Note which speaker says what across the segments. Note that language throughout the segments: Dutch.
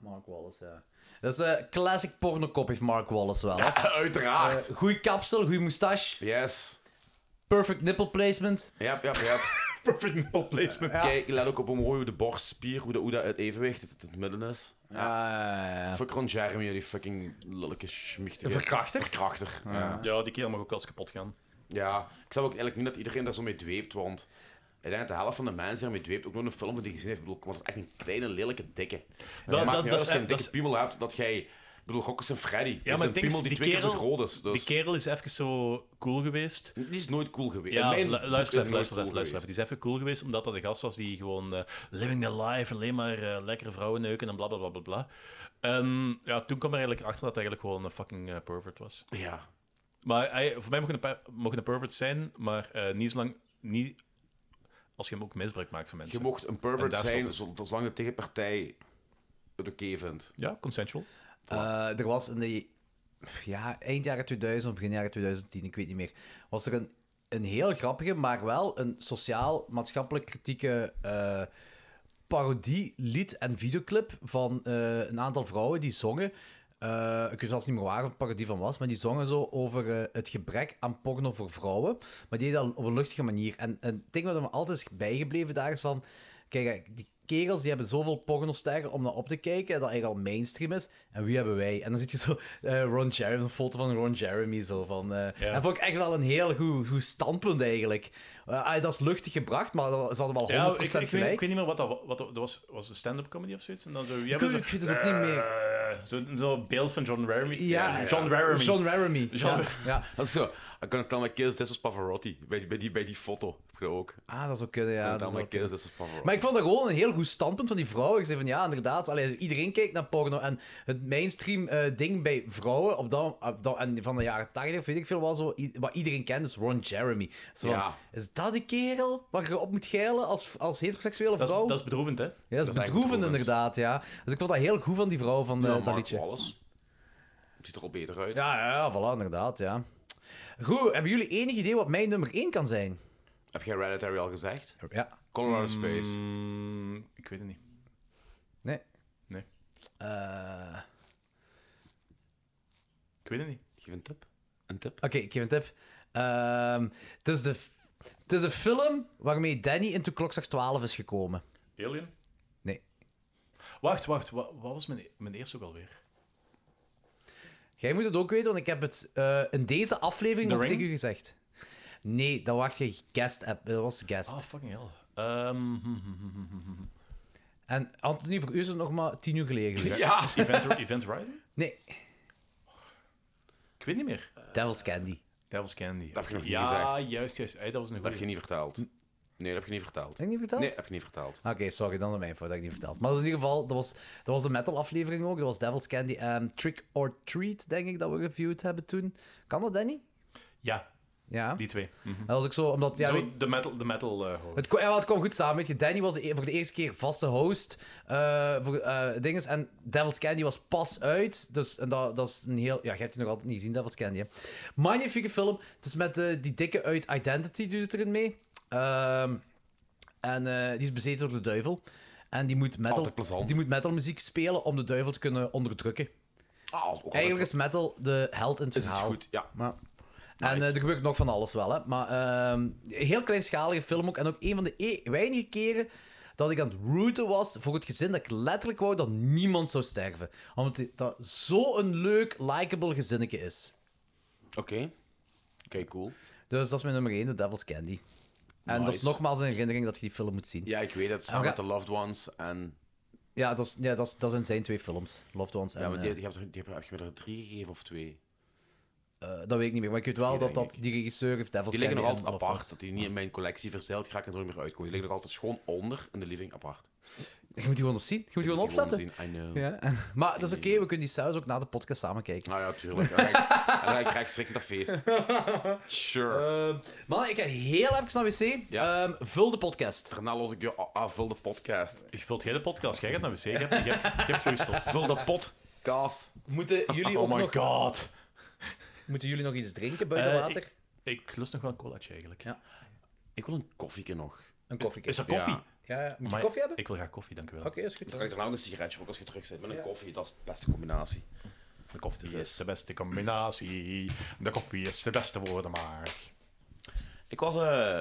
Speaker 1: Mark Wallace, ja.
Speaker 2: Dat is een classic pornokop, heeft Mark Wallace wel. hè.
Speaker 3: Uiteraard.
Speaker 2: Eh, goeie kapsel, goeie moustache,
Speaker 3: yes.
Speaker 2: perfect nipple placement.
Speaker 3: Ja, ja, ja.
Speaker 1: Perfect nipple placement.
Speaker 3: Kijk, let ook op hoe mooi hoe de borstspier, hoe dat, hoe dat het evenwicht, het, het midden is.
Speaker 2: Ja.
Speaker 3: Fuck Ron Jeremy, die fucking lelijke schmichtige...
Speaker 2: Verkrachter?
Speaker 3: Verkrachter, ja.
Speaker 4: Ja, die kerel mag ook wel eens kapot gaan.
Speaker 3: Ja, ik snap ook eigenlijk niet dat iedereen daar zo mee dweept, want ik denk dat de helft van de mensen die ermee dweept ook nog een film van die gezien heeft. Ik bedoel, want het is echt een kleine, lelijke, dikke. Dat,
Speaker 4: dat-
Speaker 3: maakt niet uit
Speaker 4: dat is-
Speaker 3: als je een
Speaker 4: dat
Speaker 3: dikke
Speaker 4: is-
Speaker 3: piemel hebt, dat jij... Ik bedoel, Rokkers en Freddy. Ja,
Speaker 4: maar
Speaker 3: een
Speaker 4: het ding is,
Speaker 3: piemel die
Speaker 4: die
Speaker 3: twee keer zo
Speaker 4: kerel-
Speaker 3: groot is. Dus
Speaker 4: Die kerel is even zo cool geweest.
Speaker 3: die is nooit cool geweest. In
Speaker 4: Ja,
Speaker 3: mijn
Speaker 4: lu-
Speaker 3: boek
Speaker 4: luister
Speaker 3: is die nooit
Speaker 4: even, luister
Speaker 3: cool
Speaker 4: even, luister even.
Speaker 3: geweest.
Speaker 4: Die is even cool geweest, omdat dat de gast was die gewoon eh, living the life, alleen maar eh, lekkere vrouwen neuken en bla bla bla bla bla. En ja, toen kwam er eigenlijk achter dat hij eigenlijk gewoon een fucking eh, pervert was.
Speaker 3: Ja.
Speaker 4: Maar hij, voor mij mocht een, per- mocht een pervert zijn, maar eh, niet zolang... Niet als je hem ook misbruik maakt van
Speaker 3: Je
Speaker 4: mensen.
Speaker 3: mocht een
Speaker 4: En
Speaker 3: pervert
Speaker 4: daar stopt
Speaker 3: zijn,
Speaker 4: het.
Speaker 3: zol- zolang de tegenpartij het oké vindt.
Speaker 4: Ja, consensual.
Speaker 2: Eh, er was in de ja, eind jaren 2000 of begin jaren 2010, ik weet niet meer, was er een, een heel grappige, maar wel een sociaal-maatschappelijk kritieke eh, parodie, lied en videoclip van eh, een aantal vrouwen die zongen. eh, ik weet zelfs niet meer waar het parodie van was, maar die zongen zo over eh, het gebrek aan porno voor vrouwen. Maar die deden dat op een luchtige manier. En, en het ding wat me altijd is bijgebleven daar is van... Kijk, eh, die kerels die hebben zoveel pornosterren om naar op te kijken, dat eigenlijk al mainstream is. En wie hebben wij? En dan zit je zo eh, Ron Jeremy, een foto van Ron Jeremy. Zo van, eh,
Speaker 4: Ja.
Speaker 2: En vond ik echt wel een heel goed, goed standpunt eigenlijk. Eh, ah, dat is luchtig gebracht, maar dat- ze hadden wel 100%
Speaker 4: Ja, ik, ik, weet,
Speaker 2: gelijk.
Speaker 4: ik weet niet meer wat dat, wa- wat dat dat was. Was een stand-up comedy of zoiets? En dan zo, ja,
Speaker 2: weet- ik weet het ook niet meer.
Speaker 4: Zo'n zo beeld van John Raremy.
Speaker 2: Ja,
Speaker 4: John Raremy.
Speaker 2: John Raremy.
Speaker 4: John-
Speaker 2: Ja. ja.
Speaker 3: Dat is zo. I can't tell my kids this was Pavarotti. Bij, bij, die, bij die foto heb je dat ook.
Speaker 2: Ah, dat is ook kunnen, ja.
Speaker 3: I can't
Speaker 2: dat
Speaker 3: tell
Speaker 2: is
Speaker 3: my
Speaker 2: ook- eh.
Speaker 3: kids this was Pavarotti.
Speaker 2: Maar ik vond dat gewoon een heel goed standpunt van die vrouwen. Ik zei van ja, inderdaad. Allee, iedereen kijkt naar porno. En het mainstream eh, ding bij vrouwen op dat, op dat- en van de jaren 80 weet ik veel wel zo. i- Wat iedereen kent is Ron Jeremy. Zo van,
Speaker 3: Ja.
Speaker 2: Is dat die kerel waar je op moet geilen als, als heteroseksuele
Speaker 4: Dat is,
Speaker 2: vrouw?
Speaker 4: dat is bedroevend, hè?
Speaker 2: ja, dat is
Speaker 3: dat is echt
Speaker 2: bedroevend
Speaker 3: bedroevend.
Speaker 2: inderdaad, ja. Dus ik vond dat heel goed van die vrouw van eh,
Speaker 3: Ja,
Speaker 2: dat
Speaker 3: Mark
Speaker 2: liedje.
Speaker 3: Wallace. Ziet er al beter uit.
Speaker 2: Ja, ja, ja, voilà, inderdaad, ja. Goed, hebben jullie enig idee wat mijn nummer 1 kan zijn?
Speaker 3: Heb jij Hereditary al gezegd?
Speaker 2: Ja.
Speaker 3: Colorado Space.
Speaker 4: Mm, ik weet het niet.
Speaker 2: Nee.
Speaker 4: Nee.
Speaker 2: Eh,
Speaker 4: Ik weet het niet.
Speaker 3: Geef een tip. Een tip.
Speaker 2: Oké, ik geef een tip. Ehm, het, is de, f- het is een film waarmee Danny into Klokslag 12 is gekomen.
Speaker 4: Alien?
Speaker 2: Nee.
Speaker 4: Wacht, wacht. wa- Wat, was mijn, e- mijn eerste ook alweer?
Speaker 2: Jij moet het ook weten, want ik heb het eh, in deze aflevering
Speaker 4: The
Speaker 2: nog
Speaker 4: Ring?
Speaker 2: tegen u gezegd. Nee, dat was je guest app. Dat was guest.
Speaker 4: Ah, fucking hell. Ehm, hm, hm, hm, hm, hm, hm.
Speaker 2: En Anthony, voor u is het nog maar tien uur geleden. geweest.
Speaker 3: Ja!
Speaker 4: Event, Event Horizon?
Speaker 2: Nee,
Speaker 4: Ik weet niet meer.
Speaker 2: Devil's Candy.
Speaker 4: Devil's Candy.
Speaker 3: heb je nog niet
Speaker 4: ja,
Speaker 3: gezegd.
Speaker 4: juist, juist. Hey, dat was een
Speaker 3: Dat heb je
Speaker 4: goede.
Speaker 3: niet vertaald. Nee, dat heb je niet vertaald.
Speaker 2: Heb ik niet verteld?
Speaker 3: Nee, dat heb je niet vertaald.
Speaker 2: Oké, sorry, dan is mijn fout dat ik niet verteld. Maar dat is in ieder geval, dat was, dat was de metal aflevering ook. Dat was Devil's Candy en Trick or Treat, denk ik, dat we reviewed hebben toen. Kan dat, Danny?
Speaker 4: Ja,
Speaker 2: Ja.
Speaker 4: die twee. Mhm.
Speaker 2: Dat was ook zo, omdat... Ja,
Speaker 4: Zo,
Speaker 2: weet-
Speaker 4: de metal, de metal eh, hoor.
Speaker 2: Het, ko- ja, maar het kwam goed samen. Weet je, Danny was de e- voor de eerste keer vaste host eh, voor eh dinges. En Devil's Candy was pas uit. Dus en dat, dat is een heel... Ja, je hebt die nog altijd niet gezien, Devil's Candy. Hè? Magnifieke film. Het is met eh, die dikke uit Identity doet het erin mee. Ehm, en eh, die is bezeten door de duivel. En die moet, metal,
Speaker 3: Altijd plezant.
Speaker 2: die moet metalmuziek spelen om de duivel te kunnen onderdrukken.
Speaker 3: Ah, ook al-
Speaker 2: Eigenlijk is metal de held in het
Speaker 3: is het
Speaker 2: verhaal.
Speaker 3: goed. Ja.
Speaker 2: Maar... En
Speaker 3: Nice.
Speaker 2: eh, er gebeurt nog van alles wel, hè. Maar ehm heel kleinschalige film ook. En ook een van de e- weinige keren dat ik aan het rooten was voor het gezin dat ik letterlijk wou dat niemand zou sterven. Omdat die- dat zo'n leuk, likable gezinnetje is.
Speaker 3: Oké. Oké, cool.
Speaker 2: Dus dat is mijn nummer 1, The Devil's Candy. En dat is
Speaker 3: Nice.
Speaker 2: nogmaals een herinnering dat je die film moet zien. Ja,
Speaker 3: Ja, ik weet het. Samen
Speaker 2: ga-
Speaker 3: met de Loved Ones en...
Speaker 2: dat, is, ja dat, is, dat zijn zijn twee films. Loved Ones en...
Speaker 3: Ja, maar die,
Speaker 2: eh,
Speaker 3: die, heb, die heb, heb je me er drie gegeven of twee?
Speaker 2: eh, dat weet ik niet meer. Maar ik weet wel
Speaker 3: Die
Speaker 2: dat,
Speaker 3: denk
Speaker 2: dat
Speaker 3: ik.
Speaker 2: die regisseur heeft Devil's
Speaker 3: Die
Speaker 2: Candy
Speaker 3: liggen nog
Speaker 2: en
Speaker 3: altijd
Speaker 2: Loved
Speaker 3: apart.
Speaker 2: Ones.
Speaker 3: Dat die niet in mijn collectie verzeild ga ik er nooit meer uitkomen. Die liggen nog altijd schoon onder in de living apart.
Speaker 2: Je moet die gewoon eens zien. Je moet die gewoon
Speaker 3: Die gewoon
Speaker 2: opzetten.
Speaker 3: zien, I know.
Speaker 2: Ja. Maar dat is oké, we kunnen die saus ook na de podcast samen kijken.
Speaker 3: Nou ja, tuurlijk. En dan ga ik- en dan ga ik rechtstreeks naar feest. Sure.
Speaker 2: Man, ik ga heel even naar wc.
Speaker 3: Ja.
Speaker 2: Ehm, vul de podcast.
Speaker 3: Daarna nou los ik je a- af. Vul de podcast.
Speaker 4: Vult jij de podcast? Jij gaat naar wc. Ik heb, ik heb, ik heb vloeistof.
Speaker 3: Vul de podcast.
Speaker 2: Moeten jullie, ook
Speaker 4: Oh my
Speaker 2: nog,
Speaker 4: god.
Speaker 2: moeten jullie nog iets drinken buiten
Speaker 4: Eh,
Speaker 2: water?
Speaker 4: Ik lust nog wel een colaatje eigenlijk.
Speaker 2: Ja.
Speaker 3: Ik wil een koffieke nog.
Speaker 2: Een koffieke.
Speaker 4: Is er koffie?
Speaker 3: Ja.
Speaker 2: Ja, ja. Moet je
Speaker 4: Maar
Speaker 2: koffie hebben?
Speaker 4: Ik wil graag koffie, dank u wel.
Speaker 2: Oké, is goed.
Speaker 3: Dan ga ik daarna nou ook een sigaretje roken als je terug bent. Met een koffie, dat is de beste combinatie.
Speaker 4: De koffie
Speaker 3: Yes.
Speaker 4: is de beste combinatie. De koffie is de beste woordenmaag.
Speaker 3: Ik was eh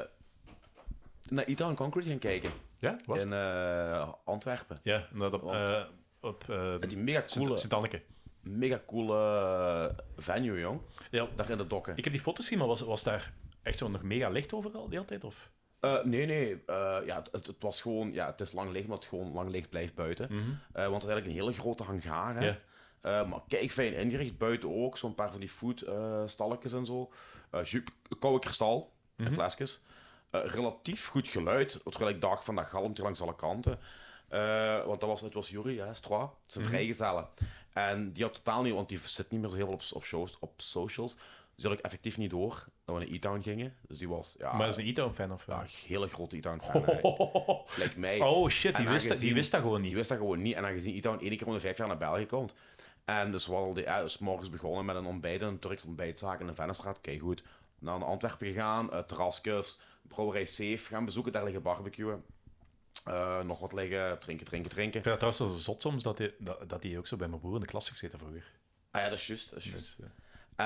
Speaker 3: naar Ita en Concrete gaan kijken.
Speaker 4: Ja, was
Speaker 3: in
Speaker 4: het?
Speaker 3: eh, Antwerpen.
Speaker 4: Ja, en dat op,
Speaker 3: Want-
Speaker 4: eh op eh,
Speaker 3: En die mega coole,
Speaker 4: Sint- Sint-Anneke.
Speaker 3: mega coole eh, venue, jong.
Speaker 4: Ja,
Speaker 3: Daar in de dokken.
Speaker 4: ik heb die foto's gezien, maar was, was daar echt zo nog mega licht overal de hele tijd? Of?
Speaker 3: Eh, nee, nee. eh, ja, het- het, het was gewoon... Ja, het is lang licht, maar het gewoon lang licht blijft buiten.
Speaker 4: Mhm.
Speaker 3: Eh, want het is eigenlijk een hele grote hangar, hè.
Speaker 4: Hm. Ja.
Speaker 3: Eh, maar kijk, fijn ingericht. Buiten ook. Zo'n paar van die foodstalletjes en zo. Eh jus, koude kristal.
Speaker 4: Mhm.
Speaker 3: En flesjes. Eh, relatief goed geluid. Terwijl ik dacht van, dat galmt hier langs alle kanten. Eh, want dat was, het was Jury, hè, Stroa. Zijn
Speaker 4: Mhm.
Speaker 3: vrijgezellen. En die had totaal niet... Want die zit niet meer zo heel veel op, op shows, op socials. Dus die had ik effectief niet door. Dat we naar E-Town gingen. Dus die was... Ja,
Speaker 4: maar is een E-Town fan of
Speaker 3: ja,
Speaker 4: wel?
Speaker 3: een hele grote Itown fan. hè. Lijkt mij.
Speaker 4: Oh shit, die
Speaker 3: En
Speaker 4: wist, dat, die
Speaker 3: aangezien-
Speaker 4: wist dat gewoon
Speaker 3: Die
Speaker 4: niet.
Speaker 3: wist dat gewoon niet. En aangezien Itown één keer om de vijf jaar naar België komt. En dus we hadden ja, dus morgens begonnen met een ontbijt, in een Turks ontbijtzaak in de Vennestraat. Kijk goed. Naar Antwerpen gegaan, eh, terrasjes, brouwerij Safe gaan bezoeken, daar liggen barbecuen. Eh, nog wat liggen, drinken, drinken, drinken.
Speaker 4: Ik vind dat trouwens wel zot soms dat hij dat, dat die ook zo bij mijn broer in de klas heeft gezeten vroeger.
Speaker 3: Ah ja, dat is juist. dat is juist.
Speaker 4: Dus, eh,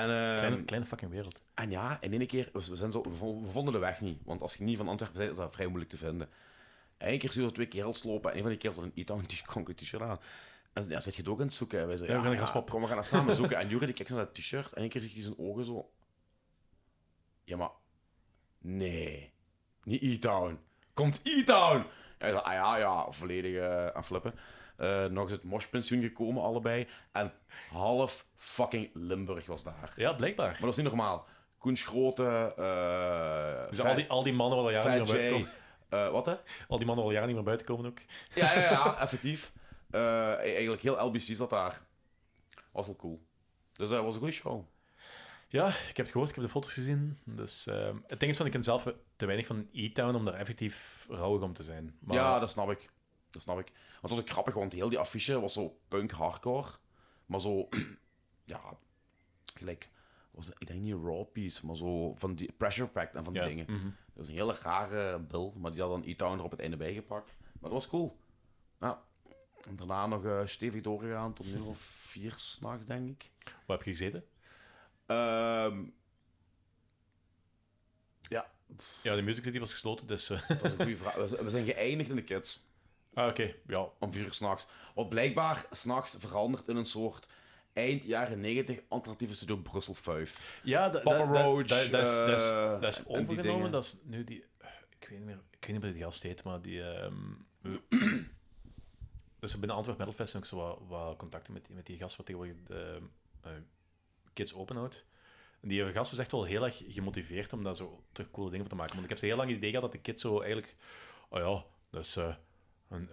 Speaker 3: En, eh,
Speaker 4: kleine, kleine fucking wereld.
Speaker 3: en ja, in één keer, we, we zijn zo, we vo- we vonden de weg niet. Want als je niet van Antwerpen bent, is dat vrij moeilijk te vinden. En één keer zien we twee kerels lopen. En een van die kerels had een E-Town t- concrete t-shirt aan. En ze ja, zit je het ook aan het zoeken? En Wij zo, ja,
Speaker 4: we gaan
Speaker 3: ja,
Speaker 4: er eens op.
Speaker 3: kom, we gaan dat samen zoeken. En Jure die kijkt zo naar dat t-shirt. En één keer ziet hij zijn ogen zo... Ja, maar... Nee. Niet E-Town. Komt E-Town! En hij zei, ah ja, ja, volledig eh, aan flippen. Eh, nog eens het moshpensioen gekomen, allebei. En half fucking Limburg was daar.
Speaker 4: Ja, blijkbaar.
Speaker 3: Maar dat is niet normaal. Koen Schrote, eh
Speaker 4: Dus al die, al die mannen waar al jaren niet
Speaker 3: Fat
Speaker 4: meer
Speaker 3: J.
Speaker 4: buiten
Speaker 3: Eh, wat hè?
Speaker 4: komen. Al die mannen waar al jaren niet meer buiten komen ook.
Speaker 3: Ja, ja, ja, effectief. Eh, eigenlijk heel LBC zat daar. Was wel cool. Dus dat was een goede show.
Speaker 4: Ja, ik heb het gehoord, ik heb de foto's gezien. Dus, ehm, het ding is, van, ik ken zelf te weinig van E-Town om daar effectief rouwig om te zijn. Maar,
Speaker 3: Ja, dat snap ik. Dat snap ik. Want dat was ook grappig, want heel die affiche was zo punk hardcore. Maar zo, ja, gelijk, was het, ik denk niet raw piece, maar zo van die pressure pack en van die
Speaker 4: Ja,
Speaker 3: dingen.
Speaker 4: mhm.
Speaker 3: Dat was een hele rare bill, maar die had dan E-Town er op het einde bij gepakt. Maar dat was cool. Ja. En daarna nog eh, stevig doorgegaan tot nu of vier s'nachts, denk ik.
Speaker 4: Waar heb je gezeten?
Speaker 3: Ehm, ja,
Speaker 4: Ja, de Music City was gesloten, dus... eh,
Speaker 3: dat was een goede vraag. We zijn- We zijn geëindigd in de kids.
Speaker 4: ah, oké. Ja,
Speaker 3: om vier uur s'nachts. Wat blijkbaar s'nachts verandert in een soort eind jaren 90 alternatieve studio Brussel 5.
Speaker 4: Ja, dat,
Speaker 3: Papa
Speaker 4: dat, dat-
Speaker 3: Roach,
Speaker 4: dat- dat is, dat is,
Speaker 3: eh,
Speaker 4: dat is
Speaker 3: en- en die
Speaker 4: overgenomen.
Speaker 3: dingen.
Speaker 4: Dat is nu die... Ik weet niet meer, ik weet niet meer die gast heet, maar die... ehm, dus binnen Antwerp Metal Fest zijn ook zo wat, wat contacten met die, met die gast wat tegenwoordig de, eh, Kids Open houdt. En die gast is echt wel heel erg gemotiveerd om daar zo terug coole dingen van te maken. Want ik heb ze heel lang het idee gehad dat de kids zo eigenlijk... Oh ja, dat is eh, een,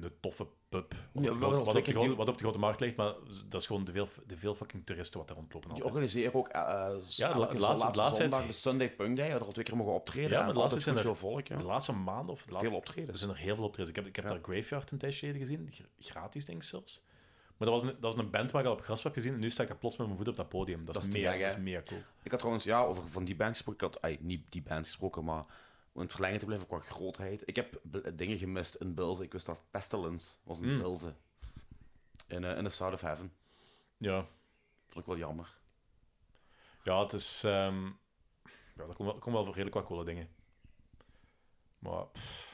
Speaker 4: een toffe pub. Wat,
Speaker 3: Ja,
Speaker 4: op,
Speaker 3: wel
Speaker 4: de grote- wat, op de
Speaker 3: ontwikkeld
Speaker 4: grote,
Speaker 3: die-
Speaker 4: wat op de grote markt ligt, maar dat is gewoon de veel, de veel fucking toeristen wat daar rondlopen.
Speaker 3: Die
Speaker 4: altijd.
Speaker 3: organiseren ook eh, eh, elke
Speaker 4: laatste- de laatste
Speaker 3: zondag
Speaker 4: tijd-
Speaker 3: de Sunday Punk Day, waar er al twee keer mogen optreden.
Speaker 4: Ja, maar
Speaker 3: en
Speaker 4: de laatste
Speaker 3: altijd goed
Speaker 4: zijn er-
Speaker 3: veel volk. Ja.
Speaker 4: De laatste maanden of de laat-
Speaker 3: Veel
Speaker 4: er
Speaker 3: optredens.
Speaker 4: zijn er heel veel optredens. Ik heb, ik heb
Speaker 3: Ja.
Speaker 4: daar Graveyard een tijdje geleden gezien, gr- gratis denk ik zelfs. Maar dat was, een, dat was een band waar ik al op gras heb gezien en nu sta ik daar plots met mijn voet op dat podium. Dat,
Speaker 3: Dat
Speaker 4: is,
Speaker 3: is te
Speaker 4: meer,
Speaker 3: gek, hè?
Speaker 4: dat is meer cool.
Speaker 3: Ik had trouwens, ja, over van die band gesproken. Ik had, ai, niet die band gesproken, maar om in het verlengen te blijven qua grootheid. Ik heb bl- dingen gemist in Bilzen. Ik wist dat Pestilence was in
Speaker 4: Hmm.
Speaker 3: Bilzen. In, eh, in the South of Heaven.
Speaker 4: Ja,
Speaker 3: Vond ik wel jammer.
Speaker 4: ja het is... ehm, ja, er komen wel, er komen wel voor redelijk wat coole dingen. Maar... pff.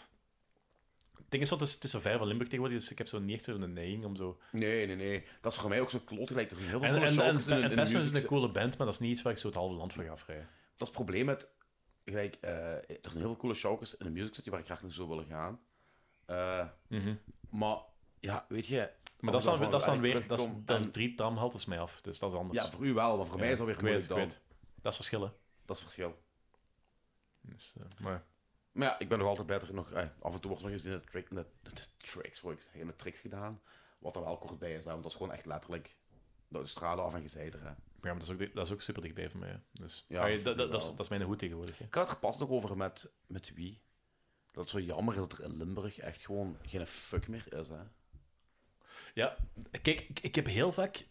Speaker 4: Het ding is, want het is, het is zo ver van Limburg tegenwoordig, dus ik heb zo niet echt zo'n neiging om zo...
Speaker 3: Nee, nee, nee. Dat is voor mij ook zo klote gelijk. Er zijn heel veel
Speaker 4: En, en,
Speaker 3: coole
Speaker 4: en,
Speaker 3: showcases in- in
Speaker 4: en
Speaker 3: de
Speaker 4: Pestilence is
Speaker 3: music-
Speaker 4: een coole band, maar dat is niet iets waar ik zo het halve land voor ga afrijden.
Speaker 3: Dat is het probleem met... Gelijk, eh, er zijn heel veel coole showcases in de music city waar ik graag naartoe zou willen gaan. Eh, maar, ja, weet je...
Speaker 4: Maar Mhm. dat
Speaker 3: als
Speaker 4: is
Speaker 3: ik van
Speaker 4: dan, dat is dan
Speaker 3: werk
Speaker 4: weer... Dat is,
Speaker 3: terugkom
Speaker 4: dat is
Speaker 3: en-
Speaker 4: drie damhaltes mij af, dus dat is anders.
Speaker 3: Ja, voor u wel, maar voor mij is dat weer
Speaker 4: ik weet,
Speaker 3: moeilijk
Speaker 4: ik
Speaker 3: dan.
Speaker 4: weet. Dat is verschillen.
Speaker 3: Dat is het verschil.
Speaker 4: Dus, eh, maar...
Speaker 3: Maar ja, ik ben nog altijd beter. Nog, eh, af en toe wordt nog eens in de, trick, in de, de- de tricks, wou ik zeggen, in de tricks gedaan. Wat er wel kort bij is, hè, want dat is gewoon echt letterlijk... De stralen af en gezijder, hè.
Speaker 4: Ja, maar dat is ook, dat is ook super dichtbij voor mij. hè. Dus,
Speaker 3: Ja,
Speaker 4: Ah, ja, dat, dat,
Speaker 3: wel.
Speaker 4: dat, is, dat is mijn hoed tegenwoordig. Hè.
Speaker 3: Ik had het er pas nog over met, met wie. Dat het zo jammer is dat er in Limburg echt gewoon geen fuck meer is. Hè.
Speaker 4: Ja, kijk, ik, ik heb heel vaak...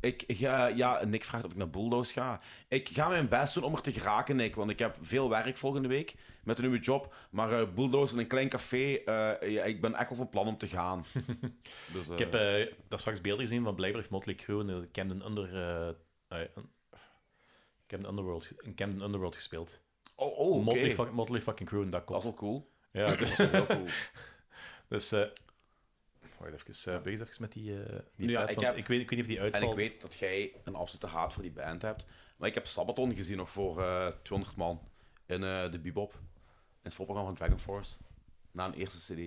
Speaker 3: Ik ga, ja, Nick vraagt of ik naar Bulldoze ga. Ik ga mijn best doen om er te geraken, Nick. Want ik heb veel werk volgende week met een nieuwe job. Maar eh Bulldoze in een klein café, eh, ja, ik ben echt wel van plan om te gaan. dus, eh,
Speaker 4: Ik heb eh daar straks beelden gezien van blijkbaar heeft Motley Crue in de Camden, Under, eh, eh, Camden Underworld, in Camden Underworld gespeeld.
Speaker 3: Oh, oh oké.
Speaker 4: Motley, fuck- Motley fucking Crue in dat
Speaker 3: Dat is
Speaker 4: komt.
Speaker 3: wel cool.
Speaker 4: Ja, dus,
Speaker 3: Dat is wel cool.
Speaker 4: dus eh, wacht even, eh, bezig even met die, eh, die
Speaker 3: Ja,
Speaker 4: pet,
Speaker 3: ik
Speaker 4: want
Speaker 3: heb-
Speaker 4: ik, weet, ik weet niet of die
Speaker 3: En
Speaker 4: uitvalt.
Speaker 3: ik weet dat jij een absolute haat voor die band hebt. Maar ik heb Sabaton gezien nog voor eh, 200 man in eh, de Bebop. In het voorprogramma van Dragon Force. Na een eerste CD.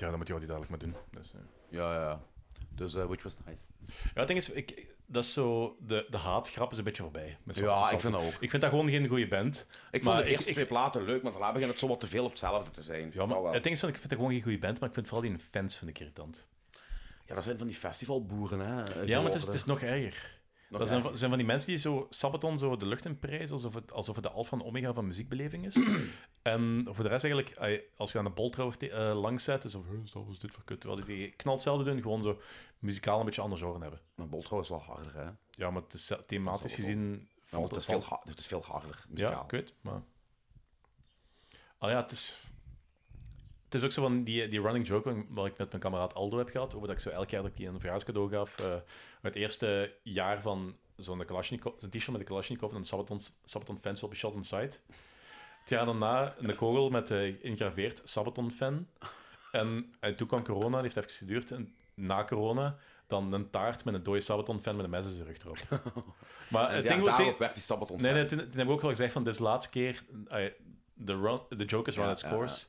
Speaker 4: Ja, dan moet je wat die dadelijk maar doen. Dus, eh.
Speaker 3: Ja, ja, ja. Dus eh, which was nice.
Speaker 4: Ja, het ding is, ik, dat is zo, de, de haatgrap is een beetje voorbij. met zo'n
Speaker 3: Ja, ik
Speaker 4: Salto.
Speaker 3: vind dat ook.
Speaker 4: Ik vind dat gewoon geen goede band.
Speaker 3: Ik
Speaker 4: Maar
Speaker 3: vond de
Speaker 4: ik-
Speaker 3: eerste
Speaker 4: ik-
Speaker 3: twee platen leuk, maar daarna begint het zo wat te veel op hetzelfde te zijn.
Speaker 4: Ja,
Speaker 3: Dat
Speaker 4: maar
Speaker 3: wel.
Speaker 4: het ding is, van, ik vind dat gewoon geen goede band, maar ik vind vooral die fans vind ik irritant.
Speaker 3: ja, dat zijn van die festivalboeren, hè.
Speaker 4: Ja, maar het is, het is nog erger.
Speaker 3: Nog
Speaker 4: dat zijn
Speaker 3: erger.
Speaker 4: van, zijn van die mensen die zo Sabaton zo de lucht in prijzen, alsof het, alsof het de alfa en omega van muziekbeleving is. en voor de rest eigenlijk, ai, als je aan de boltrouwer te- eh, langs zet, is zo, "Huh, wat is dit voor kut? Terwijl die, die knal hetzelfde doen, gewoon zo muzikaal een beetje anders horen hebben.
Speaker 3: Maar Boltro is wel harder, hè. Ja,
Speaker 4: Ja, maar het is, thematisch
Speaker 3: wel
Speaker 4: gezien...
Speaker 3: maar
Speaker 4: valt
Speaker 3: het, is
Speaker 4: valt-
Speaker 3: veel ha- het is veel harder,
Speaker 4: Ja,
Speaker 3: muzikaal.
Speaker 4: ik weet, maar... Ah ja, het is... Het is ook zo van die, die running joke wat ik met mijn kameraad Aldo heb gehad, over dat ik zo elk jaar dat ik die een verjaarscadeau gaf, eh, het eerste jaar van zo'n Kalashnikov, zo'n t-shirt met de Kalashnikov en een Sabaton, Sabaton fans will be shot on sight. Het jaar daarna een kogel met eh ingraveerd Sabaton fan. En eh, toen kwam corona, die heeft even geduurd. En na corona dan een taart met een dode Sabaton fan met een mes in zijn rug erop. Maar
Speaker 3: En
Speaker 4: het
Speaker 3: ja,
Speaker 4: ding, wat-
Speaker 3: daarop werd die Sabaton
Speaker 4: Nee,
Speaker 3: fan.
Speaker 4: nee toen, toen heb ik ook al gezegd van, dit is de laatste keer... eh, de, run, de joke is run
Speaker 3: Ja,
Speaker 4: its
Speaker 3: ja,
Speaker 4: course.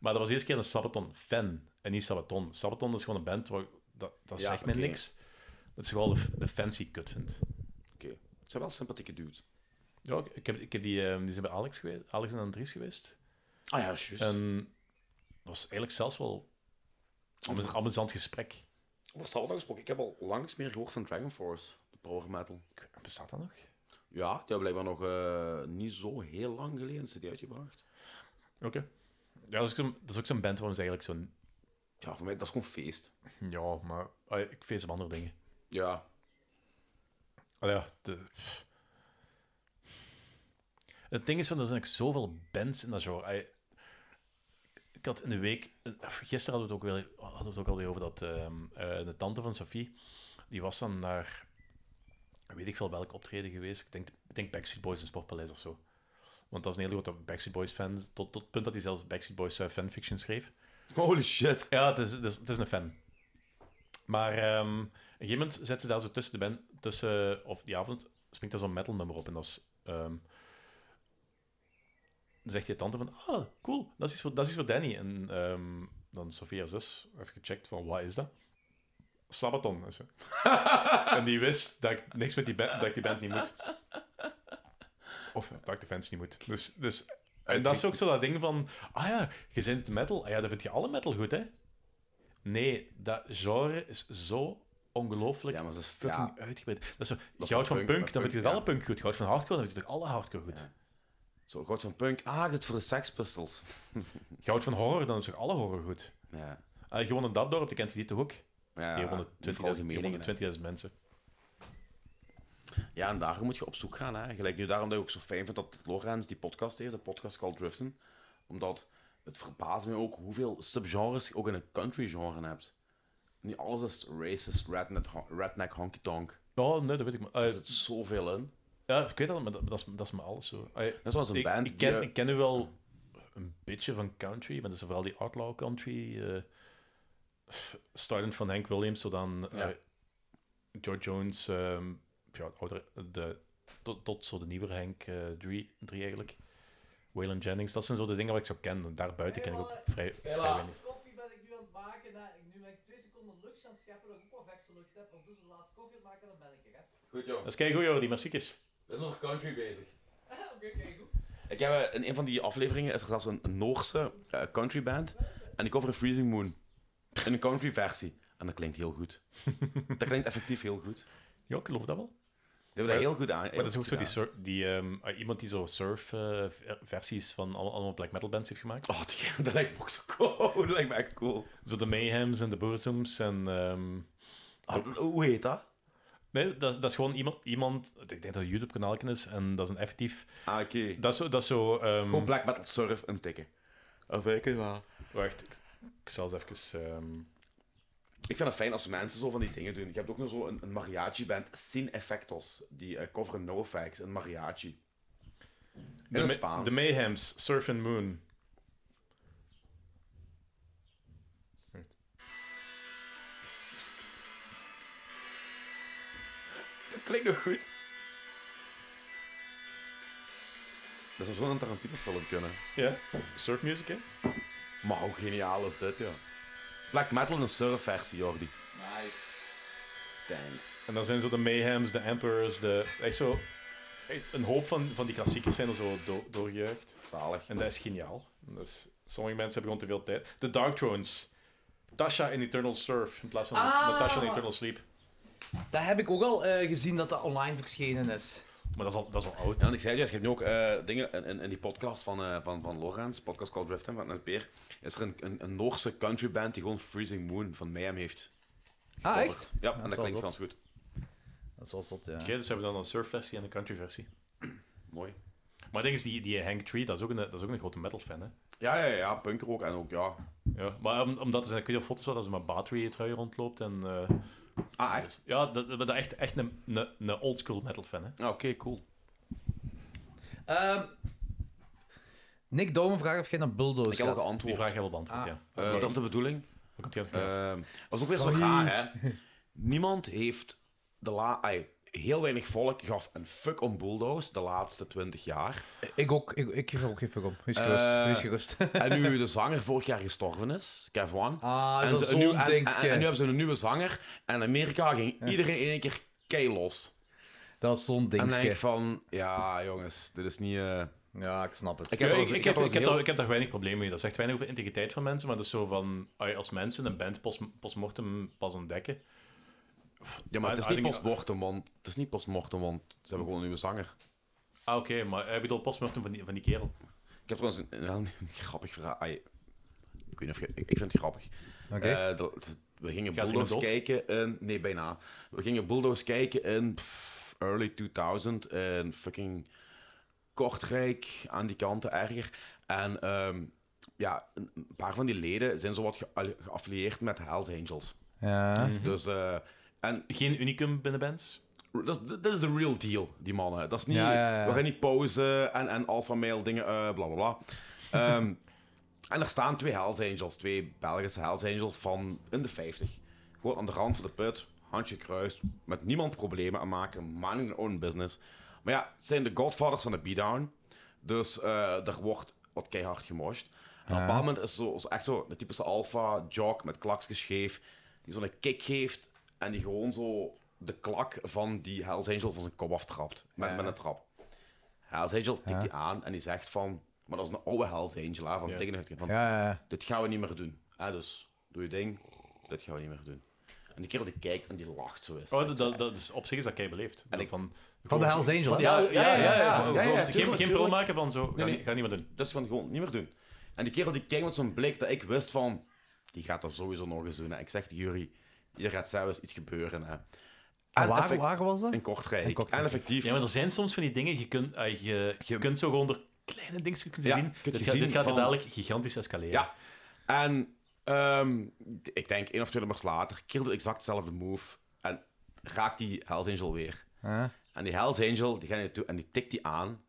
Speaker 4: Maar dat was de eerste keer een Sabaton-fan. En niet Sabaton. Sabaton is gewoon een band, waar, dat, dat
Speaker 3: Ja,
Speaker 4: zegt mij
Speaker 3: oké.
Speaker 4: niks. Dat is gewoon de, de fancy kut vindt.
Speaker 3: Oké. Het zijn wel sympathieke dudes.
Speaker 4: Ja, ik- ik heb, ik heb die, eh, die zijn bij Alex geweest, Alex en Andries geweest.
Speaker 3: Ah ja, juist.
Speaker 4: En dat was eigenlijk zelfs wel een amusant gesprek.
Speaker 3: Over Sabaton gesproken, ik heb al lang niks meer gehoord van Dragon Force, de power metal.
Speaker 4: Ik weet- Bestaat dat nog?
Speaker 3: Ja, die hebben blijkbaar nog eh, niet zo heel lang geleden een CD uitgebracht.
Speaker 4: Oké. Ja, dat is, ook zo'n- dat is ook zo'n band waar ze eigenlijk zo'n...
Speaker 3: Ja, voor mij dat is gewoon feest.
Speaker 4: Ja, maar ah, ik feest op andere dingen.
Speaker 3: Ja,
Speaker 4: Ah ja, de... pff. Het ding is, van, er zijn ook zoveel bands in dat genre. Ai, Ik had in de week... eh, Gisteren hadden we het ook, wel, hadden we het ook alweer over dat ehm, eh, de tante van Sophie, die was dan naar... Weet ik veel welk optreden geweest. Ik denk, ik denk Backstreet Boys in Sportpaleis of zo. Want dat is een hele grote Backstreet Boys fan. Tot, tot het punt dat hij zelfs Backstreet Boys eh, fanfiction schreef.
Speaker 3: Holy shit.
Speaker 4: Ja, het is, het is, het is een fan. Maar ehm, op een gegeven moment zet ze daar zo tussen de band, tussen, of die avond, springt daar zo'n metal nummer op. En dat is, ehm, dan zegt die tante van, ah, cool, dat is iets voor, dat is iets voor Danny. En ehm, dan Sofia haar zus, heeft gecheckt van, wat is dat? Sabaton. En, zo. en die wist dat ik niks met die band, dat ik die band niet moet. Of dat ik de fans niet moet. Dus, dus, en dat is ook zo dat ding van, ah ja, je bent metal. Ah ja, dan vind je alle metal goed, hè? Nee, dat genre is zo ongelooflijk
Speaker 3: Ja, maar ze is
Speaker 4: fucking
Speaker 3: fucking...
Speaker 4: uitgebreid. Dat is zo,
Speaker 3: van
Speaker 4: goud van
Speaker 3: punk,
Speaker 4: punk,
Speaker 3: van
Speaker 4: dan
Speaker 3: punk,
Speaker 4: vind je wel
Speaker 3: ja.
Speaker 4: een punk goed. Goud van hardcore, dan vind je toch alle hardcore goed.
Speaker 3: Zo, goud van punk. Ah, dit voor de Sex Pistols.
Speaker 4: Goud van horror, dan is toch alle horror goed.
Speaker 3: Ja.
Speaker 4: Ah, gewoon in dat dorp, die kent je die toch ook?
Speaker 3: Ja,
Speaker 4: Hier
Speaker 3: ja,
Speaker 4: wonen 20.000
Speaker 3: vooral die
Speaker 4: hier
Speaker 3: meningen,
Speaker 4: wonen
Speaker 3: hè.
Speaker 4: 20.000 mensen.
Speaker 3: Ja, en daarom moet je op zoek gaan. Hè. Gelijk nu daarom dat ik ook zo fijn vind dat Lorenz die podcast heeft, de podcast Called Driften. Omdat het verbaast mij ook hoeveel subgenres je ook in een country genre hebt. Niet alles is racist, redneck, redneck honky tonk.
Speaker 4: Oh, nee, dat weet ik maar.
Speaker 3: Er
Speaker 4: Eh,
Speaker 3: zit zoveel in.
Speaker 4: ja, ik weet dat, maar dat, dat is, dat is me alles zo. Ah,
Speaker 3: Dat is wel eens een
Speaker 4: ik,
Speaker 3: band
Speaker 4: ik ken,
Speaker 3: die... eh,
Speaker 4: ik ken nu wel een beetje van country, maar dat is vooral die outlaw country. eh startend van Hank Williams, tot aan eh,
Speaker 3: Ja.
Speaker 4: George Jones, ehm, ja, het oudere, de, tot, tot zo de nieuwere Hank 3 eigenlijk. Waylon Jennings, dat zijn zo de dingen wat ik zo ken. En Daarbuiten ken ik ook vrij, vrij
Speaker 5: Helaas,
Speaker 4: weinig.
Speaker 5: koffie ben ik nu aan het maken. Dat ik nu ben ik twee seconden lucht gaan scheppen, dat ik ook wat extra lucht heb. Ondertussen de laatste koffie aan het maken, dan ben ik er. hè.
Speaker 3: Goed joh,
Speaker 4: Dat is kijk goed, joh, die muziek is.
Speaker 3: we zijn nog country bezig.
Speaker 5: Oké, oké, goed.
Speaker 3: Ik heb, eh, in een van die afleveringen is er zelfs een een Noorse eh, countryband. En die coveren Freezing Moon. In een country versie. En dat klinkt heel goed. Dat klinkt effectief heel goed.
Speaker 4: Ja, ik geloof dat wel.
Speaker 3: Die hebben dat heel goed aan.
Speaker 4: Maar dat is ook zo die, sur- die ehm, eh, iemand die zo surf eh, ver- versies van alle- allemaal black metal bands heeft gemaakt.
Speaker 3: Oh, die, dat lijkt me ook zo cool. Dat lijkt me echt cool.
Speaker 4: Zo de Mayhems en de Boerzoms en ehm,
Speaker 3: Ah, hoe heet dat?
Speaker 4: Nee, dat, is- dat is gewoon iemand, iemand... Ik denk dat het een YouTube-kanaal is en dat is een effectief...
Speaker 3: Ah, oké.
Speaker 4: Dat is zo... Dat is zo ehm,
Speaker 3: Gewoon black metal surf en tikken. Of Hmm. Ah, ik het wel.
Speaker 4: Wacht, ik, ik zal eens even... ehm,
Speaker 3: Ik vind het fijn als mensen zo van die dingen doen. Je hebt ook nog zo een, een mariachi-band, Sin Effectos. Die eh, coveren NoFX en mariachi. In
Speaker 4: De,
Speaker 3: het
Speaker 4: Ma-
Speaker 3: Spaans.
Speaker 4: de Mayhems, Surf and Moon.
Speaker 3: Dat klinkt nog goed. Dat zou zo'n Tarantino-film kunnen.
Speaker 4: Ja, surf music, hè?
Speaker 3: Maar hoe geniaal is dit, ja. Black metal in een surfversie, Jordi.
Speaker 5: Nice.
Speaker 3: Thanks.
Speaker 4: En dan zijn zo de Mayhems, de Emperors, de... Echt zo... echt een hoop van, van die klassiekers zijn er zo do doorgejuicht.
Speaker 3: Zalig.
Speaker 4: En dat is geniaal. Dat is- sommige mensen hebben gewoon te veel tijd. De Dark Thrones. Tasha in Eternal Surf in plaats van
Speaker 2: Ah.
Speaker 4: Natasha in Eternal Sleep.
Speaker 2: Dat heb ik ook al eh, gezien dat dat online verschenen is.
Speaker 4: Maar dat is al, dat is al oud.
Speaker 3: Ja, want ik zei het juist, je hebt nu ook eh, dingen in, in, in die podcast van, eh van, van Lorenz, podcast called Drift van NPR, is er een, een, een Noorse country band die gewoon Freezing Moon van Mayhem heeft.
Speaker 2: Ah, echt?
Speaker 3: Ja, en
Speaker 2: is
Speaker 3: dat
Speaker 2: wel
Speaker 3: klinkt
Speaker 2: zot.
Speaker 3: gans goed.
Speaker 2: Dat is wel zot, ja.
Speaker 4: Oké, dus hebben we dan een surfversie en een countryversie.
Speaker 3: Mooi.
Speaker 4: Maar ding is, die, die Hank Tree, dat is ook een, dat is ook een grote metal fan, hè?
Speaker 3: Ja, ja, ja, punker ook en ook, ja.
Speaker 4: Ja, maar om- omdat er zijn, ik weet niet of foto's wat als er maar battery trui rondloopt en... eh,
Speaker 3: Ah, echt?
Speaker 4: ja, dat, dat, dat echt, echt een, een, een oldschool metal fan, hè?
Speaker 3: Ja, Ah, Oké, cool.
Speaker 2: Ehm, Nick Domen vraagt of jij naar Bulldoze
Speaker 3: Ik heb al
Speaker 2: gaat.
Speaker 4: Die
Speaker 3: geantwoord.
Speaker 4: vraag hebben we beantwoord, ja.
Speaker 3: Eh, dat is de bedoeling.
Speaker 4: Waar komt die aan het graf?
Speaker 3: Ehm was ook weer zo
Speaker 2: Sorry.
Speaker 3: raar, hè? Niemand heeft de la... ai, heel weinig volk gaf een fuck om Bulldoze de laatste 20 jaar.
Speaker 2: Ik ook, ik, ik geef er ook geen fuck om. Wees
Speaker 3: Eh,
Speaker 2: gerust, wees gerust.
Speaker 3: En nu de zanger vorig jaar gestorven is, Kev One.
Speaker 2: Ah,
Speaker 3: en,
Speaker 2: is dat
Speaker 3: ze- en nu,
Speaker 2: zo'n
Speaker 3: en-
Speaker 2: dingetje?
Speaker 3: en- en nu hebben ze een nieuwe zanger. En in Amerika ging iedereen in één keer kei los.
Speaker 2: Dat is zo'n
Speaker 3: En dan denk ik
Speaker 2: dingetje.
Speaker 3: van, ja jongens, dit is niet... eh,
Speaker 2: Ja, ik snap het.
Speaker 3: Ik
Speaker 4: Ja,
Speaker 3: heb
Speaker 4: Ik,
Speaker 3: al
Speaker 4: ik,
Speaker 3: eens- ik
Speaker 4: heb,
Speaker 3: heb al
Speaker 4: ik,
Speaker 3: eens
Speaker 4: heb
Speaker 3: heel-
Speaker 4: daar, ik heb daar weinig problemen mee. Dat zegt weinig over integriteit van mensen, maar dat is zo van... ai, Als mensen een band post- postmortem pas ontdekken...
Speaker 3: Ja, maar het is
Speaker 4: I- I
Speaker 3: niet
Speaker 4: think-
Speaker 3: postmortem, want... Het is niet postmortem, want ze hebben gewoon een nieuwe zanger.
Speaker 4: Ah, oké, maar ik bedoel postmortem van die, van die kerel.
Speaker 3: Ik heb trouwens een, een heel grappig verhaal. Ai, ik weet niet of je... Ik ik vind het grappig.
Speaker 2: Oké.
Speaker 3: Eh, dat- we gingen
Speaker 4: Gaat
Speaker 3: Bulldoze
Speaker 4: iemand
Speaker 3: kijken in... Nee, bijna. We gingen Bulldoze kijken in pff, early 2000 in fucking Kortrijk, aan die kanten erger. En ehm, ja, een een paar van die leden zijn zowat gealle- geaffilieerd met Hells Angels.
Speaker 2: ja.
Speaker 3: Dus... eh, en
Speaker 4: Geen unicum binnen bands?
Speaker 3: dat is- dat is de real deal, die mannen. Dat is niet,
Speaker 2: Ja, ja, ja.
Speaker 3: We gaan niet pauzen en, en alpha male dingen, eh bla bla bla. Ehm, en er staan twee Hells Angels, twee Belgische Hells Angels van in de 50. Gewoon aan de rand van de put, handje kruis, met niemand problemen aan maken, minding their own business. Maar ja, het zijn de godfathers van de beatdown, dus eh daar wordt wat keihard gemosht. En op een bepaald moment is zo, zo echt zo de typische alpha jock met klaksjes scheef, die zo'n kick geeft en die gewoon zo de klak van die Hells Angel van zijn kop aftrapt, met,
Speaker 2: Ja.
Speaker 3: met een trap. Hells Angel tikt
Speaker 2: Ja.
Speaker 3: die aan en die zegt van... Maar dat is een oude Hells Angel, hè, van
Speaker 4: Ja.
Speaker 3: tegen het- van,
Speaker 2: Ja, ja.
Speaker 3: Dit gaan we niet meer doen. Hè, dus doe je ding, dit gaan we niet meer doen. En die kerel die kijkt en die lacht zo is.
Speaker 4: Oh, dat, dat, dat is op zich is dat jij beleefd.
Speaker 3: En ik-
Speaker 4: van,
Speaker 2: Van de Hells Angel, hè?
Speaker 4: Ja, ja,
Speaker 3: Ja,
Speaker 4: ja.
Speaker 3: ja, ja,
Speaker 4: gewoon-
Speaker 3: ja, ja,
Speaker 4: gewoon geen
Speaker 3: tuurlijk,
Speaker 4: geen prul
Speaker 3: tuurlijk.
Speaker 4: maken van zo. Ga,
Speaker 3: nee.
Speaker 4: niet- ga niet meer doen.
Speaker 3: Dus van gewoon niet meer doen. En die kerel die kijkt met zo'n blik dat ik wist van... Die gaat dat sowieso nog eens doen. Hè. Ik zeg tegen Jury, hier gaat zelfs iets gebeuren. Hè.
Speaker 4: Ah,
Speaker 3: En
Speaker 2: Ah, waar,
Speaker 3: effect-
Speaker 2: waar was dat?
Speaker 3: In Kortrijk.
Speaker 2: In Kortrijk.
Speaker 3: En effectief.
Speaker 4: Ja, maar er zijn soms van die dingen, je kunt, ah, je, je
Speaker 3: Je-
Speaker 4: kunt zo gewoon door kleine dingetjes kunnen
Speaker 3: Ja,
Speaker 4: zien.
Speaker 3: kunt je
Speaker 4: dit, gaat-
Speaker 3: zien
Speaker 4: dit gaat er
Speaker 3: van-
Speaker 4: dadelijk gigantisch escaleren.
Speaker 3: Ja. En ehm, ik denk één of twee nummers later, keer doet exact dezelfde move. En raakt die Hells Angel weer.
Speaker 2: Ja.
Speaker 3: En die Hells Angel, die gaat naar je toe en die tikt die aan.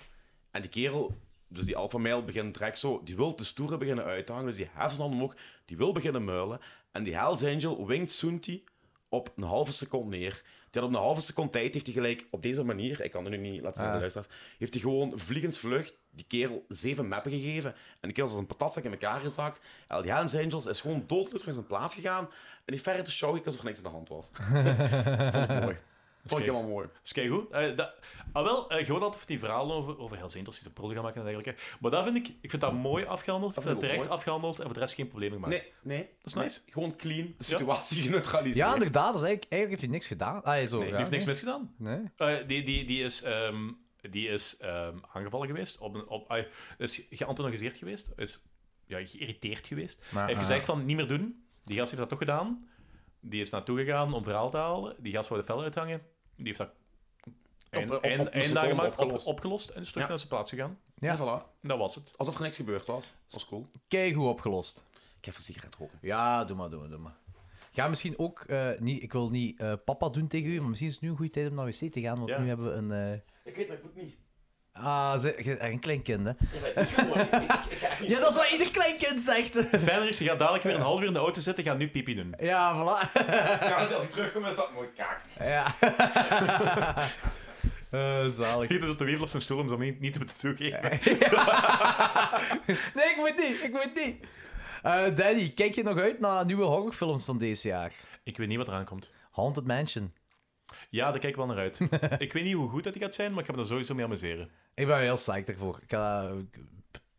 Speaker 3: En die kerel, dus die alpha male, begint direct zo... Die wil de stoere beginnen uithangen, dus die heft zijn handen omhoog. Die wil beginnen muilen. En die Hells Angel winkt Soentie op een halve seconde neer. Die had op een halve seconde tijd, heeft hij gelijk op deze manier... Ik kan het nu niet laten zien aan de luisteraars. Heeft hij gewoon vliegensvlucht die kerel zeven mappen gegeven. En die kerel is als een patatzak in elkaar gezakt. En die Hells Angels is gewoon doodloos terug in zijn plaats gegaan. En die verre te show, ik alsof er niks aan de hand was. Vond ik mooi. Vond ik helemaal mooi.
Speaker 4: Dus kijk goed. Eh, dat- ah, wel, eh, gewoon altijd van die verhalen over, over Hells Angels die ze prullen gaan maken en dergelijke. Maar dat vind ik, ik vind dat mooi afgehandeld. Ik
Speaker 3: Dat
Speaker 4: vind
Speaker 3: vind ik
Speaker 4: dat terecht
Speaker 3: ook mooi.
Speaker 4: afgehandeld en voor de rest geen problemen gemaakt.
Speaker 3: Nee, nee. Dat
Speaker 4: is nice.
Speaker 3: Gewoon clean, de
Speaker 4: Ja.
Speaker 3: situatie geneutraliseerd.
Speaker 2: Ja, inderdaad. Dat is eigenlijk, eigenlijk heeft hij niks gedaan. Ah, zo,
Speaker 3: Nee,
Speaker 2: ja.
Speaker 4: Die heeft niks misgedaan.
Speaker 2: Nee.
Speaker 4: Eh, die, die, die is, ehm, die is ehm, aangevallen geweest. Op een, op, ah, is geantagoniseerd geweest. Is ja, geïrriteerd geweest.
Speaker 2: Maar,
Speaker 4: Hij heeft
Speaker 3: eh,
Speaker 2: ah.
Speaker 4: gezegd van, niet meer doen. Die gast heeft dat toch gedaan. Die is naartoe gegaan om verhaal te halen. Die gast wou de fel uithangen. Die heeft dat eind,
Speaker 3: op- op-
Speaker 4: eind-
Speaker 3: op een
Speaker 4: einddagen
Speaker 3: seconde
Speaker 4: maar op-
Speaker 3: opgelost.
Speaker 4: opgelost en is terug
Speaker 3: Ja.
Speaker 4: naar zijn plaats gegaan.
Speaker 2: Ja.
Speaker 3: voilà.
Speaker 4: Dat was het.
Speaker 3: Alsof er niks gebeurd was. Dat was cool.
Speaker 2: Keigoed opgelost.
Speaker 3: Ik heb een sigaret roken.
Speaker 2: Ja, doe maar, doe maar, doe maar. Ga misschien ook, eh, niet, ik wil niet eh, papa doen tegen u, maar misschien is het nu een goede tijd om naar wc te gaan, want
Speaker 4: Ja.
Speaker 2: nu hebben we een... eh,
Speaker 3: Ik weet, maar ik moet niet.
Speaker 2: Ah, ze, je bent echt een klein kind, hè?
Speaker 3: Ik, ik, ik,
Speaker 2: Ja, dat is wat ieder klein kind zegt.
Speaker 4: Fijner is, je gaat dadelijk weer een half uur in de auto zitten, gaat nu pipi doen.
Speaker 2: Ja, voilà.
Speaker 3: als ik terugkom, is dat mooi kaak.
Speaker 2: Ja. Eh, zalig.
Speaker 4: Hier is dus op de wereld op zijn stoel om ze niet, niet te toegeven.
Speaker 2: Nee, ik moet niet, ik moet niet. Eh, Danny, kijk je nog uit naar nieuwe horrorfilms van deze jaar?
Speaker 4: Ik weet niet wat eraan komt.
Speaker 2: Haunted Mansion.
Speaker 4: Ja, daar kijk ik wel naar uit. ik weet niet hoe goed dat die gaat zijn, maar ik ga me daar sowieso mee amuseren.
Speaker 2: Ik ben er heel psyched ervoor. Ik ga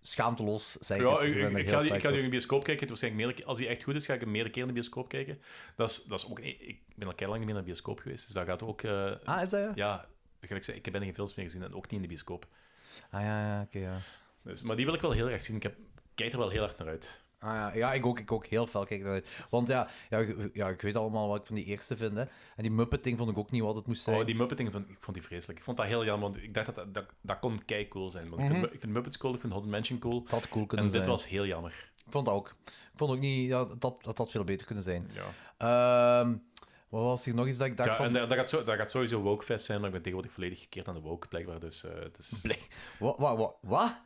Speaker 2: schaamteloos zeggen.
Speaker 4: ja, ik,
Speaker 2: ben
Speaker 4: ik,
Speaker 2: er heel
Speaker 4: ik ga, die- ik
Speaker 2: psyched
Speaker 4: ga die
Speaker 2: voor.
Speaker 4: in de bioscoop kijken. Het waarschijnlijk meerdere, als die echt goed is, ga ik hem meerdere keer in de bioscoop kijken. Dat is, dat is ook, ik ben al lang niet meer naar de bioscoop geweest, dus dat gaat ook... eh,
Speaker 2: Ah, is dat ja?
Speaker 4: ja, gelijk zei, ik heb bijna geen films meer gezien en ook niet in de bioscoop.
Speaker 2: Ah ja, ja, oké, ja.
Speaker 4: Dus, maar die wil ik wel heel erg zien. Ik heb, kijk er wel heel hard naar uit.
Speaker 2: Ah, ja. ja, ik ook, ik ook heel fel kijk naar uit. Want ja, ja, ik- ja, ik weet allemaal wat ik van die eerste vind. Hè. En die Muppet-ding vond ik ook niet wat het moest zijn.
Speaker 4: Oh, die Muppet-ding vond ik vond die vreselijk. Ik vond dat heel jammer, want ik dacht dat dat, dat, dat kon kei cool zijn. Want ik vind Mu- ik vind Muppets cool, ik vind Haunted Mansion cool.
Speaker 2: Dat had cool
Speaker 4: En
Speaker 2: Mhm. kunnen
Speaker 4: dit
Speaker 2: zijn.
Speaker 4: was heel jammer.
Speaker 2: Ik vond dat ook. Ik vond ook niet ja, dat, dat dat had veel beter kunnen zijn.
Speaker 4: Ja.
Speaker 2: Ehm, wat was hier nog eens dat ik dacht
Speaker 4: Ja,
Speaker 2: van...
Speaker 4: en dat, dat gaat zo, dat gaat sowieso wokefest zijn, maar ik ben tegenwoordig volledig gekeerd aan de woke, blijkbaar. Dus, eh, het is...
Speaker 2: Wat? Wat? Wat? wat?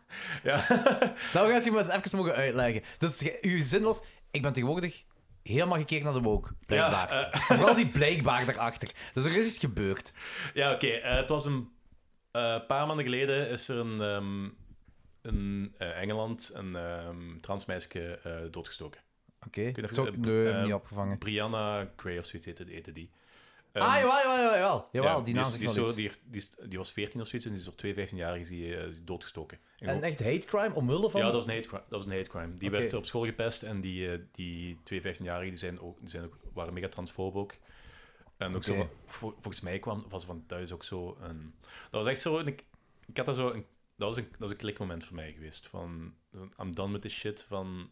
Speaker 4: Ja.
Speaker 2: Dat gaat je me eens even mogen uitleggen. Dus je- uw zin was, ik ben tegenwoordig helemaal gekeken naar de woke, blijkbaar.
Speaker 4: Ja, eh.
Speaker 2: Vooral die blijkbaar daarachter. Dus er is iets gebeurd.
Speaker 4: Ja, oké. eh, het was een eh, paar maanden geleden is er een, ehm, in eh, Engeland een ehm trans meisje eh, doodgestoken.
Speaker 2: Oké,
Speaker 4: weet niet of
Speaker 2: Zo-
Speaker 4: je- eh,
Speaker 2: nee,
Speaker 4: eh,
Speaker 2: niet opgevangen.
Speaker 4: Brianna Gray of zoiets heette, heette die. Ehm,
Speaker 2: ah, jawel, jawel, jawel. jawel.
Speaker 4: ja,
Speaker 2: Jawel, die naam
Speaker 4: is-
Speaker 2: zegt
Speaker 4: die, is
Speaker 2: wel
Speaker 4: zo-
Speaker 2: iets.
Speaker 4: die, die, is- die was 14 of zoiets en die is door twee 15-jarigen is die, eh, doodgestoken. En
Speaker 2: En
Speaker 4: gewoon-
Speaker 2: echt hate crime, omwille van...
Speaker 4: ja, dat was, een hate crime, dat was een hate crime. Die
Speaker 2: Oké.
Speaker 4: werd op school gepest en die, eh, die twee 15-jarigen die zijn ook, die zijn ook, waren mega transfoob ook. En ook zo,
Speaker 2: Oké.
Speaker 4: van- vol- volgens mij kwam, was van thuis ook zo een... Dat was echt zo... een- Ik, had dat zo... Een, dat, was een, dat was een klikmoment voor mij geweest. Van, I'm done with this shit. Van,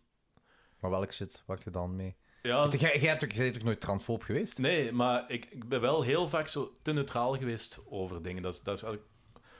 Speaker 2: Maar welk shit, wat je dan mee?
Speaker 4: ja,
Speaker 2: Want Jij jij hebt ook- jij bent ook nooit transfoob geweest?
Speaker 4: nee, maar ik, ik ben wel heel vaak zo te neutraal geweest over dingen. Dat, is- dat is eigenlijk-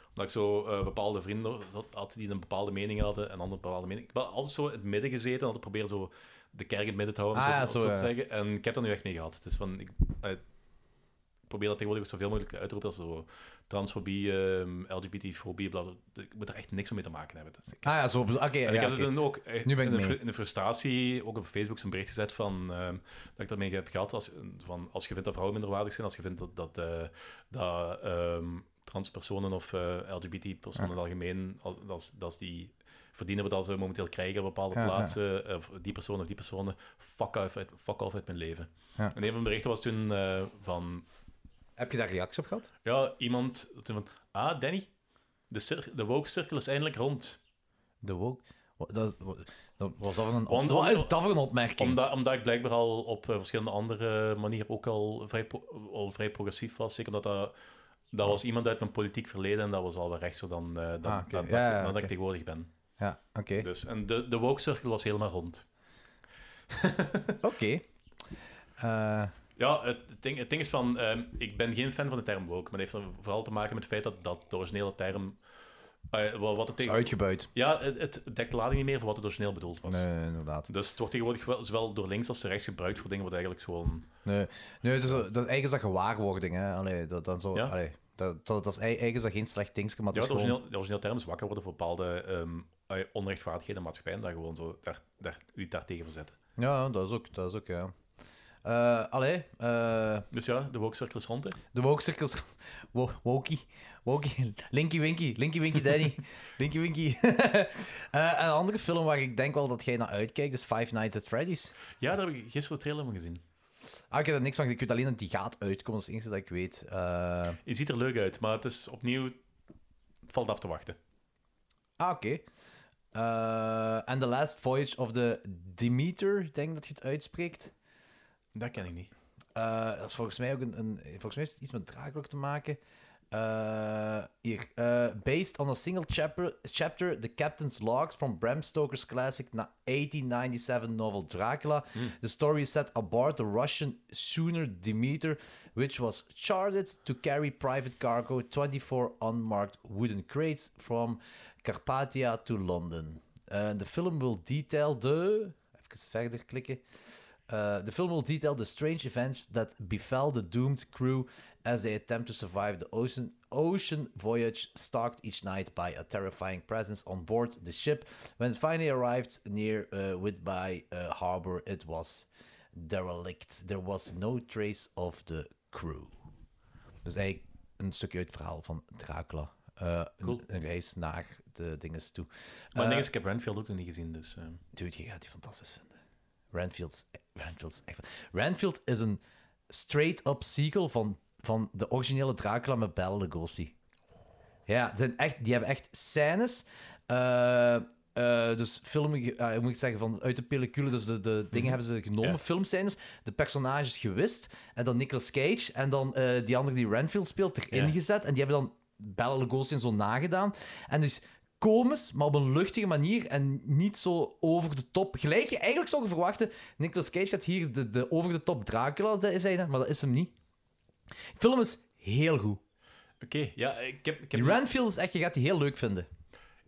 Speaker 4: omdat ik zo eh, bepaalde vrienden zat- had die een bepaalde mening hadden en anderen een bepaalde mening. Ik heb wel altijd zo in het midden gezeten en altijd proberen zo de kerk in het midden te houden, om
Speaker 2: Ah,
Speaker 4: zo, te- om
Speaker 2: ja, zo,
Speaker 4: zo te zeggen. En ik heb dat nu echt mee gehad. Dus van, ik, eh, ik probeer dat tegenwoordig ook zoveel mogelijk uit te roepen als zo transfobie, ehm, LGBT-fobie, bla, bla, bla. Ik moet er echt niks mee te maken hebben. Dat is-
Speaker 2: Ah ja, zo... bedoel- Oké,
Speaker 4: en
Speaker 2: ja,
Speaker 4: ik heb
Speaker 2: oké.
Speaker 4: het dan ook eh,
Speaker 2: Nu ben ik
Speaker 4: in,
Speaker 2: mee.
Speaker 4: de, fru- in de frustratie ook op Facebook zo'n bericht gezet van ehm, dat ik daarmee heb gehad. Als, van, als je vindt dat vrouwen minderwaardig zijn, als je vindt dat, dat, eh, dat ehm, transpersonen of eh, LGBT-personen in het algemeen, als, als, als die verdienen wat ze momenteel krijgen op bepaalde
Speaker 2: Ja, ja.
Speaker 4: plaatsen, eh, of die personen of die personen, fuck off uit, fuck off uit mijn leven.
Speaker 2: Ja.
Speaker 4: En een van de berichten was toen eh, van,
Speaker 2: Heb je daar reacties op gehad?
Speaker 4: ja, iemand, toen van, ah, Danny, de, cir- de woke cirkel is eindelijk rond.
Speaker 2: De woke... Wat, dat, wat- dat- was dat voor een...
Speaker 4: Want-
Speaker 2: wat is dat voor een opmerking?
Speaker 4: Omdat, omdat ik blijkbaar al op eh, verschillende andere manieren ook al vrij, pro- al vrij progressief was. Zeker omdat dat, dat was iemand uit mijn politiek verleden en dat was al wat rechtser dan, eh, dan,
Speaker 2: Ah, oké.
Speaker 4: dan,
Speaker 2: Ja,
Speaker 4: dan-
Speaker 2: ja,
Speaker 4: dan dat
Speaker 2: oké.
Speaker 4: ik tegenwoordig ben.
Speaker 2: Ja, oké.
Speaker 4: Dus, en de, de woke cirkel was helemaal rond.
Speaker 2: Oké. Eh,
Speaker 4: Ja, het, het ding, het ding is van, ehm, ik ben geen fan van de term woke, maar dat heeft dan vooral te maken met het feit dat dat de originele term... eh, wa- wat het
Speaker 2: is
Speaker 4: tegen...
Speaker 2: uitgebuit.
Speaker 4: Ja, het, het dekt de lading niet meer voor wat het origineel bedoeld was.
Speaker 2: Nee, inderdaad.
Speaker 4: Dus het wordt tegenwoordig wel, zowel door links als door rechts gebruikt voor dingen wat eigenlijk gewoon...
Speaker 2: Nee, nee dus, dat, eigenlijk is dat gewaarwording. Hè. Allee, dat, dan zo,
Speaker 4: Ja.
Speaker 2: allee, dat, dat, dat is, eigenlijk is dat geen slecht dingetje, maar
Speaker 4: Ja,
Speaker 2: het
Speaker 4: het
Speaker 2: is gewoon...
Speaker 4: origineel, de origineel term is wakker worden voor bepaalde ehm, eh, onrechtvaardigheden in de maatschappij en daar gewoon zo, daar, daar, u daartegen verzetten.
Speaker 2: Ja, dat is ook, dat is ook, ja. Eh allee, eh,
Speaker 4: Dus ja, de woke-cirkel is rond. hè.
Speaker 2: de woke cirkels... Wo wokey, wokey, Linky Winky, Linky Winky Daddy, Linky Winky. Eh, een andere film waar ik denk wel dat jij naar uitkijkt is Five Nights at Freddy's.
Speaker 4: Ja, daar heb ik gisteren de trailer van gezien.
Speaker 2: Ah, ik heb er niks van, gezien. ik weet alleen dat die gaat uitkomen, dat is het enige dat ik weet. Eh,
Speaker 4: Het ziet er leuk uit, maar het is opnieuw... Het valt af te wachten.
Speaker 2: Ah, oké. Eh, And the Last Voyage of the Demeter, ik denk dat je het uitspreekt.
Speaker 4: Dat ken ik niet.
Speaker 2: Eh, dat is volgens mij ook een, een... Volgens mij heeft het iets met draak ook te maken. Eh, Eh, hier. eh, based on a single chapter, chapter, The Captain's Logs from Bram Stoker's classic na- 1897 novel Dracula. The story is set aboard the Russian schooner Demeter, which was chartered to carry private cargo 24 unmarked wooden crates from Carpathia to London. Eh, the film will detail the. Even verder klikken. Uh, the film will detail the strange events that befell the doomed crew as they attempt to survive the ocean, ocean voyage, stalked each night by a terrifying presence on board the ship. When it finally arrived near uh, Whitby uh, Harbor, it was derelict. There was no trace of the crew. Dus eigenlijk een stukje uit het verhaal van Dracula. Uh, een-
Speaker 4: Cool.
Speaker 2: een, reis naar de dinges toe.
Speaker 4: Maar
Speaker 2: Eh,
Speaker 4: het ding is, ik heb Renfield ook nog niet gezien, dus... eh,
Speaker 2: Dude, je gaat die fantastisch vinden. Renfield, is- Renfield is echt... Renfield is een straight-up sequel van, van de originele Dracula met Bela Lugosi. Ja, het zijn echt, die hebben echt scènes. eh, eh, dus film, eh, hoe moet ik zeggen, van, uit de pellicule, dus de, de dingen hebben ze genomen,
Speaker 4: Mhm. Ja.
Speaker 2: filmscènes, de personages gewist, en dan Nicolas Cage, en dan eh, die andere die Renfield speelt, erin
Speaker 4: Ja.
Speaker 2: gezet, en die hebben dan Bela Lugosi en zo nagedaan. En dus komisch, maar op een luchtige manier en niet zo over de top. Gelijk je eigenlijk zou je verwachten, Nicolas Cage gaat hier de, de over de top Dracula ze- zijn, maar dat is hem niet. De film is heel goed.
Speaker 4: Oké, ja, ik heb, ik heb
Speaker 2: Die Renfield is echt, je gaat die heel leuk vinden.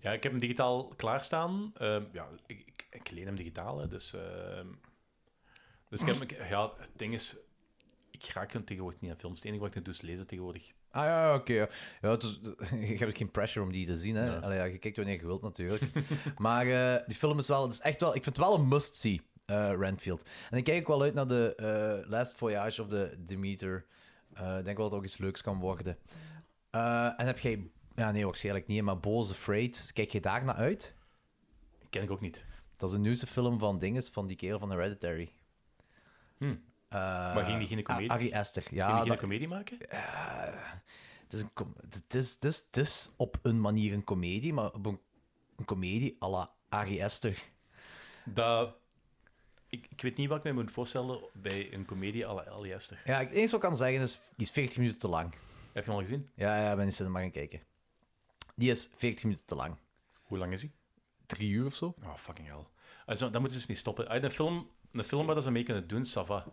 Speaker 4: Ja, ik heb hem digitaal klaarstaan. Ehm, ja, ik, ik, ik leen hem digitaal, hè, dus... ehm, dus ik heb... Ik, ja, het ding is... Ik raak hem tegenwoordig niet aan films. Het enige wat ik nu doe, is lezen tegenwoordig.
Speaker 2: Ah ja, ja, oké. ja. ja, het is- je hebt ook geen pressure om die te zien. Hè?
Speaker 4: Ja.
Speaker 2: Allee, ja, je kijkt wanneer je wilt natuurlijk. maar eh, die film is wel, het is echt wel, ik vind het wel een must-see, eh, Renfield. En ik kijk ook wel uit naar de eh, Last Voyage of the Demeter. Eh, ik denk wel dat het ook iets leuks kan worden. Eh, en heb jij, ja nee, waarschijnlijk niet, maar Boze Freight, kijk je daar naar uit?
Speaker 4: Ken ik ook niet.
Speaker 2: Dat is de nieuwste film van Dinges, van die kerel van Hereditary.
Speaker 4: Hm.
Speaker 2: Eh,
Speaker 4: Maar ging die geen comedie-
Speaker 2: Ari Aster, ja.
Speaker 4: Kun je geen
Speaker 2: ah, dat-
Speaker 4: comedie maken?
Speaker 2: eh, het, is een com- het, is, het, is, het is op een manier een komedie, maar op een, een komedie à la Ari Aster.
Speaker 4: Dat... Ik, ik weet niet wat ik mij moet voorstellen bij een comedie à la Ari Aster.
Speaker 2: Ja, het enige wat ik kan zeggen is, die is 40 minuten te lang.
Speaker 4: Heb je hem al gezien?
Speaker 2: Ja, ja, ik ben in de cinema gaan kijken. Die is 40 minuten te lang.
Speaker 4: Hoe lang is hij?
Speaker 2: Drie uur of zo?
Speaker 4: Oh, fucking hell. Also, daar moeten ze eens mee stoppen. Uit een film, een film waar dat ze mee kunnen doen, Sava.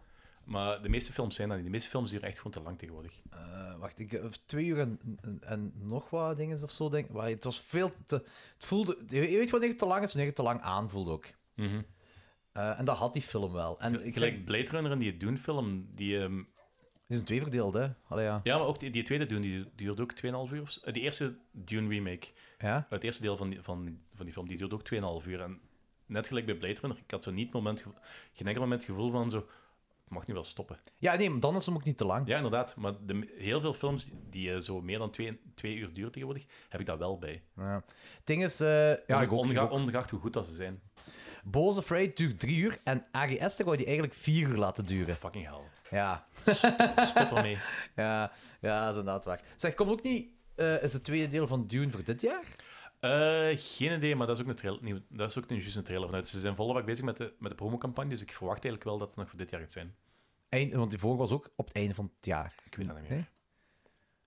Speaker 4: Maar de meeste films zijn dat niet. De meeste films duren echt gewoon te lang tegenwoordig.
Speaker 2: Eh, wacht, ik, eh, twee uur en, en, en nog wat dingen of zo, denk ik. Maar het was veel te... Het voelde... Je weet wanneer het te lang is, wanneer het te lang aanvoelt ook. Eh, en dat had die film wel. En ik
Speaker 4: Gelijk
Speaker 2: zeg,
Speaker 4: Blade Runner en die Dune-film, die... ehm,
Speaker 2: het is een tweeverdeeld, hè? Allee, ja.
Speaker 4: ja, maar ook die, die tweede Dune, die duurde ook 2,5 uur. of zo. Eh, Die eerste Dune-remake,
Speaker 2: Ja?
Speaker 4: het eerste deel van die, van, van die film, die duurde ook 2,5 uur. En net gelijk bij Blade Runner, ik had zo niet het moment, gevo- geen enkel moment het gevoel van zo... Ik mag nu wel stoppen.
Speaker 2: Ja, nee, maar dan is hem ook niet te lang.
Speaker 4: Ja, inderdaad. Maar de, heel veel films die, die eh, zo meer dan twee, twee uur duren tegenwoordig, heb ik dat wel bij.
Speaker 2: Ja. Het ding is, eh ja, ik ook, ik
Speaker 4: Onge-
Speaker 2: ook.
Speaker 4: ongeacht hoe goed dat ze zijn.
Speaker 2: Boze Freight duurt drie uur en Ari Aster wou die eigenlijk vier uur laten duren.
Speaker 4: Fucking hell.
Speaker 2: Ja,
Speaker 4: Stop ermee.
Speaker 2: ja, ja dat is inderdaad waar. Zeg, komt ook niet, eh, is het tweede deel van Dune voor dit jaar?
Speaker 4: Eh, geen idee, maar dat is ook een trailer. nieuw- dat is ook nu juist een trailer vanuit. Ze zijn volop bezig met de, met de promocampagne, dus ik verwacht eigenlijk wel dat het nog voor dit jaar gaat zijn.
Speaker 2: Eind, want die vorige was ook op het einde van het jaar.
Speaker 4: Ik weet dat niet meer.
Speaker 2: Nee?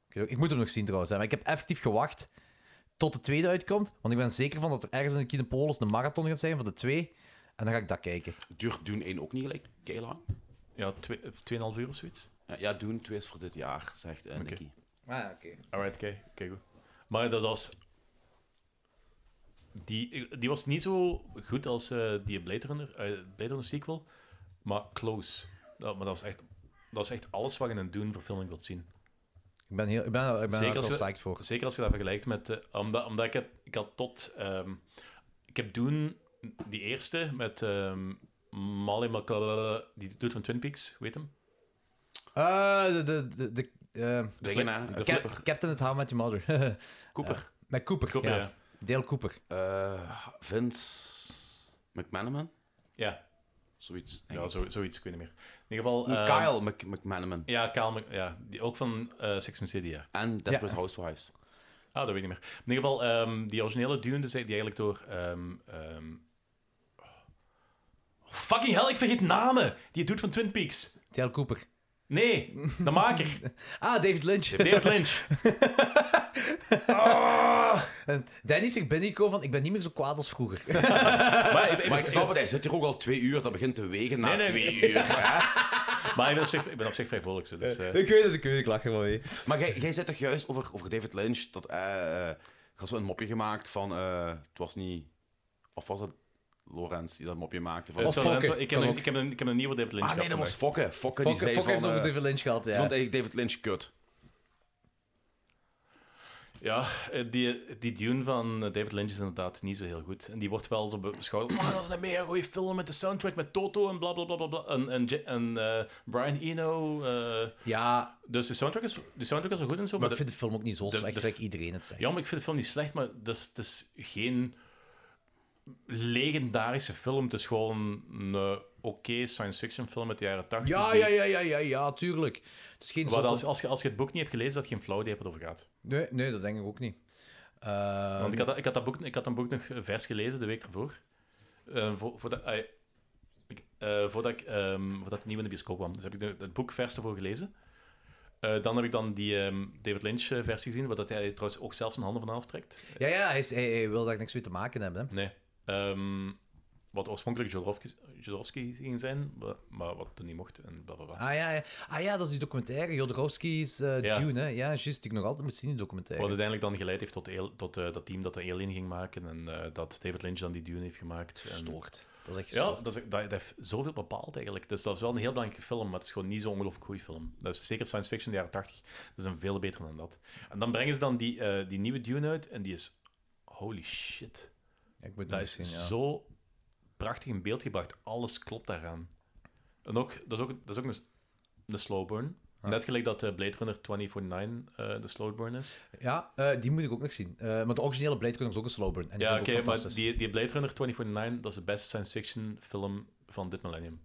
Speaker 2: Ik, weet ook- ik moet hem nog zien trouwens, hè, maar ik heb effectief gewacht tot de tweede uitkomt, want ik ben zeker van dat er ergens in de Kinepolis een marathon gaat zijn van de twee. En dan ga ik dat kijken.
Speaker 3: Duurt Dune 1 ook niet gelijk kei lang?
Speaker 4: Ja, twee- eh, 2,5 uur of zoiets.
Speaker 3: Eh, Ja, Dune 2 is voor dit jaar, zegt eh, Nicky.
Speaker 2: Ah, oké.
Speaker 4: Alright, oké. oké, goed. Maar dat was... Die, die was niet zo goed als eh, die Blade Runner, eh, Blade Runner sequel, maar close. Dat, maar dat was, echt, dat was echt alles wat je in een Dune-verfilming wilt zien.
Speaker 2: Ik ben, heel, ik ben, ik ben
Speaker 4: Zeker
Speaker 2: er wel
Speaker 4: als je-
Speaker 2: psyched voor.
Speaker 4: Zeker als je dat vergelijkt met... eh, omdat omdat ik, heb, ik had tot... ehm, ik heb doen die eerste met ehm Molly McCall... Die doet van Twin Peaks, weet hem?
Speaker 2: Eh, de, de, de, de, eh,
Speaker 3: Dingen, hè?
Speaker 4: de
Speaker 2: Cap-
Speaker 3: Eh,
Speaker 4: flipper.
Speaker 2: Captain at How I Met Your Mother.
Speaker 3: Cooper.
Speaker 2: Met Cooper.
Speaker 4: Cooper,
Speaker 2: ja.
Speaker 4: ja.
Speaker 2: Dale Cooper.
Speaker 3: Eh, Vince McManaman?
Speaker 4: Ja,
Speaker 3: Zoiets. denk
Speaker 4: ja
Speaker 3: ik.
Speaker 4: zo, zoiets, ik weet niet meer. In ieder geval...
Speaker 3: Nee,
Speaker 4: ehm,
Speaker 3: Kyle Mc- McManaman.
Speaker 4: Ja, Kyle Mc- ja, die, ook van eh Six and City, ja.
Speaker 3: En Desperate Housewives.
Speaker 4: Ah, dat weet ik niet meer. In ieder geval, ehm, die originele Dune, dus die eigenlijk door... ehm, ehm, oh, fucking hell, ik vergeet namen! Die doet van Twin Peaks.
Speaker 2: Dale Cooper.
Speaker 4: Nee, de maker.
Speaker 2: Ah, David Lynch.
Speaker 4: David Lynch. Ah!
Speaker 2: En Danny zegt binnenkomen van, ik ben niet meer zo kwaad als vroeger.
Speaker 4: Maar, ik- ik-
Speaker 3: Maar ik snap het, hij zit hier ook al twee uur. Dat begint te wegen na
Speaker 4: Nee, nee.
Speaker 3: twee uur. hè?
Speaker 4: maar ik, ben op zich, ik ben op zich vrij vrolijk. zo, Dus, eh,
Speaker 2: ik weet het, ik weet het, ik lach er wel mee.
Speaker 3: Maar jij, jij zei toch juist over, over David Lynch dat hij. eh had zo een mopje gemaakt van. eh, het was niet. Of was het Lorenz die dat mopje maakte? Van,
Speaker 4: eh,
Speaker 2: Of
Speaker 4: sorry,
Speaker 2: Fokker,
Speaker 4: Renzo, ik, heb
Speaker 2: kan
Speaker 4: een,
Speaker 2: ook.
Speaker 4: ik, heb een, ik heb een nieuwe David Lynch.
Speaker 3: ah nee, dat
Speaker 4: gehad
Speaker 3: was Fokke. Fokke die
Speaker 2: Fuck,
Speaker 3: zei
Speaker 2: fuck
Speaker 3: van.
Speaker 2: heeft over
Speaker 3: eh,
Speaker 2: David Lynch gehad,
Speaker 3: die
Speaker 2: ja.
Speaker 3: vond eigenlijk David Lynch kut.
Speaker 4: vandaag. Ja, eh, die, die Dune van eh, David Lynch is inderdaad niet zo heel goed. En die wordt wel zo beschouwd. Oh, dat is een mega goede film met de soundtrack met Toto en bla bla bla bla. bla. En, en, Ja- en eh, Brian Eno. eh,
Speaker 2: Ja,
Speaker 4: dus de soundtrack, is, de soundtrack is wel goed en zo.
Speaker 2: maar ik
Speaker 4: de-
Speaker 2: vind de film ook niet zo
Speaker 4: de-
Speaker 2: slecht,
Speaker 4: de-
Speaker 2: gelijk iedereen het zegt.
Speaker 4: Ja, maar ik vind de film niet slecht, maar het is, het is geen legendarische film. Het is gewoon een eh, oké science fiction film uit de jaren 80.
Speaker 2: Ja,
Speaker 4: die-
Speaker 2: ja, ja, ja, ja, ja, tuurlijk. Het is geen
Speaker 4: Wat
Speaker 2: zotte-
Speaker 4: als, als, je, als je het boek niet hebt gelezen, dat je geen flauw idee hebt wat het over gaat.
Speaker 2: Nee, nee, dat denk ik ook niet. Eh,
Speaker 4: Want ik had, dat- ik, had dat boek, ik had dat boek nog eh, vers gelezen de week ervoor. Eh, voor, voordat, ah, ik, eh, voordat, ik, ehm, voordat het nieuw in de bioscoop kwam. Dus heb ik de- het boek vers ervoor gelezen. Eh, dan heb ik dan die ehm, David Lynch-versie gezien, wat dat hij trouwens ook zelf zijn handen van aftrekt.
Speaker 2: Ja, ja, hij, is- hij- hij wil daar niks mee te maken hebben. Hè.
Speaker 4: Nee. Ehm, wat oorspronkelijk Jodorowsky, Jodorowsky ging zijn, wa- maar wat toen niet mocht en bla bla bla.
Speaker 2: Ah ja, ja. ah ja, dat is die documentaire, Jodorowsky's eh
Speaker 4: Ja.
Speaker 2: Dune. Hè. Ja, juist, die ik nog altijd moet zien, die documentaire.
Speaker 4: Wat uiteindelijk dan geleid heeft tot, Al- tot eh, dat team dat de Alien ging maken en eh, dat David Lynch dan die Dune heeft gemaakt. En-
Speaker 2: Gestoord. Dat is echt
Speaker 4: Ja,
Speaker 2: gestoord.
Speaker 4: dat, is, dat, dat heeft zoveel bepaald eigenlijk. Dus dat is wel een heel belangrijke film, maar het is gewoon niet zo'n ongelooflijk goede film. Dat is zeker science fiction in de jaren 80. Dat is een veel beter dan dat. En dan brengen ze dan die, eh, die nieuwe Dune uit en die is... Holy shit.
Speaker 2: Ja, ik moet
Speaker 4: Dat
Speaker 2: nog
Speaker 4: is
Speaker 2: zien, ja.
Speaker 4: zo prachtig in beeld gebracht. Alles klopt daaraan. En ook, dat is ook, dat is ook een, een slow burn. Net gelijk dat eh, Blade Runner 2049 eh, de slow burn is.
Speaker 2: Ja, eh, die moet ik ook nog zien. Eh, maar de originele Blade Runner is ook een slow burn. En die
Speaker 4: ja,
Speaker 2: vind
Speaker 4: oké,
Speaker 2: ik ook
Speaker 4: maar
Speaker 2: fantastisch.
Speaker 4: die, die Blade Runner 2049, dat is de beste science fiction film van dit millennium.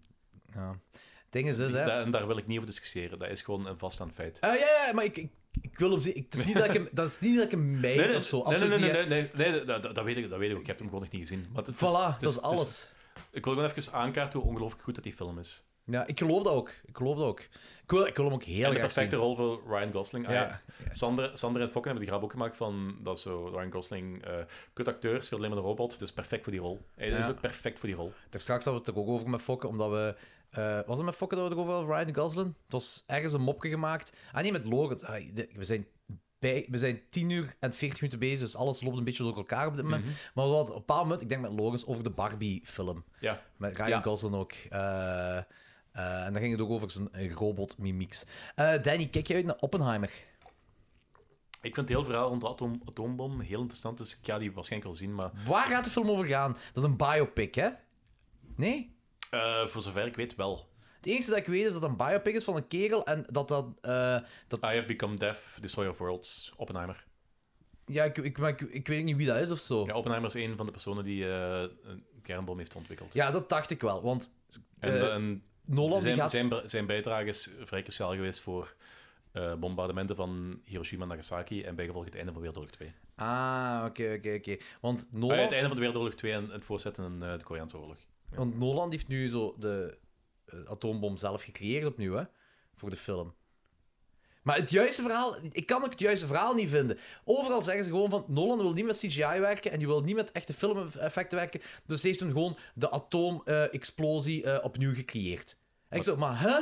Speaker 2: Ja. Het ding is, dus, hè.
Speaker 4: Da- en daar wil ik niet over discussiëren. Dat is gewoon een vaststaand feit.
Speaker 2: Eh, ja, ja, maar ik, ik, ik wil hem zien. Ik, het is niet dat ik hem, dat is niet dat ik hem mijd of zo.
Speaker 4: nee, nee,
Speaker 2: Absoluut
Speaker 4: nee, nee,
Speaker 2: niet. hè.
Speaker 4: nee, nee, nee, dat, dat- dat weet ik, dat weet ik ook. Ik heb hem gewoon nog niet gezien. Maar het
Speaker 2: Voilà,
Speaker 4: is- het
Speaker 2: dat is
Speaker 4: het
Speaker 2: alles.
Speaker 4: ik wil gewoon even aankaarten hoe ongelooflijk goed dat die film is.
Speaker 2: Ja, ik geloof dat ook. Ik geloof dat ook. Ik wil, ik wil hem ook heel
Speaker 4: en de
Speaker 2: graag zien.
Speaker 4: perfecte rol voor Ryan Gosling. Ah,
Speaker 2: Ja.
Speaker 4: ja. Sander, Sander en Fokker hebben die grap ook gemaakt van dat zo Ryan Gosling, eh kut acteur, speelt alleen maar een robot, dus perfect voor die rol. Hij is
Speaker 2: Ja.
Speaker 4: ook perfect voor die rol.
Speaker 2: Daar straks hadden we het er ook over met Fokken, omdat we... eh, was het met Fokken dat we het erover hadden? Ryan Gosling? Het was ergens een mopje gemaakt. Ah nee, met Lorenz. Ah, de- we, zijn bij, we zijn 10 uur en 40 minuten bezig, dus alles loopt een beetje door elkaar op dit moment. Maar wat, op een bepaald moment, ik denk met Lorenz, over de Barbie-film.
Speaker 4: Ja.
Speaker 2: Met Ryan
Speaker 3: Ja.
Speaker 2: Gosling ook. Eh, eh, en dan ging het ook over zijn eh, robot-mimics. Eh, Danny, kijk je uit naar Oppenheimer?
Speaker 4: Ik vind het heel verhaal rond de atoom, atoombom heel interessant, dus ik ga die waarschijnlijk wel zien. Maar
Speaker 2: Waar gaat de film over gaan? Dat is een biopic, hè? Nee?
Speaker 4: eh, voor zover ik weet wel.
Speaker 2: Het enige dat ik weet is dat het een biopic is van een kerel en dat dat... eh, dat
Speaker 4: I Have Become Deaf, Destroyer of Worlds, Oppenheimer.
Speaker 2: Ja, ik, ik, maar ik, ik weet niet wie dat is of zo.
Speaker 4: Ja,
Speaker 2: Ja,
Speaker 4: Oppenheimer is een van de personen die eh, een kernbom heeft ontwikkeld.
Speaker 2: dat dacht ik wel, want
Speaker 4: En,
Speaker 2: eh,
Speaker 4: en
Speaker 2: Nolan
Speaker 4: zijn,
Speaker 2: die gaat...
Speaker 4: zijn, be- zijn bijdrage is vrij cruciaal geweest voor eh, bombardementen van Hiroshima en Nagasaki en bijgevolg het einde van Wereldoorlog 2.
Speaker 2: Ah, oké, oké, oké. Want
Speaker 4: Ah,
Speaker 2: Nolan...
Speaker 4: ja, het einde van de Wereldoorlog 2 en het voortzetten in eh, de Koreaanse oorlog.
Speaker 2: Want Nolan heeft nu zo de eh, atoombom zelf gecreëerd opnieuw, hè? Voor de film. Maar het juiste verhaal... Ik kan ook het juiste verhaal niet vinden. Overal zeggen ze gewoon van... Nolan wil niet met CGI werken en die wil niet met echte filmeffecten werken. Dus heeft hem gewoon de atoomexplosie eh, opnieuw gecreëerd. En ik zo, maar hè?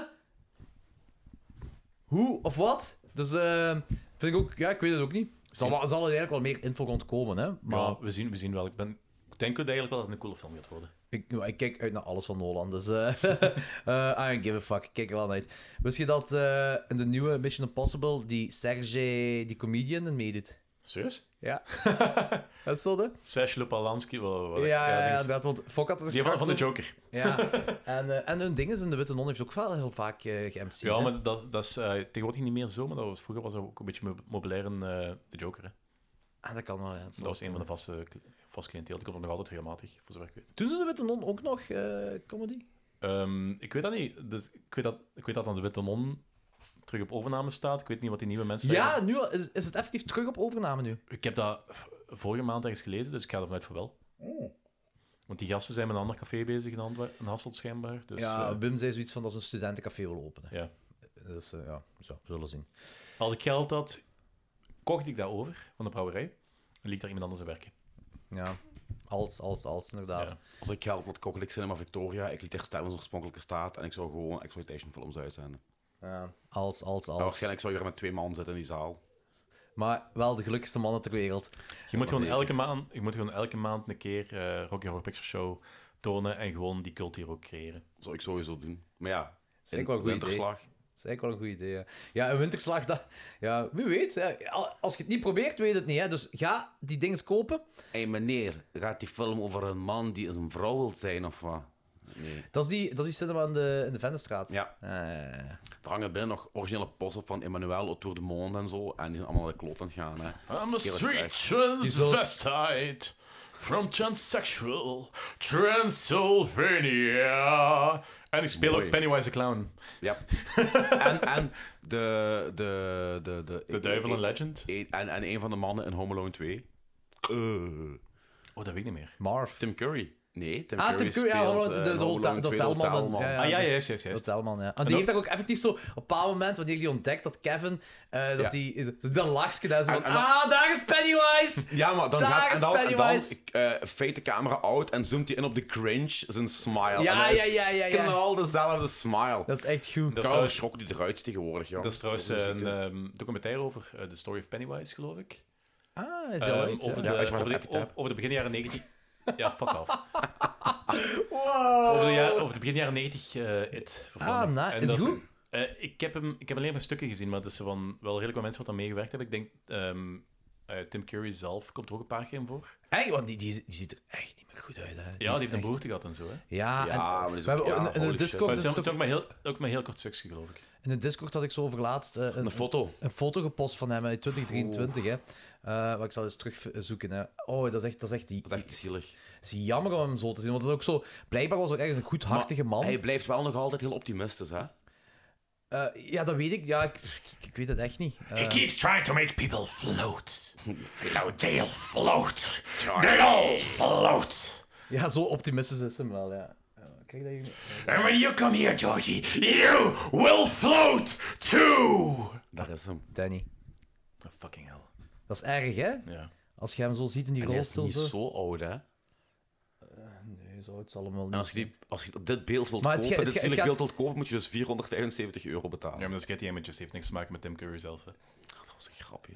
Speaker 2: Hoe of wat? Dus eh, vind ik ook... Ja, ik weet het ook niet. Zal, wel- zal er eigenlijk wel meer info ontkomen, hè? Maar
Speaker 4: Maar we, zien, we zien wel. Ik, ben, ik denk ook eigenlijk wel dat het een coole film gaat worden.
Speaker 2: ik, maar ik kijk uit naar alles van Nolan, dus eh, eh, I don't give a fuck. Ik kijk er wel naar uit. Wist je dat eh, in de nieuwe Mission Impossible die Sergej, die comedian, in meedoet?
Speaker 4: Serieus?
Speaker 2: Ja. Dat is zo, hè?
Speaker 4: Serge Lopalansky. wel- wel-
Speaker 2: Ja, ja,
Speaker 4: die
Speaker 2: ja,
Speaker 4: is-
Speaker 2: inderdaad, want Fok had het er
Speaker 4: Die van,
Speaker 2: straks
Speaker 4: van de
Speaker 2: over.
Speaker 4: Joker.
Speaker 2: Ja. En, eh, en hun ding is in De Witte Non heeft ook wel heel vaak uh,
Speaker 4: Ja, maar dat, dat is eh, tegenwoordig niet meer zo, maar dat was, vroeger was dat ook een beetje mo- mobilair in eh, de Joker. Hè.
Speaker 2: Ah, dat kan wel, ja. dat is
Speaker 4: Dat
Speaker 2: wel-
Speaker 4: was een van de vaste, vaste cliënteel. Die komt er nog altijd regelmatig, voor zover ik weet.
Speaker 2: Doen ze De Witte Non ook nog eh, comedy?
Speaker 4: Ehm, ik weet dat niet. Dus ik, weet dat, ik weet dat dan de Witte Non terug op overname staat. Ik weet niet wat die nieuwe mensen
Speaker 2: Ja, nu al- is, is het effectief terug op overname nu.
Speaker 4: Ik heb dat v- vorige maand ergens gelezen, dus ik ga ervan uit voor wel.
Speaker 3: Oh.
Speaker 4: Want die gasten zijn met een ander café bezig in, Antwer- in Hasselt schijnbaar. Dus,
Speaker 2: ja,
Speaker 4: eh,
Speaker 2: Wim zei zoiets van dat ze een studentencafé wil openen.
Speaker 4: ja.
Speaker 2: Eh, Dus eh, ja, zo, we zullen zien.
Speaker 4: Als ik geld had, kocht ik dat over van de brouwerij. En liet daar iemand anders aan werken.
Speaker 2: Ja, als, als, als, inderdaad.
Speaker 4: Ja.
Speaker 3: Als ik geld had, kocht ik Cinema Victoria. Ik liet er staan in onze oorspronkelijke staat. En ik zou gewoon exploitation films uitzenden.
Speaker 2: Ja, Als, als,
Speaker 3: En
Speaker 2: als.
Speaker 3: waarschijnlijk zou je er met twee man zitten in die zaal.
Speaker 2: Maar wel de gelukkigste mannen ter wereld.
Speaker 4: Je moet, gewoon
Speaker 3: zeker.
Speaker 4: elke maand, je moet gewoon elke maand een keer eh, Rocky Horror Picture Show tonen en gewoon die cult hier ook creëren.
Speaker 3: Zou ik sowieso doen. Maar ja,
Speaker 2: is eigenlijk wel een goed idee.
Speaker 3: winterslag.
Speaker 2: Dat is eigenlijk wel een goed idee. Ja, ja een winterslag, dat, ja, wie weet. hè. Al- Als je het niet probeert, weet het niet. Hè. Dus ga die dingen kopen.
Speaker 3: Hé meneer, gaat die film over een man die een vrouw wil zijn of wat? Nee.
Speaker 2: Dat is die, dat is die cinema in de, in de Vennestraat.
Speaker 3: Ja.
Speaker 2: Eh,
Speaker 3: Er hangen binnen nog originele posten van Emmanuel Autour de Monde en zo. En die zijn allemaal naar de klot aan het gaan. Hè.
Speaker 4: I'm
Speaker 3: Heel
Speaker 4: a street
Speaker 3: erg.
Speaker 4: transvestite from transsexual Transylvania. En ik speel
Speaker 3: Mooi.
Speaker 4: ook Pennywise the Clown.
Speaker 3: Ja. en en de, de, de, de,
Speaker 4: De duivel in Legend.
Speaker 3: Een- en, en een van de mannen in Home Alone 2. Eh,
Speaker 4: Oh, dat weet ik niet meer.
Speaker 2: Marv.
Speaker 3: Tim Curry. Nee, Tim
Speaker 2: Ah, Tim
Speaker 3: Curry
Speaker 2: Curry, ja,
Speaker 3: speelt,
Speaker 2: de- de-
Speaker 3: eh,
Speaker 2: de
Speaker 3: Home Alone
Speaker 2: hotel-
Speaker 3: 2,
Speaker 2: de hotelman.
Speaker 3: hotelman.
Speaker 2: Ja,
Speaker 4: ah ja,
Speaker 2: de-
Speaker 4: juist, juist, juist.
Speaker 2: Hotelman, ja. En die
Speaker 4: dat-
Speaker 2: heeft daar ook effectief zo... Op een bepaald moment, wanneer die ontdekt dat Kevin... eh, dat
Speaker 3: Ja.
Speaker 2: die... Dat lachje daar zo
Speaker 3: En-
Speaker 2: van...
Speaker 3: en dan-
Speaker 2: Ah, daar is Pennywise!
Speaker 3: Ja, maar dan
Speaker 2: Daar
Speaker 3: gaat
Speaker 2: is
Speaker 3: en dan, en dan
Speaker 2: Pennywise.
Speaker 3: eh, fade de camera out en zoomt hij in op de cringe, zijn smile.
Speaker 2: Ja,
Speaker 3: en dan is
Speaker 2: ja, ja, ja, ja.
Speaker 3: Knal dezelfde smile.
Speaker 2: Dat is echt goed.
Speaker 4: Dat is
Speaker 3: Karel
Speaker 4: trouwens-
Speaker 3: schrok die eruit is tegenwoordig, joh.
Speaker 4: Dat is trouwens
Speaker 3: Dat is
Speaker 4: een
Speaker 3: ziekte.
Speaker 4: ehm, documentaire over eh, The Story of Pennywise, geloof ik.
Speaker 2: Ah, is
Speaker 4: Ehm,
Speaker 2: dat uit?
Speaker 4: over,
Speaker 2: ja.
Speaker 3: Ja,
Speaker 4: de,
Speaker 3: uiteraard
Speaker 4: over, de,
Speaker 3: Happy Tap.
Speaker 4: over- over de begin jaren 90. Ja, fuck off.
Speaker 2: Wow!
Speaker 4: Over de, ja- over de begin jaren 90 eh It. verfilming.
Speaker 2: Ah, na-
Speaker 4: En
Speaker 2: is
Speaker 4: dat
Speaker 2: het
Speaker 4: een-
Speaker 2: goed?
Speaker 4: eh, ik, heb hem, ik heb alleen maar stukken gezien, maar het is van wel redelijk wat mensen wat aan meegewerkt hebben. Ik denk, ehm, eh, Tim Curry zelf komt er ook een paar keer in voor.
Speaker 2: Hey, want die, die, die ziet er echt niet meer goed uit, hè.
Speaker 4: Ja, die
Speaker 2: is
Speaker 4: heeft een
Speaker 2: echt-
Speaker 4: behoefte gehad en zo. Hè. Maar
Speaker 2: Ja, en-
Speaker 3: Ja, maar dat is
Speaker 2: we hebben
Speaker 3: ook- ja,
Speaker 2: ook in, in
Speaker 3: holy
Speaker 2: de
Speaker 3: shit.
Speaker 2: Discord...
Speaker 4: het
Speaker 2: is
Speaker 4: is,
Speaker 2: het
Speaker 4: het
Speaker 2: ook-
Speaker 4: is ook, maar heel, ook maar een heel kort stukje, geloof ik.
Speaker 2: In de Discord had ik zo overlaatst eh, een,
Speaker 3: Een foto.
Speaker 2: een foto gepost van hem uit 2023. Hè. Eh, maar ik zal eens terugzoeken. Hè. Oh, dat is echt, dat is echt,
Speaker 3: Dat is echt zielig.
Speaker 2: het is jammer om hem zo te zien. Want dat is ook zo. Blijkbaar was hij ook echt een goedhartige man.
Speaker 3: Hij blijft wel nog altijd heel optimistisch, hè?
Speaker 2: Eh, ja, dat weet ik. Ja, ik, ik, ik weet het echt niet. Eh,
Speaker 4: keeps trying to make people float. Now they'll float.
Speaker 3: They
Speaker 4: all float.
Speaker 2: ja, zo optimistisch is hem wel. Ja. Eh, kijk dat hier.
Speaker 4: And when you come here, Georgie, you will float too.
Speaker 3: Dat is hem.
Speaker 2: Danny.
Speaker 4: fucking hell.
Speaker 2: Dat is erg, hè?
Speaker 4: Ja.
Speaker 2: Als je hem zo ziet in die
Speaker 3: En hij is
Speaker 2: rolstoel.
Speaker 3: niet
Speaker 2: Zo.
Speaker 3: zo oud, hè?
Speaker 2: Nee, zo, het zal hem wel niet.
Speaker 3: En als je, die, als je dit beeld wilt
Speaker 2: Maar het
Speaker 3: kopen,
Speaker 2: ge-
Speaker 3: dit
Speaker 2: het ge- het
Speaker 3: zielig
Speaker 2: gaat-
Speaker 3: beeld wilt kopen, moet je dus 475 euro betalen.
Speaker 4: Ja, maar dat is Getty Images. heeft niks te maken met Tim Curry zelf. Hè.
Speaker 3: Dat was een grapje.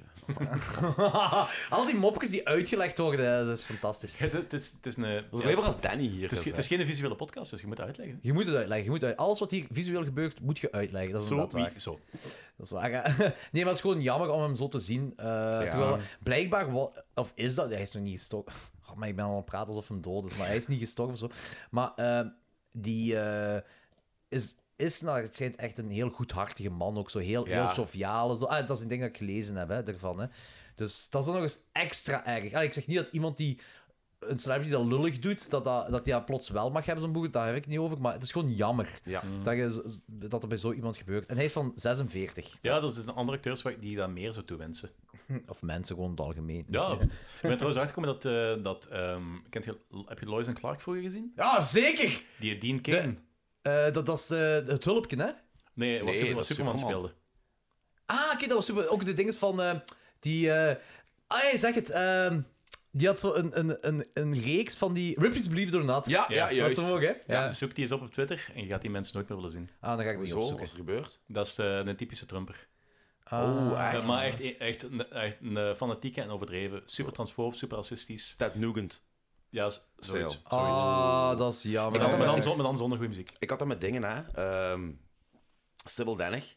Speaker 2: Al die mopjes die uitgelegd worden, hè, dat is fantastisch.
Speaker 4: Het, het is, het is een...
Speaker 3: Dat is
Speaker 4: ja,
Speaker 3: alleen maar als Danny hier
Speaker 4: het is,
Speaker 3: is.
Speaker 4: ge- het
Speaker 3: hè.
Speaker 4: is geen visuele podcast, dus je moet uitleggen.
Speaker 2: Je moet het uitleggen. Je moet uit... Alles wat hier visueel gebeurt, moet je uitleggen. Dat is
Speaker 4: Zo,
Speaker 2: inderdaad waar.
Speaker 4: wie, zo.
Speaker 2: Dat is waar. hè. Nee, maar het is gewoon jammer om hem zo te zien. eh, Terwijl blijkbaar, wa- of is dat? Hij is nog niet gestorven. Oh, maar ik ben al aan het praten alsof hem dood is. Maar hij is niet gestorven of zo. Maar eh, die eh, is, is naar het schijnt echt een heel goedhartige man. Ook zo heel,
Speaker 3: Ja.
Speaker 2: heel joviaal. en Zo. Ah, dat is een ding dat ik gelezen heb hè, daarvan. Hè. Dus dat is dan nog eens extra erg. Allee, ik zeg niet dat iemand die een celebrity dat lullig doet, dat, dat, dat die dat plots wel mag hebben, zo'n boek. Daar heb ik het niet over. Maar het is gewoon jammer
Speaker 3: Ja.
Speaker 2: dat, je, z- dat er bij zo iemand gebeurt. En hij is van 46.
Speaker 4: Ja, er zijn andere acteurs waar- die dat meer zou toewensen.
Speaker 2: Of mensen gewoon in het algemeen.
Speaker 4: Ja, ik ben trouwens uitgekomen dat... eh, dat ehm, kent je, heb je Lois en Clark vroeger gezien?
Speaker 2: Ja, zeker!
Speaker 4: Die Dean Kane.
Speaker 2: Eh, dat, dat is eh, het hulpje, hè?
Speaker 4: Nee, was,
Speaker 3: Nee,
Speaker 4: Super- was
Speaker 3: dat is Superman.
Speaker 4: Superman, speelde.
Speaker 2: Ah, oké, dat was super. Ook de dinges van eh, die. eh ah, ja, zeg het. ehm, die had zo een, een, een, een reeks van die. Ripley's Believe It or Not.
Speaker 3: Ja, ja,
Speaker 4: Ja,
Speaker 2: dat is
Speaker 3: juist.
Speaker 2: hem ook, hè? Ja.
Speaker 4: Dus Zoek die eens op op Twitter en je gaat die mensen nooit meer willen zien.
Speaker 2: Ah, dan ga ik die
Speaker 3: Hoezo? Wat
Speaker 2: opzoeken.
Speaker 3: is er gebeurd?
Speaker 4: Dat is eh, een typische Trumper.
Speaker 2: Ah.
Speaker 4: Eh, maar echt, echt, een, echt een eh, fanatieke en overdreven. Super transfoob, super racistisch.
Speaker 3: Ted Nugent.
Speaker 4: Ja, z- zoiets.
Speaker 3: Stijl.
Speaker 4: zoiets.
Speaker 2: Ah, dat is jammer.
Speaker 4: Maar dan, maar,
Speaker 2: Ja,
Speaker 4: dan, zon- maar dan zonder goede muziek.
Speaker 3: Ik had dat met dingen, hè. Ehm Sybil Dennig,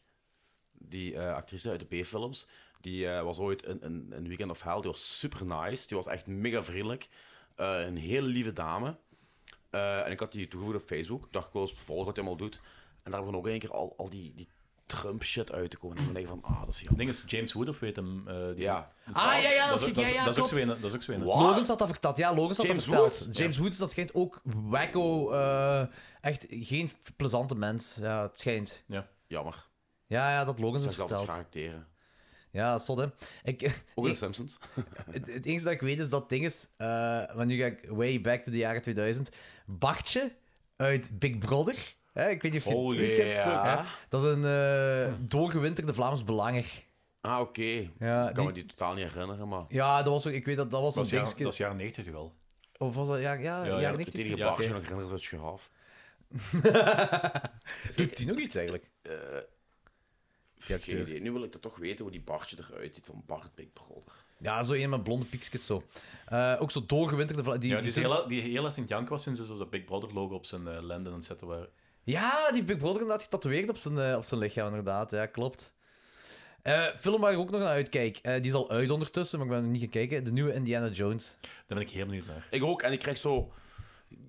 Speaker 3: die eh, actrice uit de B-films, die eh, was ooit een, een, een Weekend of Hell. Die was super nice. Die was echt mega vriendelijk. Eh, een hele lieve dame. Eh, en ik had die toegevoegd op Facebook. Ik dacht, ik wil eens volgen wat hij allemaal doet. En daar begon ook in één keer al, al die, die Trump-shit uit te komen. En ik denk van, ah, dat is
Speaker 4: Het
Speaker 3: jammer.
Speaker 4: ding is, James Wood of weet hem. eh, die
Speaker 3: Ja.
Speaker 2: Ah, ja, ja, dat is
Speaker 4: ook-
Speaker 2: het. Ja,
Speaker 4: is-
Speaker 2: ja,
Speaker 4: dat is ook
Speaker 2: klopt.
Speaker 4: zo een- Dat is ook zo een.
Speaker 3: Wat?
Speaker 2: Logan had dat verteld. Ja, Logan had
Speaker 3: James
Speaker 2: dat verteld.
Speaker 3: Woods?
Speaker 2: James Woods, dat schijnt ook wacko. eh, echt geen plezante mens. Ja, het schijnt.
Speaker 3: Jammer.
Speaker 2: Ja, ja, dat Logan
Speaker 3: Dat
Speaker 2: is
Speaker 3: is altijd
Speaker 2: verteld.
Speaker 3: geracteren.
Speaker 2: Ja, zot, hè. Ik,
Speaker 3: Ook in de Simpsons.
Speaker 2: Het, het enige dat ik weet is dat ding is, eh want nu ga ik way back to de jaren 2000. Bartje uit Big Brother. hè, Hè, ik weet niet of je...
Speaker 4: Oh,
Speaker 3: Holy
Speaker 2: ik heb-
Speaker 3: yeah.
Speaker 2: hè, Dat is een eh doorgewinterde Vlaams belanger.
Speaker 3: Ah, oké. Ik
Speaker 2: Ja,
Speaker 3: kan
Speaker 2: die-
Speaker 3: me die totaal niet herinneren, maar...
Speaker 2: ja, dat was ook... Ik weet dat dat was
Speaker 4: Dat is,
Speaker 2: een
Speaker 4: jaar,
Speaker 2: dingetje.
Speaker 4: dat is jaren 90 toch al.
Speaker 2: Of was dat... Ja, ja,
Speaker 4: ja,
Speaker 2: ja,
Speaker 4: dat
Speaker 2: ja,
Speaker 4: is
Speaker 3: Het enige
Speaker 4: Ja,
Speaker 3: baardje
Speaker 4: oké.
Speaker 3: dat ik herinner is het schaaf.
Speaker 2: Doet die nog iets eigenlijk?
Speaker 3: Geen
Speaker 2: acteur.
Speaker 3: idee. Nu wil ik dat toch weten hoe die baardje eruit ziet van Bart Big Brother.
Speaker 2: Ja, zo een met blonde piekjes zo. Eh, ook zo doorgewinterde Vla- Die,
Speaker 4: Ja,
Speaker 2: die
Speaker 4: die,
Speaker 2: zit-
Speaker 4: hele, die hele Sint-Jank was toen ze zo dat Big Brother logo op zijn eh, lenden aan het zetten waren.
Speaker 2: Ja, die Big Brother inderdaad getatoeëerd op zijn, eh, op zijn lichaam, inderdaad. Ja, klopt. Eh, film waar ik ook nog naar uitkijk. Eh, die is al uit ondertussen, maar ik ben er niet gaan kijken. De nieuwe Indiana Jones.
Speaker 4: Daar ben ik heel benieuwd naar.
Speaker 3: Ik ook, en ik krijg zo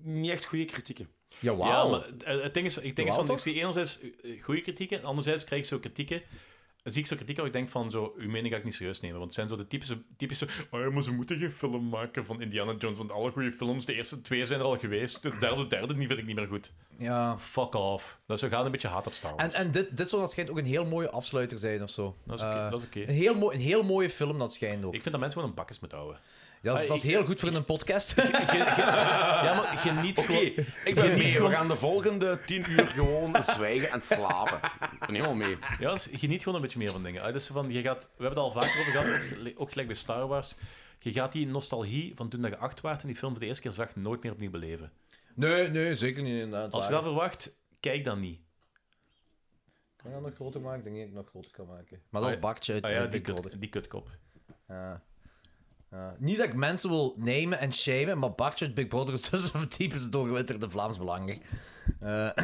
Speaker 3: niet echt goede kritieken.
Speaker 2: Ja,
Speaker 4: Ja,
Speaker 2: wauw.
Speaker 4: maar eh, het ding is, ik, denk is
Speaker 2: Wauw,
Speaker 4: van, ik
Speaker 2: toch?
Speaker 4: zie enerzijds eh, goede kritieken, en anderzijds krijg ik zo kritieken. Dan zie ik zo kritiek waar ik denk van, zo, uw mening ga ik niet serieus nemen. Want het zijn zo de typische, typische oh ja, maar ze moeten geen film maken van Indiana Jones, want alle goede films, de eerste twee zijn er al geweest, de derde, derde die vind ik niet meer goed.
Speaker 2: ja.
Speaker 4: Fuck off. Dat is zo gaat een beetje haat op Star
Speaker 2: En,
Speaker 4: Wars.
Speaker 2: en dit, dit zou dat schijnt ook een heel mooie afsluiter zijn of zo.
Speaker 4: Dat is oké,
Speaker 2: Eh,
Speaker 4: dat is oké.
Speaker 2: Een, heel mooi- een heel mooie film, dat schijnt ook.
Speaker 4: Ik vind dat mensen wel een bakjes moeten houden.
Speaker 2: Ja, dat is,
Speaker 4: Ah,
Speaker 2: dat is
Speaker 4: ik-
Speaker 2: heel goed voor in een podcast.
Speaker 4: ja, maar geniet
Speaker 3: Oké,
Speaker 4: gewoon...
Speaker 3: ik ben mee. We gaan de volgende tien uur gewoon zwijgen en slapen. Ik ben helemaal mee.
Speaker 4: Ja, dus geniet gewoon een beetje meer van dingen. Ah, Dus van, je gaat, we hebben het al vaker over gehad, ook, gel- ook gelijk bij Star Wars. Je gaat die nostalgie van toen dat je acht werd en die film voor de eerste keer zag, nooit meer opnieuw beleven.
Speaker 2: nee, nee, zeker niet inderdaad.
Speaker 4: Als je
Speaker 2: waar.
Speaker 4: dat verwacht, kijk dan niet.
Speaker 2: Kan ik dat nog groter maken? Ik denk niet dat ik nog groter kan maken. Maar dat is
Speaker 4: Ah,
Speaker 2: Bartje uit
Speaker 4: Ah
Speaker 2: eh,
Speaker 4: ja, die,
Speaker 2: Big
Speaker 4: kut,
Speaker 2: Brother.
Speaker 4: die kutkop.
Speaker 2: Ja. Ja. Niet dat ik mensen wil nemen en shamen, maar Bartje uit Big Brother is dus een typische doorgewinterde Vlaams belanger. Eh,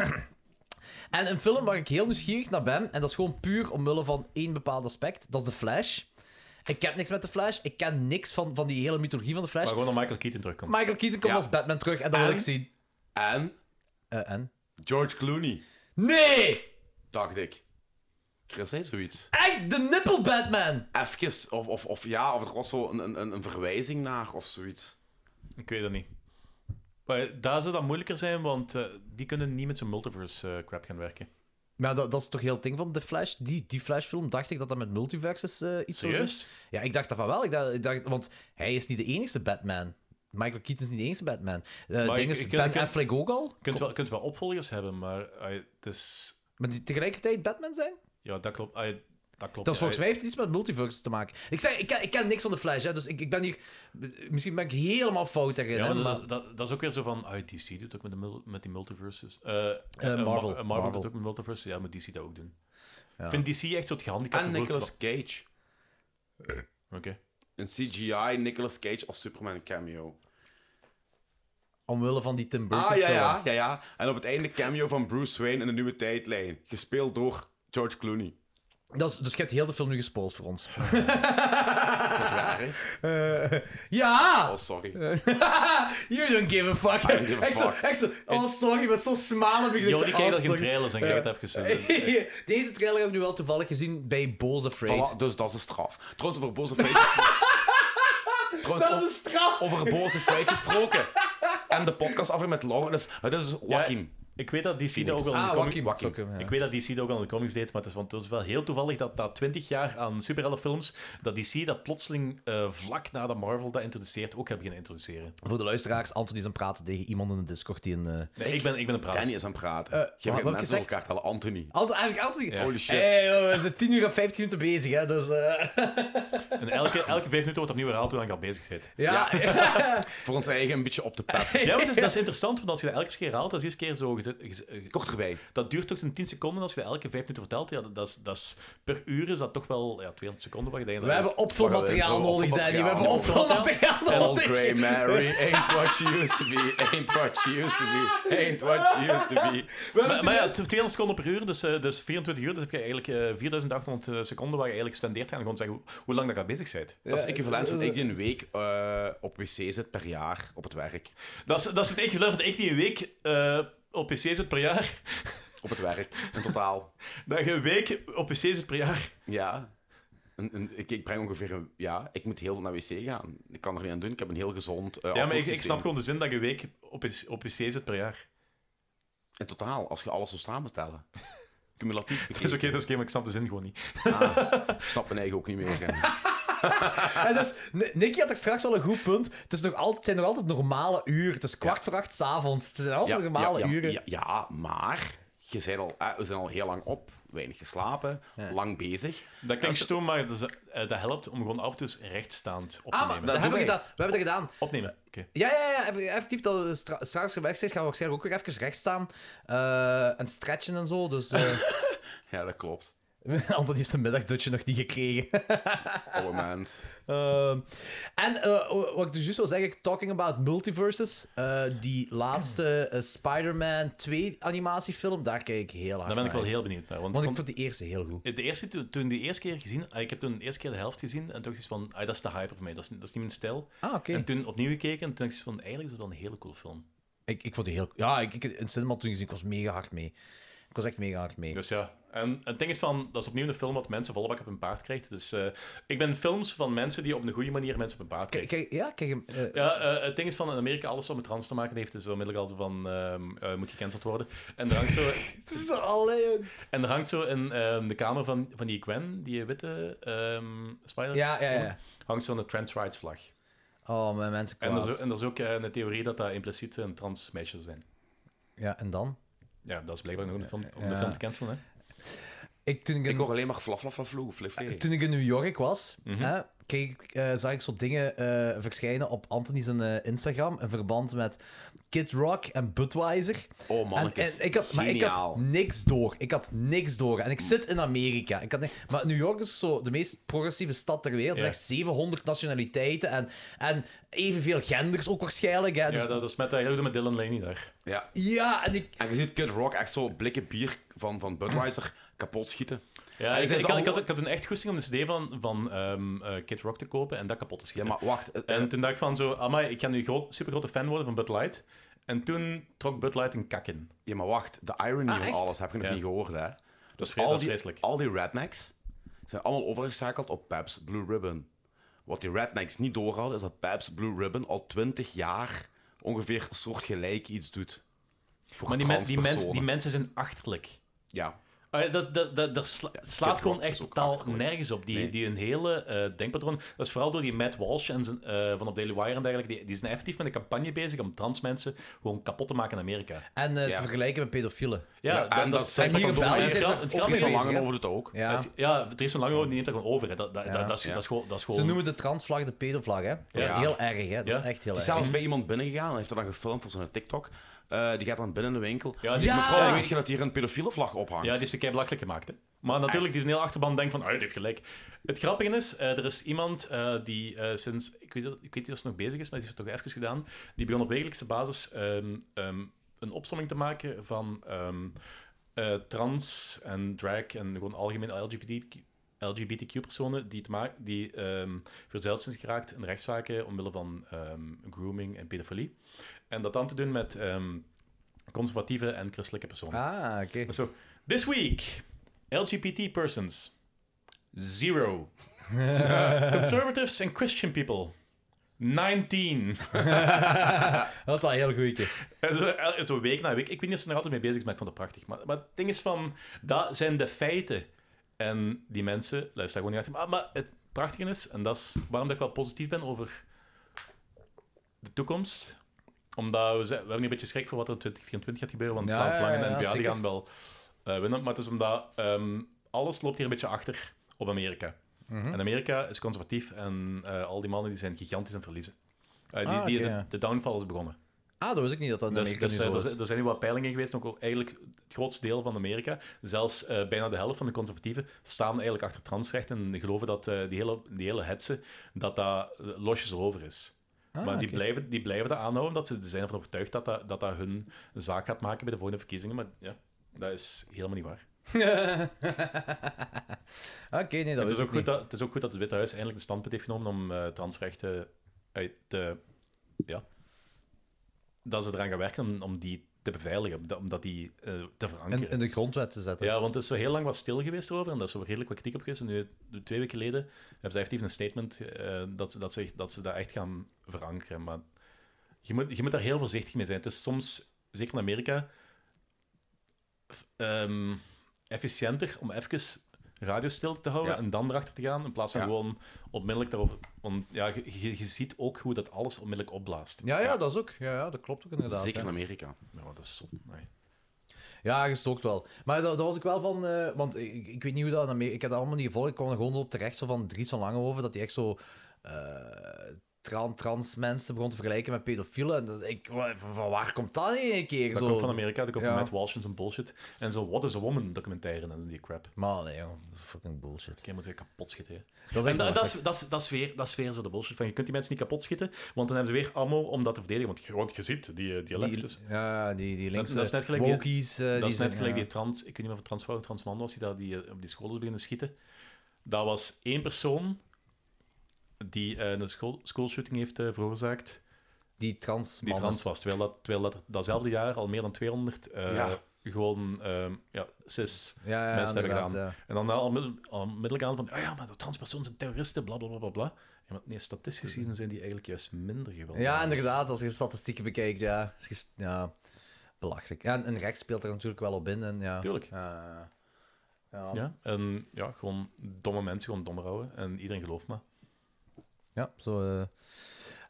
Speaker 2: en een film waar ik heel nieuwsgierig naar ben, en dat is gewoon puur omwille van één bepaald aspect, dat is The Flash. Ik heb niks met The Flash, ik ken niks van, van die hele mythologie van The
Speaker 4: Maar
Speaker 2: Flash.
Speaker 4: gewoon dat Michael Keaton terugkomt.
Speaker 2: Michael Keaton komt
Speaker 3: Ja.
Speaker 2: als Batman terug en dat wil
Speaker 3: En?
Speaker 2: ik zien.
Speaker 3: En
Speaker 2: Eh, en?
Speaker 3: George Clooney,
Speaker 2: Nee!
Speaker 3: dacht ik. Chris zei zoiets.
Speaker 2: Echt, de nippel Batman!
Speaker 3: Even, of, of, of ja, of er was zo een, een, een verwijzing naar of zoiets.
Speaker 4: Ik weet dat niet. Maar daar zou dat moeilijker zijn, want eh, die kunnen niet met zo'n multiverse eh, crap gaan werken.
Speaker 2: Maar dat, dat is toch heel het ding van The Flash? Die, die Flash-film dacht ik dat dat met multiverses eh, iets zou zijn.
Speaker 4: Serieus?
Speaker 2: Ja, ik dacht dat van wel. Ik dacht, ik dacht- want hij is niet de enigste Batman. Michael Keaton is niet de enige Batman. Eh
Speaker 4: Maar
Speaker 2: ding
Speaker 4: ik-
Speaker 2: is,
Speaker 4: ik-
Speaker 2: Ben
Speaker 4: ik- ik-
Speaker 2: Affleck ook al.
Speaker 4: Je kunt wel, kunt wel opvolgers hebben, maar ah, het is...
Speaker 2: Maar die tegelijkertijd Batman zijn?
Speaker 4: Ja, dat klopt. ah, dat klopt
Speaker 2: Dat is
Speaker 4: ja.
Speaker 2: volgens mij heeft het iets met multiverses te maken. Ik, zeg, ik, ken, ik ken niks van de Flash, hè, dus ik, ik ben hier... Misschien ben ik helemaal fout daarin.
Speaker 4: Ja,
Speaker 2: hè,
Speaker 4: maar
Speaker 2: maar-
Speaker 4: dat, is- dat, dat is ook weer zo van... Ah, DC doet ook met, de mul- met die multiverses. Eh, eh,
Speaker 2: Marvel.
Speaker 4: Ma- eh, Marvel.
Speaker 2: Marvel.
Speaker 4: doet ook met multiverses. Ja, moet DC dat ook doen. Ik vind DC echt zo het gehandicapte
Speaker 3: En
Speaker 4: woord van-
Speaker 3: Nicolas Cage.
Speaker 4: Oké.
Speaker 3: Een CGI Nicolas Cage als Superman cameo.
Speaker 2: Omwille van die Tim Burton
Speaker 3: Ah, ja,
Speaker 2: film.
Speaker 3: ja, ja, ja. En op het einde cameo van Bruce Wayne in de nieuwe tijdlijn. Gespeeld door George Clooney.
Speaker 2: Dat is, dus je hebt heel de film nu gespoeld voor ons.
Speaker 3: Dat is raar, hè?
Speaker 2: Eh, ja!
Speaker 3: Oh, sorry.
Speaker 2: you don't give a fuck.
Speaker 3: I don't give a
Speaker 2: Echt zo-
Speaker 3: fuck.
Speaker 2: echt zo... Oh, sorry, met zo'n smalle gezicht.
Speaker 4: Jordi
Speaker 2: Oh,
Speaker 4: kijkt al geen
Speaker 2: sorry.
Speaker 4: trailers en kijkt even... eh,
Speaker 2: Deze trailer heb ik nu wel toevallig gezien bij Boze Afraid.
Speaker 3: Voilà, dus dat is een straf. Trouwens, over boze feitjes... Trouwens,
Speaker 2: Dat is een straf!
Speaker 3: over boze feitjes gesproken. En de podcastaflevering met Lauren is... Het is Joachim.
Speaker 4: ik weet dat DC dat ook al in de
Speaker 2: Ah,
Speaker 4: comic-
Speaker 2: Joaquin.
Speaker 3: Joaquin.
Speaker 2: Joaquin, ja.
Speaker 4: Ik weet dat DC dat ook al in de comics deed, maar het is, want het is wel heel toevallig dat na 20 jaar aan superheldenfilms, dat DC dat plotseling eh, vlak na dat Marvel dat introduceert, ook hebben beginnen introduceren.
Speaker 2: Voor de luisteraars, Anthony is aan het praten tegen iemand in de Discord die een... eh,
Speaker 4: Nee, ik ben, ik ben een praat.
Speaker 3: Danny is aan het praten.
Speaker 2: Eh,
Speaker 3: Je hebt
Speaker 2: wat heb ik
Speaker 3: mensen door
Speaker 2: gezegd?
Speaker 3: elkaar tellen. Anthony.
Speaker 2: Alt- eigenlijk altijd...
Speaker 3: Holy shit.
Speaker 2: Hey, joh, we zijn 10 uur en 15 minuten bezig, hè, dus... eh,
Speaker 4: En elke, elke vijf minuten wordt opnieuw herhaald hoe lang ik al bezig ben.
Speaker 2: ja.
Speaker 3: Voor ons eigen een beetje op de pet.
Speaker 4: Ja, maar het is, dat is interessant, want als je dat elke keer haalt, dat is eerst keer zo... geze- geze- eh,
Speaker 3: Korterbij.
Speaker 4: dat duurt toch een 10 seconden als je dat elke vijf minuten vertelt. Ja, dat, dat is, dat is, per uur is dat toch wel ja, 200 seconden. Wat je denkt,
Speaker 2: We hebben opvulmateriaal
Speaker 3: Wacht, we
Speaker 2: nodig,
Speaker 3: hebben
Speaker 2: Danny. We hebben
Speaker 3: opvulmateriaal
Speaker 2: opvulmateriaal
Speaker 3: Old
Speaker 2: nodig.
Speaker 3: Grey Mary ain't what she used to be, ain't what she used to be, ain't what she used to be.
Speaker 2: We hebben
Speaker 4: maar, maar
Speaker 2: toen-
Speaker 4: ja, het is 200 seconden per uur, dus, eh, dus 24 uur. Dus heb je eigenlijk eh, 4800 eh, seconden waar je eigenlijk spendeert. En gewoon zeggen hoe, hoe lang dat je bezig bent.
Speaker 3: Dat is equivalent van ik die een week eh, op wc zit per jaar op het werk.
Speaker 4: Dat is, dat is het equivalent van ik die een week eh, op pc zit per jaar.
Speaker 3: Op het werk, in totaal.
Speaker 4: Dat je een week op pc zit per jaar.
Speaker 3: Ja. Een- een- ik, ik breng ongeveer een... Ja, ik moet heel veel naar wc gaan. Ik kan er niet aan doen, ik heb een heel gezond eh
Speaker 4: Ja, maar ik, ik
Speaker 3: afvoersysteem.
Speaker 4: snap gewoon de zin dat je een week op, PC op pc zit per jaar.
Speaker 3: In totaal, als je alles zou samentellen. Cumulatief
Speaker 4: Dat is oké, dus-
Speaker 3: bekeken.
Speaker 4: dat is oké, maar ik snap de zin gewoon niet.
Speaker 3: Ah, ik snap mijn eigen ook niet meer. hè.
Speaker 2: En dus, N- Nicky had er straks wel een goed punt. Het, is nog altijd, het zijn nog altijd normale uren. Het is kwart voor acht s'avonds. Het zijn altijd
Speaker 3: Ja,
Speaker 2: normale
Speaker 3: ja, ja,
Speaker 2: uren.
Speaker 3: Ja, ja, maar... je bent al, eh, we zijn al heel lang op, weinig geslapen,
Speaker 2: Ja.
Speaker 3: lang bezig.
Speaker 4: Dat klinkt
Speaker 3: je-
Speaker 4: stom, maar dat, is- eh, dat helpt om gewoon af en toe eens rechtstaand op te
Speaker 2: Ah, maar
Speaker 4: nemen.
Speaker 2: dat hebben we
Speaker 3: doen wij.
Speaker 2: gedaan. We hebben dat gedaan.
Speaker 4: Opnemen. Oké.
Speaker 2: Ja, ja, ja. eff- Effectief, dat we stra- straks gewerkt zijn, gaan we waarschijnlijk ook weer even recht staan. eh, en stretchen en zo. Dus eh
Speaker 3: Ja, dat klopt.
Speaker 2: Anton heeft zijn middagdutje nog niet gekregen.
Speaker 3: Oude Oh, mens.
Speaker 2: Ehm, en eh, wat ik dus juist wil zeggen, talking about multiverses, eh, die laatste eh, Spider-Man 2 animatiefilm, daar kijk ik heel hard
Speaker 4: Daar ben ik wel
Speaker 2: naar uit.
Speaker 4: heel benieuwd naar. Want,
Speaker 2: Want ik
Speaker 4: ik
Speaker 2: vond die eerste heel goed.
Speaker 4: vond- de eerste, toen, toen die eerste keer gezien, ah, ik heb toen de eerste keer de helft gezien en toen dacht ik van, ah, dat is te hyper voor mij, dat is, dat is niet mijn stijl.
Speaker 2: Ah, oké.
Speaker 4: En toen opnieuw gekeken en toen dacht ik van, eigenlijk is het wel een hele cool film.
Speaker 2: Ik, ik vond die heel... Ja, ik, ik, in cinema toen gezien, ik was mega hard mee. Ik was echt mega hard mee.
Speaker 4: Dus ja, en het ding is van, dat is opnieuw een film wat mensen volle bak op hun paard krijgt. Dus eh, ik ben films van mensen die op een goede manier mensen op hun paard
Speaker 2: Kijk,
Speaker 4: krijgen.
Speaker 2: kijk, ja, kijk hem. eh,
Speaker 4: Ja, eh, het ding is van in Amerika, alles wat met trans te maken heeft, is onmiddellijk al zo van ehm, eh, moet gecanceld worden. En er hangt zo,
Speaker 2: het is alleen...
Speaker 4: en er hangt zo in ehm, de kamer van, van die Gwen, die witte ehm spider,
Speaker 2: Ja, ja, ja.
Speaker 4: hangt zo'n trans rights vlag.
Speaker 2: Oh, mijn mensen
Speaker 4: En
Speaker 2: kwaad.
Speaker 4: er, is, ook- en er is ook eh, een theorie dat dat impliciet een trans meisje zou zijn.
Speaker 2: Ja, en dan?
Speaker 4: Ja, dat is blijkbaar nog een film, om de
Speaker 2: Ja.
Speaker 4: film te cancelen. Hè?
Speaker 2: Ik, toen ik, in,
Speaker 3: Ik hoor alleen maar flaf, flaf, flaf, floe, flif, flif.
Speaker 2: toen ik in New York was, hè, keek, ik, eh, zag ik zo dingen eh, verschijnen op Anthony's eh, Instagram in verband met Kid Rock en Budweiser.
Speaker 3: Oh, mannetjes.
Speaker 2: En- en ik had, maar ik
Speaker 3: Geniaal.
Speaker 2: had niks door. Ik had niks door. En ik zit in Amerika. Ik had ni- maar New York is zo de meest progressieve stad ter wereld. Er zijn
Speaker 4: Ja.
Speaker 2: echt 700 nationaliteiten en, en evenveel genders ook waarschijnlijk. Hè. Dus, ja,
Speaker 4: Ja, dat is met, eh, met Dylan Laney daar.
Speaker 3: Ja.
Speaker 2: en ik...
Speaker 3: En je ziet Kid Rock echt zo blikken bier van, van Budweiser kapot schieten.
Speaker 4: Ja,
Speaker 3: zijn
Speaker 4: ik, ik,
Speaker 3: ze
Speaker 4: had, ik,
Speaker 3: allemaal-
Speaker 4: had, ik had een echt goesting om de CD van, van ehm, eh, Kid Rock te kopen en dat kapot te
Speaker 3: Ja,
Speaker 4: schieten.
Speaker 3: maar wacht. eh, eh,
Speaker 4: En toen dacht ik van zo, amai, ik ga nu groot, supergrote fan worden van Bud Light. En toen trok Bud Light een kak in.
Speaker 3: Ja, maar wacht. De irony
Speaker 2: Ah,
Speaker 3: van
Speaker 2: echt?
Speaker 3: alles heb je nog
Speaker 4: Ja.
Speaker 3: niet gehoord, hè? Dus
Speaker 4: Dat is, vre-
Speaker 3: Al
Speaker 4: dat is
Speaker 3: die-
Speaker 4: vreselijk.
Speaker 3: Al die rednecks zijn allemaal overgeschakeld op Pabst Blue Ribbon. Wat die rednecks niet doorhouden, is dat Pabst Blue Ribbon al twintig jaar ongeveer soortgelijk iets doet. Voor
Speaker 4: Maar die, men- die,
Speaker 3: transpersonen.
Speaker 4: mensen die mensen zijn achterlijk.
Speaker 3: Ja.
Speaker 4: Ah, dat, dat, dat, dat sla- slaat
Speaker 3: Rock
Speaker 4: gewoon
Speaker 3: is
Speaker 4: echt
Speaker 3: ook
Speaker 4: totaal
Speaker 3: achterlijk.
Speaker 4: nergens op. Die,
Speaker 3: Nee.
Speaker 4: die hun hele eh, denkpatroon... Dat is vooral door die Matt Walsh en zijn, eh, van op Daily Wire en dergelijke. Die, die zijn effectief met een campagne bezig om trans mensen gewoon kapot te maken in Amerika.
Speaker 2: En eh,
Speaker 3: Ja.
Speaker 2: te vergelijken met pedofielen.
Speaker 4: Ja,
Speaker 3: Ja, en dat zijn
Speaker 2: hier in
Speaker 3: België
Speaker 2: België
Speaker 3: is
Speaker 2: zijn ze
Speaker 4: het grap-
Speaker 2: opgewezen,
Speaker 3: Dries van
Speaker 4: bezig,
Speaker 2: hè.
Speaker 3: Langen over het ook.
Speaker 2: Ja.
Speaker 4: Het- Ja, Dries van Lange die neemt dat gewoon over. hè. Dat, dat,
Speaker 2: Ja.
Speaker 4: dat, dat is,
Speaker 3: Ja.
Speaker 4: dat is gewoon... Dat is
Speaker 2: Ze
Speaker 4: gewoon...
Speaker 2: noemen de transvlag de pedotvlag, hè? Dat is
Speaker 3: Ja.
Speaker 2: heel erg, hè? Dat
Speaker 4: Ja.
Speaker 2: is echt heel
Speaker 3: Die
Speaker 2: erg.
Speaker 3: is zelfs bij iemand binnengegaan en heeft dat dan gefilmd voor zijn TikTok. Eh, die gaat dan binnen in de winkel.
Speaker 4: Ja, die
Speaker 3: Die
Speaker 4: is-
Speaker 3: mevrouw,
Speaker 4: ja.
Speaker 3: weet je dat hier een pedofiele vlag ophangt?
Speaker 4: Ja, die heeft ze kei belachelijk gemaakt. Hè? Maar natuurlijk, die is een heel achterban denkt van, ah, die heeft gelijk. Het grappige is, eh, er is iemand eh, die eh, sinds, ik weet, ik weet niet of ze nog bezig is, maar die heeft het toch even gedaan, die begon op wekelijkse basis ehm, ehm, een opsomming te maken van ehm, eh, trans en drag en gewoon algemeen LGBTQ. LGBTQ-personen die, te ma- die ehm verzeild zijn geraakt in rechtszaken omwille van ehm, grooming en pedofilie. En dat dan te doen met ehm, conservatieve en christelijke personen.
Speaker 2: Ah, oké.
Speaker 4: En Zo, this week, LGBT persons, zero. Conservatives and Christian people, 19.
Speaker 2: Dat is wel een heel goeie keer.
Speaker 4: En zo, el- zo week na week. Ik weet niet of ze er altijd mee bezig is, maar ik vond het prachtig. Maar, maar het ding is van, dat zijn de feiten. En die mensen luisteren gewoon niet achter. Maar, maar het prachtige is, en dat is waarom dat ik wel positief ben over de toekomst, omdat we, zijn- we hebben een beetje schrik voor wat er in 2024 gaat gebeuren, want
Speaker 2: Ja,
Speaker 4: Vlaams
Speaker 2: ja,
Speaker 4: Belang en
Speaker 2: ja,
Speaker 4: de NVA die
Speaker 2: zeker.
Speaker 4: gaan wel eh, winnen. Maar het is omdat ehm, alles loopt hier een beetje achter op Amerika.
Speaker 2: Mhm.
Speaker 4: En Amerika is conservatief en eh, al die mannen die zijn gigantisch aan het verliezen. Eh, die,
Speaker 2: Ah,
Speaker 4: die,
Speaker 2: oké,
Speaker 4: de-
Speaker 2: ja.
Speaker 4: de downfall is begonnen.
Speaker 2: Ah, dat wist ik niet dat dat in
Speaker 4: Dus,
Speaker 2: Amerika
Speaker 4: dus,
Speaker 2: nu
Speaker 4: eh,
Speaker 2: zo
Speaker 4: er
Speaker 2: is.
Speaker 4: zijn- er zijn nu wat peilingen geweest, ook al- eigenlijk het grootste deel van Amerika, zelfs eh, bijna de helft van de conservatieven, staan eigenlijk achter transrecht en geloven dat eh, die, hele, die hele hetze, dat dat eh, losjes over is.
Speaker 2: Ah,
Speaker 4: maar die,
Speaker 2: oké.
Speaker 4: blijven, die blijven dat aanhouden, omdat ze er zijn van overtuigd dat dat, dat dat hun zaak gaat maken bij de volgende verkiezingen. Maar ja, dat is helemaal niet waar.
Speaker 2: Ah, Oké, nee, dat
Speaker 4: het,
Speaker 2: wist
Speaker 4: is
Speaker 2: ik
Speaker 4: ook goed
Speaker 2: niet.
Speaker 4: dat, het is ook goed dat het Witte Huis eindelijk een standpunt heeft genomen om eh, transrechten uit te... Ja. Dat ze eraan gaan werken om, om die te beveiligen, om dat- om dat die eh, te verankeren.
Speaker 2: In, in de grondwet te zetten.
Speaker 4: Ja, want het is er heel lang wat stil geweest over en daar is er redelijk wat kritiek op geweest. En nu, nu twee weken geleden, hebben ze effectief een statement eh, dat, ze- dat, ze, dat ze dat echt gaan verankeren. Maar je moet, je moet daar heel voorzichtig mee zijn. Het is soms, zeker in Amerika, f- ehm, efficiënter om even radio stil te houden
Speaker 3: Ja.
Speaker 4: en dan erachter te gaan, in plaats van
Speaker 3: Ja.
Speaker 4: gewoon onmiddellijk daarover... Want ja, je- je, je ziet ook hoe dat alles onmiddellijk opblaast.
Speaker 2: Ja, ja,
Speaker 3: Ja.
Speaker 2: dat is ook. Ja, ja, dat klopt ook inderdaad.
Speaker 3: Zeker in
Speaker 2: ja.
Speaker 3: Amerika.
Speaker 4: Nou, dat is zot. Nee.
Speaker 2: Ja, gestookt wel. Maar dat, dat was ik wel van... eh, want ik, ik weet niet hoe dat... in Amerika- Ik heb dat allemaal niet gevolgd. Ik kwam er gewoon op terecht zo van Dries van Langenhoven, dat hij echt zo... eh, tran- trans mensen begon te vergelijken met pedofielen. En dat, ik, wa- van van waar komt dat in een keer?
Speaker 4: Dat
Speaker 2: zo?
Speaker 4: komt van Amerika, dat komt
Speaker 2: Ja.
Speaker 4: van Matt Walsh en zijn bullshit. En zo What is a Woman documentaire en die crap.
Speaker 2: Maar nee, joh, fucking bullshit.
Speaker 4: Ik moet je kapot schieten. hè.
Speaker 2: Dat is
Speaker 4: En
Speaker 2: echt
Speaker 4: da- dat,
Speaker 2: belachelijk.
Speaker 4: is, dat, is, dat, is weer, dat is weer zo de bullshit van je kunt die mensen niet kapot schieten, want dan hebben ze weer ammo om dat te verdedigen. Want, je- want je ziet, die, die
Speaker 2: Die-
Speaker 4: leftists,
Speaker 2: Ja, die, die linkse
Speaker 4: dat is net gelijk die-
Speaker 2: wokies. eh,
Speaker 4: dat
Speaker 2: die
Speaker 4: is
Speaker 2: zijn-
Speaker 4: net gelijk
Speaker 2: ja.
Speaker 4: die trans, ik weet niet meer of het transvrouw of transman was, die, daar die eh, op die school is beginnen schieten. Dat was één persoon die eh, een school, schoolshooting heeft eh, veroorzaakt,
Speaker 2: Die trans
Speaker 4: die trans was. Terwijl, dat, terwijl dat, datzelfde jaar al meer dan 200 eh,
Speaker 3: Ja.
Speaker 4: gewoon ehm, ja, cis
Speaker 2: Ja, ja,
Speaker 4: mensen hebben
Speaker 2: inderdaad,
Speaker 4: gedaan.
Speaker 2: ja.
Speaker 4: En dan al onmiddellijk, al onmiddellijk aan van, ah ja, maar de transpersonen zijn terroristen, bla bla bla bla. bla. Ja, maar nee, statistisch gezien zijn die eigenlijk juist minder geweldig.
Speaker 2: Ja, inderdaad, als je statistieken bekijkt, ja. Is ges- ja belachelijk. Ja, en, en rechts speelt er natuurlijk wel op in. En, ja.
Speaker 4: Tuurlijk.
Speaker 2: Eh, ja.
Speaker 4: Ja, en ja, gewoon domme mensen, gewoon dommer houden. En iedereen gelooft me.
Speaker 2: Ja, zo. eh.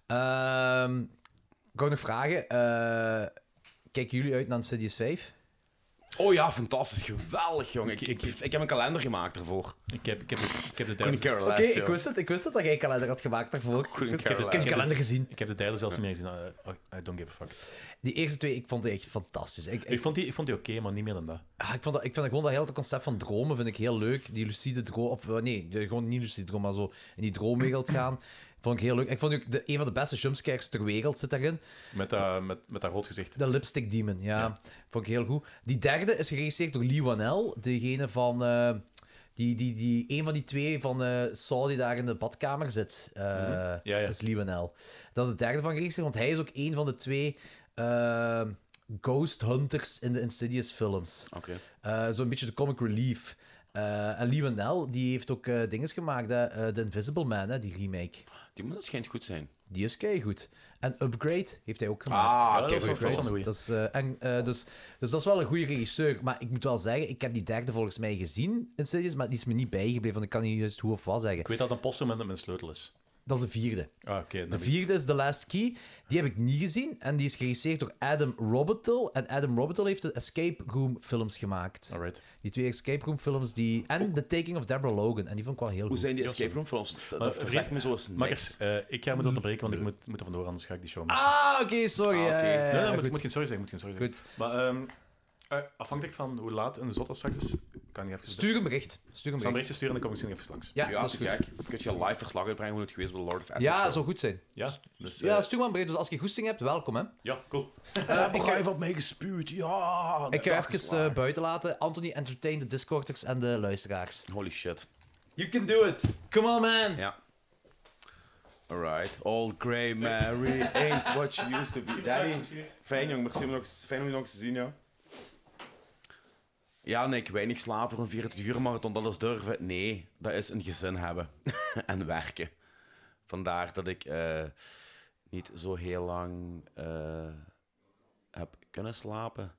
Speaker 2: Ehm, ik wou nog vragen. eh, kijken jullie uit naar Cities 5?
Speaker 3: Oh ja, fantastisch. Geweldig, jongen. Ik, ik,
Speaker 4: Ik-
Speaker 3: ik heb een kalender gemaakt ervoor.
Speaker 4: Ik heb, ik heb, de- ik heb de
Speaker 3: Couldn't
Speaker 4: derde...
Speaker 3: care
Speaker 2: Oké,
Speaker 3: less,
Speaker 2: ik
Speaker 3: joh.
Speaker 2: wist het. Ik wist het dat jij een kalender had gemaakt daarvoor.
Speaker 3: Couldn't
Speaker 2: Ik wist-
Speaker 3: care
Speaker 2: ik heb een
Speaker 3: less.
Speaker 2: kalender gezien.
Speaker 4: Ik heb de derde zelfs niet meer gezien. Eh, I don't give a fuck.
Speaker 2: Die eerste twee, ik vond die echt fantastisch. Ik,
Speaker 4: Ik
Speaker 2: ik,
Speaker 4: vond die, ik vond die oké, maar niet meer dan dat.
Speaker 2: ah, ik, vond dat, ik vind gewoon dat hele concept van dromen vind ik heel leuk. Die lucide droom, of eh, nee, de- gewoon niet lucide droom, maar zo in die droomwereld gaan. Vond ik heel leuk. Ik vond ook de, een van de beste jumpscares ter wereld zit daarin.
Speaker 4: Met dat, met, met dat rood gezicht.
Speaker 2: De Lipstick Demon, ja.
Speaker 4: Ja.
Speaker 2: Vond ik heel goed. Die derde is geregisseerd door Lee Wanell, degene van... eh, die, die, die, een van die twee van eh Saul die daar in de badkamer zit. eh,
Speaker 4: Mhm. Ja, ja.
Speaker 2: Dat is Lee Wanell. Dat is de derde van geregisseerd, want hij is ook een van de twee eh, ghost hunters in de Insidious films.
Speaker 3: Oké.
Speaker 2: Eh, Zo'n beetje de comic relief. Eh, en Lee Wanell, die heeft ook eh dingen gemaakt, hè. Eh, The Invisible Man, hè, die remake.
Speaker 3: Die moet dat schijnt goed zijn.
Speaker 2: Die is goed. En Upgrade heeft hij ook gemaakt.
Speaker 3: Ah,
Speaker 4: dat
Speaker 3: oké,
Speaker 4: is wel
Speaker 3: goed.
Speaker 4: fijn.
Speaker 3: goed.
Speaker 4: Dat is wel een goeie.
Speaker 2: Dat is, eh, en, eh, dus, dus dat is wel een goede regisseur. Maar ik moet wel zeggen, ik heb die derde volgens mij gezien in series, maar die is me niet bijgebleven. Want ik kan niet juist hoe of wat zeggen.
Speaker 4: Ik weet dat het een poster met met een sleutel is.
Speaker 2: Dat is de vierde.
Speaker 4: Ah, oké. dan
Speaker 2: De
Speaker 4: weet ik.
Speaker 2: vierde is The Last Key. Die heb ik niet gezien. En die is geregisseerd door Adam Robitel. En Adam Robitel heeft de Escape Room films gemaakt.
Speaker 4: Alright.
Speaker 2: Die twee Escape Room films. Die... En The Taking of Deborah Logan. En die vond ik wel heel
Speaker 3: Hoe
Speaker 2: goed.
Speaker 3: zijn die escape room films? Dat,
Speaker 4: Maar,
Speaker 3: dat zegt
Speaker 4: vriend-
Speaker 3: me zo eens niks.
Speaker 4: Makkers, eh, ik ga me onderbreken, want ik moet, moet er vandoor, anders ga ik die show missen.
Speaker 2: Ah, oké, sorry.
Speaker 3: Ah, oké.
Speaker 2: Ja, ja, ja,
Speaker 4: Nee, nee,
Speaker 2: ja,
Speaker 4: moet,
Speaker 2: goed.
Speaker 4: moet geen sorry zeggen, moet geen sorry zeggen.
Speaker 2: Goed.
Speaker 4: Maar ehm, eh, afhankelijk van hoe laat en hoe zot dat straks is, kan ik even... Ik
Speaker 2: Stuur een bericht. Stuur een
Speaker 4: zal een
Speaker 2: bericht.
Speaker 4: berichtje sturen en dan kom ik zo even langs.
Speaker 2: Ja,
Speaker 3: Ja,
Speaker 2: dat is goed.
Speaker 3: Kijk, kun je een live verslag uitbrengen hoe het geweest bij de Lord of Ashes?
Speaker 2: Ja,
Speaker 3: show?
Speaker 2: zou goed zijn.
Speaker 4: Ja? Dus, eh,
Speaker 2: Ja, stuur maar een bericht. Dus als je goesting hebt, welkom, hè.
Speaker 4: ja, cool.
Speaker 3: Daar heb ik even op mee gespuwd. Ja.
Speaker 2: Ik ga even
Speaker 3: dag
Speaker 2: eh,
Speaker 3: geslaagd.
Speaker 2: buiten laten. Anthony, entertain de Discorders en de luisteraars.
Speaker 3: Holy shit.
Speaker 2: You can do it. Come on, man.
Speaker 3: Ja. Alright. Old Grey Mary ain't what she used to be. Danny. Fijn, jong. Merci om nog, fijn om je nog eens te zien, joh. Ja, nee, ik weinig slapen voor een 24 uur marathon, dat is durven. Nee, dat is een gezin hebben en werken. Vandaar dat ik eh, niet zo heel lang eh, heb kunnen slapen.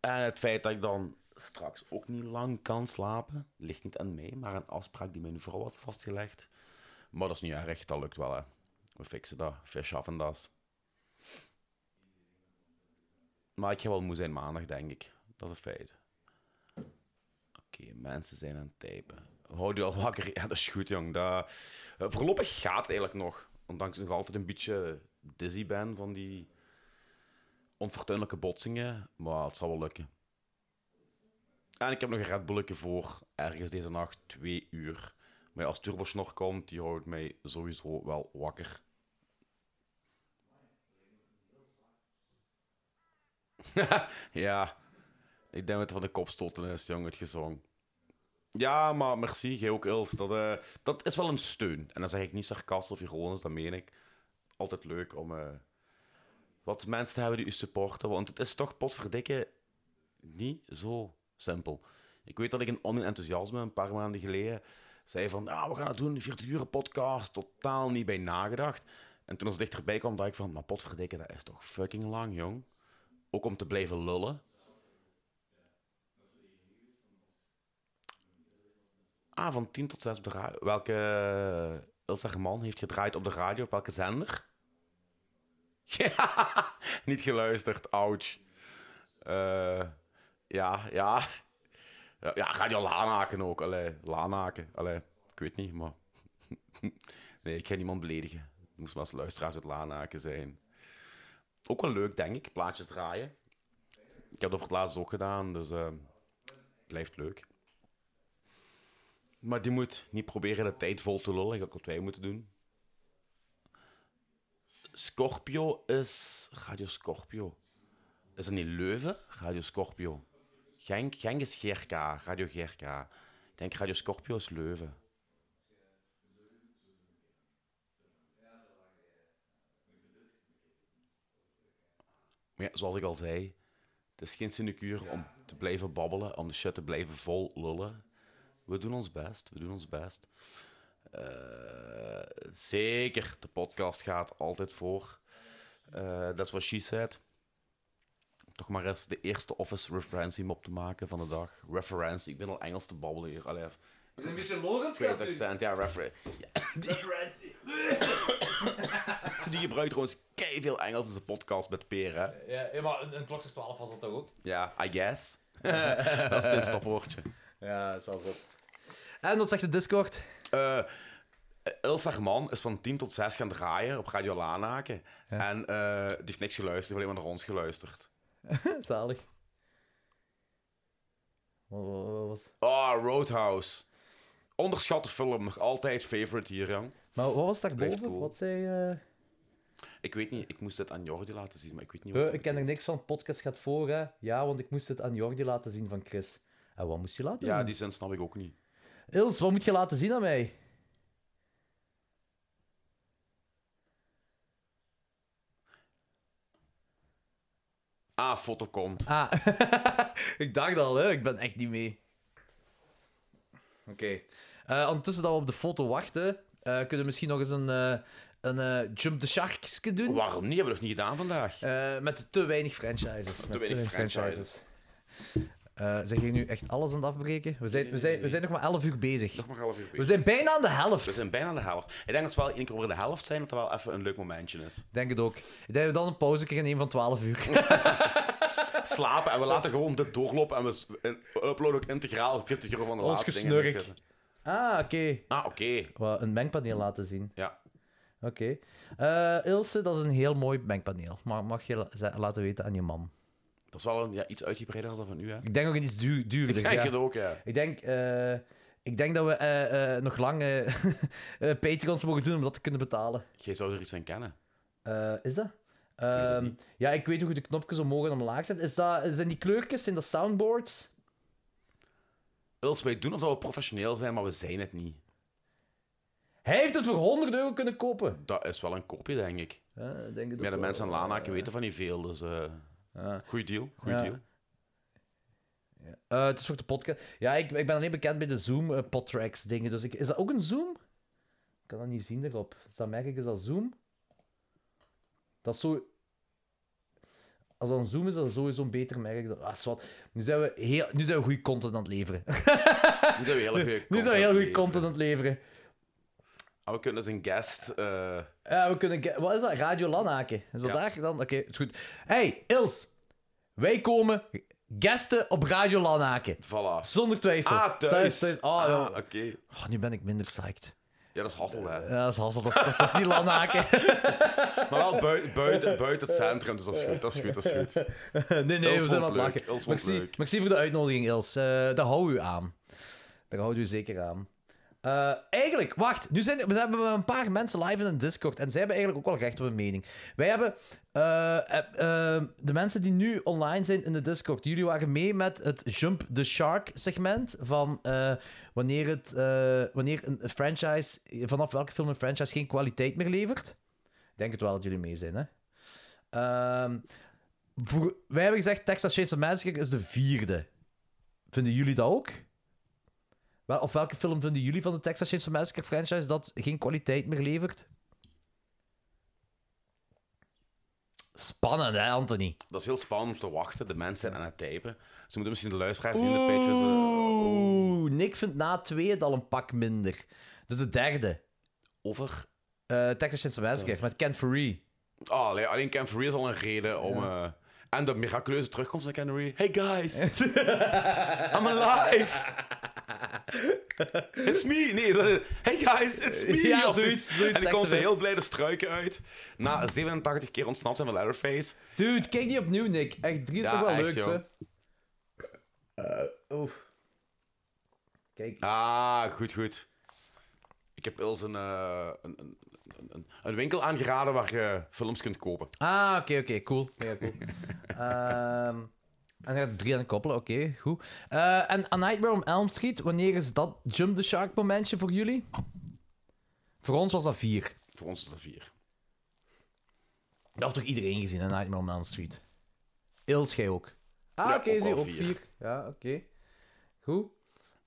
Speaker 3: En het feit dat ik dan straks ook niet lang kan slapen, ligt niet aan mij, maar aan afspraak die mijn vrouw had vastgelegd. Maar dat is niet erg, dat lukt wel, hè. We fixen dat. We schaffen dat. Maar ik ga wel moe zijn maandag, denk ik. Dat is een feit. Oké, mensen zijn aan het typen. Houd je al wakker? Ja, dat is goed, jong. Dat... eh, Voorlopig gaat het eigenlijk nog. Ondanks ik nog altijd een beetje dizzy ben van die onfortuinlijke botsingen. Maar het zal wel lukken. En ik heb nog een Red Bulletje voor ergens deze nacht, twee uur. Maar ja, als Turbosnor komt, die houdt mij sowieso wel wakker. ja, ik denk dat het van de kopstoten is, jong, het gezong. Ja, maar merci, jij ook, Ilse. Dat, eh, dat is wel een steun. En dan zeg ik niet sarcastisch of ironisch, dat meen ik. Altijd leuk om eh, wat mensen te hebben die u supporten. Want het is toch potverdikke niet zo simpel. Ik weet dat ik in online enthousiasme een paar maanden geleden zei van, ah, we gaan dat doen, 40 uur podcast, totaal niet bij nagedacht. En toen als het dichterbij kwam, dacht ik van, maar potverdikke, dat is toch fucking lang, jong. Ook om te blijven lullen. Ah, van 10 tot 6 op de radio. Welke eh, Ilse Herman heeft gedraaid op de radio? Op welke zender? Ja, niet geluisterd, ouch. Eh, Ja, ja. Ja, ja ga je al aanhaken ook. Allee, laanhaken. Allee, ik weet niet, maar... nee, ik ga niemand beledigen. Het moest maar als luisteraars het laanhaken zijn. Ook wel leuk, denk ik. Plaatjes draaien. Ik heb dat voor het laatst ook gedaan, dus... eh, blijft leuk. Maar die moet niet proberen de tijd vol te lullen, dat wat wij moeten doen. Scorpio is... Radio Scorpio. Is dat niet Leuven? Radio Scorpio. Genk, Genk is GRK, Radio GRK. Ik denk Radio Scorpio is Leuven. Maar ja, zoals ik al zei, het is geen sinecure om te blijven babbelen, om de shit te blijven vol lullen. We doen ons best, we doen ons best. Eh, zeker, de podcast gaat altijd voor. Eh, Dat is wat she said toch maar eens de eerste Office referentie mop te maken van de dag. Referentie, ik ben al Engels te babbelen hier. Allee,
Speaker 5: Is een beetje Lorentz
Speaker 3: great
Speaker 5: gaat doen?
Speaker 3: accent, ja, referentie.
Speaker 5: Referentie.
Speaker 3: Die gebruikt trouwens kei veel Engels in zijn podcast met Peer, hè?
Speaker 5: Ja, ja, maar een, een klokslag 12 was dat toch ook?
Speaker 3: Ja, I guess. dat is zijn stopwoordje.
Speaker 5: Ja, zelfs dat.
Speaker 2: En dat zegt de Discord.
Speaker 3: Eh Ilse haar man is van 10 tot 6 gaan draaien op Radio Lanaken. En eh, die heeft niks geluisterd, die heeft alleen maar naar ons geluisterd.
Speaker 2: Zalig. Wat, wat- wat was...
Speaker 3: Ah, Roadhouse. Onderschatte film, nog altijd favorite hier, jong.
Speaker 2: Maar wat was daarboven?
Speaker 3: Blijft cool.
Speaker 2: Wat zei... eh,
Speaker 3: Ik weet niet, ik moest dit aan Jordi laten zien, maar ik weet niet
Speaker 2: eh,
Speaker 3: wat...
Speaker 2: ik ken er niks van, podcast gaat voor, hè. Ja, want ik moest het aan Jordi laten zien van Chris. En wat moest je laten
Speaker 3: Ja,
Speaker 2: zien?
Speaker 3: die zin snap ik ook niet.
Speaker 2: Ils, wat moet je laten zien aan mij?
Speaker 3: Ah, foto komt.
Speaker 2: Ah, ik dacht al, hè. Ik ben echt niet mee. Oké. Eh, ondertussen dat we op de foto wachten, eh, kunnen we misschien nog eens een, eh, een eh, Jump the Sharks doen.
Speaker 3: Waarom niet? Hebben we nog niet gedaan vandaag?
Speaker 2: Eh, met te weinig franchises. Met
Speaker 3: weinig
Speaker 2: Eh, zijn jullie nu echt alles aan het afbreken? We zijn, we zijn, we zijn nog maar 11 uur bezig.
Speaker 3: Nog maar half uur.
Speaker 2: We
Speaker 3: bezig.
Speaker 2: zijn bijna aan de helft.
Speaker 3: We zijn bijna aan de helft. Ik denk dat we wel één keer over de helft zijn, dat dat wel even een leuk momentje is.
Speaker 2: Denk het ook. Ik denk dat we dan een pauze krijgen in een van 12 uur.
Speaker 3: Slapen en we laten gewoon dit doorlopen en we s- en uploaden ook integraal 40 euro van de
Speaker 2: Ons
Speaker 3: laatste
Speaker 2: gesnurk.
Speaker 3: dingen. erin zitten.
Speaker 2: ah, oké.
Speaker 3: Ah, oké.
Speaker 2: Wat, Een mengpaneel laten zien.
Speaker 3: Ja.
Speaker 2: Oké. Eh, Ilse, dat is een heel mooi mengpaneel. Maar mag je la- ze- laten weten aan je man.
Speaker 3: Dat is wel een, ja, iets uitgebreider als dat van u, hè?
Speaker 2: Ik denk ook iets duur, duurder.
Speaker 3: Ik denk
Speaker 2: ja.
Speaker 3: het ook, ja.
Speaker 2: Ik denk, eh, ik denk dat we eh, eh, nog lang eh eh, Patreons mogen doen om dat te kunnen betalen.
Speaker 3: Jij zou er iets van kennen.
Speaker 2: Eh, is dat? Ehm, ja, ik weet hoe de knopjes omhoog en omlaag zijn. Is dat, zijn die kleurtjes, zijn dat soundboards?
Speaker 3: Ils, wij doen of dat we professioneel zijn, maar we zijn het niet.
Speaker 2: Hij heeft het voor 100 euro kunnen kopen.
Speaker 3: Dat is wel een kopje, denk ik.
Speaker 2: Ja, ik denk het
Speaker 3: Maar de
Speaker 2: ook
Speaker 3: mensen aan
Speaker 2: wel.
Speaker 3: Lanaken weten van niet veel, dus... eh
Speaker 2: Ja.
Speaker 3: Goeie deal, goeie
Speaker 2: Ja.
Speaker 3: deal.
Speaker 2: Eh, het is voor de podcast. Ja, ik, ik ben alleen bekend bij de Zoom eh, podtracks dingen. Dus ik, is dat ook een Zoom? Ik kan dat niet zien erop. Is dat merk ik, is dat Zoom? Dat is zo... Als dat een Zoom is, dat is sowieso een beter merk. dan- Ah, zwart. Nu zijn we, heel, nu zijn we goede content aan het leveren.
Speaker 3: Nu zijn we heel goede
Speaker 2: nu zijn we heel goede content aan het leveren.
Speaker 3: Ah, we kunnen dus een guest... eh,
Speaker 2: Ja, we kunnen... ke- Wat is dat? Radio Lanaken. Is dat
Speaker 3: Ja.
Speaker 2: daar dan? Oké, is goed. Hey, Ils. Wij komen gasten op Radio Lanaken.
Speaker 3: voilà.
Speaker 2: Zonder twijfel.
Speaker 3: Ah, thuis.
Speaker 2: Ah,
Speaker 3: Ah,
Speaker 2: ja.
Speaker 3: oké.
Speaker 2: Oh, nu ben ik minder psyched.
Speaker 3: Ja, dat is hassel, hè.
Speaker 2: Ja, dat is Hassel. Dat is, dat is, dat is niet Lanaken.
Speaker 3: Maar wel buiten, buiten, buiten het centrum, dus dat is goed, dat is goed, dat is goed.
Speaker 2: nee, nee,
Speaker 3: Ils
Speaker 2: we
Speaker 3: vond
Speaker 2: zijn aan het
Speaker 3: leuk.
Speaker 2: lachen.
Speaker 3: Ils vond
Speaker 2: Merci,
Speaker 3: leuk.
Speaker 2: merci voor de uitnodiging, Ils. Eh, daar hou u aan. Daar houdt u zeker aan. Eh, eigenlijk, wacht. Nu zijn, we hebben we een paar mensen live in een Discord. En zij hebben eigenlijk ook wel recht op een mening. Wij hebben... eh, eh, eh, de mensen die nu online zijn in de Discord. Jullie waren mee met het Jump the Shark segment. Van eh, wanneer, het, eh, wanneer een een franchise... Vanaf welke film een franchise geen kwaliteit meer levert. Ik denk het wel dat jullie mee zijn, hè? Ehm, voor- wij hebben gezegd Texas Chainsaw Massacre is de vierde. Vinden jullie dat ook? Wel, of welke film vinden jullie van de Texas Chainsaw Massacre franchise dat geen kwaliteit meer levert? Spannend, hè, Anthony?
Speaker 3: Dat is heel spannend om te wachten, de mensen zijn aan het typen. Ze moeten misschien de luisteraars zien, de pages... eh,
Speaker 2: Oeh, Nick vindt na twee het al een pak minder. Dus de derde.
Speaker 3: over...
Speaker 2: eh, Texas Chainsaw Massacre met Ken Furry.
Speaker 3: Ah, alleen, alleen Ken Free is al een reden om... eh, En de miraculeuze terugkomst van Henry. Hey guys, I'm alive. It's me. Nee, dat- hey guys, it's me.
Speaker 2: Ja,
Speaker 3: of
Speaker 2: zoiets- zoiets
Speaker 3: en
Speaker 2: zegt
Speaker 3: dan komen ze
Speaker 2: hij.
Speaker 3: heel blij de struiken uit. Na 87 keer ontsnapt zijn van Leatherface.
Speaker 2: Dude, kijk die opnieuw, Nick. Echt, drie is
Speaker 3: Ja,
Speaker 2: toch wel
Speaker 3: echt,
Speaker 2: leuk,
Speaker 3: joh.
Speaker 2: hè?
Speaker 1: Kijk,
Speaker 3: Ah, goed, goed. Ik heb Els een, eh, een, een, een, een winkel aangeraden waar je films kunt kopen.
Speaker 2: Ah, oké, oké, cool. Mega cool. Ehm, en er gaat drie aan koppelen, oké, goed. Eh, en A Nightmare on Elm Street, wanneer is dat Jump the Shark momentje voor jullie? Voor ons was dat vier.
Speaker 3: Voor ons is dat vier.
Speaker 2: Dat heeft toch iedereen gezien, A Nightmare on Elm Street? Ils, jij ook? Ah,
Speaker 3: Ja,
Speaker 2: oké,
Speaker 3: ook
Speaker 2: zie je,
Speaker 3: wel
Speaker 2: ook vier.
Speaker 3: vier.
Speaker 2: Ja, oké. Goed.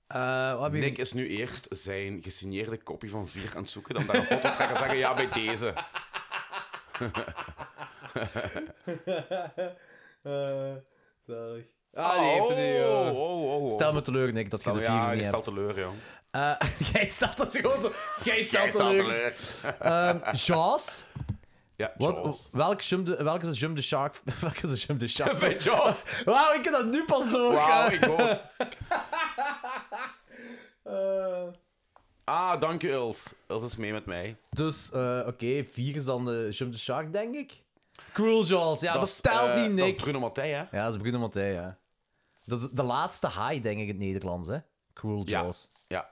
Speaker 2: Eh, wat heb je...
Speaker 3: Nick is nu eerst zijn gesigneerde kopie van vier aan het zoeken, dan daar een foto te trekken en zeggen, ja, bij deze.
Speaker 2: Eh, zalig.
Speaker 3: Ah,
Speaker 2: Ah, die heeft het niet,
Speaker 3: oh,
Speaker 2: joh.
Speaker 3: oh, oh, oh.
Speaker 2: Stel me teleur, Nick, dat je
Speaker 3: Stel-
Speaker 2: de vier
Speaker 3: ja,
Speaker 2: niet
Speaker 3: je stelt
Speaker 2: hebt.
Speaker 3: teleur, joh.
Speaker 2: Eh, jij stelt het gewoon zo. Jij stelt
Speaker 3: Jij stelt
Speaker 2: teleur.
Speaker 3: teleur.
Speaker 2: Ehm, Jaws?
Speaker 3: Ja,
Speaker 2: Wat,
Speaker 3: Jaws.
Speaker 2: welk, jump de, welke is de Jump the Shark? welke is de Jump the Shark?
Speaker 3: Bij Jaws.
Speaker 2: Wauw, ik heb dat nu pas door.
Speaker 3: Wauw,
Speaker 2: eh.
Speaker 3: ik ook. Ah, dank je, Ils. Ils is mee met mij.
Speaker 2: dus, eh, oké, vier is dan de Jump the Shark, denk ik. Cruel Jaws, ja, dat,
Speaker 3: is,
Speaker 2: stelt
Speaker 3: eh,
Speaker 2: niet,
Speaker 3: Dat
Speaker 2: Nick.
Speaker 3: is Bruno Mattei, hè?
Speaker 2: Ja, dat is Bruno Mattei, ja. Dat is de laatste high, denk ik, in het Nederlands, hè? Cruel
Speaker 3: Ja.
Speaker 2: Jaws.
Speaker 3: Ja.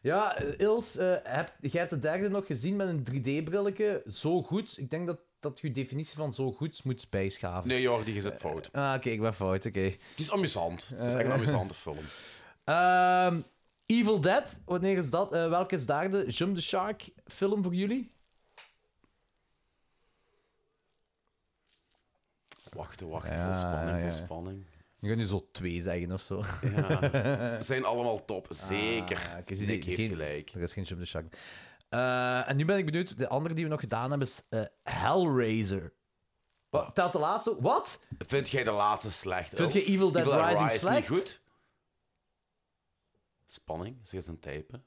Speaker 2: Ja, eh, Ils, eh, heb, jij hebt de derde nog gezien met een 3D-brilletje. Zo goed. Ik denk dat, dat je definitie van zo goed moet bijschaven.
Speaker 3: Nee, Jordi, je zit fout.
Speaker 2: Ah, oké, ik ben fout, oké.
Speaker 3: Het is amusant. Het is echt een
Speaker 2: Eh.
Speaker 3: amusante film.
Speaker 2: Ehm, Evil Dead, wanneer is dat? Eh, welke is daar de Jump the Shark film voor jullie?
Speaker 3: Wachten, wachten.
Speaker 2: Ja,
Speaker 3: veel spanning,
Speaker 2: ja, ja.
Speaker 3: veel spanning.
Speaker 2: Je gaat nu zo twee zeggen of zo.
Speaker 3: Ja. Zijn allemaal top, zeker.
Speaker 2: Ah, oké, zie
Speaker 3: Nick
Speaker 2: je,
Speaker 3: heeft
Speaker 2: geen-
Speaker 3: gelijk.
Speaker 2: Er is geen Jump the Shark. Eh, en nu ben ik benieuwd, de andere die we nog gedaan hebben is eh, Hellraiser. Wat, telt de laatste? Wat?
Speaker 3: Vind jij de laatste slecht?
Speaker 2: Vind
Speaker 3: Els?
Speaker 2: je Evil Dead Rising slecht?
Speaker 3: niet goed? Spanning, ze is een typen.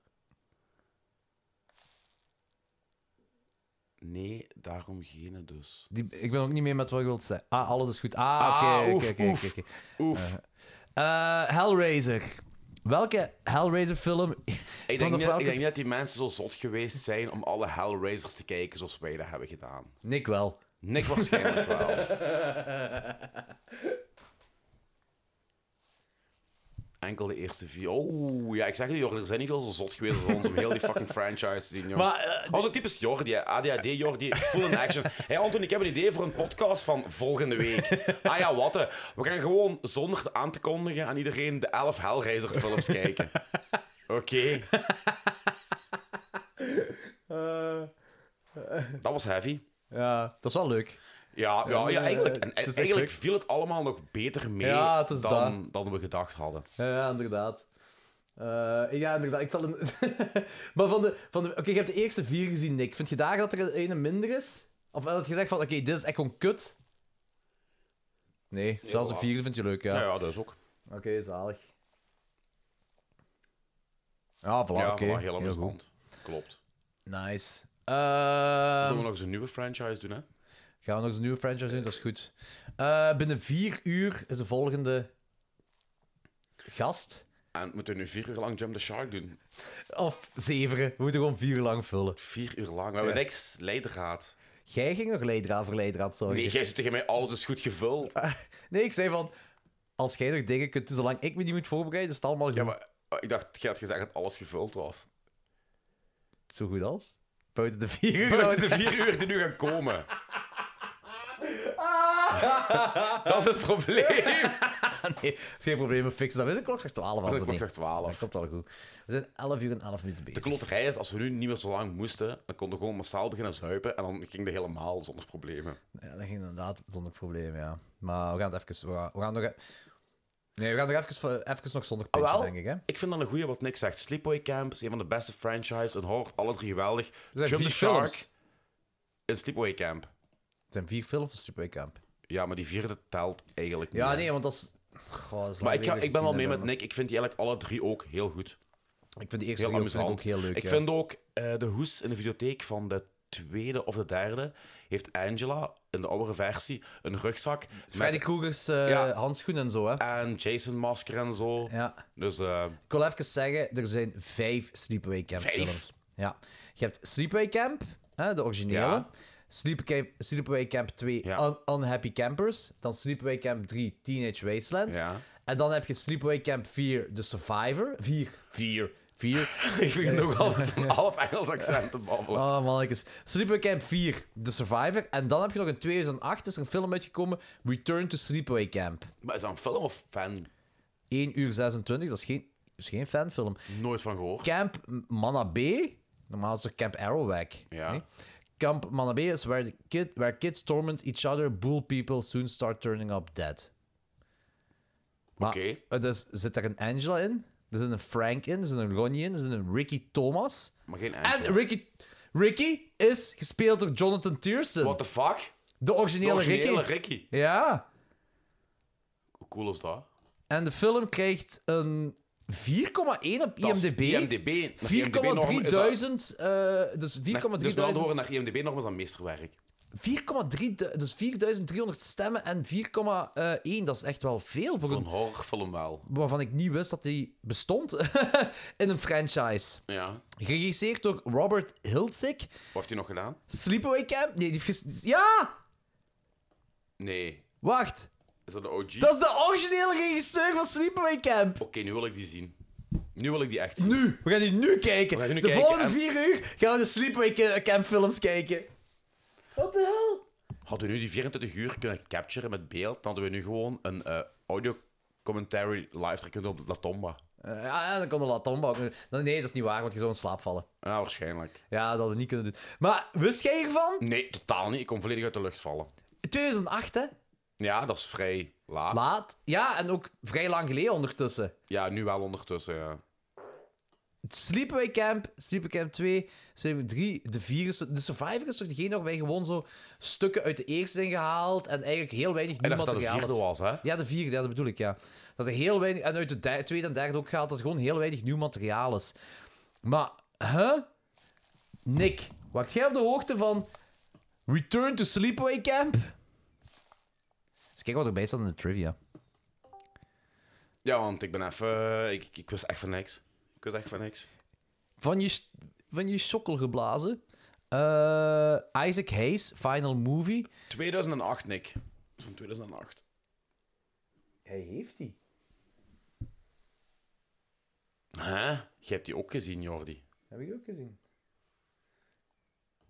Speaker 3: Nee, daarom gene dus.
Speaker 2: Die, ik ben ook niet meer met wat je wilt zeggen. Ah, alles is goed. Ah,
Speaker 3: Ah,
Speaker 2: oké, oké,
Speaker 3: oef,
Speaker 2: oké,
Speaker 3: oef.
Speaker 2: oké, oké.
Speaker 3: Oef.
Speaker 2: Eh, Hellraiser. Welke Hellraiser-film
Speaker 3: ik,
Speaker 2: van
Speaker 3: denk
Speaker 2: de
Speaker 3: niet, ik
Speaker 2: Falcons-
Speaker 3: denk niet dat die mensen zo zot geweest zijn om alle Hellraisers te kijken zoals wij dat hebben gedaan.
Speaker 2: Nick wel.
Speaker 3: Nick waarschijnlijk wel. Enkel de eerste vier. Oh, ja, ik zeg het Jordi, er zijn niet veel zo zot geweest als ons om heel die fucking franchise te zien, jongen.
Speaker 2: Maar, eh,
Speaker 3: Als het typisch Jordi, hè. ADHD Jordi, full in action. Hé hey, Anton, ik heb een idee voor een podcast van volgende week. Ah ja, wat hè. We gaan gewoon zonder het aan te kondigen aan iedereen de 11 Hellraiser films kijken. Oké. Dat was heavy.
Speaker 2: Ja, dat is wel leuk.
Speaker 3: Ja, ja, ja
Speaker 2: eh,
Speaker 3: eigenlijk, en,
Speaker 2: het is echt
Speaker 3: eigenlijk
Speaker 2: leuk.
Speaker 3: viel het allemaal nog beter mee
Speaker 2: Ja, het is
Speaker 3: dan, dan we gedacht hadden.
Speaker 2: Ja, ja, inderdaad. Eh, ja, inderdaad. Ik zal een... maar van de... Van de... Oké, je hebt de eerste vier gezien, Nick. Vind je daar dat er een ene minder is? Of had je gezegd van, oké, dit is echt gewoon kut? Nee, zelfs de
Speaker 3: voilà.
Speaker 2: vierde vind je leuk, ja.
Speaker 3: Ja, ja dat is ook.
Speaker 2: Oké, zalig. Ja, voilà,
Speaker 3: ja,
Speaker 2: oké.
Speaker 3: maar heel
Speaker 2: Heel goed.
Speaker 3: amusant. Klopt.
Speaker 2: Nice.
Speaker 3: Zullen
Speaker 2: Ehm,
Speaker 3: we nog eens een nieuwe franchise doen, hè?
Speaker 2: Gaan we nog eens een nieuwe franchise doen? Dat is goed. Eh, binnen vier uur is de volgende gast.
Speaker 3: En moeten we nu vier uur lang Jump the Shark doen?
Speaker 2: Of zeveren. We moeten gewoon vier uur lang vullen.
Speaker 3: Vier uur lang. We hebben
Speaker 2: Ja.
Speaker 3: niks leidraad.
Speaker 2: Jij ging nog leidraad voor leidraad zorgen.
Speaker 3: Nee, jij zegt tegen mij, alles is goed gevuld.
Speaker 2: Nee, ik zei van... Als jij nog dingen kunt doen, zolang ik me niet moet voorbereiden, is het allemaal goed.
Speaker 3: Ja, maar eh, ik dacht, jij had gezegd dat alles gevuld was.
Speaker 2: Zo goed als? Buiten de vier uur.
Speaker 3: Buiten de vier uur die nu gaan komen. Dat is het probleem.
Speaker 2: nee, is geen probleem, we fixen dat. We zijn klok straks 12
Speaker 3: Dat
Speaker 2: aan.
Speaker 3: is klok straks 12.
Speaker 2: Dat komt wel goed. We zijn 11 uur en 11 minuten bezig.
Speaker 3: De klotterij is, als we nu niet meer zo lang moesten, dan konden we gewoon massaal beginnen zuipen en dan ging dat helemaal zonder problemen.
Speaker 2: Ja, dat ging inderdaad zonder probleem, ja. Maar we gaan het even... We gaan, we gaan nog... e- Nee, we gaan nog even, even nog zonder
Speaker 3: Ah,
Speaker 2: puntje,
Speaker 3: wel.
Speaker 2: denk ik, hè.
Speaker 3: Ik vind dan een goeie wat Nick zegt. Sleepaway Camp is een van de beste franchises. Een horror, alle drie geweldig.
Speaker 2: zijn
Speaker 3: Jump the
Speaker 2: vier
Speaker 3: Shark
Speaker 2: films.
Speaker 3: is Sleepaway Camp.
Speaker 2: Het zijn vier films van Sleepaway Camp.
Speaker 3: Ja, maar die vierde telt eigenlijk
Speaker 2: Ja,
Speaker 3: niet.
Speaker 2: nee, want dat is... Goh, dat is
Speaker 3: Maar
Speaker 2: lang
Speaker 3: ik, ga-
Speaker 2: geleden
Speaker 3: ik ben wel
Speaker 2: gezien
Speaker 3: mee met
Speaker 2: hebben.
Speaker 3: Nick. Ik vind die eigenlijk alle drie ook heel goed.
Speaker 2: Ik vind de eerste
Speaker 3: Heel
Speaker 2: drie ook, vind ik
Speaker 3: amusant.
Speaker 2: ook heel leuk,
Speaker 3: Ik
Speaker 2: ja.
Speaker 3: vind ook eh, de hoes in de videotheek van de tweede of de derde heeft Angela in de oudere versie een rugzak
Speaker 2: Freddy
Speaker 3: met
Speaker 2: Krueger's eh
Speaker 3: Ja.
Speaker 2: handschoen en zo, hè.
Speaker 3: en Jason masker en zo.
Speaker 2: Ja.
Speaker 3: Dus eh,
Speaker 2: Ik wil even zeggen, er zijn vijf Sleepaway Camp
Speaker 3: Vijf?
Speaker 2: films. Ja. Je hebt Sleepaway Camp, hè, de originele.
Speaker 3: Ja.
Speaker 2: Sleep Camp- Sleepaway Camp 2,
Speaker 3: Ja.
Speaker 2: Un- Unhappy Campers. Dan Sleepaway Camp 3, Teenage Wasteland.
Speaker 3: ja.
Speaker 2: En dan heb je Sleepaway Camp 4, The Survivor. 4. 4. 4.
Speaker 3: Ik vind het nogal met een half Engels accent te babbelen.
Speaker 2: Oh, mannetjes. Sleepaway Camp 4, The Survivor. En dan heb je nog in 2008 is er een film uitgekomen, Return to Sleepaway Camp.
Speaker 3: Maar is dat een film of fan?
Speaker 2: 1 uur 26, dat is geen, dat is geen fanfilm.
Speaker 3: Nooit van gehoord.
Speaker 2: Camp Mana B. Normaal is het Camp Arawak.
Speaker 3: Ja.
Speaker 2: Camp Mana B is where, the kid, where kids torment each other, bull people soon start turning up dead. Maar,
Speaker 3: Oké.
Speaker 2: eh, Dus zit daar een Angela in? Er zit een Frank in, er zit een Ronnie in, er zit een Ricky Thomas.
Speaker 3: Maar geen Engels.
Speaker 2: En Ricky, Ricky is gespeeld door Jonathan Tiersen.
Speaker 3: What the fuck?
Speaker 2: De
Speaker 3: De
Speaker 2: originele,
Speaker 3: originele
Speaker 2: Ricky.
Speaker 3: Ricky.
Speaker 2: Ja.
Speaker 3: Hoe cool is dat?
Speaker 2: En de film krijgt een 4,1 op
Speaker 3: Dat is
Speaker 2: IMDb.
Speaker 3: IMDb.
Speaker 2: 4,3000,
Speaker 3: Naar IMDb normen is dat-
Speaker 2: eh, dus 4,3000.
Speaker 3: Dus met andere woorden, naar IMDb nog eens aan meesterwerk.
Speaker 2: 4,3, dus 4300 stemmen en 4,1. Dat is echt wel veel voor
Speaker 3: Voor een
Speaker 2: een...
Speaker 3: horrorfilm wel.
Speaker 2: Waarvan ik niet wist dat die bestond in een franchise.
Speaker 3: Ja. Wat
Speaker 2: Geregisseerd door Robert Hiltzik.
Speaker 3: heeft hij nog gedaan?
Speaker 2: Sleepaway Camp? Nee, die heeft ges- Ja!
Speaker 3: Nee.
Speaker 2: Wacht.
Speaker 3: Is dat de OG?
Speaker 2: Dat is de originele regisseur van Sleepaway Camp.
Speaker 3: Oké, nu wil ik die zien. Nu wil ik die echt zien.
Speaker 2: Nu. We gaan die nu kijken.
Speaker 3: We gaan die nu
Speaker 2: de
Speaker 3: kijken
Speaker 2: volgende
Speaker 3: en-
Speaker 2: vier uur gaan we de Sleepaway Ca- Camp films kijken. Wat de hel?
Speaker 3: Hadden we nu die 24 uur kunnen capturen met beeld, dan hadden we nu gewoon een eh audio commentary livestream kunnen doen op La Tomba.
Speaker 2: Eh, ja, ja, dan komt de Latomba ook. Dan- Nee, dat is niet waar, want je zou in slaap vallen.
Speaker 3: Ja, waarschijnlijk.
Speaker 2: Ja, dat hadden we niet kunnen doen. Maar wist jij ervan?
Speaker 3: Nee, totaal niet. Ik kom volledig uit de lucht vallen.
Speaker 2: 2008, hè?
Speaker 3: Ja, dat is vrij laat.
Speaker 2: Laat. Ja, en ook vrij lang geleden ondertussen.
Speaker 3: Ja, nu wel ondertussen. Ja.
Speaker 2: Sleepaway Camp, Sleepaway Camp 2, Sleepaway 3, de virus. De Survivor is toch degene waarbij gewoon zo stukken uit de eerste zijn gehaald en eigenlijk heel weinig
Speaker 3: En
Speaker 2: nieuw
Speaker 3: dat dat de
Speaker 2: materiaal
Speaker 3: vierde
Speaker 2: is.
Speaker 3: was, hè?
Speaker 2: Ja, de vierde, ja, dat bedoel ik, ja. Dat er heel weinig... En uit de derde- tweede en derde ook gehaald, dat er gewoon heel weinig nieuw materiaal is. Maar, hè? Nick, wat jij op de hoogte van Return to Sleepaway Camp? Dus kijk wat erbij staat in de trivia.
Speaker 3: Ja, want ik ben even... eh, Ik, ik, ik wist echt van niks. Ik wist echt van niks.
Speaker 2: Van je, van je sokkel geblazen. Eh, Isaac Hayes, Final Movie.
Speaker 3: 2008, Nick. Dat is Van 2008.
Speaker 2: Hij heeft die.
Speaker 3: Hè? Je hebt die ook gezien, Jordi.
Speaker 2: Heb ik die ook gezien?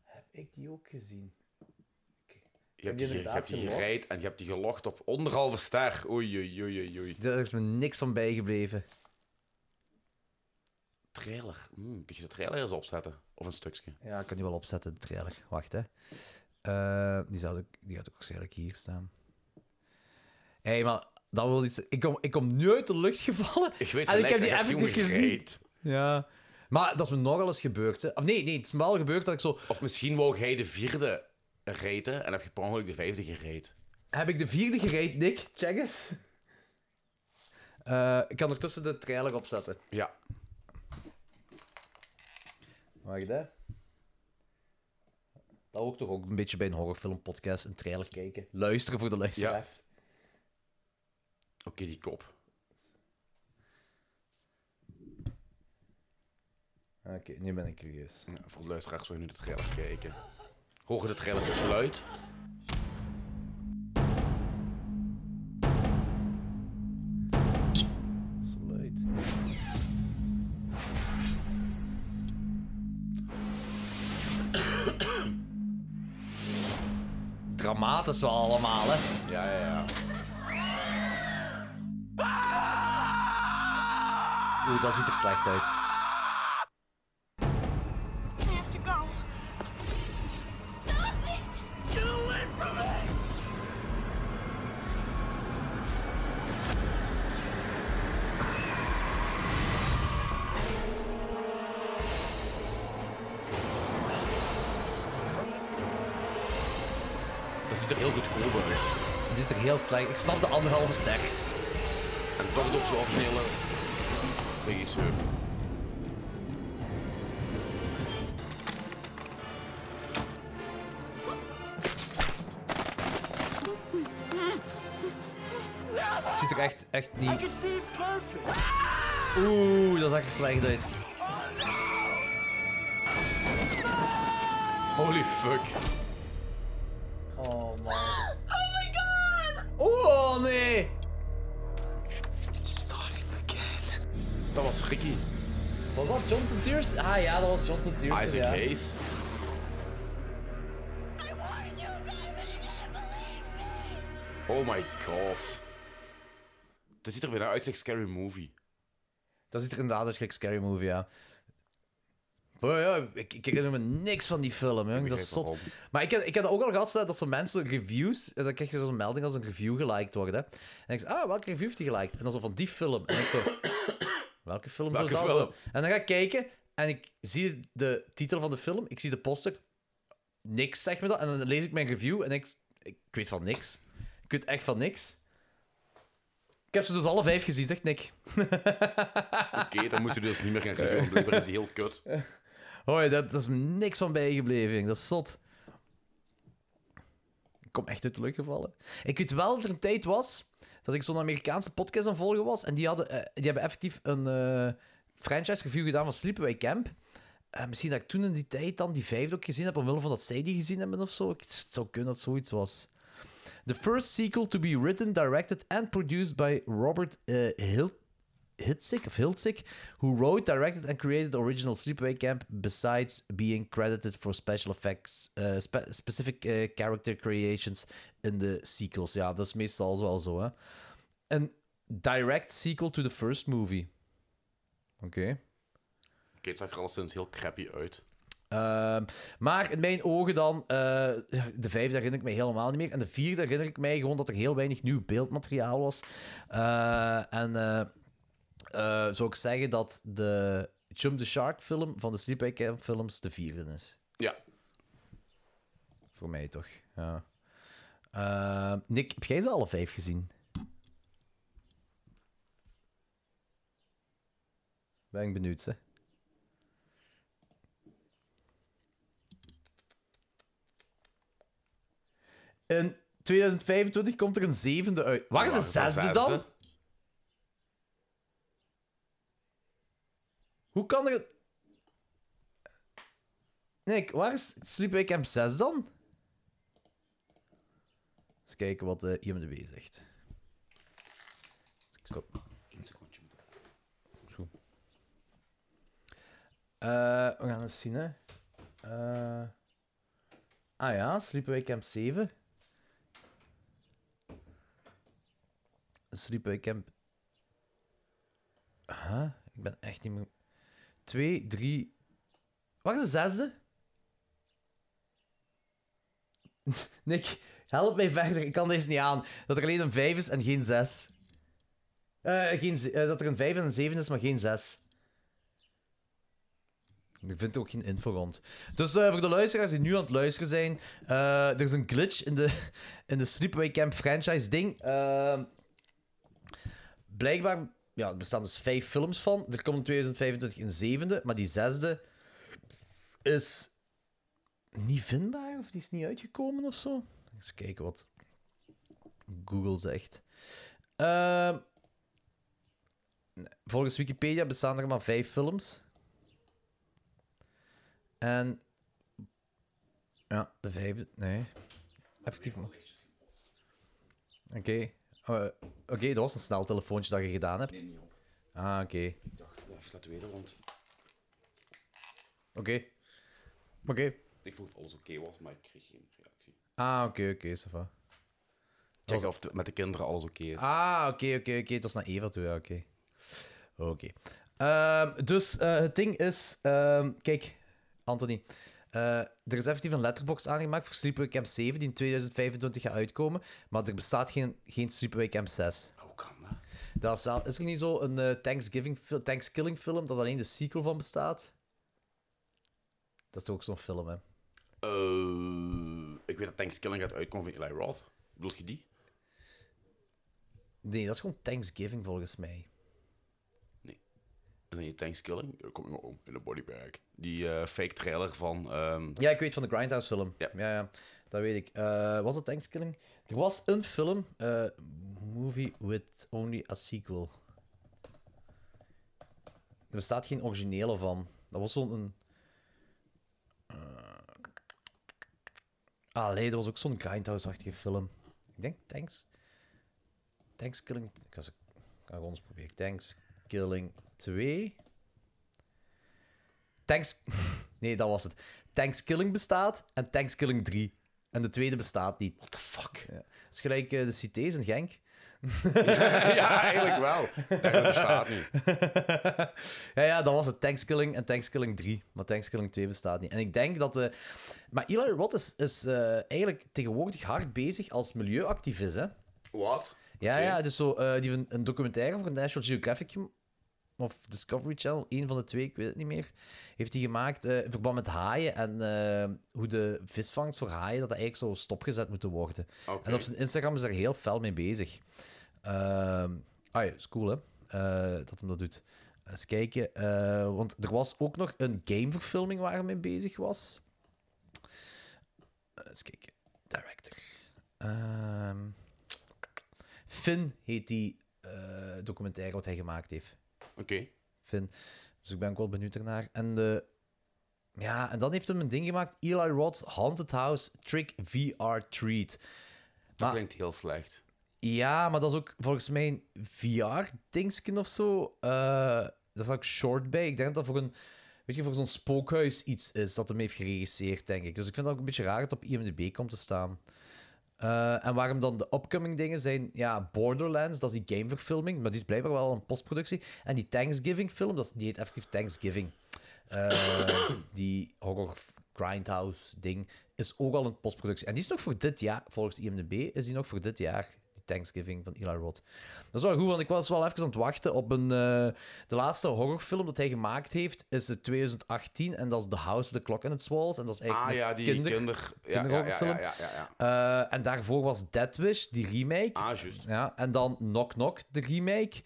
Speaker 2: Heb ik die ook gezien?
Speaker 3: Je hebt
Speaker 2: die
Speaker 3: die, ge- je
Speaker 2: inderdaad
Speaker 3: hebt die
Speaker 2: gelogd?
Speaker 3: gereid en je hebt die gelogd op onderhalve ster. Oei, oei, oei, oei, oei.
Speaker 2: Daar is me niks van bijgebleven.
Speaker 3: Trailer. Hmm, kun je de trailer eens opzetten? Of een stukje?
Speaker 2: Ja, ik kan die wel opzetten, de trailer. Wacht, hè. Eh, die, zou ook, die gaat ook waarschijnlijk hier staan. Hé, hey, maar dat wil iets... Ik kom, ik kom nu uit de lucht gevallen.
Speaker 3: Ik weet
Speaker 2: en
Speaker 3: van
Speaker 2: Ah, ik
Speaker 3: niks,
Speaker 2: heb die
Speaker 3: hij gaat
Speaker 2: effectief
Speaker 3: gewoon
Speaker 2: gezien.
Speaker 3: gereid.
Speaker 2: Ja. Maar dat is me nogal eens gebeurd, hè. Of nee, nee, het is me wel gebeurd dat ik zo...
Speaker 3: Of misschien wou jij de vierde reten en heb je per ongeluk de vijfde gereed.
Speaker 2: Heb ik de vierde gereed, Nick? Check eens. Eh, ik kan ondertussen de trailer opzetten.
Speaker 3: Ja.
Speaker 2: Wacht, hè. Dat hoort toch ook een beetje bij een horrorfilmpodcast, een trailer kijken. Luisteren voor de luisteraars.
Speaker 3: Oké, die kop.
Speaker 2: Oké, nu ben ik curieus.
Speaker 3: Ja, Nou, voor de luisteraars wil je nu de trailer kijken. Horen de trailers het geluid?
Speaker 2: Sluit. Dramatisch wel allemaal, hè?
Speaker 3: Ja, ja, ja.
Speaker 2: Oeh, dat ziet er slecht uit.
Speaker 6: I have to go. Stop it! Get away from me!
Speaker 3: Dat ziet er heel goed cool uit.
Speaker 2: Het ziet er heel slecht Ik snap de anderhalve ster.
Speaker 3: En dat is ook zo'n originele regisseur.
Speaker 2: Het ziet er echt, echt
Speaker 7: I
Speaker 2: niet...
Speaker 7: can see it perfect.
Speaker 2: Oeh, dat zag er slecht uit.
Speaker 3: Holy fuck.
Speaker 2: Oh, man.
Speaker 6: Oh my god!
Speaker 2: Oh, nee!
Speaker 3: Dat was Ricky.
Speaker 2: Was dat Jonathan Tears? Ah ja, dat was Jonathan Tears.
Speaker 3: Isaac
Speaker 2: ja.
Speaker 3: Hayes.
Speaker 6: I warned you, David, you didn't believe me!
Speaker 3: Oh my god. Dat ziet er bijna uit als Scary Movie.
Speaker 2: Dat ziet er inderdaad uit gelijk Scary Movie, ja. Oh ja, ik, ik herinner me niks van die film, jong. Dat is
Speaker 3: begrijp
Speaker 2: zot.
Speaker 3: waarom.
Speaker 2: Maar ik, heb- ik had ook al gehad zo dat ze mensen reviews... en Dan krijg je zo'n melding als een review geliked wordt, hè. En ik zeg, ah, welke review heeft die geliked? En dan zo van die film. En ik zo... welke film
Speaker 3: Welke
Speaker 2: zou dat
Speaker 3: film?
Speaker 2: zijn? En dan ga ik kijken en ik zie de titel van de film. Ik zie de poster. Niks, zeg me dat. En dan lees ik mijn review en ik... Ik weet van niks. Ik weet echt van niks. Ik heb ze dus alle vijf gezien, zegt Nick.
Speaker 3: Oké, dan moeten we dus niet meer gaan reviewen. want Blijkbaar is die heel kut.
Speaker 2: Hoi, dat, dat is me niks van bijgebleven. jong. Dat is zot. Ik kom echt uit de lucht gevallen. Ik weet wel dat er een tijd was dat ik zo'n Amerikaanse podcast aan het volgen was. En die, hadden, eh, die hebben effectief een eh, franchise review gedaan van Sleepaway Camp. Eh, misschien dat ik toen in die tijd dan die vijfde ook gezien heb, omwille van dat zij die gezien hebben of zo. Ik- Het zou kunnen dat zoiets was. The first sequel to be written, directed and produced by Robert eh, Hilt. Hitzik of Hiltzik, who wrote, directed, and created the original Sleepaway Camp, besides being credited for special effects, uh, spe- specific uh, character creations in the sequels. Ja, dat is meestal wel zo, hè. Een direct sequel to the first movie. Oké.
Speaker 3: Oké, het zag er alleszins heel crappy uit.
Speaker 2: Ehm, maar in mijn ogen dan, eh, de vijfde herinner ik mij helemaal niet meer. En de vierde herinner ik mij gewoon dat er heel weinig nieuw beeldmateriaal was. Eh, en eh, eh, zou ik zeggen dat de Jump the Shark film van de Sleepaway Camp films de vierde is.
Speaker 3: Ja.
Speaker 2: Voor mij toch, ja. Ehm, Nick, heb jij ze alle vijf gezien? Ben ik benieuwd, hè? In 2025 komt er een zevende uit. Waar is de zesde dan? Hoe kan er... een- Nick, waar is Sleepaway Camp 6 dan? Eens kijken wat eh, de IMDb zegt. Kom.
Speaker 3: Eén secondje.
Speaker 2: Eh, we gaan eens zien, hè. Eh, ah ja, Sleepaway Camp 7. Sleepaway Camp... Huh? Ik ben echt niet meer... 2, 3... Waar is de zesde? Nick, help mij verder. Ik kan deze niet aan. Dat er alleen een 5 is en geen 6. geen, ze- eh, dat er een 5 en een 7 is, maar geen 6. Ik vind er ook geen info rond. Dus eh, voor de luisteraars die nu aan het luisteren zijn, eh, er is een glitch in de, in de Sleepaway Camp franchise ding. Ehm, blijkbaar, ja, er bestaan dus vijf films van. Er komt in 2025 een zevende, maar die zesde is niet vindbaar of die is niet uitgekomen of zo. Eens kijken wat Google zegt. Ehm, volgens Wikipedia bestaan er maar vijf films. En. Ja, de vijfde. Nee. Effectief. maar- Oké. Eh, Oké, dat was een snel telefoontje dat je gedaan hebt. Ah, oké.
Speaker 3: Even laten weten, want
Speaker 2: Oké. Oké.
Speaker 3: ik vroeg of alles oké was, maar ik kreeg geen reactie.
Speaker 2: Ah, oké, oké, ça va.
Speaker 3: Check of de- met de kinderen alles oké is.
Speaker 2: Ah, oké, oké, oké. Het was naar Eva toe, ja, oké. Oké. Ehm, dus eh, het ding is... ehm, kijk, Anthony. eh, er is effectief een letterbox aangemaakt voor Sleepaway Camp 7, die in 2025 gaat uitkomen. Maar er bestaat geen, geen Sleepaway Camp 6.
Speaker 3: Hoe kan dat?
Speaker 2: Dat is, zelf- is er niet zo een eh, Thanksgiving fil- Thanksgiving film dat alleen de sequel van bestaat? Dat is toch ook zo'n film, hè?
Speaker 3: Eh, ik weet dat Thanksgiving gaat uitkomen van Eli Roth. Bedoel je die?
Speaker 2: Nee, dat is gewoon Thanksgiving volgens mij.
Speaker 3: Is dat niet Thanksgiving? Er komt mijn oom in een bodybag. Die eh, fake trailer van... ehm,
Speaker 2: Ja, ik weet van de Grindhouse film. Ja,
Speaker 3: Ja.
Speaker 2: ja, dat weet ik. Eh, was het Thanksgiving? Er was een film, eh, movie with only a sequel. Er bestaat geen originele van. Dat was zo'n... een- eh, Ah, nee, dat was ook zo'n Grindhouse-achtige film. Ik denk Thanks... Thanksgiving... Ik ga ze ik ga gewoon eens proberen. Thanksgiving 2... Thanks... Nee, dat was het. Thanksgiving bestaat en Thanksgiving 3. En de tweede bestaat niet. What the fuck? Ja. Dat is gelijk eh, de Cités in Genk.
Speaker 3: ja, eigenlijk wel. Dat bestaat niet.
Speaker 2: ja, ja, dat was het. Thanksgiving en Thanksgiving 3. Maar Thanksgiving 2 bestaat niet. En ik denk dat... eh maar Eli Roth is, is eh, eigenlijk tegenwoordig hard bezig als milieuactivist, hè?
Speaker 3: Wat?
Speaker 2: Ja,
Speaker 3: Oké.
Speaker 2: ja, het is zo. eh, die heeft een, een documentaire van National Geographic gem- of Discovery Channel, één van de twee, ik weet het niet meer, heeft hij gemaakt eh, in verband met haaien en eh, hoe de visvangst voor haaien dat dat eigenlijk zou stopgezet moeten worden.
Speaker 3: Oké.
Speaker 2: En op zijn Instagram is daar heel fel mee bezig. Ehm, ah ja, is cool hè, eh, dat hem dat doet. Eens kijken, eh, want er was ook nog een gameverfilming waar hij mee bezig was. Eh, Eens kijken, director. Ehm Finn heet die eh, documentaire wat hij gemaakt heeft.
Speaker 3: Oké.
Speaker 2: Finn. Dus ik ben ook wel benieuwd ernaar. En, de, ja, en dan heeft hem een ding gemaakt. Eli Roth's Haunted House Trick VR Treat.
Speaker 3: Dat
Speaker 2: Maar-
Speaker 3: klinkt heel slecht.
Speaker 2: Ja, maar dat is ook volgens mij een VR-dingsken of zo. Eh daar staat ook short bij. Ik denk dat dat voor een... Weet je, voor zo'n spookhuis iets is dat hem heeft geregisseerd, denk ik. Dus ik vind het ook een beetje raar dat het op IMDb komt te staan. Eh, en waarom dan de upcoming dingen zijn... Ja, Borderlands, dat is die gameverfilming. Maar die is blijkbaar wel een postproductie. En die Thanksgiving-film, dat is- die heet effectief Thanksgiving. Eh, die horror grindhouse-ding is ook al een postproductie. En die is nog voor dit jaar, volgens IMDb, is die nog voor dit jaar. Die Thanksgiving van Eli Roth. Dat is wel goed, want ik was wel even aan het wachten op een... eh, de laatste horrorfilm dat hij gemaakt heeft is uit 2018. En dat is The House with the Clock in its Walls. En dat is
Speaker 3: Ah
Speaker 2: eigenlijk
Speaker 3: ja,
Speaker 2: een
Speaker 3: die
Speaker 2: kinder...
Speaker 3: kinder... ja, ja, ja,
Speaker 2: kinderhorrorfilm.
Speaker 3: ja, ja, ja, ja.
Speaker 2: Eh, en daarvoor was Dead Wish, die remake.
Speaker 3: Ah, juist.
Speaker 2: Ja, en dan Knock Knock, de remake.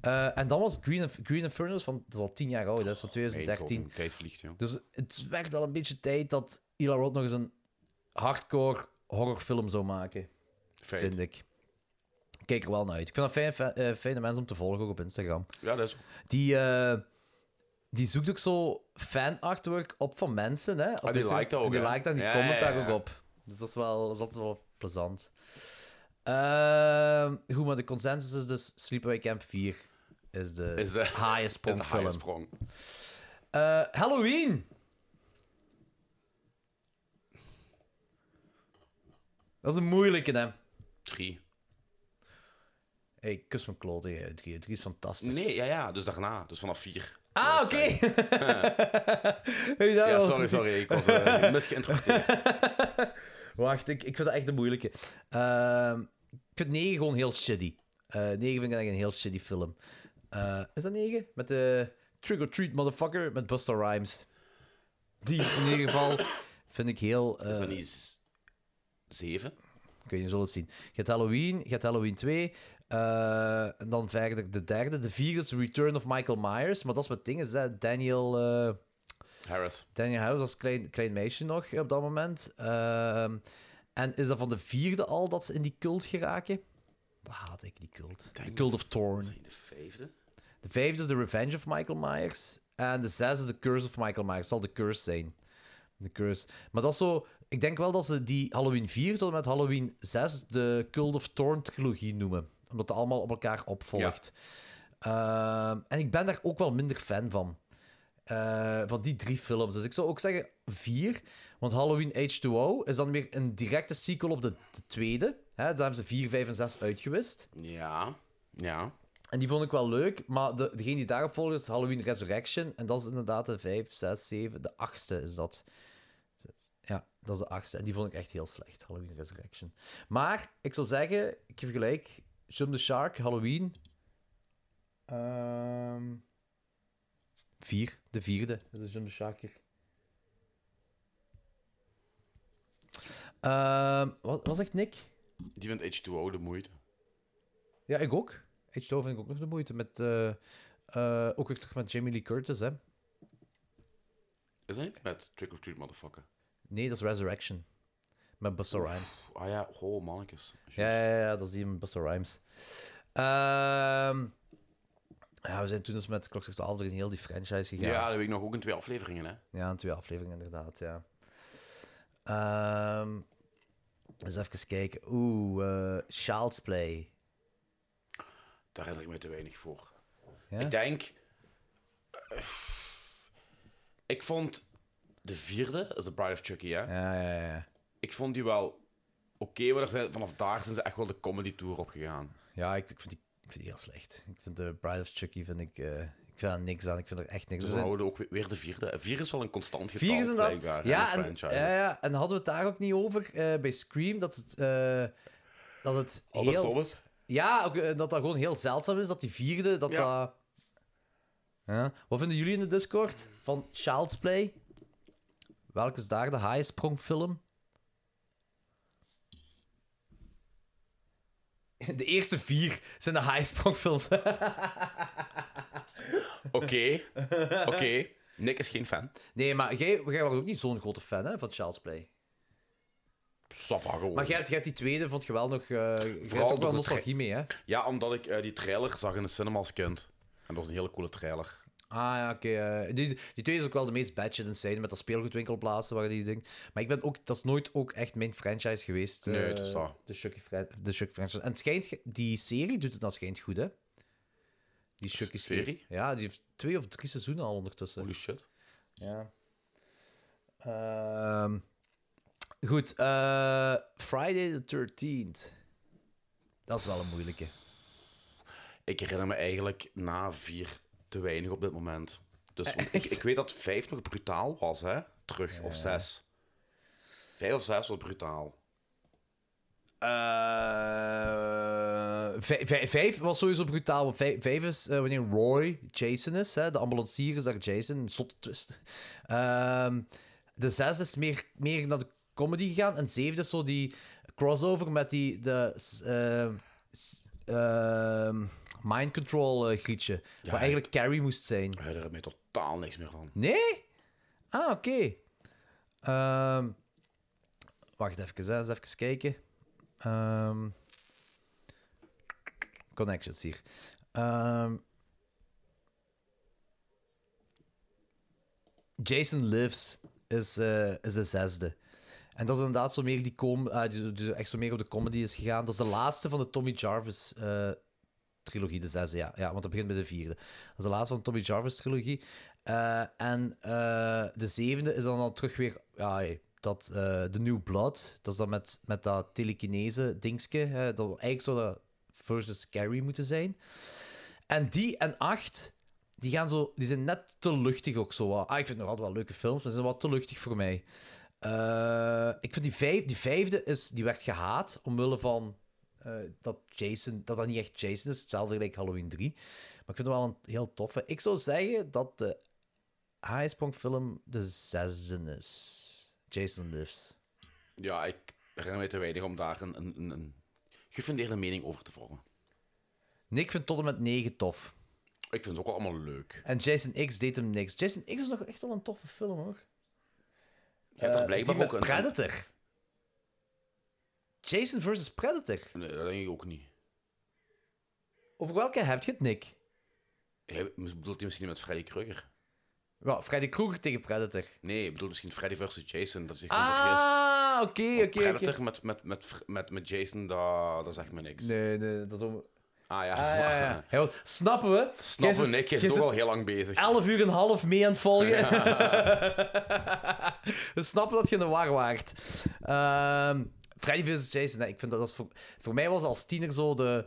Speaker 2: Eh, en dan was Green, Inf- Green Infernos van, dat is al tien jaar oud, dat is van
Speaker 3: Nee,
Speaker 2: 2013.
Speaker 3: god, tijd vliegt, joh.
Speaker 2: Dus het werd wel een beetje tijd dat Eli Roth nog eens een hardcore horrorfilm zou maken,
Speaker 3: Feit.
Speaker 2: vind ik. Ik Kijk er wel naar uit. Ik vind dat fijn, fe- eh, fijne mensen om te volgen, ook op Instagram.
Speaker 3: Ja, dat is ook.
Speaker 2: Die, eh, die zoekt ook zo fan-artwork op van mensen. Hè, op
Speaker 3: Ah, die
Speaker 2: Instagram.
Speaker 3: liked dat ook,
Speaker 2: Die
Speaker 3: hè?
Speaker 2: liked dat en die
Speaker 3: Ja,
Speaker 2: comment
Speaker 3: ja,
Speaker 2: daar
Speaker 3: ja.
Speaker 2: ook op. Dus dat is wel, dat is altijd wel plezant. Ehm, goed, maar de consensus is dus Sleepaway Camp 4 is de,
Speaker 3: Is de-
Speaker 2: highest
Speaker 3: Is
Speaker 2: film.
Speaker 3: de haaien sprong.
Speaker 2: Eh, Halloween! Dat is een moeilijke, hè.
Speaker 3: Drie.
Speaker 2: Hey, ik kus mijn kloot tegen 3. 3 is fantastisch.
Speaker 3: Nee, ja, ja. Dus daarna. Dus vanaf vier.
Speaker 2: Ah, oké! Oh.
Speaker 3: Sorry.
Speaker 2: Hey, daar
Speaker 3: Ja,
Speaker 2: was
Speaker 3: sorry,
Speaker 2: het.
Speaker 3: sorry. Ik was eh, misgeïnterpreteerd.
Speaker 2: Wacht, ik, ik vind dat echt een moeilijke. Ehm, ik vind 9 gewoon heel shitty. Eh 9 vind ik eigenlijk een heel shitty film. Eh, is dat 9? Met de Trick or Treat Motherfucker met Busta Rhymes. Die in ieder geval vind ik heel. eh,
Speaker 3: Is dat niet z- zeven?
Speaker 2: Kun je zullen het zien. Je hebt Halloween, je hebt Halloween 2. eh, en dan verder de derde. De vier is Return of Michael Myers. Maar dat is wat dingen, is dat Daniel. eh,
Speaker 3: Harris.
Speaker 2: Daniel House als klein, klein meisje nog eh, op dat moment. Ehm, en is dat van de vierde al dat ze in die cult geraken? Dat haat ik, die cult. De Cult of Thorn.
Speaker 3: De vijfde?
Speaker 2: De vijfde is The Revenge of Michael Myers. En de zesde is The Curse of Michael Myers. Zal de curse zijn. De curse. Maar dat is zo... Ik denk wel dat ze die Halloween 4 tot en met Halloween 6 de Cult of Thorn trilogie noemen. Omdat dat allemaal op elkaar opvolgt. Ehm, en ik ben daar ook wel minder fan van. Eh, van die drie films. Dus ik zou ook zeggen vier. Want Halloween H2O is dan weer een directe sequel op de, de tweede. Hè, daar hebben ze 4, 5 en 6 uitgewist.
Speaker 3: Ja. Ja.
Speaker 2: En die vond ik wel leuk, maar de, degene die daarop volgt is Halloween Resurrection. En dat is inderdaad de 5, 6, 7, de achtste is dat. Ja, dat is de achtste. En die vond ik echt heel slecht, Halloween Resurrection. Maar ik zou zeggen, ik geef gelijk, Jump the Shark, Halloween. Ehm vier, de vierde is de Jump the Shark hier. Ehm, wat, wat zegt Nick?
Speaker 3: Die vindt H2O de moeite.
Speaker 2: Ja, ik ook. H2O vind ik ook nog de moeite. Met, eh, eh, ook weer terug met Jamie Lee Curtis, hè.
Speaker 3: Is dat niet met Trick or Treat Motherfucker?
Speaker 2: Nee, dat is Resurrection. Met Busta Rhymes.
Speaker 3: Ah ja, oh mannetjes. Juist.
Speaker 2: Ja, ja, ja, dat is die met Busta Rhymes. Ehm, ja, we zijn toen dus met Klokslag 12 door een heel die franchise
Speaker 3: Ja,
Speaker 2: gegaan. Ja,
Speaker 3: dat weet ik nog ook in twee afleveringen, hè.
Speaker 2: in twee afleveringen inderdaad, ja. Ehm, eens even kijken. Oeh, eh, Child's Play.
Speaker 3: Daar herinner ik me te weinig voor.
Speaker 2: Ja?
Speaker 3: Ik denk... eh, ik vond de vierde, dat is The Bride of Chucky, hè.
Speaker 2: Ja, ja, ja.
Speaker 3: Ik vond die wel oké, maar er zijn, vanaf daar zijn ze echt wel de comedy tour opgegaan.
Speaker 2: Ja, ik, ik, vind die, ik vind die heel slecht. Ik vind de Bride of Chucky, vind ik, eh, ik vind daar niks aan. Ik vind er echt niks
Speaker 3: Dus
Speaker 2: aan.
Speaker 3: we
Speaker 2: Er zijn-
Speaker 3: houden ook weer- weer de vierde. Vier is wel een constant getal,
Speaker 2: Vier is inderdaad-
Speaker 3: blijkbaar, hè,
Speaker 2: Ja,
Speaker 3: in
Speaker 2: en,
Speaker 3: franchises.
Speaker 2: ja, ja, en hadden we het daar ook niet over eh, bij Scream, dat het, eh, dat het
Speaker 3: Albert
Speaker 2: heel...
Speaker 3: Thomas?
Speaker 2: Ja, ook, eh, dat dat gewoon heel zeldzaam is, dat die vierde, dat
Speaker 3: Ja.
Speaker 2: dat... Ja. Wat vinden jullie in de Discord van Child's Play? Welke is daar de haaiensprongfilm? De eerste vier zijn de haaiensprongfilms.
Speaker 3: Oké, oké. Nick is geen fan.
Speaker 2: Nee, maar jij, jij was ook niet zo'n grote fan hè, van Child's Play.
Speaker 3: Safa gewoon.
Speaker 2: Maar jij hebt, jij hebt die tweede, vond je wel nog... eh je hebt
Speaker 3: Vooral
Speaker 2: ook
Speaker 3: door
Speaker 2: wel
Speaker 3: de
Speaker 2: nostalgie mee, hè?
Speaker 3: Ja, omdat ik eh, die trailer zag in de cinema als kind. En dat was een hele coole trailer.
Speaker 2: Ah ja, oké. eh, die, die twee is ook wel de meest batched insane met dat speelgoedwinkelplaatsen waar die ding. Maar ik ben ook, dat is nooit ook echt mijn franchise geweest.
Speaker 3: Nee,
Speaker 2: eh,
Speaker 3: dat is waar.
Speaker 2: De Chucky, fran- de Chucky franchise. En het schijnt, ge- die serie doet het dan schijnt goed, hè? Die Chucky serie.
Speaker 3: serie?
Speaker 2: Ja, die heeft twee of drie seizoenen al ondertussen.
Speaker 3: Holy shit.
Speaker 2: Ja. Ehm, goed, eh, Friday the 13th. Dat is wel een moeilijke.
Speaker 3: Ik herinner me eigenlijk na vier te weinig op dit moment.
Speaker 2: Eh,
Speaker 3: Dus want ik, ik weet dat vijf nog brutaal was, hè? Terug, of zes. Vijf of zes was brutaal.
Speaker 2: Eh, vij- vij- vijf was sowieso brutaal. want Vijf, vijf is eh, wanneer Roy Jason is. Hè, de ambulancier is daar Jason. Een zotte twist. Ehm, de zes is meer, meer naar de comedy gegaan. En zevende is zo die crossover met die de, s- ehm, s- ehm, mind control eh, grietje.
Speaker 3: Ja,
Speaker 2: wat eigenlijk Carrie moest zijn.
Speaker 3: Ik herinner me totaal niks meer van.
Speaker 2: Nee? Ah, oké. Ehm, wacht even, hè. eens even kijken. Ehm, connections hier. Ehm, Jason Lives is, eh, is de zesde. En dat is inderdaad zo meer die, com eh, die, die echt zo meer op de comedy is gegaan. Dat is de laatste van de Tommy Jarvis eh, trilogie, de zesde, ja. ja. Want dat begint met de vierde. Dat is de laatste van de Tommy Jarvis trilogie. Eh, en eh, de zevende is dan, dan terug weer. Ja, hey, dat, eh The New Blood. Dat is dan met, met dat telekinese dingske. hè, dat eigenlijk zou dat versus Carrie moeten zijn. En die en acht, die, gaan zo, die zijn net te luchtig ook zo. wat. Ah, ik vind het nog altijd wel leuke films, maar ze zijn wat te luchtig voor mij. Eh, ik vind die, vijf, die vijfde is, die werd gehaat omwille van eh, dat Jason, dat dat niet echt Jason is. Hetzelfde gelijk Halloween 3. Maar ik vind het wel een heel toffe. Ik zou zeggen dat de Highsprong-film de zesde is. Jason Lives.
Speaker 3: Ja, ik herinner me te weinig om daar een, een, een, een gefundeerde mening over te vormen.
Speaker 2: Nick vindt tot en met 9 tof.
Speaker 3: Ik vind het ook wel allemaal leuk.
Speaker 2: En Jason X deed hem niks. Jason X is nog echt wel een toffe film hoor.
Speaker 3: Je hebt er
Speaker 2: Eh,
Speaker 3: blijkbaar
Speaker 2: die
Speaker 3: ook
Speaker 2: met
Speaker 3: een...
Speaker 2: Predator. Jason versus Predator.
Speaker 3: Nee, dat denk ik ook niet.
Speaker 2: Over welke heb je het, Nick?
Speaker 3: Hij- Bedoelt hij misschien met Freddy Krueger?
Speaker 2: Wel, Freddy Krueger tegen Predator.
Speaker 3: Nee, ik bedoel misschien Freddy versus Jason. Dat is zich gewoon vergist.
Speaker 2: Ah, oké,
Speaker 3: Want
Speaker 2: oké. oké.
Speaker 3: Oh, Predator met, met, met, met, met Jason, dat, dat zegt me niks.
Speaker 2: Nee, nee, dat is om...
Speaker 3: Ah ja,
Speaker 2: Ah, ja, ja, ja. Hey, wat- snappen we? Jij
Speaker 3: Snappen,
Speaker 2: zit-
Speaker 3: Nick
Speaker 2: jij
Speaker 3: is toch
Speaker 2: zit-
Speaker 3: al heel lang bezig.
Speaker 2: 11 uur en een half mee aan het volgen. We snappen dat je in de war waart. Ehm, Freddy vs. Jason, hè, ik vind dat, dat is voor, voor mij was als tiener zo de,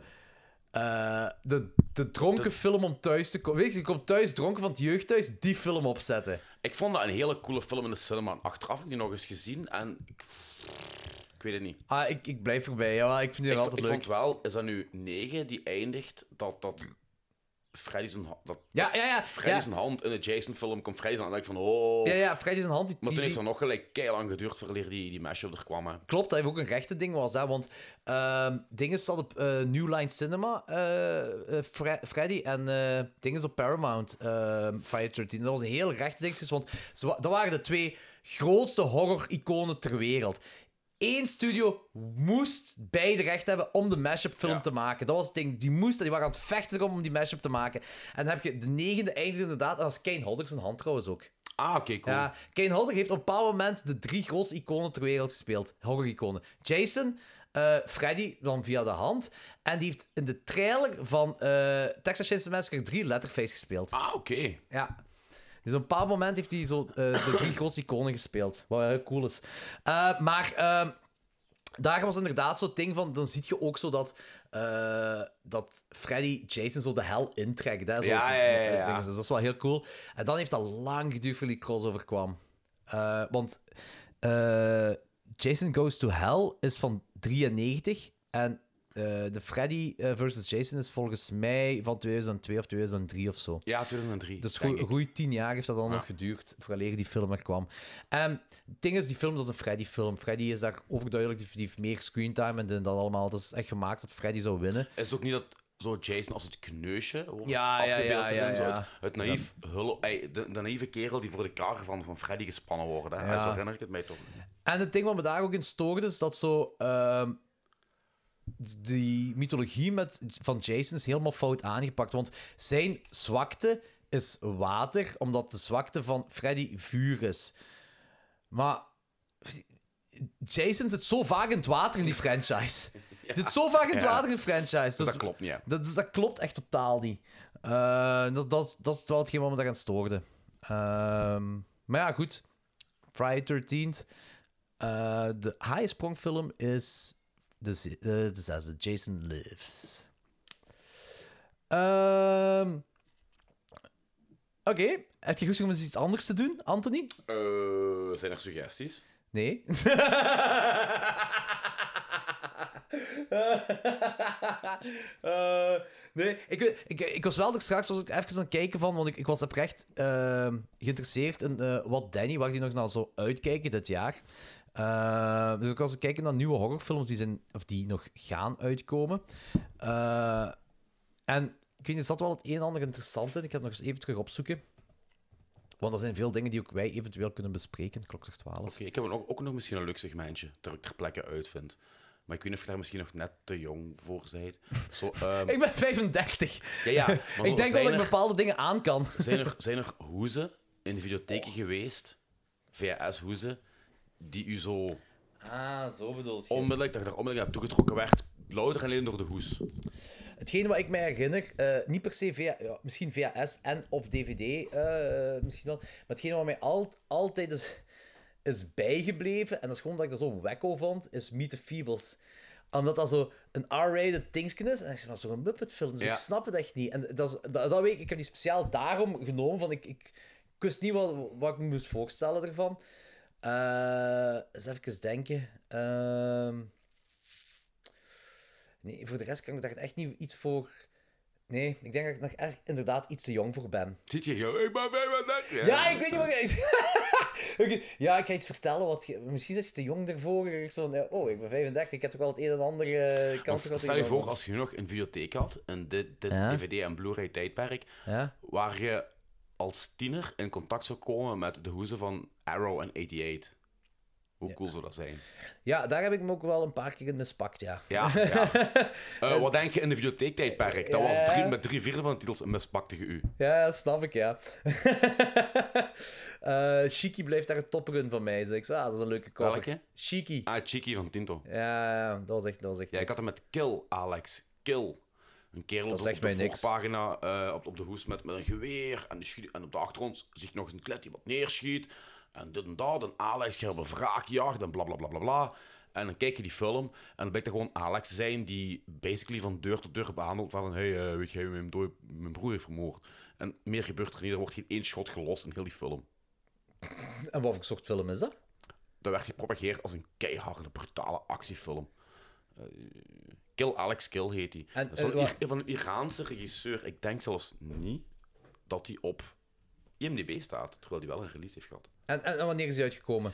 Speaker 2: eh, de, de dronken film om thuis te komen. Weet je, je komt thuis dronken van het jeugdhuis, die film opzetten.
Speaker 3: Ik vond dat een hele coole film in de cinema. En Achteraf heb ik die nog eens gezien en... Ik, ik weet het niet.
Speaker 2: Ah, ik, ik blijf erbij. Ja, ik vind die
Speaker 3: Ik,
Speaker 2: nog
Speaker 3: vo-
Speaker 2: altijd
Speaker 3: ik
Speaker 2: leuk.
Speaker 3: vond wel, is dat nu 9 die eindigt dat... dat Freddy zijn, ha- dat
Speaker 2: Ja, ja, ja.
Speaker 3: Freddy
Speaker 2: Ja,
Speaker 3: zijn hand in de Jason-film komt Freddy zijn hand. En ik van, oh...
Speaker 2: ja, ja Freddy zijn hand. Die,
Speaker 3: Maar
Speaker 2: die-
Speaker 3: toen heeft
Speaker 2: die-
Speaker 3: het nog gelijk keilang geduurd voordat die, die mashup er kwam. Hè.
Speaker 2: Klopt, dat heeft ook een rechte ding was, hè? want ehm dingen zat op eh, New Line Cinema, eh, eh, Fre- Freddy, en eh dingen op Paramount, ehm Friday 13. Dat was een heel rechte ding, want ze wa- dat waren de twee grootste horror-iconen ter wereld. één studio moest beide recht hebben om de mashup film
Speaker 3: Ja.
Speaker 2: te maken. Dat was het ding. Die moesten, die waren aan het vechten erom om die mashup te maken. En dan heb je de negende eindigt inderdaad. En dat is Kane Hodder zijn hand trouwens ook.
Speaker 3: Ah, oké, cool.
Speaker 2: Ja, Kane Hodder heeft op een bepaald moment de drie grootste iconen ter wereld gespeeld. Horror-iconen. Jason, eh, Freddy, dan via de hand. En die heeft in de trailer van eh, Texas Chainsaw Massacre 3 Letterface gespeeld.
Speaker 3: Ah, oké.
Speaker 2: Ja. Dus op een bepaald moment heeft hij zo eh, de drie grootste iconen gespeeld. Wat wel heel cool is. Eh, maar ehm, daar was inderdaad zo'n ding van... Dan zie je ook zo dat, eh, dat Freddy Jason zo de hel intrekt. Hè, zo
Speaker 3: Ja,
Speaker 2: die-
Speaker 3: ja, ja,
Speaker 2: eh,
Speaker 3: ja.
Speaker 2: dingen. Dus dat is wel heel cool. En dan heeft dat lang geduurd voor die crossover kwam. Eh, want eh, Jason Goes to Hell is van 93. En eh, de Freddy eh, versus Jason is volgens mij van 2002 of 2003 of zo.
Speaker 3: Ja, 2003.
Speaker 2: Dus
Speaker 3: denk
Speaker 2: goe-
Speaker 3: ik.
Speaker 2: goeie tien jaar heeft dat dan
Speaker 3: Ja.
Speaker 2: nog geduurd, vooraleer die film er kwam. En het ding is, die film dat is een Freddy-film. Freddy is daar overduidelijk, die, die heeft meer screentime en dit en dat allemaal. Dat is echt gemaakt dat Freddy zou winnen.
Speaker 3: Is het ook niet dat zo Jason als het kneusje wordt
Speaker 2: Ja, ja,
Speaker 3: afgebeeld
Speaker 2: ja, ja,
Speaker 3: erin, zo
Speaker 2: ja.
Speaker 3: Het, het naïef hullo- ey, de, de naïeve kerel die voor de kar van, van Freddy gespannen wordt. Hè?
Speaker 2: Ja.
Speaker 3: Zo herinner ik het mij toch. Eh,
Speaker 2: En het ding wat me daar ook in stoorde, is dat zo... ehm, die mythologie met, van Jason is helemaal fout aangepakt. Want zijn zwakte is water, omdat de zwakte van Freddy vuur is. Maar Jason zit zo vaak in het water in die franchise. Zit zo vaak in het
Speaker 3: Ja.
Speaker 2: water in de franchise.
Speaker 3: Dus
Speaker 2: Dus
Speaker 3: dat klopt niet. hè.
Speaker 2: dat, dat klopt echt totaal niet. Eh, dat, dat, is- dat is wel hetgeen wat me daaraan stoorde. Ehm, maar ja, goed. Friday 13th. Eh, de haaisprongfilm is de, ze- eh, de zesde. Jason Lives. Ehm, Oké. Heb je goed om eens iets anders te doen, Anthony?
Speaker 3: Eh, zijn er suggesties?
Speaker 2: Nee. Eh, nee, ik, weet- ik, ik was wel er straks was ik even aan het kijken van, want ik, ik was oprecht ehm, geïnteresseerd in eh, wat Danny, waar die nog naar zou uitkijken dit jaar. Eh, dus ik was aan het kijken naar nieuwe horrorfilms die, zijn, of die nog gaan uitkomen. Eh, en ik weet niet, er zat wel het een en ander interessant in. Ik ga het nog eens even terug opzoeken. Want er zijn veel dingen die ook wij eventueel kunnen bespreken. Klok zegt 12.
Speaker 3: Oké, ik heb ook, ook nog misschien een leuk segmentje dat ik ter plekke uitvind. Maar ik weet niet of je daar misschien nog net te jong voor bent. Zo, ehm,
Speaker 2: Ik ben 35.
Speaker 3: ja, ja, maar zo,
Speaker 2: ik denk wel
Speaker 3: zijn
Speaker 2: dat ik
Speaker 3: er-
Speaker 2: bepaalde dingen aan kan.
Speaker 3: zijn er, zijn er hoezen in de videotheken geweest, VHS-hoezen, die u zo
Speaker 2: Ah, zo bedoeld.
Speaker 3: onmiddellijk, dat je daar onmiddellijk naartoe getrokken werd, louter en alleen door de hoes?
Speaker 2: Hetgeen wat ik mij herinner, eh, niet per se via, ja, misschien VHS en of DVD, eh, eh, misschien wel. Maar hetgeen wat mij al, altijd is, is bijgebleven, en dat is gewoon dat ik dat zo wekko vond, is Meet the Feebles. Omdat dat zo een R-rated dingetje is. En ik zeg, maar zo'n Muppet-film, dus
Speaker 3: Ja.
Speaker 2: ik snap het echt niet. En dat, is, dat, dat weet ik, ik heb die speciaal daarom genomen, van ik, ik, ik wist niet wat, wat ik me moest voorstellen ervan. Eh, eens even denken. Ehm, nee, voor de rest kan ik daar echt niet iets voor... Nee, ik denk dat ik nog echt inderdaad iets te jong voor ben.
Speaker 3: Ziet je gewoon, ik ben 35.
Speaker 2: Ja, ik weet niet wat ik... Oké, Ja, ik ga iets vertellen. Wat je... Misschien is je te jong daarvoor. Ik zo van, eh, oh, ik ben 35, ik heb toch wel het een en ander... eh, ik kan
Speaker 3: Want
Speaker 2: toch wel
Speaker 3: stel je
Speaker 2: tegen-
Speaker 3: voor, als je nu nog een videotheek had, in dit, dit
Speaker 2: Ja.
Speaker 3: DVD- en Blu-ray-tijdperk,
Speaker 2: Ja?
Speaker 3: waar je als tiener in contact zou komen met de hoezen van Arrow en 88. Hoe cool zou dat zijn?
Speaker 2: ja, daar heb ik me ook wel een paar keer in mispakt, ja.
Speaker 3: Ja, ja. Eh, wat denk je in de videotheektijdperk? Dat
Speaker 2: Ja.
Speaker 3: was drie, met drie vierde van de titels een mispakte je u.
Speaker 2: Ja, snap ik, ja. Eh Shiki blijft daar een topperun van mij. Zeg ik zo, ah, dat is een leuke cover.
Speaker 3: Welke?
Speaker 2: Shiki.
Speaker 3: Ah, Chiki van Tinto.
Speaker 2: Ja, dat was echt... Dat was echt
Speaker 3: Ja, ik had hem met Kill, Alex. Kill. Een kerel op, de-
Speaker 2: zegt
Speaker 3: op de
Speaker 2: mij niks.
Speaker 3: voorpagina, eh, op, op de hoes met, met een geweer. En, die schiet- en op de achtergrond zie ik nog eens een klet die wat neerschiet. En dit en dat. En Alex gaat op een wraakjacht en bla bla bla bla bla. En dan kijk je die film en dan blijkt er gewoon Alex te zijn die basically van deur tot deur behandelt van hey, eh, weet jij, mijn, dooi- mijn broer heeft vermoord. En meer gebeurt er niet, er wordt geen één schot gelost in heel die film.
Speaker 2: En wat voor soort film is dat?
Speaker 3: Dat werd gepropageerd als een keiharde, brutale actiefilm. Eh, Kill Alex Kill heet die.
Speaker 2: En,
Speaker 3: Dat is van,
Speaker 2: eh, wa-
Speaker 3: een, I- van een Iraanse regisseur. Ik denk zelfs niet dat hij op IMDb staat, terwijl hij wel een release heeft gehad.
Speaker 2: En, en, en wanneer is die uitgekomen?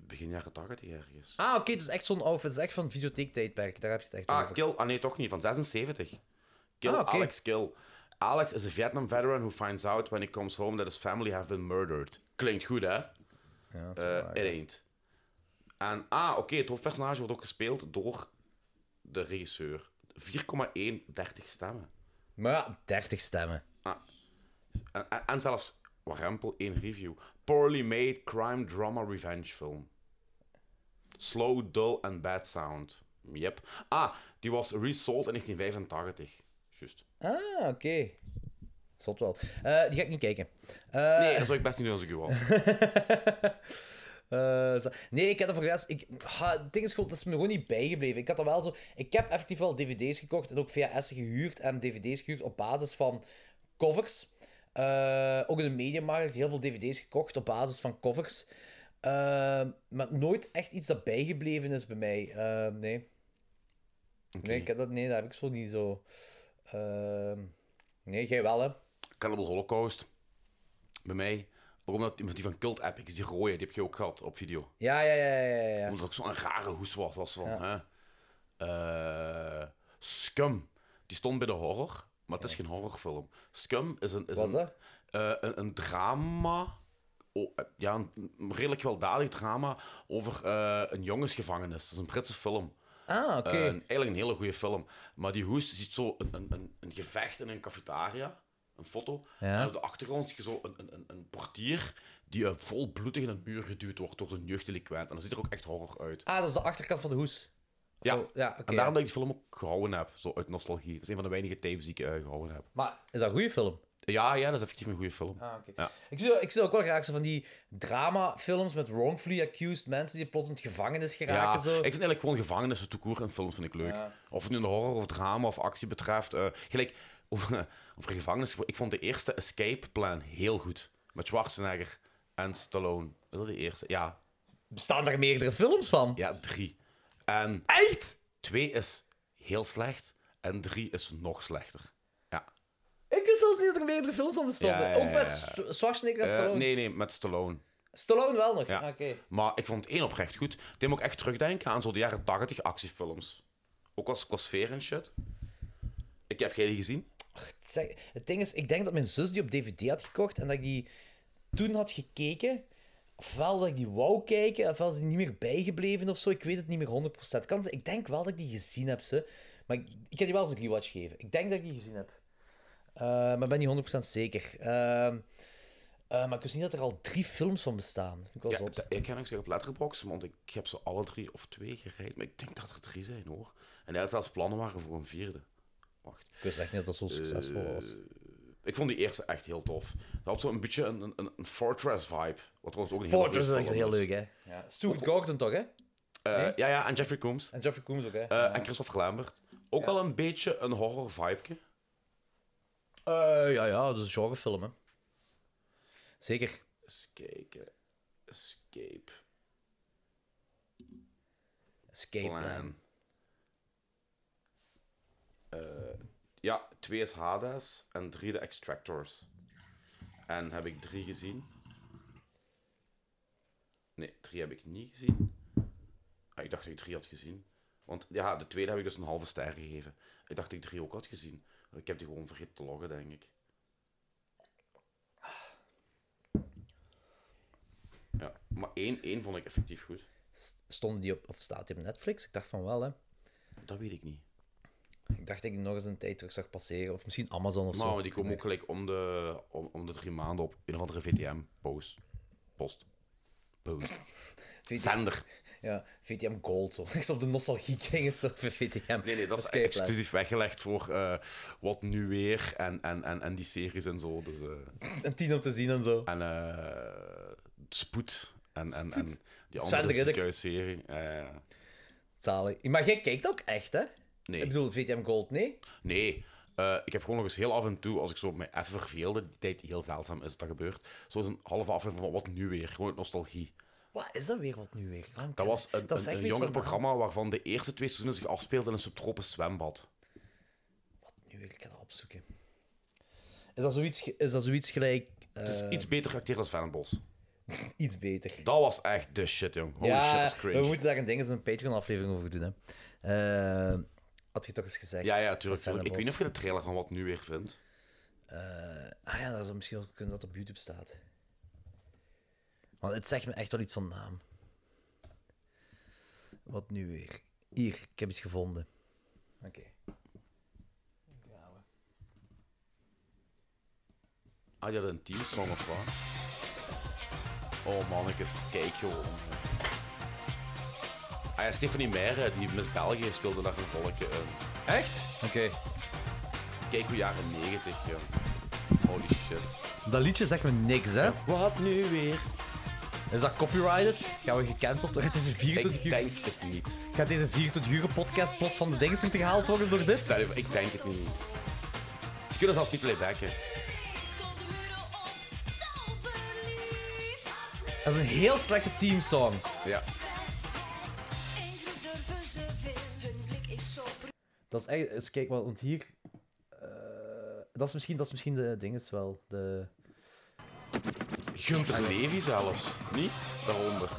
Speaker 3: Begin jaren 80 ergens.
Speaker 2: Ah, oké, het is echt zo'n outfit. Het is echt van videotheektijdperk. Daar heb je het echt
Speaker 3: Ah,
Speaker 2: over.
Speaker 3: Kill. Ah nee, toch niet. Van 76. Kill
Speaker 2: Ah, oké.
Speaker 3: Alex Kill. Alex is a Vietnam veteran who finds out when he comes home that his family have been murdered. Klinkt goed, hè?
Speaker 2: Ja, dat is
Speaker 3: Eh,
Speaker 2: waar,
Speaker 3: It
Speaker 2: ja.
Speaker 3: ain't. En ah, oké, het hoofdpersonage wordt ook gespeeld door de regisseur. 4,130 stemmen.
Speaker 2: Maar ja, 30 stemmen.
Speaker 3: En, en, en zelfs, warempel, één review. Poorly made crime drama revenge film. Slow, dull and bad sound. Yep. Ah, die was resold in 1985. Juist.
Speaker 2: Ah, oké. Zot wel. Eh, die ga ik niet kijken. Eh,
Speaker 3: Nee, dat zou ik best niet doen als ik u was.
Speaker 2: Eh, zo- nee, ik had er voor de rest- Ik, ha, het ding is gewoon, dat is me gewoon niet bijgebleven. Ik had er wel zo... Ik heb effectief wel dvd's gekocht en ook VHS'en gehuurd en dvd's gehuurd op basis van covers. Eh, ook in de mediamarkt heel veel dvd's gekocht op basis van covers. Eh, maar nooit echt iets dat bijgebleven is bij mij. Eh, nee. Nee, ik heb dat, nee, dat heb ik zo niet zo... Ehm, nee, jij wel, hè.
Speaker 3: Cannibal Holocaust. Bij mij. Ook omdat die die van Cult Epics, die rode, die heb je ook gehad op video.
Speaker 2: Ja, ja, ja, ja, ja, ja.
Speaker 3: Omdat het ook zo'n rare hoes was. was van, hè? Eh, Scum. Die stond bij de horror, maar het is geen horrorfilm. Scum is een, is
Speaker 2: Was
Speaker 3: een,
Speaker 2: dat?
Speaker 3: eh, een, een drama. o- eh, ja, een een redelijk gewelddadig drama over eh, een jongensgevangenis. Dat is een Britse film.
Speaker 2: Ah, oké.
Speaker 3: Eh, een- eigenlijk een hele goede film. Maar die hoes ziet zo een, een, een, een gevecht in een cafetaria. Een foto.
Speaker 2: Ja.
Speaker 3: En op de achtergrond zie je zo een, een, een- een portier die eh, vol bloedig in een muur geduwd wordt door een jeugddelinquent. En dat ziet er ook echt horror uit.
Speaker 2: Ah, dat is de achterkant van de hoes.
Speaker 3: Ja.
Speaker 2: Oh, ja oké.
Speaker 3: En daarom dat ik die film ook gehouden heb, zo uit nostalgie. Dat is een van de weinige tapes die ik eh, gehouden heb.
Speaker 2: Maar is dat een goede film?
Speaker 3: Ja, ja, dat is effectief een goede film.
Speaker 2: Ah, oké.
Speaker 3: Ja.
Speaker 2: Ik, zie, ik zie ook wel graag zo van die dramafilms met wrongfully accused mensen die plots in het gevangenis geraken.
Speaker 3: Ja, ik
Speaker 2: zo.
Speaker 3: vind eigenlijk gewoon gevangenissen te koer en films vind ik leuk. Of het nu een horror of drama of actie betreft. eh, gelijk, over, over gevangenis. Ik vond de eerste Escape Plan heel goed. Met Schwarzenegger en Stallone. Is dat de eerste? Ja,
Speaker 2: Bestaan daar meerdere films van?
Speaker 3: ja drie. En Echt? Twee is heel slecht. En drie is nog slechter. Ja.
Speaker 2: Ik wist zelfs niet dat er meerdere films van bestonden.
Speaker 3: Ja, ja, ja,
Speaker 2: Ook
Speaker 3: ja.
Speaker 2: met Sch- Schwarzenegger en
Speaker 3: Eh,
Speaker 2: Stallone.
Speaker 3: nee, nee, met Stallone.
Speaker 2: Stallone wel nog.
Speaker 3: Ja.
Speaker 2: Ah, Oké.
Speaker 3: Maar ik vond één oprecht goed. Ik deed me ook echt terugdenken aan zo de jaren 80 actiefilms. Ook als qua sfeer en shit. Ik heb jij die gezien?
Speaker 2: Het zeg- Het ding is, ik denk dat mijn zus die op DVD had gekocht en dat ik die toen had gekeken. Ofwel dat ik die wou kijken, ofwel is die niet meer bijgebleven of zo. Ik weet het niet meer 100%. Kan ze, ik denk wel dat ik die gezien heb, ze. Maar ik, ik ga die wel eens een rewatch geven. Ik denk dat ik die gezien heb. Eh, maar ben niet 100% zeker. Ehm, eh, maar ik wist niet dat er al drie films van bestaan. Vind ik wel
Speaker 3: Ja,
Speaker 2: zot.
Speaker 3: d- ik heb nog zeggen op Letterboxd, want ik heb ze alle drie of twee gereed. Maar ik denk dat er drie zijn hoor. En hij had zelfs plannen waren voor een vierde.
Speaker 2: Ik wist echt niet dat dat zo succesvol
Speaker 3: Eh,
Speaker 2: was.
Speaker 3: Ik vond die eerste echt heel tof. Dat had zo'n beetje een, een, een Fortress vibe. Wat trouwens ook een hele
Speaker 2: Fortress is
Speaker 3: goeie
Speaker 2: echt
Speaker 3: film
Speaker 2: heel leuk, hè? Stuart Gordon toch, hè?
Speaker 3: Eh, Ja, ja, en Jeffrey Combs.
Speaker 2: En Jeffrey Combs ook, hè?
Speaker 3: Eh, En Christopher Lambert. Ook wel een beetje een horror vibe.
Speaker 2: Eh, ja, ja, dat is een genrefilm, hè. Zeker.
Speaker 3: Eens kijken. Escape.
Speaker 2: Escape Plan.
Speaker 3: Plan. Eh, ja, twee is Hades en drie de Extractors. En heb ik drie gezien? Nee, drie heb ik niet gezien. Ah, ik dacht dat ik drie had gezien. Want ja, de tweede heb ik dus een halve ster gegeven. Ik dacht dat ik drie ook had gezien. Ik heb die gewoon vergeten te loggen, denk ik. Ja, maar één, één vond ik effectief goed.
Speaker 2: St- Stonden die op, of staat die op Netflix? Ik dacht van wel, hè.
Speaker 3: Dat weet ik niet.
Speaker 2: Ik dacht dat ik die nog eens een tijd terug zag passeren. Of misschien Amazon of
Speaker 3: Maar
Speaker 2: zo.
Speaker 3: die komen ook gelijk om de, om, om de drie maanden op een of andere VTM-post. Post. Post.
Speaker 2: VT
Speaker 3: Zender.
Speaker 2: ja, VTM Gold, zo. Echt zo op de nostalgie dingen, zo. van VTM.
Speaker 3: Nee, nee, dat is
Speaker 2: Escape Plan.
Speaker 3: exclusief weggelegd voor eh, wat nu weer en, en, en, en die series en zo. Dus, eh,
Speaker 2: Een tien om te zien en zo.
Speaker 3: en eh, Spoed. En, en, en die
Speaker 2: Sven de
Speaker 3: andere
Speaker 2: Ridder.
Speaker 3: ziekenhuisserie. Eh,
Speaker 2: Zalig. Maar jij kijkt ook echt, hè? Ik
Speaker 3: nee,
Speaker 2: bedoel, VTM Gold, nee?
Speaker 3: nee. Eh, ik heb gewoon nog eens heel af en toe, als ik zo mij even verveelde, die tijd die heel zeldzaam is dat dat gebeurt, zo eens een halve aflevering van wat nu weer, gewoon uit nostalgie.
Speaker 2: Wat is dat weer wat nu weer? Waarom
Speaker 3: Dat
Speaker 2: kan-
Speaker 3: was een,
Speaker 2: zegt
Speaker 3: een, een
Speaker 2: me iets van-
Speaker 3: jonger programma waarvan de eerste twee seizoenen zich afspeelden in een subtropisch zwembad.
Speaker 2: Nu wil ik het opzoeken. Is dat zoiets, ge- is dat zoiets gelijk... eh,
Speaker 3: Het is iets beter geacteerd dan Vennebos.
Speaker 2: iets beter.
Speaker 3: Dat was echt de shit, jong. Holy
Speaker 2: ja,
Speaker 3: shit, dat is cringe.
Speaker 2: we moeten daar een ding eens een Patreon-aflevering over doen, hè. Eh, had je toch eens gezegd.
Speaker 3: Ja, ja, tuurlijk.
Speaker 2: Van
Speaker 3: tuurlijk. Ik weet niet of
Speaker 2: Vennebos.
Speaker 3: je de trailer van wat nu weer vindt.
Speaker 2: Eh, ah ja, dat zou misschien wel kunnen dat het op YouTube staat. Want het zegt me echt wel iets van naam. Wat nu weer? Hier, ik heb iets gevonden.
Speaker 8: Oké.
Speaker 3: Ah, je had een teamsong of wat? Oh mannetjes, kijk gewoon. Ah ja, Stephanie Meijer, die Miss België speelde daar een volkje in.
Speaker 2: Echt? Oké.
Speaker 3: Kijk hoe jaren 90, joh. Holy shit.
Speaker 2: Dat liedje zegt me niks, hè?
Speaker 3: Wat nu weer?
Speaker 2: Is dat copyrighted? Gaan we gecanceld worden? Deze 24
Speaker 3: Ik
Speaker 2: uur...
Speaker 3: denk het niet.
Speaker 2: Gaat deze 24 uur podcast plots van de dingen moeten gehaald worden door dit?
Speaker 3: Stel je voor, ik denk het niet. Ze kunnen zelfs niet playbacken.
Speaker 9: Komt de muren op, zo verliefd op
Speaker 2: Dat is een heel slechte teamsong.
Speaker 3: Ja.
Speaker 9: Enkele durven ze veel, hun blik is zo
Speaker 2: Dat is echt... Eens kijk, want hier... eh, dat, is misschien, dat is misschien de dinges wel. De... Ah,
Speaker 3: Gunter Levy zelfs. Niet? Daaronder.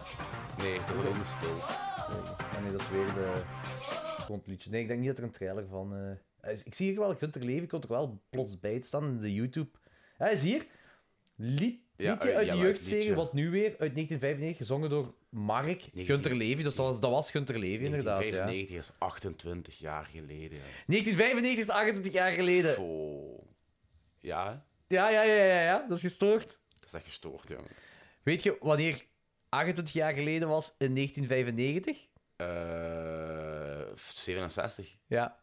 Speaker 3: Nee, dat is helemaal stil.
Speaker 2: Ah, nee, dat is weer de... gewoon het liedje. Nee, ik denk niet dat er een trailer van... eh, is- Ik zie hier wel, Gunter Levy komt er wel plots bij te staan in de YouTube. Hij is hier. Lied,
Speaker 3: Ja,
Speaker 2: liedje
Speaker 3: uit-
Speaker 2: uit
Speaker 3: ja,
Speaker 2: de
Speaker 3: uit
Speaker 2: jeugdserie,
Speaker 3: liedje.
Speaker 2: wat nu weer, uit 1995, gezongen door Mark Gunter Levy. Dus dat was, dat was Gunter Levy, inderdaad. Ja.
Speaker 3: 1995 is 28 jaar geleden. ja.
Speaker 2: 1995 is 28 jaar geleden.
Speaker 3: Oh. Ja, hè?
Speaker 2: Ja, ja, ja, ja, ja, dat is gestoord.
Speaker 3: dat is echt gestoord, jongen.
Speaker 2: Weet je wanneer 28 jaar geleden was in 1995?
Speaker 3: Eh, 67.
Speaker 2: Ja.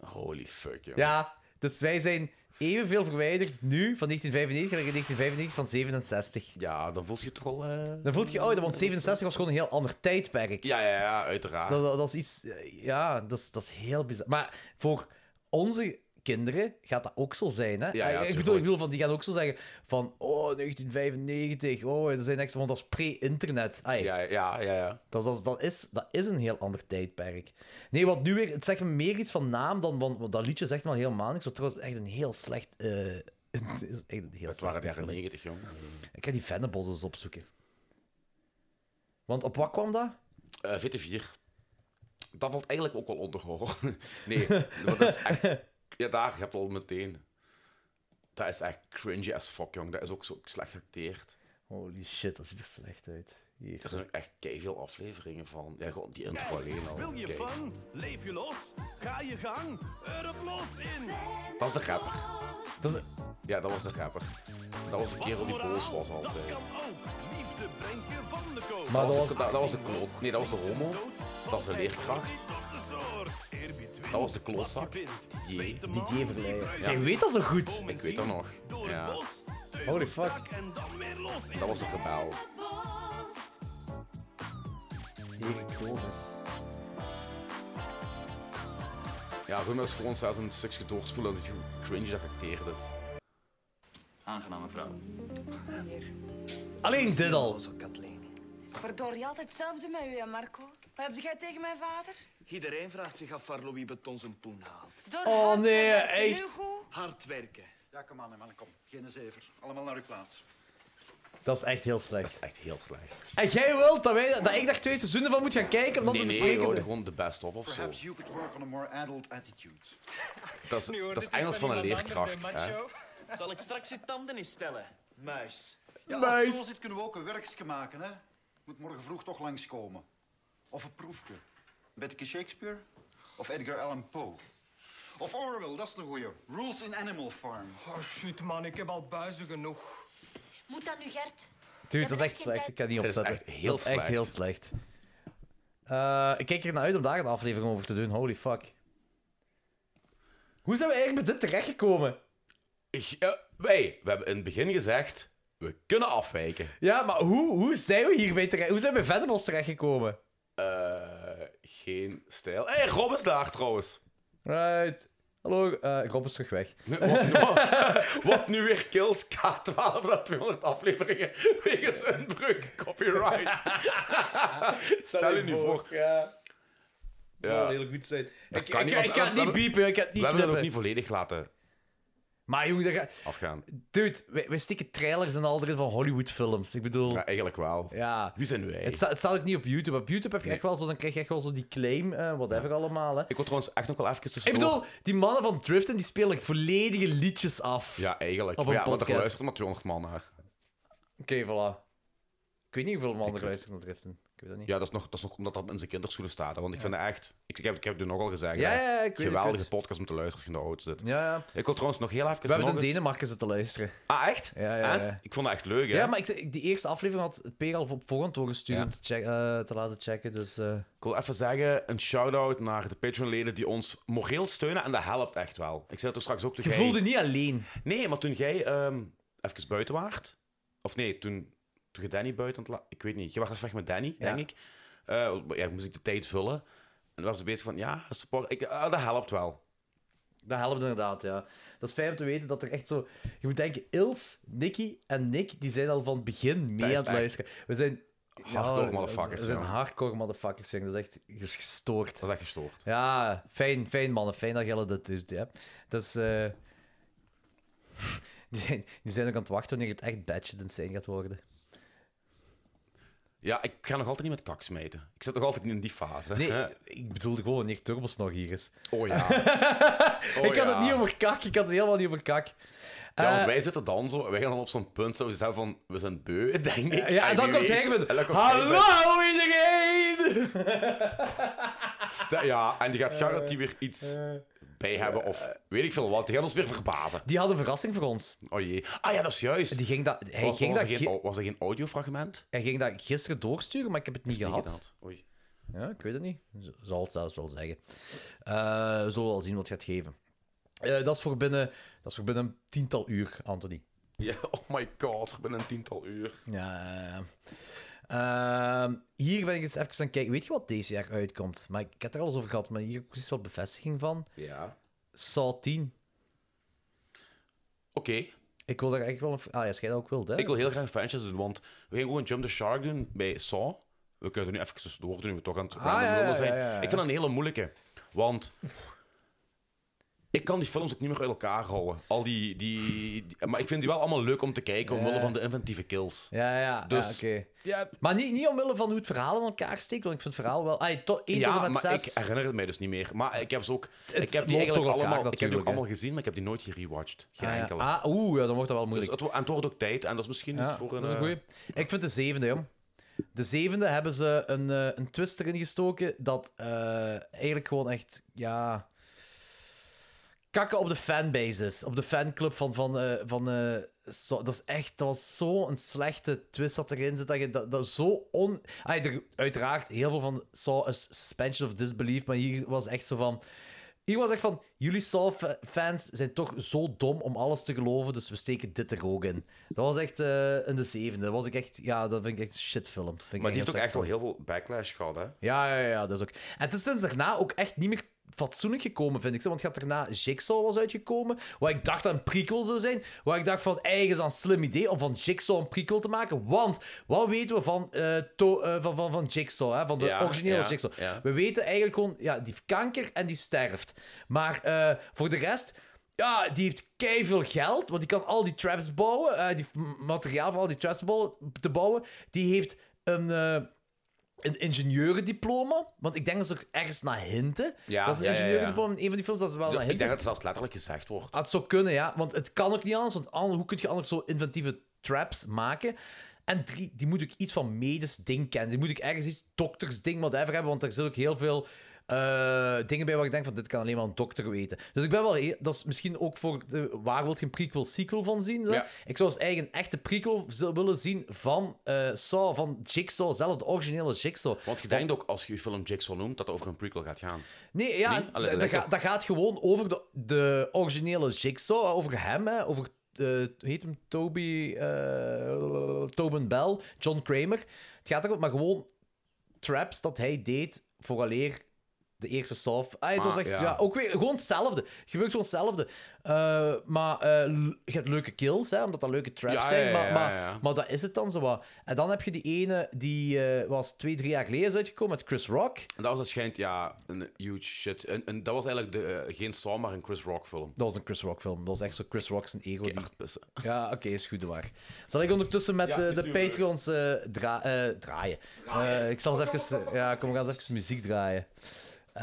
Speaker 3: Holy fuck, jongen.
Speaker 2: Ja, dus wij zijn evenveel verwijderd nu van 1995 dan in 1995 van 67.
Speaker 3: Ja, dan voelt je toch wel... eh,
Speaker 2: Dan voelt je ouder, want 67 was gewoon een heel ander tijdperk.
Speaker 3: Ja, ja, ja, uiteraard.
Speaker 2: Dat, dat, dat is iets... eh, Ja, dat is, dat is heel bizar. Maar voor onze kinderen gaat dat ook zo zijn, hè?
Speaker 3: ja,
Speaker 2: Eh, ik, bedoel,
Speaker 3: tuurlijk.
Speaker 2: ik bedoel, van, die gaan ook zo zeggen van... Oh, 1995, oh, dat zijn extra... Want dat is pre-internet. Ai,
Speaker 3: Ja, ja, ja, ja.
Speaker 2: Dat, is- dat, is- dat, is, dat is een heel ander tijdperk. Nee, wat nu weer... Het zegt me meer iets van naam dan... Want, want dat liedje zegt me al helemaal niks. Wat trouwens echt een heel slecht... eh, het is echt een heel
Speaker 3: Dat
Speaker 2: slecht
Speaker 3: waren de jaren
Speaker 2: intro.
Speaker 3: 90, jongen.
Speaker 2: Ik ga die Venables eens opzoeken. Want op wat kwam dat?
Speaker 3: Eh, VT4. Dat valt eigenlijk ook wel onder horror. nee, want dat is echt... Ja, daar, je hebt al meteen. Dat is echt cringy as fuck, jong. Dat is ook zo slecht geacteerd.
Speaker 2: Holy shit, dat ziet er slecht uit. Hier.
Speaker 3: Er zijn ook echt veel afleveringen van. Ja, gewoon die intro alleen al.
Speaker 6: Wil je
Speaker 3: Kijk.
Speaker 6: fun? Leef je los? Ga je gang? Erop los in!
Speaker 3: Dat is de rapper. Ja, dat was de rapper. Dat was de kerel die boos was
Speaker 6: Dat
Speaker 3: altijd.
Speaker 6: kan ook. Liefde brengt je van de koop.
Speaker 2: Maar
Speaker 3: Ah,
Speaker 2: dat
Speaker 3: Dat was,
Speaker 2: was...
Speaker 3: de, dat, dat was de kloot. Nee, dat was de homo. Dat is de leerkracht. Dat was de klootzak. Die.
Speaker 6: Didier Verleijen.
Speaker 2: Jij weet dat zo goed.
Speaker 3: Ik weet dat nog.
Speaker 6: Door het
Speaker 3: Ja.
Speaker 6: bos, teugels
Speaker 2: Holy fuck.
Speaker 6: strak en dan weer los in.
Speaker 3: Dat was de gebel.
Speaker 9: verboos.
Speaker 3: Ja, Rum is gewoon zelfs een stukje doorspoelen dat je hoe cringy dat acteerd is.
Speaker 10: Aangename vrouw.
Speaker 2: Alleen dit al.
Speaker 11: Verdorie, altijd hetzelfde met u en Marco. Wat heb jij tegen mijn vader?
Speaker 10: Iedereen vraagt zich af waar Louis Beton zijn poen haalt.
Speaker 11: Door
Speaker 2: Oh,
Speaker 11: hard te
Speaker 2: nee,
Speaker 11: werken, nu
Speaker 2: echt.
Speaker 11: goed?
Speaker 10: Hard werken.
Speaker 12: Ja, kom aan, man, kom. Geen zever. Allemaal naar uw plaats.
Speaker 2: Dat is echt heel slecht.
Speaker 3: Echt heel slecht.
Speaker 2: En jij wilt dat, wij, dat ik daar twee seizoenen van moet gaan kijken om dat
Speaker 3: Nee,
Speaker 2: te
Speaker 3: nee,
Speaker 2: bespreken?
Speaker 3: hoor, gewoon de best of of zo.
Speaker 12: Perhaps you could work on a more adult attitude.
Speaker 3: Dat is, dat is Engels van een leerkracht. Hè?
Speaker 10: Zal ik straks je tanden instellen? Muis.
Speaker 12: Ja, als het zo zit, kunnen we ook een werkje maken, hè? Moet morgen vroeg toch langskomen. Of een proefje. Een beetje Shakespeare? Of Edgar Allan Poe? Of Orwell, dat is een goeie. Rules in Animal Farm.
Speaker 6: Oh shit man, ik heb al buizen genoeg.
Speaker 9: Moet dat nu, Gert?
Speaker 2: Dude, dat is echt slecht. Ik kan niet
Speaker 3: Dat is
Speaker 2: opzetten.
Speaker 3: echt heel
Speaker 2: dat is echt
Speaker 3: slecht.
Speaker 2: heel slecht. Eh, ik kijk er naar uit om daar een aflevering over te doen. Holy fuck. Hoe zijn we eigenlijk met dit terechtgekomen?
Speaker 3: Ik- eh, wij, we hebben in het begin gezegd, we kunnen afwijken.
Speaker 2: Ja, maar hoe, hoe zijn we hierbij terecht? Hoe zijn we bij Venables terechtgekomen?
Speaker 3: Eh, geen stijl. Hé, hey, Rob is daar trouwens.
Speaker 2: Right. Hallo, eh Rob is terug weg.
Speaker 3: Wat nu weer kills K12 na 200 afleveringen wegens een breuk copyright. Stel je nu voor.
Speaker 2: Ja. Dat zou
Speaker 3: Ja,
Speaker 2: heel goed zijn. ik,
Speaker 3: kan
Speaker 2: ik,
Speaker 3: niet,
Speaker 2: ik,
Speaker 3: want
Speaker 2: ga het
Speaker 3: we-
Speaker 2: niet
Speaker 3: we-
Speaker 2: piepen, ik ga het
Speaker 3: we
Speaker 2: niet
Speaker 3: hebben dat ook
Speaker 2: knippen.
Speaker 3: niet volledig laten
Speaker 2: Maar jongen, dat ga...
Speaker 3: afgaan.
Speaker 2: dude, wij, wij steken trailers en al erin van Hollywoodfilms. Ik bedoel,
Speaker 3: Ja, eigenlijk wel.
Speaker 2: ja.
Speaker 3: Wie zijn wij?
Speaker 2: Het, sta- het staat ook niet op YouTube. Op YouTube heb je
Speaker 3: Nee.
Speaker 2: echt wel zo, dan krijg je echt wel zo die claim, eh whatever allemaal. Hè.
Speaker 3: Ik wil trouwens echt nog wel even
Speaker 2: Ik
Speaker 3: tussendoor.
Speaker 2: bedoel, die mannen van Driften die spelen volledige liedjes af.
Speaker 3: Ja, eigenlijk.
Speaker 2: Op een
Speaker 3: ja, want er
Speaker 2: podcast.
Speaker 3: luisteren maar 200 man naar.
Speaker 2: Oké, voilà. Ik weet niet hoeveel mannen luisteren naar Driften. Ik weet het niet.
Speaker 3: Ja, dat is, nog, dat is nog omdat dat in zijn kinderschoenen staat. hè, Want ik vind het echt... Ik, ik, heb, ik heb het nu nogal gezegd.
Speaker 2: Ja, ja,
Speaker 3: hè.
Speaker 2: ja, ik weet het,
Speaker 3: Geweldige
Speaker 2: ik weet
Speaker 3: podcast om te luisteren als je in de auto zit.
Speaker 2: Ja, ja.
Speaker 3: Ik wil trouwens nog heel even...
Speaker 2: We hebben
Speaker 3: nog
Speaker 2: het in
Speaker 3: eens-
Speaker 2: Denemarken zitten luisteren.
Speaker 3: Ah, echt?
Speaker 2: Ja, ja,
Speaker 3: En?
Speaker 2: ja.
Speaker 3: Ik vond dat echt leuk, hè?
Speaker 2: Ja, maar ik, ik- die eerste aflevering had het Peer al op voorhand doorgestuurd
Speaker 3: Ja.
Speaker 2: om te, check- eh, te laten checken. Dus, eh,
Speaker 3: Ik wil even zeggen, een shout-out naar de Patreon-leden die ons moreel steunen. En dat helpt echt wel. Ik zei het er straks ook
Speaker 2: Je
Speaker 3: tegen jij-
Speaker 2: voelde niet alleen.
Speaker 3: Nee, maar toen jij ehm, even buiten waart... Of nee, toen, toen je Danny buiten... aan het la- Ik weet niet. Je was even weg met Danny,
Speaker 2: Ja.
Speaker 3: denk ik. Eh, maar ja, moest ik de tijd vullen. En dan waren ze bezig van, ja, support... Ik, ah, dat helpt wel.
Speaker 2: Dat helpt inderdaad, ja. Dat is fijn om te weten dat er echt zo... Je moet denken, Ils, Nicky en Nick, die zijn al van het begin mee
Speaker 3: is
Speaker 2: aan het
Speaker 3: echt
Speaker 2: luisteren. We zijn...
Speaker 3: Hardcore
Speaker 2: we-
Speaker 3: motherfuckers,
Speaker 2: We zijn
Speaker 3: ja.
Speaker 2: hardcore motherfuckers, jongen. Dat is echt ges- gestoord.
Speaker 3: Dat is echt gestoord.
Speaker 2: Ja, fijn, fijn mannen. Fijn dat jullie dat dus ja. Dat is... eh, die, zijn, die zijn ook aan het wachten wanneer het echt badged insane gaat worden.
Speaker 3: Ja, ik ga nog altijd niet met kak smijten. Ik zit nog altijd niet in die fase.
Speaker 2: Nee, ik bedoelde gewoon wanneer Turbos nog hier is.
Speaker 3: Oh ja. Oh
Speaker 2: ik had
Speaker 3: ja.
Speaker 2: het niet over kak, ik had het helemaal niet over kak.
Speaker 3: Ja, want
Speaker 2: Eh,
Speaker 3: wij zitten dan zo, wij gaan dan op zo'n punt dat we zeggen van, we zijn beu, denk ik.
Speaker 2: Ja, en dan
Speaker 3: wie
Speaker 2: komt
Speaker 3: weet.
Speaker 2: Hegman.
Speaker 3: En dan komt Hegman.
Speaker 2: Hallo iedereen!
Speaker 3: Stel- ja, en die gaat garantie weer iets
Speaker 2: Eh,
Speaker 3: bij hebben of weet ik veel wat. Die gaat ons weer verbazen.
Speaker 2: Die had een verrassing voor ons.
Speaker 3: Oh jee. Ah ja, dat is juist.
Speaker 2: Die ging dat, hij,
Speaker 3: was,
Speaker 2: ging
Speaker 3: was,
Speaker 2: dat
Speaker 3: er
Speaker 2: gi-
Speaker 3: geen, was er geen audiofragment?
Speaker 2: hij ging dat gisteren doorsturen, maar ik heb het niet
Speaker 3: Niet
Speaker 2: gehad.
Speaker 3: gehaald. Oei.
Speaker 2: Ja, ik weet het niet. Z- Zal het zelfs wel zeggen. Eh, we zullen wel zien wat het gaat geven. Eh, dat, is voor binnen, dat is voor binnen een tiental uur, Anthony.
Speaker 3: Ja, oh my god, binnen een tiental uur.
Speaker 2: Ja, ja, ja. Ehm, hier ben ik eens even aan het kijken. Weet je wat deze jaar uitkomt? Maar ik heb het er al eens over gehad, maar hier heb ik precies wat bevestiging van.
Speaker 3: Ja.
Speaker 2: Saw 10.
Speaker 3: Oké.
Speaker 2: Ik wil daar echt wel een... Ah ja, schijnt ook wilt, hè?
Speaker 3: Ik wil heel graag franchise doen, want we gaan gewoon Jump the Shark doen bij Saw. We kunnen er nu even door doen, we toch aan het random
Speaker 2: Ah, ja, ja,
Speaker 3: rommel zijn.
Speaker 2: ja, ja, ja.
Speaker 3: Ik vind dat een hele moeilijke, want ik kan die films ook niet meer uit elkaar houden. Al die, die, die- maar ik vind die wel allemaal leuk om te kijken, omwille van de inventieve kills.
Speaker 2: Ja, ja,
Speaker 3: Dus-
Speaker 2: ja, oké. Maar niet, niet omwille van hoe het verhaal in elkaar steekt, want ik vind het verhaal wel... Ah, tot 1 tot
Speaker 3: Ja,
Speaker 2: en met
Speaker 3: maar
Speaker 2: 6.
Speaker 3: ik herinner het mij dus niet meer. Maar ik heb ze ook.
Speaker 2: Het
Speaker 3: ik
Speaker 2: loopt
Speaker 3: heb die eigenlijk
Speaker 2: door elkaar
Speaker 3: allemaal, ik heb die
Speaker 2: natuurlijk,
Speaker 3: ook
Speaker 2: hè.
Speaker 3: allemaal gezien, maar ik heb die nooit gerewatched. Geen
Speaker 2: Ah, ja.
Speaker 3: enkele.
Speaker 2: Ah, oeh, ja, dan wordt dat wel
Speaker 3: dus
Speaker 2: moeilijk.
Speaker 3: het, wo- en het wordt ook tijd, en dat is misschien
Speaker 2: Ja,
Speaker 3: niet voor een.
Speaker 2: dat is een
Speaker 3: eh,
Speaker 2: goeie. Ik vind de zevende, jong. De zevende hebben ze een, eh, een twist erin gestoken dat eh, eigenlijk gewoon echt, ja... Kakken op de fanbase is. Op de fanclub van... van, eh, van eh, zo- dat is echt... Dat was zo'n slechte twist dat erin zit. Dat je dat, dat zo on... Ah, er, uiteraard, heel veel van Saw is suspension of disbelief, maar hier was echt zo van... Hier was echt van, jullie Saw-fans zijn toch zo dom om alles te geloven, dus we steken dit er ook in. Dat was echt eh, in de zevende. Dat was ik echt, ja, dat vind ik echt een shitfilm. Vind ik
Speaker 3: Maar die heeft ook
Speaker 2: slecht
Speaker 3: echt wel
Speaker 2: film.
Speaker 3: heel veel backlash gehad, hè?
Speaker 2: Ja, ja, ja, dat is ook. En het is sinds daarna ook echt niet meer fatsoenlijk gekomen, vind ik. zo. Want je had daarna Jigsaw was uitgekomen, waar ik dacht dat een prequel zou zijn, waar ik dacht van, eigen een slim idee om van Jigsaw een prequel te maken. Want, wat weten we van, eh, to- eh, van, van, van Jigsaw, hè? van de
Speaker 3: Ja,
Speaker 2: originele
Speaker 3: ja,
Speaker 2: Jigsaw?
Speaker 3: ja.
Speaker 2: We weten eigenlijk gewoon, ja, die heeft kanker en die sterft. Maar eh, voor de rest, ja, die heeft keiveel geld, want die kan al die traps bouwen, eh, die heeft materiaal voor al die traps bouwen- te bouwen. Die heeft een, eh een ingenieurendiploma, want ik denk dat ze er ergens naar hinten.
Speaker 3: Ja,
Speaker 2: dat is een
Speaker 3: ja, ja, ja.
Speaker 2: ingenieurendiploma in een van die films dat ze wel naar
Speaker 3: ik denk
Speaker 2: hinten.
Speaker 3: dat het zelfs letterlijk gezegd wordt.
Speaker 2: Ah, het zou kunnen, ja. Want het kan ook niet anders, want an- hoe kun je anders zo inventieve traps maken? En drie, die moet ik iets van medisch ding kennen. Die moet ik ergens iets doktersding, whatever hebben, want er zit ook heel veel eh, dingen bij waar ik denk van, dit kan alleen maar een dokter weten. Dus ik ben wel... heel- dat is misschien ook voor... De, waar wil je een prequel-sequel van zien? zo?
Speaker 3: Ja.
Speaker 2: Ik zou als eigen echte prequel z- willen zien van eh, Saw, van Jigsaw zelf, de originele Jigsaw.
Speaker 3: Want je denkt ook, als je je film Jigsaw noemt, dat het over een prequel gaat gaan.
Speaker 2: Nee, ja,
Speaker 3: Nee? Allee, dat
Speaker 2: dat,
Speaker 3: lijkt
Speaker 2: ga-
Speaker 3: toch-
Speaker 2: dat gaat gewoon over de, de originele Jigsaw, over hem, hè, over, eh, heet hem Toby, eh Tobin Bell, John Kramer. Het gaat erom, maar gewoon traps dat hij deed vooraleer de eerste Saw. Ah, het was
Speaker 3: Ah,
Speaker 2: echt, ja.
Speaker 3: ja.
Speaker 2: ook weer gewoon hetzelfde. Gebeurt gewoon hetzelfde. Eh, maar eh, l- je hebt leuke kills, hè, omdat dat leuke traps
Speaker 3: Ja,
Speaker 2: zijn,
Speaker 3: ja,
Speaker 2: maar,
Speaker 3: ja,
Speaker 2: maar,
Speaker 3: ja.
Speaker 2: maar dat is het dan zo wat. En dan heb je die ene die eh, was twee, drie jaar geleden is uitgekomen met Chris Rock.
Speaker 3: En dat was waarschijnlijk, ja, een huge shit. En, en dat was eigenlijk de, eh, geen Saw, maar een Chris Rock film.
Speaker 2: Dat was een Chris Rock film. Dat was echt zo Chris Rock zijn ego.
Speaker 3: Oké,
Speaker 2: die-
Speaker 3: echt pissen.
Speaker 2: Ja, oké, is goed waar. Zal ik ondertussen met
Speaker 3: Ja,
Speaker 2: eh,
Speaker 3: is
Speaker 2: de
Speaker 3: nu leuk.
Speaker 2: Patreons eh, dra- eh, draaien? Eh, ik zal eens even... eh, ja, kom, we gaan eens even muziek draaien. Eh,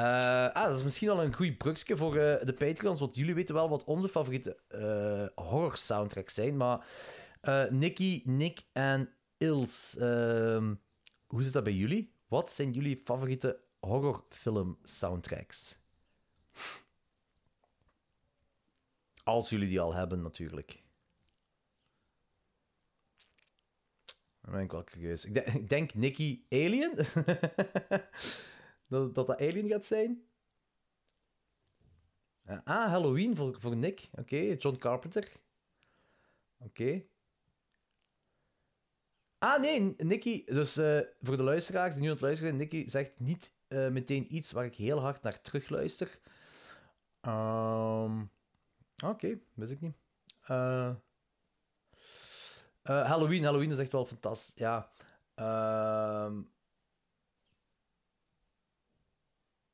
Speaker 2: ah, dat is misschien al een goed brugje voor eh, de Patreons, want jullie weten wel wat onze favoriete eh, horror soundtracks zijn, maar eh Nicky, Nick en Ils ehm, hoe zit dat bij jullie? Wat zijn jullie favoriete horrorfilm-soundtracks? Als jullie die al hebben, natuurlijk. Dan ben ik wel curieus. Ik, de- ik denk Nicky Alien. dat, dat dat Alien gaat zijn. Ja, Ah, Halloween voor, voor Nick. Oké, John Carpenter. Oké. Ah, nee, Nicky. Dus eh, voor de luisteraars die nu aan het luisteren zijn, Nicky zegt niet eh, meteen iets waar ik heel hard naar terugluister. Ehm, Oké, wist ik niet. Eh, eh, Halloween, Halloween is echt wel fantastisch. Ja. Ehm,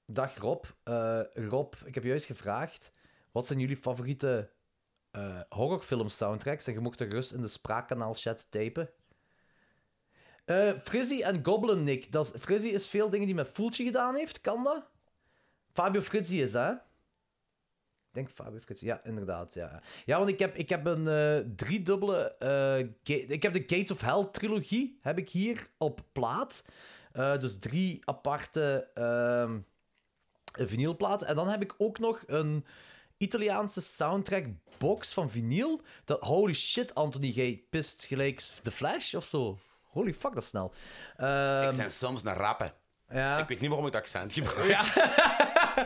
Speaker 2: dag Rob. Eh, Rob, ik heb juist gevraagd: wat zijn jullie favoriete eh, horrorfilm soundtracks? En je mocht er rust in de spraakkanaal chat typen. Eh Frizzy en Goblin Nick. Dat is, Frizzy is veel dingen die met Fulci gedaan heeft, kan dat? Fabio Frizzy is, hè? Ik denk Fabio Fritz. Ja, inderdaad. Ja, ja want ik heb, ik heb een eh driedubbele... eh, ga- ik heb de Gates of Hell trilogie heb ik hier op plaat. Eh, dus drie aparte ehm vinylplaten. En dan heb ik ook nog een Italiaanse soundtrack box van vinyl. Dat, holy shit, Anthony, jij pist gelijk The Flash of zo. Holy fuck, dat is snel. Ehm,
Speaker 3: Ik zijn soms naar rappen.
Speaker 2: Ja.
Speaker 3: Ik weet niet waarom ik het accent gebruik.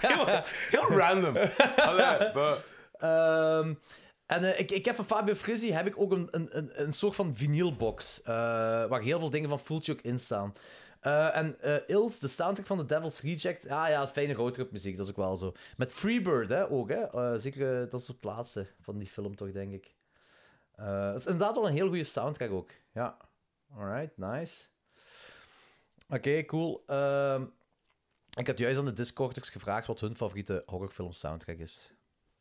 Speaker 3: heel, heel random. Allee, bah.
Speaker 2: Ehm, en eh, ik, ik heb van Fabio Frizzi heb ik ook een, een, een, een soort van vinylbox. eh, waar heel veel dingen van Fulci ook in staan. Eh, en eh, Ils, de soundtrack van The Devil's Reject. Ah ja, fijne roadtrip muziek, dat is ook wel zo. Met Freebird hè, ook, hè. Eh, zeker eh, dat soort plaatsen van die film toch, denk ik. Eh, dat is inderdaad wel een heel goede soundtrack ook. Ja. Alright, nice. Oké, cool. Ehm, ik had juist aan de Discorders gevraagd wat hun favoriete horrorfilm soundtrack is.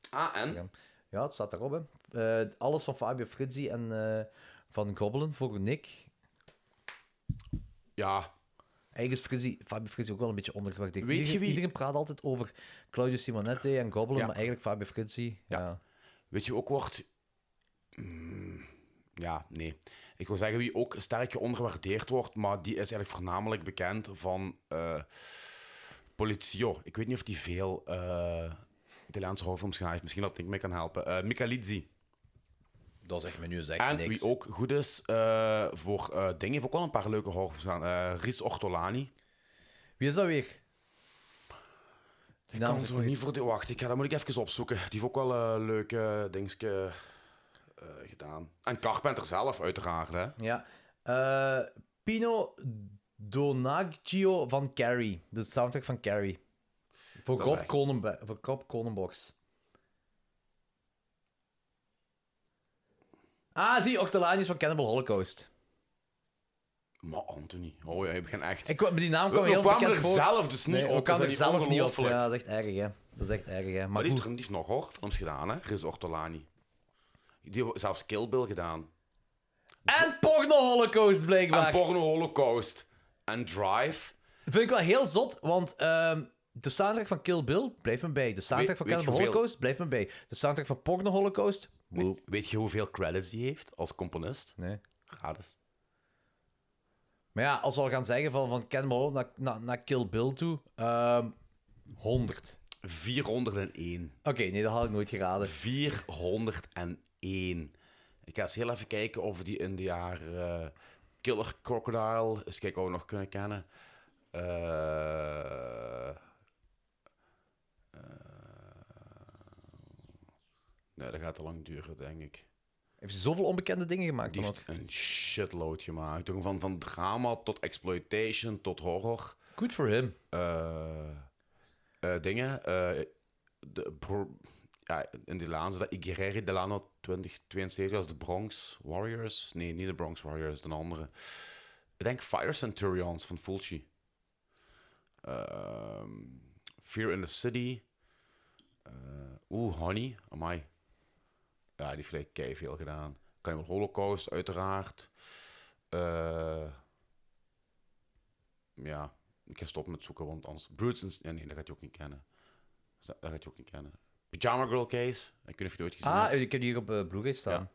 Speaker 3: Ah, en?
Speaker 2: Ja, het staat erop, hè. Eh, alles van Fabio Frizzi en eh, van Goblin voor Nick.
Speaker 3: Ja.
Speaker 2: Eigenlijk is Frizzi, Fabio Frizzi ook wel een beetje ondergewaardeerd.
Speaker 3: Weet je
Speaker 2: Iedereen-
Speaker 3: wie-
Speaker 2: Iedereen praat altijd over Claudio Simonetti en Goblin,
Speaker 3: Ja.
Speaker 2: maar eigenlijk Fabio Frizzi. Ja.
Speaker 3: Weet je ook wordt. Mm, ja, nee. Ik wil zeggen wie ook sterk ondergewaardeerd wordt, maar die is eigenlijk voornamelijk bekend van eh Polizio. Ik weet niet of die veel eh, Italiaanse horrorfilms gedaan heeft. Misschien dat ik mee kan helpen. Eh Michalizzi.
Speaker 2: Dat zegt me nu eens echt
Speaker 3: En
Speaker 2: niks.
Speaker 3: wie ook goed is eh, voor eh dingen, heeft ook wel een paar leuke horrorfilms gedaan. Eh Riz Ortolani.
Speaker 2: Wie is dat weer?
Speaker 3: Ik
Speaker 2: naam
Speaker 3: kan
Speaker 2: zegt
Speaker 3: zo
Speaker 2: me
Speaker 3: niet
Speaker 2: iets.
Speaker 3: voor de... Wacht, ik ga, dat moet ik even opzoeken. Die heeft ook wel eh, leuke dingetje eh, gedaan. En Carpenter zelf, uiteraard. Hè?
Speaker 2: Ja. Eh, Pino Donaggio van Carrie. De soundtrack van Carrie. Voor
Speaker 3: Dat is
Speaker 2: Rob,
Speaker 3: echt-
Speaker 2: Conenbe- voor Rob Conenbox. Ah, zie, Octolani is van Cannibal Holocaust.
Speaker 3: Maar Anthony, oh ja, je begint echt...
Speaker 2: Ik, kwam- die naam
Speaker 3: We-
Speaker 2: kwam
Speaker 3: we
Speaker 2: heel
Speaker 3: kwamen
Speaker 2: bekend
Speaker 3: er
Speaker 2: voor.
Speaker 3: zelf dus niet
Speaker 2: nee,
Speaker 3: op,
Speaker 2: We
Speaker 3: is
Speaker 2: kwamen
Speaker 3: dat
Speaker 2: er
Speaker 3: niet
Speaker 2: zelf niet op.
Speaker 3: ongelooflijk?
Speaker 2: Ja, dat is echt erg, hè. Dat is echt erg, hè.
Speaker 3: Maar
Speaker 2: Maar
Speaker 3: die heeft
Speaker 2: goed.
Speaker 3: er die heeft nog hoor, films gedaan, hè? Riz Ortolani. Die heeft zelfs Kill Bill gedaan.
Speaker 2: En Porno Holocaust, blijkbaar.
Speaker 3: En Porno Holocaust. En Drive.
Speaker 2: Vind ik wel heel zot, want ehm, de soundtrack van Kill Bill blijft me bij. De soundtrack
Speaker 3: Weet-
Speaker 2: van
Speaker 3: weet je
Speaker 2: Cannibal
Speaker 3: hoeveel-
Speaker 2: Holocaust blijft me bij. De soundtrack van Porno Holocaust.
Speaker 3: Weet, weet je hoeveel credits die heeft als componist?
Speaker 2: Nee.
Speaker 3: Gratis.
Speaker 2: Maar ja, als we al gaan zeggen van, van Cannibal Holocaust naar, naar, naar Kill Bill toe, ehm 100.
Speaker 3: 401.
Speaker 2: Oké, nee, dat had ik nooit geraden.
Speaker 3: 401. Ik ga eens heel even kijken of we die in de jaren eh, Killer Crocodile, eens kijken of we nog kunnen kennen. Eh, eh, nee, dat gaat te lang duren, denk ik.
Speaker 2: Heeft ze zoveel onbekende dingen gemaakt?
Speaker 3: Die
Speaker 2: dan
Speaker 3: heeft een shitload gemaakt. Toch Van, van drama tot exploitation tot horror.
Speaker 2: Good for him.
Speaker 3: dingen. eh, de, bro- ja, in de laatste, dat Iguerre Delano 2072, dat is de Bronx Warriors. Nee, niet de Bronx Warriors, de andere. Ik denk Fire Centurions van Fulci. Ehm, Fear in the City. Eh, Oeh, Honey, amai. Ja, die heeft gelijk kei veel gedaan. Cannibal Holocaust, uiteraard. Eh, ja, ik ga stoppen met zoeken, want anders... Brutes and- Ja, nee, dat gaat je ook niet kennen. Dus Dat, dat gaat je ook niet kennen. Pyjama Girl Case, ik weet niet of je het ooit gezien
Speaker 2: Ah,
Speaker 3: hebt.
Speaker 2: ik heb die hier op eh, Blu-ray staan.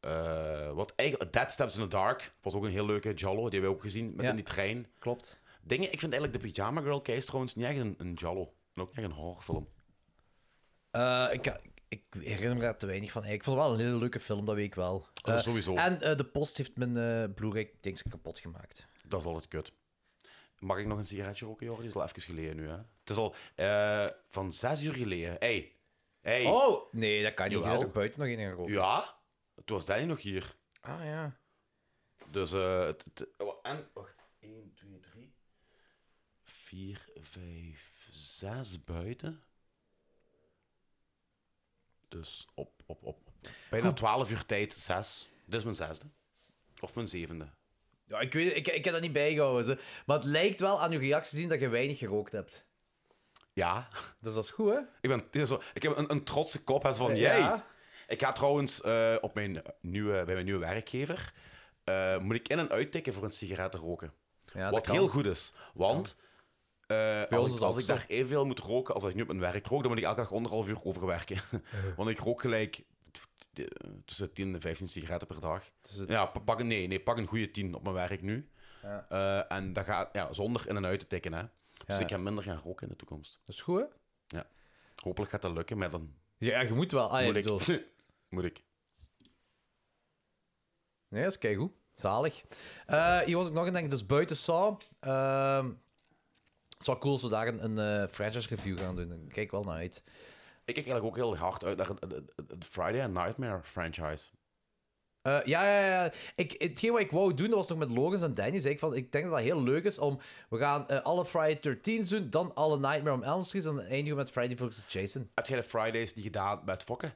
Speaker 3: Eh, wat eigenlijk, Dead Steps in the Dark was ook een heel leuke Jallo. Die hebben we ook gezien met
Speaker 2: Ja.
Speaker 3: in die trein.
Speaker 2: Klopt.
Speaker 3: Dingen, ik vind eigenlijk de Pyjama Girl Case trouwens niet echt een, een Jallo. En ook niet echt een horrorfilm.
Speaker 2: Eh, ik, ik herinner me daar te weinig van. Ik vond het wel een hele leuke film, dat weet ik wel.
Speaker 3: Oh,
Speaker 2: Eh,
Speaker 3: sowieso.
Speaker 2: En eh, de post heeft mijn eh Blu-ray dings kapot gemaakt.
Speaker 3: Dat is altijd kut. Mag ik nog een sigaretje roken, Jordi? Dat is al even geleden nu, hè? Het is al eh, van zes uur geleden. Hey. Hey.
Speaker 2: Oh, nee, dat kan niet. Je
Speaker 3: Jawel.
Speaker 2: hebt er buiten nog in gaan roken.
Speaker 3: Ja, toen was Danny nog hier.
Speaker 4: Ah ja.
Speaker 3: Dus, eh... het- het- oh, en, wacht. 1, 2, 3, 4, 5, 6 buiten. Dus op, op, op. op. Bijna 12 uur tijd, 6. Dit is mijn zesde. Of mijn zevende.
Speaker 2: Ja, ik, weet, het, ik, ik heb dat niet bijgehouden. ze. Maar het lijkt wel aan uw reactie te zien dat je weinig gerookt hebt.
Speaker 3: Ja.
Speaker 2: Dus dat is goed, hè?
Speaker 3: Ik, ben, dit is zo, ik heb een, een trotse kop hè, van,
Speaker 2: Ja.
Speaker 3: jij. Ik ga trouwens eh, op mijn nieuwe, bij mijn nieuwe werkgever, eh, moet ik in- en uittikken voor een sigaret te roken.
Speaker 2: Ja, dat
Speaker 3: Wat
Speaker 2: kan.
Speaker 3: heel goed is, want eh,
Speaker 2: ons
Speaker 3: als,
Speaker 2: is
Speaker 3: ik,
Speaker 2: dat
Speaker 3: als
Speaker 2: ook
Speaker 3: ik
Speaker 2: zo.
Speaker 3: daar evenveel moet roken als ik nu op mijn werk rook, dan moet ik elke dag anderhalf uur overwerken. want ik rook gelijk t- t- tussen 10 en 15 sigaretten per dag.
Speaker 2: Tussen-
Speaker 3: Ja, pa- pak, een- nee, nee, pak een goede 10 op mijn werk nu.
Speaker 2: Ja.
Speaker 3: Eh, en dat gaat ja, zonder in en uit te tikken. Hè. Dus
Speaker 2: Ja.
Speaker 3: ik ga minder gaan roken in de toekomst.
Speaker 2: Dat is goed, hè?
Speaker 3: Ja. Hopelijk gaat dat lukken, maar dan
Speaker 2: Ja, je moet wel. Ah, ja,
Speaker 3: moet,
Speaker 2: ik bedoel.
Speaker 3: ik, moet ik.
Speaker 2: Nee, dat is keigoed. Zalig. Eh, hier was ik nog aan denken, dus buiten Saw. ehm, het is wel cool als we daar een, een eh, franchise review gaan doen. Daar kijk ik wel naar uit.
Speaker 3: Ik kijk eigenlijk ook heel hard uit naar het, het- het- het Friday Nightmare franchise.
Speaker 2: Eh, ja, ja, ja. Ik, hetgeen wat ik wou doen, dat was nog met Logans en Danny. Zei ik, van, ik denk dat dat heel leuk is om... We gaan eh, alle Friday 13 doen, dan alle Nightmare on Elm Street... en dan eindigen we met Friday vs. Jason.
Speaker 3: Heb jij de Fridays die gedaan met fokken?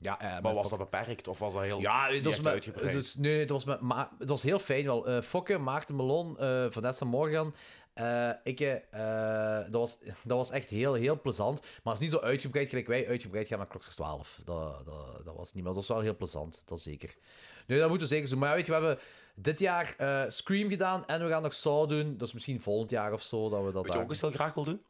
Speaker 2: Ja, eh,
Speaker 3: maar
Speaker 2: met
Speaker 3: was dat beperkt of was dat heel
Speaker 2: Ja, het was,
Speaker 3: direct
Speaker 2: met,
Speaker 3: uitgebreid?
Speaker 2: dus, nee, het was, met, Ma- het was heel fijn wel. Eh Fokke, Maarten Melon, eh, Vanessa Morgan. eh, ik, eh, dat, was, dat was echt heel, heel plezant. Maar het is niet zo uitgebreid gelijk wij uitgebreid gaan met Kloksters 12. Dat, dat, dat was het niet, maar dat was wel heel plezant, dat zeker. Nee, dat moeten we zeker doen. Maar ja, weet je, we hebben dit jaar eh, Scream gedaan en we gaan nog Saw doen. Dus misschien volgend jaar of zo dat we dat
Speaker 3: Weet je
Speaker 2: daar-
Speaker 3: ook eens heel graag wil doen?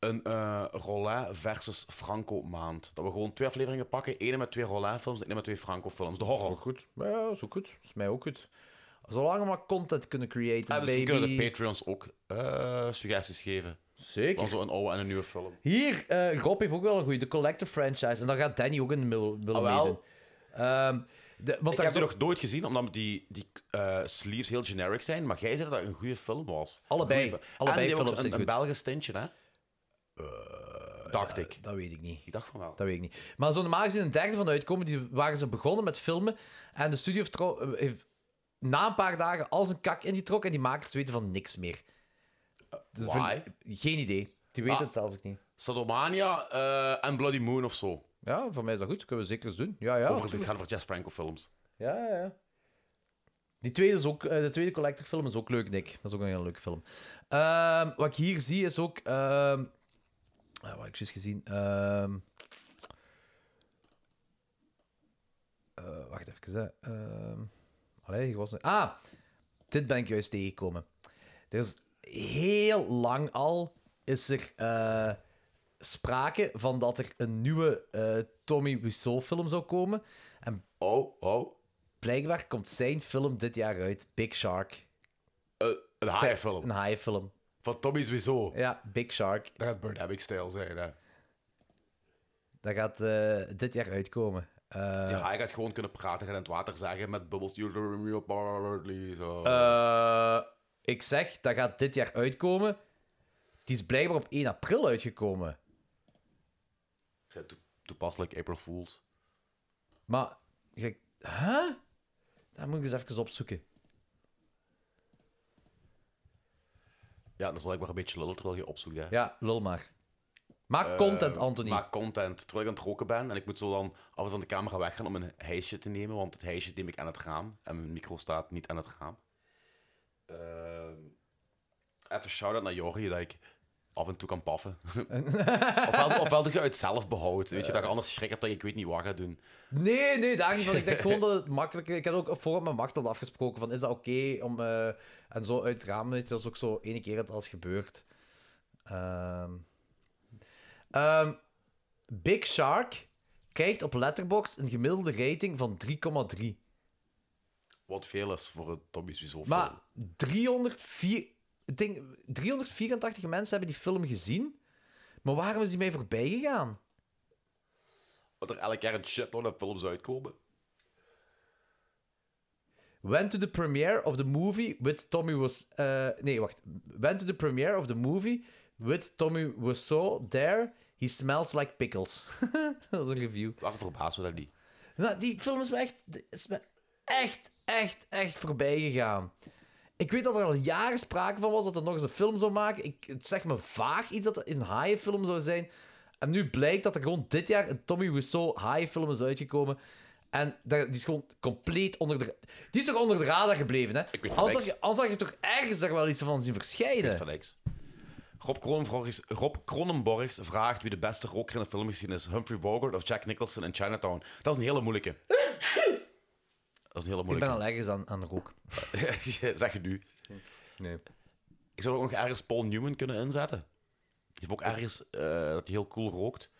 Speaker 3: Een eh Rollet versus Franco maand. Dat we gewoon twee afleveringen pakken. Ene met twee Rollet films en ene met twee Franco films. De horror.
Speaker 2: goed. Ja, zo goed. Is mij ook goed. Zolang we maar content kunnen creëren,
Speaker 3: En misschien
Speaker 2: baby.
Speaker 3: kunnen de Patreons ook eh, suggesties geven.
Speaker 2: Zeker.
Speaker 3: Van zo'n oude en een nieuwe film.
Speaker 2: Hier, eh Rob heeft ook wel een goede, de Collector franchise. En daar gaat Danny ook in wil- willen
Speaker 3: Ah, wel.
Speaker 2: meedoen. Ehm, de- want
Speaker 3: ik
Speaker 2: daar
Speaker 3: heb die
Speaker 2: is ook-
Speaker 3: nog nooit gezien, omdat die, die eh, sleeves heel generic zijn. Maar jij zei dat het een goede film was.
Speaker 2: Allebei.
Speaker 3: Goeie film.
Speaker 2: Allebei
Speaker 3: en die hebben ook
Speaker 2: films zijn
Speaker 3: een, een
Speaker 2: goed.
Speaker 3: Belgisch tintje, hè? Dacht ik.
Speaker 2: Eh, Dat weet ik niet.
Speaker 3: Ik dacht van wel.
Speaker 2: Dat weet ik niet. Maar zo normaal gezien een derde van uitkomen, die waren ze begonnen met filmen. En de studio heeft, trouw- eh, heeft na een paar dagen al zijn kak ingetrokken. En die makers weten van niks meer. Dus
Speaker 3: why?
Speaker 2: vind- Geen idee. Die weten
Speaker 3: Ah.
Speaker 2: het zelf ook niet.
Speaker 3: Sadomania eh, en Bloody Moon of zo.
Speaker 2: Ja, voor mij is dat goed. Kunnen we zeker eens doen. Ja, ja.
Speaker 3: Over, dit
Speaker 2: Oh, tuurlijk.
Speaker 3: gaat over Jess Franco films.
Speaker 2: Ja, ja, ja. Die tweede is ook, eh, de tweede Collector-film is ook leuk, Nick. Dat is ook een heel leuke film. Ehm, wat ik hier zie is ook. ehm, ah, wat heb ik juist gezien. Ehm, eh, wacht even. Hè. Ehm, allee, hier was. een- Ah, dit ben ik juist tegengekomen. Er is heel lang al is er eh, sprake van dat er een nieuwe eh, Tommy Wiseau-film zou komen. En
Speaker 3: Oh, oh.
Speaker 2: Blijkbaar komt zijn film dit jaar uit, Big Shark.
Speaker 3: Eh, een haaienfilm.
Speaker 2: Een haaienfilm.
Speaker 3: Van Tommy Wiseau.
Speaker 2: Ja, Big Shark.
Speaker 3: Dat gaat Birdemic-stijl zijn, hè.
Speaker 2: Dat gaat eh, dit jaar uitkomen. Eh,
Speaker 3: Die haai gaat gewoon kunnen praten, gaat in het water zeggen met bubbels. You're Bartley, zo.
Speaker 2: eh, ik zeg, dat gaat dit jaar uitkomen. Die is blijkbaar op 1 april uitgekomen.
Speaker 3: Ja, to- Toepasselijk April Fools.
Speaker 2: Maar, ik, huh? Dat moet ik eens even opzoeken.
Speaker 3: Ja, dat is blijkbaar een beetje lullen terwijl je opzoekt, hè.
Speaker 2: Ja, lul maar. Maak
Speaker 3: Eh,
Speaker 2: content, Anthony.
Speaker 3: Maak content. Terwijl ik aan het roken ben en ik moet zo dan af en toe aan de camera weggaan om een hijsje te nemen, want het hijsje neem ik aan het raam en mijn micro staat niet aan het raam. Ehm, even shout-out naar Jorrie dat ik af en toe kan paffen. ofwel, ofwel dat je uit zelf behoudt, weet je, dat ik anders schrik heb dat ik weet niet wat ga doen.
Speaker 2: Nee, nee, daar niet van. Ik dacht gewoon dat het makkelijker... Ik had ook voor op mijn macht al afgesproken van, is dat oké om... eh, en zo uit het raam, weet je, dat is ook zo ene keer dat alles gebeurt. Ehm. Ehm, Big Shark krijgt op Letterboxd een gemiddelde rating van 3,3.
Speaker 3: Wat veel is voor het Tommy Wiseau film.
Speaker 2: Maar 304, ik denk, 384 mensen hebben die film gezien. Maar waarom is die mij voorbij gegaan?
Speaker 3: Want er elk jaar een shitload aan films uitkomen.
Speaker 2: Went to the premiere of the movie with Tommy was. eh, nee, wacht. Went to the premiere of the movie with Tommy Wiseau there. He smells like pickles. dat was een review.
Speaker 3: Waarom verbaast we dat niet?
Speaker 2: Nou, die film is me echt, is me echt, echt, echt voorbij gegaan. Ik weet dat er al jaren sprake van was dat er nog eens een film zou maken. Ik, het zegt me vaag iets dat er een haaienfilm zou zijn. En nu blijkt dat er gewoon dit jaar een Tommy Wiseau haaienfilm is uitgekomen. En daar, die is gewoon compleet onder de... Die is toch onder de radar gebleven, hè?
Speaker 3: Ik weet van
Speaker 2: anders, had
Speaker 3: niks.
Speaker 2: je, anders had je toch ergens daar wel iets van zien
Speaker 3: Ik weet
Speaker 2: verschijnen?
Speaker 3: van niks. Rob Kronenborgs, Rob Kronenborgs vraagt wie de beste rocker in de filmgeschiedenis is. Humphrey Bogart of Jack Nicholson in Chinatown. Dat is een hele moeilijke. Dat is een hele
Speaker 2: Ik
Speaker 3: moeilijke.
Speaker 2: ben al ergens aan, aan rook.
Speaker 3: zeg je nu.
Speaker 2: Nee.
Speaker 3: Ik zou ook nog ergens Paul Newman kunnen inzetten. Die heeft ook ergens eh, dat hij heel cool rookt.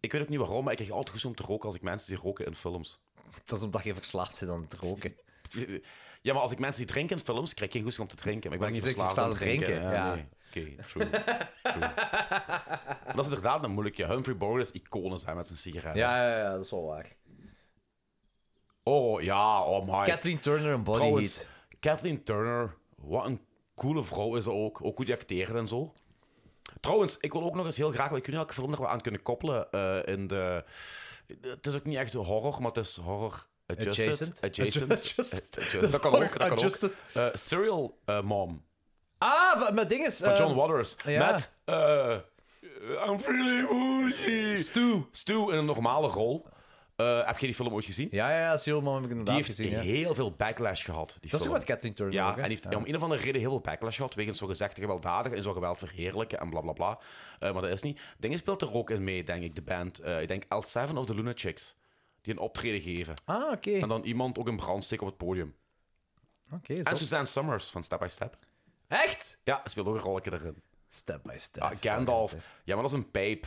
Speaker 3: Ik weet ook niet waarom, maar ik krijg altijd goed om te roken als ik mensen zie roken in films.
Speaker 2: Dat is omdat je verslaafd zit aan het roken.
Speaker 3: Ja, maar als ik mensen die drinken in films, krijg ik geen goed om te drinken. Maar ik ben
Speaker 2: Maar
Speaker 3: niet
Speaker 2: je zegt,
Speaker 3: verslaafd
Speaker 2: je
Speaker 3: aan het
Speaker 2: staat te
Speaker 3: drinken.
Speaker 2: drinken, ja.
Speaker 3: nee. Oké, true. true. Maar dat is inderdaad een moeilijke. Humphrey Bogart is iconen zijn met zijn sigaretten.
Speaker 2: Ja, ja, ja, dat is wel waar.
Speaker 3: Oh, ja, oh my.
Speaker 2: Kathleen Turner en Body
Speaker 3: Trouwens,
Speaker 2: Heat.
Speaker 3: Kathleen Turner, wat een coole vrouw is ze ook. Ook goed die acteren en zo. Trouwens, ik wil ook nog eens heel graag, want ik weet niet welke film daar we aan kunnen koppelen. eh, in de, het is ook niet echt horror, maar het is horror adjusted.
Speaker 2: Adjacent.
Speaker 3: Adjacent.
Speaker 2: Adjusted.
Speaker 3: Adjusted. Dat kan
Speaker 2: Horror
Speaker 3: ook. Dat kan
Speaker 2: adjusted.
Speaker 3: ook. Eh, Serial eh, Mom
Speaker 2: Ah, van- met dinges.
Speaker 3: van
Speaker 2: eh,
Speaker 3: John Waters.
Speaker 2: ja.
Speaker 3: Met eh I'm feeling woozy.
Speaker 2: Stu.
Speaker 3: Stu in een normale rol. Eh, heb je die film ooit gezien?
Speaker 2: Ja, ja, ja, Sealman heb ik
Speaker 3: Die
Speaker 2: inderdaad
Speaker 3: heeft
Speaker 2: gezien. ja.
Speaker 3: heel veel backlash gehad. Die
Speaker 2: Dat is ook
Speaker 3: film.
Speaker 2: wat Kathleen Turner
Speaker 3: Ja,
Speaker 2: ook, hè?
Speaker 3: en die heeft om een of andere reden heel veel backlash gehad. Wegens zogezegd gewelddadig en zo geweld verheerlijken en blablabla. Bla, bla. Eh, maar dat is niet. Dingen speelt er ook in mee, denk ik, de band. Eh, ik denk L7 of de Lunatics. Die een optreden geven.
Speaker 2: Ah, oké.
Speaker 3: En dan iemand ook een brandsteek op het podium.
Speaker 2: Oké,
Speaker 3: En
Speaker 2: zot.
Speaker 3: Suzanne Summers van Step by Step.
Speaker 2: Echt?
Speaker 3: Ja, speelt ook een rolletje erin.
Speaker 2: Step by step.
Speaker 3: Ah, Gandalf. Ja, maar dat is een pijp.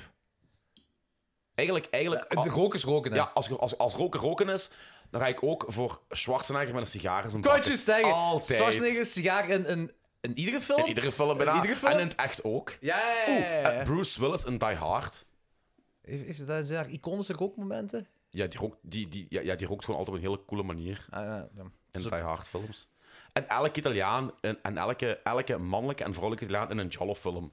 Speaker 3: Eigenlijk, eigenlijk... ah,
Speaker 2: Ja, de rook is roken, hè?
Speaker 3: Ja, als, als, als roken roken is, dan ga ik ook voor Schwarzenegger met een sigaar in zijn
Speaker 2: Kan je
Speaker 3: bakjes.
Speaker 2: zeggen?
Speaker 3: Altijd.
Speaker 2: Schwarzenegger sigaar in, in, in iedere film?
Speaker 3: In iedere film bijna.
Speaker 2: In iedere film?
Speaker 3: En in het echt ook.
Speaker 2: Ja, ja, ja, ja, ja.
Speaker 3: Eh, Bruce Willis in Die Hard.
Speaker 2: Heeft, heeft hij daar- zijn daar iconische rookmomenten?
Speaker 3: Ja, die rookt, die, die, ja, ja, die rookt gewoon altijd op een hele coole manier
Speaker 2: Ah, ja, ja.
Speaker 3: in
Speaker 2: Zo-
Speaker 3: Die Hard films. En elke Italiaan en, en elke, elke mannelijke en vrouwelijke Italiaan in een Giallo-film.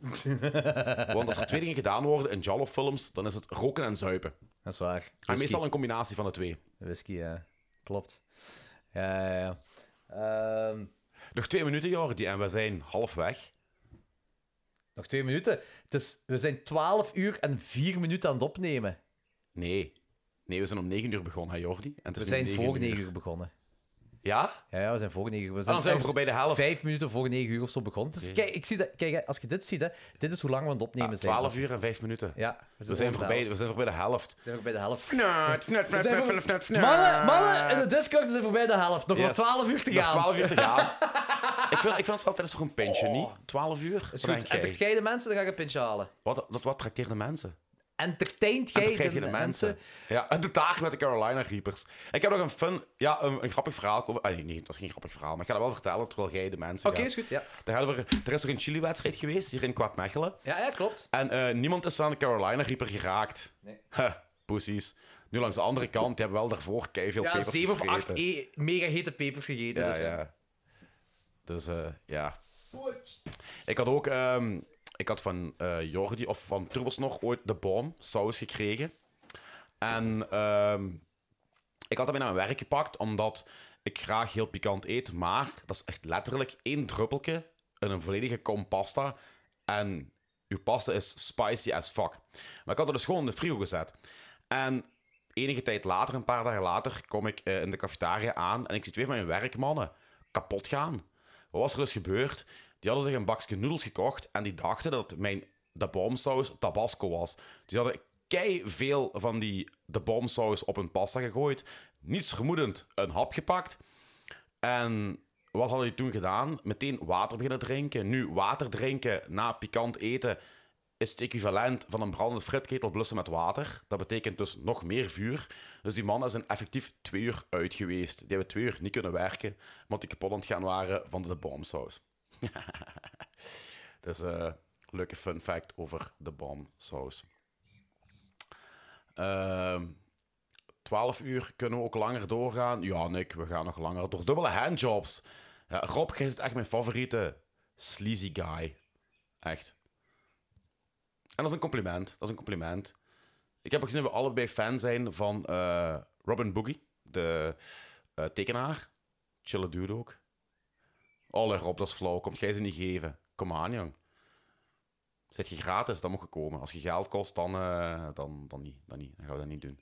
Speaker 3: Want als er twee dingen gedaan worden in Giallo-films, dan is het roken en zuipen.
Speaker 2: Dat is waar.
Speaker 3: En
Speaker 2: Whisky.
Speaker 3: Ah, meestal een combinatie van de twee.
Speaker 2: Whisky, ja. Klopt. Ja, ja, ja. Ehm,
Speaker 3: Nog twee minuten, Jordi, en we zijn halfweg.
Speaker 2: nog twee minuten. Het is, we zijn 12 uur en 4 minuten aan het opnemen.
Speaker 3: Nee. Nee, we zijn om negen uur begonnen, hè, Jordi? En het is
Speaker 2: We
Speaker 3: Dus nu
Speaker 2: zijn voor 9
Speaker 3: negen
Speaker 2: uur begonnen.
Speaker 3: Ja?
Speaker 2: Ja, ja, we zijn voor negen uur. We
Speaker 3: dan zijn we voorbij de helft.
Speaker 2: Vijf minuten voor negen uur of zo begonnen. Dus
Speaker 3: Oké.
Speaker 2: kijk, ik zie dat, kijk, hè, als je dit ziet, hè, dit is hoe lang we aan het opnemen zijn.
Speaker 3: Ah, Twaalf uur en vijf minuten.
Speaker 2: Ja,
Speaker 3: We zijn,
Speaker 2: over de
Speaker 3: voorbij,
Speaker 2: helft.
Speaker 3: we zijn voorbij de helft.
Speaker 2: We zijn voorbij de helft.
Speaker 3: Fnut, fnut, fnut,
Speaker 2: We zijn
Speaker 3: fnut,
Speaker 2: voor-
Speaker 3: fnut, fnut, fnut.
Speaker 2: Mannen, mannen in de Discord zijn voorbij de helft. Nog maar
Speaker 3: Yes.
Speaker 2: twaalf uur te
Speaker 3: Nog
Speaker 2: gaan. Oh.
Speaker 3: 12 uur te gaan. ik, vind, ik vind het wel tijdens voor een pintje, niet? 12 uur? Wat
Speaker 2: Is goed.
Speaker 3: denk jij?
Speaker 2: Entertaint jij de mensen, dan ga ik een pintje halen.
Speaker 3: Wat, wat, wat trakteert de mensen?
Speaker 2: Entertaint jij
Speaker 3: Entertaint je de mensen? Ja, en de taart met de Carolina Reapers. Ik heb nog een fun, ja, een, een grappig verhaal. Over, ah, nee, nee, dat is geen grappig verhaal, maar ik ga dat wel vertellen terwijl jij de mensen
Speaker 2: Oké,
Speaker 3: gaat.
Speaker 2: is goed, ja.
Speaker 3: Daar hadden we, er is toch een chili-wedstrijd geweest hier in Kwaadmechelen.
Speaker 2: Ja, ja, klopt.
Speaker 3: En eh, niemand is aan de Carolina Reaper geraakt.
Speaker 2: Nee.
Speaker 3: Huh, poesies. Nu langs de andere kant, die hebben wel daarvoor keiveel
Speaker 2: Ja,
Speaker 3: pepers
Speaker 2: zeven of
Speaker 3: gevreten.
Speaker 2: acht e- mega hete pepers gegeten.
Speaker 3: Ja,
Speaker 2: dus, ja.
Speaker 3: ja. Dus eh, ja. Ik had ook ehm, ik had van eh, Jordi of van Turbos nog ooit de bom saus gekregen. En ehm, ik had dat mee naar mijn werk gepakt, omdat ik graag heel pikant eet. Maar dat is echt letterlijk één druppeltje in een volledige kom pasta. En uw pasta is spicy as fuck. Maar ik had het dus gewoon in de frigo gezet. En enige tijd later, een paar dagen later, kom ik eh, in de cafetaria aan en ik zie twee van mijn werkmannen kapot gaan. Wat was er dus gebeurd? Die hadden zich een bakje noedels gekocht en die dachten dat mijn de bomsaus tabasco was. Dus die hadden kei veel van die de bomsaus op hun pasta gegooid. Niets vermoedend, een hap gepakt. En wat hadden die toen gedaan? Meteen water beginnen drinken. Nu, water drinken na pikant eten is het equivalent van een brandende fritketel blussen met water. Dat betekent dus nog meer vuur. Dus die mannen zijn effectief twee uur uit geweest. Die hebben twee uur niet kunnen werken, omdat die kapot aan het gaan waren van de bomsaus. dus eh leuke fun fact over de bomsaus. Ehm 12 uur kunnen we ook langer doorgaan. Ja, Nick, we gaan nog langer. Door dubbele handjobs. Ja, Rob, jij is echt mijn favoriete sleazy guy. Echt. En dat is een compliment. Dat is een compliment. Ik heb ook gezien dat we allebei fan zijn van eh, Robin Boogie, de eh, tekenaar. Chille dude ook. Alle Rob, dat is flauw. Komt jij ze niet geven? Kom aan, jong. Zet je gratis, dan moet je komen. Als je geld kost, dan, eh, dan, dan, niet, dan niet. Dan gaan we dat niet doen.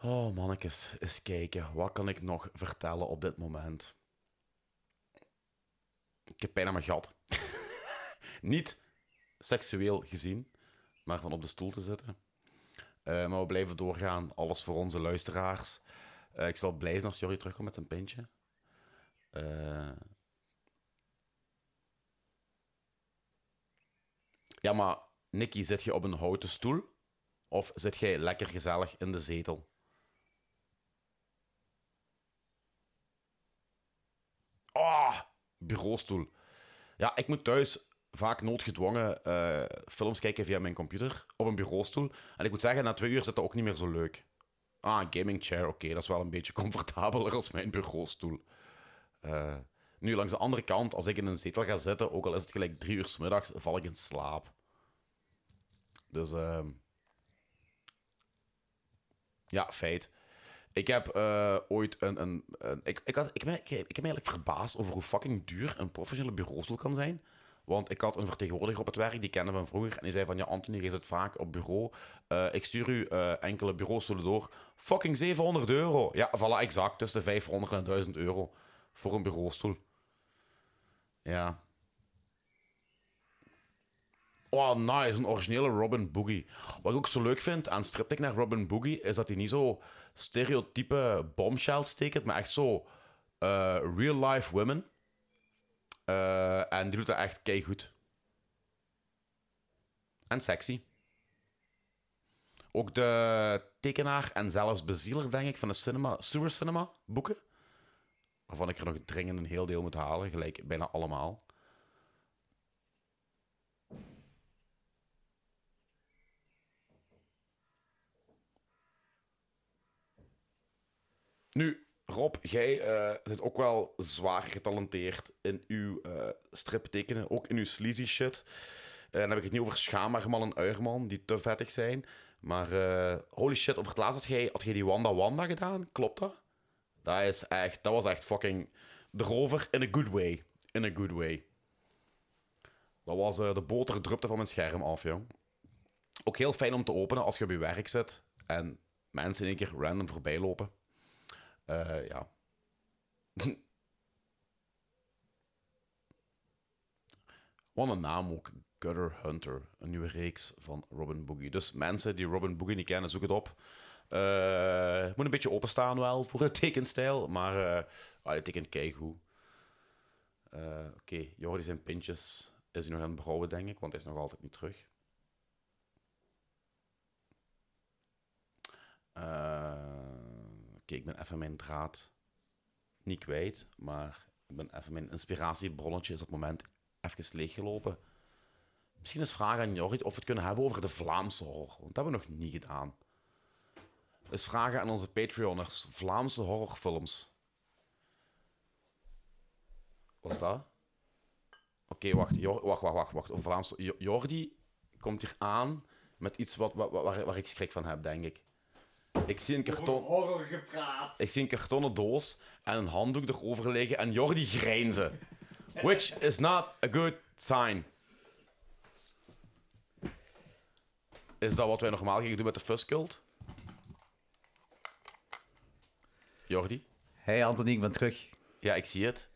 Speaker 3: Oh, mannetjes, eens kijken. Wat kan ik nog vertellen op dit moment? Ik heb pijn aan mijn gat. Niet seksueel gezien, maar van op de stoel te zitten. Eh, maar we blijven doorgaan. Alles voor onze luisteraars. Eh, ik zal blij zijn als Jorrie terugkomt met zijn pintje. Eh, Ja, maar Nicky, zit je op een houten stoel? Of zit jij lekker gezellig in de zetel? Ah, bureaustoel. Ja, ik moet thuis vaak noodgedwongen eh, films kijken via mijn computer op een bureaustoel. En ik moet zeggen, na twee uur zit dat ook niet meer zo leuk. Ah, een gaming chair, oké, dat is wel een beetje comfortabeler als mijn bureaustoel. Eh, nu, langs de andere kant, als ik in een zetel ga zitten, ook al is het gelijk drie uur 's middags, val ik in slaap. Dus, ehm, ja, feit. Ik heb eh, ooit een. een, een- ik, ik, had, ik, ben, ik, ik ben eigenlijk verbaasd over hoe fucking duur een professionele bureaustoel kan zijn. Want ik had een vertegenwoordiger op het werk, die kende van vroeger. En die zei van, ja, Anthony, je zit vaak op bureau. Eh, ik stuur u eh, enkele bureaustoelen door. Fucking 700 euro. Ja, voilà, exact. Tussen de 500 en 1000 euro. Voor een bureaustoel. Ja. Oh, nice. Een originele Robin Boogie. Wat ik ook zo leuk vind aan striptek naar Robin Boogie, is dat hij niet zo stereotype bombshells tekent, maar echt zo eh, real-life women. Eh, en die doet dat echt keigoed. En sexy. Ook de tekenaar en zelfs bezieler, denk ik, van de cinema, Sewer Cinema boeken. Waarvan ik er nog dringend een heel deel moet halen, gelijk bijna allemaal. Nu, Rob, jij eh bent ook wel zwaar getalenteerd in uw eh striptekenen, ook in uw sleazy shit. Eh dan heb ik het niet over Schamerman en Uierman, die te vettig zijn. Maar eh, holy shit, over het laatst had jij, had jij die Wanda Wanda gedaan, klopt dat? Dat, is echt, dat was echt fucking de rover in a good way. In a good way. Dat was eh, de boter drupte van mijn scherm af, jong. Ook heel fijn om te openen als je op je werk zit en mensen in één keer random voorbij lopen. Eh, ja. Wat een naam ook. Gutter Hunter. Een nieuwe reeks van Robin Boogie. Dus mensen die Robin Boogie niet kennen, zoek het op. Eh, moet een beetje openstaan wel voor het tekenstijl. Maar eh ah, hij tekent keigoed. Eh, Oké, Jordi zijn pintjes is hij nog aan het brouwen, denk ik. Want hij is nog altijd niet terug. Eh, Oké, ik ben even mijn draad niet kwijt, maar ik ben even mijn inspiratiebronnetje is op het moment even leeggelopen. Misschien eens vragen aan Jorrit of we het kunnen hebben over de Vlaamse horror, want dat hebben we nog niet gedaan. Eens vragen aan onze Patreoners, Vlaamse horrorfilms. Wat is dat? Oké, wacht, Jor- wacht, wacht, wacht, wacht. Over Vlaamse... Jo- Jordi komt hier aan met iets wat, wat, wat- waar, waar ik schrik van heb, denk ik. Ik zie een karton...
Speaker 2: horror gepraat.
Speaker 3: Ik zie een kartonnen doos en een handdoek erover liggen en Jordi grijnzen. Which is not a good sign. Is dat wat wij normaal gingen doen met de Fuskult? Jordi?
Speaker 2: Hey Anthony, ik ben terug.
Speaker 3: Ja, ik zie het.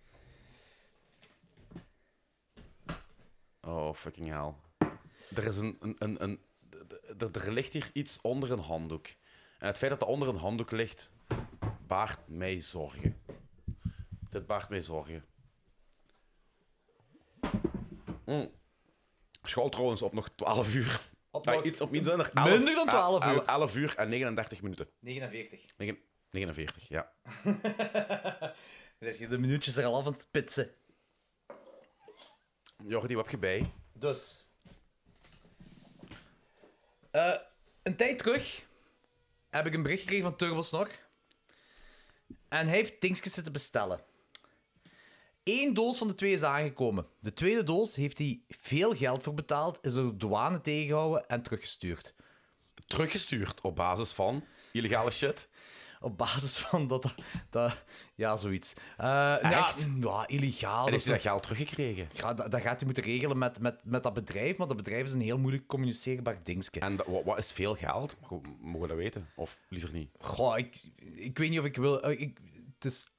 Speaker 3: Oh, fucking hell. Er is een... een, een, een d- d- d- er ligt hier iets onder een handdoek. En het feit dat er onder een handdoek ligt, baart mij zorgen. Dit baart mij zorgen. Mm. School trouwens op nog 12 uur.
Speaker 2: Op
Speaker 3: Ah,
Speaker 2: nog-
Speaker 3: iets, op iets minder.
Speaker 2: Minder dan 12 uur.
Speaker 3: 11 uur en 39 minuten.
Speaker 2: 49.
Speaker 3: Negen- 49, ja.
Speaker 2: Dan je de minuutjes er al af aan het pitsen.
Speaker 3: Jordi, wat heb je bij?
Speaker 2: Dus. Eh, een tijd terug heb ik een bericht gekregen van Turbosnor. En hij heeft dingetjes zitten bestellen. Eén doos van de twee is aangekomen. De tweede doos heeft hij veel geld voor betaald, is door de douane tegengehouden en teruggestuurd.
Speaker 3: Teruggestuurd op basis van illegale shit?
Speaker 2: Op basis van dat... dat ja, zoiets. Eh,
Speaker 3: Echt?
Speaker 2: Ja, ja, illegaal.
Speaker 3: en
Speaker 2: dat
Speaker 3: heeft
Speaker 2: is
Speaker 3: hij
Speaker 2: nog-
Speaker 3: dat geld teruggekregen?
Speaker 2: Ja, dat, dat gaat hij moeten regelen met, met, met dat bedrijf, maar dat bedrijf is een heel moeilijk communiceerbaar dingetje.
Speaker 3: En dat- wat, wat is veel geld? Mogen we- mogen we dat weten? Of liever niet?
Speaker 2: Goh, ik, ik weet niet of ik wil. eh, Ik, het is,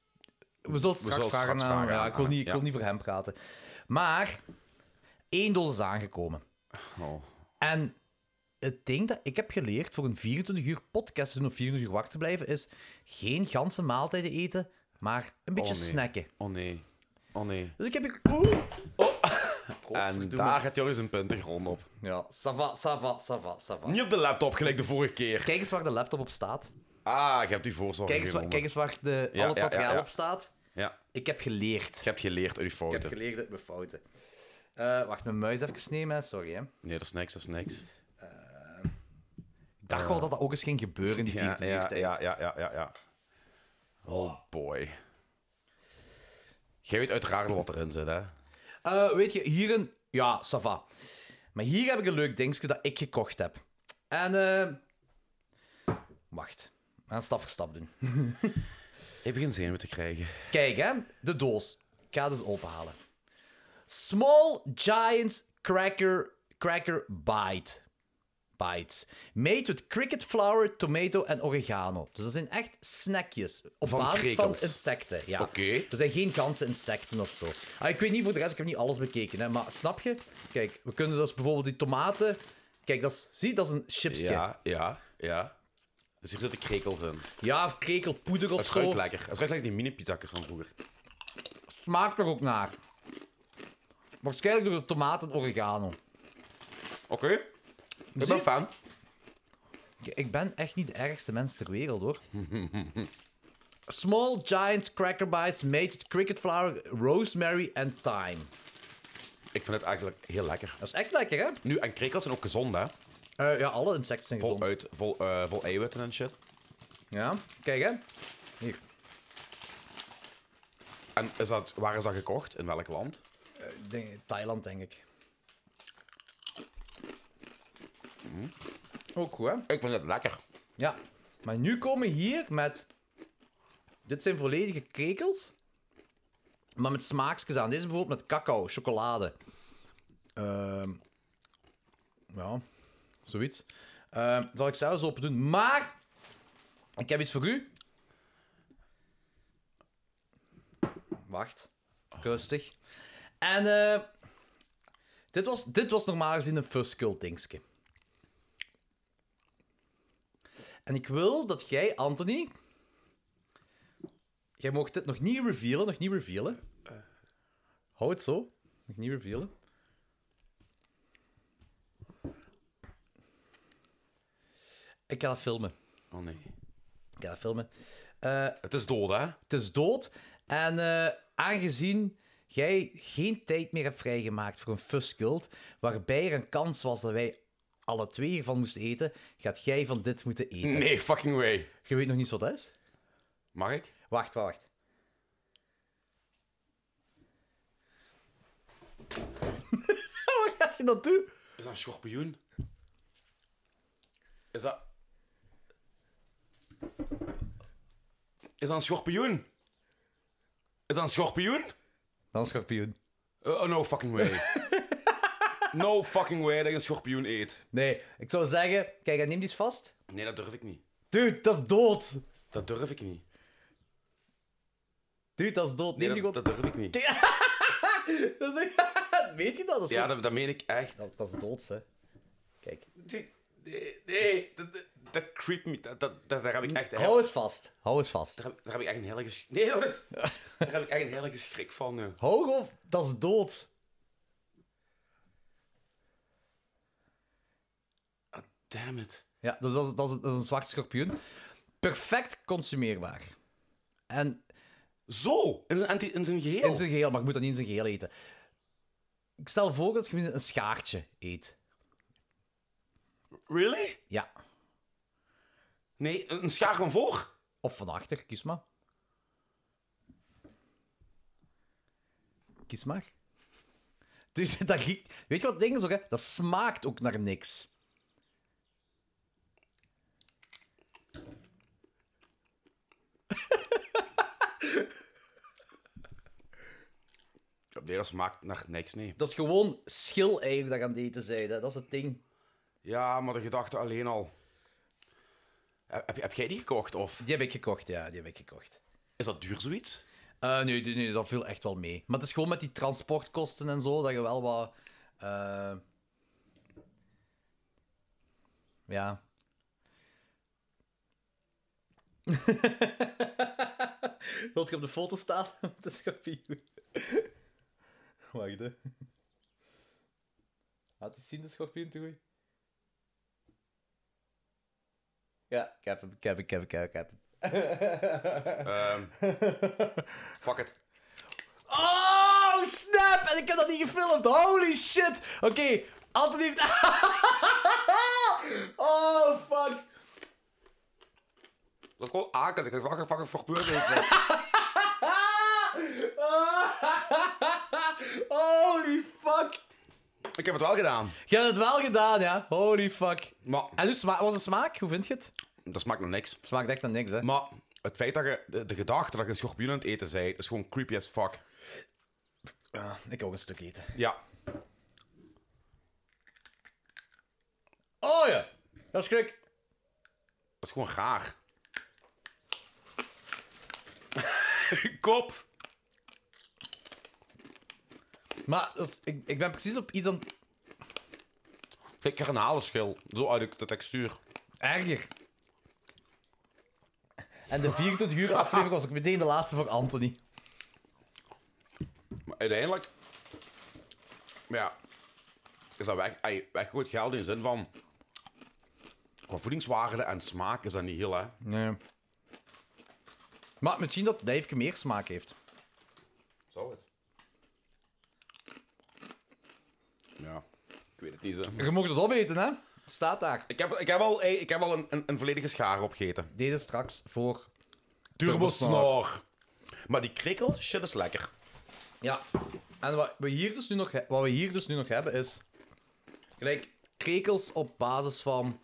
Speaker 2: we zullen het
Speaker 3: We
Speaker 2: straks
Speaker 3: zullen het
Speaker 2: vragen
Speaker 3: straks
Speaker 2: aan hem.
Speaker 3: vragen
Speaker 2: Ja,
Speaker 3: aan
Speaker 2: ik wil,
Speaker 3: hem,
Speaker 2: niet, ik
Speaker 3: ja.
Speaker 2: wil niet voor hem praten. Maar één doos is aangekomen.
Speaker 3: Oh.
Speaker 2: En het ding dat ik heb geleerd voor een 24 uur podcast te doen of 24 uur wacht te blijven, is geen ganse maaltijden eten, maar een beetje
Speaker 3: Oh, nee.
Speaker 2: snacken.
Speaker 3: Oh nee. Oh nee.
Speaker 2: Dus ik heb... hier- Oeh.
Speaker 3: En daar gaat Joris een puntengrond op.
Speaker 2: Ja, sava, sava, sava, sava.
Speaker 3: Niet op de laptop, gelijk de vorige keer.
Speaker 2: Kijk eens waar de laptop op staat.
Speaker 3: Ah, je hebt die voorzorg
Speaker 2: Kijk eens, waar,
Speaker 3: genomen.
Speaker 2: kijk eens waar de,
Speaker 3: Ja,
Speaker 2: al het
Speaker 3: ja, ja,
Speaker 2: materiaal
Speaker 3: ja.
Speaker 2: op staat.
Speaker 3: Ja.
Speaker 2: Ik heb geleerd.
Speaker 3: Je hebt geleerd uit je fouten.
Speaker 2: Ik heb geleerd uit mijn fouten. Eh, wacht, mijn muis even nemen, hè. sorry. Hè.
Speaker 3: Nee, dat is niks, dat is niks.
Speaker 2: Ik dacht wel dat dat ook eens ging gebeuren in die
Speaker 3: Ja,
Speaker 2: 24 uur
Speaker 3: ja,
Speaker 2: tijd.
Speaker 3: ja, ja, ja, ja, ja. Oh boy. Jij weet uiteraard al wat erin zit, hè?
Speaker 2: Eh, weet je, hier een... Ja, ça va. Maar hier heb ik een leuk dingetje dat ik gekocht heb. En... eh, Wacht. We gaan stap voor stap doen.
Speaker 3: Ik begin zenuwen te krijgen.
Speaker 2: Kijk, hè. De doos. Ik ga het eens openhalen. Small Giants Cracker, cracker Bite. Bites. Made with cricket flour, tomato en oregano. Dus dat zijn echt snackjes. Op
Speaker 3: Van
Speaker 2: basis
Speaker 3: krekels.
Speaker 2: van insecten. Ja.
Speaker 3: Oké.
Speaker 2: Er zijn geen ganse insecten of zo. Ah, ik weet niet voor de rest, ik heb niet alles bekeken. Hè, maar snap je? Kijk, we kunnen dus bijvoorbeeld die tomaten... Kijk, dat is, zie, dat is een chipsje. Ja.
Speaker 3: Ja, ja, ja. Dus hier zitten krekels in.
Speaker 2: of krekelpoeder of
Speaker 3: Het ruikt
Speaker 2: zo.
Speaker 3: lekker. Het ruikt lekker die mini-pizzakkers van vroeger.
Speaker 2: Smaakt er ook naar. Waarschijnlijk door de tomaten en oregano.
Speaker 3: Oké. Ik ben fan.
Speaker 2: Ik- Ik ben echt niet de ergste mens ter wereld, hoor. Small giant cracker bites made with cricket flour, rosemary en thyme.
Speaker 3: Ik vind het eigenlijk heel lekker.
Speaker 2: Dat is echt lekker, hè?
Speaker 3: Nu, en krekels zijn ook gezond, hè?
Speaker 2: Eh, ja, alle insecten zijn gezond.
Speaker 3: Vol, uit, vol, eh, vol eiwitten en shit.
Speaker 2: Ja, kijk, hè? Hier.
Speaker 3: En is dat, waar is dat gekocht? In welk land?
Speaker 2: Ik denk- Thailand, denk ik. Ook goed, hè?
Speaker 3: Ik vind het lekker.
Speaker 2: Ja. Maar nu komen we hier met... Dit zijn volledige krekels. Maar met smaakjes aan. Deze is bijvoorbeeld met cacao, chocolade. Ehm, ja, zoiets. Ehm, zal ik zelfs open doen. Maar, ik heb iets voor u. Wacht. Rustig. En eh, dit, was, dit was normaal gezien een fuskul dingetje. En ik wil dat jij, Anthony... Jij mocht dit nog niet revealen, nog niet revealen. Hou het zo. Nog niet revealen. Ik ga dat filmen.
Speaker 3: Oh nee.
Speaker 2: Ik ga dat filmen. Eh,
Speaker 3: Het is dood, hè?
Speaker 2: het is dood. En eh, aangezien jij geen tijd meer hebt vrijgemaakt voor een fuskult, waarbij er een kans was dat wij alle twee hiervan moesten eten, gaat jij van dit moeten eten.
Speaker 3: Nee, fucking way.
Speaker 2: Je weet nog niet wat dat is?
Speaker 3: Mag ik?
Speaker 2: Wacht, wacht, wacht. Wat gaat je dat doen?
Speaker 3: Is dat een schorpioen? Is dat... Is dat een schorpioen? Is dat een schorpioen?
Speaker 2: Dan schorpioen.
Speaker 3: Eh, oh, no fucking way. no fucking way dat je een schorpioen eet.
Speaker 2: Nee, ik zou zeggen, kijk, neem die eens vast.
Speaker 3: Nee, dat durf ik niet.
Speaker 2: Dude, dat is dood.
Speaker 3: Dat durf ik niet.
Speaker 2: Dude, dat is dood. Neem
Speaker 3: Nee,
Speaker 2: die
Speaker 3: dat,
Speaker 2: gewoon.
Speaker 3: dat durf ik niet.
Speaker 2: Dat is... Weet je dat? Dat is,
Speaker 3: Ja,
Speaker 2: gewoon-
Speaker 3: dat, dat meen ik echt.
Speaker 2: dat... dat is dood, hè. Kijk.
Speaker 3: Nee, nee, nee, dat, dat, dat creep me. Dat, dat, dat- daar heb ik echt...
Speaker 2: Hou eens vast. Hou eens vast.
Speaker 3: Daar heb, daar heb ik echt een hele ges- Nee, dat eh. is- daar heb ik echt een hele schrik van nu.
Speaker 2: Hou gewoon... Dat is dood.
Speaker 3: Damn it.
Speaker 2: Ja, dus dat is, dat is, dat is een zwart schorpioen. Perfect consumeerbaar. En...
Speaker 3: Zo! In zijn, anti- in zijn geheel?
Speaker 2: In zijn geheel, maar je moet dat niet in zijn geheel eten. Ik stel voor dat je een schaartje eet.
Speaker 3: Really?
Speaker 2: Ja.
Speaker 3: Nee, een schaar van voor?
Speaker 2: Of van achter, kies maar. Kies maar. Dus dat riekt... Weet je wat het ding is ook, hè? Dat smaakt ook naar niks.
Speaker 3: Nee, dat smaakt naar niks, nee.
Speaker 2: Dat is gewoon schil eigenlijk dat je aan het eten bent, hè. Dat is het ding.
Speaker 3: Ja, maar de gedachte alleen al. Heb, heb- heb jij die gekocht, of?
Speaker 2: Die heb ik gekocht, ja. Die heb ik gekocht.
Speaker 3: Is dat duur, zoiets?
Speaker 2: Eh, nee, nee, nee, dat viel echt wel mee. Maar het is gewoon met die transportkosten en zo, dat je wel wat... eh, Ja. Wilt je op de foto staan met de schorpioen? Wacht, hè. Laat eens zien, de schorpioen, te goed. Ja, ik heb hem, ik heb hem, ik heb hem, ik heb hem, ik heb hem.
Speaker 3: Ehm, fuck it.
Speaker 2: Oh, snap! En ik heb dat niet gefilmd. Holy shit! Oké, Anthony heeft... oh, fuck.
Speaker 3: Dat is gewoon akelig. Ik zag er fucking verbeurd
Speaker 2: Holy fuck.
Speaker 3: Ik heb het wel gedaan.
Speaker 2: Je hebt het wel gedaan, ja. Holy fuck.
Speaker 3: Maar,
Speaker 2: En hoe sma- was de smaak? Hoe vind je het?
Speaker 3: dat smaakt naar niks.
Speaker 2: Smaakt echt naar niks, hè.
Speaker 3: Maar het feit dat je... De, de gedachte dat je een schorpioen aan het eten bent, is gewoon creepy as fuck.
Speaker 2: Ah, ik ook een stuk eten.
Speaker 3: Ja.
Speaker 2: Oh ja, dat is gek.
Speaker 3: Dat is gewoon raar. Kop!
Speaker 2: Maar dat is- ik, ik ben precies op iets aan... het-
Speaker 3: Kijk, garnalenschil. Zo uit de- de textuur.
Speaker 2: Erger. En de 24 uur aflevering was ook meteen de laatste voor Anthony.
Speaker 3: Maar uiteindelijk... maar ja... Is dat weg... Ay, weggegooid geld in de zin van... Qua voedingswaarde en smaak is dat niet heel, hè?
Speaker 2: Nee. Maar misschien dat Dijfke meer smaak heeft.
Speaker 3: Zou het? Ja, ik weet het niet, hè.
Speaker 2: Je mocht het opeten, hè? Staat daar.
Speaker 3: Ik heb, ik heb al, ey, ik heb al een, een, een volledige schaar opgegeten.
Speaker 2: Deze straks voor.
Speaker 3: Turbosnor. Maar die krikkel, shit, is lekker.
Speaker 2: Ja. En wat we hier dus nu nog, he- wat we hier dus nu nog hebben is. Gelijk, krekels op basis van.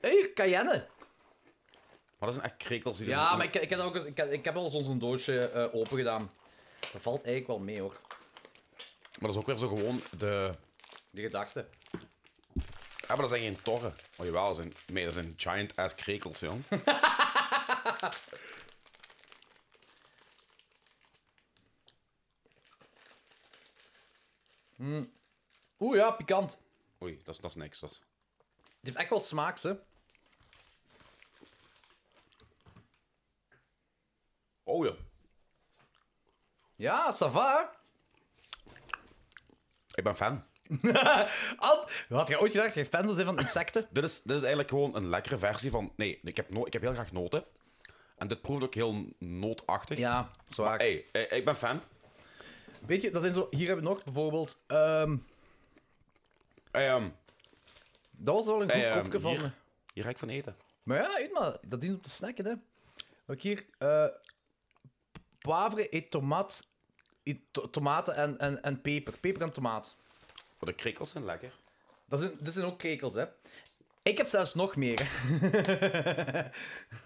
Speaker 2: Hé, hier, cayenne.
Speaker 3: Maar dat zijn echt krikkels die
Speaker 2: Ja, maar ik, ik, heb, ook eens, ik, heb, ik heb al eens ons een doosje eh open gedaan. Dat valt eigenlijk wel mee hoor.
Speaker 3: Maar dat is ook weer zo gewoon de...
Speaker 2: Die gedachte.
Speaker 3: Ja, maar dat zijn geen torren. Maar jawel, dat zijn, nee, dat zijn giant-ass krekels, joh.
Speaker 2: Oeh ja, pikant.
Speaker 3: Oei, dat is, dat is niks. Dat is...
Speaker 2: Het heeft echt wel smaaks, hè?
Speaker 3: Oh ja.
Speaker 2: Ja, ça va. hè?
Speaker 3: Ik ben fan.
Speaker 2: Ant, had jij ooit gedacht dat je fan zou zijn van insecten?
Speaker 3: Dit is, dit is eigenlijk gewoon een lekkere versie van... Nee, ik heb, no ik heb heel graag noten. En dit proeft ook heel nootachtig.
Speaker 2: Ja, zwaar.
Speaker 3: Hey, eh, ik ben fan.
Speaker 2: Weet je, dat zijn zo, hier hebben we nog bijvoorbeeld. ehm,
Speaker 3: Hey, ehm,
Speaker 2: dat was wel een goed
Speaker 3: hey, ehm,
Speaker 2: kopje van.
Speaker 3: hier, hier ga ik van eten.
Speaker 2: Maar ja, eet maar. Dat dient om te snacken, hè. Ook hier. eh poivre et tomaat. et to- tomaten en, en, en peper. Peper en tomaat.
Speaker 3: Maar de krikkels zijn lekker.
Speaker 2: Dat zijn, dit zijn ook krekels, hè. Ik heb zelfs nog meer. hè.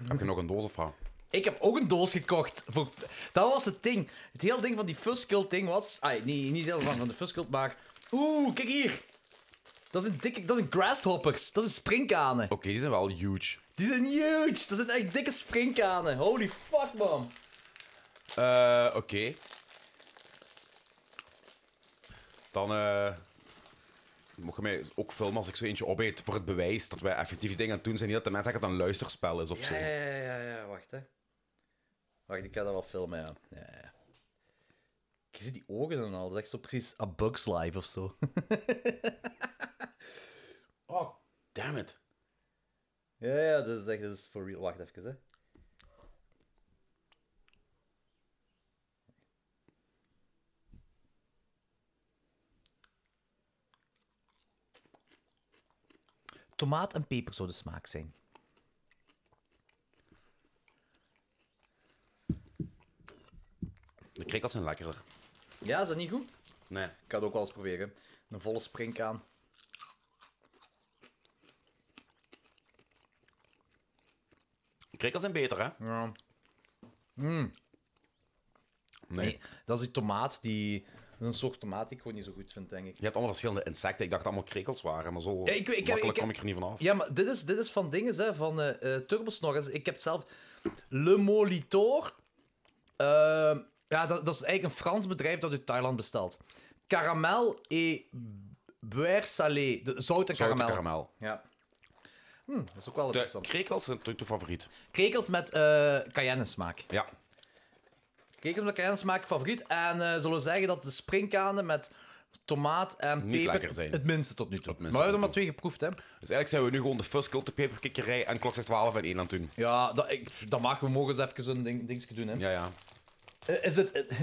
Speaker 3: Heb je nog een doos of wat?
Speaker 2: Ik heb ook een doos gekocht. Voor... Dat was het ding. Het hele ding van die Fuskult ding was... Ah, niet, niet deel van, van de Fuskult, maar... Oeh, kijk hier. Dat zijn, dikke, dat zijn grasshoppers. Dat zijn springkanen.
Speaker 3: Oké, die zijn wel huge.
Speaker 2: Die zijn huge. Dat zijn echt dikke springkanen. Holy fuck, man.
Speaker 3: Eh, Oké. Dan eh mocht je mij ook filmen als ik zo eentje opeet voor het bewijs dat wij effectief die dingen aan het doen zijn. Niet dat de mensen zeggen dat het een luisterspel is of zo.
Speaker 2: ja, ja, ja, wacht, hè. Wacht, ik ga dat wel filmen, ja. ja, ja, ja. Je ziet die ogen en al. Dat is echt zo precies A Bugs Life of zo.
Speaker 3: Oh, damn it.
Speaker 13: Ja, ja, dat is echt dat is for real. Wacht even, hè.
Speaker 7: Tomaat en peper zou de smaak zijn.
Speaker 3: De krikkels zijn lekkerder.
Speaker 2: Ja, is dat niet goed?
Speaker 3: Nee.
Speaker 2: Ik ga het ook wel eens proberen. Een volle springkaan.
Speaker 3: Krikkels zijn beter, hè?
Speaker 2: Ja. Mm.
Speaker 3: Nee.
Speaker 2: Dat is die tomaat die... Dat is een soort tomaat die ik gewoon niet zo goed vind, denk ik.
Speaker 3: Je hebt allemaal verschillende insecten. Ik dacht dat allemaal krikkels waren, maar zo
Speaker 2: Ja, ik- ik- ik-
Speaker 3: makkelijk
Speaker 2: ik-
Speaker 3: kwam ik er niet vanaf.
Speaker 2: Ja, maar dit is, dit is van dingen, hè, van eh eh, Turbosnor. Dus Ik heb zelf Le Molitor. Ehm, ja, dat, dat is eigenlijk een Frans bedrijf dat uit Thailand bestelt. Caramel et beurre salé. De, zout en
Speaker 3: Zout en
Speaker 2: karamel.
Speaker 3: karamel.
Speaker 2: Ja. Hm, dat is ook wel
Speaker 3: De
Speaker 2: interessant.
Speaker 3: krikkels zijn natuurlijk de favoriet.
Speaker 2: Krekels met eh cayenne smaak.
Speaker 3: Ja.
Speaker 2: Krekels met cayenne smaak favoriet. En eh, zullen we zeggen dat de springkanen met tomaat en
Speaker 3: Niet
Speaker 2: peper
Speaker 3: lekker zijn.
Speaker 2: het minste tot nu toe.
Speaker 3: minste
Speaker 2: maar we
Speaker 3: tot nu
Speaker 2: hebben er maar twee geproefd, hè.
Speaker 3: Dus eigenlijk zijn we nu gewoon de first cult, de peperkikkerij en klok 12 en 1 aan het doen.
Speaker 2: Ja, dat, ik, dat mag. We mogen eens even een ding, dingetje doen, hè.
Speaker 3: Ja, ja.
Speaker 2: Eh, Is het, eh,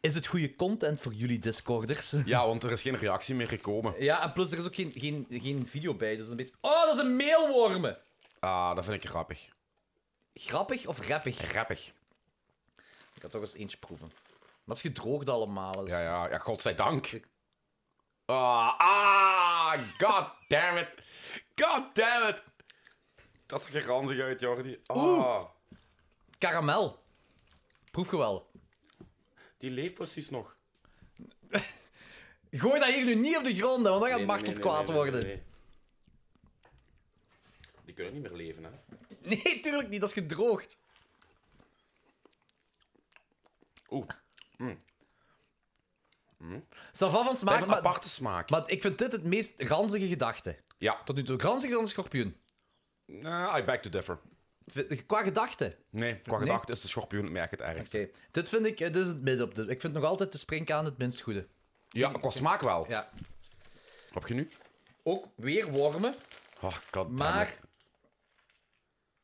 Speaker 2: is het goede content voor jullie Discorders?
Speaker 3: Ja, want er is geen reactie meer gekomen.
Speaker 2: Ja, en plus er is ook geen, geen, geen video bij, dus dat is een beetje... Oh, dat is een meelwormen!
Speaker 3: Ah, dat vind ik grappig.
Speaker 2: Grappig of rappig?
Speaker 3: Grappig.
Speaker 2: Ik ga toch eens eentje proeven. Maar het is gedroogd allemaal. Dus...
Speaker 3: Ja, ja, ja, godzijdank. Ah, ah, god damn it. God damn it. Dat zag er ranzig uit, Jordi. Ah.
Speaker 2: Oeh. Karamel. Proef je wel.
Speaker 3: Die leeft precies nog.
Speaker 2: Gooi dat hier nu niet op de grond, hè, want dan gaat
Speaker 3: Nee, nee,
Speaker 2: Bartelt
Speaker 3: nee, nee,
Speaker 2: kwaad
Speaker 3: nee, nee,
Speaker 2: worden.
Speaker 3: nee, nee. Die kunnen niet meer leven, hè.
Speaker 2: Nee, tuurlijk niet. Dat is gedroogd.
Speaker 3: Oeh. Mm.
Speaker 2: Sava van smaak.
Speaker 3: Dat heeft een aparte smaak.
Speaker 2: Maar ik vind dit het meest ranzige gedachte.
Speaker 3: Ja.
Speaker 2: Tot nu toe. Ranziger dan een schorpioen.
Speaker 3: Nah, I beg to differ.
Speaker 2: Qua gedachte.
Speaker 3: Nee, qua
Speaker 2: Nee?
Speaker 3: gedachte is de schorpioen het merk het ergste.
Speaker 2: Dit vind ik, eh, dit is het midden op de. Ik vind nog altijd de springkaan het minst goede.
Speaker 3: Ja, qua smaak wel.
Speaker 2: Ja.
Speaker 3: Wat heb je nu?
Speaker 2: Ook weer wormen,
Speaker 3: Oh, god
Speaker 2: maar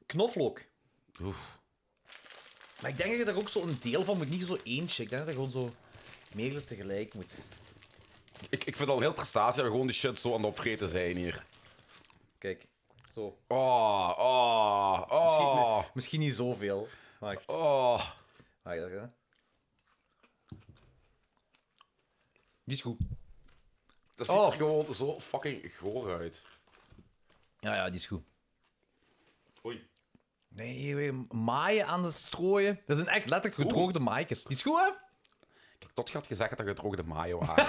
Speaker 2: knoflook.
Speaker 3: Oef.
Speaker 2: Maar ik denk dat je daar ook zo'n deel van moet, niet zo eentje. Ik denk dat je gewoon zo meerdere tegelijk moet.
Speaker 3: Ik, ik vind het al een heel prestatie dat we gewoon die shit zo aan het opvreten zijn hier.
Speaker 2: Kijk, zo.
Speaker 3: Oh, oh, oh.
Speaker 2: Misschien, misschien niet zoveel. Wacht.
Speaker 3: Oh.
Speaker 2: Wacht even, hè. Die is goed.
Speaker 3: Dat ziet
Speaker 2: Oh.
Speaker 3: er gewoon zo fucking goor uit.
Speaker 2: Ja, ja, die is goed.
Speaker 3: Oei.
Speaker 2: Nee, hier weer maaien aan het strooien. Dat zijn echt letterlijk gedroogde maaikjes. Die is goed, hè?
Speaker 3: Kijk, tot je had gezegd dat je gedroogde mayo waren.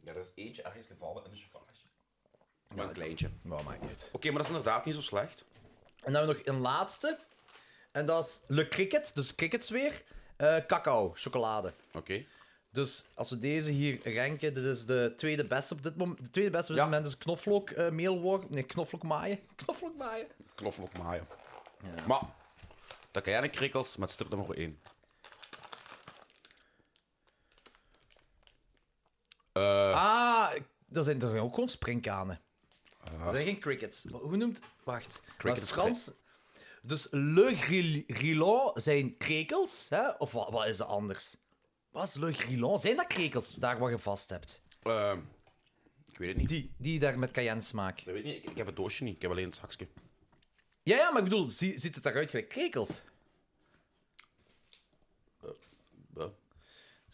Speaker 3: ja, er is eentje ergens gevallen in de chauffage. Maar een kleintje.
Speaker 2: Nou, maakt niet uit.
Speaker 3: Oké, maar dat is inderdaad niet zo slecht.
Speaker 2: En dan hebben we nog een laatste. En dat is Le Cricket, dus crickets weer. Eh, Cacao, chocolade.
Speaker 3: Oké.
Speaker 2: Dus als we deze hier ranken, dit is de tweede beste op dit moment. De tweede beste op dit moment is knoflook eh meelworm. Nee, knoflook maaien. Knoflook maaien.
Speaker 3: Knoflook maaien. Maar, dat kan jij de krikkels met stip nummer 1.
Speaker 2: Ah, dat zijn toch ook gewoon springkanen. Dat zijn geen crickets. Hoe noemt... Wacht.
Speaker 7: Ah. Crickets-
Speaker 2: maar Frans... Dus le gril- grillon zijn krekels, hè? Of wat, wat is dat anders? Wat is le grillon? Zijn dat krekels, daar waar je vast hebt?
Speaker 3: ehm, ik weet het niet.
Speaker 2: Die, die daar met cayenne smaak.
Speaker 3: Ik weet niet, ik, ik heb het doosje niet. Ik heb alleen het zakje.
Speaker 2: Ja, ja, maar ik bedoel, zie- ziet het eruit gelijk krekels? Dus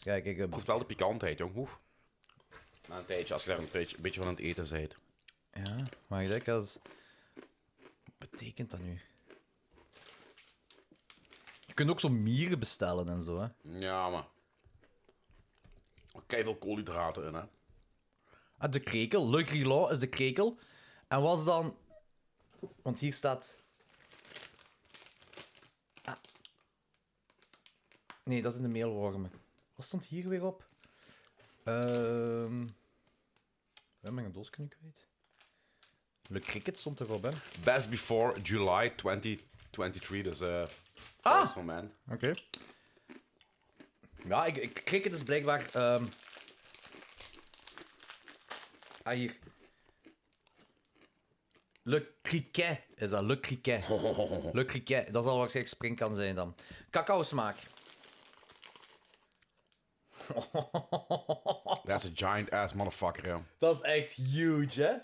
Speaker 2: Kijk, ik
Speaker 3: proef wel de pikantheid, jong. Oeh. Na een tijdje, als je daar een, tijdje, een beetje van aan het eten bent.
Speaker 2: Ja, maar ik denk als... Wat betekent dat nu? Je kunt ook zo mieren bestellen en zo, hè?
Speaker 3: Ja, maar. Kijk veel koolhydraten in, hè?
Speaker 2: Ah, de krekel. Le Grillon is de krekel. En was dan... Want hier staat... Ah. Nee, dat is in de meelwormen. Wat stond hier weer op? Ehm... We hebben een doosje nu kwijt. Le Cricket stond erop, hè?
Speaker 3: Best before July 2023, dus eh.
Speaker 2: Ah!
Speaker 3: dat moment.
Speaker 2: Oké. Ja, ik, ik dus cricket is blijkbaar. ehm, Ah, hier. Le Criquet is dat. Le Criquet. Le Criquet. Dat zal waarschijnlijk springkan zijn dan. Cacao smaak.
Speaker 3: That's a giant ass motherfucker, ja.
Speaker 2: Dat is echt huge, hè?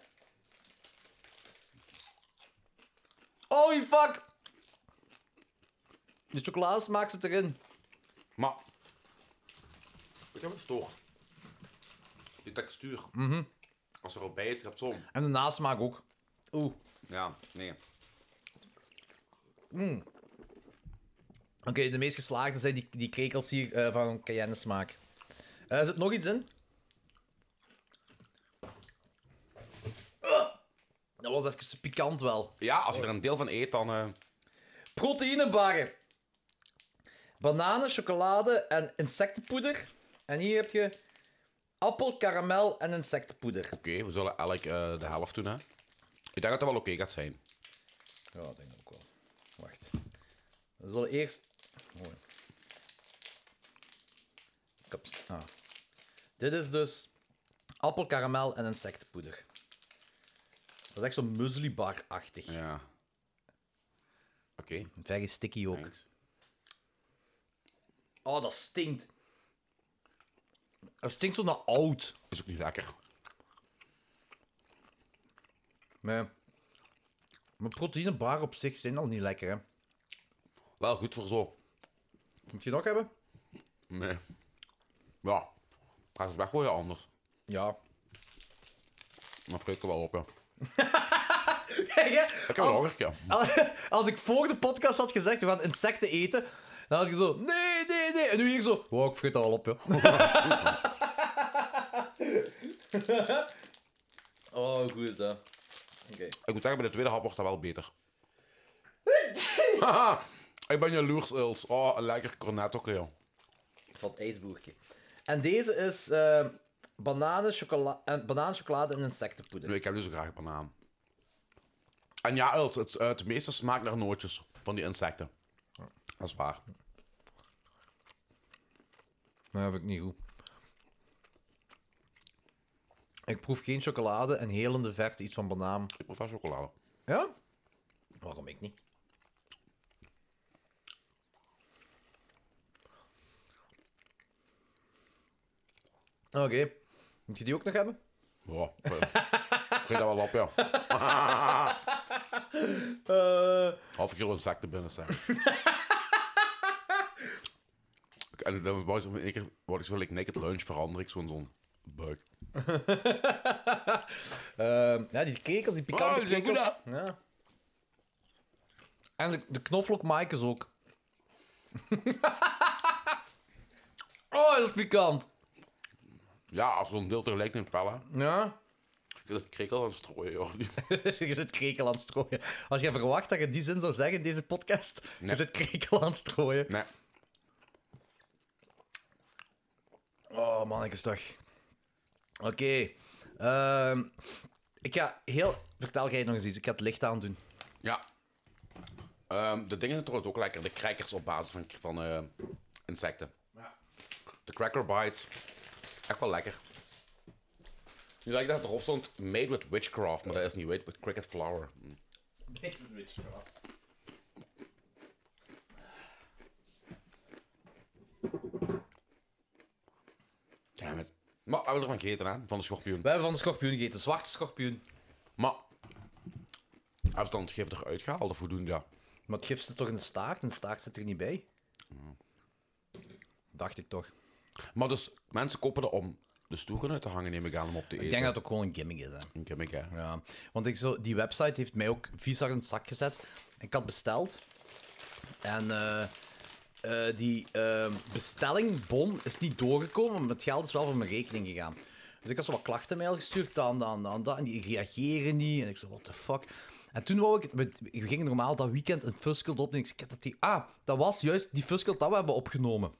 Speaker 2: Oh, je fuck! De chocola smaak zit erin.
Speaker 3: Maar. Ik heb het stoor. Die textuur.
Speaker 2: Mhm.
Speaker 3: Als er al bij het hebt, zon.
Speaker 2: En de nasmaak ook. Oeh.
Speaker 3: Ja, nee.
Speaker 2: Mm. Oké, de meest geslaagde zijn die, die krekels hier eh, van cayenne smaak. Eh zit nog iets in? Ah! Dat was even pikant wel.
Speaker 3: Ja, als je er een deel van eet, dan. eh,
Speaker 2: Proteïnebarren. Bananen, chocolade en insectenpoeder. En hier heb je appel, karamel en insectenpoeder.
Speaker 3: Oké, we zullen elk eh, de helft doen, hè? Ik denk dat dat wel oké gaat zijn.
Speaker 2: Ja, dat denk ik ook wel. Wacht. We zullen eerst. Mooi. Kaps. Ah. Dit is dus appel, karamel en insectenpoeder. Dat is echt zo'n mueslibar-achtig.
Speaker 3: Ja. Oké.
Speaker 2: Very sticky ook. Oh, dat stinkt. Dat stinkt zo naar oud.
Speaker 3: Is ook niet lekker.
Speaker 2: Maar, maar proteïnebar op zich zijn al niet lekker, hè?
Speaker 3: Wel goed voor zo.
Speaker 2: Moet je nog hebben?
Speaker 3: Nee. Ja. Ga je het weggooien anders?
Speaker 2: Ja.
Speaker 3: Dan vreet ik er wel op, ja.
Speaker 2: Kijk, hè,
Speaker 3: Ik heb
Speaker 2: als-
Speaker 3: een hongertje.
Speaker 2: Al- Als ik voor de podcast had gezegd, we gaan insecten eten, dan had ik zo, nee, nee, nee. En nu hier zo, wow, ik vreet dat al op, ja. oh, hoe goed is dat. Oké.
Speaker 3: Ik moet zeggen, bij de tweede hap wordt dat wel beter. Haha, ik ben jaloers, Els. Oh, een lekker cornet ook, joh.
Speaker 2: Van het ijsboertje. En deze is eh bananen, chocola en, bananen, chocolade en insectenpoeder.
Speaker 3: Nee, ik heb nu zo graag banaan. En ja, Els, het, eh, het meeste smaakt naar nootjes van die insecten. Dat is waar.
Speaker 2: Dat heb ik niet goed. Ik proef geen chocolade en heel in de verte iets van banaan.
Speaker 3: Ik proef wel chocolade.
Speaker 2: Ja? Waarom ik niet? Oké. Moet je die ook nog hebben?
Speaker 3: Ja, ik vind- ik vind dat wel op, ja. Half kilo insecten binnen zijn. Ik- en dan wou ik zo in één keer word ik zo like naked lunch verander ik zo in zo'n buik.
Speaker 2: Ehm, ja, die kekels, die pikante
Speaker 3: Oh, die zijn
Speaker 2: kekels.
Speaker 3: goed,
Speaker 2: Ja. En de, de knoflookmaaikers ook. oh, dat is pikant.
Speaker 3: Ja, als we een deel tegelijk neemt wel, hè.
Speaker 2: Ja.
Speaker 3: Ik heb het krekel aan het strooien, joh.
Speaker 2: je zit krekel aan het strooien. Als jij verwacht dat je die zin zou zeggen in deze podcast, je
Speaker 3: Nee.
Speaker 2: zit krekel aan het strooien.
Speaker 3: Nee.
Speaker 2: Oh, mannetjes toch. Oké. ehm, ik ga heel... Vertel jij nog eens iets. Ik ga het licht aandoen.
Speaker 3: Ja. Ehm, de dingen zijn trouwens ook lekker. De crackers op basis van, van eh, insecten. De cracker bites. Echt wel lekker. Nu dat ik dat erop stond, made with witchcraft. Maar dat is niet, made with cricket flour. Mm. Damn it. Maar we hebben ervan gegeten, hè? Van de schorpioen. We
Speaker 2: hebben van de schorpioen gegeten. Zwarte schorpioen.
Speaker 3: Maar... Hebben ze dan het gif eruit gehaald, of hoe doen die dat?
Speaker 2: Maar het gif zit toch in de staart? En de staart zit er niet bij. Dacht ik toch.
Speaker 3: Maar dus, mensen kopen dat om de stoeren uit te hangen, neem ik aan, om op te eten.
Speaker 2: Ik denk dat het ook gewoon een gimmick is. Hè.
Speaker 3: Een gimmick, hè?
Speaker 2: Ja. Want ik zo, die website heeft mij ook vies in het zak gezet. Ik had besteld. En eh, eh, die eh, bestellingbon is niet doorgekomen, maar het geld is wel voor mijn rekening gegaan. Dus ik had zo wat klachtenmail gestuurd, dan, dan, dan, dan. En die reageren niet. En ik zo, what the fuck. En toen wou ik... het- We we gingen normaal dat weekend een Fuskult opnemen. Ik zei, "Kijk dat die... Ah, dat was juist die Fuskult dat we hebben opgenomen.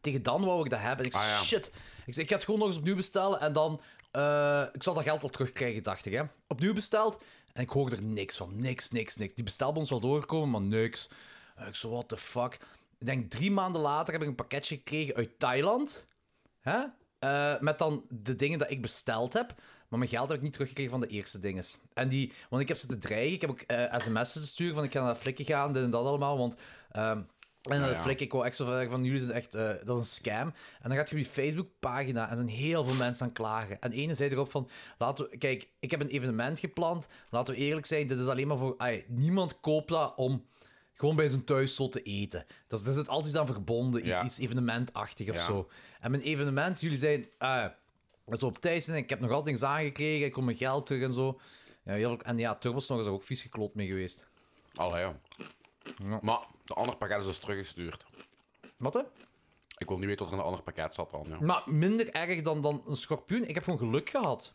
Speaker 2: Tegen dan wou ik dat hebben. En ik zei,
Speaker 3: Ah, ja.
Speaker 2: shit. Ik zei, ik ga het gewoon nog eens opnieuw bestellen. En dan... eh, ik zal dat geld wel terugkrijgen, dacht ik. Hè. Opnieuw besteld. En ik hoorde er niks van. Niks, niks, niks. Die bestelbon is wel doorgekomen, maar niks. En ik zo, what the fuck. Ik denk drie maanden later heb ik een pakketje gekregen uit Thailand. Hè? eh, met dan de dingen dat ik besteld heb. Maar mijn geld heb ik niet teruggekregen van de eerste dinges. En die, want ik heb ze te dreigen. Ik heb ook eh, sms'en te sturen van ik ga naar flikken gaan, dit en dat allemaal. Want ehm, en
Speaker 7: Ja,
Speaker 2: dan
Speaker 7: ja.
Speaker 2: flik ik wou echt zo ver van jullie zijn echt, eh, dat is een scam. En dan gaat je op je Facebookpagina en er zijn heel veel mensen aan klagen. En ene zei erop van, laten we, kijk, ik heb een evenement gepland. Laten we eerlijk zijn, dit is alleen maar voor, ai, niemand koopt dat om gewoon bij zijn thuisslot te eten. Dat is, er zit altijd iets aan verbonden, iets,
Speaker 3: Ja.
Speaker 2: iets evenementachtig of
Speaker 3: Ja.
Speaker 2: zo. En mijn evenement, jullie zijn, eh, dat is op tijd en ik heb nog altijd niks aangekregen, ik kom mijn geld terug en zo. Ja, heel- en ja, Turbos nog is er ook vies geklopt mee geweest.
Speaker 3: Allee, ja. Maar de andere pakket is dus teruggestuurd.
Speaker 2: Wat hè?
Speaker 3: Ik wil niet weten wat er in een ander pakket zat dan. Ja.
Speaker 2: Maar minder erg dan, dan een schorpioen. Ik heb gewoon geluk gehad.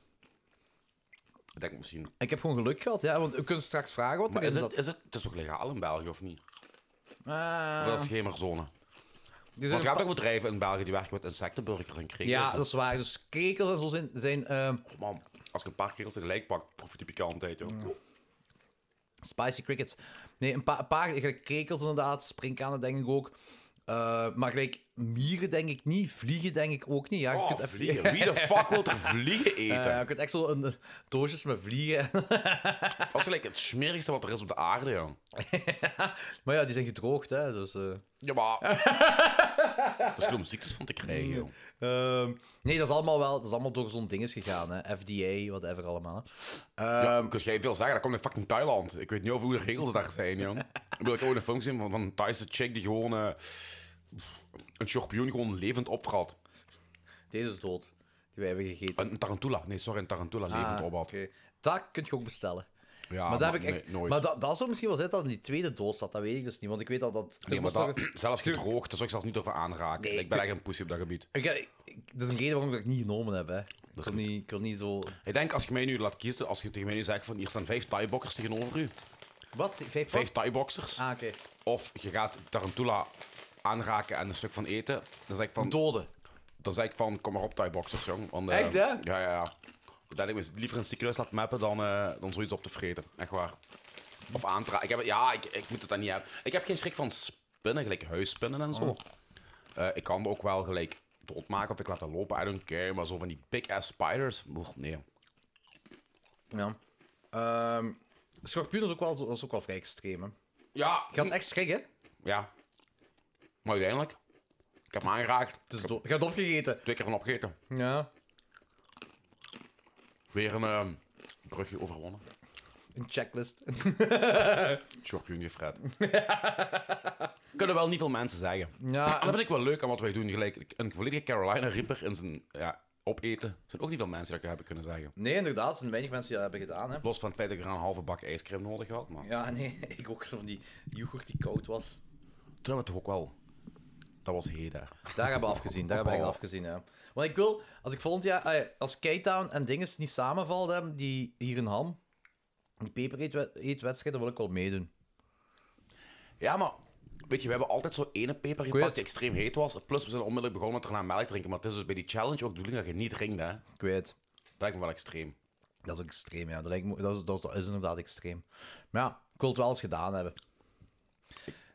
Speaker 3: Ik denk misschien.
Speaker 2: Ik heb gewoon geluk gehad, ja. Want we kunnen straks vragen wat
Speaker 3: Maar
Speaker 2: erin
Speaker 3: is het,
Speaker 2: zat.
Speaker 3: is het, het is toch legaal in België of niet?
Speaker 2: Eh,
Speaker 3: Of dat is schemerzone.
Speaker 2: zijn
Speaker 3: Want je
Speaker 2: een
Speaker 3: hebt
Speaker 2: pa-
Speaker 3: toch bedrijven in België die werken met insectenburgers en krekels.
Speaker 2: ja,
Speaker 3: en-
Speaker 2: dat is waar. Dus krekels en zo zijn... zijn ehm,
Speaker 3: Man, als ik een paar krekels tegelijk pak, proef je die pikantheid, joh. Oh,
Speaker 2: Spicy crickets. Nee, een, pa- een paar gelijk krekels inderdaad, springkanen denk ik ook. Eh, maar gelijk mieren denk ik niet, vliegen denk ik ook niet. Ja, je
Speaker 3: Oh,
Speaker 2: kunt even-
Speaker 3: vliegen. Wie de fuck wil er vliegen eten?
Speaker 2: Eh, je kunt echt zo een, doosjes met vliegen.
Speaker 3: dat is gelijk het smerigste wat er is op de aarde, joh.
Speaker 2: maar ja, die zijn gedroogd, hè. Dus, eh.
Speaker 3: Ja, maar... dat is goed om ziektes van te krijgen, joh.
Speaker 2: Ehm, nee, dat is allemaal wel... Dat is allemaal door zo'n dinges gegaan, hè. FDA, whatever allemaal. hè. Eh,
Speaker 3: ja, Ehm, kun jij veel zeggen, dat komt in fucking Thailand. Ik weet niet over hoe de regels daar zijn, joh. Ik wil ook ooit een film zien van, van een Thaise chick die gewoon... eh, een schorpioen gewoon levend opvrat.
Speaker 2: Deze is dood. Die wij hebben gegeten.
Speaker 3: Een tarantula. Nee, sorry, een tarantula levend
Speaker 2: Ah,
Speaker 3: op had.
Speaker 2: oké. Dat kun je ook bestellen.
Speaker 3: Ja,
Speaker 2: maar, daar heb ik
Speaker 3: Ah, nee,
Speaker 2: echt,
Speaker 3: nooit.
Speaker 2: maar dat, dat zou misschien wel zijn dat in die tweede doos zat. Dat weet ik dus niet. Want ik weet dat dat...
Speaker 3: Nee, maar dat,
Speaker 2: Turbos-
Speaker 3: zelfs gedroogd, daar zou ik zelfs niet over aanraken.
Speaker 2: Nee,
Speaker 3: ik ben
Speaker 2: tu-
Speaker 3: echt een poesie op dat gebied.
Speaker 2: Ik, ik- ik- dat is een reden waarom ik dat niet genomen heb. Hè. Ik, wil niet, ik wil niet zo.
Speaker 3: Ik denk, als je mij nu laat kiezen, als je tegen mij nu zegt van hier staan vijf Thai-boxers tegenover u.
Speaker 2: Wat? Vijf,
Speaker 3: vijf Thai-boxers?
Speaker 2: Ah, oké.
Speaker 3: Of je gaat tarantula aanraken en een stuk van eten. Dan zeg ik van...
Speaker 2: Doden.
Speaker 3: Dan zeg ik van, kom maar op Thai-boxers, jong. Want, eh,
Speaker 2: Echt, hè?
Speaker 3: Ja, ja, ja. Dat ik me liever een ziekenhuis laat mappen dan, eh, dan zoiets op te vreten. Echt waar. Of aantraken. Ik heb, ja, ik, ik moet het dan niet hebben. Ik heb geen schrik van spinnen, gelijk huisspinnen en zo.
Speaker 2: Oh.
Speaker 3: Eh, ik kan ook wel gelijk doodmaken of ik laat dat lopen. I don't care. Maar zo van die big-ass spiders... boeg, nee.
Speaker 2: Ja. Ehm schorpioen is ook wel, dat is ook wel vrij extreem. Hè.
Speaker 3: Ja.
Speaker 2: Je gaat echt schrikken. hè?
Speaker 3: Ja. Maar uiteindelijk. Ik heb hem aangeraakt.
Speaker 2: Het is dood. Je hebt opgegeten.
Speaker 3: Twee keer van opgegeten.
Speaker 2: Ja.
Speaker 3: Weer een ehm, brugje overwonnen.
Speaker 2: Een checklist.
Speaker 3: Schorpioen Fred. Kunnen wel niet veel mensen zeggen.
Speaker 2: Ja,
Speaker 3: En dat vind ik wel leuk aan wat wij doen. Gelijk, een volledige Carolina Reaper in zijn ja, opeten. Er zijn ook niet veel mensen die dat hebben kunnen zeggen.
Speaker 2: nee, inderdaad. Er zijn weinig mensen die dat hebben gedaan. Hè.
Speaker 3: Los van het feit dat ik er een halve bak ijscream nodig had. Maar
Speaker 2: Ja, nee. Ik ook zo van die yoghurt die koud was.
Speaker 3: toen hebben we het toch ook wel. Dat was heden.
Speaker 2: Daar hebben we afgezien. Daar hebben we echt afgezien, ja. Want ik wil, als ik volgend jaar, ah ja, als K-Town en Dinges niet samenvalden hebben, die hier in Ham, die peper-eetwedstrijd, dan wil ik wel meedoen.
Speaker 3: Ja, maar weet je, we hebben altijd zo'n ene peper
Speaker 2: weet
Speaker 3: gepakt die extreem heet was. Plus, we zijn onmiddellijk begonnen met daarna melk drinken. Maar het is dus bij die challenge ook de bedoeling dat je niet drinkt, hè? Ik
Speaker 2: weet. Dat
Speaker 3: lijkt me wel extreem.
Speaker 2: Dat is ook extreem, ja. Dat, lijkt me- dat, is, dat, is, dat is inderdaad extreem. Maar ja, ik wil het wel eens gedaan hebben.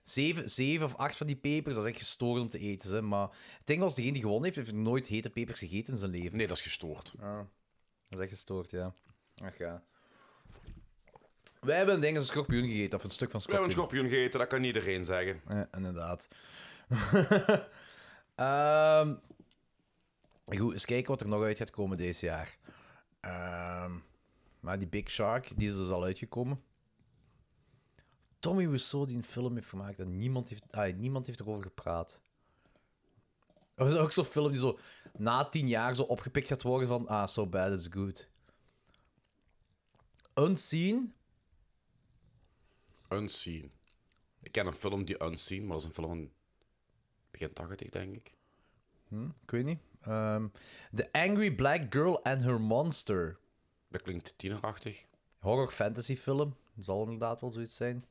Speaker 2: Zeven, zeven of acht van die pepers, dat is echt gestoord om te eten. Hè. Maar het ding was, degene die gewonnen heeft, heeft nooit hete pepers gegeten in zijn leven.
Speaker 3: Nee, dat is gestoord.
Speaker 2: Ja, dat is echt gestoord, ja. Ach ja. Wij hebben een ding, een schorpioen gegeten, of een stuk van
Speaker 3: We hebben
Speaker 2: schorpioen.
Speaker 3: een schorpioen gegeten, dat kan iedereen zeggen.
Speaker 2: Ja, eh, inderdaad. Ehm, goed, eens kijken wat er nog uit gaat komen deze jaar. Ehm, maar die Big Shark, die is dus al uitgekomen. Tommy Wiseau die een film heeft gemaakt en niemand heeft, ah, niemand heeft erover gepraat. Dat is ook zo'n film die zo na tien jaar zo opgepikt gaat worden van ah, so bad it's good. Unseen,
Speaker 3: Unseen. Ik ken een film die Unseen, maar dat is een film van begin 80, denk ik.
Speaker 2: Hm, ik weet niet. Ehm, The Angry Black Girl and Her Monster.
Speaker 3: Dat klinkt tienerachtig.
Speaker 2: Horror fantasy film. Zal inderdaad wel zoiets zijn.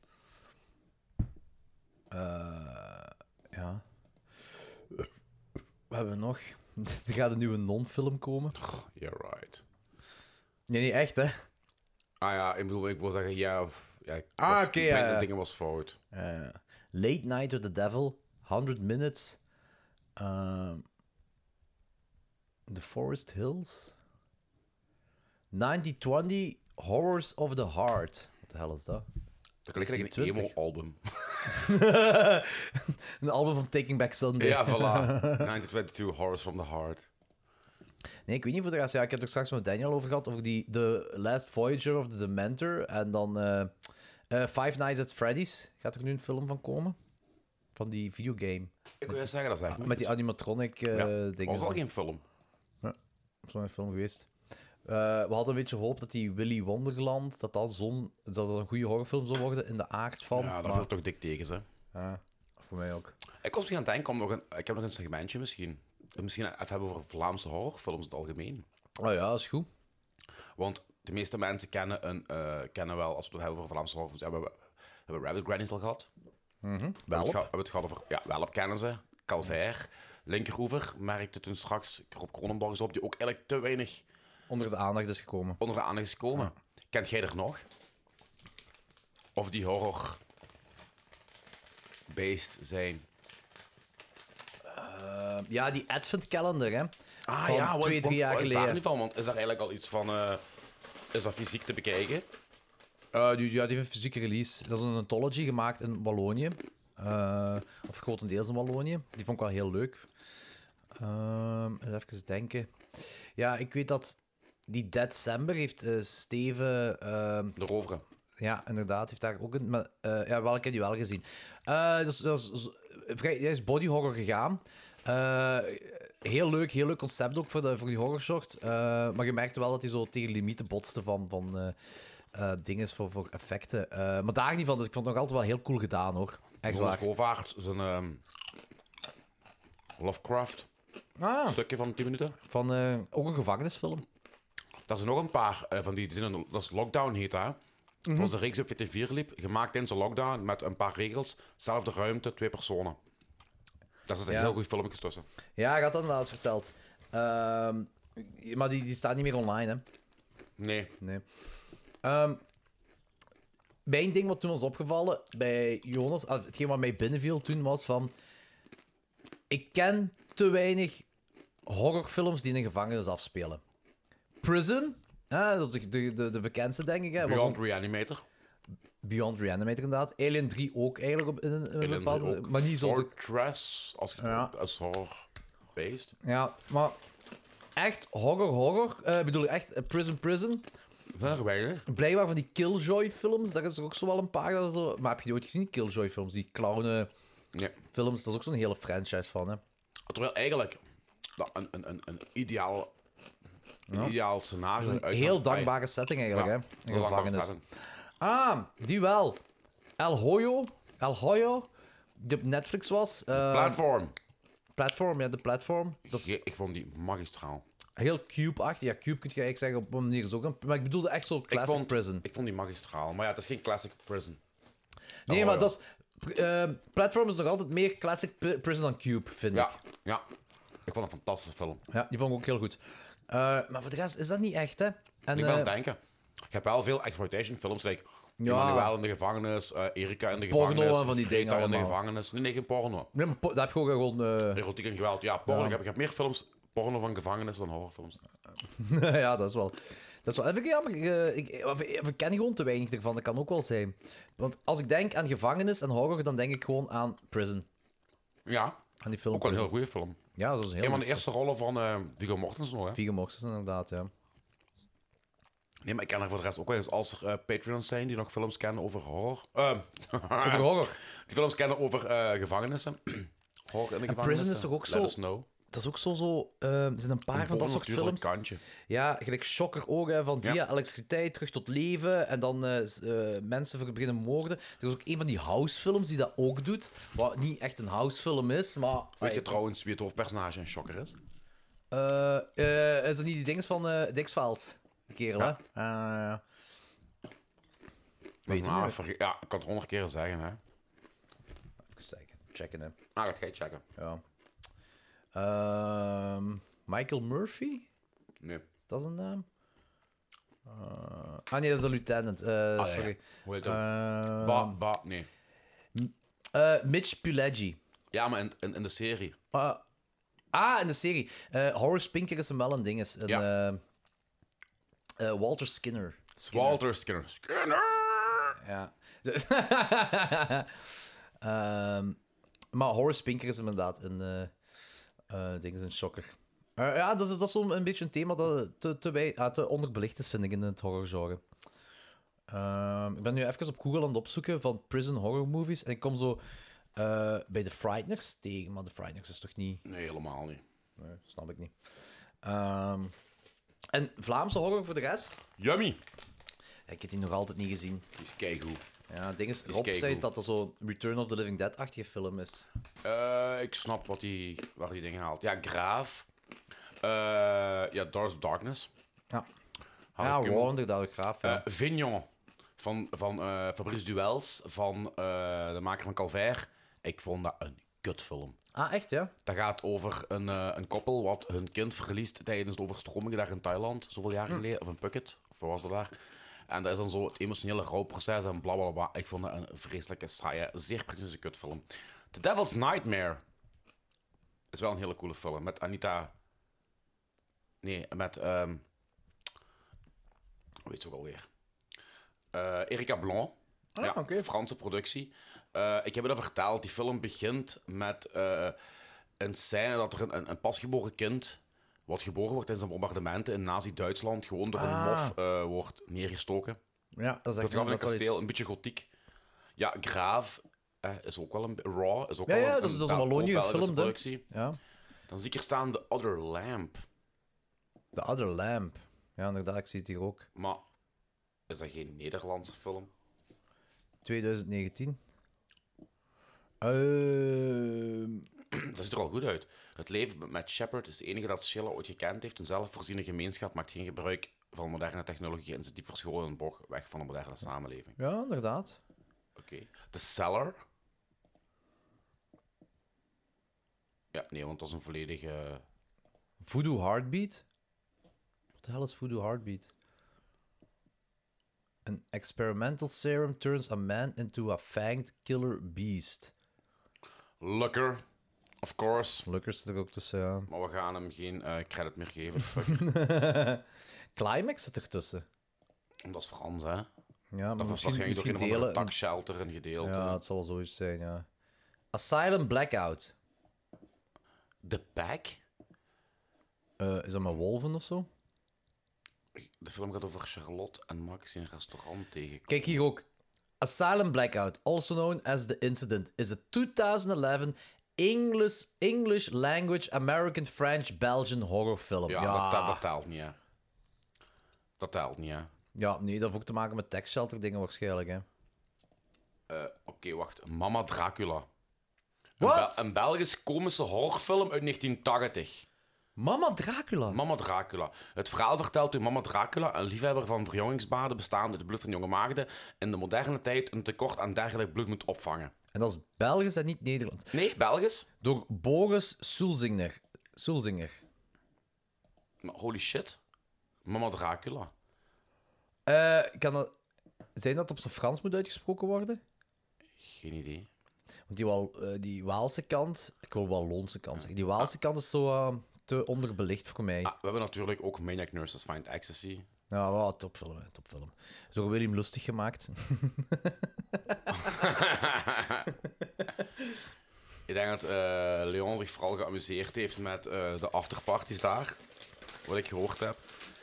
Speaker 2: Eh, ja. Wat hebben we nog? Er gaat een nieuwe non-film komen.
Speaker 3: Yeah, right.
Speaker 2: Nee, niet echt, hè?
Speaker 3: Ah ja, ik bedoel, ik wil zeggen, ja... of- ja ik
Speaker 2: Ah,
Speaker 3: was-
Speaker 2: oké,
Speaker 3: mijn-
Speaker 2: ja,
Speaker 3: dat
Speaker 2: ja.
Speaker 3: dingen was fout.
Speaker 2: Eh, Late Night with the Devil. 100 Minutes. Ehm, Eh, The Forest Hills. 9020 Horrors of the Heart. Wat de hel is dat?
Speaker 3: Dat klinkt eigenlijk een
Speaker 2: 1920.
Speaker 3: emo-album.
Speaker 2: een album van Taking Back Sunday.
Speaker 3: Ja, voilà. 1922, Horrors from the Heart.
Speaker 2: Nee, ik weet niet of de rest. Ja, ik heb er straks met Daniel over gehad. Over die The Last Voyager of the Dementor. En dan eh, eh, Five Nights at Freddy's. Gaat er nu een film van komen? Van die videogame.
Speaker 3: Ik wil zeggen, dat is eigenlijk
Speaker 2: Ah, Met die
Speaker 3: iets.
Speaker 2: animatronic eh
Speaker 3: Ja,
Speaker 2: dingen.
Speaker 3: was al geen film.
Speaker 2: Ja, zo'n film geweest. Eh, we hadden een beetje hoop dat die Willy Wonderland, dat dat, zo'n, dat dat een goede horrorfilm zou worden in de aard van.
Speaker 3: Ja, daar
Speaker 2: maar-
Speaker 3: viel toch dik tegen, hè.
Speaker 2: Ja, voor mij ook.
Speaker 3: Ik was misschien aan het denken, om nog een, ik heb nog een segmentje misschien. Misschien even hebben over Vlaamse horrorfilms in het algemeen.
Speaker 2: Oh ja, is goed.
Speaker 3: Want de meeste mensen kennen, een, eh, kennen wel, als we het hebben over Vlaamse horrorfilms, hebben we, hebben we Rabbit Grannies al gehad.
Speaker 2: Mhm.
Speaker 3: We hebben het geha- we hebben het gehad over, ja, Welp kennen ze, Calvair, Linkeroever, merkte toen straks Rob Kronenborg eens op, die ook eigenlijk te weinig
Speaker 2: Onder de aandacht is gekomen.
Speaker 3: onder de aandacht is gekomen. Kent jij er nog? Of die horror based zijn?
Speaker 2: Eh, ja, die Advent Calendar, hè?
Speaker 3: Ah
Speaker 2: van
Speaker 3: ja, wat
Speaker 2: twee,
Speaker 3: is,
Speaker 2: drie
Speaker 3: wat-
Speaker 2: jaar
Speaker 3: wat is
Speaker 2: geleden.
Speaker 3: daar nu van? Want is daar eigenlijk al iets van... eh, is dat fysiek te bekijken?
Speaker 2: Eh, die, ja, die heeft een fysieke release. Dat is een anthology gemaakt in Wallonië. Eh, of grotendeels in Wallonië. Die vond ik wel heel leuk. Ehm, eens even denken. Ja, ik weet dat die December heeft eh, Steven... ehm
Speaker 3: De Roveren.
Speaker 2: Ja, inderdaad. Heeft daar ook een... Maar, eh, ja, welke heb je wel gezien? Eh, dat is, dat is, z- vrij, hij is body horror gegaan. Eh, heel leuk, heel leuk concept ook voor, de, voor die horror short. Eh, maar je merkte wel dat hij zo tegen limieten botste van, van eh, eh, dingen voor, voor effecten. Eh, maar daar niet van, dus ik vond het nog altijd wel heel cool gedaan hoor. Echt
Speaker 3: Jonas
Speaker 2: waar.
Speaker 3: Govaert, zijn ehm, Lovecraft.
Speaker 2: Ah.
Speaker 3: Stukje van 10 minuten.
Speaker 2: Van eh, ook een gevangenisfilm.
Speaker 3: Daar zijn nog een paar eh, van die, die zijn een- dat is Lockdown heet dat. hè. Dat
Speaker 2: Mhm.
Speaker 3: was een reeks op VT4 liep, gemaakt in zijn lockdown met een paar regels. Zelfde ruimte, twee personen. Daar zitten
Speaker 2: Ja.
Speaker 3: heel goede filmpjes tussen.
Speaker 2: Ja, hij had dat laatst verteld. Ehm, maar die, die staat niet meer online, hè?
Speaker 3: Nee.
Speaker 2: Nee. Ehm, mijn ding wat toen was opgevallen bij Jonas, ah, hetgeen wat mij binnenviel toen was van. Ik ken te weinig horrorfilms die in een gevangenis afspelen. Prison, hè, dat is de- de, de, de bekendste, denk ik. Hè, was
Speaker 3: Beyond
Speaker 2: on-
Speaker 3: Reanimator.
Speaker 2: Beyond Reanimator, inderdaad. Alien 3 ook eigenlijk op, in een, in een
Speaker 3: Alien
Speaker 2: bepaalde
Speaker 3: ook.
Speaker 2: Maar niet zo. de-
Speaker 3: Fortress, als je
Speaker 2: Ja.
Speaker 3: als horror based.
Speaker 2: ja, maar echt horror, horror. Eh, Ik bedoel, echt eh, Prison, Prison.
Speaker 3: Zijn er weinig?
Speaker 2: Blijkbaar van die Killjoy-films, daar is er ook zo wel een paar. Dat zo... Maar heb je die ooit gezien, die Killjoy-films? Die
Speaker 3: Nee.
Speaker 2: clown-films, dat is ook zo'n hele franchise van, hè?
Speaker 3: Terwijl eigenlijk dat een, een, een, een ideaal, een
Speaker 2: Ja.
Speaker 3: ideaal
Speaker 2: Dat
Speaker 3: scenario
Speaker 2: is een
Speaker 3: uit-
Speaker 2: heel dankbare setting eigenlijk,
Speaker 3: Ja,
Speaker 2: hè?
Speaker 3: heel
Speaker 2: Een
Speaker 3: dankbare
Speaker 2: gevangenis.
Speaker 3: setting.
Speaker 2: Ah, die wel. El Hoyo. El Hoyo. Die op Netflix was. eh,
Speaker 3: Platform.
Speaker 2: Platform, ja, de platform.
Speaker 3: Ik- Ik vond die magistraal.
Speaker 2: Heel Cube-achtig. Ja, Cube kun je eigenlijk zeggen op een manier is ook een... Maar ik bedoelde echt zo classic
Speaker 3: ik vond,
Speaker 2: prison.
Speaker 3: Ik vond die magistraal. Maar ja, het is geen classic prison.
Speaker 2: Nee,
Speaker 3: Oh,
Speaker 2: maar
Speaker 3: ja.
Speaker 2: dat is... eh, platform is nog altijd meer classic pi- prison dan Cube, vind
Speaker 3: Ja,
Speaker 2: ik.
Speaker 3: ja. Ik vond het een fantastische film.
Speaker 2: Ja, die vond ik ook heel goed. Eh, maar voor de rest is dat niet echt, hè? En,
Speaker 3: ik ben aan
Speaker 2: eh,
Speaker 3: het denken. Ik heb wel veel exploitation films. Like
Speaker 2: Ja.
Speaker 3: Emmanuel in de gevangenis, eh, Erika in de
Speaker 2: Porno
Speaker 3: gevangenis.
Speaker 2: en van die
Speaker 3: Rita
Speaker 2: dingen
Speaker 3: in de
Speaker 2: allemaal.
Speaker 3: gevangenis. Nee, nee, geen porno.
Speaker 2: Nee, maar po- dat heb je ook gewoon... eh,
Speaker 3: Erotiek en geweld. Ja, porno.
Speaker 2: Ja.
Speaker 3: Ik, heb, ik heb meer films porno van gevangenis dan horrorfilms.
Speaker 2: ja, dat is wel. Dat is wel even jammer. eh, ik, we, we kennen gewoon te weinig ervan. Dat kan ook wel zijn. Want als ik denk aan gevangenis en horror, dan denk ik gewoon aan Prison.
Speaker 3: Ja,
Speaker 2: Aan die film.
Speaker 3: ook wel een heel
Speaker 2: Prison.
Speaker 3: goede film.
Speaker 2: Ja, dat is een heel
Speaker 3: Een van de
Speaker 2: goeie
Speaker 3: eerste rollen van eh Viggo Mortensen nog, hè?
Speaker 2: Viggo Mortensen, inderdaad, ja.
Speaker 3: Nee, maar ik ken er voor de rest ook wel eens. Als er eh, Patreons zijn die nog films kennen over horror. Eh,
Speaker 2: Over horror.
Speaker 3: Die films kennen over eh, gevangenissen. horror in de
Speaker 2: En
Speaker 3: gevangenissen.
Speaker 2: Prison is toch ook zo...
Speaker 3: Let us know.
Speaker 2: Dat is ook zo... zo eh, er zijn een paar
Speaker 3: Een
Speaker 2: van dat soort
Speaker 3: bovennatuurlijk
Speaker 2: films. Ah,
Speaker 3: kantje.
Speaker 2: Ja, gelijk shocker ook, hè, van via
Speaker 3: Ja.
Speaker 2: elektriciteit terug tot leven en dan eh, s- eh, mensen voor beginnen moorden. Er is ook een van die housefilms die dat ook doet, wat niet echt een housefilm is, maar...
Speaker 3: Weet
Speaker 2: Ai,
Speaker 3: je trouwens wie het hoofdpersonage in Shocker is?
Speaker 2: eh, eh, is dat niet die dinges van eh Dixfiles? Die kerel,
Speaker 3: Ja.
Speaker 2: hè? Ah,
Speaker 3: Weet
Speaker 2: je niet.
Speaker 3: Ja, ik kan het honderd keer zeggen, hè.
Speaker 2: Even kijken. Checken, hè.
Speaker 3: Ah, dat ga je checken.
Speaker 2: Ja. Ehm, Michael Murphy?
Speaker 3: Nee.
Speaker 2: Is dat zijn naam? Eh, ah nee, dat is de lieutenant. eh,
Speaker 3: ja,
Speaker 2: sorry.
Speaker 3: ja. Hoe heet dat?
Speaker 2: Ehm,
Speaker 3: Ba, ba, nee.
Speaker 2: eh, Mitch Pileggi.
Speaker 3: Ja, maar in, in, in de serie.
Speaker 2: Ah, Ah, in de serie. Eh, Horace Pinker is hem wel een ding. Is een, eh, eh, Walter Skinner.
Speaker 3: Walter Skinner. Skinner!
Speaker 2: Ja. Ehm, maar Horace Pinker is inderdaad een, eh eh, ding is een shocker. Eh, ja, dat is, dat is zo'n een beetje een thema dat te, te, wij- ah, te onderbelicht is, vind ik, in het horrorgenre. Ehm, ik ben nu even op Google aan het opzoeken van prison horror movies. En ik kom zo eh, bij de Frighteners tegen, maar de Frighteners is toch niet...
Speaker 3: Nee, helemaal niet.
Speaker 2: Nee, snap ik niet. Ehm, en Vlaamse horror voor de rest?
Speaker 3: Yummy!
Speaker 2: Ik heb die nog altijd niet gezien.
Speaker 3: Die is keigoed.
Speaker 2: Ja, het ding is,
Speaker 3: Die is
Speaker 2: Rob zei
Speaker 3: keigoed.
Speaker 2: dat dat zo'n Return of the Living Dead-achtige film is.
Speaker 3: Eh, ik snap wat die, waar die dingen haalt. Ja, Graaf. Eh, ja, Doors of Darkness.
Speaker 2: Ja.
Speaker 3: Harry
Speaker 2: ja,
Speaker 3: Kummel.
Speaker 2: Warner, dat graaf. Ja.
Speaker 3: Eh, Vignon. Van, van eh, Fabrice Duels. Van eh, de maker van Calvaire. Ik vond dat een kutfilm.
Speaker 2: ah, echt, ja?
Speaker 3: Dat gaat over een, eh, een koppel wat hun kind verliest tijdens de overstromingen daar in Thailand, zoveel
Speaker 2: Hm.
Speaker 3: jaar geleden, of in Phuket, of waar was dat daar. En dat is dan zo het emotionele rouwproces en bla bla bla. Ik vond dat een vreselijke, saaie, zeer pretentieuze kutfilm. The Devil's Nightmare is wel een hele coole film met Anita. Nee, met. ehm Hoe heet ze ook alweer? Eh, Erika Blanc.
Speaker 2: Ah,
Speaker 3: ja,
Speaker 2: oké.
Speaker 3: Franse productie. Eh, ik heb je dat verteld. Die film begint met eh, een scène dat er een, een, een pasgeboren kind, wat geboren wordt tijdens een bombardement in Nazi-Duitsland, gewoon door een
Speaker 2: Ah.
Speaker 3: mof eh, wordt neergestoken.
Speaker 2: Ja, dat is echt
Speaker 3: Dat gaat in een
Speaker 2: inderdaad wel
Speaker 3: kasteel,
Speaker 2: iets.
Speaker 3: een beetje gotiek. Ja, Graaf eh, is ook wel een... Raw is ook
Speaker 2: Ja,
Speaker 3: wel
Speaker 2: ja,
Speaker 3: een,
Speaker 2: dat is- dat is
Speaker 3: Bel-
Speaker 2: een Wallonië
Speaker 3: Belgische
Speaker 2: gefilmd, hè.
Speaker 3: productie.
Speaker 2: Ja.
Speaker 3: Dan zie ik hier staan The Other Lamp.
Speaker 2: The Other Lamp. Ja, inderdaad, ik zie het hier ook.
Speaker 3: Maar is dat geen Nederlandse film?
Speaker 2: 2019. Ehm,
Speaker 3: dat ziet er al goed uit. Het leven met Shepard is de enige dat Schiller ooit gekend heeft. Een zelfvoorziene gemeenschap maakt geen gebruik van moderne technologie en zit diep verscholen in een bocht weg van de moderne samenleving.
Speaker 2: ja, inderdaad.
Speaker 3: Oké. The Cellar. Ja, nee, want dat is een volledige...
Speaker 2: Voodoo Heartbeat. Wat de hel is Voodoo Heartbeat? An experimental serum turns a man into a fanged killer beast.
Speaker 3: Lucker, of course.
Speaker 2: Lucker zit er ook tussen. ja.
Speaker 3: Maar we gaan hem geen eh, credit meer geven. Fuck.
Speaker 2: Climax zit ertussen.
Speaker 3: Omdat is Frans, hè?
Speaker 2: Ja, maar
Speaker 3: dat was
Speaker 2: misschien,
Speaker 3: waarschijnlijk
Speaker 2: misschien
Speaker 3: nog een
Speaker 2: delen.
Speaker 3: attack shelter een gedeelte.
Speaker 2: Ja, het zal wel zoiets zijn, ja. Asylum Blackout.
Speaker 3: The Pack?
Speaker 2: Eh, is dat met wolven of zo?
Speaker 3: De film gaat over Charlotte en Max in een restaurant tegen.
Speaker 2: Kijk hier ook. Asylum Blackout, also known as The Incident, is a 2011 English, English language American French Belgian horrorfilm.
Speaker 3: Ja,
Speaker 2: Ja,
Speaker 3: Dat, dat, dat telt niet, hè. Dat telt niet, hè.
Speaker 2: ja, nee, dat heeft ook te maken met tax shelter dingen waarschijnlijk. Hè.
Speaker 3: Eh, Oké, wacht. Mama Dracula. Een,
Speaker 2: Wat?
Speaker 3: Bel- een Belgisch komische horrorfilm uit 1980.
Speaker 2: Mama Dracula?
Speaker 3: Mama Dracula. Het verhaal vertelt hoe Mama Dracula, een liefhebber van verjongingsbaden bestaande uit het bloed van jonge maagden, in de moderne tijd een tekort aan dergelijk bloed moet opvangen.
Speaker 2: En dat is Belgisch en niet Nederlands.
Speaker 3: Nee, Belgisch.
Speaker 2: Door Boris Sulzinger. Sulzinger.
Speaker 3: Maar holy shit. Mama Dracula.
Speaker 2: Eh, kan dat... Zijn dat op zijn Frans moet uitgesproken worden?
Speaker 3: Geen idee.
Speaker 2: Want die, Wal- eh, die Waalse kant, ik wil Wallonse kant zeggen, die Waalse kant is zo eh, te onderbelicht voor mij.
Speaker 3: Ah, we hebben natuurlijk ook Maniac Nurses Find Ecstasy.
Speaker 2: Ja, wow, topfilm, hè, topfilm. Is door William Lustig gemaakt.
Speaker 3: Ik denk dat eh, Leon zich vooral geamuseerd heeft met eh, de afterparties daar. Wat ik gehoord heb.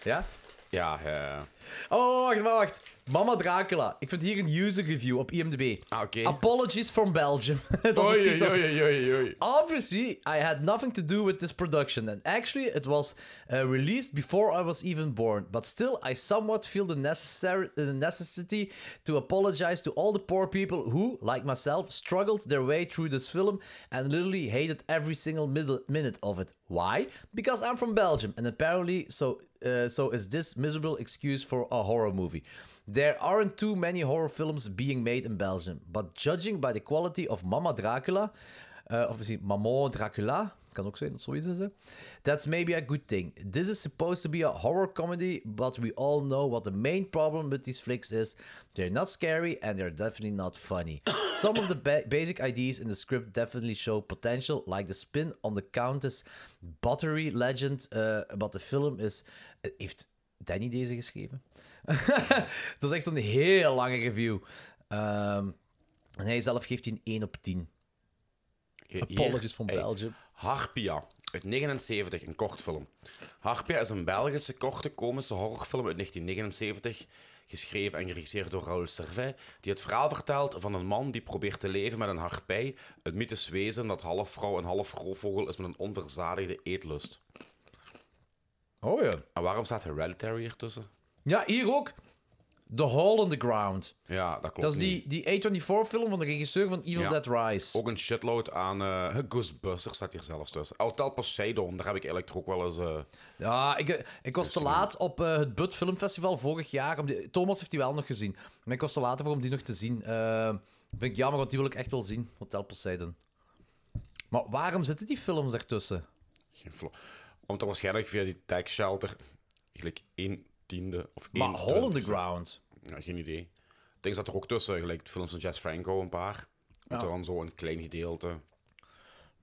Speaker 2: Ja?
Speaker 3: Ja, eh,
Speaker 2: Oh, wacht, wacht, wacht. Mama Dracula. Ik vind hier een user review op IMDb. Apologies from Belgium. Dat is de
Speaker 3: Ah, Oei,
Speaker 2: titel.
Speaker 3: oei, oei, oei, oei.
Speaker 2: Obviously, I had nothing to do with this production, and actually, it was uh, released before I was even born. But still, I somewhat feel the, necessary, the necessity to apologize to all the poor people who, like myself, struggled their way through this film and literally hated every single middle minute of it. Why? Because I'm from Belgium, and apparently, so uh, so is this miserable excuse for a horror movie. There aren't too many horror films being made in Belgium, but judging by the quality of Mama Dracula, uh, of misschien Eh, Maman Dracula, Kan ook zijn dat zoiets is, hè. That's maybe a good thing. This is supposed to be a horror comedy, but we all know what the main problem with these flicks is. They're not scary and they're definitely not funny. Some of the ba- basic ideas in the script definitely show potential, like the spin on the Countess Buttery legend uh, about the film is... eh, Heeft Danny deze geschreven? dat is echt zo'n heel lange review. Ehm, en hij zelf geeft die een 1 op 10. Apologies van Belgium.
Speaker 3: Harpia uit 79, een kort film. Harpia is een Belgische korte komische horrorfilm uit 1979, geschreven en geregisseerd door Raoul Servet, die het verhaal vertelt van een man die probeert te leven met een harpij, het mythisch wezen dat half vrouw en half roofvogel is met een onverzadigde eetlust.
Speaker 2: Oh ja.
Speaker 3: En waarom staat Hereditary hier tussen?
Speaker 2: Ja, hier ook. The Hole in the Ground.
Speaker 3: Ja, dat klopt
Speaker 2: Dat is
Speaker 3: niet.
Speaker 2: die, die A24-film van de regisseur van Evil
Speaker 3: Ja.
Speaker 2: Dead Rise.
Speaker 3: Ook een shitload aan eh Ghostbusters staat hier zelfs tussen. Hotel Poseidon, daar heb ik eigenlijk toch ook wel eens... eh,
Speaker 2: Ja, ik, ik was te laat op eh, het Bud Film Festival vorig jaar. Om die- Thomas heeft die wel nog gezien. Maar ik was te laat voor om die nog te zien. Eh vind ik jammer, want die wil ik echt wel zien. Hotel Poseidon. Maar waarom zitten die films daartussen?
Speaker 3: Geen flo- Omdat waarschijnlijk via die tax shelter gelijk 1 tiende of 1
Speaker 2: Maar Hole in the Ground?
Speaker 3: Ja, geen idee. Ik denk dat er ook tussen, gelijk de films van Jess Franco, een paar.
Speaker 2: Ja.
Speaker 3: En dan zo een klein gedeelte.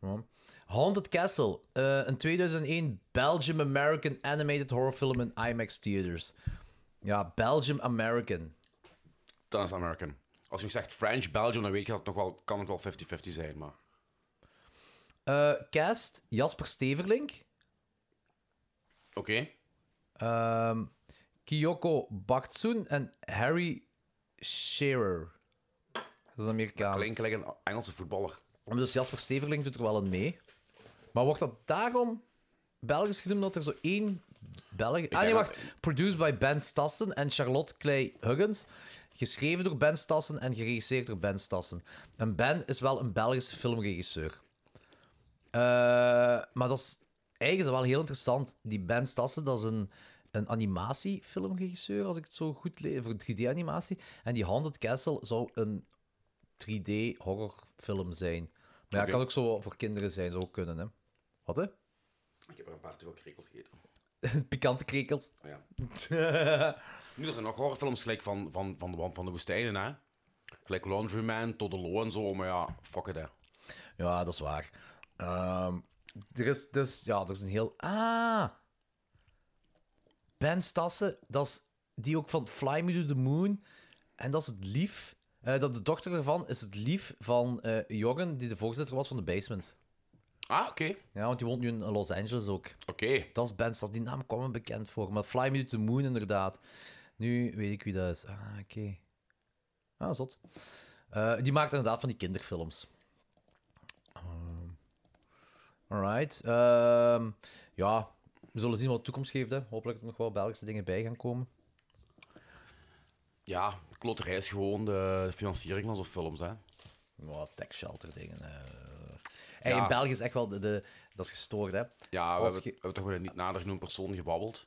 Speaker 2: Ja. Haunted Castle, eh, een 2001 Belgium-American animated horrorfilm in IMAX theaters. Ja, Belgium-American.
Speaker 3: Dan is het American. Als je zegt French, Belgium, dan weet je dat het nog wel, kan het wel 50-50 zijn. Maar
Speaker 2: Eh, cast, Jasper Steverlink.
Speaker 3: oké.
Speaker 2: Ehm, Kyoko Baktsoen en Harry Shearer. Dat is een Amerikaan.
Speaker 3: Klinkt gelijk een Engelse voetballer.
Speaker 2: Dus Jasper Steverling doet er wel een mee. Maar wordt dat daarom Belgisch genoemd dat er zo één Belg... Ah nee,
Speaker 3: denk
Speaker 2: wacht. Produced by Ben Stassen en Charlotte Clay Huggins. Geschreven door Ben Stassen en geregisseerd door Ben Stassen. En Ben is wel een Belgische filmregisseur. Eh, maar dat is eigenlijk is dat wel heel interessant. Die Ben Stassen, dat is een, een animatiefilmregisseur, als ik het zo goed lees, voor 3D-animatie. En die Haunted Castle zou een 3D-horrorfilm zijn. Maar ja,
Speaker 3: Oké.
Speaker 2: kan ook zo voor kinderen zijn, zou ook kunnen, hè. Wat, hè?
Speaker 3: Ik heb er een paar te veel krekels gegeten.
Speaker 2: Pikante krekels.
Speaker 3: Ja. Nu er zijn nog horrorfilms gelijk van, van, van, de, van de woestijnen, hè? Gelijk Laundryman, Tot de Lo en zo, maar ja, fuck it, hè.
Speaker 2: Ja, dat is waar. Ehm, er is dus, ja, er is een heel... Ah! Ben Stassen, dat is die ook van Fly Me to the Moon. En dat is het lief... eh, dat de dochter ervan is het lief van eh Jorgen, die de voorzitter was van de basement.
Speaker 3: Ah, oké.
Speaker 2: Ja, want die woont nu in Los Angeles ook.
Speaker 3: Oké.
Speaker 2: Dat is Ben Stassen, die naam kwam me bekend voor. Maar Fly Me to the Moon, inderdaad. Nu weet ik wie dat is. Ah, oké. Ah, zot. Eh, die maakt inderdaad van die kinderfilms. Ehm, alright. Ehm, ja, we zullen zien wat de toekomst geeft. Hè. Hopelijk dat er nog wel Belgische dingen bij gaan komen.
Speaker 3: Ja, kloterij is gewoon de financiering van zo'n films, hè.
Speaker 2: Wat tech shelter dingen. En
Speaker 3: Ja.
Speaker 2: in België is echt wel de, de- dat is gestoord, hè?
Speaker 3: Ja, we
Speaker 2: Als
Speaker 3: hebben, we hebben toch met een niet nader genoemd persoon gebabbeld.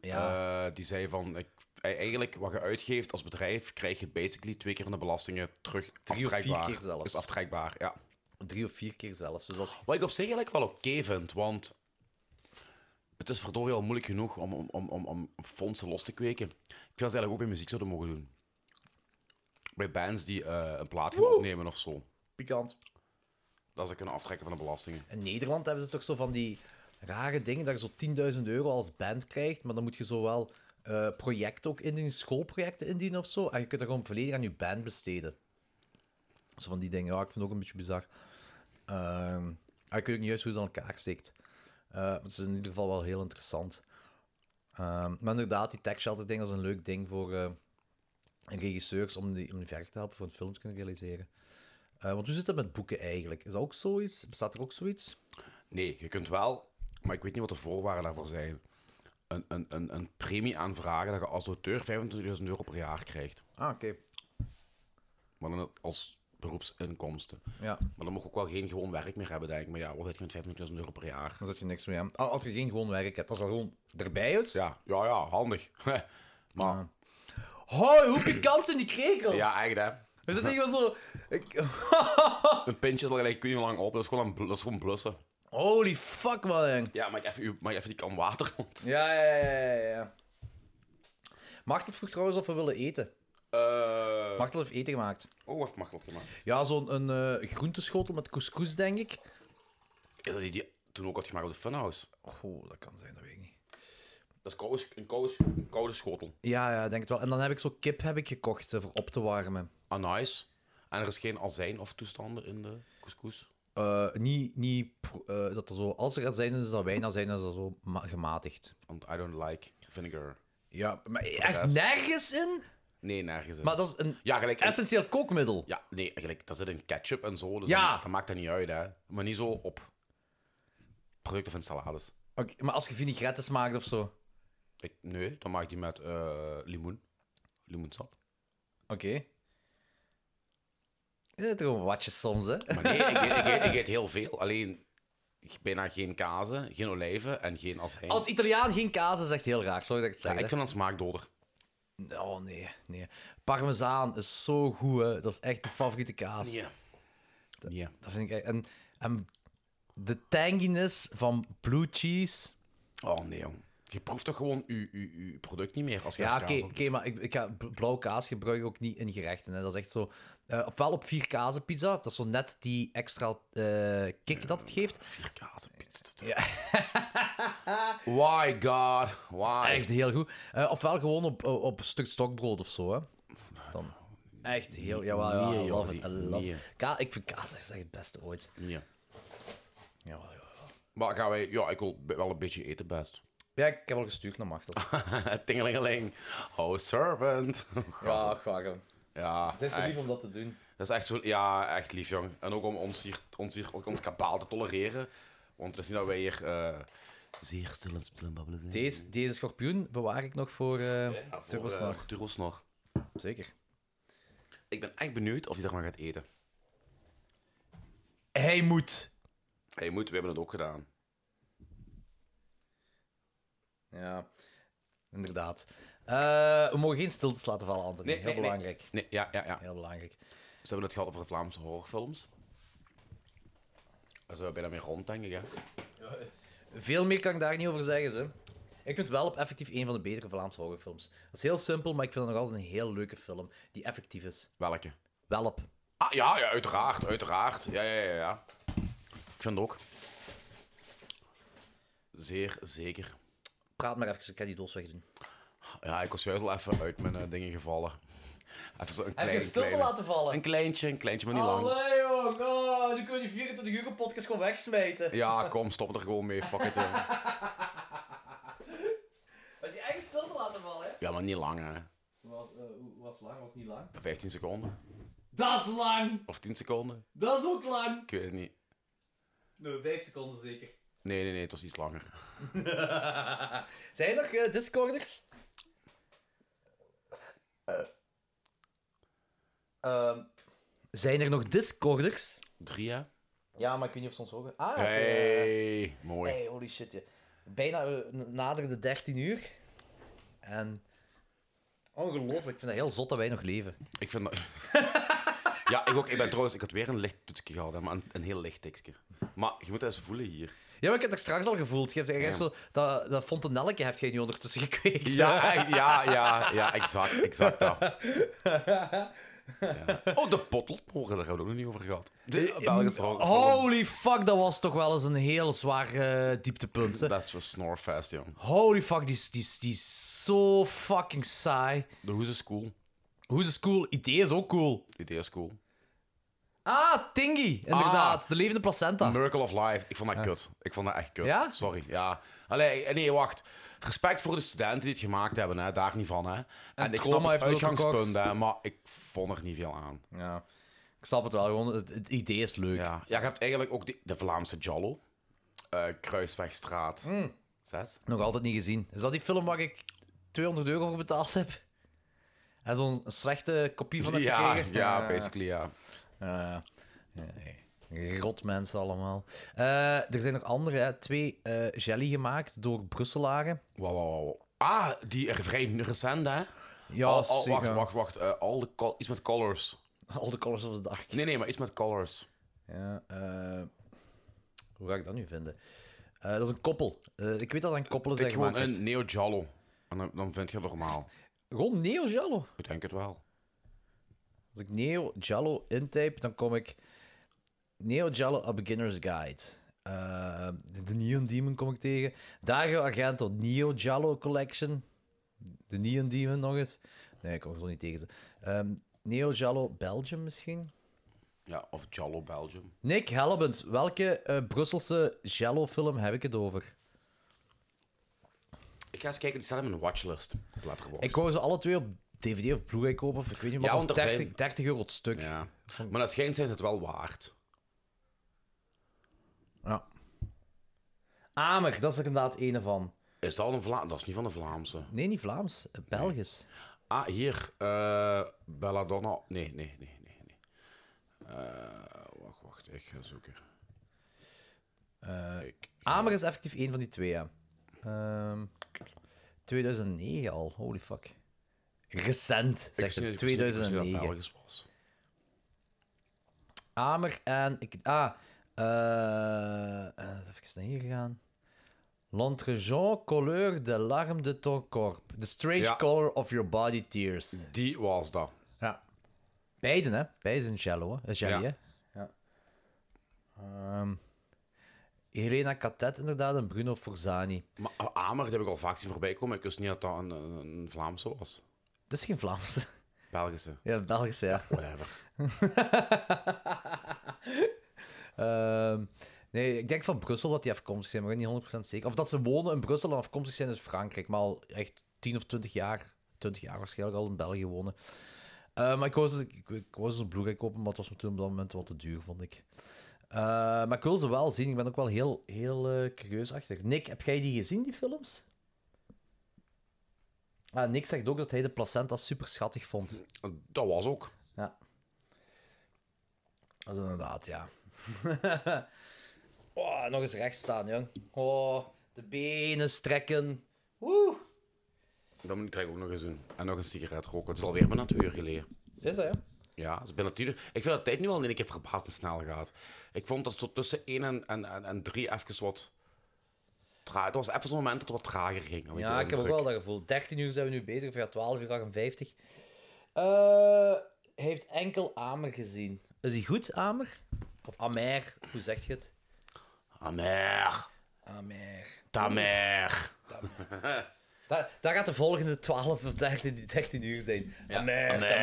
Speaker 2: Ja.
Speaker 3: Eh, die zei van, ik, eigenlijk wat je uitgeeft als bedrijf, krijg je basically twee keer van de belastingen terug
Speaker 2: Drie of vier
Speaker 3: aftrekbaar.
Speaker 2: keer zelfs.
Speaker 3: Is aftrekbaar, ja.
Speaker 2: Drie of vier keer zelfs. Dus als...
Speaker 3: Wat ik op zich eigenlijk wel oké vind, want het is verdorie al moeilijk genoeg om, om, om, om, om fondsen los te kweken. Ik vind dat ze eigenlijk ook bij muziek zouden mogen doen. Bij bands die eh, een plaat gaan opnemen of zo.
Speaker 2: Pikant.
Speaker 3: Dat ze kunnen aftrekken van de belastingen.
Speaker 2: In Nederland hebben ze toch zo van die rare dingen dat je zo 10.000 euro als band krijgt, maar dan moet je zo wel eh, projecten ook indienen, schoolprojecten indienen of zo. En je kunt er gewoon volledig aan je band besteden. Zo van die dingen. Ja, ik vind het ook een beetje bizar. Ehm, maar ik weet ook niet juist hoe het aan elkaar steekt. Eh, maar het is in ieder geval wel heel interessant. Ehm, maar inderdaad, die tech shelter ding is een leuk ding voor eh, regisseurs om die, om die verder te helpen voor een film te kunnen realiseren. Eh, want hoe zit dat met boeken eigenlijk? Is dat ook zoiets? Bestaat er ook zoiets?
Speaker 3: Nee, je kunt wel, maar ik weet niet wat de voorwaarden daarvoor zijn. Een, een, een, een premie aanvragen dat je als auteur 25.000 euro per jaar krijgt.
Speaker 2: Ah, oké.
Speaker 3: Maar dan als beroepsinkomsten.
Speaker 2: Ja.
Speaker 3: Maar dan mag je ook wel geen gewoon werk meer hebben, denk ik. Maar ja, wat heb je met 25.000 euro per jaar?
Speaker 2: Dan zet je niks meer aan. Al- Als je geen gewoon werk hebt, als dat gewoon erbij is.
Speaker 3: Ja, ja, ja handig. maar...
Speaker 2: Hoi, hoe pikant zijn die krekels?
Speaker 3: Ja, eigenlijk hè.
Speaker 2: We zitten hier wel zo...
Speaker 3: Een pintje is al gelijk kun je lang op. Dat is gewoon, een bl- dat is gewoon blussen.
Speaker 2: Holy fuck, wat eng.
Speaker 3: Ja, maar ik even, uw- mag ik even die kan water? want-
Speaker 2: Ja, ja, ja, ja, ja, ja. Machtelt vroeg trouwens of we willen eten.
Speaker 3: Eh
Speaker 2: Machtel heeft eten gemaakt.
Speaker 3: Oh, heeft Machtel gemaakt.
Speaker 2: Ja, zo'n een, eh, groenteschotel met couscous, denk ik.
Speaker 3: Is dat die, die toen ook had gemaakt op de Funhouse?
Speaker 2: Oh, dat kan zijn, dat weet ik niet.
Speaker 3: Dat is koude, een, koude, een koude schotel.
Speaker 2: Ja, ja, denk het wel. En dan heb ik zo kip heb ik gekocht eh, voor op te warmen.
Speaker 3: Ah, nice. En er is geen azijn of toestanden in de couscous?
Speaker 2: Eh, niet niet pro- eh, dat er zo, als er azijn is, is dat wijn, azijn is dat zo ma- gematigd.
Speaker 3: Want I don't like vinegar.
Speaker 2: Ja, maar
Speaker 3: Voor de
Speaker 2: echt
Speaker 3: rest.
Speaker 2: nergens in?
Speaker 3: Nee, nergens in.
Speaker 2: Maar dat is een
Speaker 3: ja, gelijk,
Speaker 2: essentieel kookmiddel.
Speaker 3: Ja, nee, gelijk, dat zit in ketchup en zo. Dus
Speaker 2: Ja.
Speaker 3: dat, dat maakt dat niet uit, hè. Maar niet zo op producten van salades.
Speaker 2: Oké, maar als je vinaigrettes maakt of zo.
Speaker 3: Ik, nee, dan maak ik die met eh, limoen. Limoensap.
Speaker 2: Oké. Je zit er gewoon watjes soms, hè?
Speaker 3: Maar nee, ik, eet- ik, eet- ik eet heel veel. Alleen bijna geen kazen, geen olijven en geen azijn.
Speaker 2: Als Italiaan geen kaas is echt heel raar, sorry dat ik het
Speaker 3: ja,
Speaker 2: zeg.
Speaker 3: ik vind dat smaakdoder.
Speaker 2: hè. Oh nee, nee. Parmezaan is zo goed, hè. Dat is echt mijn favoriete kaas.
Speaker 3: Ja.
Speaker 2: Dat,
Speaker 3: Ja.
Speaker 2: dat vind ik echt. En, en de tanginess van blue cheese.
Speaker 3: Oh nee, jong. Je proeft toch gewoon je, je, je product niet meer als je
Speaker 2: Ja,
Speaker 3: er
Speaker 2: oké,
Speaker 3: kaas op
Speaker 2: oké, maar ik, ik ga bl- blauwe kaas gebruik ik ook niet in gerechten. Hè. Dat is echt zo. eh ofwel op vier kazen pizza, dat is zo net die extra eh kick dat het geeft.
Speaker 3: Vier kazen pizza.
Speaker 2: Ja.
Speaker 3: Why God? Why?
Speaker 2: Ah, Echt heel goed. Eh, ofwel gewoon op, op op een stuk stokbrood of zo. Hè. Dan. Echt heel. Jawel, ja,
Speaker 3: Nee,
Speaker 2: I
Speaker 3: joh,
Speaker 2: love it. I
Speaker 3: die-
Speaker 2: love
Speaker 3: nee.
Speaker 2: it. Ka ik vind kaas echt het beste ooit.
Speaker 3: Ja.
Speaker 2: Ja, ja,
Speaker 3: Maar gaan wij... Ja, ik wil be- wel een beetje eten best.
Speaker 2: Ja, ik heb al gestuurd naar Machtel.
Speaker 3: Ah, Tingelingeling. Oh, servant.
Speaker 2: ja, gaar.
Speaker 3: Ja,
Speaker 2: Het is zo lief
Speaker 3: echt.
Speaker 2: om dat te doen.
Speaker 3: Dat is echt zo... Ja, echt lief, jong. En ook om ons hier, ons hier ook ons kabaal te tolereren. Want het is niet dat wij hier... eh, zeer stil en stil en babbelen zijn.
Speaker 2: Deze, deze schorpioen bewaar ik nog voor eh
Speaker 3: Ja, voor,
Speaker 2: Turbosnar.
Speaker 3: eh, Turbosnar.
Speaker 2: Zeker.
Speaker 3: Ik ben echt benieuwd of hij daar maar gaat eten.
Speaker 2: Hij moet.
Speaker 3: Hij moet, we hebben het ook gedaan.
Speaker 2: Ja, inderdaad. Eh, we mogen geen stiltes laten vallen, Anthony.
Speaker 3: Nee,
Speaker 2: Heel
Speaker 3: nee, nee.
Speaker 2: belangrijk.
Speaker 3: Nee, ja, ja, ja.
Speaker 2: Heel belangrijk.
Speaker 3: Ze hebben het gehad over de Vlaamse horrorfilms. Daar zijn we bijna mee rond, denk ik. Hè?
Speaker 2: Veel meer kan ik daar niet over zeggen, ze. Ik vind het wel op effectief een van de betere Vlaamse horrorfilms. Dat is heel simpel, maar ik vind het nog altijd een heel leuke film die effectief is.
Speaker 3: Welke?
Speaker 2: Welp.
Speaker 3: Ah, ja, ja, uiteraard, uiteraard. Ja, ja, ja, ja. Ik vind het ook. Zeer zeker.
Speaker 2: Praat maar even, ik ga die doos wegdoen.
Speaker 3: Ja, ik was juist al even uit mijn eh, dingen gevallen. Even zo een klein...
Speaker 2: stil te
Speaker 3: kleine-
Speaker 2: laten vallen?
Speaker 3: Een kleintje, een kleintje, maar niet lang.
Speaker 2: Allee, jong. Oh, nu kun je die 24 uur podcast gewoon wegsmijten.
Speaker 3: Ja, kom, stop er gewoon mee, fuck it, jong.
Speaker 2: Was je echt stil te laten vallen, hè?
Speaker 3: Ja, maar niet lang, hè.
Speaker 2: Was, eh, was lang, was niet lang.
Speaker 3: 15 seconden.
Speaker 2: Dat is lang!
Speaker 3: Of 10 seconden.
Speaker 2: Dat is ook lang!
Speaker 3: Ik weet het niet.
Speaker 2: Nou, 5 seconden zeker.
Speaker 3: Nee, nee, nee, het was iets langer.
Speaker 2: Zijn er nog eh, Discorders? Ehm, zijn er nog Discorders?
Speaker 3: Drie, hè?
Speaker 2: Ja, maar ik weet niet of ze ons horen. Ah, oké.
Speaker 3: Hey, mooi.
Speaker 2: Hey, holy shit. ja. Bijna eh, n- nader de 13 uur. En ongelooflijk, ik vind het heel zot dat wij nog leven.
Speaker 3: Ik vind dat... ja, ik ook. Ik ben trouwens... Ik had weer een licht toetsje gehad, hè, maar een, een heel licht tekstje. Maar je moet dat eens voelen hier.
Speaker 2: Ja, maar ik heb het straks al gevoeld. Je hebt er echt
Speaker 3: Ja.
Speaker 2: zo, dat, dat fontanelletje heb jij nu ondertussen gekweekt.
Speaker 3: Ja, echt, ja, ja, ja, exact, exact dat. Ja. Oh, de potloodmoren, daar hebben we het ook nog niet over gehad. De Belgische horrorfilm.
Speaker 2: Holy fuck, dat was toch wel eens een heel zwaar eh, dieptepunt. hè.
Speaker 3: Dat is wel snorfest, jong.
Speaker 2: Holy fuck, die is, die is, die is zo fucking saai.
Speaker 3: De hoes is cool.
Speaker 2: Hoes is cool, idee is ook cool.
Speaker 3: Het idee is cool.
Speaker 2: Ah, Tingy, inderdaad. De levende placenta.
Speaker 3: Miracle of Life, ik vond dat kut. Ik vond dat echt kut.
Speaker 2: Ja?
Speaker 3: Sorry, ja. Allee, eh, nee, wacht. Respect voor de studenten die het gemaakt hebben, hè. daar niet van. Hè. En, ik
Speaker 2: Troma
Speaker 3: snap het
Speaker 2: heeft het ook
Speaker 3: uitgangspunt,
Speaker 2: gekocht.
Speaker 3: hè, maar ik vond er niet veel aan.
Speaker 2: Ja. Ik snap het wel, gewoon het, het idee is leuk.
Speaker 3: Ja. ja, je hebt eigenlijk ook die- de Vlaamse Jallo. Eh, Kruiswegstraat
Speaker 2: Hmm.
Speaker 3: 6.
Speaker 2: Nog altijd niet gezien. Is dat die film waar ik 200 euro voor betaald heb? En zo'n slechte kopie van heb
Speaker 3: Ja,
Speaker 2: gekregen?
Speaker 3: ja, basically, ja.
Speaker 2: Ja, ja. Nee. Rot mensen allemaal. Eh, er zijn nog andere, hè. twee eh, jelly gemaakt door Brusselaren.
Speaker 3: Wow, wow, wow. Ah, die er vrij recent, hè?
Speaker 2: Ja,
Speaker 3: Al- al-
Speaker 2: zeker.
Speaker 3: Wacht, wacht, wacht. Eh, all the col- iets met colors.
Speaker 2: All the Colors of the Dark.
Speaker 3: Nee, nee, maar iets met colors.
Speaker 2: Ja, eh, Hoe ga ik dat nu vinden? Eh, dat is een koppel. Eh, ik weet dat dat een koppel is.
Speaker 3: Ik
Speaker 2: dat
Speaker 3: gewoon
Speaker 2: gemaakt
Speaker 3: een Neo Jallo. En dan, dan vind je het normaal.
Speaker 2: Gewoon Neo Jallo?
Speaker 3: Ik denk het wel.
Speaker 2: Als ik Neo Jallo intype, dan kom ik Neo Jallo A Beginner's Guide. Eh, de, de Neon Demon kom ik tegen. Dario Argento, Neo Jallo Collection. De Neon Demon nog eens. Nee, ik kom gewoon niet tegen ze. Ehm, Neo Jallo Belgium misschien?
Speaker 3: Ja, of Jallo Belgium.
Speaker 2: Nick Helbens, welke eh, Brusselse Jallo-film heb ik het over?
Speaker 3: Ik ga eens kijken, die staan in mijn watchlist. Op Letterboxd.
Speaker 2: Ik wou ze alle twee op DVD of Blu-ray kopen, of ik weet niet, maar
Speaker 3: Ja,
Speaker 2: dat
Speaker 3: want
Speaker 2: is
Speaker 3: er
Speaker 2: 30,
Speaker 3: zijn-
Speaker 2: 30 euro het stuk.
Speaker 3: Ja. Maar dat schijnt zijn ze het wel waard.
Speaker 2: Ja. Amer, dat is er inderdaad een van.
Speaker 3: Is dat een Vlaam? Dat is niet van de Vlaamse.
Speaker 2: Nee, niet Vlaams. eh, Belgisch.
Speaker 3: Ah, hier. eh, Belladonna. Nee, nee, nee, nee. nee. Eh, wacht, wacht. Ik ga zoeken.
Speaker 2: Eh, Amer is effectief één van die twee, ja. Ehm, 2009 al, holy fuck. Recent, zegt
Speaker 3: wist niet-
Speaker 2: het.
Speaker 3: ik wist niet- ik wist niet dat nou
Speaker 2: 2009.
Speaker 3: Belgisch was.
Speaker 2: Amer en... Ik, ah, eh, eh, even naar hier gaan. L'entrejean couleur de larme de ton corps. The strange
Speaker 3: Ja.
Speaker 2: color of your body tears.
Speaker 3: Die was dat.
Speaker 2: Ja. Beiden, hè? Beiden zijn shallow, hè? Eh, Jelly,
Speaker 3: Ja.
Speaker 2: hè? Ja. Ehm, Helena Catet, inderdaad, en Bruno Forzani.
Speaker 3: Maar eh, Amer, die heb ik al vaak zien voorbij komen. Ik wist niet dat dat een, een, een Vlaamse was.
Speaker 2: Dat is geen Vlaamse.
Speaker 3: Belgische.
Speaker 2: Ja, Belgische, ja.
Speaker 3: Whatever.
Speaker 2: Ehm, nee, ik denk van Brussel dat die afkomstig zijn, maar ik ben niet 100% zeker. Of dat ze wonen in Brussel en afkomstig zijn uit Frankrijk, maar al echt 10 of 20 jaar, 20 jaar waarschijnlijk al in België wonen. Eh, maar ik wou, ze, ik, ik wou ze een Blu-ray kopen, maar het was me toen op dat moment wat te duur, vond ik. Eh, maar ik wil ze wel zien, ik ben ook wel heel, heel eh, curieus achter. Nick, heb jij die gezien, die films? Ah, Nick zegt ook dat hij de placenta super schattig vond.
Speaker 3: Dat was ook.
Speaker 2: Ja. Dat is inderdaad, ja. oh, nog eens recht staan, jong. Oh, de benen strekken. Woe!
Speaker 3: Dat moet ik eigenlijk ook nog eens doen. En nog een sigaret roken. Het is alweer bijna twee uur geleden.
Speaker 2: Is dat, ja?
Speaker 3: Ja, het is bijna tien uur. Ik vind dat tijd nu al in één keer verbazend snel gaat. Ik vond dat zo tussen één en, en, en, en drie even wat... Tra het was even zo'n moment dat het wat trager ging. had
Speaker 2: Ja,
Speaker 3: de
Speaker 2: ik heb ook
Speaker 3: indruk.
Speaker 2: wel dat gevoel. 13 uur zijn we nu bezig, of ja, 12 uur 58. Eh, hij heeft enkel Amer gezien. Is hij goed, Amer? Of Amer, hoe zeg je het?
Speaker 3: Amer.
Speaker 2: Amer.
Speaker 3: Tamer.
Speaker 2: Daar, daar gaat de volgende 12 of 13, 13 uur zijn. Amer,
Speaker 3: Amer.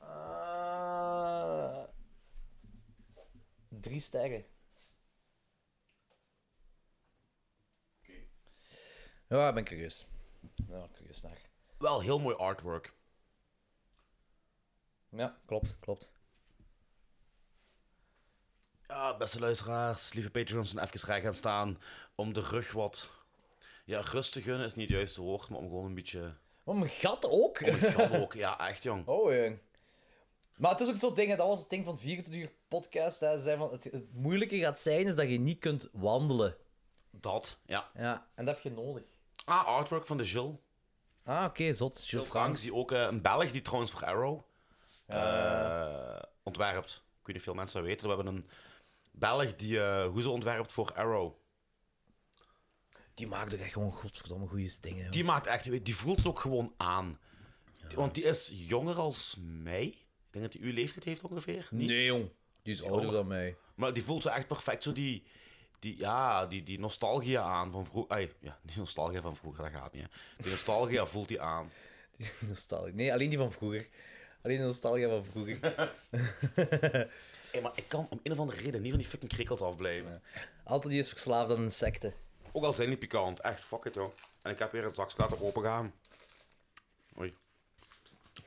Speaker 2: Amer. Eh, drie sterren. Ja, daar ben ik curieus. Ja, daar ben ik curieus naar.
Speaker 3: Wel heel mooi artwork.
Speaker 2: Ja, klopt, klopt.
Speaker 3: Ja, beste luisteraars, lieve Patreons, even rij gaan staan om de rug wat... Ja, rust te gunnen is niet het juiste woord, maar om gewoon een beetje...
Speaker 2: Maar mijn gat ook.
Speaker 3: Om het gat ook. Ja, echt, jong.
Speaker 2: Oh, jong. Maar het is ook zo'n ding, hè, dat was het ding van 24 uur podcast. Hè, ze zei van, het, het moeilijke gaat zijn is dat je niet kunt wandelen.
Speaker 3: Dat, ja.
Speaker 2: Ja, en dat heb je nodig.
Speaker 3: Ah, artwork van de Jill.
Speaker 2: Ah, oké, zot.
Speaker 3: Jill Franks, die ook eh, een Belg die trouwens voor Arrow eh, ontwerpt. Ik weet niet of veel mensen dat weten. We hebben een Belg die eh hoezo ontwerpt voor Arrow.
Speaker 2: Die maakt toch echt gewoon godverdomme goede dingen.
Speaker 3: Die maakt echt, weet- die voelt het ook gewoon aan. Want die is jonger als mij. Ik denk dat hij uw leeftijd heeft ongeveer. Niet?
Speaker 2: Nee, jong. Die is ouder dan mij.
Speaker 3: Maar die voelt zo echt perfect zo die, die, ja, die, die nostalgie aan van vroeger. Ja, die nostalgie van vroeger, dat gaat niet. Hè. Die nostalgie voelt hij aan.
Speaker 2: Nostalgie. Nee, alleen die van vroeger. Alleen de nostalgie van vroeger.
Speaker 3: Hé, maar ik kan om een of andere reden niet van die fucking krikkels afblijven.
Speaker 2: Altijd die is verslaafd aan insecten.
Speaker 3: Ook al zijn die pikant, echt fuck it joh. En ik heb weer het zakje laten opengaan. Oei.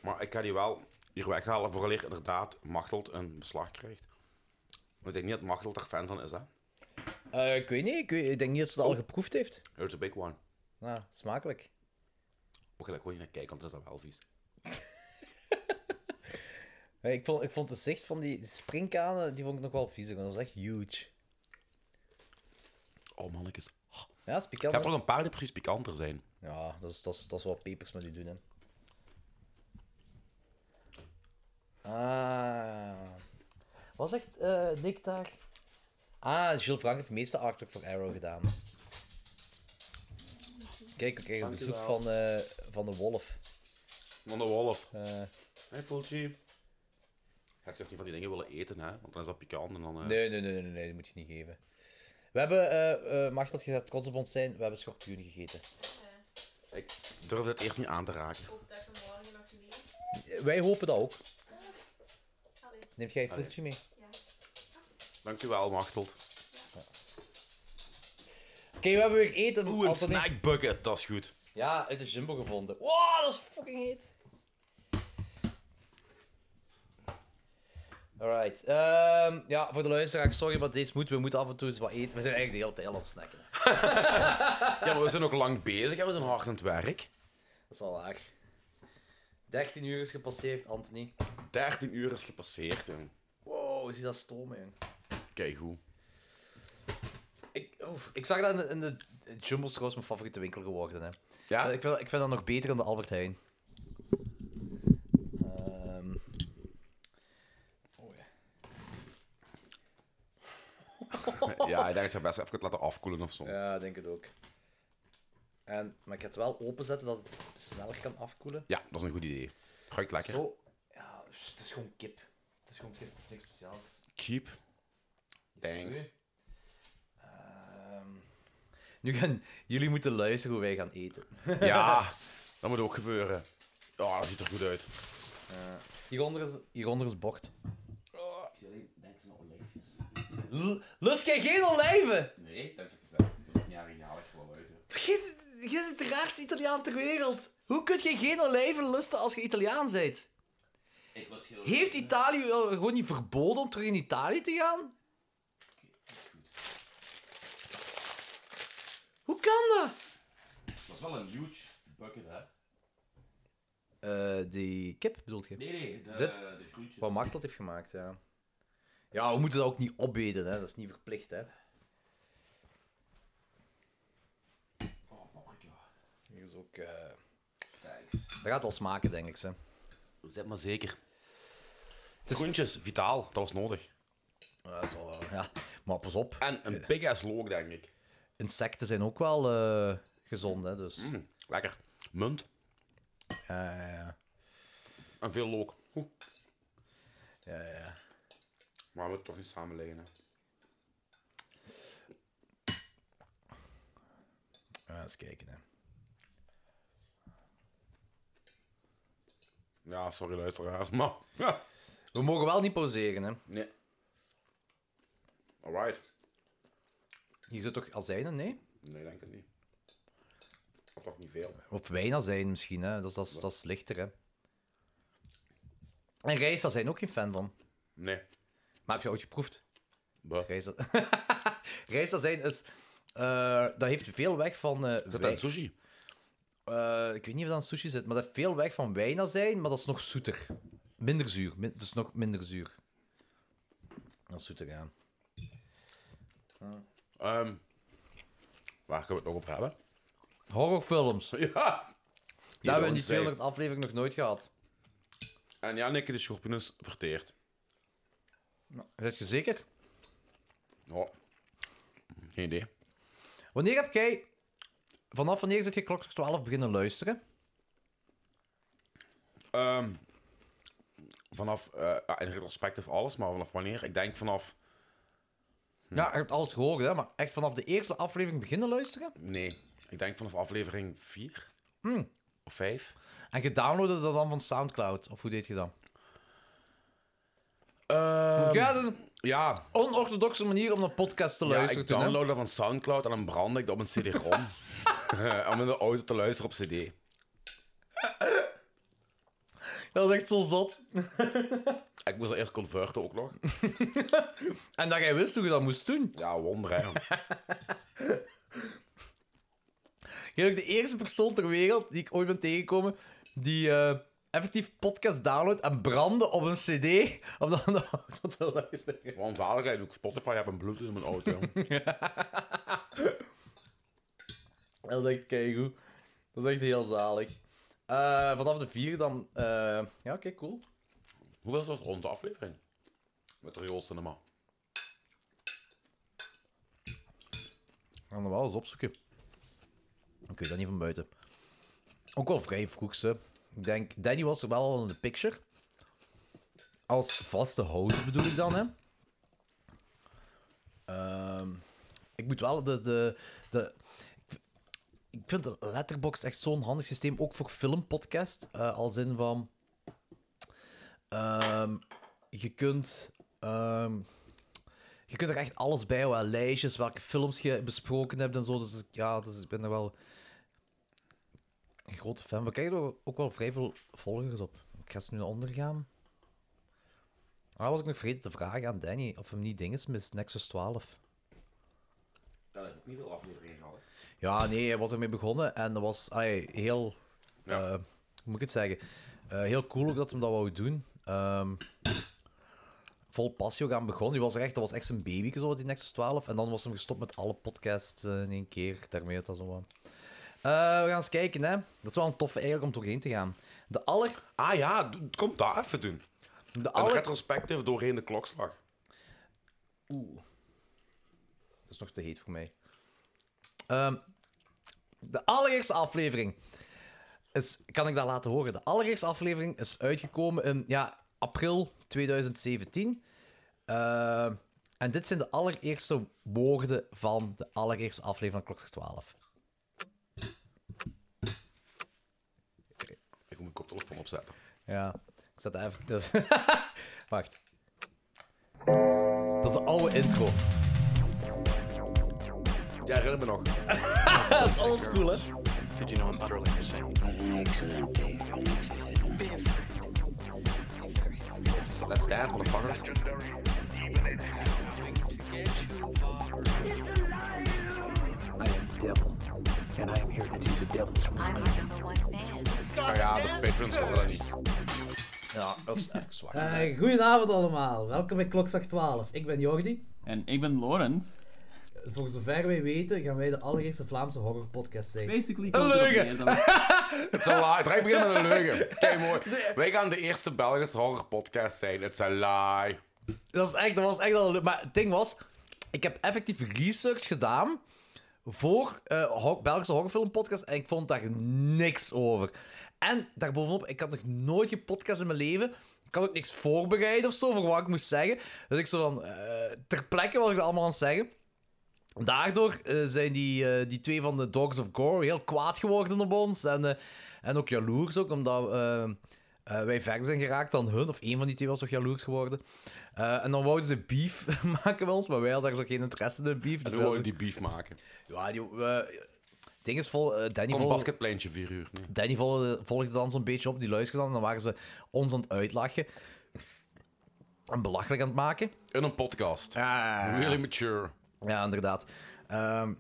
Speaker 3: Maar ik ga die wel hier weghalen voor alleen inderdaad Machtelt een beslag krijgt. Want Ik denk niet dat Machtelt daar fan van is, hè?
Speaker 2: Eh, ik weet niet, ik, weet- ik denk niet dat ze het al geproefd heeft.
Speaker 3: Here's a big one.
Speaker 2: Nou, smakelijk.
Speaker 3: Ook ga ik gewoon niet naar kijken, want dat is dan wel vies.
Speaker 2: Eh, Ik vond, ik vond de zicht van die springkanen, die vond ik nog wel vies. want Dat was echt huge.
Speaker 3: Oh mannetjes.
Speaker 2: Ja, dat is
Speaker 3: Ik
Speaker 2: pikant.
Speaker 3: heb
Speaker 2: hè?
Speaker 3: toch een paar die precies pikanter zijn.
Speaker 2: Ja, dat is, dat, is, dat is wat pepers met u doen, hè. Ah. Wat zegt eh, Nick daar? Ah, Gilles Frank heeft meeste artwork voor Arrow gedaan. Kijk, we krijgen een
Speaker 3: Dank u
Speaker 2: bezoek
Speaker 3: wel.
Speaker 2: van, eh, van de wolf.
Speaker 3: Van de wolf.
Speaker 2: Eh,
Speaker 3: Hey, Fulci. Ga ik toch niet van die dingen willen eten, hè? Want dan is dat pikant en dan... eh,
Speaker 2: nee, nee, nee, nee, nee, dat moet je niet geven. We hebben, eh eh mag dat je trots op ons zijn, we hebben schorpioen gegeten.
Speaker 3: Ik durf het eerst niet aan te raken.
Speaker 2: Eh, Wij hopen dat ook. Neemt jij
Speaker 3: Allee.
Speaker 2: Fultje mee?
Speaker 3: Dankjewel, Machteld.
Speaker 2: Oké, we hebben weer eten.
Speaker 3: Oeh, een
Speaker 2: Anthony.
Speaker 3: snackbucket, dat is goed.
Speaker 2: Ja, uit de Jumbo gevonden. Wow, dat is fucking heet. Alright. ehm, ja, voor de luisteraar, sorry, maar deze moeten we moeten af en toe eens wat eten. We zijn eigenlijk de hele tijd aan het snacken.
Speaker 3: Ja, maar we zijn ook lang bezig en we zijn hard aan het werk.
Speaker 2: Dat is wel waar. 13 uur is gepasseerd, Anthony.
Speaker 3: 13 uur is gepasseerd, jong.
Speaker 2: Wow, is dat stomen, jong.
Speaker 3: Kijk hoe.
Speaker 2: Ik, oef, ik zag dat in de, in de Jumbo is trouwens mijn favoriete winkel geworden. Hè.
Speaker 3: Ja?
Speaker 2: ik, vind, ik vind dat nog beter dan de Albert Heijn. Ehm. Oh,
Speaker 3: Ja, ik denk dat we best even het laten afkoelen of zo.
Speaker 2: Ja, ik denk het ook. En, maar ik ga het wel openzetten dat het sneller kan afkoelen.
Speaker 3: Ja, dat is een goed idee. Ruikt lekker.
Speaker 2: Zo. Ja, dus het is gewoon kip. Het is gewoon kip, het is niks speciaals.
Speaker 3: Cheap. Thanks.
Speaker 2: Ehm, nu gaan jullie moeten luisteren hoe wij gaan eten.
Speaker 3: Ja, dat moet ook gebeuren. Ja, dat ziet er goed uit.
Speaker 2: Hieronder is, hieronder is bord.
Speaker 3: Ik zie alleen, denk aan olijfjes.
Speaker 2: L- Lust jij geen olijven?
Speaker 3: Nee, dat heb ik gezegd. Dat is niet erg, ja, ik gewoon uit.
Speaker 2: Jij zit- jij zit de raarste Italiaan ter wereld. Hoe kun je geen olijven lusten als je Italiaan bent?
Speaker 3: Ik was heel...
Speaker 2: Heeft Italië eh, gewoon niet verboden om terug in Italië te gaan? Hoe kan dat?
Speaker 3: Dat is wel een huge bucket, hè?
Speaker 2: Eh, die kip bedoelt je?
Speaker 3: Nee, nee, de-
Speaker 2: Dit?
Speaker 3: de groentjes.
Speaker 2: Wat Mark dat heeft gemaakt, ja. Ja, we moeten dat ook niet opeten, hè. Dat is niet verplicht, hè.
Speaker 3: Oh, Marika.
Speaker 2: Hier is ook... eh, Dat gaat wel smaken, denk ik, hè.
Speaker 3: Zet maar zeker. Groentjes, vitaal, dat was nodig.
Speaker 2: Ja, dat is wel, eh, ja. Maar pas op.
Speaker 3: En een big ass loog, denk ik.
Speaker 2: Insecten zijn ook wel eh, gezond, hè, dus...
Speaker 3: Mm, lekker. Munt
Speaker 2: Ja, ja, ja.
Speaker 3: en veel loog. Oeh.
Speaker 2: ja, ja, ja.
Speaker 3: Maar we moeten toch niet samenleggen, hè?
Speaker 2: Ja, eens kijken, hè.
Speaker 3: Ja, sorry luisteraars, maar... Ja.
Speaker 2: We mogen wel niet pauzeren, hè.
Speaker 3: Nee. Alright.
Speaker 2: Hier zit toch azijnen? Nee?
Speaker 3: Nee, denk het niet. Dat toch niet veel.
Speaker 2: Of wijnazijn misschien, hè. Dat is, dat is, dat is lichter, hè. En rijst, daar zijn ook geen fan van.
Speaker 3: Nee.
Speaker 2: Maar heb je ooit geproefd?
Speaker 3: Bah.
Speaker 2: Rijst- Rijstazijn is... eh, dat heeft veel weg van eh
Speaker 3: Zit dat
Speaker 2: wijn.
Speaker 3: in sushi?
Speaker 2: Eh, ik weet niet of dat in sushi zit, maar dat heeft veel weg van wijnazijn, maar dat is nog zoeter. Minder zuur. min- dus nog minder zuur. Dat is zoeter, ja.
Speaker 3: Ehm, waar kunnen we het nog over hebben?
Speaker 2: Horrorfilms.
Speaker 3: Ja!
Speaker 2: Dat hebben we in die
Speaker 3: ons zei-
Speaker 2: 200 aflevering nog nooit gehad.
Speaker 3: En ja, Nikke, de schorpioen is verteerd.
Speaker 2: Zet je zeker?
Speaker 3: Oh. Geen idee.
Speaker 2: Wanneer heb jij... Vanaf wanneer zit je klokjes 12 beginnen luisteren?
Speaker 3: Ehm, vanaf, eh, ja, in retrospectief alles, maar vanaf wanneer? Ik denk vanaf,
Speaker 2: Ja, je hebt alles gehoord, hè, maar echt vanaf de eerste aflevering beginnen luisteren?
Speaker 3: nee, ik denk vanaf aflevering 4
Speaker 2: Hm.
Speaker 3: of 5.
Speaker 2: En je downloadde dat dan van Soundcloud? Of hoe deed je dat? ja, dat is een
Speaker 3: Ehm, ja,
Speaker 2: onorthodoxe manier om naar podcast te
Speaker 3: ja,
Speaker 2: luisteren.
Speaker 3: ik
Speaker 2: toen, hè?
Speaker 3: download dat van Soundcloud en dan brand ik dat op een CD-ROM. Eh, om in de auto te luisteren op CD.
Speaker 2: Dat is echt zo zot.
Speaker 3: Ik moest dat eerst converten ook nog.
Speaker 2: En dat jij wist hoe je dat moest doen.
Speaker 3: Ja, wonder hè.
Speaker 2: Jij bent ook de eerste persoon ter wereld die ik ooit ben tegengekomen die eh, effectief podcast downloadt en brandde op een cd om dan de auto te luisteren.
Speaker 3: Want zaligheid, ook Spotify heb een Bluetooth in mijn auto.
Speaker 2: Dat is echt keigoed. Dat is echt heel zalig. Eh, vanaf de vier dan... eh, Ja, oké, cool.
Speaker 3: Hoeveel was onze aflevering? Met Riool Cinema.
Speaker 2: We gaan er wel eens opzoeken. Dan kun je dat niet van buiten. Ook wel vrij vroeg, ze. Ik denk, Danny was er wel al in de picture. Als vaste host bedoel ik dan, hè. Ehm, ik moet wel de... de, de ik- ik vind de Letterboxd echt zo'n handig systeem, ook voor filmpodcast. eh, als in van... ehm, je kunt... ehm, je kunt er echt alles bij houden. Lijstjes, welke films je besproken hebt en zo. Dus ik- ja, dus ik ben er wel een grote fan. We krijgen er ook wel vrij veel volgers op. Ik ga ze nu naar onder gaan. Ah, was ik nog vergeten te vragen aan Danny of hem niet dinges mist, Nexus 12.
Speaker 3: Dat heeft ook niet veel afleveringen gehad.
Speaker 2: Ja, nee, hij was ermee begonnen en dat was allee, heel. eh, hoe moet ik het zeggen? Eh, heel cool ook dat hem dat wou doen. Ehm, vol passie ook aan begonnen. Die was er echt, dat was echt zijn baby, zo, die Nexus 12. En dan was hem gestopt met alle podcasts eh, in één keer. Daarmee had dat zo wat. Eh, we gaan eens kijken, hè. Dat is wel een toffe eigenlijk om doorheen te gaan. De aller...
Speaker 3: Ah ja, kom daar even doen.
Speaker 2: De
Speaker 3: Een
Speaker 2: aller...
Speaker 3: retrospectief doorheen de klokslag.
Speaker 2: Oeh. Dat is nog te heet voor mij. Ehm, de allereerste aflevering. Is, kan ik dat laten horen? De allereerste aflevering is uitgekomen in ja, april 2017. Ehm, en dit zijn de allereerste woorden van de allereerste aflevering van Klokster 12.
Speaker 3: Ik moet mijn koptelefoon opzetten.
Speaker 2: Ja, ik zet dat even. dus- Wacht. Dat is de oude intro.
Speaker 3: Ja, herinner me nog.
Speaker 2: dat is oldschool, hè?
Speaker 14: Did you know I'm utterly insane?
Speaker 3: Let's dance, motherfuckers.
Speaker 14: I am devil, and I am here to do the devil's
Speaker 3: Nou ja, de patrons horen dat niet.
Speaker 2: Ja, dat is echt zwak.
Speaker 15: Eh, goedenavond allemaal, welkom bij Klokslag 12. Ik ben Jordi.
Speaker 16: En ik ben Lorenz.
Speaker 15: Voor zover wij weten gaan wij de allereerste Vlaamse horrorpodcast zijn.
Speaker 16: Basically,
Speaker 3: Een leugen! Het zal lie. Direct beginnen met een leugen. Kijk mooi. Wij gaan de eerste Belgische horrorpodcast zijn. Het is een lie.
Speaker 2: Dat, is echt, dat was echt al een leuk- Maar het ding was, ik heb effectief research gedaan voor eh ho- Belgische horrorfilmpodcast en ik vond daar niks over. En daarbovenop, ik had nog nooit gepodcast in mijn leven. Ik had ook niks voorbereid of zo voor wat ik moest zeggen. Dus ik zo van, eh, ter plekke wat ik dat allemaal aan het zeggen. Daardoor eh, zijn die, eh, die twee van de Dogs of Gore heel kwaad geworden op ons. En, eh, en ook jaloers, ook, omdat eh, eh, wij verder zijn geraakt dan hun. Of één van die twee was toch jaloers geworden. Eh, en dan wouden ze beef maken met ons, maar wij hadden daar zo geen interesse in beef. Dus
Speaker 3: En we
Speaker 2: wij
Speaker 3: willen
Speaker 2: hadden-
Speaker 3: die beef maken.
Speaker 2: Ja, die... eh, ding is vol... eh, Danny
Speaker 3: Kom
Speaker 2: vol-
Speaker 3: basketpleintje, vier uur. Nee.
Speaker 2: Danny volgde, volgde dan zo'n beetje op, die luisterde dan. Dan waren ze ons aan het uitlachen. En belachelijk aan het maken.
Speaker 3: In een podcast. Really mature.
Speaker 2: Ja, inderdaad. Ehm,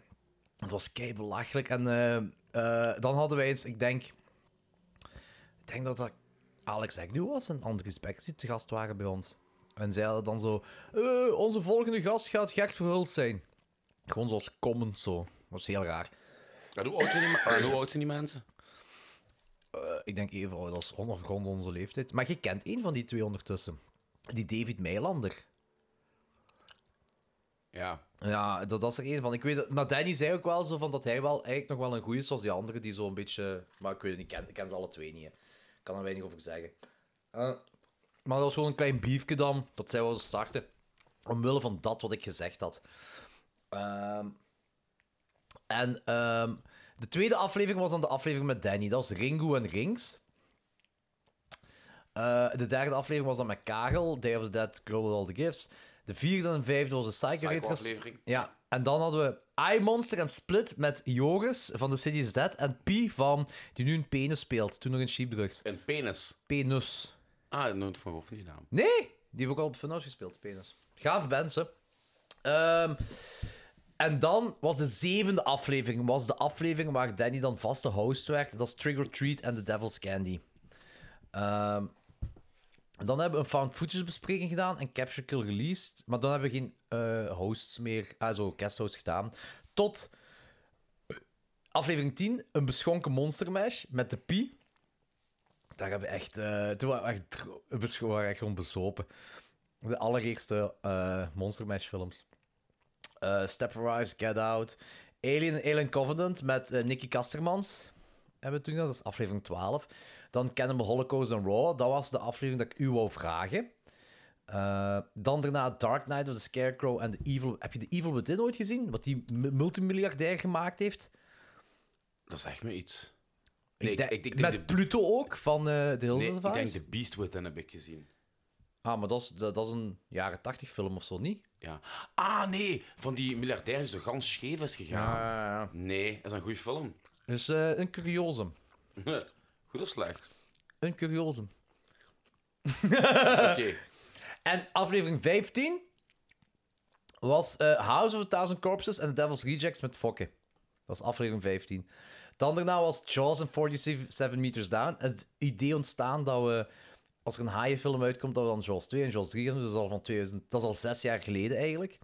Speaker 2: het was kei belachelijk. En eh, eh, dan hadden wij eens, ik denk... Ik denk dat dat Alex Agnew was en Andries Beckers die te gast waren bij ons. En zij hadden dan zo... "Eh, onze volgende gast gaat Gert Verhulst zijn. Gewoon zoals comment zo. was heel raar.
Speaker 3: En hoe oud zijn die, ma- en hoe oud zijn die mensen?
Speaker 2: Eh, ik denk even oud als on- of rond onze leeftijd. Maar je kent één van die twee ondertussen. Die David Meilander.
Speaker 3: Ja.
Speaker 2: Ja, dat, dat is er één van. Ik weet het, maar Danny zei ook wel zo van dat hij wel eigenlijk nog wel een goeie is, zoals die andere die zo een beetje... Maar ik weet het niet, ik ken, ik ken ze alle twee niet. hè. Ik kan er weinig over zeggen. Eh, maar dat was gewoon een klein beefje dan, dat zij wilden starten. Omwille van dat wat ik gezegd had. Ehm, en ehm, de tweede aflevering was dan de aflevering met Danny. Dat was Ringo en Rings. Eh, de derde aflevering was dan met Karel, Day of the Dead, Girl with All the Gifts. De vierde en vijfde was de Psycho Retros.
Speaker 3: aflevering.
Speaker 2: Ja, en dan hadden we I Monster en Split met Joris van The City is Dead en Pi van, die nu een penis speelt, toen nog in Sheepdrugs.
Speaker 3: Een penis.
Speaker 2: Penus.
Speaker 3: Ah, nooit van gehoord van die naam.
Speaker 2: Nee, die heeft ook al op Funhouse gespeeld, penis. Gaaf mensen. Ehm, en dan was de zevende aflevering, was de aflevering waar Danny dan vaste host werd. Dat is Trigger Treat en The Devil's Candy. Ehm, en dan hebben we een found footage bespreking gedaan en Capture Kill released. Maar dan hebben we geen eh, hosts meer, ah zo, guest hosts gedaan. Tot eh, aflevering 10, een beschonken monster mash met de Pi. Daar hebben we echt. eh, toen waren we echt, dro- bescho- waren we echt gewoon bezopen. De allereerste eh Monster Mash films. Eh, Step Rise, Get Out. Alien, en Alien Covenant met eh, Nicky Kastermans. Hebben we toen gedaan, dat is aflevering 12. Dan Cannibal Holocaust en Raw. Dat was de aflevering dat ik u wou vragen. Eh, dan daarna Dark Knight of the Scarecrow en The Evil... Heb je The Evil Within ooit gezien? Wat die mu- multimiljardair gemaakt heeft?
Speaker 3: Dat zegt me iets. Nee, ik,
Speaker 2: denk-
Speaker 3: ik- ik denk
Speaker 2: met
Speaker 3: de-
Speaker 2: Pluto ook, van eh The Hills
Speaker 3: nee,
Speaker 2: Have
Speaker 3: ik denk
Speaker 2: Eyes.
Speaker 3: The Beast Within heb ik gezien.
Speaker 2: Ah, maar dat is, dat, dat is een jaren 80 film of zo, niet?
Speaker 3: Ja. Ah, nee, van die miljardair die zo gans scheef is gegaan. Nee, dat is een goede film.
Speaker 2: Dus eh, een curiosum.
Speaker 3: Goed of slecht?
Speaker 2: Een curiosum.
Speaker 3: Oké.
Speaker 2: En aflevering 15 was eh, House of a Thousand Corpses en The Devil's Rejects met Fokke. Dat was aflevering 15. Dan daarna was Jaws and 47 Meters Down. En het idee ontstaan dat we, als er een haaienfilm uitkomt, dat we dan Jaws 2 en Jaws 3 hebben. Dus dat is al, van 2000, dat is al zes jaar geleden eigenlijk.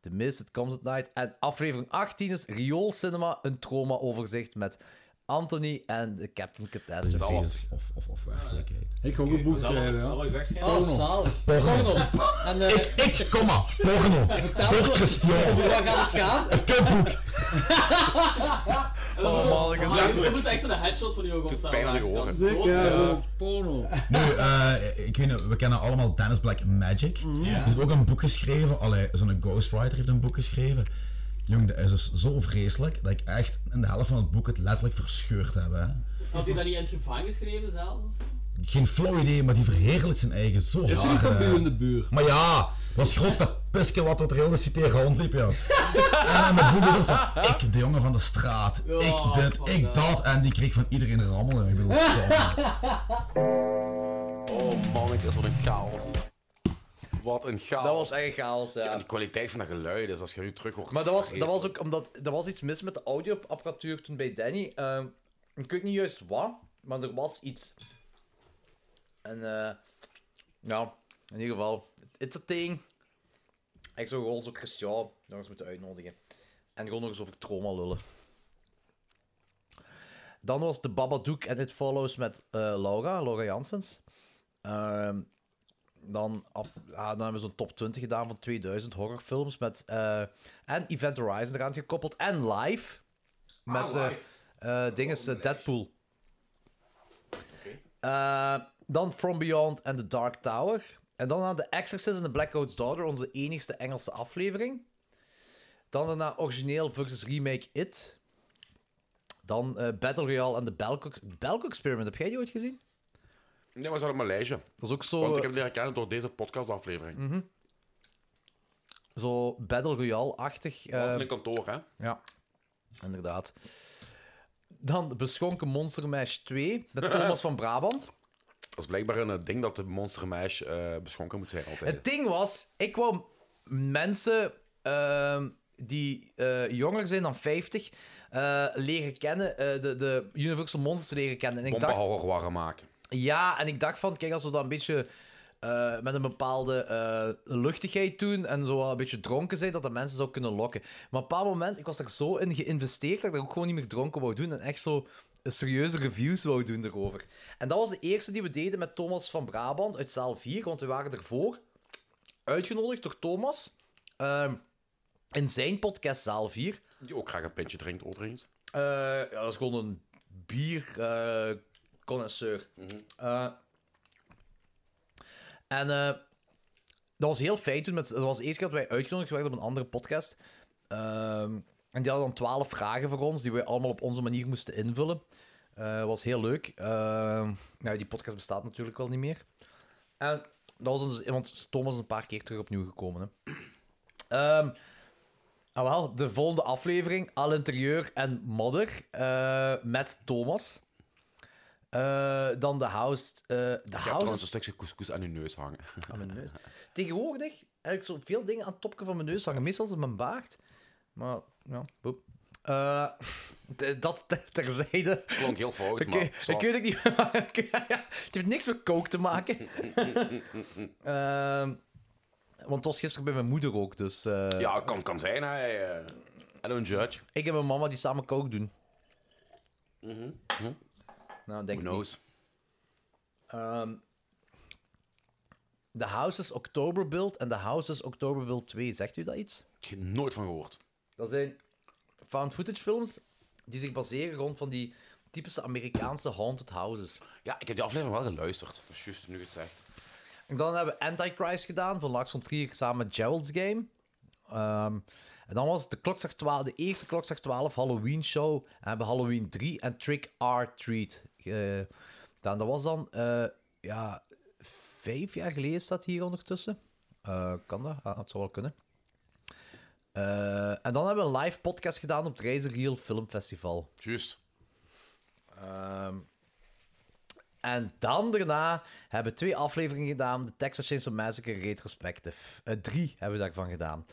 Speaker 2: The Mist, It Comes at Night. En aflevering 18 is Riool Cinema, een trauma-overzicht met Anthony en de Captain Catastrophe.
Speaker 10: Dat was-
Speaker 2: of, of, of
Speaker 10: Ik ga ook een boek schrijven, ja.
Speaker 17: Oh, zalig. Porno. En, eh,
Speaker 10: Ik, kom maar, porno.
Speaker 17: Vertel
Speaker 10: Tot
Speaker 17: eens wat-
Speaker 10: Christian.
Speaker 17: Over wat gaat het gaan?
Speaker 10: Een kutboek.
Speaker 17: Oh, man.
Speaker 18: Ik moet echt zo'n headshot van die ogen opstaan.
Speaker 3: pijn aan je
Speaker 18: Dat is
Speaker 10: oren.
Speaker 18: dood,
Speaker 10: Dik, ja.
Speaker 18: ja.
Speaker 17: Porno.
Speaker 10: Nu, eh, ik weet niet, we kennen allemaal Dennis Black Magic. Er is ook een boek geschreven, allee, zo'n ghostwriter heeft een boek geschreven. Jong, dat is dus zo vreselijk dat ik echt in de helft van het boek het letterlijk verscheurd heb. Hè.
Speaker 18: Had hij dat niet in het gevangen geschreven zelfs?
Speaker 10: Geen flauw idee, maar die verheerlijkt zijn eigen zo
Speaker 18: Zit
Speaker 10: hard.
Speaker 18: niet van
Speaker 10: hè.
Speaker 18: u in
Speaker 10: de buurt? Maar ja, dat was het grootste pisken wat er heel de cité rondliep, ja. en aan de boeken van, ik de jongen van de straat, ik dit, ik dat, en die kreeg van iedereen rammel. ja. Ik bedoel,
Speaker 3: Oh man, ik is wat een chaos. Wat een chaos. Dat was
Speaker 2: echt chaos, ja.
Speaker 3: en die kwaliteit van dat geluid, dus als je nu terug hoort.
Speaker 2: Maar dat was, dat
Speaker 3: vreselijk.
Speaker 2: was ook omdat er was iets mis met de audioapparatuur toen bij Danny. Ehm, ik weet niet juist wat, maar er was iets. En eh, ja, in ieder geval, it's a thing. Ik zou gewoon zo Christian nog eens moeten uitnodigen. En gewoon nog eens over trauma lullen. Dan was de Babadook en It Follows met eh, Laura, Laura Janssens. Ehm, dan, af, ja, dan hebben we zo'n top 20 gedaan van 2000 horrorfilms. Met, eh, en Event Horizon eraan gekoppeld. En live. Met
Speaker 19: Ah,
Speaker 2: eh,
Speaker 19: live.
Speaker 2: eh, dinges, eh, Deadpool. Eh, dan From Beyond en The Dark Tower. En dan aan The Exorcist en The Black Coat's Daughter, onze enigste Engelse aflevering. Dan daarna origineel versus remake It. Dan eh, Battle Royale en The Belko, Belko Experiment. Heb jij die ooit gezien?
Speaker 3: Nee, maar dat is uit Maleisië.
Speaker 2: Dat is ook zo. eh,
Speaker 3: Want ik heb die herkennen door deze podcastaflevering.
Speaker 2: Mhm. Zo Battle Royale-achtig.
Speaker 3: Want
Speaker 2: eh,
Speaker 3: in een kantoor, hè?
Speaker 2: Ja, inderdaad. Dan Beschonken Monster Mash 2 met Thomas van Brabant.
Speaker 3: Dat is blijkbaar een eh, ding dat de Monster Mash eh, beschonken moet zijn altijd.
Speaker 2: Het ding was, ik wou mensen ehm, die eh, jonger zijn dan 50 eh, leren kennen, eh, de, de Universal Monsters leren kennen. En ik dacht,
Speaker 3: Pompenhorror warm maken.
Speaker 2: ja, en ik dacht van, kijk, als we dat een beetje eh, met een bepaalde eh, luchtigheid doen en zo wel een beetje dronken zijn, dat dat mensen zou kunnen lokken. Maar op een bepaald moment, ik was er zo in geïnvesteerd dat ik dat ook gewoon niet meer dronken wou doen en echt zo serieuze reviews wou doen erover. En dat was de eerste die we deden met Thomas van Brabant uit zaal 4, want we waren ervoor uitgenodigd door Thomas ehm, in zijn podcast zaal 4.
Speaker 3: Die ook graag een pintje drinkt, overigens.
Speaker 2: Eh, ja, dat is gewoon een eh, bierconnoisseur. en eh, dat was heel fijn toen. Met, dat was de eerste keer dat wij uitgenodigd werden op een andere podcast. Ehm, en die hadden dan twaalf vragen voor ons, die we allemaal op onze manier moesten invullen. Eh was heel leuk. Ehm, nou, die podcast bestaat natuurlijk wel niet meer. En dat was ons, want Thomas is een paar keer terug opnieuw gekomen. Hè. Ehm, ah wel, de volgende aflevering, Al Interieur en Modder, eh, met Thomas. Eh, dan de House... eh de
Speaker 3: Ik heb trouwens
Speaker 2: house
Speaker 3: een stukje couscous aan je neus hangen.
Speaker 2: Aan mijn neus? Tegenwoordig heb ik zo veel dingen aan het topje van mijn neus hangen. Meestal is het mijn baard. Maar, ja, boep. Eh, d- dat ter- terzijde.
Speaker 3: Klonk heel fout,
Speaker 2: ik,
Speaker 3: maar
Speaker 2: weet-
Speaker 3: zo.
Speaker 2: ik weet het niet. het heeft niks met coke te maken. Ehm, want het was gisteren bij mijn moeder ook, dus... eh,
Speaker 3: Ja, kan, kan zijn, hè. eh. I don't judge.
Speaker 2: Ik en mijn mama die samen coke doen. Nou, denk ik
Speaker 3: Who knows?
Speaker 2: Ehm, The House is October Build en The House is October Build 2. Zegt u dat iets?
Speaker 3: Ik heb nooit van gehoord.
Speaker 2: Dat zijn found footage films die zich baseren rond van die typische Amerikaanse haunted houses.
Speaker 3: Ja, ik heb die aflevering wel geluisterd. Dat is juist nu je het zegt.
Speaker 2: En dan hebben we Antichrist gedaan van Lars von Trier samen met Gerald's Game. Ehm, en dan was het de, klokslag 12, de eerste klokslag 12 Halloween show. En hebben we Halloween 3 en Trick or Treat. eh, gedaan. dat was dan eh, ja, vijf jaar geleden staat hier ondertussen. Eh, kan dat? Ah, het zou wel kunnen. Eh, en dan hebben we een live podcast gedaan op het Reizen Real Film Festival.
Speaker 3: Juist.
Speaker 2: Ehm, en dan daarna hebben we twee afleveringen gedaan. De Texas Chainsaw Massacre Retrospective. Eh, drie hebben we daarvan gedaan.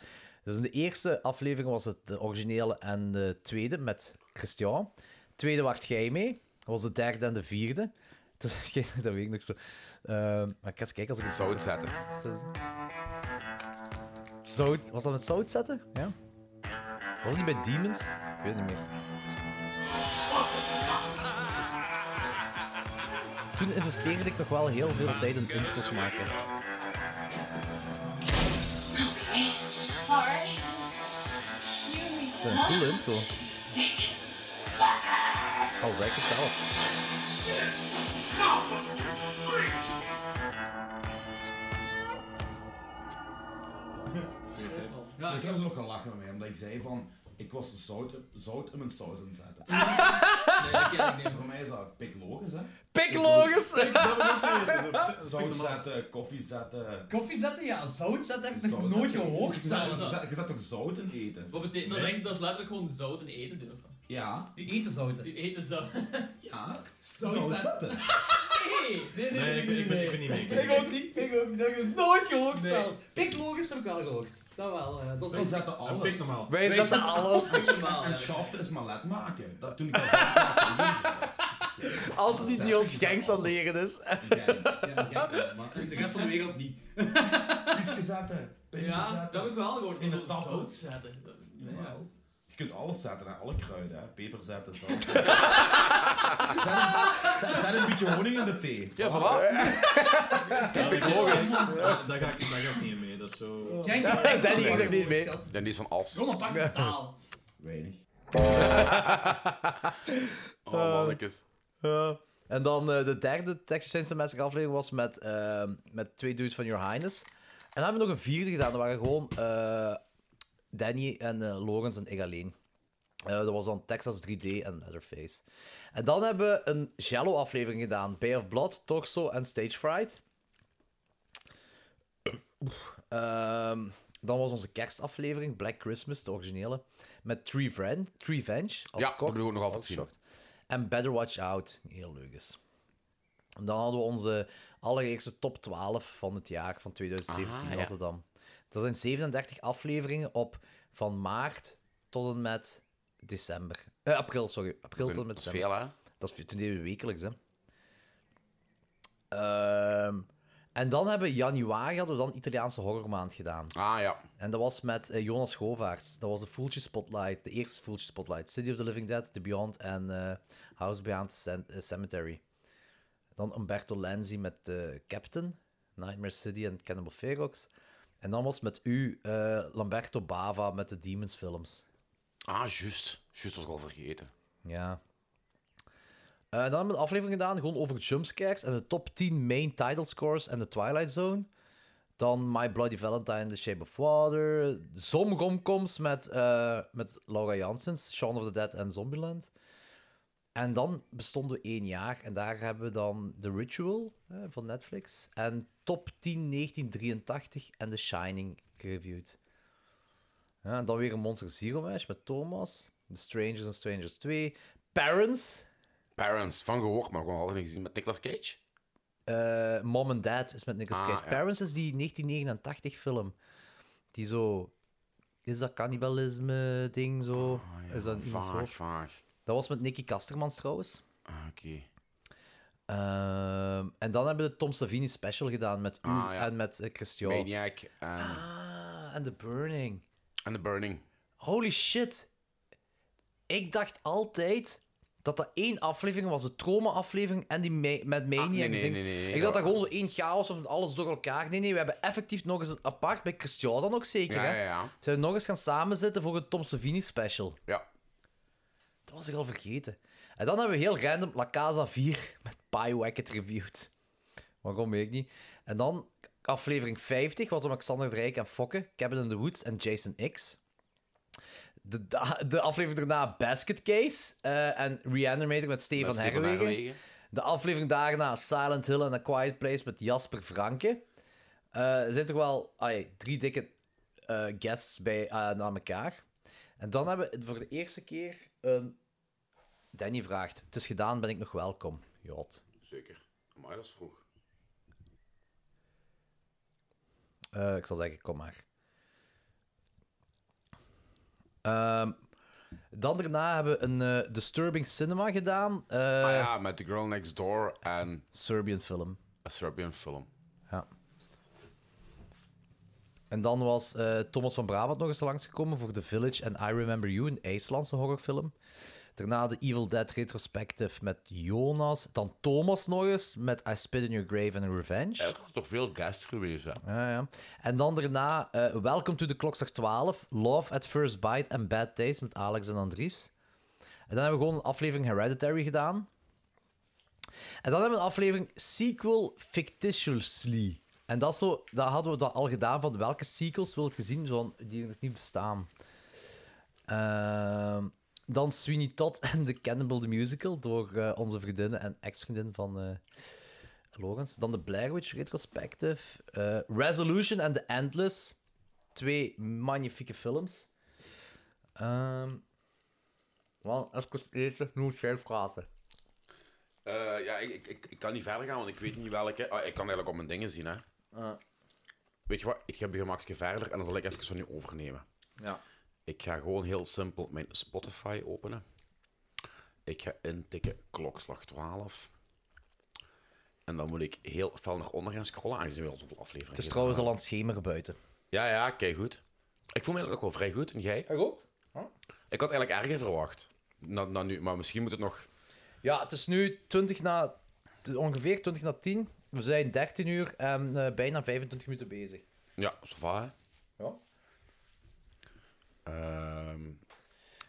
Speaker 2: Dus in de eerste aflevering was het de originele en de tweede met Christian. tweede wacht jij mee. Dat was de derde en de vierde. Toen- dat weet ik nog zo. Ehm, maar ik ga eens kijken als ik het
Speaker 3: Zout zetten.
Speaker 2: Zout, was dat met zout zetten? Ja. Was het niet bij Demons? Ik weet het niet meer. Toen investeerde ik nog wel heel veel tijd in intro's maken. Ik vind het een coole intro. Al zeg ik het zelf.
Speaker 20: Ja, ik heb er nog gelachen mee, omdat ik zei van, ik was zout, zout in mijn saus aan het zetten.
Speaker 2: dat ken ik niet.
Speaker 20: Voor mij is dat piklogisch, hè?
Speaker 2: Piklogisch!
Speaker 20: Pik- dat heb ik ook geleerd. Zout zetten, koffie zetten.
Speaker 21: Koffie zetten, ja. Zout zetten heb ik nog
Speaker 20: Zout
Speaker 21: nooit
Speaker 20: zetten.
Speaker 21: gehoord.
Speaker 20: Je zet,
Speaker 21: zelfs.
Speaker 20: je zet- je zet toch zout in eten?
Speaker 22: Wat betekent, dat, is echt- dat is letterlijk gewoon zout en eten doen, of wat?
Speaker 20: Ja.
Speaker 21: Die eten zouten.
Speaker 22: Die eten zout.
Speaker 20: Ja,
Speaker 21: zout
Speaker 20: zetten.
Speaker 22: Nee, nee, nee.
Speaker 21: Nee,
Speaker 22: nee,
Speaker 21: ik ben-
Speaker 22: nee,
Speaker 21: ik
Speaker 22: nee.
Speaker 21: ben- ik ben niet mee, ik ben niet mee.
Speaker 22: ook niet, ik ook niet. Dat heb ik nooit gehoord
Speaker 21: Nee.
Speaker 22: zelfs. Piklogisch heb ik wel gehoord. Dat wel, ja. Dat is
Speaker 20: Wij zetten alles.
Speaker 2: Wij zetten alles.
Speaker 20: En schafte is malet maken. Dat, toen ik dat zei,
Speaker 2: Altijd iets die ons gangs aan leren is.
Speaker 21: maar de rest van de wereld niet.
Speaker 20: Piefje zetten, pintje
Speaker 22: Ja,
Speaker 20: zetten.
Speaker 22: dat heb ik wel gehoord.
Speaker 20: In
Speaker 22: Zo
Speaker 20: de tap.
Speaker 22: zout zetten. Dat- nee, ja.
Speaker 20: Jawel. Je kunt alles zetten, hè. alle kruiden. Hè. Peper zetten, zout zetten. zet, zet- zet een beetje honing in de thee. Ja, voilà.
Speaker 4: Ja,
Speaker 20: Kijk,
Speaker 4: dat-
Speaker 20: logisch.
Speaker 4: dat- Daar ga ik daar ga ik niet in mee. Dat is zo.
Speaker 21: Jij- Danny ging er niet
Speaker 2: mee.
Speaker 3: Danny is van As.
Speaker 21: Gewoon op achter taal.
Speaker 20: Weinig.
Speaker 3: oh, mannetjes.
Speaker 2: Ja. En dan eh, de derde Texas Chainsaw Massacre aflevering was met, ehm, met twee dudes van Your Highness. En dan hebben we nog een vierde gedaan. Dat waren gewoon eh, Danny en eh Lawrence en ik alleen. Eh, dat was dan Texas 3D en Leatherface. En dan hebben we een Jello aflevering gedaan. Bay of Blood, Torso en Stage Fright. Ehm, dan was onze kerstaflevering, Black Christmas, de originele. Met Tree Venge. Tree Venge als
Speaker 3: Ja, dat
Speaker 2: kort.
Speaker 3: wil ik ook nog altijd
Speaker 2: als
Speaker 3: zien.
Speaker 2: short. En Better Watch Out, die heel leuk is. En dan hadden we onze allereerste top 12 van het jaar, van 2017
Speaker 3: Aha,
Speaker 2: was
Speaker 3: Ah, ja.
Speaker 2: het dan. Dat zijn 37 afleveringen op van maart tot en met december. Eh, april, sorry. April
Speaker 3: Dat is
Speaker 2: tot en
Speaker 3: een-
Speaker 2: met
Speaker 3: dat is
Speaker 2: december.
Speaker 3: veel, hè?
Speaker 2: Dat is toen deden we wekelijks, hè. Ehm, en dan hebben we januari hadden we dan Italiaanse horrormaand gedaan.
Speaker 3: Ah ja.
Speaker 2: En dat was met eh, Jonas Govaerts. Dat was de Foeltje Spotlight, de eerste Foeltje Spotlight. City of the Living Dead, The Beyond en eh, House Beyond Cem- eh, Cemetery. Dan Umberto Lenzi met eh, Captain, Nightmare City en Cannibal Ferox. En dan was met u eh, Lamberto Bava met de Demons films.
Speaker 3: Ah, juist. Juist was ik al vergeten.
Speaker 2: Ja. Eh, dan hebben we een aflevering gedaan, gewoon over jumpscares en de top 10 main title scores en de Twilight Zone. Dan My Bloody Valentine, The Shape of Water. Zom romcoms met, eh, met Laura Janssens, Shaun of the Dead en Zombieland. En dan bestonden we één jaar en daar hebben we dan The Ritual eh, van Netflix. En top 10 1983 en The Shining gereviewd. Ja, en dan weer een Monster Zero Mash met Thomas. The Strangers and Strangers 2. Parents.
Speaker 3: Parents, van gehoord, maar gewoon altijd niet gezien met Nicolas Cage.
Speaker 2: eh, Mom and Dad is met Nicolas
Speaker 3: Ah,
Speaker 2: Cage.
Speaker 3: ja.
Speaker 2: Parents is die 1989 film. Die zo... Is dat cannibalisme ding zo? is dat in iemands
Speaker 3: Ah, vaag,
Speaker 2: hoofd?
Speaker 3: vaag.
Speaker 2: Dat was met Nicky Kastermans trouwens.
Speaker 3: Ah, oké.
Speaker 2: Oh. Ehm, en dan hebben we de Tom Savini special gedaan met u
Speaker 3: Ah, ja.
Speaker 2: en met eh, Christian.
Speaker 3: Maniac en...
Speaker 2: Ah, en The Burning.
Speaker 3: En The Burning.
Speaker 2: Holy shit. Ik dacht altijd dat dat één aflevering was, de trauma-aflevering en die ma- met Maniac.
Speaker 3: Ah, nee, nee,
Speaker 2: ding.
Speaker 3: nee, nee, nee,
Speaker 2: ik dacht
Speaker 3: dat-
Speaker 2: dat gewoon zo één chaos of alles door elkaar. Nee, nee, we hebben effectief nog eens een apart, bij Christian dan ook zeker.
Speaker 3: Ja,
Speaker 2: hè?
Speaker 3: ja, ja.
Speaker 2: Zijn we nog eens gaan samenzitten voor het Tom Savini special.
Speaker 3: Ja.
Speaker 2: Dat was ik al vergeten. En dan hebben we heel random La Casa 4 met Pie Wacket reviewed. Waarom weet ik niet. En dan aflevering 50 was om Alexander de Rijk en Fokke, Cabin in the Woods en Jason X. De, da- de aflevering daarna Basket Case eh, en Reanimator met Stefan
Speaker 3: Met Stefan
Speaker 2: Herwegen.
Speaker 3: Herwegen.
Speaker 2: De aflevering daarna Silent Hill en A Quiet Place met Jasper Franke. Eh, er zijn toch wel allee, drie dikke eh, guests bij, eh, na elkaar. En dan hebben we voor de eerste keer een... Danny vraagt, het is gedaan, ben ik nog welkom? Jot.
Speaker 3: Zeker. Maar dat is vroeg.
Speaker 2: Eh, ik zal zeggen, kom maar. Ehm, dan daarna hebben we een eh, Disturbing Cinema gedaan. Eh,
Speaker 3: ah ja, met The Girl Next Door en...
Speaker 2: Serbian film.
Speaker 3: Een Serbian film.
Speaker 2: Ja. En dan was eh, Thomas van Brabant nog eens langsgekomen voor The Village en I Remember You, een IJslandse horrorfilm. Daarna de Evil Dead retrospective met Jonas. Dan Thomas nog eens met I Spit in Your Grave and Revenge.
Speaker 3: Er is toch veel guests geweest, hè?
Speaker 2: Ja, ja. En dan daarna eh Welcome to the Klokslag 12, Love at First Bite en Bad Taste met Alex en Andries. En dan hebben we gewoon een aflevering Hereditary gedaan. En dan hebben we een aflevering Sequel Fictitiously. En dat, is zo, dat hadden we dat al gedaan van welke sequels wil je zien van, die nog niet bestaan. Ehm, dan Sweeney Todd en The Cannibal the Musical door eh, onze vriendinnen en ex-vriendin van eh Logans. Dan de Blair Witch Retrospective. eh, Resolution en The Endless. Twee magnifieke films. Ehm wel, als ik het eten, moet jij praten.
Speaker 3: Eh, ja, ik, ik, ik kan niet verder gaan, want ik weet niet welke. Ah, ik kan eigenlijk op mijn dingen zien, hè. Weet je wat? Ik ga bij gemakkelijk verder en dan zal ik even van u overnemen.
Speaker 2: Ja.
Speaker 3: Ik ga gewoon heel simpel mijn Spotify openen. Ik ga intikken klokslag 12. En dan moet ik heel fel naar onder gaan scrollen, aangezien we al zoveel afleveringen
Speaker 2: Het is
Speaker 3: gedaan
Speaker 2: trouwens al
Speaker 3: hebben.
Speaker 2: aan het schemeren buiten.
Speaker 3: Ja, ja, kijk goed. Ik voel me eigenlijk ook wel vrij goed. En jij? Ik
Speaker 2: ook.
Speaker 3: Ik had eigenlijk erger verwacht. Na, na nu, maar misschien moet het nog...
Speaker 2: Ja, het is nu 20 na, t- ongeveer 20 na 10. We zijn 13 uur en eh, bijna 25 minuten bezig.
Speaker 3: Ja, ça va, hè?
Speaker 2: Ja.
Speaker 3: Ehm,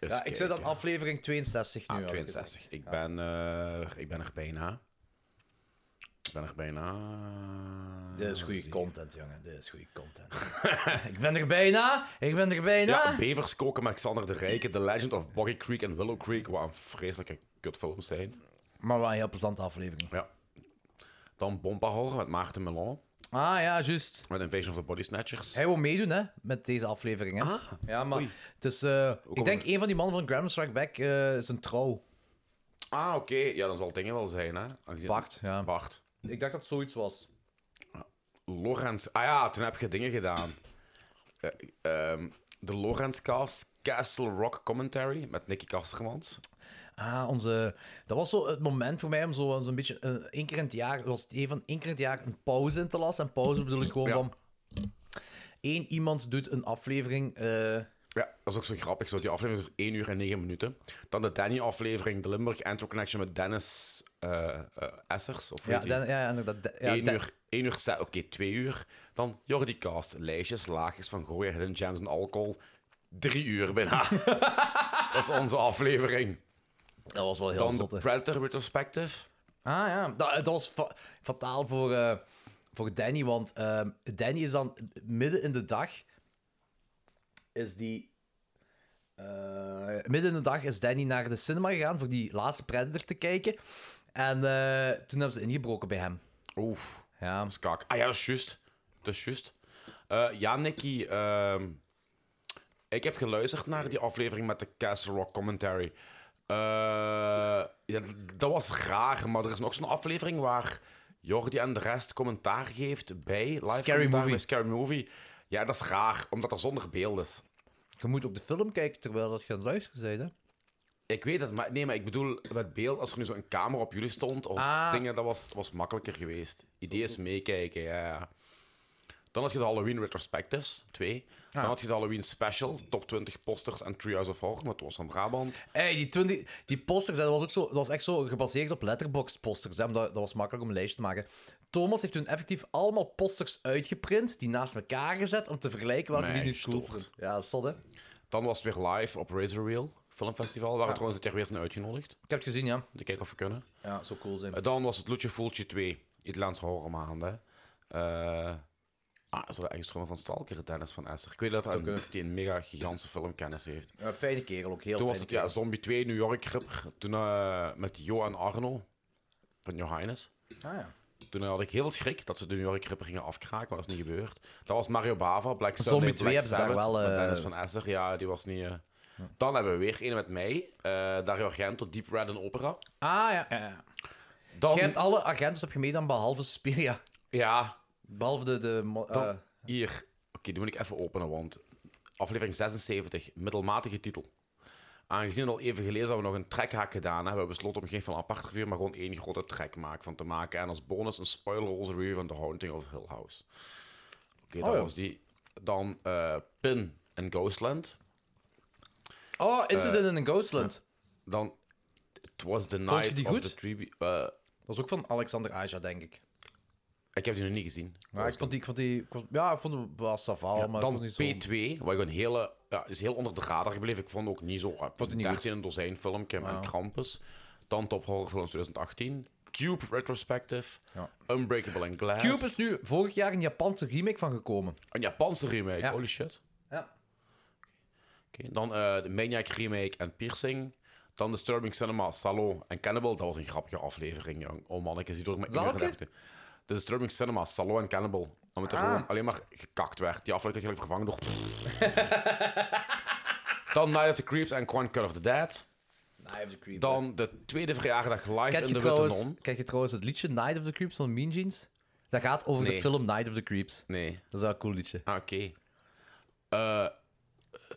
Speaker 3: eens
Speaker 2: Ja, ik zit aan
Speaker 3: kijken.
Speaker 2: aflevering 62 nu.
Speaker 3: Ah,
Speaker 2: had ik
Speaker 3: 62.
Speaker 2: gezegd.
Speaker 3: Ik
Speaker 2: Ja.
Speaker 3: ben, eh, ik ben er bijna. Ik ben er bijna.
Speaker 2: Dit is goede
Speaker 3: Ah, Zie-
Speaker 2: content, jongen. Dit is goede content. ik ben er bijna. Ik ben er bijna.
Speaker 3: Ja, Bevers koken met Xander de Rijke, The Legend of Boggy Creek en Willow Creek. Wat een vreselijke kutfilms zijn.
Speaker 2: Maar wel een heel plezante aflevering.
Speaker 3: Ja. Dan Bompa Horror met Maarten Melon.
Speaker 2: Ah ja, juist.
Speaker 3: Met Invasion of the Body Snatchers.
Speaker 2: Hij wil meedoen hè, met deze aflevering. Hè? ja, maar het is, eh, ik
Speaker 3: kom
Speaker 2: denk
Speaker 3: ik-
Speaker 2: een van die mannen van Graham Strike Back eh, is een trouw.
Speaker 3: Ah, oké. Ja, dan zal het dingen wel zijn, hè? Aangezien... Bart,
Speaker 2: ja.
Speaker 3: Bart.
Speaker 2: Ik dacht dat het zoiets was.
Speaker 3: Lorenz. Ah ja, toen heb je dingen gedaan. Eh, ehm, de Lorenz Cast Castle Rock Commentary met Nicky Kastermans.
Speaker 2: Ah, onze... Dat was zo het moment voor mij om zo'n zo zo'n beetje... eh, één keer in het jaar was het even één keer in het jaar een pauze in te lassen. En pauze bedoel ik gewoon van... één iemand doet een aflevering... eh,
Speaker 3: Ja, dat is ook zo grappig. Zo, die aflevering is 1 uur en 9 minuten. Dan de Danny-aflevering, de Limburg Antwerp Connection met Dennis eh, eh, Essers. Of
Speaker 2: ja, dan, ja, inderdaad. de- ja,
Speaker 3: 1
Speaker 2: de-
Speaker 3: uur, 1 uur, ze- oké, 2 uur. Dan Jordi Cast, lijstjes, laagjes van gooien, hidden gems en alcohol. 3 uur bijna. dat is onze aflevering.
Speaker 2: Dat was wel heel
Speaker 3: Dan
Speaker 2: zotte.
Speaker 3: de Predator Retrospective.
Speaker 2: Ah ja, dat, dat was fa- fataal voor, eh, voor Danny, want ehm, Danny is dan midden in de dag. Is die. eh, midden in de dag is Danny naar de cinema gegaan voor die laatste Predator te kijken. En eh, toen hebben ze ingebroken bij hem.
Speaker 3: Oef.
Speaker 2: Ja.
Speaker 3: Dat is kak. Ah ja, dat is juist. Dat is juist. Eh, ja, Nicky. ehm, ik heb geluisterd naar die aflevering met de Castle Rock commentary. Eh, ja, dat was raar, maar er is nog zo'n aflevering waar Jordi en de rest commentaar geeft bij live
Speaker 2: Scary
Speaker 3: commentaar
Speaker 2: Movie.
Speaker 3: Bij Scary Movie. Ja, dat is raar, omdat dat zonder beeld is.
Speaker 2: Je moet op de film kijken terwijl dat je aan het luisteren bent. Hè?
Speaker 3: Ik weet het, maar nee, maar ik bedoel met beeld, als er nu zo'n camera op jullie stond of
Speaker 2: Ah.
Speaker 3: dingen, dat was, dat was makkelijker geweest. Idee is meekijken, ja. ja. Dan had je de Halloween Retrospectives, twee. Dan had je de Halloween Special, top 20 posters en Treehouse of Horror, maar het was van Brabant.
Speaker 2: Ey, die, 20, die posters, hè, dat was, ook zo, dat was echt zo gebaseerd op letterboxd posters. Hè, omdat, dat was makkelijk om een lijstje te maken. Thomas heeft toen effectief allemaal posters uitgeprint, die naast elkaar gezet, om te vergelijken welke die nu cool vond. Ja, dat is zot, hè?
Speaker 3: Dan was het weer live op Razor Reel Filmfestival, waar we trouwens dit jaar weer zijn uitgenodigd. Ik
Speaker 2: heb het gezien, ja.
Speaker 3: Om te kijken of we kunnen.
Speaker 2: Ja, zo cool zijn.
Speaker 3: Eh, Dan was het Lutje Voeltje 2, Italiaanse horrormaanden. Eh ah, is dat de eigen van Stalker, Dennis van Esser? Ik weet dat hij
Speaker 2: Dat
Speaker 3: een,
Speaker 2: kunnen.
Speaker 3: die een mega gigantische filmkennis heeft.
Speaker 2: Ja, fijne kerel ook, heel
Speaker 3: Toen was
Speaker 2: fijne
Speaker 3: het ja,
Speaker 2: kerel.
Speaker 3: Zombie 2, New York Ripper. Toen eh, met Jo en Arno van Johannes.
Speaker 2: Ah ja.
Speaker 3: Toen had ik heel schrik dat ze de New York Ripper gingen afkraken, maar dat is niet gebeurd. Dat was Mario Bava, Black
Speaker 2: Zombie
Speaker 3: Sunday, Black
Speaker 2: 2 hebben ze daar
Speaker 3: Sabbath,
Speaker 2: wel,
Speaker 3: met
Speaker 2: eh,
Speaker 3: Dennis van Esser, ja, die was niet... eh. Dan hebben we weer een met mij, eh Dario Argento, Deep Red en Opera.
Speaker 2: Ah ja. ja.
Speaker 3: Dan...
Speaker 2: Jij hebt alle agenten heb je meedaan behalve Spiria.
Speaker 3: Ja.
Speaker 2: Behalve de. de mo-
Speaker 3: Dan-
Speaker 2: eh,
Speaker 3: Hier, oké, die moet ik even openen, want aflevering 76, middelmatige titel. Aangezien het al even gelezen dat we nog een trekhaak gedaan hebben, hebben we besloten om geen van apart review, maar gewoon één grote trekmaak van te maken. En als bonus een spoilerloze review van The Haunting of Hill House. Oké,
Speaker 2: Oh
Speaker 3: dat
Speaker 2: ja.
Speaker 3: was die. Dan eh, Pin en Ghostland.
Speaker 2: Oh, Incident
Speaker 3: Eh,
Speaker 2: in Ghostland.
Speaker 3: Dan It Was the
Speaker 2: Vond
Speaker 3: Night
Speaker 2: je die
Speaker 3: of
Speaker 2: goed?
Speaker 3: the Tribu- eh,
Speaker 2: Dat is ook van Alexander Aja, denk ik.
Speaker 3: ik heb die nog niet gezien.
Speaker 2: Maar ik vond die, ik vond die, ik vond- ja, ik vond hem wel saval,
Speaker 3: Ja,
Speaker 2: maar ik
Speaker 3: dan
Speaker 2: vond niet zo...
Speaker 3: P2, wat ik een hele, ja, is heel onder de radar gebleven. Ik vond ook niet zo. Ik vond
Speaker 2: niet Nou. goed.
Speaker 3: het een dozijn filmpje met
Speaker 2: Ja.
Speaker 3: Krampus. Dan Top Horror Films 2018. Cube Retrospective.
Speaker 2: Ja.
Speaker 3: Unbreakable and Glass.
Speaker 2: Cube is nu vorig jaar een Japanse remake van gekomen.
Speaker 3: Een Japanse remake,
Speaker 2: Ja.
Speaker 3: holy shit.
Speaker 2: Ja.
Speaker 3: Oké, Dan eh, de Maniac remake en Piercing. Dan Disturbing Cinema, Salon en Cannibal. Dat was een grappige aflevering, jong. Oh man, ik zie door mijn
Speaker 2: Welke?
Speaker 3: De Disturbing Cinema, Salon en Cannibal. Omdat er
Speaker 2: Ah.
Speaker 3: gewoon alleen maar gekakt werd. Die aflevering had je vervangen door... Dan Night of the Creeps en Quan Cut of the Dead. Dan de tweede verjaardag live
Speaker 2: Kijk
Speaker 3: in
Speaker 2: je,
Speaker 3: de
Speaker 2: trouwens,
Speaker 3: Witte Non.
Speaker 2: kijk je trouwens het liedje Night of the Creeps van Mean Jeans? Dat gaat over de
Speaker 3: Nee.
Speaker 2: film Night of the Creeps.
Speaker 3: Nee.
Speaker 2: Dat is wel een cool liedje.
Speaker 3: Ah, oké. Eh,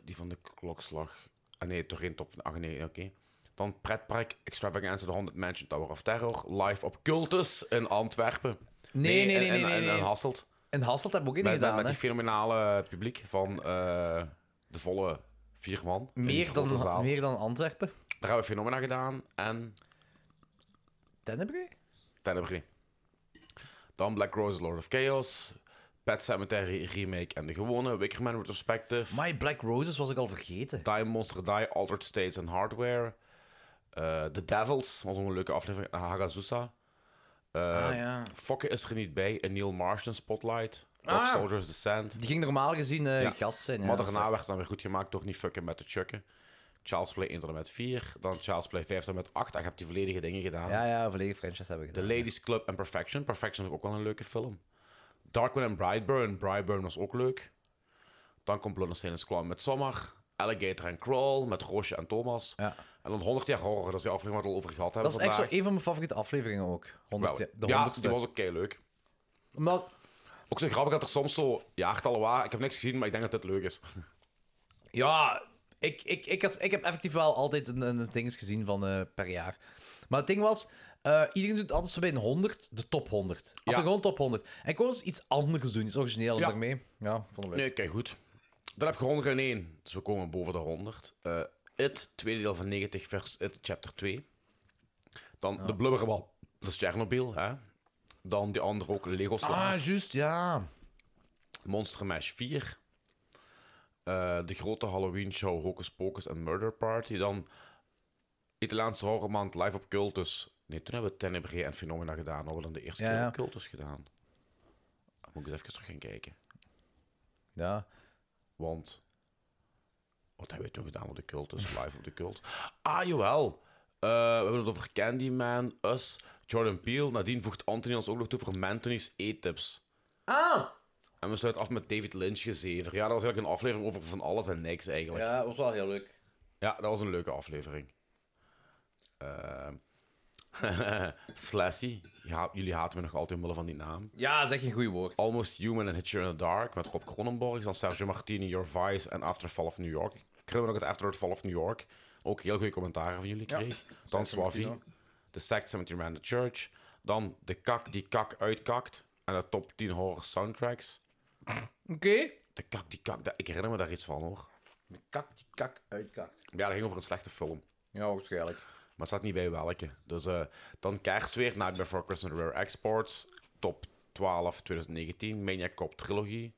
Speaker 3: die van de klokslag. Ah nee, toch geen top. Ah nee, oké. Dan Pretpark Extravaganza, de 100 Mansion Tower of Terror. Live op Cultus in Antwerpen.
Speaker 2: Nee, nee, nee,
Speaker 3: en-
Speaker 2: nee,
Speaker 3: en-
Speaker 2: nee,
Speaker 3: en-
Speaker 2: nee.
Speaker 3: En Hasselt.
Speaker 2: En Hasselt heb ik ook in
Speaker 3: Met, met,
Speaker 2: gedaan,
Speaker 3: met die
Speaker 2: hè?
Speaker 3: fenomenale publiek van eh, de volle vier man. in die
Speaker 2: Meer
Speaker 3: grote zaal.
Speaker 2: dan, meer dan Antwerpen.
Speaker 3: Daar hebben we Phenomena gedaan en
Speaker 2: Tennebree?
Speaker 3: Tenebrae. Dan Black Rose, Lord of Chaos. Pet Cemetery Remake en de gewone. Wickerman Retrospective.
Speaker 2: My Black Roses was ik al vergeten.
Speaker 3: Die Monster Die, Altered States en Hardware. Eh, The Devils, was ook een leuke aflevering. En Hagazusa. Eh,
Speaker 2: Ah, ja.
Speaker 3: Fokke is er niet bij. Een Neil Marston Spotlight. Dog
Speaker 2: Ah.
Speaker 3: Soldiers Descent.
Speaker 2: Die ging normaal gezien eh,
Speaker 3: Ja.
Speaker 2: gast zijn. ja.
Speaker 3: maar
Speaker 2: Dat is
Speaker 3: daarna
Speaker 2: waar.
Speaker 3: werd het dan weer goed gemaakt door niet fucken met de chucken. Charles Play 1 tot en met 4. Dan Charles Play 5 tot en met 8. Ik heb die volledige dingen gedaan.
Speaker 2: Ja, ja, volledige franchise hebben we
Speaker 3: The
Speaker 2: gedaan.
Speaker 3: Ladies Club en Perfection. Perfection is ook wel een leuke film. Darkman en Brightburn. Brightburn was ook leuk. Dan komt Blood and Stainless Clown met Sommer. Alligator en Crawl met Roosje en Thomas. En dan 100 jaar horror, dat is die aflevering waar we het al over gehad hebben
Speaker 2: Dat is echt zo
Speaker 3: vandaag.
Speaker 2: een van mijn favoriete afleveringen ook. 100,
Speaker 3: Wel,
Speaker 2: de
Speaker 3: ja,
Speaker 2: 100ste.
Speaker 3: die was ook kei leuk.
Speaker 2: Omdat-
Speaker 3: Ook zo grappig dat er soms zo jaartallen waren. Ik heb niks gezien, maar ik denk dat dit leuk is.
Speaker 2: Ja, ik, ik, ik, had, ik heb effectief wel altijd een, een ding gezien van eh, per jaar. Maar het ding was, eh, iedereen doet altijd zo bij een 100, de top 100. Of gewoon top 100. En ik wou eens iets anders doen, iets origineels
Speaker 3: Ja.
Speaker 2: daarmee. Ja, vond ik leuk.
Speaker 3: Nee, kijk goed. Dan heb je 100 en 1. Dus we komen boven de 100. Eh het tweede deel van 90 vers It chapter 2. Dan de blubberbal. Dat is Chernobyl, hè. Dan die andere ook, Lego Star.
Speaker 2: ah, juist, ja.
Speaker 3: Monster Mash 4. Eh, de grote Halloween show Hocus Pocus en Murder Party. Dan Italiaanse horrormaand live op Cultus. Nee, toen hebben we Tenebrae en Phenomena gedaan. Hadden we dan de eerste
Speaker 2: Ja,
Speaker 3: keer
Speaker 2: ja.
Speaker 3: op Cultus gedaan. Moet ik eens even terug gaan kijken.
Speaker 2: Ja.
Speaker 3: Want wat hebben we toen gedaan op de Cultus? Live op de Cult. Ah, jawel. Eh, we hebben het over Candyman, Us, Jordan Peele. Nadien voegt Anthony ons ook nog toe voor Mantony's E-tips.
Speaker 2: Ah!
Speaker 3: En we sluiten af met David Lynch gezever. Ja, dat was eigenlijk een aflevering over van alles en niks eigenlijk.
Speaker 2: Ja, was wel heel leuk.
Speaker 3: Ja, dat was een leuke aflevering. Ehm Slashy. Ja, jullie haten me nog altijd omwille van die naam.
Speaker 2: Ja, zeg een goed woord.
Speaker 3: Almost Human and Hitcher in the Dark met Rob Cronenborg. Dan Sergio Martini, Your Vice en After Fall of New York. Ik herinner me nog het After the Fall of New York. Ook heel goede commentaren van jullie
Speaker 2: Ja.
Speaker 3: kreeg. Dan
Speaker 2: Sergio Martini
Speaker 3: Swavi. The Sect, Cemetery Man, The Church. Dan De Kak die Kak uitkakt. En de top 10 horror soundtracks.
Speaker 2: Oké.
Speaker 3: De kak, die kak. dat- ik herinner me daar iets van, hoor. De kak, die kak.
Speaker 2: Uitkakt.
Speaker 3: Ja, dat ging over een slechte film.
Speaker 2: Ja, waarschijnlijk.
Speaker 3: Maar het staat niet bij welke. Dus eh, dan kerst weer, Night Before Christmas Rare Exports. Top 12 2019, Maniac Cop Trilogie.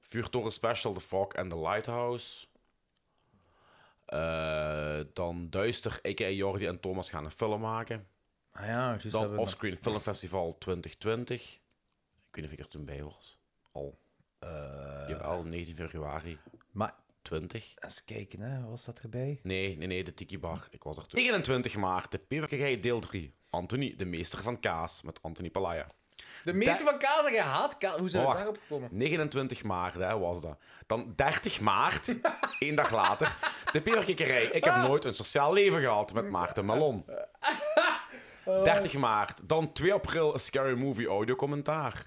Speaker 3: Vuurtoren Special, The Fog and the Lighthouse. Eh, dan Duister, a.k.a. Jordi en Thomas gaan een film maken.
Speaker 2: Ah ja, juist, dat
Speaker 3: dan
Speaker 2: hebben we-
Speaker 3: Offscreen Film Festival 2020. Ik weet niet of ik er toen bij was. Al. Jawel, 19 februari.
Speaker 2: Maar...
Speaker 3: 20.
Speaker 2: Eens kijken, hè. Wat was dat erbij?
Speaker 3: Nee, nee, nee, de Tiki Bar. Ik was er toen. 29 maart, de Peperkerij deel 3. Anthony, de meester van kaas, met Anthony Palaya.
Speaker 2: De meeste van kaas en je haat kaas. Hoe zijn we
Speaker 3: Wacht,
Speaker 2: daarop gekomen?
Speaker 3: 29 maart, hè, was dat. Dan 30 maart, één dag later, de Peperkikkerij. Ik heb nooit een sociaal leven gehad met Maarten Malon. 30 maart, dan 2 april, een Scary Movie audiocommentaar.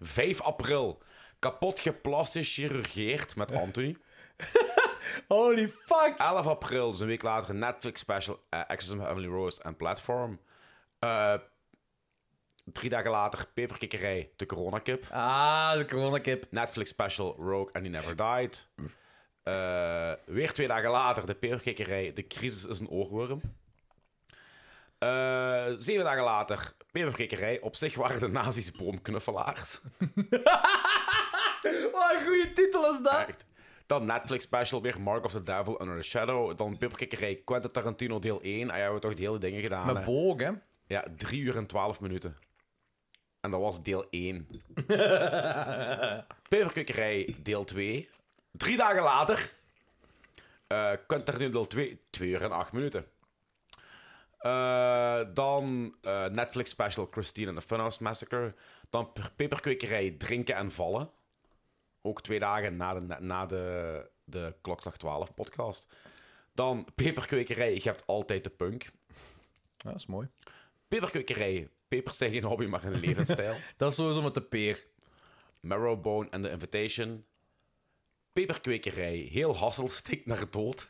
Speaker 3: 5 april, kapot geplastisch chirurgeerd met Anthony.
Speaker 2: Holy fuck!
Speaker 3: 11 april, dus een week later, een Netflix special eh, Exorcism of Emily Rose en Platform. Eh, drie dagen later, Peperkikkerij, de coronakip.
Speaker 2: Ah, de coronakip.
Speaker 3: Netflix special Rogue and He Never Died. Eh, weer twee dagen later, de Peperkikkerij, de crisis is een oogworm. Eh, zeven dagen later, Peperkikkerij, op zich waren de nazi's boomknuffelaars.
Speaker 2: Wat een goede titel is dat!
Speaker 3: Echt. Dan Netflix special weer Mark of the Devil Under the Shadow. Dan Pipkikkerij Quentin Tarantino deel 1. Ah ja, we hebben toch de hele dingen gedaan.
Speaker 2: Met
Speaker 3: hè.
Speaker 2: boog, hè?
Speaker 3: Ja, 3 uur en 12 minuten. En dat was deel 1. Peperkukkerij deel 2. Drie dagen later. eh Quentin Tarantino deel 2. 2 uur en 8 minuten. Eh, dan eh, Netflix special Christine and the Funhouse Massacre. Dan per- Peperkwekerij Drinken en Vallen. Ook twee dagen na de, na de, de Klokslag 12 podcast. Dan Peperkwekerij Je hebt altijd de punk.
Speaker 2: Ja, dat is mooi.
Speaker 3: Peperkwekerij. Pepers zijn geen hobby, maar een levensstijl.
Speaker 2: dat is sowieso met de peer.
Speaker 3: Marrowbone and the Invitation. Peperkwekerij. Heel Hassel stikt naar dood.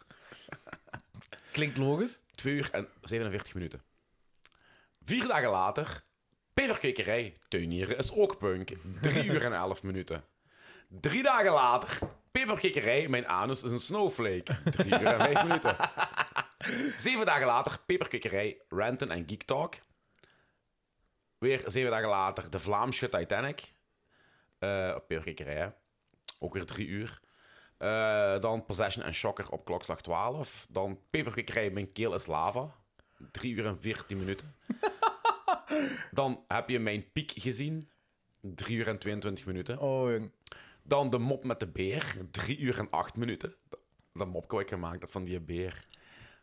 Speaker 2: Klinkt logisch.
Speaker 3: 2 uur en 47 minuten. Vier dagen later. Peperkwekerij. Tuinieren is ook punk. 3 uur en 11 minuten. Drie dagen later. Peperkwekerij. Mijn anus is een snowflake. 3 uur en 5 minuten. Zeven dagen later. Peperkwekerij. Ranten en Geek Talk. Weer zeven dagen later, de Vlaamse Titanic. Eh, op Peperkikkerij, hè. Ook weer drie uur. Eh, dan Possession en Shocker op klokslag 12. Dan Peperkikkerij, Mijn Keel is Lava. Drie uur en veertien minuten. dan heb je Mijn Piek gezien. Drie uur en 22 minuten.
Speaker 2: Oh, jong.
Speaker 3: Dan De Mop met de Beer. Drie uur en acht minuten. Dat- Dat mop wat ik gemaakt heb van die beer.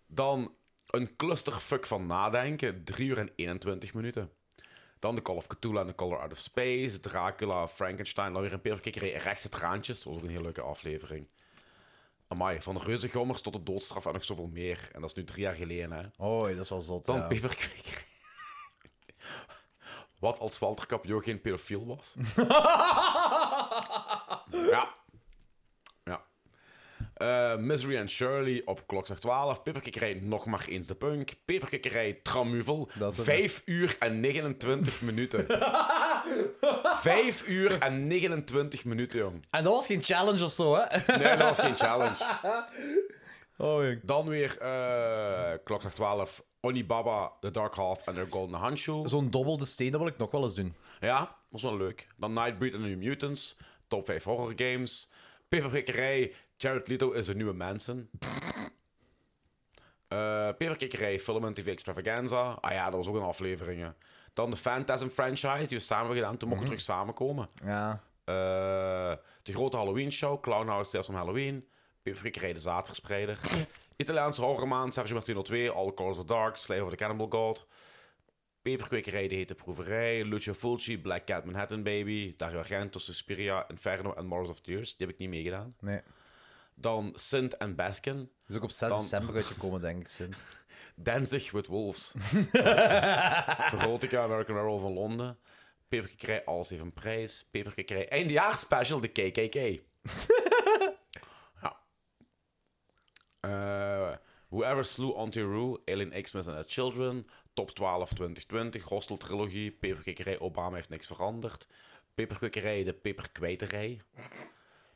Speaker 3: Dan een clusterfuck van nadenken. 3 uur en 21 minuten. Dan de Call of Cthulhu en de Color Out of Space. Dracula, Frankenstein. Dan weer een peperkikkerij. Rechtse traantjes. Dat was ook een hele leuke aflevering. Amai, van de reuzengommers tot de doodstraf en nog zoveel meer. En dat is nu drie jaar geleden, hè.
Speaker 2: Oh, dat is al zot.
Speaker 3: Dan
Speaker 2: ja.
Speaker 3: peperkwekerij. Wat als Walter Capio geen pedofiel was? ja. Ja. Eh, Misery and Shirley op klokslag 12. Peperkikkerij nog maar eens de punk. Peperkikkerij Tramuvel.
Speaker 2: Dat is een-
Speaker 3: 5 uur en 29 minuten. 5 uur en 29 minuten, jong.
Speaker 2: En dat was geen challenge of zo, hè?
Speaker 3: Nee, dat was geen challenge.
Speaker 2: Oh, jong.
Speaker 3: Dan weer eh klokslag 12. Onibaba, The Dark Half en The Golden Handshoe.
Speaker 2: Zo'n dobbelde steen, dat wil ik nog wel eens doen.
Speaker 3: Ja, was wel leuk. Dan Nightbreed and the New Mutants. Top 5 horror games. Peperkikkerij. Jared Leto is een nieuwe Manson. Eh Peperkikkerij. Film en TV Extravaganza. Ah ja, dat was ook een aflevering. hè. Dan de Phantasm franchise, die we samen hebben gedaan. Toen mochten we terug samenkomen.
Speaker 2: Ja.
Speaker 3: Eh, de grote Halloween show. Clownhouse Tales van Halloween. Peperkikkerij de zaadverspreider. Italiaanse horrormaan. Sergio Martino 2. All Colors of Dark. Slave of the Cannibal God. Peperkwekerij, De Hete Proeverij, Lucio Fulci, Black Cat Manhattan Baby, Dario Argento, Suspiria, Inferno en Morals of Tears. Die heb ik niet meegedaan.
Speaker 2: Nee.
Speaker 3: Dan Sint en Baskin.
Speaker 2: Is ook op 6
Speaker 3: Dan-
Speaker 2: december uitgekomen, denk ik, Sint.
Speaker 3: Danzig with Wolves. Verotica, American Werewolf van Londen. Peperkikkerij, Alles heeft een prijs. Peperkikkerij, eindejaarsspecial, de KKK. ja. Eh, Whoever Slew Auntie Roo, Alien X-Men and the Children. Top 12 2020, Hostel Trilogie. Peperkikkerij, Obama heeft niks veranderd. Peperkwekerij, de Peperkwijterij.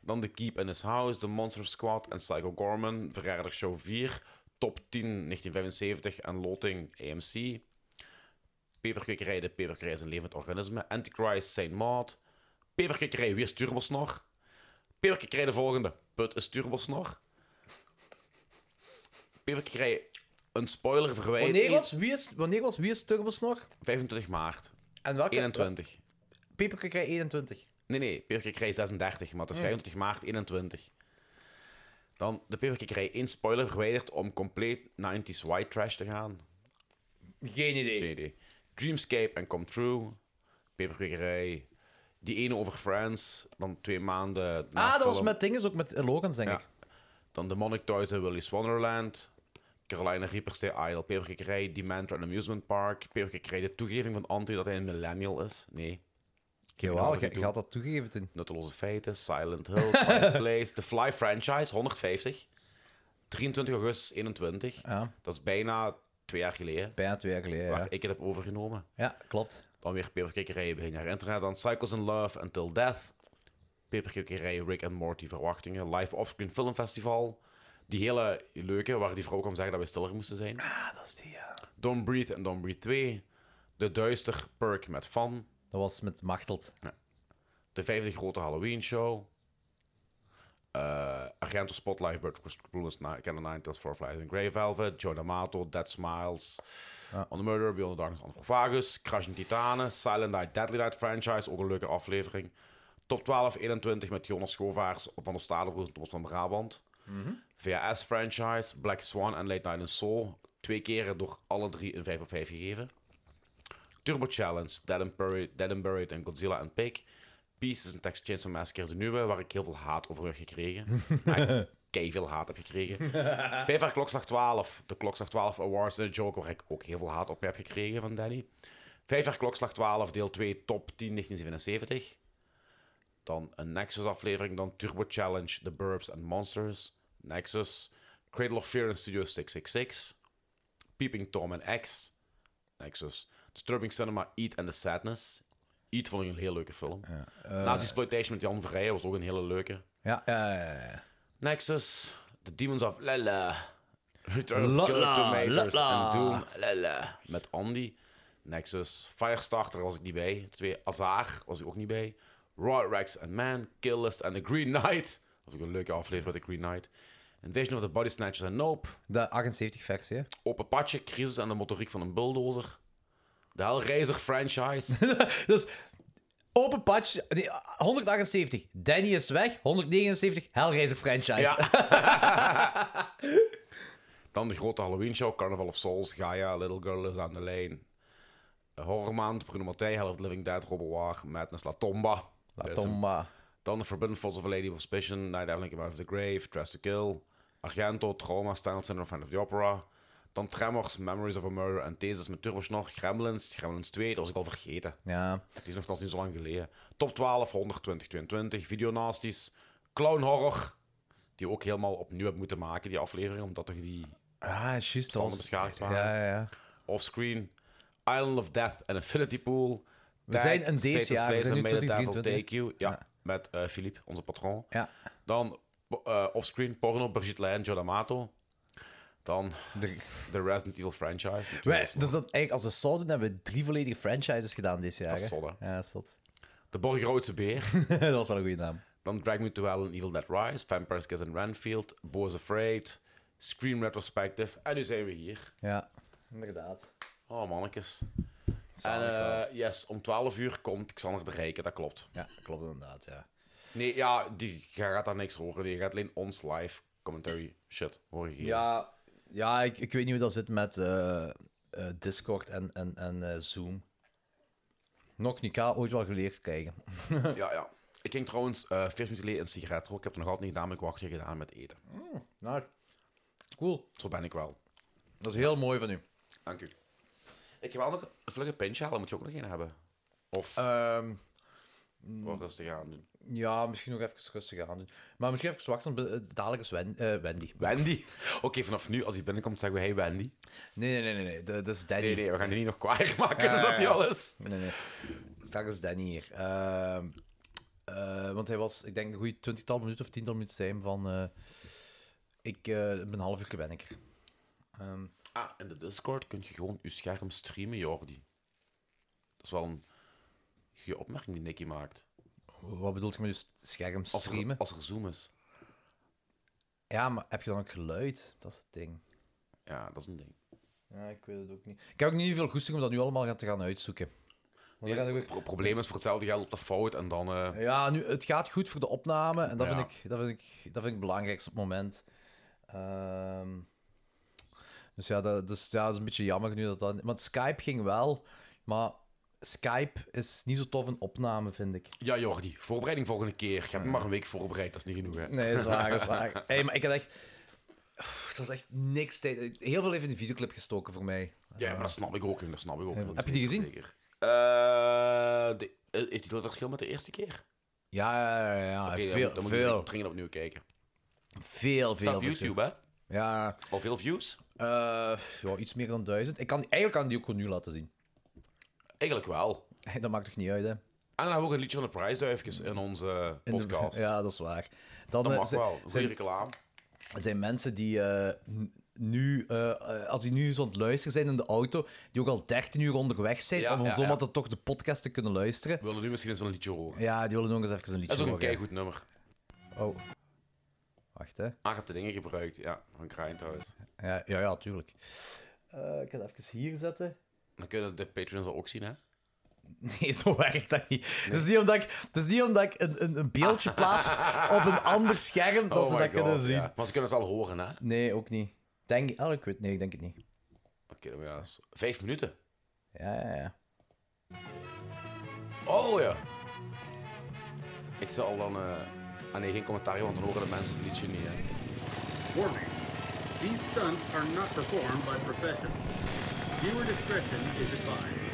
Speaker 3: Dan The Keep in His House, The Monster Squad en Psycho Gorman. Verjaardag Show 4, Top 10 1975 en Loting AMC. Peperkwekerij, de Peperkwekerij is een levend organisme. Antichrist, Saint Maud. Peperkwekerij, wie is Turbosnor? Peperkwekerij, de volgende. Put is Turbosnor. Peperkwekerij, een spoiler verwijder.
Speaker 2: Wanneer was, wie is, wanneer was Wie is Turbos nog?
Speaker 3: 25 maart.
Speaker 2: En welke?
Speaker 3: 21.
Speaker 2: Peperkwekerij 21.
Speaker 3: Nee, nee, Peperkwekerij 36, maar het is
Speaker 2: Mm.
Speaker 3: 25 maart 21. Dan de Peperkwekerij één spoiler verwijderd om compleet 90s white trash te gaan.
Speaker 2: Geen idee.
Speaker 3: Dreamscape en Come True. Peperkwekerij. Die ene over Friends. Dan twee maanden. na
Speaker 2: Ah, dat was
Speaker 3: film.
Speaker 2: met dinges, ook met Logans, denk
Speaker 3: Ja.
Speaker 2: ik.
Speaker 3: Dan The Monarch Toys en Willy's Wonderland. Carolina Reaper's The Idol, Peperkikkerij, Dementor and Amusement Park. Peperkikkerij, de toegeving van Antti dat hij een millennial is. Nee.
Speaker 2: Jawel, je- je had
Speaker 3: dat toegegeven toen. Nutteloze feiten, Silent Hill, Quiet Place, The Fly franchise, 150. 23 augustus 21.
Speaker 2: Ja.
Speaker 3: Dat is bijna twee jaar geleden.
Speaker 2: Bijna twee jaar geleden,
Speaker 3: Waar
Speaker 2: ja.
Speaker 3: ik het heb overgenomen.
Speaker 2: Ja, klopt.
Speaker 3: Dan weer Peperkikkerij, begin jaar internet. Dan Cycles in Love, Until Death. Peperkikkerij, Rick and Morty, Verwachtingen. Live Offscreen Film Festival. Die hele leuke, waar die vrouw kwam zeggen dat we stiller moesten zijn. Ah, dat is die, ja. Don't Breathe en Don't Breathe 2. De Duister Perk met Van. Dat was met Machtelt. De 50 grote Halloween show. Eh Argento Spotlight, Bird Blues, Canon 9, Tales for Flies and Grey Velvet. Joe D'Amato, Dead Smiles. On the Murder, Beyond the Darkness, on Vagus. Crash in Titanen, Silent Night, Deadly Night franchise. Ook een leuke aflevering. Top 12, 21 met Jonas Schovaars, Van de Stalenbroers en Thomas van Brabant. VHS franchise, Black Swan en Late Night in Soul. Twee keren door alle drie een 5 op 5 gegeven. Turbo Challenge, Dead and Buried, Dead and Buried en Godzilla and Pig. Pieces en Text Chainsaw Massacre, de nieuwe, waar ik heel veel haat over heb gekregen. Echt veel haat heb gekregen. Vijf jaar Klokslag 12, de Klokslag 12 Awards en de Joker, waar ik ook heel veel haat op heb gekregen van Danny. Vijf jaar Klokslag 12, deel 2, top 10, 1977. Dan een Nexus-aflevering, dan Turbo Challenge, The Burbs and Monsters, Nexus, Cradle of Fear en Studio 666, Peeping Tom en X, Nexus, Disturbing Cinema, Eat and the Sadness. Eat vond ik een heel leuke film.
Speaker 2: eh.
Speaker 3: Naast Exploitation met Jan Verrijen was ook een hele leuke.
Speaker 2: Ja, ja, ja, ja, ja.
Speaker 3: Nexus, The Demons of Lala, Return of
Speaker 2: La
Speaker 3: the Killer
Speaker 2: la,
Speaker 3: Tomatoes
Speaker 2: la la.
Speaker 3: en Doom Lala met Andy. Nexus, Firestarter was ik niet bij. Twee, Azar was ik ook niet bij. Raw Rex and Man, Kill List en The Green Knight. Dat was ook een leuke aflevering met The Green Knight. Invasion of the Body Snatchers en Nope.
Speaker 2: De 78 versie, hè?
Speaker 3: Op Apache, Crisis en de motoriek van een bulldozer. De Hellraiser franchise.
Speaker 2: dus open patch, nee, 178. Danny is weg. 179, Hellraiser franchise.
Speaker 3: Dan de grote Halloween show, Carnival of Souls, Gaia, Little Girl is aan de lijn. Horrormaand, Bruno Mattei, Hell of the Living Dead, Robert Waar, Madness, La Tomba.
Speaker 2: La
Speaker 3: Dat is hem.
Speaker 2: Tomba.
Speaker 3: Dan The Forbidden Falls of a Lady of Suspicion, Night Evelyn Came Out of the Grave, Dress to Kill, Argento, Trauma, Stanley Syndrome, Fan of the Opera. Dan Tremors, Memories of a Murder en Thesis met Turbosnor, Gremlins, Gremlins 2, dat was ik al vergeten.
Speaker 2: Ja.
Speaker 3: Het is nog niet zo lang geleden. Top 12, 120, 22, Videonasties, Clown Horror, die ook helemaal opnieuw heb moeten maken, die aflevering, omdat toch die
Speaker 2: Ah, juist. dat
Speaker 3: bestanden
Speaker 2: was-
Speaker 3: beschadigd waren.
Speaker 2: Ja, ja, ja.
Speaker 3: Offscreen, Island of Death en Infinity Pool.
Speaker 2: We zijn een
Speaker 3: Satan's
Speaker 2: DC jaar, we zijn
Speaker 3: Slays en
Speaker 2: nu
Speaker 3: May the Devil
Speaker 2: 2023.
Speaker 3: Take You. Ja, met eh Philippe, onze patroon.
Speaker 2: Ja.
Speaker 3: Dan eh, offscreen porno, Brigitte Lijn, Joe D'Amato. Dan de, Resident Evil franchise. met
Speaker 2: Wij,
Speaker 3: Wilson.
Speaker 2: dus dat eigenlijk, als we het zouden, hebben we drie volledige franchises gedaan dit jaar.
Speaker 3: Dat is
Speaker 2: hè?
Speaker 3: zot, hè?
Speaker 2: Ja, dat is zot.
Speaker 3: De Borgroodse Beer.
Speaker 2: dat was wel een goede naam.
Speaker 3: Dan Drag Me to Hell and Evil Dead Rise, Vampires Kiss and Renfield, Bo's Afraid, Scream Retrospective. En nu zijn we hier.
Speaker 2: Ja.
Speaker 3: Inderdaad. Oh, mannetjes. En eh, yes, om 12 uur komt Xander de Rijken, dat klopt.
Speaker 2: Ja, klopt inderdaad, ja.
Speaker 3: Nee, ja, die, je gaat daar niks horen. Je gaat alleen ons live commentary shit horen geven.
Speaker 2: Ja, ja ik, ik weet niet hoe dat zit met eh, eh, Discord en, en, en eh, Zoom. Nog niet, ik ga ooit wel geleerd krijgen.
Speaker 3: ja, ja. Ik ging trouwens eh 40 minuten geleden een sigaret roken. Ik heb het nog altijd niet gedaan, maar ik wacht hier gedaan met eten.
Speaker 2: nou, cool.
Speaker 3: Zo ben ik wel.
Speaker 2: Dat is heel mooi van u.
Speaker 3: Dank u. Ik ga wel nog een vlugge pintje halen. Moet je ook nog één hebben? Of...
Speaker 2: Ehm,
Speaker 3: Wat rustig aan doen.
Speaker 2: Ja, misschien nog even rustig aan doen. Maar misschien even wachten, want eh, dadelijk is Wen- eh, Wendy.
Speaker 3: Wendy? Oké, vanaf nu, als hij binnenkomt, zeggen we hey Wendy.
Speaker 2: Nee, nee, nee, nee, nee. Dat, dat is Danny.
Speaker 3: Nee, nee, we gaan die niet nog kwaaier maken
Speaker 2: Ja,
Speaker 3: dan dat hij
Speaker 2: ja.
Speaker 3: al is.
Speaker 2: Nee, nee. Straks is Danny hier. Ehm, eh, want hij was, ik denk, een goede twintigtal minuten of tiental minuten zijn van... eh, ik eh, ben een half uur ben ik er. Ehm,
Speaker 3: Ah, in de Discord kun je gewoon je scherm streamen, Jordi. Dat is wel een goede opmerking die Nicky maakt.
Speaker 2: wat bedoelt je met je s- scherm
Speaker 3: Als er-
Speaker 2: streamen?
Speaker 3: Als er, zoom is.
Speaker 2: Ja, maar heb je dan ook geluid? Dat is het ding.
Speaker 3: Ja, dat is een ding.
Speaker 2: Ja, ik weet het ook niet. Ik heb ook niet veel goesting om dat nu allemaal gaan- te gaan uitzoeken.
Speaker 3: Nee, het pro- probleem is voor hetzelfde geld op de fout en dan... eh,
Speaker 2: Ja, nu, het gaat goed voor de opname en dat,
Speaker 3: Ja.
Speaker 2: vind, ik, dat, vind, ik, dat vind ik het belangrijkste op het moment. Ehm, dus ja, dat, dus ja, dat is een beetje jammer nu dat dat... Want Skype ging wel, maar Skype is niet zo tof een opname, vind ik.
Speaker 3: Ja, Jordi, voorbereiding volgende keer. Je hebt maar een week voorbereid, dat is niet genoeg, hè?
Speaker 2: Nee, dat is waar, dat is waar. Hey, maar ik had echt... Dat was echt niks tijd. Heel veel heeft in de videoclip gestoken voor mij.
Speaker 3: Ja, maar dat snap ik ook, jong, dat snap ik ook.
Speaker 2: Ja,
Speaker 3: jong,
Speaker 2: heb je die
Speaker 3: zeker,
Speaker 2: gezien?
Speaker 3: zeker. Eh, de- eh, heeft die veel verschil met de eerste keer?
Speaker 2: Ja, ja, ja, ja.
Speaker 3: Oké, dan
Speaker 2: Ah, veel,
Speaker 3: moet- dan moet je
Speaker 2: veel,
Speaker 3: dringend- dringend opnieuw kijken.
Speaker 2: veel, veel.
Speaker 3: Staat op
Speaker 2: verschil.
Speaker 3: YouTube, hè?
Speaker 2: Ja. eh,
Speaker 3: Hoeveel views?
Speaker 2: ja, iets meer dan duizend. Ik kan, eigenlijk kan ik die ook gewoon nu laten zien.
Speaker 3: Eigenlijk wel.
Speaker 2: Dat maakt toch niet uit, hè?
Speaker 3: En dan hebben we ook een liedje van de prijsduifjes in onze
Speaker 2: In de-
Speaker 3: podcast.
Speaker 2: ja, dat is waar. Dan,
Speaker 3: dat
Speaker 2: eh,
Speaker 3: mag
Speaker 2: zijn-
Speaker 3: wel. Goede
Speaker 2: zijn-
Speaker 3: reclame.
Speaker 2: Er zijn mensen die eh, n- nu, eh, eh, als die nu zo aan het luisteren zijn in de auto, die ook al 13 uur onderweg zijn,
Speaker 3: Ja,
Speaker 2: om
Speaker 3: ja,
Speaker 2: zomaar
Speaker 3: ja.
Speaker 2: dat toch de podcast te kunnen luisteren.
Speaker 3: We willen nu misschien eens een liedje horen.
Speaker 2: Ja, die willen nog eens even een liedje
Speaker 3: dat is ook een
Speaker 2: horen.
Speaker 3: keigoed nummer.
Speaker 2: Oh. Wacht, hè.
Speaker 3: Ah, je hebt de dingen gebruikt. Ja, van Krijn trouwens.
Speaker 2: Ja, ja, ja tuurlijk. Eh, ik ga het even hier zetten.
Speaker 3: Dan kunnen de patrons dat ook zien, hè?
Speaker 2: Nee, zo werkt dat niet. Het, is niet omdat ik, het is niet omdat ik een, een, een beeldje plaats op een ander scherm dat
Speaker 3: Oh
Speaker 2: ze
Speaker 3: my
Speaker 2: dat kunnen
Speaker 3: God,
Speaker 2: zien.
Speaker 3: ja. Maar ze kunnen het wel horen, hè? Oké,
Speaker 2: Nee, ook niet. Denk, oh, ik weet, nee, ik denk het niet.
Speaker 3: dan ja, dat is vijf minuten.
Speaker 2: Ja, ja, ja.
Speaker 3: Oh ja. Ik zal dan. eh, Ah nee, geen commentaar, want dan horen de mensen het liedje niet. Hè.
Speaker 23: Warning. These stunts are not performed by professionals. Viewer discretion is advised.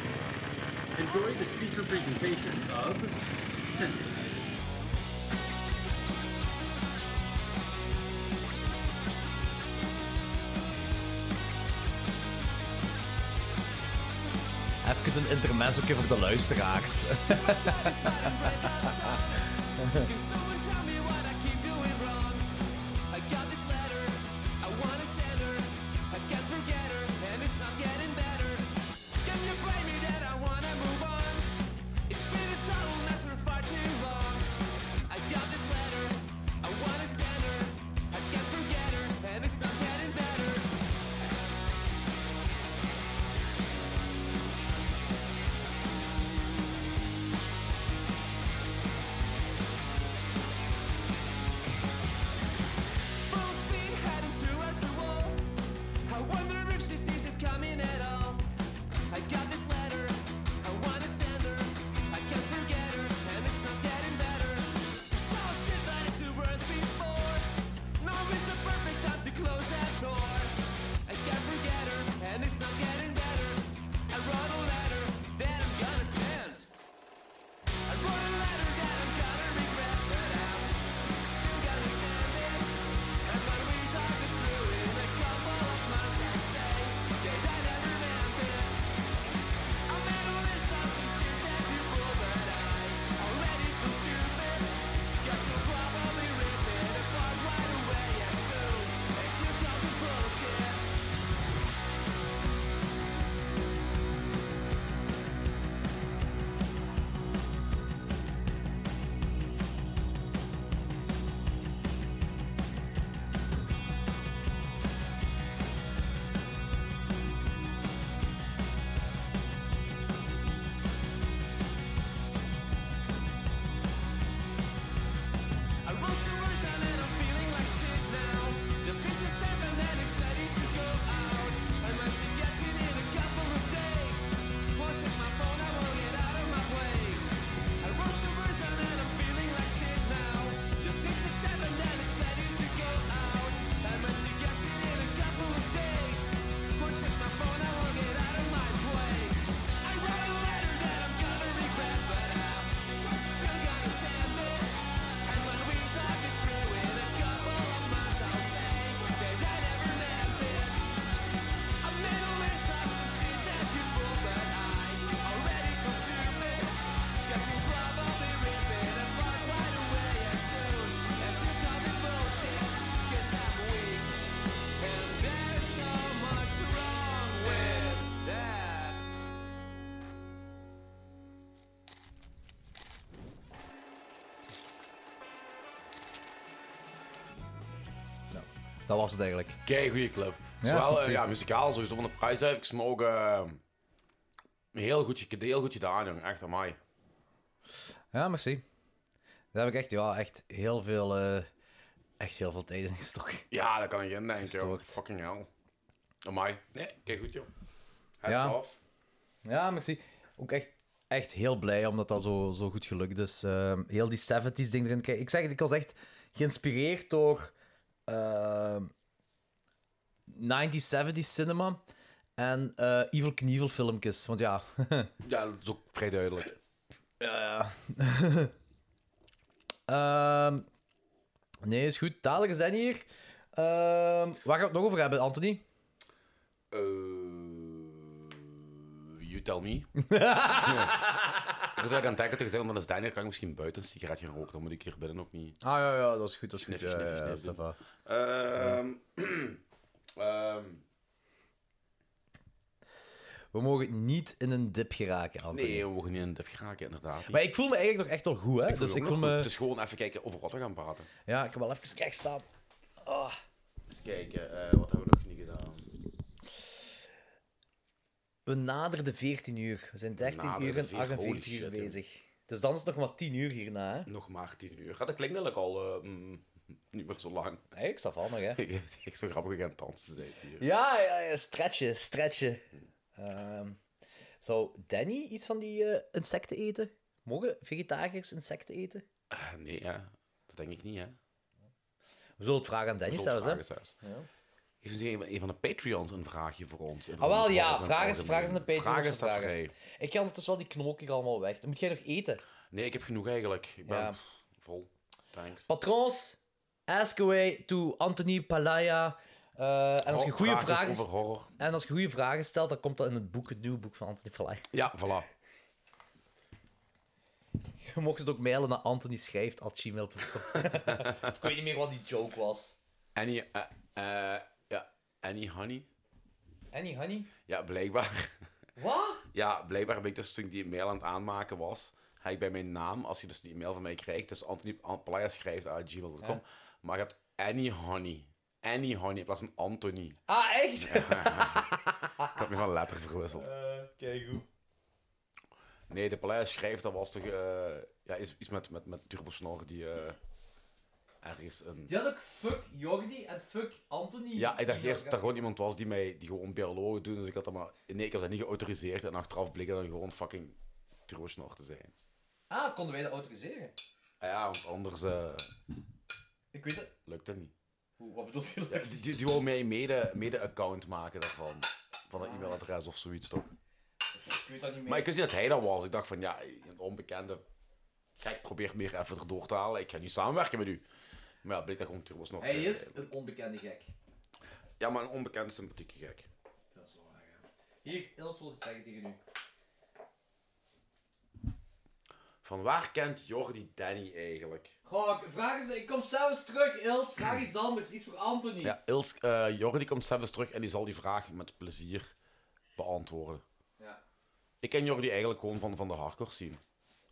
Speaker 23: Enjoy the speaker presentation of Sentinel.
Speaker 2: Even een intermezzo voor de luisteraars.
Speaker 23: It's
Speaker 2: Dat was het eigenlijk.
Speaker 3: Kijk, goede club.
Speaker 2: Ja,
Speaker 3: Zowel
Speaker 2: goed
Speaker 3: eh, ja,
Speaker 2: zeker.
Speaker 3: muzikaal sowieso van de prijsduivers, maar ook eh, heel, goed, ge- heel goed gedaan, jong. Echt, amai.
Speaker 2: Ja, merci. Daar heb ik echt, ja, echt heel veel, eh, echt heel veel tijd in gestoken.
Speaker 3: Ja, dat kan ik in denken, joh. Fucking hell. Amai. Nee, kijk goed, joh. Hats
Speaker 2: Ja.
Speaker 3: off.
Speaker 2: Ja, merci. Ook echt, echt heel blij omdat dat zo, zo goed gelukt is. Ehm, heel die 70s ding erin krijgen. Ik zeg het, ik was echt geïnspireerd door ehm 1970s cinema en eh Evil Knievel filmpjes. Want ja,
Speaker 3: Ja, dat is ook vrij duidelijk.
Speaker 2: Ja, Ehm, nee, is goed. Dadelijk is dat hier. Ehm, waar gaan we het nog over hebben, Anthony?
Speaker 3: Eh, You tell me. Ja. Ik was eigenlijk aan het denken te zeggen, dan is Daniel, kan ik misschien buiten een sigaretje roken, dan moet ik hier binnen ook niet...
Speaker 2: Ah ja, ja dat is goed. Dat is goed.
Speaker 3: Sniffy, sniffy,
Speaker 2: ja, ja,
Speaker 3: sniffy.
Speaker 2: ça va.
Speaker 3: Ehm, ehm,
Speaker 2: We mogen niet in een dip geraken, Anthony.
Speaker 3: nee, we mogen niet in het geraken, inderdaad. niet.
Speaker 2: Maar ik voel me eigenlijk nog echt wel goed, hè?
Speaker 3: Ik voel
Speaker 2: dus
Speaker 3: het
Speaker 2: ik
Speaker 3: ook
Speaker 2: voel
Speaker 3: nog
Speaker 2: me...
Speaker 3: goed. Het is gewoon even kijken over wat we gaan praten.
Speaker 2: Ja, ik heb wel even recht staan. Ah.
Speaker 3: Eens kijken, eh, wat hebben we nog niet gedaan?
Speaker 2: We naderden 14 uur. We zijn 13
Speaker 3: Naderden
Speaker 2: uur en
Speaker 3: veer- holy
Speaker 2: 48 uur
Speaker 3: shit, joh.
Speaker 2: bezig. Dus dan is het nog maar 10 uur hierna, hè?
Speaker 3: Nog maar 10 uur. Ja, dat klinkt eigenlijk al eh, mm, niet meer zo lang.
Speaker 2: Hey, ik sta van nog, hè?
Speaker 3: ik heb echt zo grappig aan het dansen zijn hier.
Speaker 2: Ja, ja, ja, stretchen, stretchen. Ehm, zou Danny iets van die eh, insecten eten? Mogen vegetariërs insecten eten?
Speaker 3: Ah, nee, hè. dat denk ik niet, hè.
Speaker 2: We zullen het vragen aan Danny
Speaker 3: We zullen het
Speaker 2: zelfs,
Speaker 3: vragen
Speaker 2: hè? Ja.
Speaker 3: Heeft een, een van de Patreons een vraagje voor ons?
Speaker 2: Ah, wel ja, vraag eens, vraag eens aan de Patreon.
Speaker 3: Vragen
Speaker 2: of ze
Speaker 3: staat
Speaker 2: vragen.
Speaker 3: vrij.
Speaker 2: Ik ga ondertussen wel die knolk hier allemaal weg. Dan moet jij nog eten.
Speaker 3: Nee, ik heb genoeg eigenlijk. Ik ben
Speaker 2: Ja.
Speaker 3: pff, vol. Thanks.
Speaker 2: Patrons, ask away to Anthony Palaya. Eh, en als je
Speaker 3: Oh,
Speaker 2: goede
Speaker 3: vraag eens
Speaker 2: vragen
Speaker 3: over horror.
Speaker 2: En als je goede vragen stelt, dan komt dat in het boek, het nieuwe boek van Anthony Palaya.
Speaker 3: Ja, voilà.
Speaker 2: Je mocht het ook mailen naar Anthony schrijft at gmail.com. ik weet niet meer wat die joke was.
Speaker 3: Annie, eh eh, ja, Annie Honey?
Speaker 2: Annie, honey?
Speaker 3: Ja, blijkbaar.
Speaker 2: Wat?
Speaker 3: Ja, blijkbaar heb ik dus toen ik die mail aan het aanmaken was, ga ik bij mijn naam, als je dus die mail van mij krijgt, dus Anthony An- Palaya schrijft uit gmail.com,
Speaker 2: Ja.
Speaker 3: maar je hebt Annie Honey. Annie Honey in plaats van Anthony.
Speaker 2: Ah, echt?
Speaker 3: Ik heb me van letter verwisseld.
Speaker 2: Kijk goed.
Speaker 3: Nee, de Palais schrijft, dat was toch eh, ja, iets, iets met, met, met Turbo Snor die eh, ergens een...
Speaker 2: Die had ook fuck Jordi en fuck Anthony.
Speaker 3: Ja, ik dacht
Speaker 2: Die
Speaker 3: eerst dat
Speaker 2: orgasme-
Speaker 3: er gewoon iemand was die mij die gewoon biologen doen, dus ik had dat maar... Nee, ik heb dat niet geautoriseerd en achteraf bleek dat dan gewoon fucking Turbo Snor te zijn.
Speaker 2: Ah, konden wij dat autoriseren?
Speaker 3: Ah ja, want anders eh,
Speaker 2: Ik weet het.
Speaker 3: lukt dat niet.
Speaker 2: Hoe- Wat bedoelt je?
Speaker 3: Ja, die, die, die wou mij een mede- mede-account maken daarvan. Van
Speaker 2: Ah.
Speaker 3: een e-mailadres of zoiets toch?
Speaker 2: Ik weet dat niet meer.
Speaker 3: Maar ik wist niet dat hij dat was. Ik dacht van ja, een onbekende gek probeert meer even erdoor te halen. Ik ga niet samenwerken met u. Maar ja, bleek dat gewoon turbos nog.
Speaker 2: Hij is een onbekende gek.
Speaker 3: Ja, maar een onbekende sympathieke gek.
Speaker 2: Dat is wel waar, ja. Hier, Els wil het zeggen tegen u.
Speaker 3: Van waar kent Jordi Danny eigenlijk?
Speaker 2: Goh, ik- vraag eens, ik kom zelfs terug, Ils. Vraag iets anders, iets voor Anthony.
Speaker 3: Ja, Ils, eh, Jordi komt zelfs terug en die zal die vraag met plezier beantwoorden.
Speaker 2: Ja.
Speaker 3: Ik ken Jordi eigenlijk gewoon van, van de hardcore scene.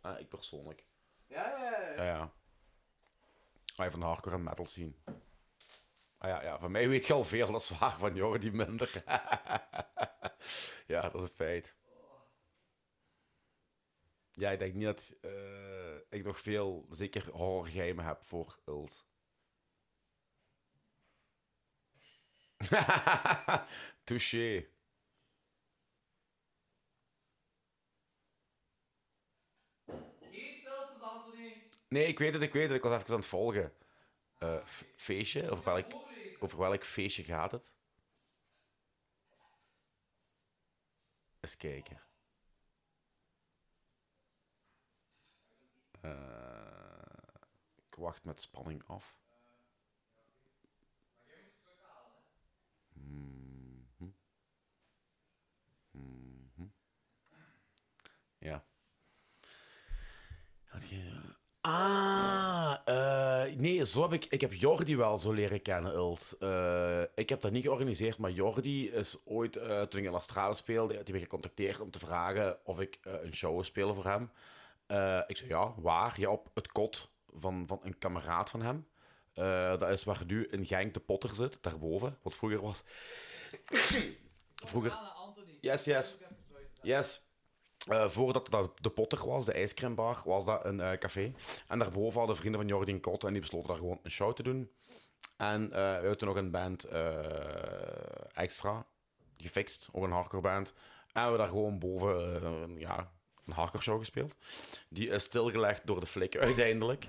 Speaker 3: Eh, ik persoonlijk.
Speaker 2: Ja, ja, ja.
Speaker 3: Ja, ja. Ah, ja, van de hardcore en metal scene. Ah ja, ja, van mij weet je al veel, dat is waar, van Jordi minder. ja, dat is een feit. Ja, ik denk niet dat eh, ik nog veel, zeker horrorgeheimen heb voor Ult. Touché.
Speaker 5: Geen stiltes, Anthony.
Speaker 3: Nee, ik weet het, ik weet het. Ik was even aan het volgen. Eh, f- feestje? Over welk, over welk feestje gaat het? Eens kijken. Eh, ik wacht met spanning af. Mhm. Mhm. Ja. Had je- Ah, eh, nee, zo heb ik, ik heb Jordi wel zo leren kennen, Ils. Eh, ik heb dat niet georganiseerd, maar Jordi is ooit, eh, toen ik in La Strada speelde, die werd gecontacteerd om te vragen of ik eh, een show wil spelen voor hem. Eh, ik zei ja, waar? Ja, op het kot van, van een kameraad van hem. Eh, dat is waar nu in Genk de Potter zit, daarboven. Wat vroeger was. vroeger. Yes, yes. Yes. Eh, voordat dat de Potter was, de ijscremebar, was dat een eh, café. En daarboven hadden vrienden van Jordien Kot en die besloten daar gewoon een show te doen. En eh we hadden nog een band eh, extra gefixt, ook een hardcore band. En we hebben daar gewoon boven eh, een, ja, een hardcore show gespeeld. Die is stilgelegd door de flikken uiteindelijk.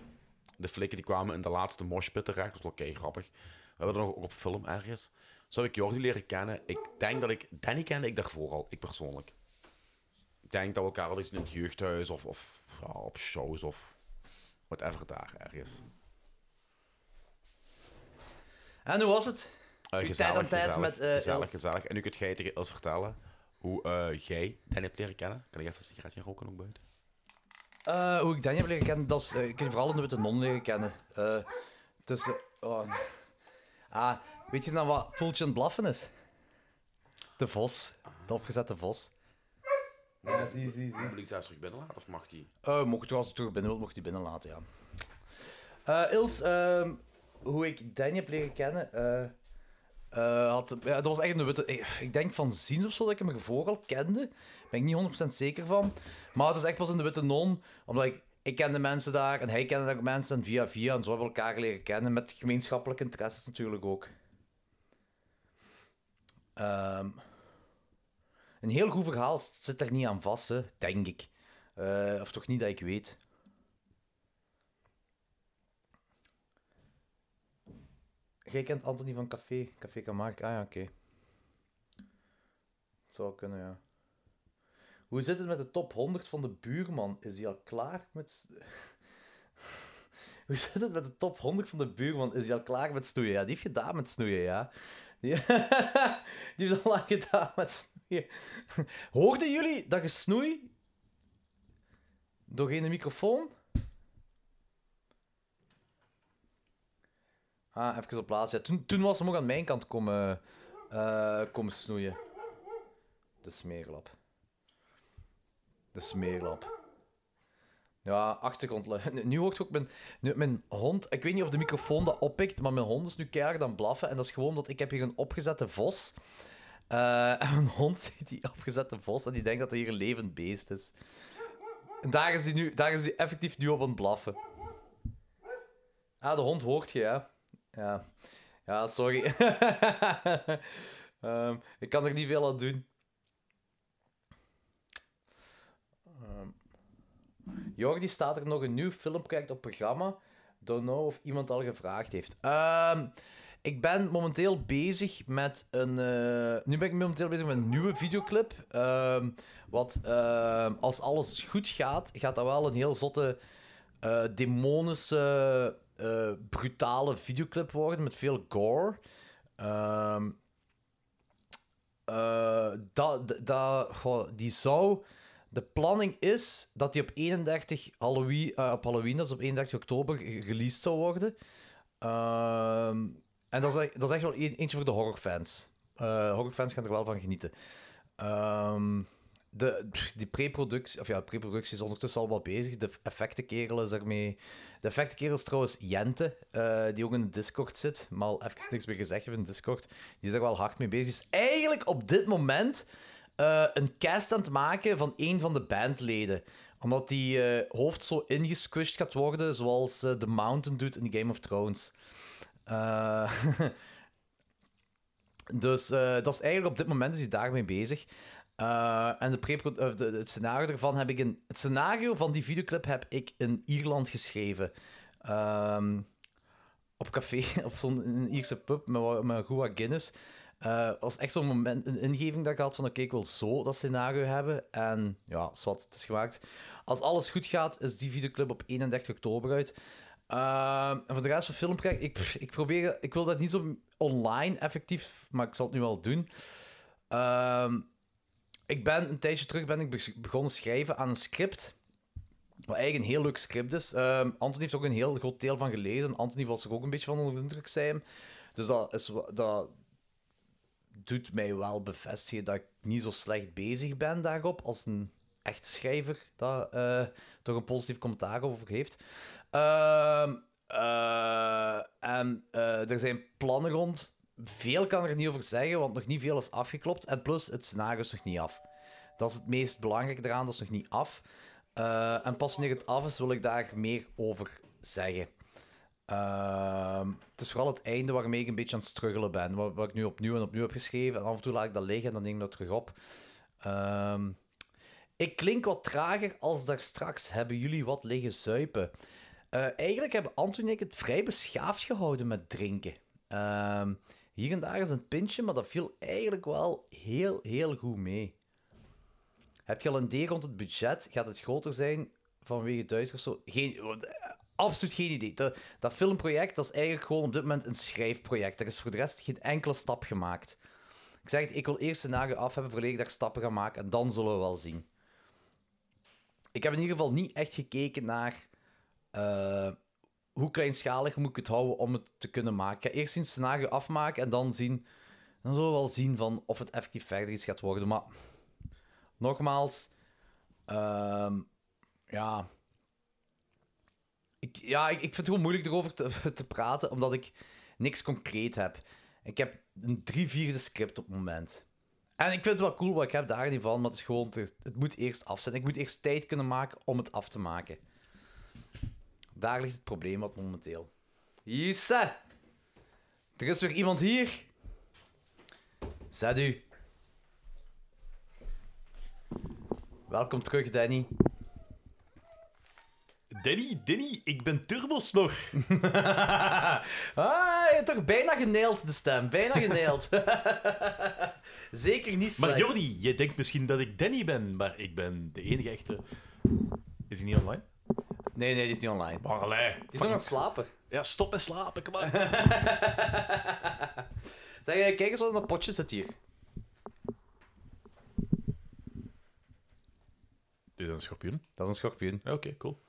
Speaker 3: De flikken die kwamen in de laatste moshpit terecht, dat was wel kei grappig. We hebben dat nog ook op film ergens. Zo heb ik Jordi leren kennen. Ik denk dat ik... Danny kende ik daarvoor al, ik persoonlijk. Ik denk dat we elkaar al eens in het jeugdhuis of, of ja, op shows of whatever daar ergens.
Speaker 2: Mm.
Speaker 3: Eh,
Speaker 2: En hoe was het?
Speaker 3: Eh,
Speaker 2: Uw
Speaker 3: gezellig,
Speaker 2: tijd aan tijd
Speaker 3: gezellig,
Speaker 2: met eh,
Speaker 3: gezellig,
Speaker 2: Els.
Speaker 3: gezellig. En nu kunt jij tegen Els vertellen hoe eh, jij Danny hebt leren kennen. Kan ik even een sigaretje roken ook buiten?
Speaker 2: Eh, hoe ik Danny heb leren kennen, dat is, eh, ik heb vooral in de Witte Non leren kennen. Eh, dus, eh, oh. ah, weet je nou wat Fultje aan het blaffen is? De vos. De opgezette vos.
Speaker 3: Ja, zie, zie, zie. Wil ik zelfs terug binnen laten of mag die?
Speaker 2: Eh mocht je als het terug binnen wilt, mocht je die binnen laten, ja. Eh, Ils, ehm, hoe ik Danny heb leren kennen, eh, eh, had, ja, dat was echt een witte... eh, Ik, ik denk van ziens of zo dat ik hem ervoor al kende. Ben ik niet 100% zeker van. Maar het was echt pas in de Witte Non, omdat ik, ik kende mensen daar en hij kende daar ook mensen en via via en zo hebben we elkaar leren kennen met gemeenschappelijke interesses natuurlijk ook. Ehm, een heel goed verhaal zit er niet aan vast, hè, denk ik. Eh, of toch niet dat ik weet. Jij kent Anthony van Café, Café Camargue. Ah ja, oké. Het Zou kunnen, ja. Hoe zit het met de top 100 van de buurman? Is die al klaar met... s- Hoe zit het met de top 100 van de buurman? Is die al klaar met snoeien? Ja, die heeft gedaan met snoeien, ja. Die, die heeft al lang gedaan met snoeien. Hoorden jullie dat gesnoei doorheen de microfoon? Ah, even op plaats. Ja, toen, toen was hem ook aan mijn kant komen, eh, komen snoeien. De smeerlap. De smeerlap. Ja, achtergrondluid. Nu- Nu hoort je ook mijn, nu, mijn hond... Ik weet niet of de microfoon dat oppikt, maar mijn hond is nu keihard aan het blaffen. En dat is gewoon omdat ik heb hier een opgezette vos. Eh en mijn hond ziet die opgezette vos en die denkt dat er hier een levend beest is. En daar is hij nu- daar is hij effectief nu op aan het blaffen. Ah, de hond hoort je, hè? Ja, ja sorry. Ehm, ik kan er niet veel aan doen. Ehm, Jordi, staat er nog een nieuw filmproject op programma? Don't know of iemand al gevraagd heeft. Ehm, ik ben momenteel bezig met een... eh, nu ben ik momenteel bezig met een nieuwe videoclip. Ehm, wat, ehm, als alles goed gaat, gaat dat wel een heel zotte eh, demonische, eh, brutale videoclip worden met veel gore. Ehm, eh, dat, dat- dat, goh, die zou. De planning is dat die op 31 Halloween, eh, op Halloween, dat is op 31 oktober, ge- released zou worden. Ehm, en dat is, echt- dat is echt wel een- eentje voor de horrorfans. Eh, horrorfans gaan er wel van genieten. Ehm, de, pff, die pre-productie, of ja, de pre-productie is ondertussen al wel bezig. De effectenkerel is ermee. De effectenkerel is trouwens Jente, eh, die ook in de Discord zit, maar al even niks meer gezegd heeft in de Discord. Die is er wel hard mee bezig. Is eigenlijk op dit moment eh, een cast aan het maken van een van de bandleden. Omdat die eh, hoofd zo ingesquished gaat worden, zoals eh, The Mountain doet in Game of Thrones. Eh Dus eh, dat is eigenlijk op dit moment is hij daarmee bezig. Eh, en de pre of de, de- het scenario ervan heb ik in, het scenario van die videoclip heb ik in Ierland geschreven. Ehm, op café, op zo'n in een Ierse pub met, wa- met Rua Guinness. Eh was echt zo'n moment, een ingeving dat ik had van oké, ik wil zo dat scenario hebben. En ja, zwart, het is gemaakt. Als alles goed gaat, is die videoclip op 31 oktober uit. Ehm, en voor de rest van filmproject, ik, pff, ik probeer, ik wil dat niet zo online effectief, maar ik zal het nu wel doen. Ehm, ik ben een tijdje terug ben ik bes- begonnen schrijven aan een script. Wat eigenlijk een heel leuk script is. Ehm Anthony heeft er ook een heel groot deel van gelezen. Anthony was er ook een beetje van onder de indruk, zei hem. Dus dat, is, wa- dat doet mij wel bevestigen dat ik niet zo slecht bezig ben daarop als een echte schrijver daar eh toch een positief commentaar over heeft. Ehm, Eh, en eh, er zijn plannen rond. Veel kan er niet over zeggen, want nog niet veel is afgeklopt. En plus, het scenario is nog niet af. Dat is het meest belangrijke eraan, dat is nog niet af. Eh, en pas wanneer het af is, wil ik daar meer over zeggen. Ehm, het is vooral het einde waarmee ik een beetje aan het struggelen ben. Wat, wat ik nu opnieuw en opnieuw heb geschreven. En af en toe laat ik dat liggen en dan neem ik dat terug op. Ehm, ik klink wat trager als daar straks hebben jullie wat liggen zuipen. Eh, eigenlijk hebben Anton en ik het vrij beschaafd gehouden met drinken. Ehm, hier en daar is een pintje, maar dat viel eigenlijk wel heel, heel goed mee. Heb je al een idee rond het budget? Gaat het groter zijn vanwege het Duits of zo? Geen, eh, absoluut geen idee. Dat, dat filmproject dat is eigenlijk gewoon op dit moment een schrijfproject. Er is voor de rest geen enkele stap gemaakt. Ik zeg het, ik wil eerst scenario af hebben voordat ik daar stappen ga maken. En dan zullen we wel zien. Ik heb in ieder geval niet echt gekeken naar eh, hoe kleinschalig moet ik het houden om het te kunnen maken. Ik ga eerst een scenario afmaken en dan zien. Dan zullen we wel zien van of het effectief verder iets gaat worden. Maar nogmaals, ehm, ja. Ik, ja, ik, ik vind het gewoon moeilijk erover te, te praten, omdat ik niks concreet heb. Ik heb een drie vierde script op het moment. En ik vind het wel cool wat ik heb daar niet van, maar het is gewoon, te- het moet eerst af zijn. Ik moet eerst tijd kunnen maken om het af te maken. Daar ligt het probleem wat momenteel. Jesse! Er is weer iemand hier. Zet u. Welkom terug, Danny.
Speaker 24: Danny, Danny, ik ben Turbosnor.
Speaker 2: ah, je hebt toch bijna geneeld de stem. Bijna geneeld. Zeker niet slecht.
Speaker 4: Maar Jordi, je denkt misschien dat ik Danny ben, maar ik ben de enige echte. Is hij niet online?
Speaker 2: Nee, nee, die is niet online.
Speaker 4: Maar allee,
Speaker 2: Die is nog aan het slapen.
Speaker 4: Ja, stop met slapen, kom maar.
Speaker 2: zeg, eh, kijk eens wat in dat potje zit hier.
Speaker 4: Dit is een schorpioen.
Speaker 2: Dat is een schorpioen.
Speaker 4: Oké, cool.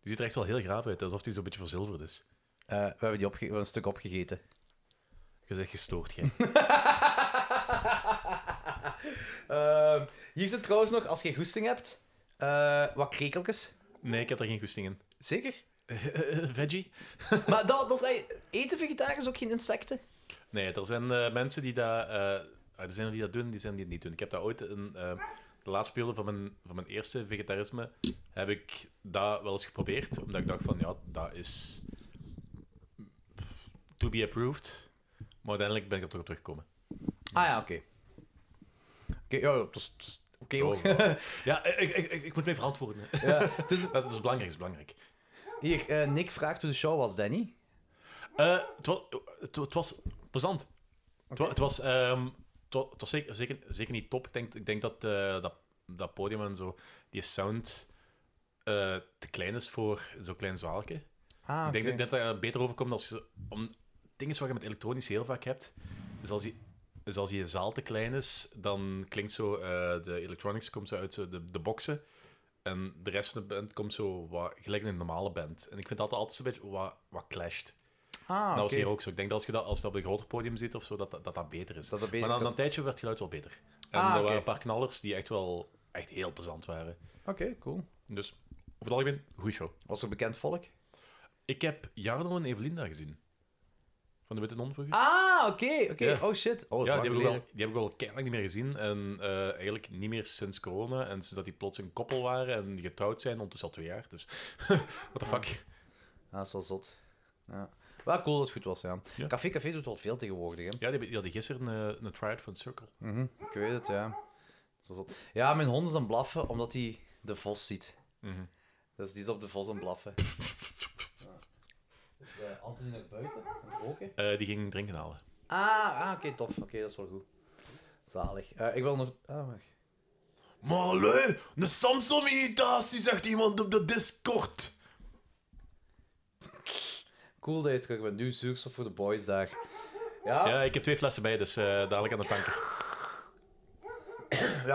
Speaker 4: Die ziet er echt wel heel graaf uit, alsof hij zo'n beetje verzilverd is.
Speaker 2: Eh, we hebben die opge- we hebben een stuk opgegeten.
Speaker 4: Je zegt gestoord, jij.
Speaker 2: Ehm, hier zit trouwens nog, als je goesting hebt, eh, wat krekeltjes.
Speaker 4: nee, ik heb daar geen goesting in.
Speaker 2: Zeker? eh,
Speaker 4: veggie?
Speaker 2: maar dat, dat is eigenlijk- eten vegetarisch ook geen insecten?
Speaker 4: Nee, er zijn eh, mensen die dat, eh, er zijn er die dat doen, die zijn die het niet doen. Ik heb dat ooit in eh, de laatste periode van mijn, van mijn eerste vegetarisme heb ik dat wel eens geprobeerd, omdat ik dacht van ja, dat is to be approved. Maar uiteindelijk ben ik er toch op teruggekomen.
Speaker 2: Ah ja, oké. Oké, ja, ja, het is- het is oké
Speaker 4: Oh,
Speaker 2: hoor.
Speaker 4: wow. ja, ik, ik, ik, ik moet mij verantwoorden.
Speaker 2: Ja,
Speaker 4: dat is belangrijk, is belangrijk.
Speaker 2: Hier, eh, Nick vraagt hoe de show was, Danny.
Speaker 4: Eh, het, wa- het, wa- het was plezant. Het, wa- het was, ehm, het wa- het was zeker, zeker, zeker niet top. Ik denk, ik denk dat, eh, dat dat podium en zo, die sound eh, te klein is voor zo'n klein zaaltje.
Speaker 2: Ah,
Speaker 4: Ik denk
Speaker 2: oké.
Speaker 4: dat dat er beter overkomt als je... Om, het ding is wat je met elektronisch heel vaak hebt, dus als je, dus als je zaal te klein is, dan klinkt zo... eh, de electronics komt zo uit zo de, de boxen. En de rest van de band komt zo wat, gelijk in een normale band. En ik vind dat altijd een beetje wat, wat clasht.
Speaker 2: Ah,
Speaker 4: dat was
Speaker 2: oké.
Speaker 4: hier ook zo. Ik denk dat als je dat, als je dat op een groter podium zit of zo, dat dat, dat, dat beter is.
Speaker 2: beter
Speaker 4: maar na, na
Speaker 2: kan.
Speaker 4: een tijdje werd het geluid wel beter. En
Speaker 2: Ah,
Speaker 4: er
Speaker 2: oké.
Speaker 4: waren een paar knallers die echt wel echt heel plezant waren.
Speaker 2: Oké, cool.
Speaker 4: Dus over het algemeen, goede show.
Speaker 2: Was er bekend volk?
Speaker 4: Ik heb Jarno en Evelinda gezien. Van de Witte Non voor
Speaker 2: Ah, oké, oké.
Speaker 4: Ja.
Speaker 2: Oh shit. Oh,
Speaker 4: ja,
Speaker 2: ja,
Speaker 4: die heb, ik ook al, die heb ik al keihard niet meer gezien. En eh, eigenlijk niet meer sinds corona. En sinds dat die plots een koppel waren en getrouwd zijn, ondertussen al twee jaar. Dus, what the fuck.
Speaker 2: Ah, dat is wel zot. Ja. Wel cool dat het goed was, ja. Café Café doet wel veel tegenwoordig, hè.
Speaker 4: Ja, die, die hadden gisteren eh, een, een try-out van Circle.
Speaker 2: Mhm, ik weet het, ja. Zo zot. Ja, mijn hond is aan het blaffen omdat hij de vos ziet.
Speaker 4: Mhm.
Speaker 2: Dus die is op de vos aan het blaffen. ja. Dus eh Anthony naar buiten, aan het roken.
Speaker 4: Eh, die ging drinken halen.
Speaker 2: Ah, ah oké, tof. Oké, dat is wel goed. Zalig. Eh, ik wil nog... Ah, wacht.
Speaker 24: Maar lui, een Samsung-imitatie, zegt iemand op de Discord.
Speaker 2: Cool dat je terug bent. Nu zuurstof voor de boys daar.
Speaker 4: Ja,
Speaker 2: Ja, ja.
Speaker 4: ik heb twee flessen bij, dus eh, dadelijk aan de tanken.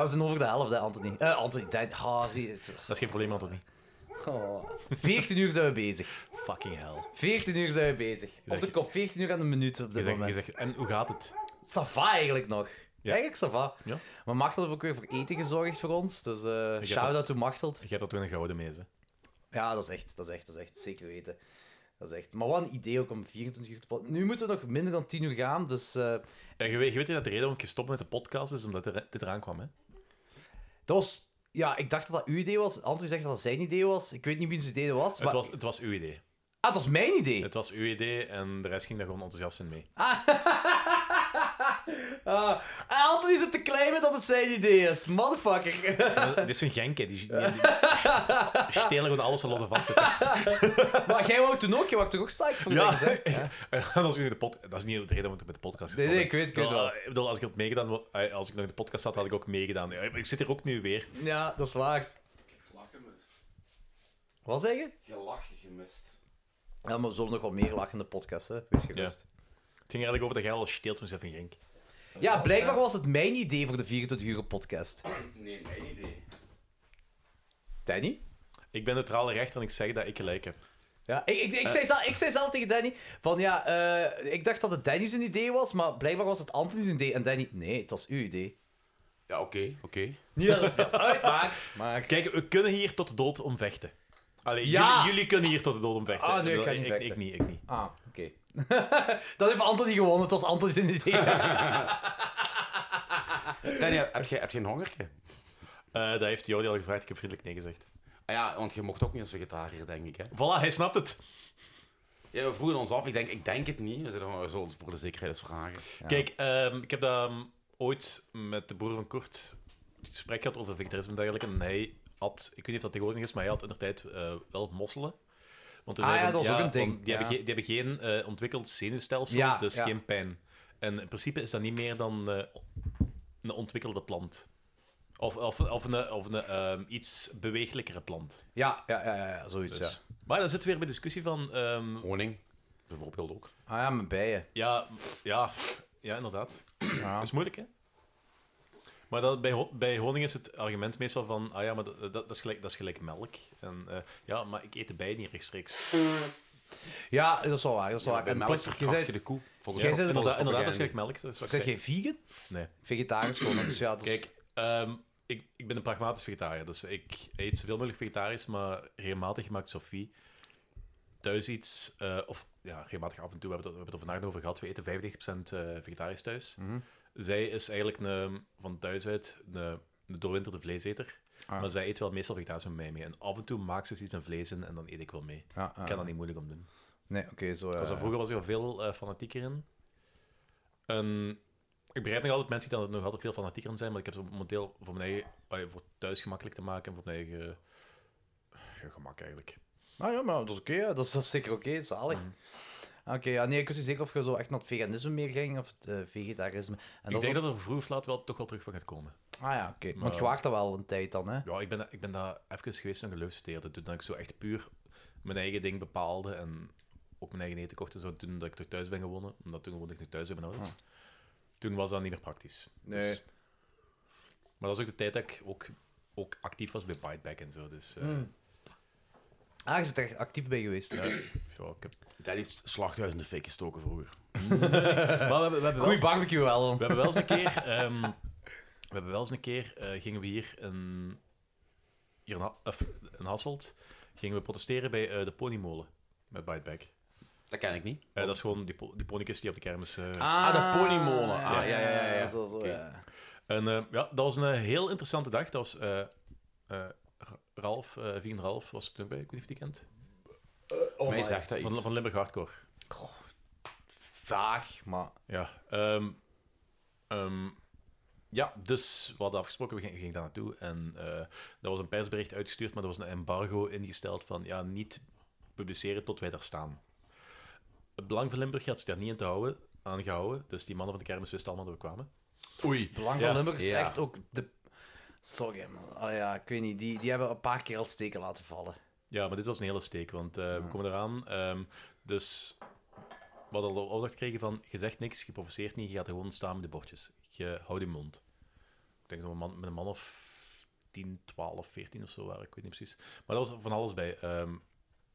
Speaker 2: we zijn over de helft, hè, Anthony. Eh, Anthony, Dan... Ah, zie je.
Speaker 4: Dat is geen probleem, Anthony.
Speaker 2: Oh. 14 uur zijn we bezig.
Speaker 4: Fucking hell.
Speaker 2: 14 uur zijn we bezig. Op de kop, 14 uur en een minuut op dit
Speaker 4: zegt- je
Speaker 2: moment.
Speaker 4: zegt, en hoe gaat het?
Speaker 2: Sava eigenlijk nog.
Speaker 4: Ja.
Speaker 2: Eigenlijk Sava.
Speaker 4: Ja.
Speaker 2: Maar Machteld heeft ook weer voor eten gezorgd voor ons. Dus eh shout-out to Machteld.
Speaker 4: Je hebt dat toen een gouden mees, hè?
Speaker 2: Ja, dat is echt, dat is echt, dat is echt. Zeker weten. Dat Dat is echt... Maar wat een idee ook om 24 uur te plannen. Nu moeten we nog minder dan 10 uur gaan, dus... eh,
Speaker 4: En je weet, je weet dat de reden waarom ik gestopt ben met de podcast is omdat er, dit eraan kwam, hè?
Speaker 2: Dat was... Ja, ik dacht dat dat uw idee was. Anthony zegt dat dat zijn idee was. Ik weet niet wiens idee dat was, maar...
Speaker 4: Het, was, het was uw idee.
Speaker 2: Ah, het was mijn idee?
Speaker 4: Het was uw idee en de rest ging daar gewoon enthousiast in mee.
Speaker 2: Ah, Anthony zit te claimen dat het zijn idee is. Motherfucker.
Speaker 4: Dit is een genk, hè. Die, die, die, stelen gewoon alles van los en vast zitten.
Speaker 2: maar jij wou toen ook, je wou toch ook psyched van
Speaker 4: Ja,
Speaker 2: deze, hè?
Speaker 4: dat, is nu de pod- dat is niet de reden waarom ik met de podcast
Speaker 2: Nee, nee,
Speaker 4: gestopt
Speaker 2: ik weet- ik weet
Speaker 4: bedoel,
Speaker 2: wel.
Speaker 4: eh, Ik bedoel, als ik had meegedaan, wa- eh, als ik nog in de podcast zat, had ik ook meegedaan. Ja, Ik zit hier ook nu weer.
Speaker 2: Ja, dat is waar. Wat zeg je?
Speaker 3: Je lachen gemist.
Speaker 2: Ja, maar we zullen nog wel meer lachen in de podcast, hè? Wees gerust.
Speaker 4: Het ging eigenlijk over dat jij al steelt toen ze van genk.
Speaker 2: Ja. blijkbaar was het mijn idee voor de 24 uur podcast.
Speaker 3: Nee, mijn idee.
Speaker 2: Danny?
Speaker 4: Ik ben neutraal rechter en ik zeg dat ik gelijk heb.
Speaker 2: Ja, Ik, ik, ik, zei zelf, ik zei zelf tegen Danny van ja, eh, ik dacht dat het Danny zijn idee was, maar blijkbaar was het Anthony zijn idee. En Danny, nee, het was uw idee.
Speaker 3: Ja, oké, oké.
Speaker 2: Niet dat het veel uitmaakt, maar...
Speaker 4: Kijk, we kunnen hier tot de dood om vechten. Allee,
Speaker 2: Ja!
Speaker 4: jullie, jullie kunnen hier tot de dood om vechten.
Speaker 2: Ah, nee, ik
Speaker 4: bedoel,
Speaker 2: kan niet
Speaker 4: ik,
Speaker 2: vechten.
Speaker 4: Ik, niet, ik niet.
Speaker 2: Ah, oké. Dat heeft Anthony gewonnen, het was Anthony zijn idee.
Speaker 3: Danny, heb jij, heb jij een hongerke?
Speaker 4: Eh, dat heeft Jordi al gevraagd, ik heb vriendelijk nee gezegd.
Speaker 3: Ah ja, want je mocht ook niet als vegetariër, denk ik. Hè?
Speaker 4: Voilà, hij snapt het.
Speaker 3: Ja, we vroegen ons af, ik denk, ik denk het niet. We zeiden, maar we zullen het voor de zekerheid eens vragen.
Speaker 4: Kijk, ehm, ik heb dat ehm, ooit met de broer van Kort een gesprek gehad over vegetarisme en dergelijke. En hij had, ik weet niet of dat tegenwoordig is, maar hij had in de tijd eh, wel mosselen. Want hij
Speaker 2: Ah
Speaker 4: zei
Speaker 2: ja,
Speaker 4: van,
Speaker 2: dat was ook een ding,
Speaker 4: want Die, hebben,
Speaker 2: ja.
Speaker 4: geen- die hebben geen eh, ontwikkeld zenuwstelsel,
Speaker 2: Ja,
Speaker 4: dus
Speaker 2: ja.
Speaker 4: geen pijn. En in principe is dat niet meer dan eh, een ontwikkelde plant. Of, of, of een, of een ehm, iets bewegelijkere plant.
Speaker 2: Ja, ja, ja, ja, ja, zoiets,
Speaker 4: Dus.
Speaker 2: ja.
Speaker 4: Maar dan zitten we weer bij discussie van... ehm,
Speaker 3: Honing, bijvoorbeeld ook.
Speaker 2: Ah ja, mijn bijen.
Speaker 4: Ja, ja, ja inderdaad. Dat is moeilijk, hè? Maar dat, bij, ho- bij honing is het argument meestal van... Ah ja, maar dat, dat, dat is, gelijk, dat is gelijk melk. En, eh, ja, maar ik eet de bijen niet rechtstreeks.
Speaker 2: Ja, dat is wel waar. Dat is wel
Speaker 4: Ja,
Speaker 2: waar.
Speaker 4: bij
Speaker 2: En
Speaker 4: melk
Speaker 2: plus,
Speaker 4: verkracht
Speaker 2: zei-
Speaker 4: je de koe, volgens-
Speaker 2: Jij
Speaker 4: Ja,
Speaker 2: zei
Speaker 4: inderdaad- inderdaad, dat is gelijk melk, dat is wat ik
Speaker 2: Zeg
Speaker 4: zei.
Speaker 2: jij vegan?
Speaker 4: Nee.
Speaker 2: Vegetarisch gewoon, dus ja, dat is-
Speaker 4: Kijk, ehm, ik, ik ben een pragmatisch vegetariër. Dus ik eet zoveel mogelijk vegetarisch, maar regelmatig maakt Sophie thuis iets... eh, of ja, regelmatig af en toe. We hebben het, we hebben het er vandaag over gehad. We eten 95% eh, vegetarisch thuis.
Speaker 2: Mhm.
Speaker 4: Zij is eigenlijk een, van thuis uit een, een doorwinterde vleeseter.
Speaker 2: Ah.
Speaker 4: Maar zij eet wel meestal vegetarisch met mij mee. En af en toe maakt ze eens iets met vlees in en dan eet ik wel mee.
Speaker 2: Ja,
Speaker 4: ik
Speaker 2: ah,
Speaker 4: kan
Speaker 2: ah.
Speaker 4: dat niet moeilijk om doen.
Speaker 2: Nee, oké, zo ja.
Speaker 4: Ik was er- vroeger was ik al veel eh, fanatieker in. En ik begrijp nog altijd mensen die daar nog altijd veel fanatieker in zijn, maar ik heb zo momenteel voor mijn eigen, ah, voor thuis gemakkelijk te maken en voor mijn eigen ja, gemak eigenlijk.
Speaker 2: Ah ja, maar dat is oké, ja. Mhm. dat, is, dat is zeker oké, zalig. Ah, Oké, ja, nee, ik wist niet zeker of je zo echt naar het veganisme meer ging of het eh, vegetarisme. En
Speaker 4: ik
Speaker 2: is
Speaker 4: denk
Speaker 2: ook-
Speaker 4: dat er vroeg of laat wel toch wel terug van gaat komen.
Speaker 2: Ah ja, oké.
Speaker 4: Maar-
Speaker 2: Want je waart dat wel een tijd dan, hè?
Speaker 4: Ja, ik ben, da- ik ben daar even geweest en geluisterd. Toen dat ik zo echt puur mijn eigen ding bepaalde en ook mijn eigen eten kocht en zo, toen dat ik terug thuis ben gewonnen, omdat toen woonde ik nog thuis bij mijn ouders.
Speaker 2: Ah.
Speaker 4: Toen was dat niet meer praktisch. Dus
Speaker 2: Nee.
Speaker 4: maar dat is ook de tijd dat ik ook, ook actief was bij Biteback en zo. Dus, eh,
Speaker 2: Hmm. Ah, je bent er echt actief bij geweest.
Speaker 4: Ja, ik heb...
Speaker 3: Danny heeft slachthuis in de fik gestoken vroeger.
Speaker 4: Maar we hebben, we hebben wel
Speaker 2: Goeie
Speaker 4: eens-
Speaker 2: barbecue wel.
Speaker 4: We hebben wel eens een keer... ehm, we hebben wel eens een keer... eh, gingen we hier in... Hier in, Ha- of in Hasselt... Gingen we protesteren bij eh, de ponymolen. Met Biteback.
Speaker 3: Dat ken ik niet.
Speaker 4: Eh, dat is gewoon die, po- die ponykist die op de kermis... eh,
Speaker 3: Ah, de ponymolen. Ah, ja, ja, ja. ja.
Speaker 2: Zo, zo,
Speaker 3: Oké.
Speaker 2: ja.
Speaker 4: En eh, ja, dat was een eh, heel interessante dag. Dat was... eh, eh, Ra- Ralf, eh Vegan Ralf, was er toen bij. Ik weet niet of je die kent.
Speaker 3: Voor mij my- zegt dat
Speaker 4: van,
Speaker 3: iets.
Speaker 4: van Limburg Hardcore.
Speaker 2: Vaag, maar...
Speaker 4: Ja, ehm, ehm, ja, dus we hadden afgesproken, we gingen, gingen daar naartoe. En eh er was een persbericht uitgestuurd, maar er was een embargo ingesteld van ja, niet publiceren tot wij daar staan. Het Belang van Limburg had zich daar niet in te houden, aan gehouden, dus die mannen van de kermis wisten allemaal dat we kwamen.
Speaker 3: Oei.
Speaker 2: Belang van
Speaker 4: Ja.
Speaker 2: Limburg is
Speaker 4: Ja.
Speaker 2: echt ook de... Sorry, man. Allee, ja, ik weet niet. Die, die hebben een paar keer al steken laten vallen.
Speaker 4: Ja, maar dit was een hele steek, want eh, we komen eraan. ehm, dus we hadden al de opdracht gekregen van, je zegt niks, je provoceert niet, je gaat er gewoon staan met de bordjes. Je houdt je mond. Ik denk dat we man, met een man of 10, 12, 14 of zo waren, ik weet niet precies. Maar dat was van alles bij. Ehm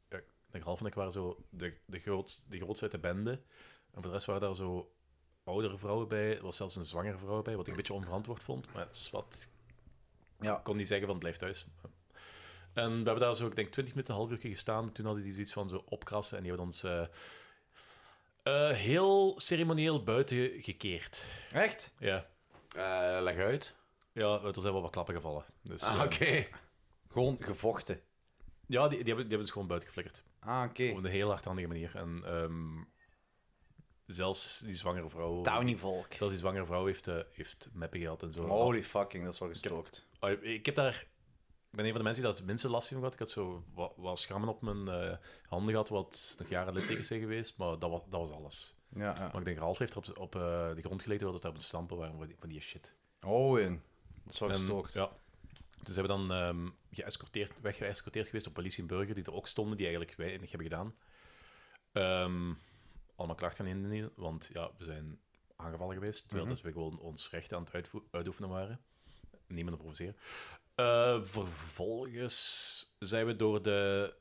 Speaker 4: ja, de half en ik waren zo de, de, grootst, de grootste uit de bende. En voor de rest waren daar zo oudere vrouwen bij. Er was zelfs een zwangere vrouw bij, wat ik een beetje onverantwoord vond. Maar zwart.
Speaker 2: Ja.
Speaker 4: Ik kon niet zeggen van blijf thuis. Eh, En we hebben daar zo, ik denk, 20 minuten, een half uurtje gestaan. Toen hadden die zoiets van zo opkrassen en die hebben ons eh, eh, heel ceremonieel buiten gekeerd.
Speaker 2: Echt?
Speaker 4: Ja.
Speaker 3: Eh, leg uit.
Speaker 4: Ja, er zijn wel wat klappen gevallen. Dus,
Speaker 2: Ah,
Speaker 4: eh,
Speaker 2: oké. Gewoon gevochten.
Speaker 4: Ja, die, die, hebben, die hebben het gewoon buiten geflikkerd.
Speaker 2: Ah, oké.
Speaker 4: Op een heel hardhandige manier. En ehm, zelfs die zwangere vrouw...
Speaker 2: Downey-volk.
Speaker 4: Zelfs die zwangere vrouw heeft, eh, heeft meppen gehad en zo.
Speaker 2: Holy fucking, dat is wel gestookt.
Speaker 4: Ah, Ik, ik heb daar... Ik ben een van de mensen die dat het minste last van gehad. Ik had zo wat, wat schrammen op mijn eh, handen gehad, wat nog jaren littekens zijn geweest. Maar dat was, dat was alles.
Speaker 2: Ja, ja.
Speaker 4: Maar ik denk, Ralf heeft er op, op eh, de grond gelegen, dat daar op een stampen waren van die- van die shit.
Speaker 2: Oh, in. Dat is wel
Speaker 4: En,
Speaker 2: gestookt.
Speaker 4: Ehm, ja. Dus hebben we dan ehm geëscorteerd, weggeëscorteerd geweest op politie en burger, die er ook stonden, die eigenlijk weinig hebben gedaan. Ehm, allemaal klacht gaan indienen, want ja, we zijn aangevallen geweest, terwijl
Speaker 3: Mhm.
Speaker 4: dat we gewoon ons recht aan het uitvo- uitoefenen waren. Niemand te provoceren. Eh, vervolgens zijn we door de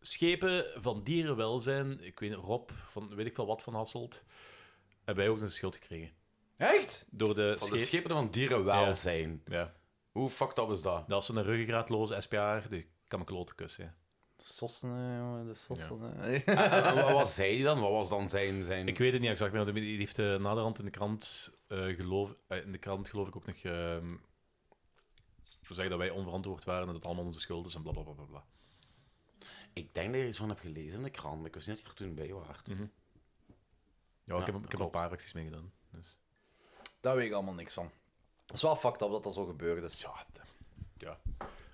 Speaker 4: schepen van dierenwelzijn, ik weet Rob, van weet ik veel wat van Hasselt, hebben wij ook een schild gekregen.
Speaker 2: Echt?
Speaker 4: Door de,
Speaker 3: Van de
Speaker 4: sche-
Speaker 3: schepen van dierenwelzijn.
Speaker 4: Ja. ja.
Speaker 3: Hoe fucked up is dat?
Speaker 4: Dat is zo'n ruggengraatloze SPA'er, die kan me kloten kussen. ja.
Speaker 2: Sossen, eh, jongen, de sossen. eh.
Speaker 3: Eh, wat was hij dan? Wat was dan zijn... zijn...
Speaker 4: Ik weet het niet exact meer, want die heeft eh, naderhand in de krant, eh, geloof, eh, in de krant geloof ik ook nog ehm zeggen dat wij onverantwoord waren en dat het allemaal onze schuld is en bla bla bla bla, bla.
Speaker 3: Ik denk dat je iets van hebt gelezen in de krant. maar Ik wist niet dat je er toen bij waart.
Speaker 4: Ja, ik heb, ik heb er een
Speaker 3: klopt.
Speaker 4: paar acties mee gedaan. Dus.
Speaker 2: Daar weet ik allemaal niks van. Het is wel fucked up dat dat zo gebeurd is. Ja,
Speaker 4: ja.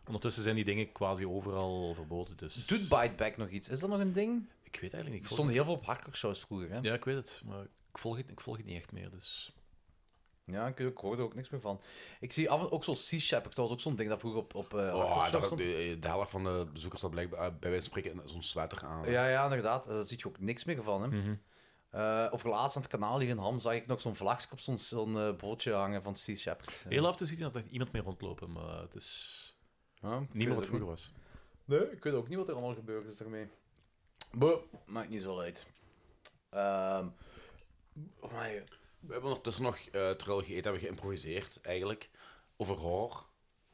Speaker 4: Ondertussen zijn die dingen quasi overal verboden, dus...
Speaker 2: Doet Bite Back nog iets? Is dat nog een ding?
Speaker 4: Ik weet eigenlijk niet.
Speaker 2: Er stond heel veel op hakkershows vroeger, hè?
Speaker 4: Ja, ik weet het, maar ik volg het, ik volg het niet echt meer, dus...
Speaker 2: Ja, ik, ik hoorde er ook niks meer van. Ik zie af en ook zo'n Sea Shepherd, dat was ook zo'n ding dat vroeger op, op eh,
Speaker 3: Oh,
Speaker 2: hakkershows
Speaker 3: dat,
Speaker 2: stond.
Speaker 3: de, de helft van de bezoekers had blijkbaar eh, bij wijze van spreken in zo'n sweater aan.
Speaker 2: Ja, ja, inderdaad. Daar ziet je ook niks meer van. Hè?
Speaker 4: Mhm.
Speaker 2: Eh, of laatst aan het kanaal hier in Ham zag ik nog zo'n vlagschap op zo'n zo'n, eh, bootje hangen van Sea Shepherd.
Speaker 4: Heel af te zien dat er iemand meer rondlopen, maar het is... niet
Speaker 2: weet
Speaker 4: meer
Speaker 2: het
Speaker 4: wat vroeger
Speaker 2: niet.
Speaker 4: was.
Speaker 2: Nee, ik weet ook niet wat er allemaal gebeurd is daarmee. Boh, maakt niet zo uit. Ehm, oh my god.
Speaker 3: We hebben ondertussen nog, eh terwijl we gegeten hebben, geïmproviseerd eigenlijk. Over horror.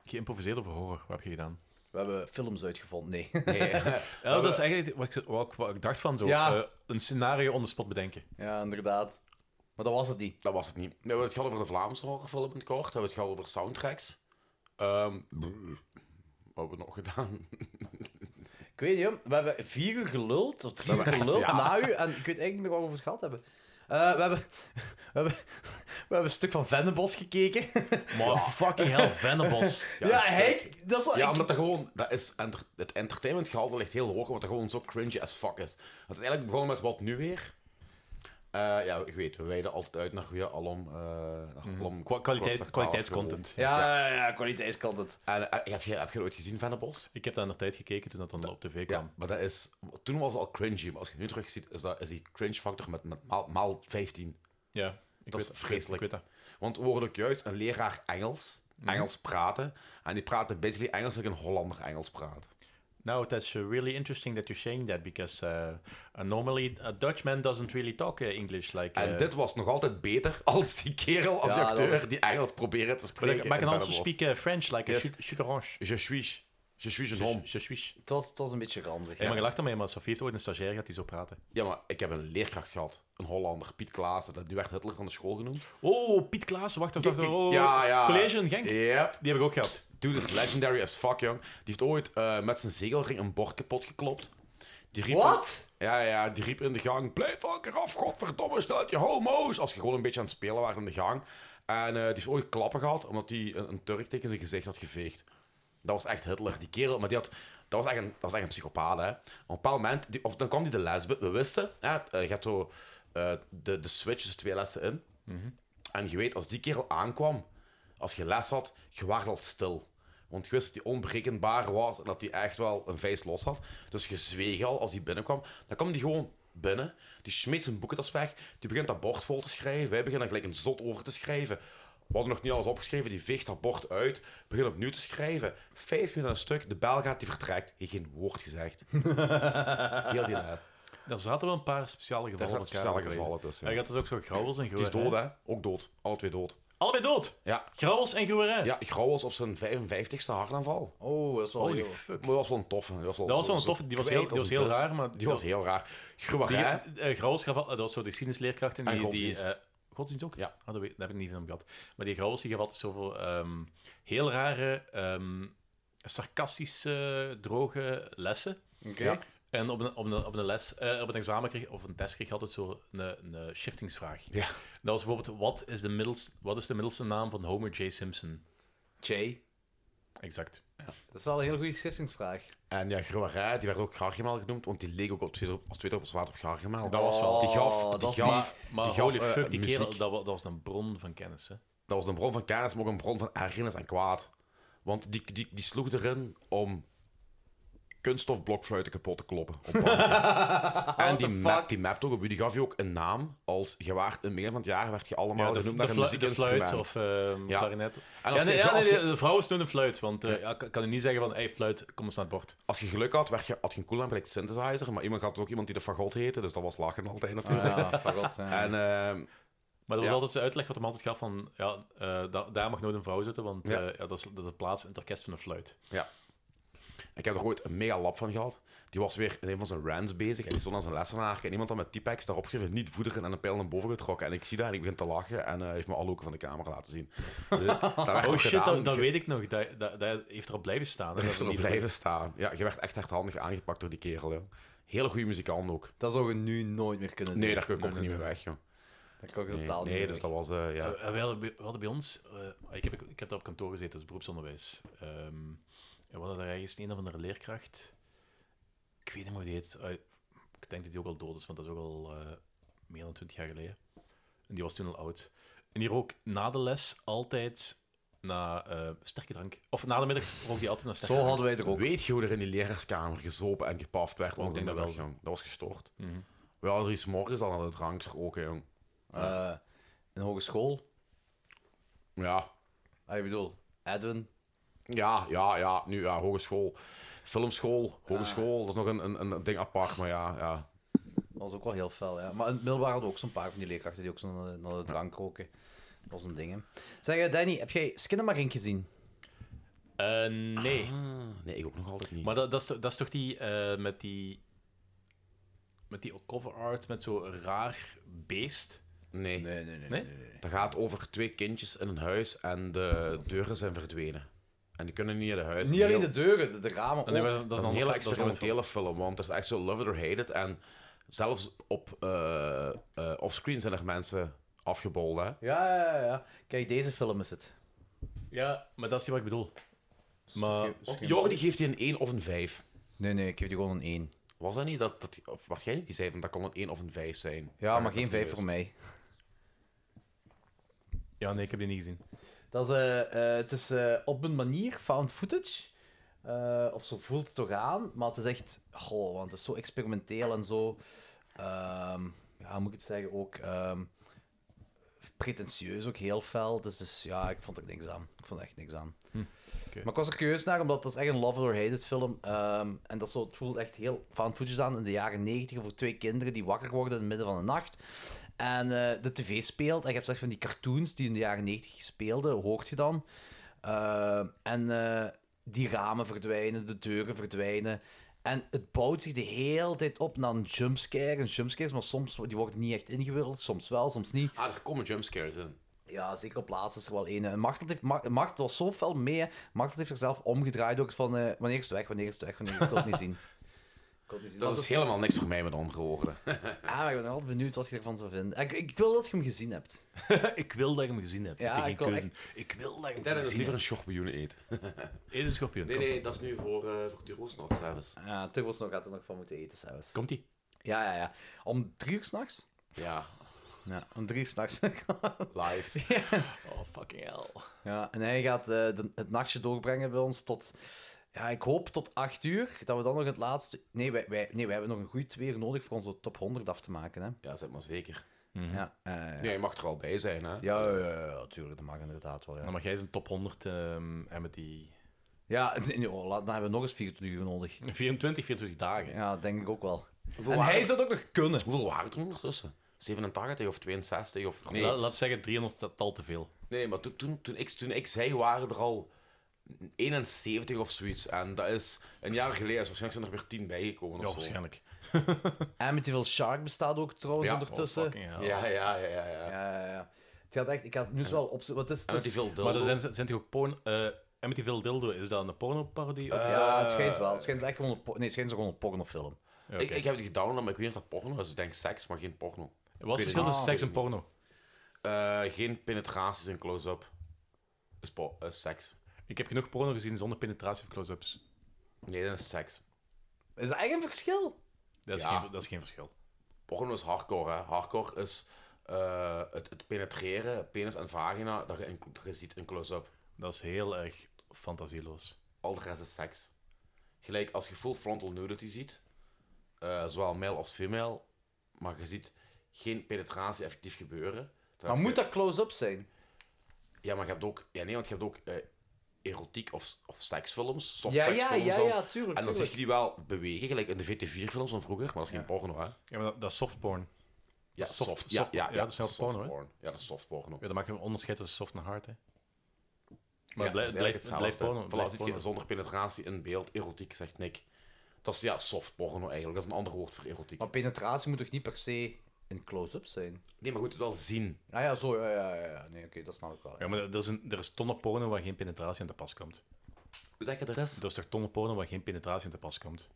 Speaker 4: Geïmproviseerd over horror? Wat heb je gedaan?
Speaker 2: We hebben films uitgevonden, nee.
Speaker 4: Ja, dat is eigenlijk wat ik, wat ik, wat ik dacht van zo.
Speaker 2: Ja.
Speaker 4: eh, een scenario on the spot bedenken.
Speaker 2: Ja, inderdaad. Maar dat was het niet.
Speaker 3: Dat was het niet. We hebben het gehad over de Vlaamse horrorfilm in het kort. We hebben het gehad over soundtracks. Ehm, wat hebben we nog gedaan?
Speaker 2: Ik weet niet, joh. we hebben vier uur geluld, of drie uur
Speaker 3: hebben echt-
Speaker 2: geluld
Speaker 3: ja.
Speaker 2: na u, en ik weet eigenlijk niet meer waar we over het gehad hebben. Eh, we, hebben, we, hebben we hebben een stuk van Vennebos gekeken.
Speaker 4: Maar fucking hell, Vennebos.
Speaker 2: Ja,
Speaker 3: dat is
Speaker 2: hij-
Speaker 3: leuk.
Speaker 2: dat is wel-
Speaker 3: ja,
Speaker 2: ik-
Speaker 3: omdat dat gewoon... Dat is enter- het entertainmentgehalte ligt heel hoog, omdat dat gewoon zo cringy as fuck is. Het is eigenlijk begonnen met wat nu weer. Eh, ja, ik weet, we wijden altijd uit naar goede alom... eh, naar
Speaker 4: Mhm.
Speaker 3: alom-
Speaker 4: Kwa- kwaliteit-
Speaker 3: klokslag
Speaker 4: kwaliteitscontent.
Speaker 3: twaalf
Speaker 4: Ja,
Speaker 3: gewoon.
Speaker 2: ja, ja, kwaliteitscontent.
Speaker 3: En eh, heb, je, heb je dat ooit gezien, Vennebos?
Speaker 4: dus Ik heb dat aan de tijd gekeken toen dat dan op tv
Speaker 3: kwam. maar dat is... Toen was het al cringy, maar als je het nu terug ziet, is, dat, is die cringe factor met, met maal, maal 15.
Speaker 4: Ja, ik
Speaker 3: dat
Speaker 4: weet-
Speaker 3: is vreselijk.
Speaker 4: ik weet
Speaker 3: Want we worden ook juist een leraar Engels,
Speaker 4: Mhm.
Speaker 3: Engels praten, en die praten basically Engels als ik een Hollander Engels praat.
Speaker 4: Now that's uh, really interesting that you're saying that because uh, uh, normally a Dutchman doesn't really talk uh, English like.
Speaker 3: En
Speaker 4: uh,
Speaker 3: dit was nog altijd beter als die kerel, als
Speaker 4: Ja,
Speaker 3: die acteur,
Speaker 4: dat-
Speaker 3: die Engels probeerde te
Speaker 4: But I,
Speaker 3: spreken.
Speaker 4: but I
Speaker 3: in
Speaker 4: can also
Speaker 3: Bellevos.
Speaker 4: speak uh, French like
Speaker 3: Yes.
Speaker 4: a chut- chuterange.
Speaker 3: Je suis. Je suis een
Speaker 4: Je-
Speaker 3: hom.
Speaker 4: je suis.
Speaker 2: Het was, het was een beetje ranzig.
Speaker 4: Hey, maar je lacht ermee, maar Sofie heeft ooit een stagiair gehad die zo praatte.
Speaker 3: Ja, maar ik heb een leerkracht gehad, een Hollander, Piet Klaassen. dat- Die werd Hitler van de school genoemd.
Speaker 4: Oh, Piet Klaassen, wacht, wacht, wacht. Oh,
Speaker 3: ja, ja.
Speaker 4: College in Genk.
Speaker 3: Yep.
Speaker 4: Die heb ik ook gehad.
Speaker 3: Dude is legendary as fuck, jong. Die heeft ooit eh, met zijn zegelring een bord kapot geklopt. Die riep
Speaker 2: Wat?
Speaker 3: ja, ja, die riep in de gang, blijf elke af, godverdomme, stel je homo's. Als je gewoon een beetje aan het spelen waren in de gang. En eh, die heeft ooit klappen gehad, omdat hij een, een Turk tegen zijn gezicht had geveegd. Dat was echt Hitler, die kerel. Maar die had, dat was echt een, dat was echt een psychopaat, hè. Op een bepaald moment, die- of dan kwam die de lesbe, we wisten, hè, eh, je hebt zo eh, de, de switch tussen twee lessen in. En je weet, als die kerel aankwam, als je les had, je waart al stil. Want je wist dat hij onberekenbaar was en dat hij echt wel een vijs los had. Dus je zweeg al als hij binnenkwam. Dan kwam hij gewoon binnen, die smeet zijn boekentas weg, die begint dat bord vol te schrijven. Wij beginnen er gelijk een zot over te schrijven. We hadden nog niet alles opgeschreven, die veegt dat bord uit, begint opnieuw te schrijven. Vijf minuten aan een stuk, de bel gaat, die vertrekt. Heeft geen woord gezegd. Heel die les.
Speaker 4: Daar zaten wel een paar speciale gevallen.
Speaker 3: zaten
Speaker 4: op elkaar
Speaker 3: speciale gevallen tussen,
Speaker 4: Hij
Speaker 3: ja.
Speaker 4: had dus ook zo grauwels en
Speaker 3: Die is
Speaker 4: groen,
Speaker 3: dood, hè? Ook dood. Alle twee dood.
Speaker 4: Allebei dood.
Speaker 3: Ja.
Speaker 4: Grauwels en Gouwerin.
Speaker 3: Ja, Grauwels op zijn 55ste hartaanval.
Speaker 2: Oh, dat is wel
Speaker 3: Holy
Speaker 2: heel-
Speaker 3: fuck. Maar dat was wel een toffe. Dat was wel,
Speaker 4: Dat was wel
Speaker 3: zo-
Speaker 4: een toffe, die was
Speaker 3: kwijt
Speaker 4: heel- die
Speaker 3: als
Speaker 4: was
Speaker 3: een
Speaker 4: heel
Speaker 3: vis.
Speaker 4: raar, maar-
Speaker 3: Die was heel raar. Gruwarin.
Speaker 4: Die, eh, Grauwels gaf al- dat was zo de geschiedenisleerkracht. En
Speaker 3: En
Speaker 4: die,
Speaker 3: godsdienst.
Speaker 4: Die, eh, godsdienst ook? Ja. dat, weet, dat heb ik niet van hem gehad. Maar die Grauwels die gaf altijd zoveel ehm heel rare, ehm, sarcastische, droge lessen.
Speaker 2: Oké. Ja.
Speaker 4: En op een, op, een, op een les, eh, op een examen kreeg, of een test kreeg je altijd zo een, een shiftingsvraag.
Speaker 3: Ja.
Speaker 4: Dat was bijvoorbeeld, wat is, de middels, wat is de middelste naam van Homer J. Simpson?
Speaker 2: J.
Speaker 4: Exact.
Speaker 2: Dat is wel een heel goede schissingsvraag.
Speaker 3: En ja, Gruwarin, die werd ook Gargamel genoemd, want die leek ook op tweede, als tweede op zwaard op Gargamel.
Speaker 4: Dat was wel...
Speaker 3: Die gaf, die
Speaker 4: Oh, dat is
Speaker 3: gaf,
Speaker 4: niet- Maar
Speaker 3: die gaf,
Speaker 4: holy
Speaker 3: eh,
Speaker 4: fuck, die
Speaker 3: muziek.
Speaker 4: kerel, dat, wa- dat was een bron van kennis, hè.
Speaker 3: Dat was een bron van kennis, maar ook een bron van ergernis en kwaad. Want die, die, die sloeg erin om kunststof blokfluiten kapot te kloppen. op banken. en die map, die map ook op u, die gaf je ook een naam als je waard in het begin van het jaar werd je allemaal
Speaker 4: Ja, de,
Speaker 3: genoemd
Speaker 4: de,
Speaker 3: naar een
Speaker 4: flu- de
Speaker 3: muziekinstrument.
Speaker 4: fluit of ehm
Speaker 3: Ja.
Speaker 4: klarinet.
Speaker 3: En als
Speaker 4: ja, nee,
Speaker 3: je-
Speaker 4: ja,
Speaker 3: als
Speaker 4: nee,
Speaker 3: je-
Speaker 4: de vrouw is toen een fluit, want eh, ja, ik kan u niet zeggen van, hey fluit, kom eens naar het bord.
Speaker 3: Als je geluk had, werd je, had je een cool gelijk synthesizer, maar iemand had ook iemand die de fagot heette, dus dat was lachen altijd natuurlijk.
Speaker 4: Ah, fagot, ja.
Speaker 3: En, ehm,
Speaker 4: Maar dat was
Speaker 3: ja.
Speaker 4: altijd zijn uitleg wat hem altijd gaf van, ja, eh, da- daar mag nooit een vrouw zitten, want
Speaker 3: Ja.
Speaker 4: eh, ja, dat, is, dat is de plaats in het orkest van een fluit.
Speaker 3: Ja. Ik heb er ooit een mega lab van gehad. Die was weer in een van zijn rants bezig en die stond aan zijn lessenaar. En iemand had met T-Pex daarop geschreven, niet voederen en een pijl naar boven getrokken. En ik zie dat en ik begin te lachen en eh, hij heeft me alle hoeken van de kamer laten zien. Eh, dat werd
Speaker 4: oh
Speaker 3: toch
Speaker 4: shit,
Speaker 3: gedaan.
Speaker 4: dat, dat
Speaker 3: Je-
Speaker 4: weet ik nog. Dat, dat, dat heeft erop blijven staan.
Speaker 3: Dat heeft erop blijven staan. Ja, je werd echt hardhandig aangepakt door die kerel. Joh. Hele goede muzikant ook.
Speaker 2: Dat zou je nu nooit meer kunnen
Speaker 3: Nee,
Speaker 2: doen.
Speaker 3: daar kom ik
Speaker 2: Nee,
Speaker 3: ook
Speaker 2: nee,
Speaker 3: niet meer
Speaker 2: nee.
Speaker 3: weg, joh.
Speaker 2: Daar kan ik
Speaker 3: nee,
Speaker 2: totaal niet
Speaker 3: Nee,
Speaker 2: meer
Speaker 3: dus
Speaker 2: weg.
Speaker 3: dat was... eh, ja.
Speaker 4: Eh, eh, we, hadden, bij- we hadden bij ons... eh, ik, heb, ik heb daar op kantoor gezeten, dus beroepsonderwijs. Ehm, en we hadden daar ergens een of andere leerkracht. Ik weet niet hoe die heet. Eh, ik denk dat die ook al dood is, want dat is ook al eh, meer dan twintig jaar geleden. En die was toen al oud. En die rook na de les altijd na eh, sterke drank. Of na de middag rook die altijd naar sterke drank.
Speaker 3: Weet je hoe er in die leraarskamer gezopen en gepaft werd?
Speaker 4: Oh, ik
Speaker 3: onder de
Speaker 4: denk dat
Speaker 3: middag,
Speaker 4: wel.
Speaker 3: jong? Dat was gestoord.
Speaker 4: Mhm.
Speaker 3: We hadden er iets morgens al aan de drank roken, jong.
Speaker 2: Eh, een hogeschool?
Speaker 3: Ja.
Speaker 2: Ah, ik bedoel, Edwin.
Speaker 3: Ja, ja, ja. Nu, ja, hogeschool. Filmschool, hogeschool. Dat is nog een, een, een ding apart, maar ja, ja.
Speaker 2: Dat was ook wel heel fel, ja. Maar in het middelbaar hadden we ook zo'n paar van die leerkrachten die ook zo naar de- naar de drank roken. Dat was een ding, hè. Zeg, eh, Danny, heb jij Skinnamarink gezien?
Speaker 4: Eh, nee.
Speaker 3: Ah, nee, ik ook nog altijd niet.
Speaker 4: Maar dat, dat, is, to- dat is toch die eh, met die. Met die cover art met zo'n raar beest?
Speaker 3: Nee.
Speaker 2: Nee, nee, nee.
Speaker 4: Nee?
Speaker 3: Dat gaat over twee kindjes in een huis en de deuren zijn verdwenen. En die kunnen niet naar de huis.
Speaker 2: Niet
Speaker 3: Een
Speaker 2: alleen
Speaker 3: heel-
Speaker 2: de deuren, de, de ramen
Speaker 3: Dat is
Speaker 4: Oh,
Speaker 2: ook.
Speaker 3: een, hele experimentele film, want er is echt zo love it or hate it. En zelfs op eh, eh, offscreen zijn er mensen afgebolden. hè.
Speaker 2: Ja, ja, ja, ja. Kijk, deze film is het.
Speaker 4: Ja, maar dat is niet wat ik bedoel. Maar.
Speaker 3: Want Jordi geeft hij een 1 of een 5.
Speaker 2: Nee, nee, ik geef die gewoon een 1.
Speaker 3: Was dat niet? Dat, dat, of was jij niet die zei van dat kon een 1 of een 5 zijn?
Speaker 2: Ja, maar
Speaker 3: ik
Speaker 2: geen
Speaker 3: heb
Speaker 2: 5
Speaker 3: gemist.
Speaker 2: voor mij.
Speaker 4: Ja, nee, ik heb die niet gezien.
Speaker 2: Dat is, eh, eh, het is eh, op een manier found footage. Eh, of zo voelt het toch aan. Maar het is echt... Goh, want het is zo experimenteel en zo... ehm, ja, hoe moet ik het zeggen? Ook ehm, pretentieus, ook heel fel. Dus, dus ja, ik vond er niks aan. Ik vond er echt niks aan.
Speaker 4: Hm,
Speaker 2: Maar ik was er curieus naar, omdat dat is echt een love or hate it film. Ehm, en dat is zo, het voelt echt heel found footage aan in de jaren 90 voor twee kinderen die wakker worden in het midden van de nacht. En eh, de tv speelt. En je hebt zeg van die cartoons die in de jaren 90 speelden, hoort je dan. Eh, en eh, die ramen verdwijnen, de deuren verdwijnen. En het bouwt zich de hele tijd op naar een jumpscare. En jumpscares, maar soms die worden niet echt ingewikkeld, soms wel, soms niet.
Speaker 3: Ah, er komen jumpscares in.
Speaker 2: Ja, zeker op laatst is er wel een. En Martel, heeft, Mar- Martel was zo fel mee. hè. Martel heeft zichzelf omgedraaid ook van eh, wanneer is het weg, wanneer is het weg, wanneer ik wil het niet zien. Ik wil het niet zien.
Speaker 3: Dat is helemaal niks voor mij met andere woorden.
Speaker 2: Ah, maar ik ben altijd benieuwd wat je ervan zou vinden. Ik, ik wil dat je hem gezien hebt.
Speaker 4: ik wil dat je hem gezien hebt.
Speaker 2: Ja,
Speaker 4: Ik heb geen
Speaker 2: ik wil
Speaker 4: keuze.
Speaker 2: echt-
Speaker 4: Ik wil dat je
Speaker 3: Ik
Speaker 4: hem
Speaker 3: denk dat ik
Speaker 4: gezien
Speaker 3: liever een
Speaker 4: hebt.
Speaker 3: schorpioen eet.
Speaker 4: Eet een schorpioen.
Speaker 3: Nee,
Speaker 4: kom.
Speaker 3: nee, dat is nu voor, eh voor Turo's nog zelfs.
Speaker 2: Ja, Turbos nog gaat er nog van moeten eten zelfs.
Speaker 4: Komt-ie?
Speaker 2: Ja, ja, ja. Om drie uur s'nachts?
Speaker 3: Ja.
Speaker 2: Ja, om drie uur s'nachts.
Speaker 3: Live.
Speaker 4: Oh, fucking hell.
Speaker 2: Ja, en hij gaat eh, de- het nachtje doorbrengen bij ons tot... Ja, ik hoop tot acht uur, dat we dan nog het laatste... Nee, wij, wij, nee, wij hebben nog een goede twee uur nodig voor onze top 100 af te maken, hè.
Speaker 3: Ja, zeg maar zeker.
Speaker 2: Ja, eh,
Speaker 3: Nee, je mag er al bij zijn, hè?
Speaker 2: Ja, ja, ja, ja, tuurlijk, dat mag inderdaad wel. Ja,
Speaker 4: Dan mag jij zijn top 100 ehm, en met die.
Speaker 2: ja nee, nee, oh, laat- dan hebben we nog eens 24 uur nodig.
Speaker 4: 24, 24 dagen.
Speaker 2: Ja, denk ik ook wel.
Speaker 3: Hoeveel
Speaker 2: en
Speaker 3: waren
Speaker 2: hij
Speaker 3: er?
Speaker 2: zou het ook nog kunnen.
Speaker 3: Hoeveel waren er ondertussen? 87 of 62 of... Nee,
Speaker 4: Laat, laat zeggen 300 tal te veel.
Speaker 3: nee maar toen, toen, toen, ik, toen ik zei, waren er al 71 of zoiets. En dat is een jaar geleden. Dus waarschijnlijk zijn er weer 10 bijgekomen of
Speaker 4: Ja,
Speaker 3: zo.
Speaker 4: waarschijnlijk.
Speaker 2: Amityville Shark bestaat ook trouwens
Speaker 3: Ja,
Speaker 2: ondertussen.
Speaker 3: oh, fucking hell. Ja, ja, ja, ja, ja.
Speaker 2: ja, ja. Het gaat echt, ik ga het nu zo wel opzoeken. Wat is het? is-
Speaker 4: Maar er zijn, zijn toch ook porno... eh Amityville Dildo, is dat een pornoparodie?
Speaker 3: Eh,
Speaker 4: of is dat-
Speaker 2: ja, het schijnt wel. Het schijnt echt gewoon een, por- nee, het schijnt gewoon een pornofilm.
Speaker 3: Ik, ik heb die gedownload, maar ik weet niet of dat porno is. Ik denk seks, maar geen porno. Ik weet
Speaker 4: het verschil tussen seks en
Speaker 3: porno? geen penetraties en close-up. Is, po- is seks.
Speaker 4: Ik heb genoeg porno gezien zonder penetratie of close-ups.
Speaker 3: Nee, dat is seks.
Speaker 2: Is dat echt een verschil?
Speaker 4: Dat is,
Speaker 3: Ja.
Speaker 4: geen, dat is geen verschil.
Speaker 3: Porno is hardcore, hè. Hardcore is eh, het, het penetreren, penis en vagina, dat je, in- dat je ziet in close-up.
Speaker 4: Dat is heel erg fantasieloos.
Speaker 3: Al de rest is seks. Gelijk, als je full frontal nudity ziet, eh, zowel male als female, maar je ziet geen penetratie effectief gebeuren.
Speaker 2: Maar moet dat close-up zijn?
Speaker 3: Ja, maar je hebt ook, ja, nee, want je hebt ook eh, erotiek of, of seksfilms, soft
Speaker 2: Ja, ja,
Speaker 3: seksfilms
Speaker 2: ja,
Speaker 3: dan.
Speaker 2: ja, tuurlijk,
Speaker 3: En dan zie
Speaker 2: tuurlijk.
Speaker 3: je die wel bewegen, gelijk in de VT4-films van vroeger, maar dat is geen porno, hè?
Speaker 4: Ja, maar dat, dat is softporn.
Speaker 3: Ja,
Speaker 4: Dat is soft,
Speaker 3: soft- ja,
Speaker 4: softporn.
Speaker 3: ja, ja,
Speaker 4: dat is wel
Speaker 3: softporn.
Speaker 4: porno, hè?
Speaker 3: Ja, dat is softporno.
Speaker 4: Ja, dan maak je een onderscheid tussen soft en hard, hè. Maar
Speaker 3: Ja,
Speaker 4: het blijft,
Speaker 3: is
Speaker 4: het blijft, het
Speaker 3: eigenlijk
Speaker 4: blijft
Speaker 3: hetzelfde.
Speaker 4: porno. het
Speaker 3: Voilà,
Speaker 4: blijft
Speaker 3: zit je
Speaker 4: porno.
Speaker 3: zonder penetratie in beeld, erotiek, zegt Nick. Dat is ja, soft porno eigenlijk, dat is een ander woord voor erotiek.
Speaker 2: Maar penetratie moet toch niet per se een close-up zijn?
Speaker 3: Nee, maar goed, wel zien.
Speaker 2: Ah ja, zo, ja, ja, ja. ja. Nee, oké, dat snap ik wel.
Speaker 4: Ja, maar er is, een, er is tonnen porno waar geen penetratie aan te pas komt.
Speaker 3: Hoe zeg je de rest?
Speaker 4: Er is toch tonnen porno waar geen penetratie aan te pas komt?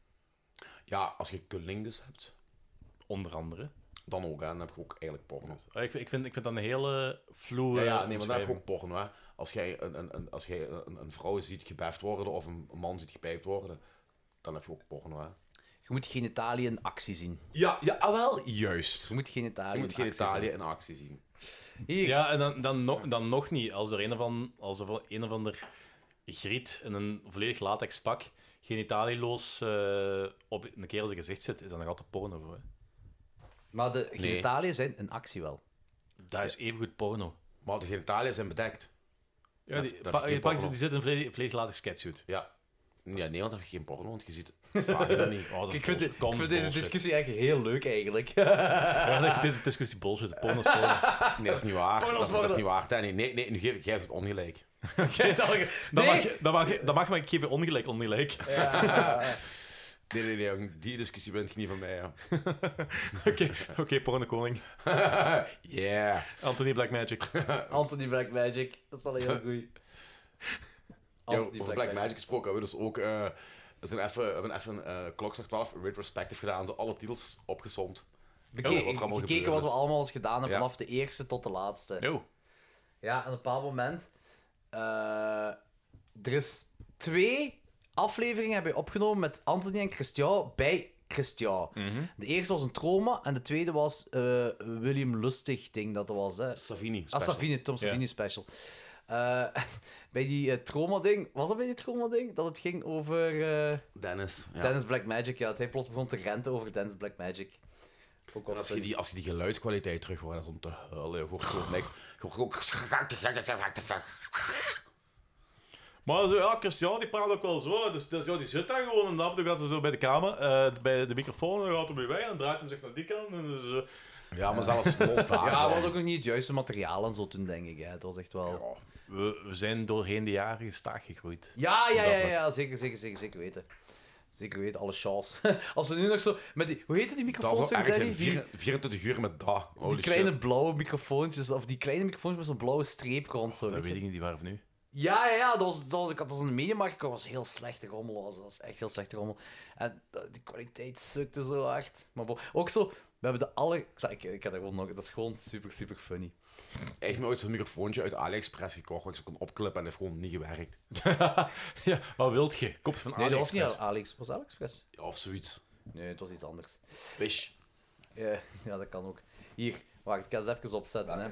Speaker 3: Ja, als je cunnilingus hebt.
Speaker 4: Onder andere.
Speaker 3: Dan ook, hè. Dan heb je ook eigenlijk porno.
Speaker 4: Ah, Ik, vind- ik, vind, ik vind dat een hele vloe.
Speaker 3: Ja, ja, nee, maar daar heb je ook porno, hè. Als jij een, een, een, als jij een, een vrouw ziet gebeft worden of een man ziet gepijpt worden, dan heb je ook porno, hè.
Speaker 2: Je moet genitaliën in actie zien.
Speaker 3: Ja, ja ah, wel, juist.
Speaker 2: Je moet genitaliën
Speaker 3: Je moet geen
Speaker 2: in actie
Speaker 3: Italië
Speaker 2: zien.
Speaker 3: in actie zien.
Speaker 4: Ja, en dan, dan, nog, dan nog niet. Als er een, van, als er wel een of ander griet in een volledig latex pak genitalieloos eh, op een kerel zijn gezicht zit, is dat nog altijd porno. Voor, hè?
Speaker 2: Maar de
Speaker 4: Nee.
Speaker 2: genitaliën zijn een actie wel.
Speaker 4: Dat is evengoed porno.
Speaker 3: Maar de genitaliën zijn bedekt.
Speaker 4: Ja, die,
Speaker 3: Dat- dat
Speaker 4: pa-
Speaker 3: is
Speaker 4: je
Speaker 3: geen
Speaker 4: pak,
Speaker 3: porno.
Speaker 4: die zit in een volledig, volledig latex catsuit.
Speaker 3: Ja. Ja, nee, want dan heb je geen porno, want je ziet het vagina niet.
Speaker 4: Oh, dat is
Speaker 2: ik vind, de-
Speaker 4: bullshit. Kom,
Speaker 2: ik vind deze
Speaker 4: bullshit.
Speaker 2: discussie echt heel leuk eigenlijk.
Speaker 4: Ja, ik vind deze discussie dus bullshit. Porno is porno.
Speaker 3: Nee, dat is niet waar.
Speaker 4: Porno's
Speaker 3: Dat is, dat is
Speaker 4: worden-
Speaker 3: niet waar, Danny. Nee, nee, nu geef ik jij hebt het ongelijk.
Speaker 4: Dat mag, dat mag, dat mag, maar ik geef je ongelijk, ongelijk.
Speaker 3: Nee, nee, nee, jong. die discussie bent je niet van mij. Ja.
Speaker 4: Oké, oké, porno koning.
Speaker 3: yeah.
Speaker 4: Anthony Blackmagic.
Speaker 2: Anthony Blackmagic, dat is wel heel goed.
Speaker 3: Yo,
Speaker 2: Anthony
Speaker 3: over Black,
Speaker 2: Black
Speaker 3: Magic gesproken hebben we dus ook. eh, we, zijn even, we hebben even eh, Klokslag 12 retrospective gedaan. Ze alle titels opgesomd.
Speaker 2: Beke-
Speaker 3: er allemaal
Speaker 2: gekeken
Speaker 3: gebeurd
Speaker 2: wat we
Speaker 3: is.
Speaker 2: allemaal eens gedaan hebben,
Speaker 3: dus. Ja. Oh.
Speaker 2: vanaf de eerste tot de laatste. Ja, en op een bepaald moment. eh, er is twee afleveringen hebben we opgenomen met Anthony en Christian bij Christian.
Speaker 3: Mhm.
Speaker 2: De eerste was een trauma en de tweede was eh, William Lustig, ding dat dat was. Hè.
Speaker 3: Savini.
Speaker 2: Ah,
Speaker 3: special.
Speaker 2: Savini, Tom
Speaker 3: Ja.
Speaker 2: Savini special. Eh, bij die trauma-ding, was dat bij die trauma-ding? Dat het ging over. eh,
Speaker 3: Dennis. Ja.
Speaker 2: Dennis Blackmagic, ja. Dat hij plots begon te renten over Dennis Blackmagic. Ook
Speaker 3: En als, je die, als je die geluidskwaliteit terug hoort, dat is om te huilen. Je hoort
Speaker 2: Oh.
Speaker 3: gewoon niks. Je hoort gewoon...
Speaker 4: Maar zo, ja, Christian die praat ook wel zo. Dus, dus ja, die zit daar gewoon en af en toe gaat hij zo bij de kamer, eh, bij de microfoon, en dan gaat hij weer weg en dan draait hij zich naar die kant. En dus, eh.
Speaker 3: Ja, maar zelfs los daarvan.
Speaker 2: Ja, we hadden ook nog niet het juiste materiaal en zo toen, denk ik. Hè. Het was echt wel...
Speaker 4: We, we zijn doorheen de jaren gestaag gegroeid.
Speaker 2: Ja, ja,
Speaker 4: Op
Speaker 2: ja,
Speaker 4: dat
Speaker 2: ja,
Speaker 4: vlak.
Speaker 2: zeker, zeker, zeker, zeker weten. Zeker weten, alle chance. Als we nu nog zo... Met die, hoe heette die
Speaker 3: Dat
Speaker 2: microfoons?
Speaker 3: is wel
Speaker 2: weer,
Speaker 3: ergens
Speaker 2: Danny?
Speaker 3: in
Speaker 2: Die-
Speaker 3: 4- 24 uur met dat. Holy
Speaker 2: die kleine
Speaker 3: shit.
Speaker 2: blauwe microfoontjes, of die kleine microfoontjes met zo'n blauwe streep rond. Zo,
Speaker 4: Dat
Speaker 2: weet
Speaker 4: weet
Speaker 2: je.
Speaker 4: ik niet, die waren van nu.
Speaker 2: Ja, ja, ja. Dat was, dat was, ik had dat in de mediamarkt gekocht. Dat was heel slechte rommel. Was, dat. dat was echt heel slechte rommel. En de, de kwaliteit sukte zo hard. Maar bo- ook zo, we hebben de aller... Ik, zeg, ik, ik had dat gewoon nog... Dat is gewoon super, super funny.
Speaker 3: Hij heeft me ooit zo'n microfoontje uit AliExpress gekocht, waar ik ze kon opklippen en heeft gewoon niet gewerkt.
Speaker 4: ja, wat wilt je? Kops van
Speaker 2: Nee, dat was niet
Speaker 4: AliExpress.
Speaker 2: AliExpress. Was AliExpress?
Speaker 3: Ja, of zoiets.
Speaker 2: Nee, het was iets anders.
Speaker 3: Wish.
Speaker 2: Ja, ja, dat kan ook. Hier, wacht, ik ga het even opzetten. Hè.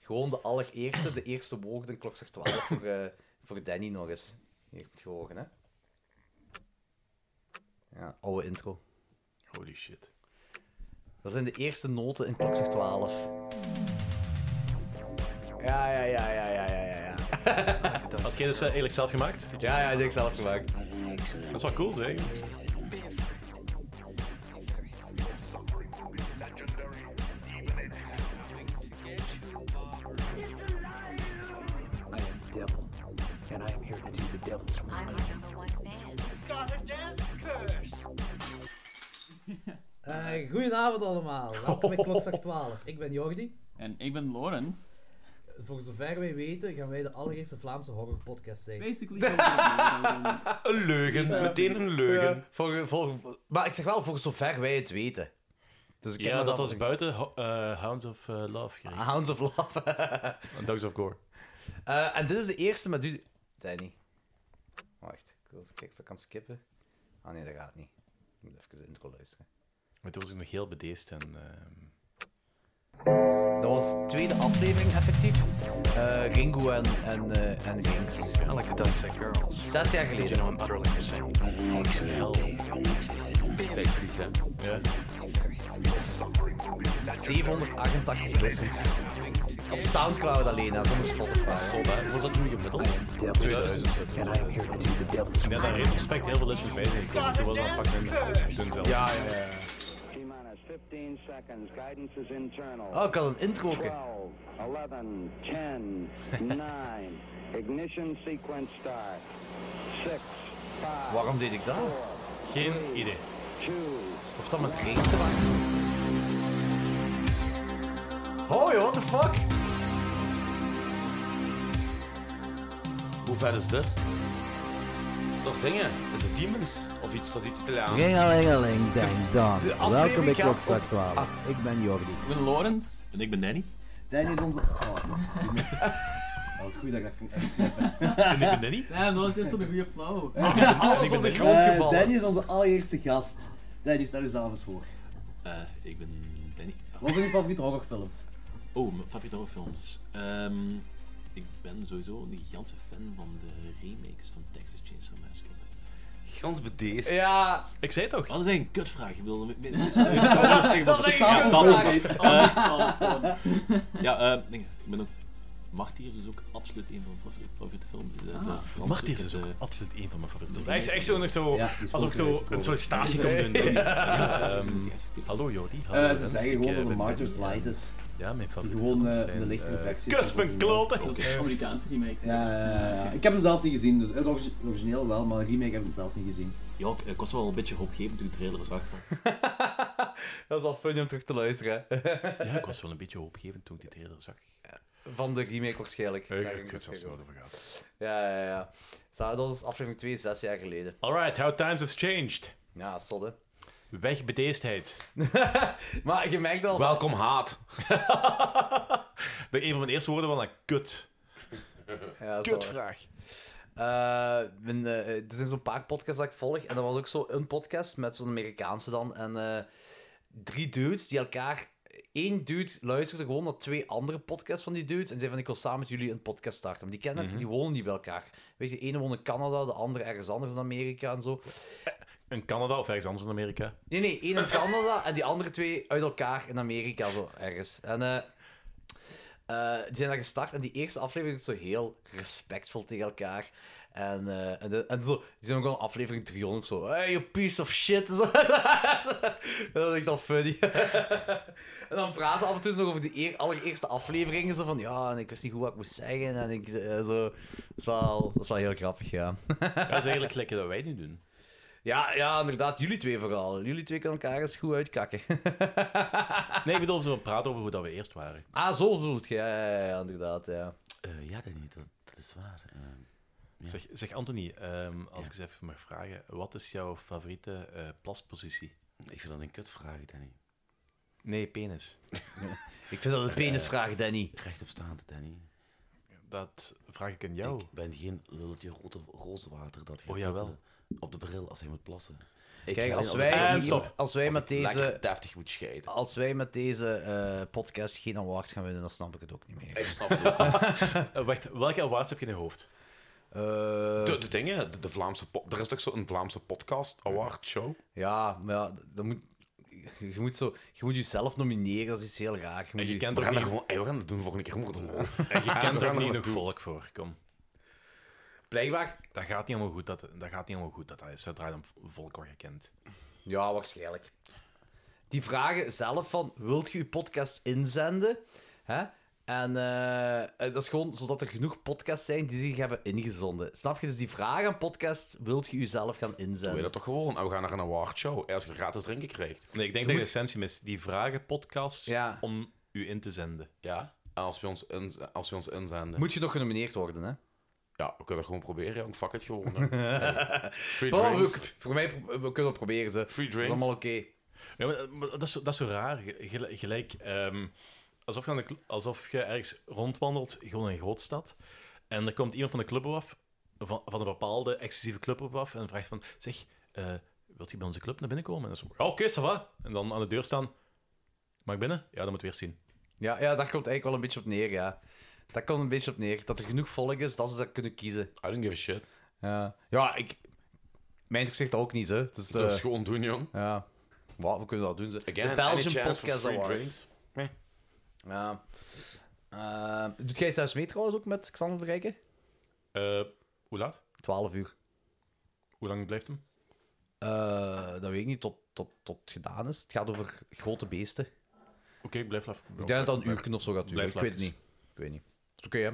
Speaker 2: Gewoon de allereerste, de eerste woorden, klokslag 12 voor, eh, voor Danny nog eens. Hier heb je het gehoord, hè? Ja, oude intro.
Speaker 4: Holy shit.
Speaker 2: Dat zijn de eerste noten in klokslag 12. Ja, ja, ja, ja, ja, ja, ja.
Speaker 4: Had jij dat eh, eigenlijk zelf gemaakt?
Speaker 2: Ja, ja, die heb ik zelf gemaakt.
Speaker 4: Dat is wel cool, zeg.
Speaker 14: Legendary Devil's Ride.
Speaker 15: Eh, goedenavond allemaal. Welkom bij Klokslag 12. Ik ben Jordi.
Speaker 25: En ik ben Lorenz.
Speaker 15: Voor zover wij weten gaan wij de allereerste Vlaamse horrorpodcast zijn.
Speaker 25: Basically.
Speaker 2: Een leugen,
Speaker 15: meteen
Speaker 2: een leugen. voor, voor, maar ik zeg wel, voor zover wij het weten. Dus ik ken
Speaker 4: ja,
Speaker 2: dat
Speaker 4: dat
Speaker 2: al-
Speaker 4: was buiten ho- eh, Hounds of eh, Love. gericht.
Speaker 2: Hounds of Love.
Speaker 4: En Dogs of Gore.
Speaker 2: Eh, en dit is de eerste met u... Danny. Wacht, ik wil eens kijken of ik kan skippen. Ah nee, dat gaat niet. Ik moet even de intro luisteren.
Speaker 4: Maar toen was ik nog heel bedeesd en... ehm,
Speaker 2: Dat was de tweede aflevering effectief. Eh, Ringo en, en, eh en Rings. I like the Dubstep Girls. Zes jaar geleden. You know I'm utterly insane. Tijd vliegt, hè? Ja. 788 listens. Op Soundcloud alleen, dat is op Spotify. Dat is zot, hè? Was dat nu gemiddeld?
Speaker 4: 2000. Ik denk dat respect heel veel listens bij zijn gekomen. Toen was dat pakken en doen zelf.
Speaker 2: Ja, ja, ja. Oh, ik had een intro ook, hè.
Speaker 26: 11, 10, 9. Ignition sequence start. 6, 5.
Speaker 2: Waarom deed ik dat?
Speaker 4: Geen idee.
Speaker 2: Of dat met regen te maken had. Hoi, Oh, what the fuck?
Speaker 3: Hoe vet is dit? Dat is dingen. Dat is de Demons. Of iets, dat is iets Italiaans.
Speaker 27: Ringelingeling, ding dong.
Speaker 3: de aflevering
Speaker 27: Welkom bij
Speaker 3: gaat
Speaker 27: Klokzak
Speaker 3: op-
Speaker 27: 12.
Speaker 3: Ah.
Speaker 27: Ik ben Jordi.
Speaker 4: Ik ben Lorenz. En ik ben Danny.
Speaker 27: Danny is onze... Oh, die moet- Oh, goed dat ik dat kan
Speaker 4: En ik ben Danny.
Speaker 25: Ja, dat was juist zo'n goede flow.
Speaker 27: Eh, Danny is onze allereerste gast. Danny, stel jezelf eens voor.
Speaker 28: Eh, ik ben Danny.
Speaker 27: Wat zijn je favoriete horrorfilms?
Speaker 28: Oh, mijn favoriete horrorfilms. Ehm, ik ben sowieso een gigantische fan van de remakes van Texas Chainsaw Massacre.
Speaker 3: Gans bedeesd.
Speaker 2: Ja.
Speaker 4: Ik zei het toch?
Speaker 28: Wat is een kutvraag? Ik wilde me- me- me- Dat Ja, was dat- een kutvraag. dat- Eh, dat- Ja, eh, ik ik ben ook... Martyrs is ook absoluut een van mijn favoriete films. De- de
Speaker 4: Ah,
Speaker 28: Franse
Speaker 4: Martyrs
Speaker 28: met
Speaker 4: is
Speaker 28: de-
Speaker 4: ook absoluut een van mijn favoriete
Speaker 28: de
Speaker 4: films. Hij is echt zo nog zo...
Speaker 28: Ja, die is
Speaker 4: alsof ik
Speaker 28: vorige
Speaker 4: zo
Speaker 28: week
Speaker 4: een sollicitatie kom doen.
Speaker 28: gekomen.
Speaker 4: Ja, ehm, hallo Jordi.
Speaker 27: Eh,
Speaker 4: hallo
Speaker 27: ze
Speaker 4: Lorenz,
Speaker 27: zeggen
Speaker 4: ik,
Speaker 27: gewoon
Speaker 4: eh,
Speaker 27: dat de
Speaker 4: ben
Speaker 27: Martyrs
Speaker 4: Danny.
Speaker 27: Light is.
Speaker 4: Ja, mijn favoriete
Speaker 27: Gewoon
Speaker 4: films
Speaker 27: eh,
Speaker 4: zijn,
Speaker 27: de lichtere
Speaker 4: eh,
Speaker 27: versie.
Speaker 4: Kus mijn kloten!
Speaker 27: Dat
Speaker 25: is een Amerikaanse remake.
Speaker 27: Ja, ja, ja, ja. Eh, ik heb hem zelf niet gezien, dus het origi- origineel wel, maar remake heb ik hem zelf niet gezien.
Speaker 28: Ja, ik, ik was wel een beetje hoopgevend toen ik de trailer zag.
Speaker 2: Dat is wel funny om terug te luisteren. hè.
Speaker 4: Ja, ik was wel een beetje hoopgevend toen ik die trailer zag.
Speaker 2: Van de remake waarschijnlijk.
Speaker 4: Ik-
Speaker 2: Daar
Speaker 4: ik
Speaker 2: ging
Speaker 4: weet zelfs
Speaker 2: het
Speaker 4: niet
Speaker 2: over. Ja, ja, ja. Zo, Dat is aflevering 2, zes jaar geleden.
Speaker 4: Alright, how times have changed.
Speaker 2: Ja, sodde.
Speaker 4: Weg bedeesdheid.
Speaker 2: maar je merkt al...
Speaker 4: Welkom haat. een van mijn eerste woorden was een kut.
Speaker 2: Ja, dat is
Speaker 4: Kutvraag.
Speaker 2: waar. Eh, mijn, eh, er zijn zo'n paar podcasts dat ik volg. En dat was ook zo een podcast met zo'n Amerikaanse dan. En eh, drie dudes die elkaar... Eén dude luisterde gewoon naar twee andere podcasts van die dudes. En zei van, ik wil samen met jullie een podcast starten. Maar die kennen,
Speaker 4: Mhm.
Speaker 2: die wonen niet bij elkaar. Weet je, de ene woont in Canada, de andere ergens anders in Amerika en zo.
Speaker 4: In Canada of ergens anders in Amerika.
Speaker 2: Nee, nee, één in Canada en die andere twee uit elkaar in Amerika, zo ergens. En eh, eh, die zijn daar gestart en die eerste aflevering is zo heel respectvol tegen elkaar. En, eh, en, de- en zo, die zijn ook wel aflevering 300 zo. Hey, you piece of shit. Zo. dat is echt al funny. en dan praten ze af en toe nog over die eer- allereerste afleveringen. Zo van ja, en ik wist niet goed wat ik moest zeggen. En ik, eh, zo. Dat is, wel, dat is wel heel grappig, ja.
Speaker 4: Dat is eigenlijk lekker dat wij nu doen.
Speaker 2: Ja, ja, inderdaad. Jullie twee vooral. Jullie twee kunnen elkaar eens goed uitkakken.
Speaker 4: Nee, ik bedoel, ze praten over hoe dat we eerst waren.
Speaker 2: Ah, zo bedoelt je. Ja, ja, ja, inderdaad, ja.
Speaker 4: Eh, ja, dat niet. Dat, is waar. Eh, zeg, zeg Anthony, ehm, als ik eens even mag vragen, wat is jouw favoriete eh, plaspositie? Ik vind dat een kutvraag, Danny. Nee, penis.
Speaker 2: ik vind dat een penisvraag, Danny.
Speaker 4: Rechtopstaand, Danny. Dat vraag ik aan jou.
Speaker 3: Ik ben geen lulletje rode, roze water dat gaat
Speaker 4: Oh, jawel.
Speaker 3: zitten op de bril als hij moet plassen.
Speaker 2: Kijk,
Speaker 3: ga
Speaker 2: als
Speaker 3: alleen
Speaker 2: wij,
Speaker 3: alleen
Speaker 2: hier-
Speaker 3: stop.
Speaker 2: als wij met
Speaker 3: ik lekker
Speaker 2: deze...
Speaker 3: deftig moet scheiden.
Speaker 2: Als wij met deze eh, podcast geen awards gaan winnen, dan snap ik het ook niet meer.
Speaker 3: Ik snap het ook
Speaker 4: Eh, Wacht, welke awards heb je in je hoofd?
Speaker 2: Eh,
Speaker 3: De, de dingen, de, de Vlaamse po- er is toch zo'n Vlaamse podcast award show?
Speaker 2: Ja, maar ja, dat moet... Je moet, zo, je moet jezelf nomineren, dat is iets heel raar. Je, moet je-
Speaker 3: we gaan, er gewoon, hey, we gaan het doen volgende keer voor de lol.
Speaker 4: En je
Speaker 3: Ja,
Speaker 4: kent
Speaker 3: we
Speaker 4: er
Speaker 3: gaan
Speaker 4: ook
Speaker 3: er
Speaker 4: niet nog
Speaker 3: naartoe.
Speaker 4: volk voor, kom.
Speaker 2: Blijkbaar.
Speaker 4: Dat gaat niet helemaal goed, dat, dat, gaat niet helemaal goed, dat, dat is zodra je dan volk wordt gekend.
Speaker 2: Ja, waarschijnlijk. Die vragen zelf van, wilt je je podcast inzenden? Hè? En eh, eh, dat is gewoon zodat er genoeg podcasts zijn die zich hebben ingezonden. Snap je? Dus die vraag aan podcasts, wilt je jezelf gaan
Speaker 3: Doe
Speaker 2: inzenden?
Speaker 3: je dat toch gewoon? En we gaan naar een awardshow. En als je gratis drinken krijgt.
Speaker 4: Nee, ik denk dat je de essentie mis. Die vragen podcasts om u in te zenden.
Speaker 3: Ja. En als we ons, in, als we ons inzenden.
Speaker 2: Moet je nog genomineerd worden, hè?
Speaker 3: Ja, we kunnen dat gewoon proberen, jong. Fuck it gewoon. hè.
Speaker 2: Ja.
Speaker 3: Nee. Free
Speaker 2: Maar we-
Speaker 3: drinks.
Speaker 2: voor mij pro- we kunnen het proberen ze. Free
Speaker 3: drinks.
Speaker 2: Dat is allemaal oké.
Speaker 4: Ja, maar, eh, maar dat, is, zo- dat is zo raar. Ge- gel- Gelijk, ehm, alsof, je aan de cl- alsof je ergens rondwandelt, gewoon in een grootstad. En er komt iemand van de club af, van, van een bepaalde exclusieve club op af, en vraagt van, zeg, eh, wilt u bij onze club naar binnen komen? En dan zo, ja, oké, ça va. En dan aan de deur staan, mag ik binnen? Ja, dat moet weer zien.
Speaker 2: Ja, ja, daar komt eigenlijk wel een beetje op neer, ja. Daar komt een beetje op neer. Dat er genoeg volk is, dat ze dat kunnen kiezen.
Speaker 3: I don't give a shit.
Speaker 2: Ja, ja ik... Mijn gezicht ook niet, hè. Dus,
Speaker 3: Dat is
Speaker 2: eh,
Speaker 3: gewoon doen, jong.
Speaker 2: Ja. Wat, we kunnen dat doen, ze. de
Speaker 3: any
Speaker 2: Belgian
Speaker 3: chance for
Speaker 2: Podcast
Speaker 3: free
Speaker 2: Awards.
Speaker 3: drinks? Nee.
Speaker 2: Ja. Eh, doet jij zelfs mee trouwens ook met Xander de Rijken?
Speaker 4: Eh, hoe laat?
Speaker 2: 12 uur.
Speaker 4: Hoe lang blijft hem?
Speaker 2: Eh, dat weet ik niet, tot, tot, tot het gedaan is. Het gaat over grote beesten.
Speaker 4: Oké, ik blijf laf.
Speaker 2: Ik denk dat dat een uur of zo gaat duren.
Speaker 4: Blijf
Speaker 2: Ik weet het
Speaker 4: lafjes.
Speaker 2: niet. Ik weet niet. Is oké, hè?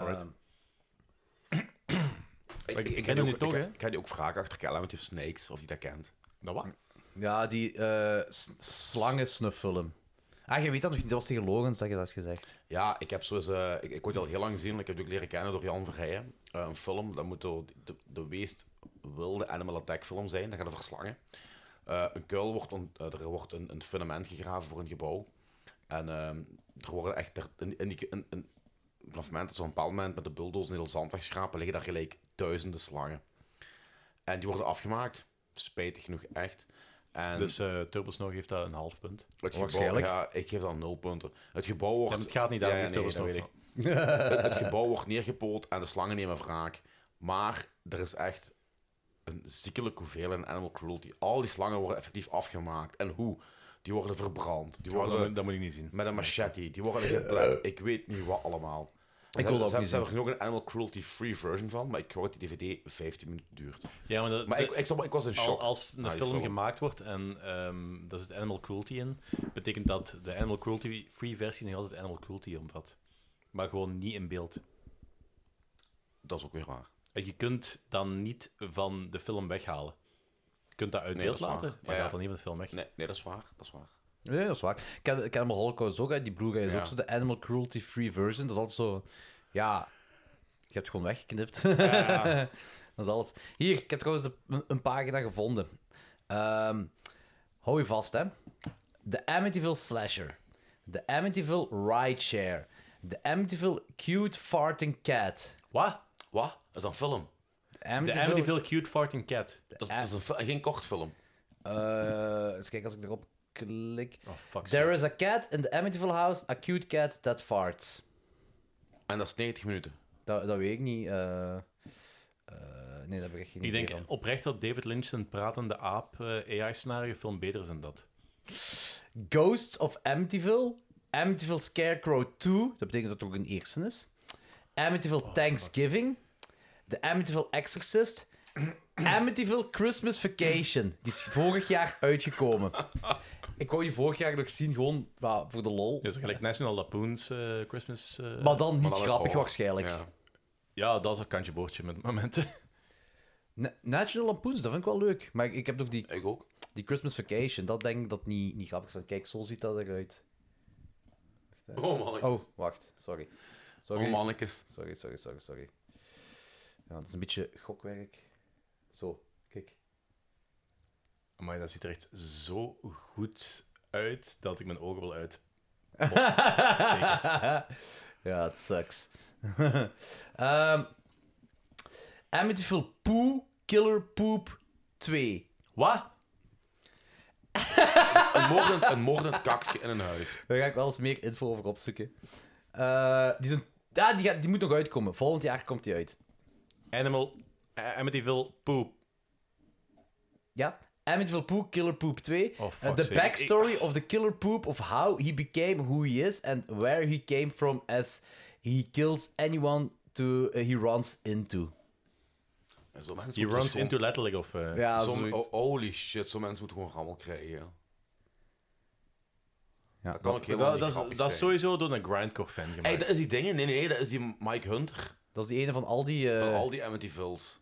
Speaker 4: Alright.
Speaker 2: Ehm,
Speaker 3: Ik,
Speaker 4: ik
Speaker 3: ik,
Speaker 4: ken
Speaker 3: ga
Speaker 4: hem
Speaker 3: die
Speaker 4: nu
Speaker 3: ook,
Speaker 4: toch,
Speaker 3: ik,
Speaker 4: hè?
Speaker 3: ik ga die ook vragen achter Calamity of Snakes, of die dat kent.
Speaker 4: Nou, wat?
Speaker 2: Ja, die eh, s- slangen snufffilm. Ah, je weet dat nog niet. Dat was tegen Logans dat je dat had gezegd.
Speaker 3: Ja, ik heb zo eens, eh, ik, ik word die al heel lang zien. Ik heb die ook leren kennen door Jan Verheijen. Eh, een film, dat moet de, de, de meest wilde animal attack film zijn. Dat gaat over slangen. Eh, een kuil wordt, ont- eh, er wordt een, een fundament gegraven voor een gebouw. En ehm, er worden echt, er, in, in die, in, in, vanaf het moment dat ze op een bepaald moment met de bulldozer een heel zand wegschrapen, liggen daar gelijk duizenden slangen. En die worden afgemaakt. Spijtig genoeg, echt. En
Speaker 4: Dus eh Turbosnor geeft dat een half punt.
Speaker 3: het gebouw-
Speaker 4: Waarschijnlijk.
Speaker 3: Ja, ik geef dan nul punten. Het gebouw wordt...
Speaker 4: Ja, maar het gaat niet daarom,
Speaker 3: Ja,
Speaker 4: je
Speaker 3: nee,
Speaker 4: hebt
Speaker 3: dat
Speaker 4: er
Speaker 3: weet
Speaker 4: eens
Speaker 3: ik. het, het gebouw wordt neergepoot en de slangen nemen wraak. Maar er is echt een ziekelijke hoeveelheid aan animal cruelty. Al die slangen worden effectief afgemaakt. En hoe? Die worden verbrand. Die
Speaker 4: Ja, dat
Speaker 3: worden
Speaker 4: moet- dat moet ik niet zien.
Speaker 3: Met een machete. Die worden geplet. Ik weet niet wat allemaal.
Speaker 4: Ik wil
Speaker 3: Ze-
Speaker 4: dat ook
Speaker 3: ze-
Speaker 4: niet
Speaker 3: Ze hebben
Speaker 4: zien.
Speaker 3: er nog een animal cruelty free version van, maar ik hoor dat die DVD 15 minuten duurt.
Speaker 4: Ja, maar, dat-
Speaker 3: ik,
Speaker 4: de-
Speaker 3: ik, zal- ik was in
Speaker 4: al-
Speaker 3: shock.
Speaker 4: Als een
Speaker 3: na die
Speaker 4: film, gemaakt wordt en ehm daar zit animal cruelty in, betekent dat de animal cruelty free versie nog altijd animal cruelty omvat. Maar gewoon niet in beeld.
Speaker 3: Dat is ook weer waar.
Speaker 4: En je kunt dan niet van de film weghalen. Je kunt dat uit
Speaker 3: Nee,
Speaker 4: beeld
Speaker 3: dat is
Speaker 4: laten,
Speaker 3: waar.
Speaker 4: maar
Speaker 3: Ja,
Speaker 4: je
Speaker 3: ja.
Speaker 4: haalt dan niet van de film weg.
Speaker 3: Nee, nee, dat is waar. Dat is waar.
Speaker 2: Nee, dat is waar. Ik ken, ik ken mijn Holocaust ook. hè. Die Blu-ray is
Speaker 3: Ja.
Speaker 2: ook zo de animal cruelty free version. Dat is altijd zo... Ja, je hebt gewoon weggeknipt.
Speaker 7: Ja.
Speaker 2: dat is alles. Hier, ik heb trouwens een, een pagina gevonden. Ehm, hou je vast, hè. De Amityville Slasher. De Amityville Rideshare. De Amityville Cute Farting Cat.
Speaker 4: Wat?
Speaker 3: Wat? Dat is een film.
Speaker 2: De
Speaker 4: De Amityville Cute Farting Cat.
Speaker 3: Dat is, dat is een, fi- geen kort film.
Speaker 2: Eh, eens kijken als ik erop klik.
Speaker 4: Oh, fuck.
Speaker 2: There is a cat in the Amityville house, a cute cat that farts.
Speaker 3: En dat is 90 minuten.
Speaker 2: Dat, dat weet ik niet. eh. Eh, nee, dat heb ik echt geen
Speaker 4: Ik
Speaker 2: idee
Speaker 4: denk
Speaker 2: van.
Speaker 4: oprecht dat David Lynch zijn pratende aap AI-scenario film beter is dan dat.
Speaker 2: Ghosts of Amityville. Amityville Scarecrow 2. Dat betekent dat er ook een eerste is. Amityville
Speaker 4: Oh,
Speaker 2: Thanksgiving. The Amityville Exorcist. Amityville Christmas Vacation. Die is vorig jaar uitgekomen. Ik wou je vorig jaar nog zien, gewoon wa, voor de lol.
Speaker 4: Dus gelijk National Lampoon's eh, Christmas... eh,
Speaker 2: Maar dan niet
Speaker 4: met
Speaker 2: grappig
Speaker 4: horror.
Speaker 2: waarschijnlijk.
Speaker 4: Ja. Ja, dat is een kantje boordje met momenten.
Speaker 2: Na- National Lampoons, dat vind ik wel leuk. Maar ik, ik heb nog die...
Speaker 3: Ik ook.
Speaker 2: Die Christmas Vacation, dat denk ik dat niet, niet grappig is. Kijk, zo ziet dat eruit. Wacht, hè.
Speaker 3: Oh, mannetjes.
Speaker 2: Oh, wacht. Sorry. sorry.
Speaker 3: Oh, mannetjes.
Speaker 2: Sorry, sorry, sorry, sorry. Ja, het is een beetje gokwerk. Zo, kijk.
Speaker 4: Maar dat ziet er echt zo goed uit dat ik mijn ogen wil uit.
Speaker 2: ja, het sucks. Ehm Amityville Poo Killer Poop 2.
Speaker 4: Wat?
Speaker 3: Een moordend, een moordend kaksje in een huis.
Speaker 2: Daar ga ik wel eens meer info over opzoeken. Eh, die, zijn, ah, die, gaat, die moet nog uitkomen. Volgend jaar komt die uit.
Speaker 4: Animal eh, Amityville Poop.
Speaker 2: Ja. Amityville Poop, Killer Poop 2.
Speaker 4: Oh,
Speaker 2: Uh,
Speaker 4: fuck
Speaker 2: the
Speaker 4: sake.
Speaker 2: backstory of the Killer Poop of how he became who he is and where he came from as he kills anyone to, eh, he runs into.
Speaker 3: En zo mensen
Speaker 4: He
Speaker 3: moeten
Speaker 4: runs
Speaker 3: dus
Speaker 4: into
Speaker 3: gewoon-
Speaker 4: letterlijk of... eh,
Speaker 2: Ja,
Speaker 3: Som-
Speaker 2: zoiets.
Speaker 3: oh, holy shit, zo'n mensen moeten gewoon rammel krijgen. dat kan ook heel
Speaker 4: dat, dat, is, dat is sowieso door een grindcore fan gemaakt.
Speaker 3: Hey, dat is die dingen. Nee, nee, dat is die Mike Hunter.
Speaker 2: Dat is die ene van al die... eh,
Speaker 3: Van al die Amityvilles.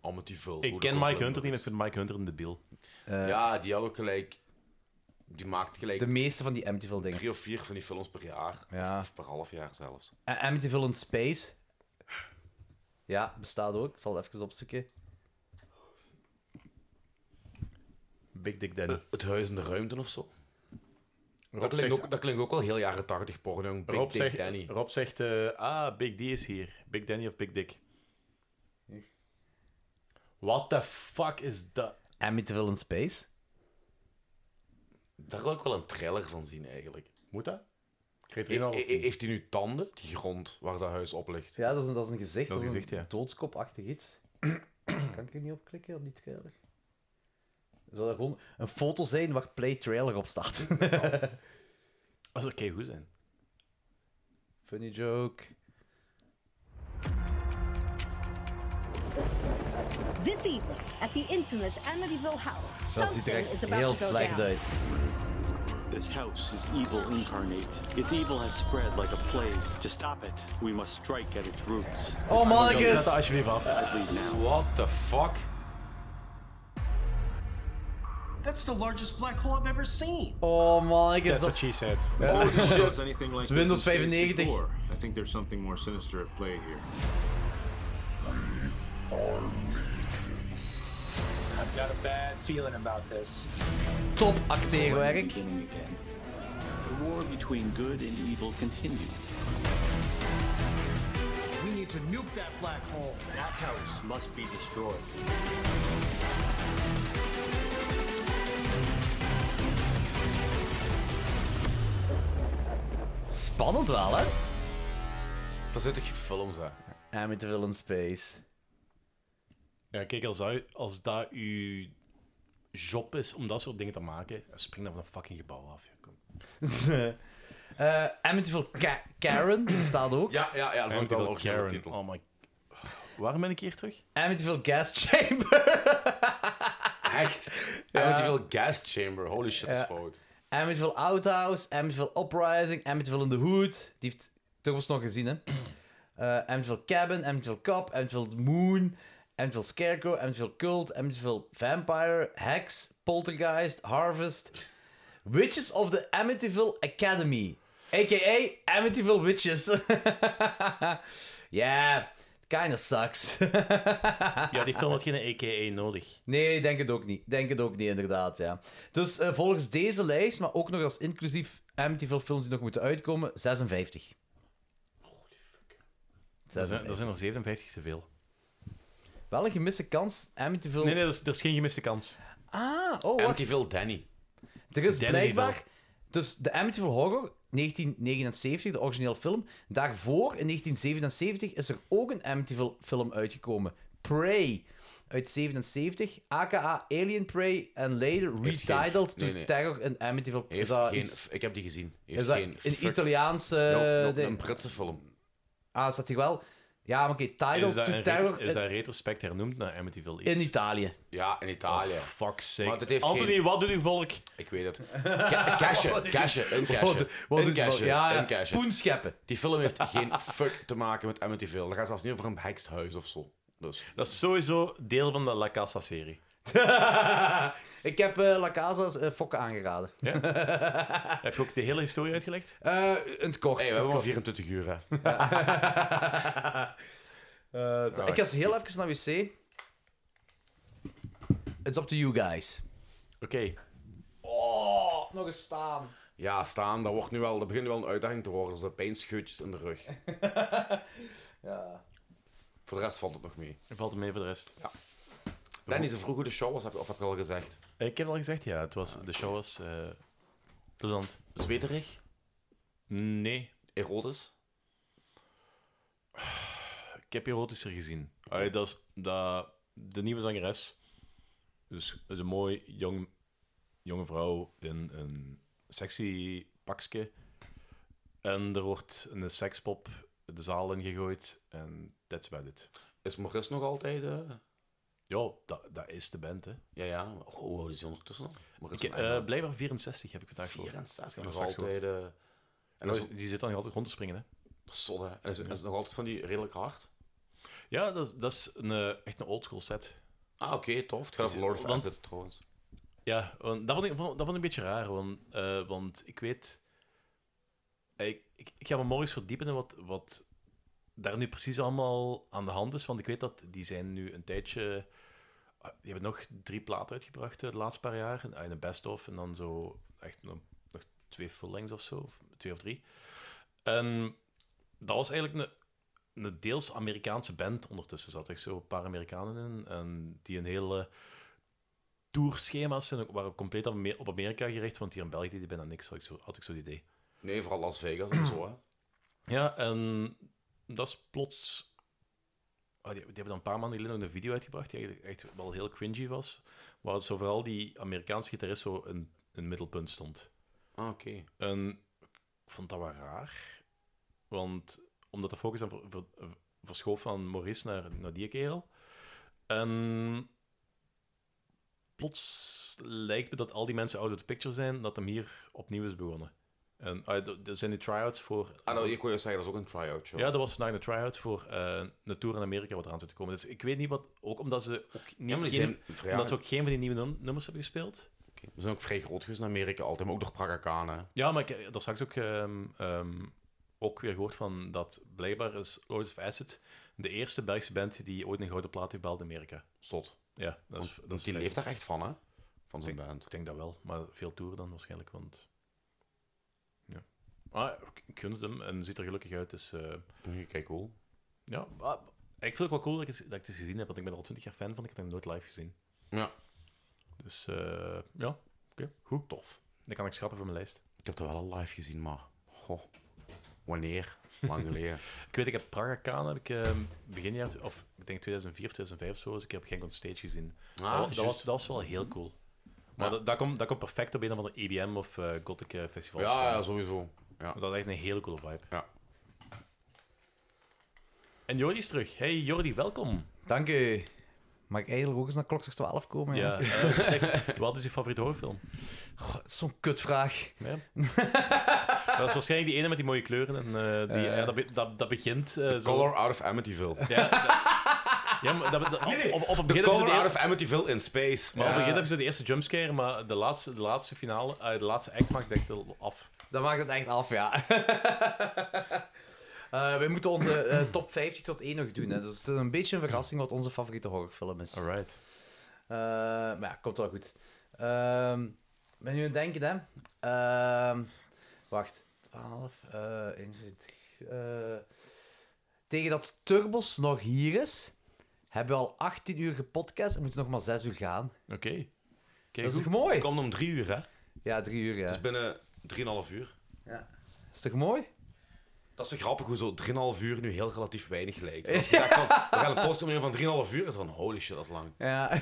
Speaker 3: Amityvilles.
Speaker 4: Ik
Speaker 3: hoe
Speaker 4: ken
Speaker 3: dat ook
Speaker 4: Mike
Speaker 3: noemt.
Speaker 4: Hunter niet, maar ik vind Mike Hunter een debiel.
Speaker 3: ja, die had ook gelijk... Die maakt gelijk...
Speaker 2: De meeste van die Amityville dingen.
Speaker 3: Drie of vier van die films per jaar.
Speaker 2: Ja.
Speaker 3: Of per half jaar zelfs.
Speaker 2: En Amityville in Space. Ja, bestaat ook. Ik zal het even opzoeken.
Speaker 4: Big Dick Danny.
Speaker 3: Het huis in de ruimte of zo.
Speaker 4: Rob
Speaker 3: dat, klinkt
Speaker 4: zegt-
Speaker 3: ook, dat klinkt ook wel heel jaren 80 porno. Big
Speaker 4: Rob
Speaker 3: Dick
Speaker 4: zegt,
Speaker 3: Danny.
Speaker 4: Rob zegt eh, ah, Big D is hier. Big Danny of Big Dick. What the fuck is dat?
Speaker 2: Amityville in Space?
Speaker 3: Daar wil ik wel een trailer van zien, eigenlijk.
Speaker 4: Moet dat?
Speaker 3: He- he- heeft hij nu tanden, die grond waar dat huis op ligt?
Speaker 2: Ja, dat is een, dat is een gezicht.
Speaker 3: Dat
Speaker 2: Dat
Speaker 3: is
Speaker 2: is
Speaker 3: een
Speaker 2: een
Speaker 3: gezicht, ja.
Speaker 2: doodskopachtig iets. kan ik er niet op klikken, op die trailer? Zou dat gewoon een foto zijn waar Play Trailer op staat?
Speaker 4: Dat zou oké goed zijn.
Speaker 2: Funny joke.
Speaker 9: This evening, at the infamous Amityville house,
Speaker 2: Dat ziet er
Speaker 9: something
Speaker 2: echt
Speaker 9: is about
Speaker 2: heel
Speaker 9: to go
Speaker 2: slecht
Speaker 9: down.
Speaker 2: uit.
Speaker 6: This house is evil incarnate. Its evil has spread like a plague. To stop it, we must strike at its roots.
Speaker 2: Oh, mannetjes! Zet dat
Speaker 4: alsjeblieft af.
Speaker 3: What the fuck?
Speaker 29: That's the largest black hole I've ever seen.
Speaker 2: Oh man, ik is dat...
Speaker 4: she said.
Speaker 2: Ja.
Speaker 30: anything like
Speaker 2: Het is Windows
Speaker 30: this in space
Speaker 2: 95.
Speaker 30: before. I think there's something more sinister at play here.
Speaker 31: I've got a bad feeling about this.
Speaker 2: Top acteerwerk.
Speaker 6: The war between good and evil continues.
Speaker 29: We need to nuke that black hole. That house must be destroyed.
Speaker 2: Spannend wel, hè?
Speaker 3: Daar zitten geen films aan.
Speaker 2: Amityville in Space.
Speaker 4: Ja, kijk, als dat, als dat uw job is om dat soort dingen te maken, spring dan van een fucking gebouw af. joh. Kom.
Speaker 2: Eh Amityville Ka- Karen staat ook.
Speaker 3: Ja, ja, ja.
Speaker 4: vond ik wel Amityville originele Karen. titel. Oh my... Waarom ben ik hier terug?
Speaker 2: Amityville Gas Chamber.
Speaker 3: Echt? Amityville Gas Chamber. Holy shit, dat is
Speaker 2: Ja.
Speaker 3: fout.
Speaker 2: Amityville Outhouse, Amityville Uprising, Amityville in the Hood. Die heeft Turbos nog gezien, hè. Eh Amityville Cabin, Amityville Cop, Amityville Moon, Amityville Scarecrow, Amityville Cult, Amityville Vampire, Hex, Poltergeist, Harvest. Witches of the Amityville Academy. A.k.a. Amityville Witches. yeah, kinda sucks.
Speaker 4: Ja, die film had geen AKA nodig.
Speaker 2: Nee, ik denk het ook niet. Ik Denk het ook niet, inderdaad, ja. Dus eh, volgens deze lijst, maar ook nog als inclusief Amityville films die nog moeten uitkomen, 56.
Speaker 4: Er zijn, er zijn er 57 te veel.
Speaker 2: Wel een gemiste kans, Amityville...
Speaker 4: Nee, nee, dat is, dat is geen gemiste kans.
Speaker 2: Ah, oh, wacht.
Speaker 3: Amityville Danny.
Speaker 2: Er is
Speaker 4: Danny
Speaker 2: blijkbaar... Dus de Amityville Horror, 1979, de originele film. Daarvoor, in 1977, is er ook een Amityville film uitgekomen. Prey, uit 77, aka Alien Prey, en later
Speaker 3: Heeft geen-
Speaker 2: retitled
Speaker 3: nee,
Speaker 2: to
Speaker 3: nee.
Speaker 2: Terror in Amityville.
Speaker 3: Heeft
Speaker 2: dat
Speaker 3: geen,
Speaker 2: iets-
Speaker 3: Ik heb die gezien. Heeft
Speaker 2: is dat
Speaker 3: geen
Speaker 2: een
Speaker 3: fuck-
Speaker 2: Italiaanse
Speaker 3: Nope,
Speaker 4: eh,
Speaker 3: nope,
Speaker 2: ding?
Speaker 3: Een Britse film.
Speaker 2: Ah, staat hier wel? Ja, maar oké, Tidal
Speaker 4: Is dat,
Speaker 2: to
Speaker 4: een retro,
Speaker 2: Terror
Speaker 4: is dat retrospect hernoemd naar Amityville iets?
Speaker 2: in Italië.
Speaker 3: Ja, in
Speaker 4: Ah,
Speaker 3: Italië.
Speaker 4: Fuck sake.
Speaker 3: Maar dit heeft
Speaker 4: Anthony,
Speaker 3: geen-
Speaker 4: wat doet uw volk?
Speaker 3: Ik weet het. Ca- Cashen,
Speaker 4: Wat is-
Speaker 3: cashen, een
Speaker 4: Wat-
Speaker 3: cashen.
Speaker 4: wat
Speaker 3: een
Speaker 4: doet het
Speaker 3: cashen,
Speaker 4: wel? Ja, ja,
Speaker 3: een cashen.
Speaker 2: Poenscheppen.
Speaker 3: Die film heeft geen fuck te maken met Amityville. Dat gaat zelfs niet over een hekst huis of zo. Dus.
Speaker 4: Dat is sowieso deel van de La Casa-serie.
Speaker 2: Ik heb eh La Casa's eh, fokken aangeraden.
Speaker 4: Ja? Heb je ook de hele historie uitgelegd?
Speaker 2: Eh in het kort.
Speaker 3: Hey, we
Speaker 2: in het
Speaker 3: hebben
Speaker 2: kort.
Speaker 3: maar 24 uur, hè.
Speaker 2: Eh, zo. ik ga eens heel even naar wc. It's up to you guys.
Speaker 4: Oké.
Speaker 2: Oh, nog eens staan.
Speaker 3: Ja, staan, dat, wordt nu wel, dat begint nu wel een uitdaging te worden. Zo de pijnscheutjes in de rug.
Speaker 2: Ja.
Speaker 3: Voor de rest valt het nog mee.
Speaker 4: Valt het mee voor de rest?
Speaker 3: Ja. Danny, ze vroeg hoe de show was, heb, of heb je al gezegd?
Speaker 4: Ik heb het al gezegd, ja. Het was, de show was eh, plezant.
Speaker 3: Zweterig?
Speaker 4: Nee.
Speaker 3: Erotisch?
Speaker 4: Ik heb erotischer gezien. Allee, dat is dat, de nieuwe zangeres. Dus is een mooi jong, jonge vrouw in een sexy pakje. En er wordt een sekspop de zaal ingegooid. En that's about it.
Speaker 3: Is Maurice nog altijd... eh,
Speaker 4: Ja, dat, dat is de band, hè.
Speaker 3: Ja, ja. maar- Oh, hoe oud is die ondertussen? al? Maar
Speaker 4: Ik,
Speaker 3: het is een
Speaker 4: eh,
Speaker 3: eigen-
Speaker 4: blijkbaar 64 heb ik vandaag gehoord.
Speaker 3: 64,
Speaker 4: Dat
Speaker 3: nog
Speaker 4: is straks
Speaker 3: altijd...
Speaker 4: gehoord.
Speaker 3: eh, en
Speaker 4: Ja,
Speaker 3: dat is-
Speaker 4: die zit dan nog altijd rond te springen, hè.
Speaker 3: Zot, hè. En is, is het nog altijd van die redelijk hard?
Speaker 4: Ja, dat, is- dat is een, eh, echt een oldschool set.
Speaker 3: Ah, oké, tof. Het gaat
Speaker 4: Is-
Speaker 3: over Lord of
Speaker 4: want-
Speaker 3: Assets, trouwens.
Speaker 4: Ja, want dat vond ik, vond- dat vond ik een beetje raar, want, eh, want ik weet... Ik, ik, ik ga me morgens verdiepen in wat, wat daar nu precies allemaal aan de hand is, want ik weet dat die zijn nu een tijdje... ah, Die hebben nog drie platen uitgebracht eh, de laatste paar jaar, en ah, een best-of en dan zo echt nog, nog twee full-lengths of zo, of twee of drie. En dat was eigenlijk een, een deels Amerikaanse band ondertussen. Er zaten echt zo een paar Amerikanen in, en die een hele tourschema's zijn ook, waren compleet op Amer- op Amerika gericht, want hier in België deed die bijna niks, had ik zo, had ik zo het idee.
Speaker 3: Nee, vooral Las Vegas en zo, hè.
Speaker 4: Ja, en dat is plots... ah, die, die hebben dan een paar maanden geleden nog een video uitgebracht die eigenlijk echt wel heel cringy was, waar zo vooral die Amerikaanse gitarist zo in, in het middelpunt stond.
Speaker 3: Ah, oké.
Speaker 4: En Ehm, ik vond dat wel raar, want omdat de focus dan ver- ver- verschoof van Maurice naar, naar die kerel. En plots lijkt me dat al die mensen out of the picture zijn, dat hem hier opnieuw is begonnen. En ah, d- er zijn nu try-outs voor...
Speaker 3: Ah, nou, ik kon je zeggen, dat is ook een try-out, joh.
Speaker 4: Ja, dat was vandaag een try-out voor eh, een tour in Amerika wat eraan zit te komen. Dus ik weet niet wat... Ook omdat ze ook, niet,
Speaker 3: maar die
Speaker 4: geen,
Speaker 3: zijn vrij-
Speaker 4: omdat ze ook geen van die nieuwe num- nummers hebben gespeeld.
Speaker 3: We zijn ook vrij groot geweest in Amerika altijd, maar ook door Praga Khan, hè.
Speaker 4: Ja, maar ik heb daar straks ook, ehm, ehm, ook weer gehoord van dat blijkbaar is Lords of Acid de eerste Belgische band die ooit een gouden plaat heeft behaald in Amerika.
Speaker 3: Zot.
Speaker 4: Ja, dat is,
Speaker 3: Want-
Speaker 4: dat
Speaker 3: want die
Speaker 4: is vrij
Speaker 3: leeft
Speaker 4: zot.
Speaker 3: daar echt van, hè? Van
Speaker 4: Ik
Speaker 3: zo'n
Speaker 4: denk-
Speaker 3: band.
Speaker 4: Ik denk dat wel, maar veel toeren dan waarschijnlijk, want... Ja. Maar ik- ik gun het hem en ziet er gelukkig uit, dus...
Speaker 3: eh, Kijk, cool.
Speaker 4: Ja, maar ik vind het wel cool dat ik, het- dat ik het eens gezien heb, want ik ben er al twintig jaar fan van, ik heb het nog nooit live gezien.
Speaker 3: Ja.
Speaker 4: Dus, eh, ja, oké, goed.
Speaker 3: Tof.
Speaker 4: Dan kan ik schrappen van mijn lijst.
Speaker 3: Ik heb het wel al live gezien, maar... Goh. Wanneer? Lang geleden.
Speaker 4: Ik weet, ik heb Praga Khan, heb ik eh, begin jaar, of ik denk 2004, 2005 of zo, dus ik heb geen stage gezien.
Speaker 3: Ah,
Speaker 4: dat, wa- dat,
Speaker 3: juist. Mhm.
Speaker 4: was, dat was wel heel cool. Maar dat, dat komt dat komt perfect op een of andere EBM of eh Gothic eh, festivals.
Speaker 3: Ja, ja,
Speaker 4: eh.
Speaker 3: sowieso. Ja.
Speaker 4: Dat is echt een hele coole vibe.
Speaker 3: Ja.
Speaker 4: En Jordi is terug. Hey Jordi, welkom.
Speaker 2: Dank u. Mag ik eigenlijk ook eens naar klokslag 12 komen?
Speaker 4: Ja, eh, zeg, wat is je favoriete horrorfilm?
Speaker 2: Goh, dat is Zo'n kutvraag.
Speaker 4: Ja. dat is waarschijnlijk die ene met die mooie kleuren. En, eh, die,
Speaker 2: Eh.
Speaker 4: ja, dat, be- dat, dat begint eh, zo...
Speaker 3: Color Out of Amityville.
Speaker 4: Ja, dat- ja, maar dat, dat- op, op, op het
Speaker 3: The
Speaker 4: begin hebben ze
Speaker 3: Color
Speaker 4: de
Speaker 3: Out
Speaker 4: eer-
Speaker 3: of Amityville in Space.
Speaker 4: Maar op het begin hebben ze de eerste jumpscare, maar de laatste, de laatste finale, eh, de laatste act maakt het echt wel af.
Speaker 2: Dat maakt het echt af, ja. Eh we moeten onze eh, top 50 tot 1 nog doen. Hè. Dus het is een beetje een verrassing wat onze favoriete horrorfilm is. Eh,
Speaker 4: Alright.
Speaker 2: maar ja, komt wel goed. Ehm ben nu aan het denken, hè? Ehm, wacht. 12, eh 21. eh, tegen dat Turbos nog hier is, hebben we al 18 uur gepodcast en moeten nog maar 6 uur gaan.
Speaker 4: Oké.
Speaker 2: Dat is toch mooi?
Speaker 3: Het komt om drie uur, hè?
Speaker 2: Ja, 3 uur, ja.
Speaker 4: Dus
Speaker 3: Het is binnen drieënhalf uur.
Speaker 2: Ja. Is toch mooi?
Speaker 3: Dat is toch grappig hoe zo 3,5 uur nu heel relatief weinig lijkt. Als je zegt van, we gaan een post opnemen van 3,5 uur, is het van holy shit, dat is lang.
Speaker 2: Ja.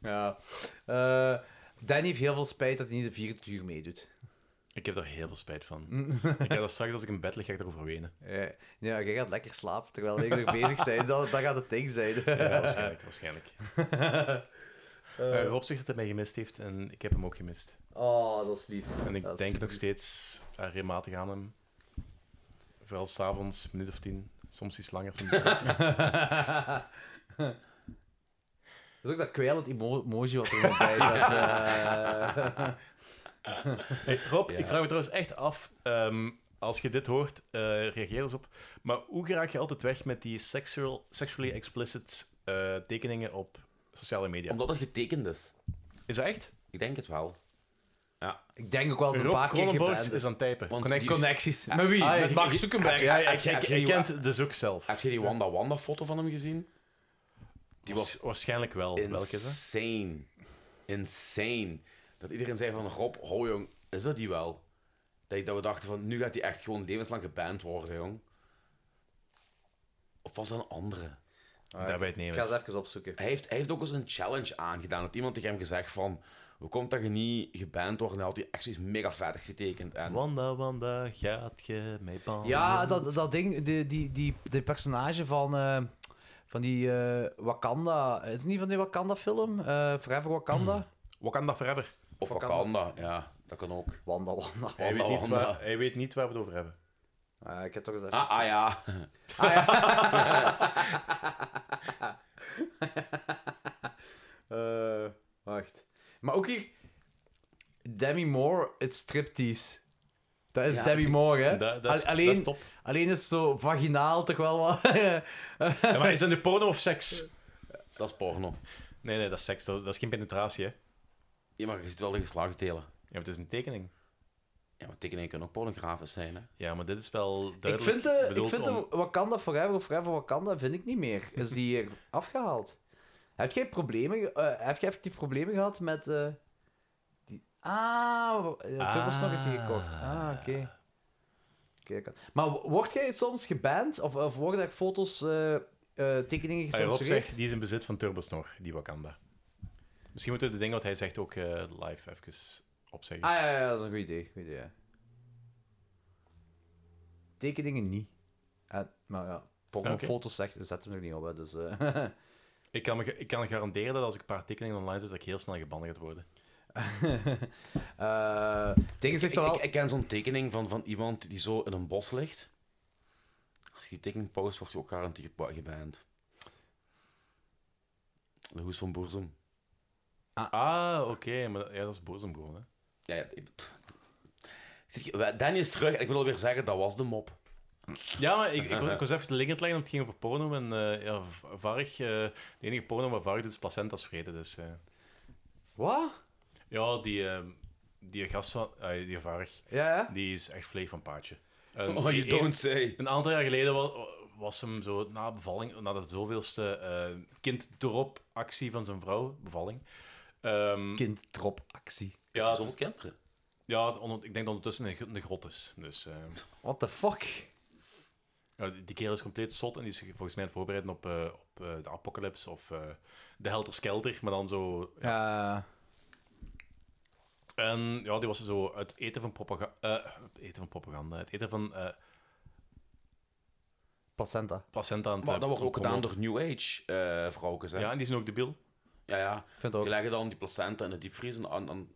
Speaker 2: ja. Eh, Danny heeft heel veel spijt dat hij niet de 24 uur meedoet.
Speaker 4: Ik heb daar heel veel spijt van. ik ga dat straks als ik in bed lig, ga ik erover wenen.
Speaker 2: Ja, ja, Eh, jij gaat lekker slapen terwijl ik er bezig ben. Dat, dat gaat het ding zijn.
Speaker 4: Ja, waarschijnlijk, waarschijnlijk. Eh Rob zegt dat hij mij gemist heeft en ik heb hem ook gemist.
Speaker 2: Oh, dat is lief.
Speaker 4: En ik
Speaker 2: Dat is
Speaker 4: denk nog
Speaker 2: lief.
Speaker 4: steeds eh, regelmatig aan hem. Vooral s'avonds, een minuut of tien. Soms iets langer, soms iets korter.
Speaker 2: Dat is ook dat kwijlend emo- emoji wat er nog bij zat. eh.
Speaker 4: Hey, Rob,
Speaker 2: Ja.
Speaker 4: ik vraag me trouwens echt af, ehm, als je dit hoort, eh, reageer eens op. Maar hoe raak je altijd weg met die sexual, sexually explicit eh, tekeningen op sociale media?
Speaker 3: Omdat het getekend is.
Speaker 4: Is dat echt?
Speaker 3: Ik denk het wel. Ja.
Speaker 2: Ik denk ook wel dat een
Speaker 4: Rob
Speaker 2: paar keer
Speaker 4: Cronenberg
Speaker 2: geband
Speaker 4: is aan het typen.
Speaker 2: Want
Speaker 4: Connecties.
Speaker 2: connecties.
Speaker 4: Ja.
Speaker 2: Met wie?
Speaker 4: Ah, ja,
Speaker 2: Met
Speaker 4: ik-
Speaker 2: Mark
Speaker 4: ik-
Speaker 2: Zuckerberg.
Speaker 4: Ja, ja, ik- ik- ik ken
Speaker 3: de
Speaker 4: het dus ook zelf.
Speaker 3: Heb je die Wanda Wanda foto van hem gezien? Die was
Speaker 4: Waars- waarschijnlijk wel. Welke is dat?
Speaker 3: Insane. Insane. Dat iedereen zei van Rob, ho jong, is dat die wel? Dat, ik- dat we dachten van, nu gaat die echt gewoon levenslang geband worden, jong. Of was dat een andere?
Speaker 4: Ah, Dat weet
Speaker 2: Ik ga het even opzoeken.
Speaker 3: Hij heeft, hij heeft ook eens een challenge aangedaan. Dat iemand tegen hem gezegd van... Hoe komt dat je niet geband wordt? En hij had hij echt zoiets mega vettig getekend. En...
Speaker 4: Wanda, Wanda, gaat je mee banden?
Speaker 2: Ja, dat, dat ding, die, die, die, die personage van, eh, Van die eh, Wakanda. Is het niet van die Wakanda-film? Eh, Forever Wakanda?
Speaker 4: Wakanda Forever.
Speaker 3: Of Wakanda, ja. Dat kan ook.
Speaker 2: Wanda, Wanda.
Speaker 4: Hij weet, niet
Speaker 3: Wanda.
Speaker 4: waar, hij weet niet waar we het over hebben.
Speaker 2: Ah, ik heb toch eens even...
Speaker 3: Ah, ah, ja.
Speaker 2: Ah, ja. Eh, wacht. Maar ook hier... Demi Moore, het striptease. Dat is
Speaker 4: Ja,
Speaker 2: Demi
Speaker 4: die-
Speaker 2: Moore, hè?
Speaker 4: dat- dat is-
Speaker 2: Al- alleen,
Speaker 4: dat is top.
Speaker 2: alleen is zo vaginaal toch wel wat...
Speaker 4: Ja, maar is dat nu porno of seks?
Speaker 3: Dat is porno.
Speaker 4: Nee, nee, dat is seks. Dat, dat is geen penetratie, hè?
Speaker 3: Ja, maar je ziet wel de geslachtsdelen.
Speaker 4: Ja, maar het is een tekening.
Speaker 3: Ja, maar tekeningen kunnen ook pornografisch zijn, hè.
Speaker 4: Ja, maar dit is wel
Speaker 2: ik
Speaker 4: duidelijk
Speaker 2: vind, de, ik
Speaker 4: bedoeld
Speaker 2: vind
Speaker 4: om...
Speaker 2: de Wakanda Forever of Forever Wakanda vind ik niet meer. Is die hier afgehaald? Heb jij problemen... ge- eh, heb je effectief problemen gehad met... eh, die... Ah, uh, Turtles heeft hij gekocht. Ah, oké. Oké, ik had- Maar wo- word jij soms geband? Of, of worden er foto's, eh, eh, tekeningen
Speaker 4: Ah, Rob
Speaker 2: gecensureerd?
Speaker 4: zegt, die is in bezit van Turbosnor, die Wakanda. Misschien moeten we de dingen wat hij zegt ook eh, live even opzeggen.
Speaker 2: Ah, ja, ja, dat is een goed idee. Goed idee ja. Tekeningen niet. Eh, maar ja,
Speaker 4: Oké.
Speaker 2: pornofoto's zegt, zetten we er niet op, hè, dus... eh.
Speaker 4: Ik, kan me, ga- ik kan garanderen dat als ik een paar tekeningen online zet, dat ik heel snel gebannen ga worden.
Speaker 2: Eh,
Speaker 3: ik,
Speaker 2: heeft
Speaker 3: ik,
Speaker 2: er wel-
Speaker 3: ik, ik ken zo'n tekening van, van iemand die zo in een bos ligt. Als je die tekening post, wordt je ook garantie geba- geband. De hoes van Boerzem.
Speaker 4: Ah, oké, maar dat- ja, dat is boezem gewoon, hè.
Speaker 3: Ja, ja. ik- pff. Ik zeg, wij- Danny is terug en ik wil weer zeggen, dat was de mop.
Speaker 4: Ja, maar ik, ik, was- ik was even de link aan het leggen, want het ging over porno. En eh, ja, v- Varg, eh, de enige porno waar Varg doet is placenta's vreten, dus... eh.
Speaker 2: Wat?
Speaker 4: Ja, die, eh, die gast van... ah, die Varg, die is echt vleeg van paardje. En
Speaker 3: Oh, you
Speaker 4: die-
Speaker 3: don't say.
Speaker 4: e- Een aantal jaar geleden was, was hem zo na bevalling, na de zoveelste eh kind drop actie van zijn vrouw, bevalling. Ehm,
Speaker 2: Kind drop actie.
Speaker 4: ja,
Speaker 3: Zoveel
Speaker 4: het-
Speaker 3: kinderen.
Speaker 4: ja, onder- ik denk dat ondertussen in de, gro- in de grot is. Dus, eh,
Speaker 2: What the fuck?
Speaker 4: ja, die- die kerel is compleet zot en die is zich volgens mij aan het voorbereiden op, eh, op eh, de apocalypse of eh, de helter skelter, maar dan zo...
Speaker 2: Ja.
Speaker 4: En ja, die was zo het eten van propaganda... het eten van propaganda, het eten van... eh,
Speaker 2: Placenta.
Speaker 4: Placenta aan het,
Speaker 3: Maar
Speaker 4: eh,
Speaker 3: dat wordt ook gedaan door
Speaker 4: promoten.
Speaker 3: New Age eh vrouwtjes, hè.
Speaker 4: Ja, en die zijn ook debiel.
Speaker 3: Ja, ja.
Speaker 2: Vind
Speaker 3: die leggen dan die placenta in de diepvries en aan, aan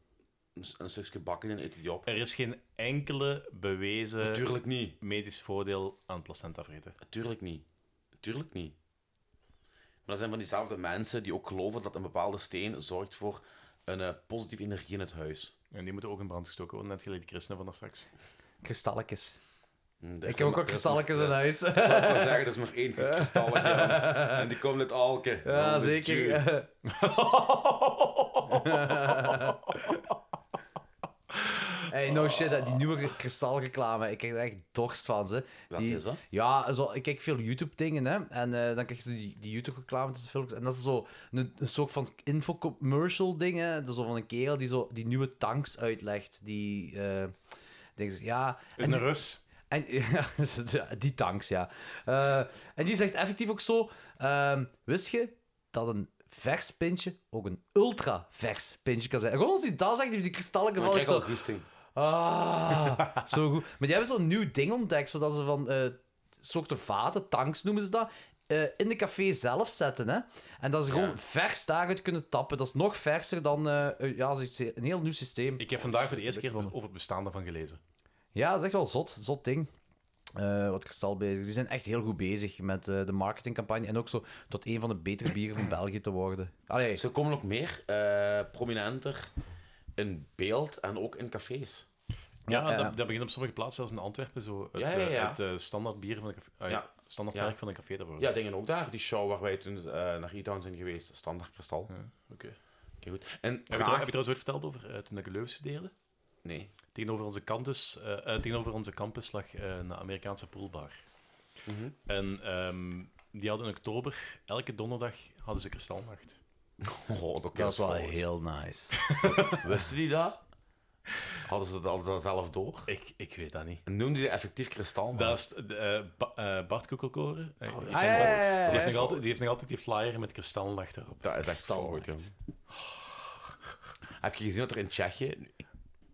Speaker 3: een, een stukje bakken en eten die op.
Speaker 4: Er is geen enkele
Speaker 2: Eh,
Speaker 4: bewezen
Speaker 3: Natuurlijk niet.
Speaker 4: medisch voordeel aan placenta vreten.
Speaker 3: Natuurlijk niet. Natuurlijk niet. Maar dat zijn van diezelfde mensen die ook geloven dat een bepaalde steen zorgt voor een eh, positieve energie in het huis.
Speaker 4: En die moeten ook in brand gestoken worden, net gelijk de christenen van daar straks.
Speaker 2: Kristalletjes.
Speaker 3: Mm, er
Speaker 2: Ik
Speaker 3: is
Speaker 2: heb ook
Speaker 3: maar-
Speaker 2: al
Speaker 3: er is maar-
Speaker 2: kristalletjes in
Speaker 3: eh,
Speaker 2: huis.
Speaker 3: Ik wou ook wel zeggen, er is maar één kristalletje. en die komen uit Alken.
Speaker 2: Ja,
Speaker 3: Oh,
Speaker 2: zeker.
Speaker 3: Jew.
Speaker 2: Hey, no shit, hè, die nieuwe kristalreclame, ik krijg er echt dorst van, ze.
Speaker 3: Wat
Speaker 2: die,
Speaker 3: is dat?
Speaker 2: Ja, zo, ik kijk veel YouTube-dingen, hè. En eh, dan krijg je die, die YouTube-reclame tussen filmpjes. En dat is zo een, een soort van infocommercial-ding, hè. Dat is zo van een kerel die zo die nieuwe tanks uitlegt. Die, eh denkt, ja...
Speaker 4: Is
Speaker 2: en
Speaker 4: een
Speaker 2: die-
Speaker 4: Rus.
Speaker 2: en ja, die tanks, ja. Eh, en die zegt effectief ook zo: ehm, Wist je dat een vers pintje ook een ultra vers pintje kan zijn? En gewoon als hij dat zegt, die die kristallen
Speaker 3: Maar ik
Speaker 2: gevallen.
Speaker 3: krijg al
Speaker 2: Zo,
Speaker 3: goesting.
Speaker 2: ah, zo goed. Maar die hebben zo'n nieuw ding ontdekt, zodat ze van eh soorten vaten, tanks noemen ze dat, eh, in de café zelf zetten. Hè? En dat ze gewoon vers daaruit kunnen tappen. Dat is nog verser dan eh, eh, ja, zoiets- een heel nieuw systeem.
Speaker 4: Ik heb vandaag voor de eerste keer over het bestaan daarvan gelezen.
Speaker 2: Ja, dat is echt wel zot, zot ding. Eh, wat kristal bezig. Die zijn echt heel goed bezig met eh, de marketingcampagne. En ook zo tot een van de betere bieren van België te worden. Allee.
Speaker 3: Ze komen ook meer eh, prominenter in beeld en ook in cafés.
Speaker 4: Ja,
Speaker 3: ja, ja.
Speaker 4: Ah, Dat, dat begint op sommige plaatsen, zelfs in Antwerpen, zo het,
Speaker 3: Ja, ja,
Speaker 4: eh,
Speaker 3: ja.
Speaker 4: het eh, standaard bier van de café, ah,
Speaker 3: Ja.
Speaker 4: standaard
Speaker 3: Ja.
Speaker 4: merk van een café te worden.
Speaker 3: Ja, dingen ook daar. Die show waar wij toen eh, naar E-Town zijn geweest. Standaard kristal.
Speaker 4: Oké.
Speaker 3: Oké, goed. En
Speaker 4: Heb, je,
Speaker 3: Praag-
Speaker 4: trouw- heb je trouwens ooit verteld over eh, toen ik in Leuven studeerde?
Speaker 3: Nee.
Speaker 4: Tegenover onze, campus, eh, eh, tegenover onze campus lag eh, een Amerikaanse poolbar.
Speaker 3: Mhm.
Speaker 4: En ehm, die hadden in oktober, elke donderdag, hadden ze kristalnacht.
Speaker 3: Oh, dat,
Speaker 2: Dat is wel heel nice. Ah,
Speaker 3: Wisten die dat? Hadden ze dat, hadden ze dat zelf door?
Speaker 4: Ik, ik weet dat niet.
Speaker 3: En noemde die effectief kristal?
Speaker 4: Dat is de, eh, Ba- eh, Bart Koekelkoren. Eh,
Speaker 3: dat
Speaker 4: die
Speaker 3: is
Speaker 4: heeft
Speaker 3: wel goed.
Speaker 4: nog-
Speaker 3: Dat is
Speaker 4: Die heeft
Speaker 3: echt
Speaker 4: nog altijd- die heeft nog altijd die flyer met kristalnacht erop.
Speaker 3: Dat is echt fout, joh. Heb je gezien dat er in Tsjechië...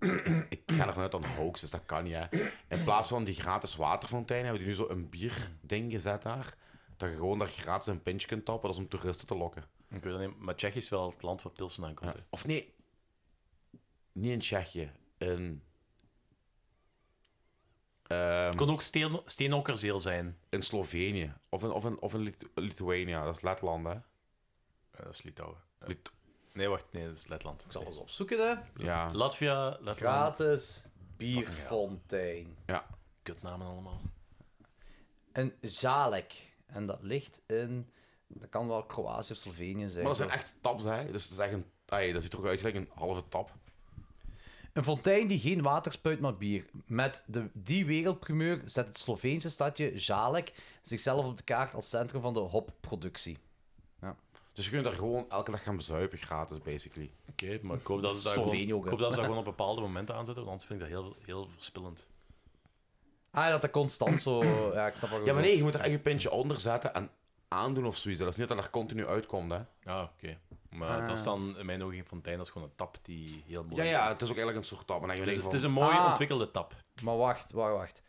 Speaker 3: Ik, ik, ik ga ervan uit dat het een hoax is, dat kan niet, hè. In plaats van die gratis waterfontein hebben die nu zo een bierding gezet daar. Dat je gewoon daar gratis een pintje kunt tappen, dat is om toeristen te lokken.
Speaker 4: Ik weet het niet, maar Tsjechië is wel het land waar Pilsen aankomt. hè.
Speaker 3: Of nee, niet in Tsjechië. In...
Speaker 4: Het kon ook steen, steenokkerzeel zijn.
Speaker 3: In ehm, Slovenië. Of in, of in, of in Lit- Lithuania. Dat is Letland, hè?
Speaker 4: Eh, dat is Litouwen. Lit- nee, wacht, nee, dat is Letland. Ik zal eens
Speaker 2: Zoeken hè?
Speaker 3: Ja.
Speaker 4: Latvia, Letland.
Speaker 2: Gratis bierfontein.
Speaker 3: Ja.
Speaker 4: Kutnamen allemaal.
Speaker 2: En Zalek. En dat ligt in... Dat kan wel Kroatië of Slovenië zijn.
Speaker 3: Maar dat zijn echt taps, hè? Dus dat, is echt een, ai, dat ziet er ook uit als een halve tap.
Speaker 2: Een fontein die geen water spuit, maar bier. Met de, die wereldprimeur zet het Sloveense stadje Zalek zichzelf op de kaart als centrum van de hopproductie.
Speaker 3: Ja. Dus je kunt daar gewoon elke dag gaan bezuipen, gratis, basically.
Speaker 4: Oké, maar ik hoop dat ze dat gewoon,
Speaker 2: Slovenië ook,
Speaker 4: ik
Speaker 2: hè.
Speaker 4: hoop dat ze dat gewoon op bepaalde momenten aanzetten, want anders vind ik dat heel, heel verspillend.
Speaker 2: Ah, dat dat constant zo... ja, ik snap wat
Speaker 3: Ja, maar nee, je moet er
Speaker 2: bedoelt.
Speaker 3: echt een pintje onder zetten en aandoen of zoiets. Dat is niet dat dat er continu uitkomt, hè?
Speaker 4: Ah, oké. Maar
Speaker 3: Ah,
Speaker 4: dat is
Speaker 3: dat
Speaker 4: dan in mijn ogen geen fontein, dat is gewoon een tap die heel
Speaker 3: Ja,
Speaker 4: mooi
Speaker 3: ja, het is ook eigenlijk Dus een soort tap. Maar dan
Speaker 4: Het
Speaker 3: je
Speaker 4: is,
Speaker 3: denkt
Speaker 4: Dus het
Speaker 3: van-
Speaker 4: is een mooi
Speaker 2: Ah.
Speaker 4: ontwikkelde tap.
Speaker 2: Maar wacht, wacht, wacht.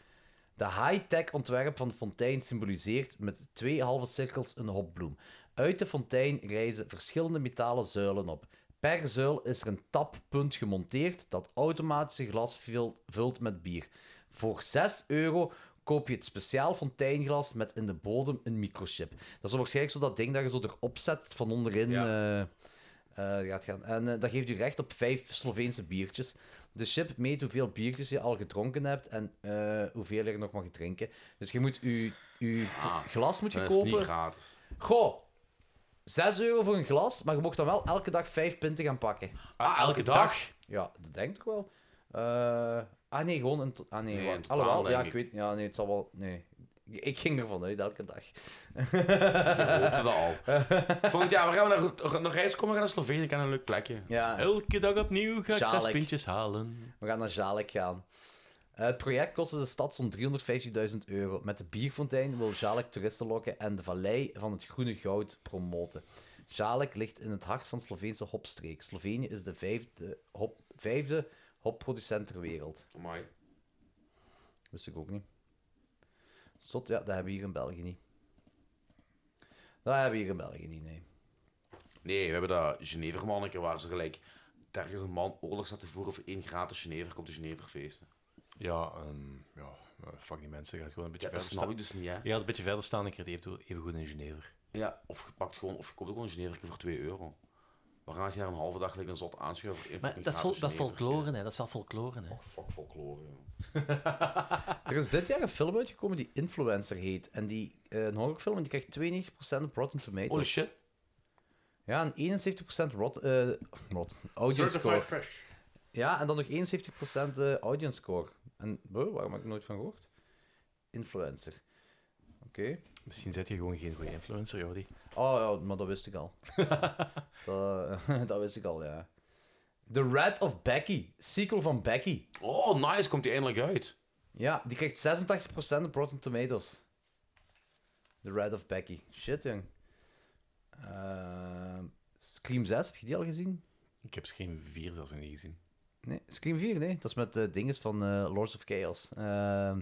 Speaker 2: De high-tech ontwerp van de fontein symboliseert met twee halve cirkels een hopbloem. Uit de fontein rijzen verschillende metalen zuilen op. Per zuil is er een tappunt gemonteerd dat automatisch je glas vult, vult met bier. Voor 6 euro koop je het speciaal fonteinglas met in de bodem een microchip. Dat is zo waarschijnlijk zo dat ding dat je zo erop zet van onderin. eh, eh, gaat gaan. En eh, dat geeft u recht op vijf Sloveense biertjes. De chip meet hoeveel biertjes je al gedronken hebt en eh, hoeveel je er nog mag drinken. Dus je moet je, je v- glas moet je
Speaker 3: Ah, dat is
Speaker 2: kopen.
Speaker 3: niet gratis.
Speaker 2: Goh, 6 euro voor een glas, maar je mocht dan wel elke dag vijf pinten gaan pakken.
Speaker 3: Ah, elke dag?
Speaker 2: Ja, dat denk ik wel. Eh, ah nee, gewoon een... to- Ah nee,
Speaker 3: Nee,
Speaker 2: wacht.
Speaker 3: in totaal,
Speaker 2: Alhoewel,
Speaker 3: denk
Speaker 2: ja, ik
Speaker 3: ik.
Speaker 2: weet... Ja, nee, het zal wel... Nee. Ik ging ervan uit, elke dag.
Speaker 3: Je hoopte dat al. Volgend jaar, we gaan naar, naar reis komen, we gaan naar Slovenië, ik heb een leuk plekje.
Speaker 2: Ja.
Speaker 4: Elke dag opnieuw ga ik zes
Speaker 2: Zalek.
Speaker 4: pintjes halen.
Speaker 2: We gaan naar Zalek gaan. Eh, het project kostte de stad zo'n 350.000 euro. Met de bierfontein wil Zalek toeristen lokken en de vallei van het groene goud promoten. Zalek ligt in het hart van de Sloveense hopstreek. Slovenië is de vijfde, hop, vijfde hopproducent ter wereld.
Speaker 3: Amai.
Speaker 2: Wist ik ook niet. Zot, ja, dat hebben we hier in België niet. Dat hebben we hier in België niet, nee.
Speaker 3: Nee, we hebben dat Genevermanneke waar ze gelijk ergens een man oorlog staat te voeren voor één gratis Genever, komt de Geneverfeesten.
Speaker 4: Ja, ehm, ja, eh, fuck die mensen. Gaat gewoon een beetje
Speaker 3: Ja, dat
Speaker 4: verder
Speaker 3: snap
Speaker 4: staan.
Speaker 3: ik dus niet, hè.
Speaker 4: Je gaat een beetje verder staan en je krijgt even goed in Geneve.
Speaker 3: Ja, of je pakt gewoon, of je koopt ook gewoon een Geneverke voor 2 euro. Dan ga je daar een halve dag liggen een zot aanschuiven. voor één
Speaker 4: Maar
Speaker 3: fucking
Speaker 4: dat is, vol,
Speaker 3: gratis
Speaker 4: dat is
Speaker 3: Genever.
Speaker 4: folklore, hè. Dat is wel folklore, hè.
Speaker 3: Fuck folklore, joh.
Speaker 2: Er is dit jaar een film uitgekomen die Influencer heet. En die, eh, een horrorfilm, en die krijgt 92% op Rotten Tomatoes.
Speaker 3: Holy shit.
Speaker 2: Ja, en 71% rot, eh rot, audience score.
Speaker 28: Certified fresh.
Speaker 2: Ja, en dan nog 71% eh, audience score. En wow, waarom heb ik er nooit van gehoord? Influencer. Oké.
Speaker 4: Misschien zet je gewoon geen goede influencer, Jordi.
Speaker 2: Oh ja, maar dat wist ik al. dat, dat wist ik al, ja. The Rat of Becky. Sequel van Becky.
Speaker 3: Oh, nice, komt die eindelijk uit.
Speaker 2: Ja, die krijgt 86% op Rotten Tomatoes. The Red of Becky. Shit, jong. Ehm, Scream 6, heb je die al gezien?
Speaker 4: Ik heb Scream 4 zelfs nog niet gezien.
Speaker 2: Nee, Scream 4, nee. Dat is met de dinges van eh, Lords of Chaos. Ehm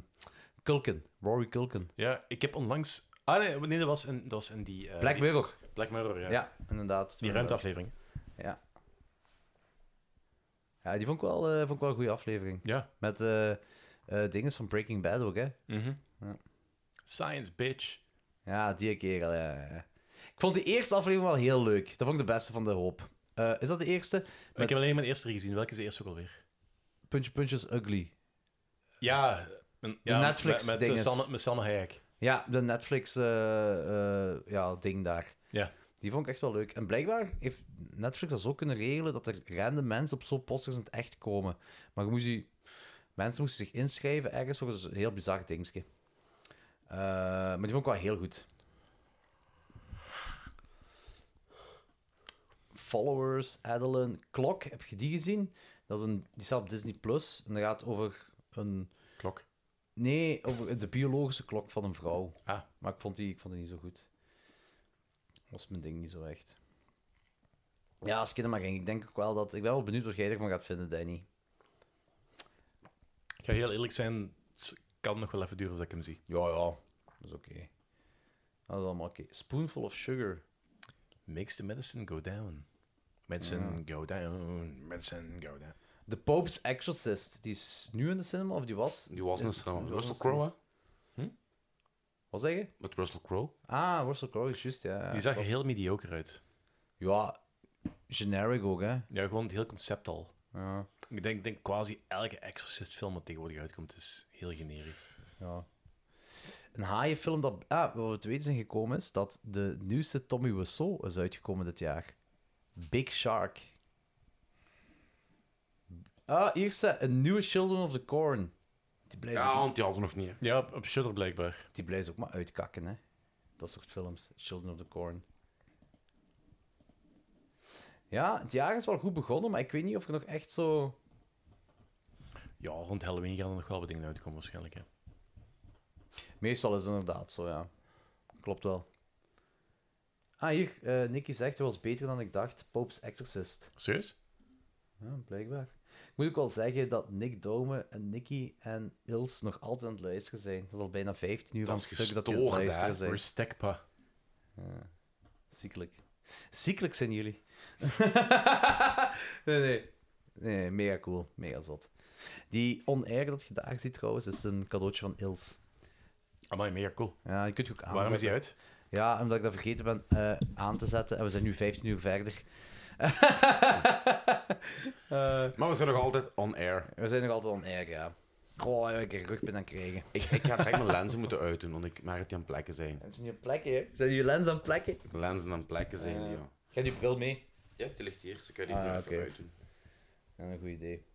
Speaker 2: Culkin, Rory Culkin.
Speaker 4: Ja, ik heb onlangs... Ah nee, nee dat, was in, dat was in die... eh,
Speaker 2: Black
Speaker 4: die-
Speaker 2: Mirror.
Speaker 4: Black Mirror, ja.
Speaker 2: Ja, inderdaad.
Speaker 4: Die ruimteaflevering.
Speaker 2: Ja. Ja, die vond ik wel, eh, vond ik wel een goede aflevering.
Speaker 4: Ja.
Speaker 2: Met eh eh, dinges van Breaking Bad ook, hè.
Speaker 4: Mhm.
Speaker 2: Ja.
Speaker 4: Science, bitch.
Speaker 2: Ja, die kerel, ja, ja. ja. Ik vond die eerste aflevering wel heel leuk. Dat vond ik de beste van de hoop. Eh, is dat de eerste? Met
Speaker 4: Ik heb alleen mijn eerste drie gezien. Welke is de eerste ook alweer?
Speaker 2: Puntje Puntjes Ugly.
Speaker 4: Ja, een, ja,
Speaker 2: Netflix
Speaker 4: met, met,
Speaker 2: ding
Speaker 4: eh,
Speaker 2: is-
Speaker 4: Salma- met Salma Hayek.
Speaker 2: Ja, de Netflix-ding ja, ding daar.
Speaker 4: Ja.
Speaker 2: Die vond ik echt wel leuk. En blijkbaar heeft Netflix dat zo kunnen regelen dat er random mensen op zo'n posters in het echt komen. Maar je moest je... mensen moesten zich inschrijven ergens voor een heel bizar dingetje. Eh, maar die vond ik wel heel goed. Followers, Adeline, Klok, heb je die gezien? Dat is een, die staat op Disney Plus en dat gaat over een.
Speaker 4: Klok?
Speaker 2: Nee, over de biologische klok van een vrouw.
Speaker 4: Ah.
Speaker 2: Maar ik vond, die, ik vond die niet zo goed. Was mijn ding niet zo echt. Ja, als ik er maar ging, ik denk ook wel dat. Ik ben wel benieuwd wat jij ervan gaat vinden, Danny.
Speaker 4: Ik ga heel eerlijk zijn, het kan nog wel even duren voordat ik hem zie.
Speaker 2: Ja, ja, dat is oké. Dat is allemaal oké. Spoonful of sugar.
Speaker 4: Makes the medicine go down. Medicine go down. Medicine go down.
Speaker 2: The Pope's Exorcist, die is nu in de cinema, of die was?
Speaker 3: Die was in de
Speaker 2: Is-
Speaker 3: cinema.
Speaker 2: was in de
Speaker 3: Russell
Speaker 2: cinema.
Speaker 3: Crowe, hè?
Speaker 2: Wat zeg je?
Speaker 3: Met Russell Crowe.
Speaker 2: Ah, Russell Crowe, is juist, ja.
Speaker 4: Die zag er heel mediocre uit.
Speaker 2: Ja, generic ook, hè?
Speaker 4: Ja, gewoon het hele concept al.
Speaker 2: Ja.
Speaker 4: Ik denk, denk quasi elke Exorcist-film dat tegenwoordig uitkomt is heel generisch.
Speaker 2: Ja. Een haaienfilm dat, ah, wat we te weten zijn gekomen is, dat de nieuwste Tommy Wiseau is uitgekomen dit jaar. Big Shark. Ah, hier staat een nieuwe Children of the Corn. Die blijft
Speaker 3: Ja,
Speaker 2: ook-
Speaker 3: want die hadden we nog niet. hè.
Speaker 4: Ja, op, op Shudder blijkbaar.
Speaker 2: Die blijft ook maar uitkakken, hè. Dat soort films. Children of the Corn. Ja, het jaar is wel goed begonnen, maar ik weet niet of er nog echt zo...
Speaker 4: Ja, rond Halloween gaan er nog wel wat dingen uitkomen waarschijnlijk. Hè.
Speaker 2: Meestal is het inderdaad zo, ja. Klopt wel. Ah, hier. eh Nicky zegt, hij was beter dan ik dacht. Pope's Exorcist.
Speaker 4: Serieus?
Speaker 2: Ja, blijkbaar. Ik moet ook wel zeggen dat Nick Dome en Nicky en Ils nog altijd aan het luisteren zijn. Dat is al bijna 15 uur
Speaker 4: Dat
Speaker 2: aan
Speaker 4: is
Speaker 2: het stuk dat die aan het
Speaker 4: gestoord, hè?
Speaker 2: luisteren zijn.
Speaker 4: Respectpa.
Speaker 2: Ja. Ziekelijk. Ziekelijk zijn jullie. nee, nee. Nee, mega cool. Mega zot. Die on-air dat je daar ziet trouwens, is een cadeautje van Ils.
Speaker 4: Amai, mega cool.
Speaker 2: Ja, die kunt je ook aanzetten.
Speaker 4: Waarom is die uit?
Speaker 2: Ja, omdat ik dat vergeten ben eh, aan te zetten. En we zijn nu 15 uur verder.
Speaker 3: maar we zijn nog altijd on air.
Speaker 2: Eh, We zijn nog altijd on-air, ja. Goh, ik heb rugpijn aan krijgen.
Speaker 3: Ik, ik ga direct mijn lenzen moeten uitdoen, want ik merk dat die aan plekken zijn.
Speaker 2: Zijn je plekken, hè? Zijn je lens aan plekken?
Speaker 3: Lenzen aan plekken zijn,
Speaker 2: Eh,
Speaker 3: die, ja.
Speaker 2: Ga je bril mee?
Speaker 3: Ja, die ligt hier, dus ik kan die
Speaker 2: Ah,
Speaker 3: nu
Speaker 2: ja,
Speaker 3: even
Speaker 2: oké.
Speaker 3: uitdoen.
Speaker 2: Ja, een goed idee.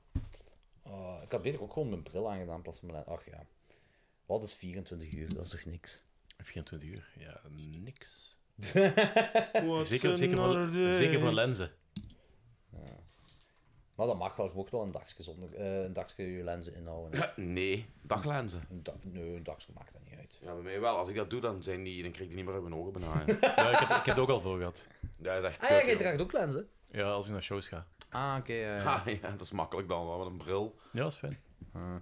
Speaker 2: Oh, ik had beter ook gewoon mijn bril aangedaan in plaats van mijn lens. Ach ja. Wat is 24 uur? Dat is toch niks?
Speaker 4: 24 uur, ja, niks.
Speaker 3: What's
Speaker 4: zeker, zeker, voor,
Speaker 3: another day?
Speaker 4: zeker voor lenzen.
Speaker 2: Ja. Maar dat mag wel. Je mocht wel een dagje, zonder, eh, een dagje je lenzen inhouden.
Speaker 3: Eh, Nee, daglenzen.
Speaker 2: Een dag, nee, een dagje maakt dat niet uit.
Speaker 3: Ja, bij mij wel. Als ik dat doe, dan, zijn die, dan krijg ik die niet meer uit mijn ogen bijna. hè.
Speaker 4: Ja, ik, heb, ik heb het ook al voor gehad.
Speaker 3: Ja, dat is echt
Speaker 2: Ah ja,
Speaker 3: kut,
Speaker 2: jij
Speaker 3: joh.
Speaker 2: draagt ook lenzen?
Speaker 4: Ja, als ik naar shows ga.
Speaker 2: Ah, oké. ja, ja.
Speaker 3: Ah, ja, dat is makkelijk dan, wel, met een bril.
Speaker 4: Ja, dat is fijn.
Speaker 2: Ah.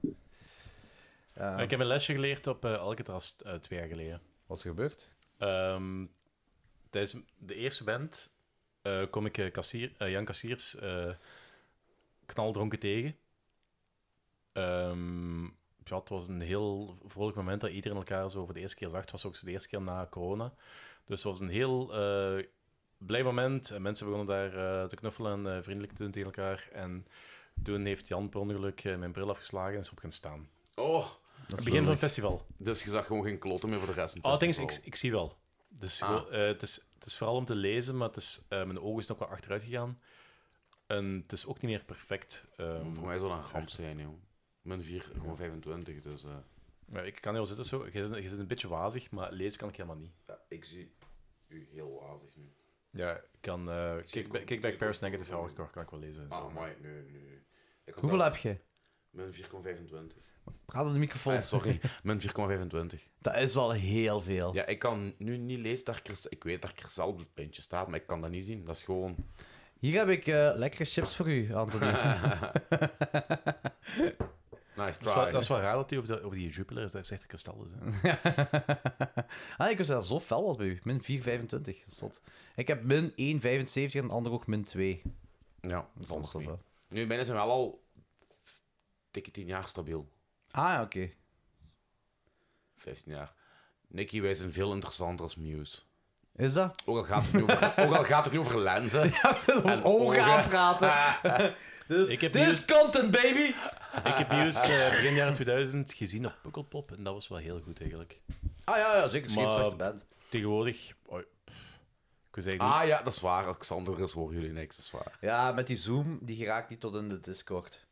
Speaker 2: Ja.
Speaker 4: Ik heb een lesje geleerd op eh, Alcatraz eh, twee jaar geleden.
Speaker 2: Wat is er gebeurd?
Speaker 4: Ehm, tijdens de eerste band eh, kom ik eh, kassier, eh, Jan Kassiers eh, knaldronken tegen. Ehm, ja, het was een heel vrolijk moment dat iedereen elkaar zo voor de eerste keer zag. Het was ook zo de eerste keer na corona. Dus het was een heel eh, blij moment. En mensen begonnen daar eh, te knuffelen en eh, vriendelijk te doen tegen elkaar. En toen heeft Jan per ongeluk eh, mijn bril afgeslagen en is op gaan staan.
Speaker 3: Oh,
Speaker 4: Het begin van het festival.
Speaker 3: Dus je zag gewoon geen kloten meer voor de rest van het
Speaker 4: Oh, thanks, ik,
Speaker 3: festival.
Speaker 4: ik zie wel. Dus
Speaker 3: Ah.
Speaker 4: gewoon, eh, het, is, het is vooral om te lezen, maar het is, eh, mijn ogen is nog wel achteruit gegaan. En het is ook niet meer perfect. ehm,
Speaker 3: Eh, Voor mij zou dat een ramp zijn, joh. Mijn 4, gewoon 25, dus... eh,
Speaker 4: ja, ik kan heel zitten zo. Je zit, je zit een beetje wazig, maar lezen kan ik helemaal niet.
Speaker 3: ja, ik zie u heel wazig nu.
Speaker 4: Ja, ik kan. eh
Speaker 3: zie
Speaker 4: kickback,
Speaker 3: ook-
Speaker 4: kickback
Speaker 3: ik zie
Speaker 4: Paris
Speaker 3: ook-
Speaker 4: Negative Hourcore kan ik wel lezen. en zo.
Speaker 3: Ah, mooi, nee, nee, nee. Ik had
Speaker 2: Hoeveel heb
Speaker 3: zelfs-
Speaker 2: je?
Speaker 3: Mijn 4,25.
Speaker 2: Praat aan de microfoon.
Speaker 3: Ah, sorry, mijn 4,25.
Speaker 2: Eh, Dat is wel heel veel.
Speaker 3: Ja, ik kan nu niet lezen dat Christ- Ik weet dat Christel op het puntje staat, maar ik kan dat niet zien. Dat is gewoon... nou,
Speaker 2: Hier heb ik eh, lekkere chips voor u, Anthony.
Speaker 3: Nice
Speaker 4: Dat is, wel,
Speaker 3: try.
Speaker 4: dat is wel raar dat hij over, de- over die Jupiter is. Dat is echt een kristal. Is, hè.
Speaker 2: ah, ik wist dat het zo fel was bij u. Min 4,25. Dat is zot. Ik heb min 1,75 en de ander ook min 2.
Speaker 3: Ja,
Speaker 2: Dat is
Speaker 3: valt
Speaker 2: wel
Speaker 3: mee.
Speaker 2: fel.
Speaker 3: Nu, mijne zijn wel al... Dikke 10 jaar stabiel.
Speaker 2: Ah, ja, oké.
Speaker 3: 15 jaar. Nicky, wij zijn veel interessanter als Muse.
Speaker 2: Is dat?
Speaker 3: Ook al gaat het nu over, ook al gaat het nu over lenzen. en
Speaker 2: Ogen aan praten. Oh, dus,
Speaker 4: Ik heb
Speaker 2: dit is content, baby!
Speaker 4: Ik heb nieuws eh, begin jaren 2000 gezien op Pukkelpop en dat was wel heel goed eigenlijk.
Speaker 2: Ah ja, ja zeker.
Speaker 4: Maar
Speaker 2: Geen slechte band.
Speaker 4: Tegenwoordig. oei, pff, ik wil zeggen,
Speaker 3: Ah ja, dat is waar. Alexander is horen jullie niks, dat is waar.
Speaker 2: Ja, met die Zoom, die geraakt niet tot in de Discord.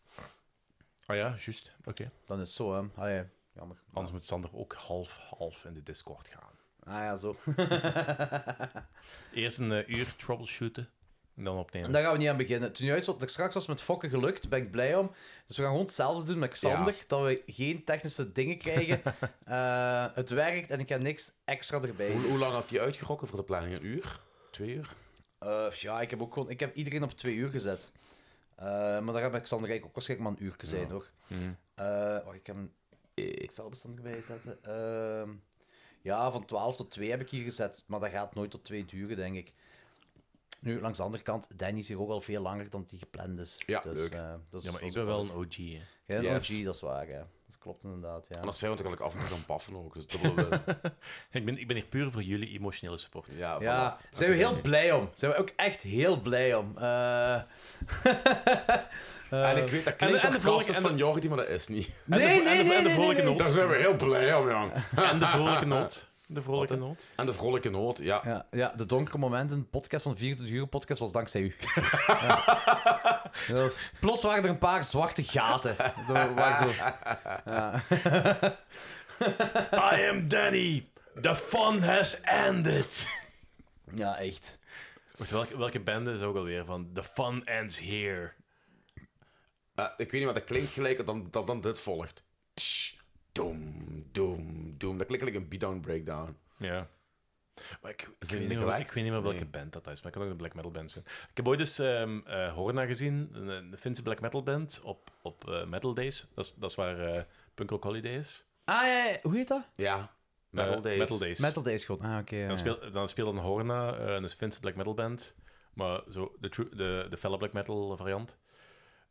Speaker 4: Ah ja, juist. Oké.
Speaker 2: Dan is het zo, hè. Allee, jammer.
Speaker 4: Anders moet Sander ook half-half in de Discord gaan.
Speaker 2: Ah ja, zo.
Speaker 4: Eerst een eh, uur troubleshooten en dan opnemen.
Speaker 2: En daar gaan we niet aan beginnen. Toen juist wat er straks was met fokken gelukt, ben ik blij om. Dus we gaan gewoon hetzelfde doen met Xander, dat we geen technische dingen krijgen. Eh, het werkt en ik heb niks extra erbij.
Speaker 3: Hoe, hoe lang had die uitgerokken voor de planning? Een uur? Twee uur?
Speaker 2: Eh, ja, ik heb ook gewoon, ik heb iedereen op twee uur gezet. Eh, maar daar heb ik Xander eigenlijk ook waarschijnlijk maar een uurtje
Speaker 3: Mhm.
Speaker 2: eh, zijn, hoor. Eh, wacht, ik heb hem ik zal bestand erbij zetten. Ehm, ja, van 12 tot 2 heb ik hier gezet. Maar dat gaat nooit tot 2 duren, denk ik. Nu, langs de andere kant, Danny is hier ook al veel langer dan die gepland is.
Speaker 3: Ja,
Speaker 2: dus,
Speaker 3: leuk.
Speaker 2: eh, dat is-
Speaker 4: Ja,
Speaker 2: dat
Speaker 4: maar ik
Speaker 2: is
Speaker 4: ben
Speaker 2: ook
Speaker 4: wel een OG, hè.
Speaker 2: Jij bent een
Speaker 4: Yes.
Speaker 2: OG, dat is waar, hè. Dat klopt inderdaad, ja.
Speaker 3: En als vijand eigenlijk af en toe dan baffen ook. Dus dubbele,
Speaker 4: ik, ben, ik ben hier puur voor jullie emotionele support.
Speaker 3: Ja,
Speaker 2: Ja, daar zijn we heel blij om. Zijn we ook echt heel blij om. Eh, eh,
Speaker 3: en ik weet, dat
Speaker 2: en de-
Speaker 3: klinkt
Speaker 2: en de
Speaker 3: en,
Speaker 2: vrolijke-
Speaker 3: en
Speaker 2: en
Speaker 3: van Jordi, maar dat is niet.
Speaker 2: Nee, nee, nee, nee, nee, nee.
Speaker 3: Daar zijn we heel blij om, jong.
Speaker 4: En de vrolijke noot. De vrolijke noot.
Speaker 3: En de vrolijke noot, ja.
Speaker 2: Ja, ja, de donkere momenten, podcast van 24 uur, podcast was dankzij u. ja. Dat was- plots waren er een paar zwarte gaten. Zo, waar zo. Ja.
Speaker 24: I am Danny. The fun has ended.
Speaker 2: Ja, echt.
Speaker 4: Wacht, welke, welke band is ook alweer van The Fun Ends Here?
Speaker 3: Eh, ik weet niet, maar dat klinkt gelijk dan, dan, dan dit volgt. Tsch, doem, doem, doem. Dat klinkt gelijk een beatdown breakdown.
Speaker 4: Ja. Maar ik, ik,
Speaker 3: dat
Speaker 4: weet
Speaker 3: niet
Speaker 4: niet meer,
Speaker 3: correct?
Speaker 4: ik weet niet meer welke
Speaker 3: Nee.
Speaker 4: band dat is, maar het kan ook een black metal band zijn. Ik heb ooit eens ehm eh, Horna gezien, een, een Finse black metal band, op, op eh, Metal Days. Dat is, dat is waar eh, Punk Rock Holiday is.
Speaker 2: Ah, ja, ja, hoe heet dat?
Speaker 3: Ja,
Speaker 4: Eh, Metal Days.
Speaker 2: Metal Days, god. Ah, oké. ja, ja.
Speaker 4: Dan, speel, dan speelde een Horna, eh, een Finse black metal band, maar zo de, true, de, de felle black metal variant.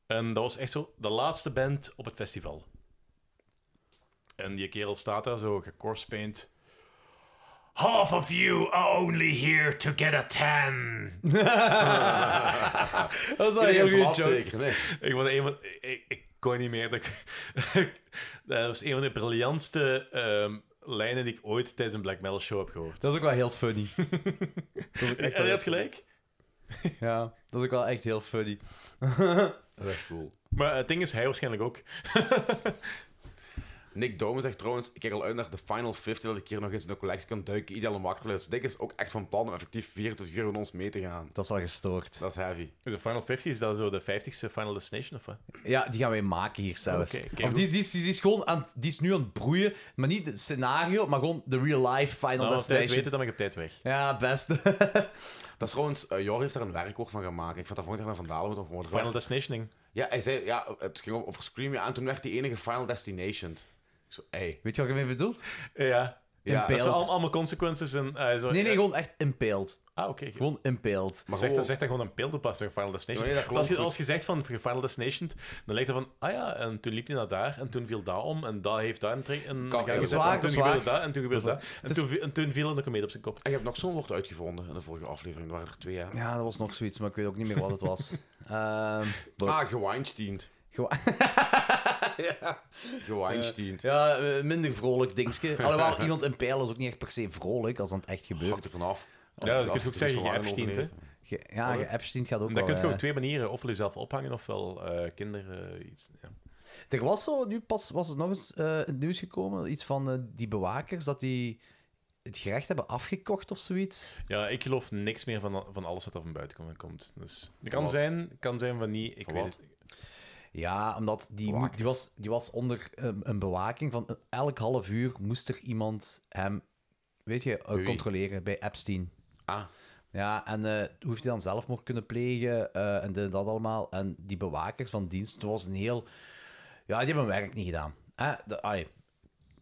Speaker 4: En dat was echt zo de laatste band op het festival. En die kerel staat daar zo gecorspaint.
Speaker 24: Half of you are only here to get a tan.
Speaker 2: dat is wel een heel goede joke.
Speaker 4: Ik, vond een van, ik, ik kon niet meer. Dat, ik- dat was een van de briljantste ehm, lijnen die ik ooit tijdens een black metal show heb gehoord.
Speaker 2: Dat is ook wel heel funny. dat is ook
Speaker 4: En
Speaker 2: echt
Speaker 4: hij
Speaker 2: wel-
Speaker 4: had gelijk.
Speaker 2: Ja, dat is ook wel echt heel funny.
Speaker 3: Dat is echt cool.
Speaker 4: Maar het ding is, hij waarschijnlijk ook.
Speaker 3: Nick Dome zegt trouwens, ik kijk al uit naar de Final 50, dat ik hier nog eens in de collectie kan duiken. Ideale makkelijkheid. Dus Nick is ook echt van plan om effectief 24 uur met ons mee te gaan.
Speaker 2: Dat is wel gestoord.
Speaker 3: Dat is heavy.
Speaker 4: De Final 50 is dat zo de 50ste Final Destination of wat?
Speaker 2: Ja, die gaan wij maken hier zelfs.
Speaker 4: Oké, oké,
Speaker 2: of die, is- die, is- die, is gewoon aan, het- die is nu aan het broeien. Maar niet het scenario, maar gewoon de real life Final
Speaker 4: Nou, als tijd
Speaker 2: Destination.
Speaker 4: weten, dan ben ik op tijd weg.
Speaker 2: Ja, best.
Speaker 3: Dat is trouwens, eh, Jor heeft daar een werkwoord van gemaakt. Ik vond dat volgende keer naar Van Dalen moeten worden.
Speaker 4: Final Destinationing.
Speaker 3: Ja, hij zei, ja, het ging over Scream, ja, en toen werd die enige Final Destination. Ik zo, ey.
Speaker 2: Weet je wat ik ermee bedoel?
Speaker 4: Ja.
Speaker 3: Ja,
Speaker 4: Dat
Speaker 2: Impaled.
Speaker 4: zijn al- allemaal consequences. En, eh, zo,
Speaker 2: Nee, nee,
Speaker 4: eh,
Speaker 2: gewoon echt impaled.
Speaker 4: Ah, oké.
Speaker 2: Gewoon impaled.
Speaker 4: Maar zeg, dan, zeg dan gewoon een beeld op als er Final Destination.
Speaker 2: Nee, dat klopt.
Speaker 4: als, je,
Speaker 2: Goed.
Speaker 4: als je zegt van Final Destination, dan lijkt het van, ah ja, en toen liep hij naar daar, en toen viel daar om, en daar heeft daar een trek, en dan ga je
Speaker 3: heel
Speaker 4: zetten,
Speaker 3: goed.
Speaker 4: en toen
Speaker 3: Dat is waar,
Speaker 4: gebeurde
Speaker 3: dat
Speaker 4: daar, en toen gebeurde daar, en, toen, vi- en toen viel een komeet op zijn kop.
Speaker 3: En je hebt nog zo'n woord uitgevonden in de vorige aflevering. Er waren er twee, hè?
Speaker 2: Ja, dat was nog zoiets, maar ik weet ook niet meer wat het was. Ehm,
Speaker 3: Ah, gewinesteend.
Speaker 2: Gewa-
Speaker 3: ja. Gewinesteend.
Speaker 2: ja, eh, minder vrolijk dingetje. Alhoewel, iemand impalen is ook niet echt per se vrolijk als dat echt
Speaker 7: Eh,
Speaker 2: gebeurt.
Speaker 3: Hangt er vanaf.
Speaker 4: Ja, dat kun je ook zeggen, je Epstein, hè.
Speaker 2: Ge- ja, je Epstein gaat ook
Speaker 4: Dat
Speaker 2: wel,
Speaker 4: kun je
Speaker 2: eh,
Speaker 4: op twee manieren, ofwel jezelf ophangen, ofwel eh kinderen, eh, iets. Ja.
Speaker 2: Er was zo, nu pas was het nog eens eh, in het nieuws gekomen, iets van eh, die bewakers, dat die het gerecht hebben afgekocht of zoiets.
Speaker 4: ja, ik geloof niks meer van, van alles wat er van buiten komt. Dus, dat kan
Speaker 2: wat?
Speaker 4: zijn, kan zijn van niet, ik
Speaker 2: Van
Speaker 4: weet
Speaker 2: wat?
Speaker 4: het.
Speaker 2: Ja, omdat die, moet- die, was, die was onder eh, een bewaking van eh, elk half uur moest er iemand hem, weet je, eh,
Speaker 3: Bij wie?
Speaker 2: controleren bij Epstein.
Speaker 3: Ah.
Speaker 2: Ja, en eh, hoeft hij dan zelfmoord kunnen plegen eh, en dit en dat allemaal. En die bewakers van dienst, het was een heel... Ja, die hebben hun werk niet gedaan. Hè? De, allee,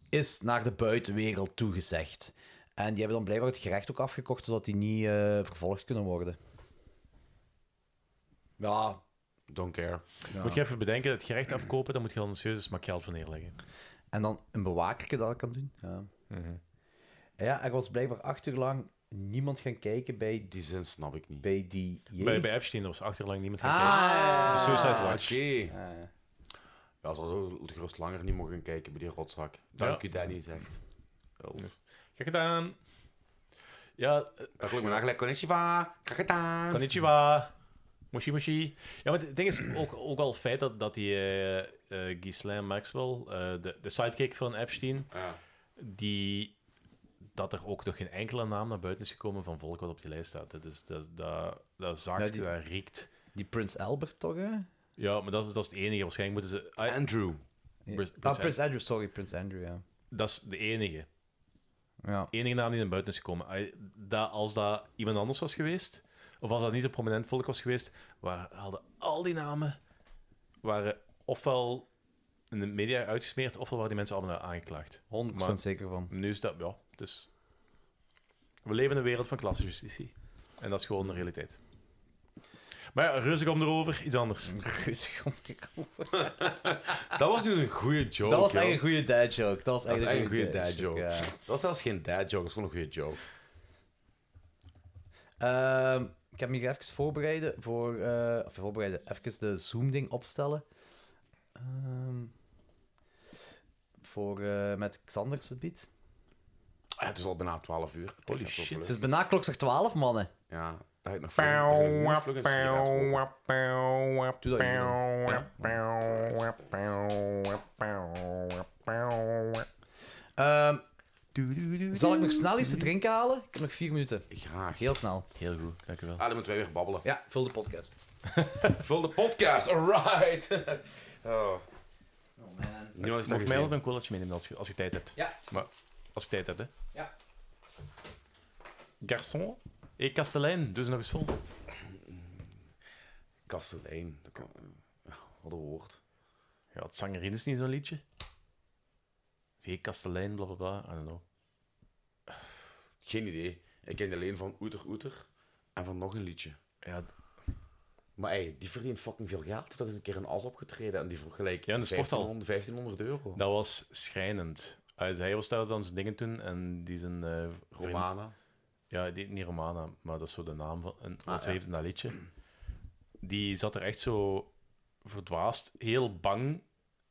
Speaker 2: is naar de buitenwereld toegezegd. En die hebben dan blijkbaar het gerecht ook afgekocht, zodat die niet eh, vervolgd kunnen worden. Ja.
Speaker 3: Don't care.
Speaker 4: Moet je even bedenken, het gerecht afkopen, dan moet je al een serieuze smak geld voor neerleggen.
Speaker 2: En dan een bewakerke dat ik kan doen. Ja.
Speaker 4: Mhm.
Speaker 2: ja, er was blijkbaar acht uur lang niemand gaan kijken bij...
Speaker 3: Die zin snap ik niet.
Speaker 2: Bij die...
Speaker 4: Bij, bij Epstein was achterlang niemand gaan
Speaker 2: Ah,
Speaker 4: kijken.
Speaker 2: ja, ja,
Speaker 4: De
Speaker 2: ja.
Speaker 4: Suicide Watch.
Speaker 3: Oké. Ja, ze hadden ook gerust langer niet mogen kijken bij die rotzak. Dank u, Danny, zegt. Yes.
Speaker 4: Kijk gedaan. Ja, eh,
Speaker 3: Daar geloof ik me naar gelijk. Konnichiwa, kijk gedaan.
Speaker 4: Konnichiwa. Moshi moshi. Ja, maar het ding is ook, ook al het feit dat, dat die eh eh, Ghislaine Maxwell, eh, de, de sidekick van Epstein, die, dat er ook nog geen enkele naam naar buiten is gekomen van volk wat op die lijst staat. Dat, is, dat, dat, dat zaakje
Speaker 2: Ja, die-
Speaker 4: daar riekt.
Speaker 2: Die Prins Albert, toch? Hè?
Speaker 4: Ja, maar dat, is- dat is het enige. Waarschijnlijk moeten ze...
Speaker 3: Andrew.
Speaker 4: Prins-
Speaker 2: ah,
Speaker 4: Prins
Speaker 2: Prins Andrew, sorry, Prins Andrew, ja.
Speaker 4: Dat is de enige.
Speaker 2: Ja.
Speaker 4: enige naam die naar buiten is gekomen. Ai, Dat, als dat iemand anders was geweest, of als dat niet zo prominent volk was geweest, waar hadden al die namen waren ofwel in de media uitgesmeerd, ofwel waren die mensen allemaal aangeklaagd.
Speaker 2: 100% zeker van.
Speaker 4: Nu is dat, ja, Dus we leven in een wereld van klassenjustitie. En dat is gewoon de realiteit. Maar ja, rustig om erover, iets anders. Rustig om erover.
Speaker 3: Dat was dus een goede joke.
Speaker 7: Dat was
Speaker 3: joh.
Speaker 7: echt een goede dad joke. Dat was
Speaker 3: Dat
Speaker 7: echt
Speaker 3: was echt een goede dad
Speaker 7: dadjoke,
Speaker 3: joke.
Speaker 7: ja.
Speaker 3: Dat was zelfs geen dad joke, dat was gewoon een goede joke.
Speaker 7: Ehm, ik heb me hier even voorbereiden voor. eh, of voorbereiden, even de Zoom-ding opstellen. Ehm, voor, eh, met Xander Subiet.
Speaker 3: Ah, het is al bijna 12 uur. Holy shit.
Speaker 7: Het is bijna klokslag 12, mannen.
Speaker 3: Ja, dat heb ik nog
Speaker 7: Pauw,
Speaker 3: veel.
Speaker 7: Doe dat niet. Ehm, zal ik nog snel iets te drinken halen? Ik heb nog vier minuten.
Speaker 3: Graag.
Speaker 7: Heel snel.
Speaker 4: Heel goed, dank u wel.
Speaker 3: Ah, dan moeten wij weer babbelen.
Speaker 7: Ja, vul de podcast.
Speaker 3: Vul de podcast, alright. oh. Nu was het
Speaker 4: Mocht
Speaker 3: nog
Speaker 4: mij
Speaker 3: gezien.
Speaker 4: altijd een colaatje meenemen als je, als je tijd hebt.
Speaker 7: Ja.
Speaker 4: Maar als je tijd hebt, hè.
Speaker 7: Ja.
Speaker 4: Garçon. Ik Kastelein, doe ze nog eens vol.
Speaker 3: Kastelein. dat kan- eh, Wat een woord.
Speaker 4: Ja, het zangerin is niet zo'n liedje. V. Kastelein, bla bla bla, I don't know.
Speaker 3: Geen idee. Ik ken alleen van Oeter Oeter en van nog een liedje.
Speaker 4: Ja.
Speaker 3: Maar ey, die verdient fucking veel geld. Die heeft toch eens een keer een as opgetreden en die vroeg gelijk
Speaker 4: Ja, in de sporthal.
Speaker 3: 1500, 1500 euro.
Speaker 4: Dat was schrijnend. Hij- hij was daar dan zijn dingen doen en die zijn... eh, vriend-
Speaker 3: Romana.
Speaker 4: Ja, die, niet Romana, maar dat is zo de naam van... En, want ze
Speaker 3: Ah, ja.
Speaker 4: heeft in dat liedje. Die zat er echt zo verdwaasd, heel bang,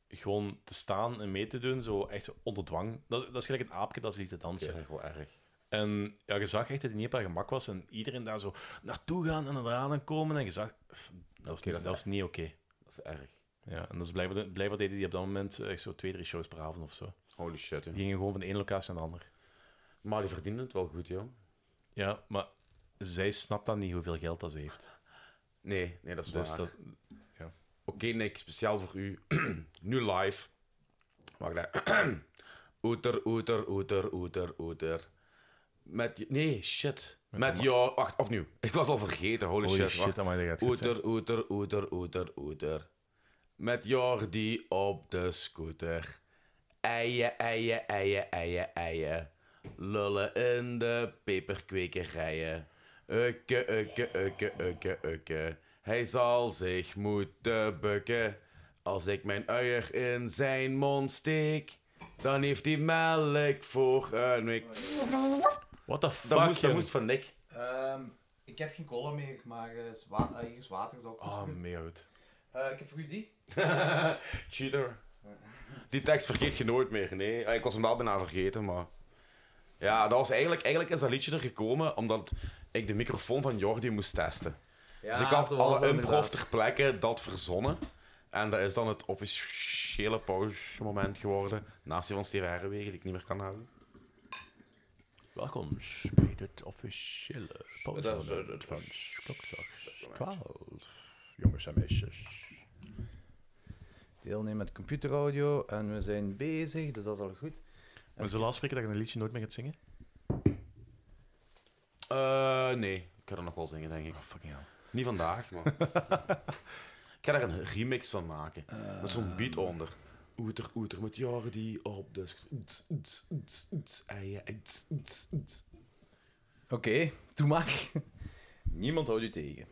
Speaker 4: gewoon te staan en mee te doen. Zo echt onder dwang. Dat, dat is gelijk een aapje dat ze liet te dansen.
Speaker 3: Ja, wel erg.
Speaker 4: En ja, je zag echt dat hij niet op haar gemak was en iedereen daar zo naartoe gaan en eraan en komen. En je zag, pff, dat was,
Speaker 3: Oké, dat
Speaker 4: niet-
Speaker 3: is
Speaker 4: dat was
Speaker 3: erg.
Speaker 4: niet oké.
Speaker 3: Dat is erg.
Speaker 4: Ja, en dat is blijkbaar, blijkbaar deden die op dat moment eh, echt zo twee, drie shows per avond of zo.
Speaker 3: Holy shit, hè.
Speaker 4: Die gingen gewoon van de ene locatie naar de andere.
Speaker 3: Maar die verdiende het wel goed, joh.
Speaker 4: Ja, maar zij snapt dan niet hoeveel geld dat ze heeft.
Speaker 3: Nee, nee, dat is
Speaker 4: Dus
Speaker 3: waar.
Speaker 4: dat- ja.
Speaker 3: Oké, Nick, speciaal voor u. nu live. Wacht daar. oeter, oeter, oeter, oeter, oeter. Met... je- Nee, shit. Met, jou... Wacht, opnieuw. Ik was al vergeten, holy,
Speaker 4: Holy
Speaker 3: shit.
Speaker 4: shit,
Speaker 3: wacht.
Speaker 4: amai, dat gaat goed
Speaker 3: Oeter, oeter, oeter, oeter, oeter. Met Jordi op de scooter. Eien, eien, eien, eien, eien. Lullen in de peperkwekerijen. Ukke, ukke, ukke, ukke, ukke. Hij zal zich moeten bukken. Als ik mijn uier in zijn mond steek, dan heeft hij melk voor een week.
Speaker 4: What the
Speaker 3: Dat
Speaker 4: fuck,
Speaker 3: moest, dat
Speaker 4: jong?
Speaker 3: moest van Nick.
Speaker 7: Ehm,
Speaker 2: ik heb geen cola meer, maar eh, is wa- eh, hier is water. Zal ik
Speaker 4: Ah,
Speaker 3: Ehm.
Speaker 4: mega goed.
Speaker 2: Eh, ik heb voor u die.
Speaker 3: Cheater. Die tekst vergeet je nooit meer. Nee, Ah, ik was hem wel bijna vergeten, maar. Ja, dat was eigenlijk, eigenlijk is dat liedje er gekomen omdat ik de microfoon van Jordi moest testen.
Speaker 2: Ja,
Speaker 3: dus ik had
Speaker 2: zo was
Speaker 3: alle
Speaker 2: dat
Speaker 3: improv
Speaker 2: inderdaad.
Speaker 3: ter plekke dat verzonnen. En dat is dan het officiële pauzemoment geworden. Naast die van Steven Herrewegen, die ik niet meer kan houden.
Speaker 4: Welkom bij het officiële
Speaker 3: pauzemoment
Speaker 4: van Klokzaks 12. Jongens en meisjes.
Speaker 2: Deelnemen met computeraudio en we zijn bezig, dus dat is al goed.
Speaker 4: We zullen afspreken dat je een liedje nooit meer gaat zingen?
Speaker 3: Eh, nee, ik ga dat nog wel zingen, denk ik.
Speaker 4: Oh, fucking hell.
Speaker 3: Niet vandaag, maar. ik ga daar een remix van maken. met zo'n beat onder. Oeter, oeter met Jordi op de. sc- Ts, ts, ts, ts, eien, ts, ts, ts.
Speaker 2: Oké, doe maar. Niemand houdt u tegen.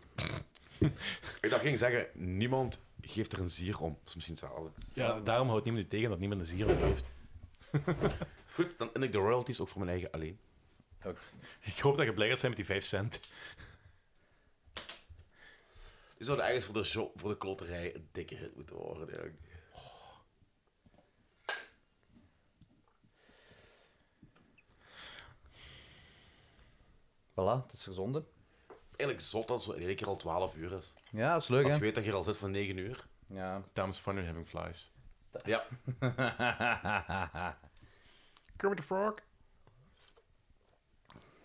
Speaker 3: Ik dacht, ik ging zeggen: niemand geeft er een zier om. Dat is misschien hetzelfde.
Speaker 4: Ja, daarom houdt niemand u tegen dat niemand een zier op heeft.
Speaker 3: Goed, dan en ik de royalties ook voor mijn eigen alleen.
Speaker 4: Ik hoop dat je blij gaat zijn met die 5 cent.
Speaker 3: Die zouden eigenlijk voor de, jo- voor de klotterij een dikke hit moeten worden. denk ik.
Speaker 2: Voilà, het is verzonden.
Speaker 3: Eigenlijk zot dat het zo in één keer al 12 uur is.
Speaker 2: Ja, dat is leuk,
Speaker 3: Als
Speaker 2: hè?
Speaker 3: je weet dat je er al zit van 9 uur.
Speaker 2: Ja.
Speaker 4: Dames van nu having flies.
Speaker 3: Ja.
Speaker 4: Kermit the Frog.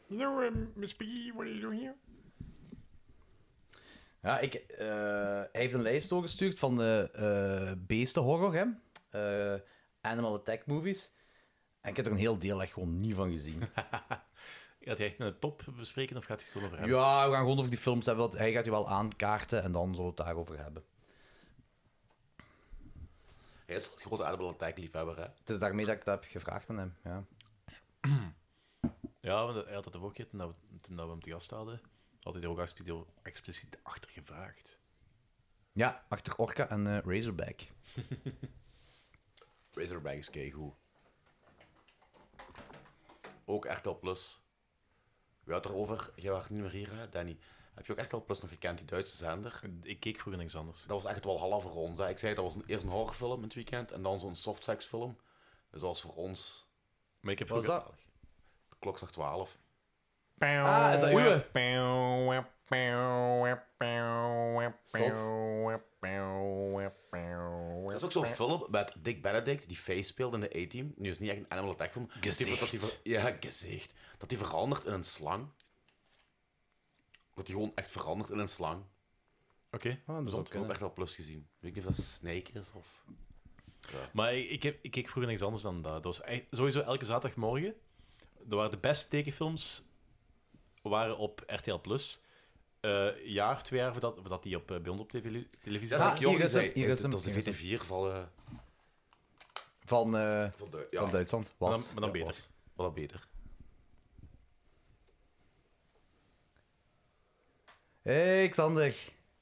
Speaker 4: Hello, eh, Miss Piggy, what are you doing here?
Speaker 2: Ja, ik, eh, hij heeft een lijst doorgestuurd van de eh beestenhorror, hè? Eh, Animal Attack movies. En ik heb er een heel deel echt gewoon niet van gezien.
Speaker 4: Gaat hij echt in de top bespreken of gaat hij het gewoon over hebben?
Speaker 2: ja, we gaan gewoon over die films hebben. Want hij gaat je wel aankaarten en dan zullen we het daarover hebben.
Speaker 3: Hij is wel een grote Animal Attack liefhebber, hè?
Speaker 2: Het is daarmee dat ik dat heb gevraagd aan hem. Ja.
Speaker 4: Ja, want hij had dat ook, hè, toen, dat we, toen dat we hem te gast hadden, had hij er ook expliciet- expliciet achter gevraagd.
Speaker 2: Ja, achter Orca en eh, Razorback.
Speaker 3: Razorback is keigoed. Ook RTL Plus. We hadden het erover, jij was niet meer hier, hè, Danny. Heb je ook RTL Plus nog gekend, die Duitse zender?
Speaker 4: Ik keek vroeger niks anders.
Speaker 3: Dat was echt wel half voor ons. Hè. Ik zei, dat was een, eerst een horrorfilm in het weekend en dan zo'n softseksfilm. Dus dat was voor ons...
Speaker 4: Maar ik heb
Speaker 3: was
Speaker 4: vroeger-
Speaker 3: dat? De klok zag 12.
Speaker 4: Ah, is dat uwe?
Speaker 3: Dat is ook zo'n film met Dick Benedict, die Face speelde in de A-Team. Nu is het niet echt een Animal Attack film. Dat die-
Speaker 4: Gezicht.
Speaker 3: Dat die ver- ja, gezicht. Dat die verandert in een slang. Dat die gewoon echt verandert in een slang.
Speaker 4: Oké. Ah, dat
Speaker 3: Dus dat
Speaker 4: zou
Speaker 3: heb ik ook
Speaker 4: kunnen.
Speaker 3: echt wel plus gezien. Ik weet niet of dat Snake is of... Ja.
Speaker 4: Maar ik, ik, heb, ik keek vroeger niks anders dan dat. Dat was echt- sowieso elke zaterdagmorgen. Dat waren de beste tekenfilms waren op RTL Plus. Eh, jaar, twee jaar voordat, voordat die op, eh, bij ons op tv, televisie
Speaker 3: Dat is
Speaker 4: waren.
Speaker 3: ook Jordi zei.
Speaker 2: hier
Speaker 3: is
Speaker 2: is hem,
Speaker 3: dat is
Speaker 2: hier is
Speaker 3: de
Speaker 2: hem.
Speaker 3: VT4 van... eh,
Speaker 2: Van, eh,
Speaker 3: van, Du- ja.
Speaker 2: van Duitsland. Was.
Speaker 4: Maar dan- maar dan beter.
Speaker 3: was. Wel wat beter.
Speaker 2: Hey, Xander.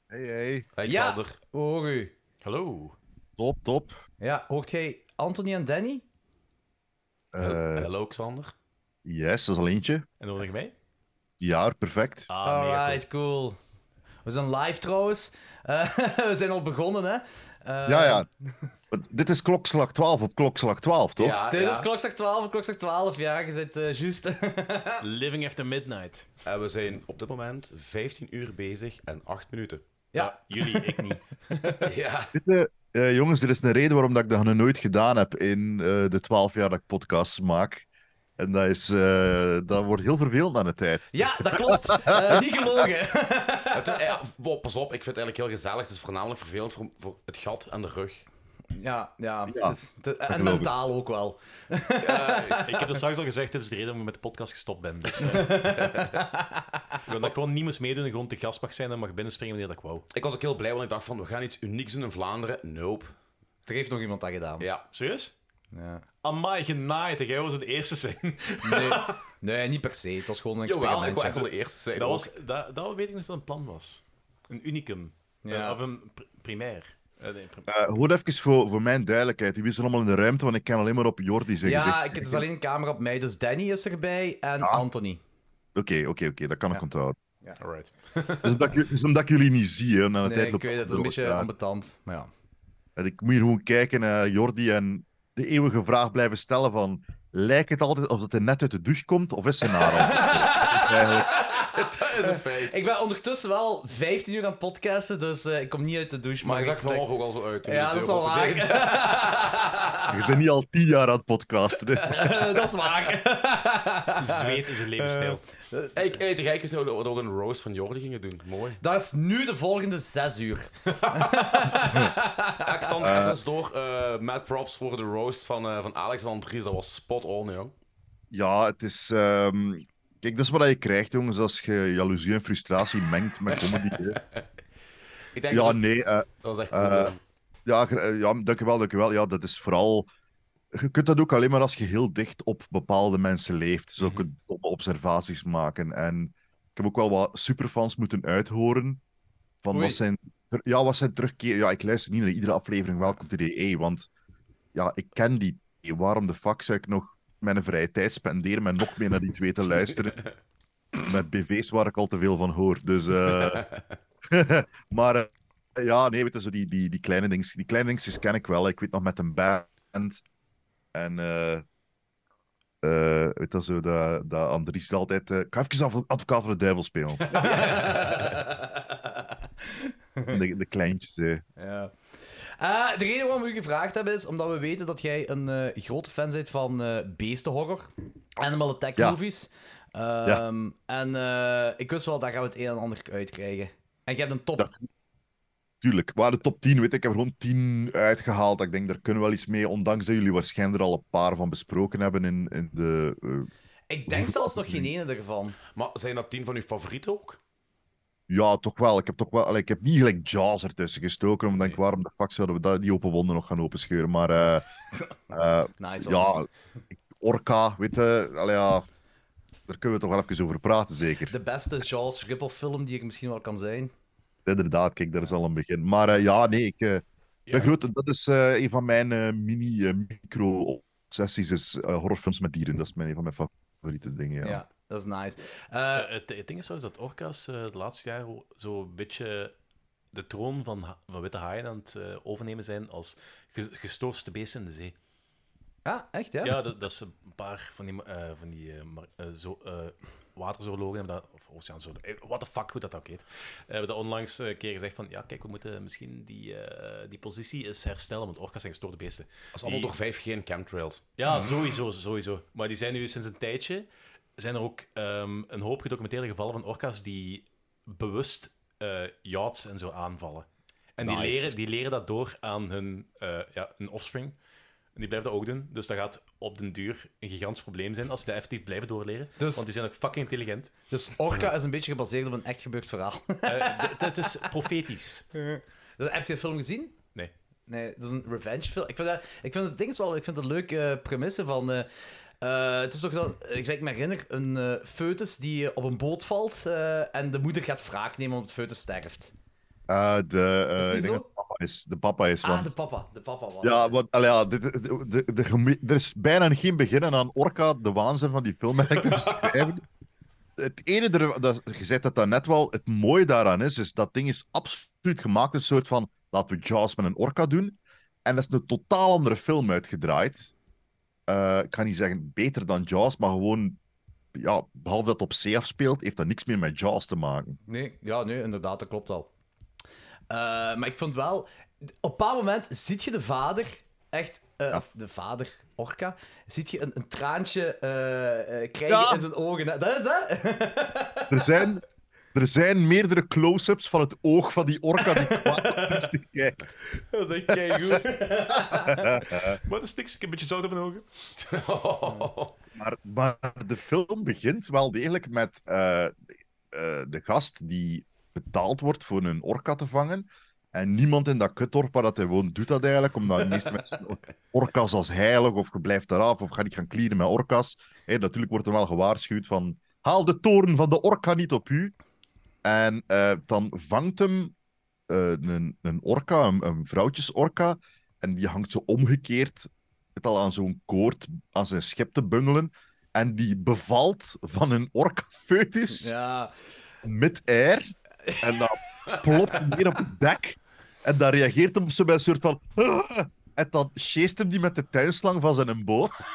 Speaker 6: Hey, hey.
Speaker 3: Hey,
Speaker 2: Xander. Ja, we horen u.
Speaker 4: Hallo.
Speaker 6: Top, top.
Speaker 2: Ja, hoort jij Anthony en Danny? Eh.
Speaker 3: Hallo, Xander.
Speaker 6: Yes, dat is al eentje.
Speaker 4: En hoor je mij?
Speaker 6: Ja, perfect.
Speaker 4: Ah,
Speaker 2: Alright, cool. We zijn live trouwens. Eh, we zijn al begonnen, hè? Eh,
Speaker 6: ja, ja. Maar Dit is klokslag 12 op klokslag 12, toch?
Speaker 2: Dit is klokslag 12, klokslag 12. Ja, je zit eh, juist.
Speaker 4: Living After Midnight.
Speaker 3: En Eh, we zijn op dit moment 15 uur bezig en 8 minuten.
Speaker 2: Ja.
Speaker 4: jullie, ik niet.
Speaker 3: ja.
Speaker 6: Dit, eh, eh, jongens, er is een reden waarom dat ik dat nog nooit gedaan heb in eh, de 12 jaar dat ik podcasts maak. En dat, is, eh, dat wordt heel vervelend aan de tijd.
Speaker 2: Ja, dat klopt. Eh, niet gelogen.
Speaker 3: Het is- ja, wow, pas op, ik vind het eigenlijk heel gezellig. Het is voornamelijk vervelend voor, voor het gat en de rug.
Speaker 2: Ja, ja.
Speaker 3: Ja,
Speaker 2: het is- het-
Speaker 3: geloof
Speaker 2: en mentaal ook wel.
Speaker 4: Ik heb dat straks al gezegd, dit is de reden waarom ik met de podcast gestopt ben. Dus, eh. ik wil dat gewoon niet moest meedoen en gewoon te gast mag zijn en mag binnenspringen wanneer dat ik wou.
Speaker 3: Ik was ook heel blij, want ik dacht van, we gaan iets unieks doen in Vlaanderen. Nope.
Speaker 2: Er heeft nog iemand dat gedaan.
Speaker 3: Ja.
Speaker 4: Serieus?
Speaker 2: Ja.
Speaker 4: Amai, genaaid. hè. Jij was het eerste zijn.
Speaker 2: Nee, nee, niet per se. Het was gewoon een
Speaker 4: Jawel,
Speaker 2: experiment.
Speaker 4: ik wou
Speaker 2: ja.
Speaker 4: echt wel de
Speaker 3: eerste zijn
Speaker 4: Dat, was, dat, dat weet ik nog dat een plan was. Een unicum.
Speaker 2: Ja.
Speaker 4: Eh, of een pr- primair. Eh, nee, prim-
Speaker 6: Eh gewoon even voor, voor mijn duidelijkheid. Die wisten allemaal in de ruimte, want ik kan alleen maar op Jordi zeggen.
Speaker 2: Ja,
Speaker 6: zeg.
Speaker 2: ik- het is alleen een camera op mij. Dus Danny is erbij en Anthony.
Speaker 6: Oké, oké, oké, dat kan ik onthouden.
Speaker 2: Ja.
Speaker 4: Alright.
Speaker 6: Het is omdat ik, het is omdat ik jullie niet zie. Hè, en
Speaker 2: Nee,
Speaker 6: aan de tijd
Speaker 2: ik
Speaker 6: loopt
Speaker 2: weet het, het is een
Speaker 6: door
Speaker 2: beetje
Speaker 6: elkaar.
Speaker 2: ambetant. Maar ja.
Speaker 6: En ik moet hier gewoon kijken naar Jordi en de eeuwige vraag blijven stellen van... Lijkt het altijd alsof hij net uit de douche komt, of is hij naar al? Eigenlijk.
Speaker 3: dat is een feit.
Speaker 2: Ik ben ondertussen wel 15 uur aan het podcasten, dus eh, ik kom niet uit de douche.
Speaker 3: Maar je zag
Speaker 2: ik-
Speaker 3: vanmorgen ook al zo uit. toen je
Speaker 2: Ja,
Speaker 3: de
Speaker 2: dat is
Speaker 3: deur
Speaker 2: wel waar.
Speaker 3: opende.
Speaker 6: Je bent niet al tien jaar aan het podcasten. hè.
Speaker 2: dat is waar.
Speaker 4: Zweet is een levensstijl.
Speaker 3: Hey, ik- hey, te gek is nou dat we ook een roast van Jordi gingen doen. Mooi.
Speaker 2: Dat is nu de volgende 6 uur.
Speaker 3: Alexander,
Speaker 2: Eh.
Speaker 3: even eens door. eh met props voor de roast van, eh van Alex en Andries. Dat was spot on, jong.
Speaker 6: Ja, het is... ehm, Kijk, dat is wat je krijgt, jongens, als je jaloezie en frustratie mengt met comedy. hè.
Speaker 3: Ik
Speaker 6: ja,
Speaker 3: dat-
Speaker 6: nee. eh,
Speaker 3: Dat was echt...
Speaker 6: eh,
Speaker 3: eh,
Speaker 6: ja, gr- eh, ja, dankjewel, dankjewel. Ja, dat is vooral... Je kunt dat ook alleen maar als je heel dicht op bepaalde mensen leeft. Zulke domme observaties maken. En ik heb ook wel wat superfans moeten uithoren. Van
Speaker 2: Oei.
Speaker 6: wat zijn, ter- ja, wat zijn terugkeer... Ja, ik luister niet naar iedere aflevering Welkom to DE, E, want ja, ik ken die twee. Waarom de fuck zou ik nog mijn vrije tijd spenderen met nog meer naar die twee te luisteren? met BV's waar ik al te veel van hoor. Dus... eh, maar eh, ja, nee, weet je, zo die, die, die kleine dingetjes, die kleine dingetjes ken ik wel. Ik weet nog met een band. En eh eh, weet je, zo dat, dat Andries altijd... eh ik ga even adv- advocaat van de duivel spelen. de, de kleintjes, eh.
Speaker 2: Ja. Eh, de reden waarom we u gevraagd hebben is omdat we weten dat jij een eh, grote fan bent van eh, beestenhorror, animal attack
Speaker 6: Ja.
Speaker 2: movies. Ehm, En eh, ik wist wel, daar gaan we het een en ander uit krijgen. En je hebt een top.
Speaker 6: Tuurlijk, maar de top 10, weet je, ik heb er gewoon 10 uitgehaald. Dat Ik denk, daar kunnen we wel iets mee, ondanks dat jullie waarschijnlijk er al een paar van besproken hebben in, in de... eh,
Speaker 2: Ik denk zelfs nog geen ene ervan.
Speaker 3: Maar zijn dat tien van uw favorieten ook?
Speaker 6: Ja, toch wel. Ik heb, toch wel, allee, ik heb niet gelijk Jaws ertussen gestoken. Omdat ik, waarom de fuck zouden we dat, die open wonden nog gaan openscheuren? Maar eh, eh,
Speaker 2: Nice, hoor.
Speaker 6: ja, ik- Orca, weet je. allee, ja, Daar kunnen we toch wel even over praten, zeker.
Speaker 2: De beste Charles Ripple film die er misschien wel kan zijn.
Speaker 6: Inderdaad, kijk, daar is wel een begin. Maar eh, ja, nee, ik, eh, ben groot, dat is eh, een van mijn eh, mini, eh, micro-obsessies, is eh, horrorfilms met dieren. Dat is mijn, een van mijn favoriete dingen, ja.
Speaker 2: Ja, dat is nice.
Speaker 4: Eh, het, het ding is zo is dat orka's eh de laatste jaren zo'n beetje de troon van, ha- van witte haaien aan het eh, overnemen zijn als ge- gestoorste beesten in de zee.
Speaker 2: Ah, echt, ja?
Speaker 4: Ja, dat, dat is een paar van die, eh, van die eh, mar- eh, zo, eh, waterzoologen, hebben dat, of oceaanzoologen, eh, what the fuck, hoe dat ook heet, hebben dat onlangs eh, een keer gezegd van, ja, kijk, we moeten misschien die, eh, die positie eens herstellen, want orka's zijn gestoorde beesten.
Speaker 3: Dat is allemaal
Speaker 4: Die-
Speaker 3: door 5 geen chemtrails.
Speaker 4: ja, sowieso, sowieso. Maar die zijn nu sinds een tijdje zijn er ook ehm, een hoop gedocumenteerde gevallen van orka's die bewust eh yachts en zo aanvallen. En die,
Speaker 3: Nice.
Speaker 4: leren, die leren dat door aan hun, eh, ja, hun offspring. En die blijven dat ook doen. Dus dat gaat op den duur een gigantisch probleem zijn als ze dat effectief blijven doorleren.
Speaker 2: Dus-
Speaker 4: Want die zijn ook fucking intelligent.
Speaker 2: Dus Orca is een beetje gebaseerd op een echt gebeurd verhaal.
Speaker 4: Eh, Het is profetisch.
Speaker 2: Heb je de film gezien?
Speaker 4: Nee.
Speaker 2: Nee, dat is een revenge film. Ik vind, dat, ik vind het ding is wel, ik vind het een leuke eh, premisse van. eh, eh, het is toch dat, eh, gelijk me herinner, een eh, foetus die eh, op een boot valt eh, en de moeder gaat wraak nemen omdat het foetus sterft.
Speaker 6: Eh, de, eh,
Speaker 2: Is die
Speaker 6: ik denk
Speaker 2: zo?
Speaker 6: dat het papa is. De papa is,
Speaker 2: Ah,
Speaker 6: want...
Speaker 2: de papa. De papa was.
Speaker 6: Ja, want allee, ja, dit, de, de, de geme- er is bijna geen beginnen aan Orca, de waanzin van die film eigenlijk te beschrijven. Het ene, er, dat, je zei dat net wel, het mooie daaraan is, is dat ding is absoluut gemaakt als een soort van, laten we Jaws met een Orca doen. En dat is een totaal andere film uitgedraaid. Eh, ik kan niet zeggen beter dan Jaws, maar gewoon, ja, behalve dat het op zee afspeelt, heeft dat niks meer met Jaws te maken.
Speaker 2: Nee, ja, nee, inderdaad, dat klopt al. Eh, maar ik vond wel, op een bepaald moment ziet je de vader, echt, eh, of de vader, Orca, ziet je een, een traantje eh, eh, krijgen
Speaker 6: Ja.
Speaker 2: in zijn ogen. hè. Dat is hè?
Speaker 6: Er zijn, er zijn meerdere close-ups van het oog van die Orca die kwaad is kijkt.
Speaker 4: Dat is echt keigoed.
Speaker 6: Eh,
Speaker 4: Wat is niks, ik heb een beetje zout op mijn ogen.
Speaker 6: maar, maar de film begint wel degelijk met eh, eh, de gast die betaald wordt voor een orka te vangen. En niemand in dat kutdorp waar dat hij woont doet dat eigenlijk, omdat de meeste mensen orka's als heilig of je blijft eraf of ga niet gaan clearen met orka's. Hé, natuurlijk wordt er wel gewaarschuwd van haal de toren van de orka niet op u. En eh, dan vangt hem eh, een, een orka, een, een vrouwtjesorka, en die hangt zo omgekeerd het al aan zo'n koord, aan zijn schep te bungelen. En die bevalt van een orka-foetus
Speaker 2: ja.
Speaker 6: mid-air. En dan plopt hij neer op het dek. En dan reageert hem op zo bij een soort van... "Ah!" En dan chased hem die met de tuinslang van zijn boot.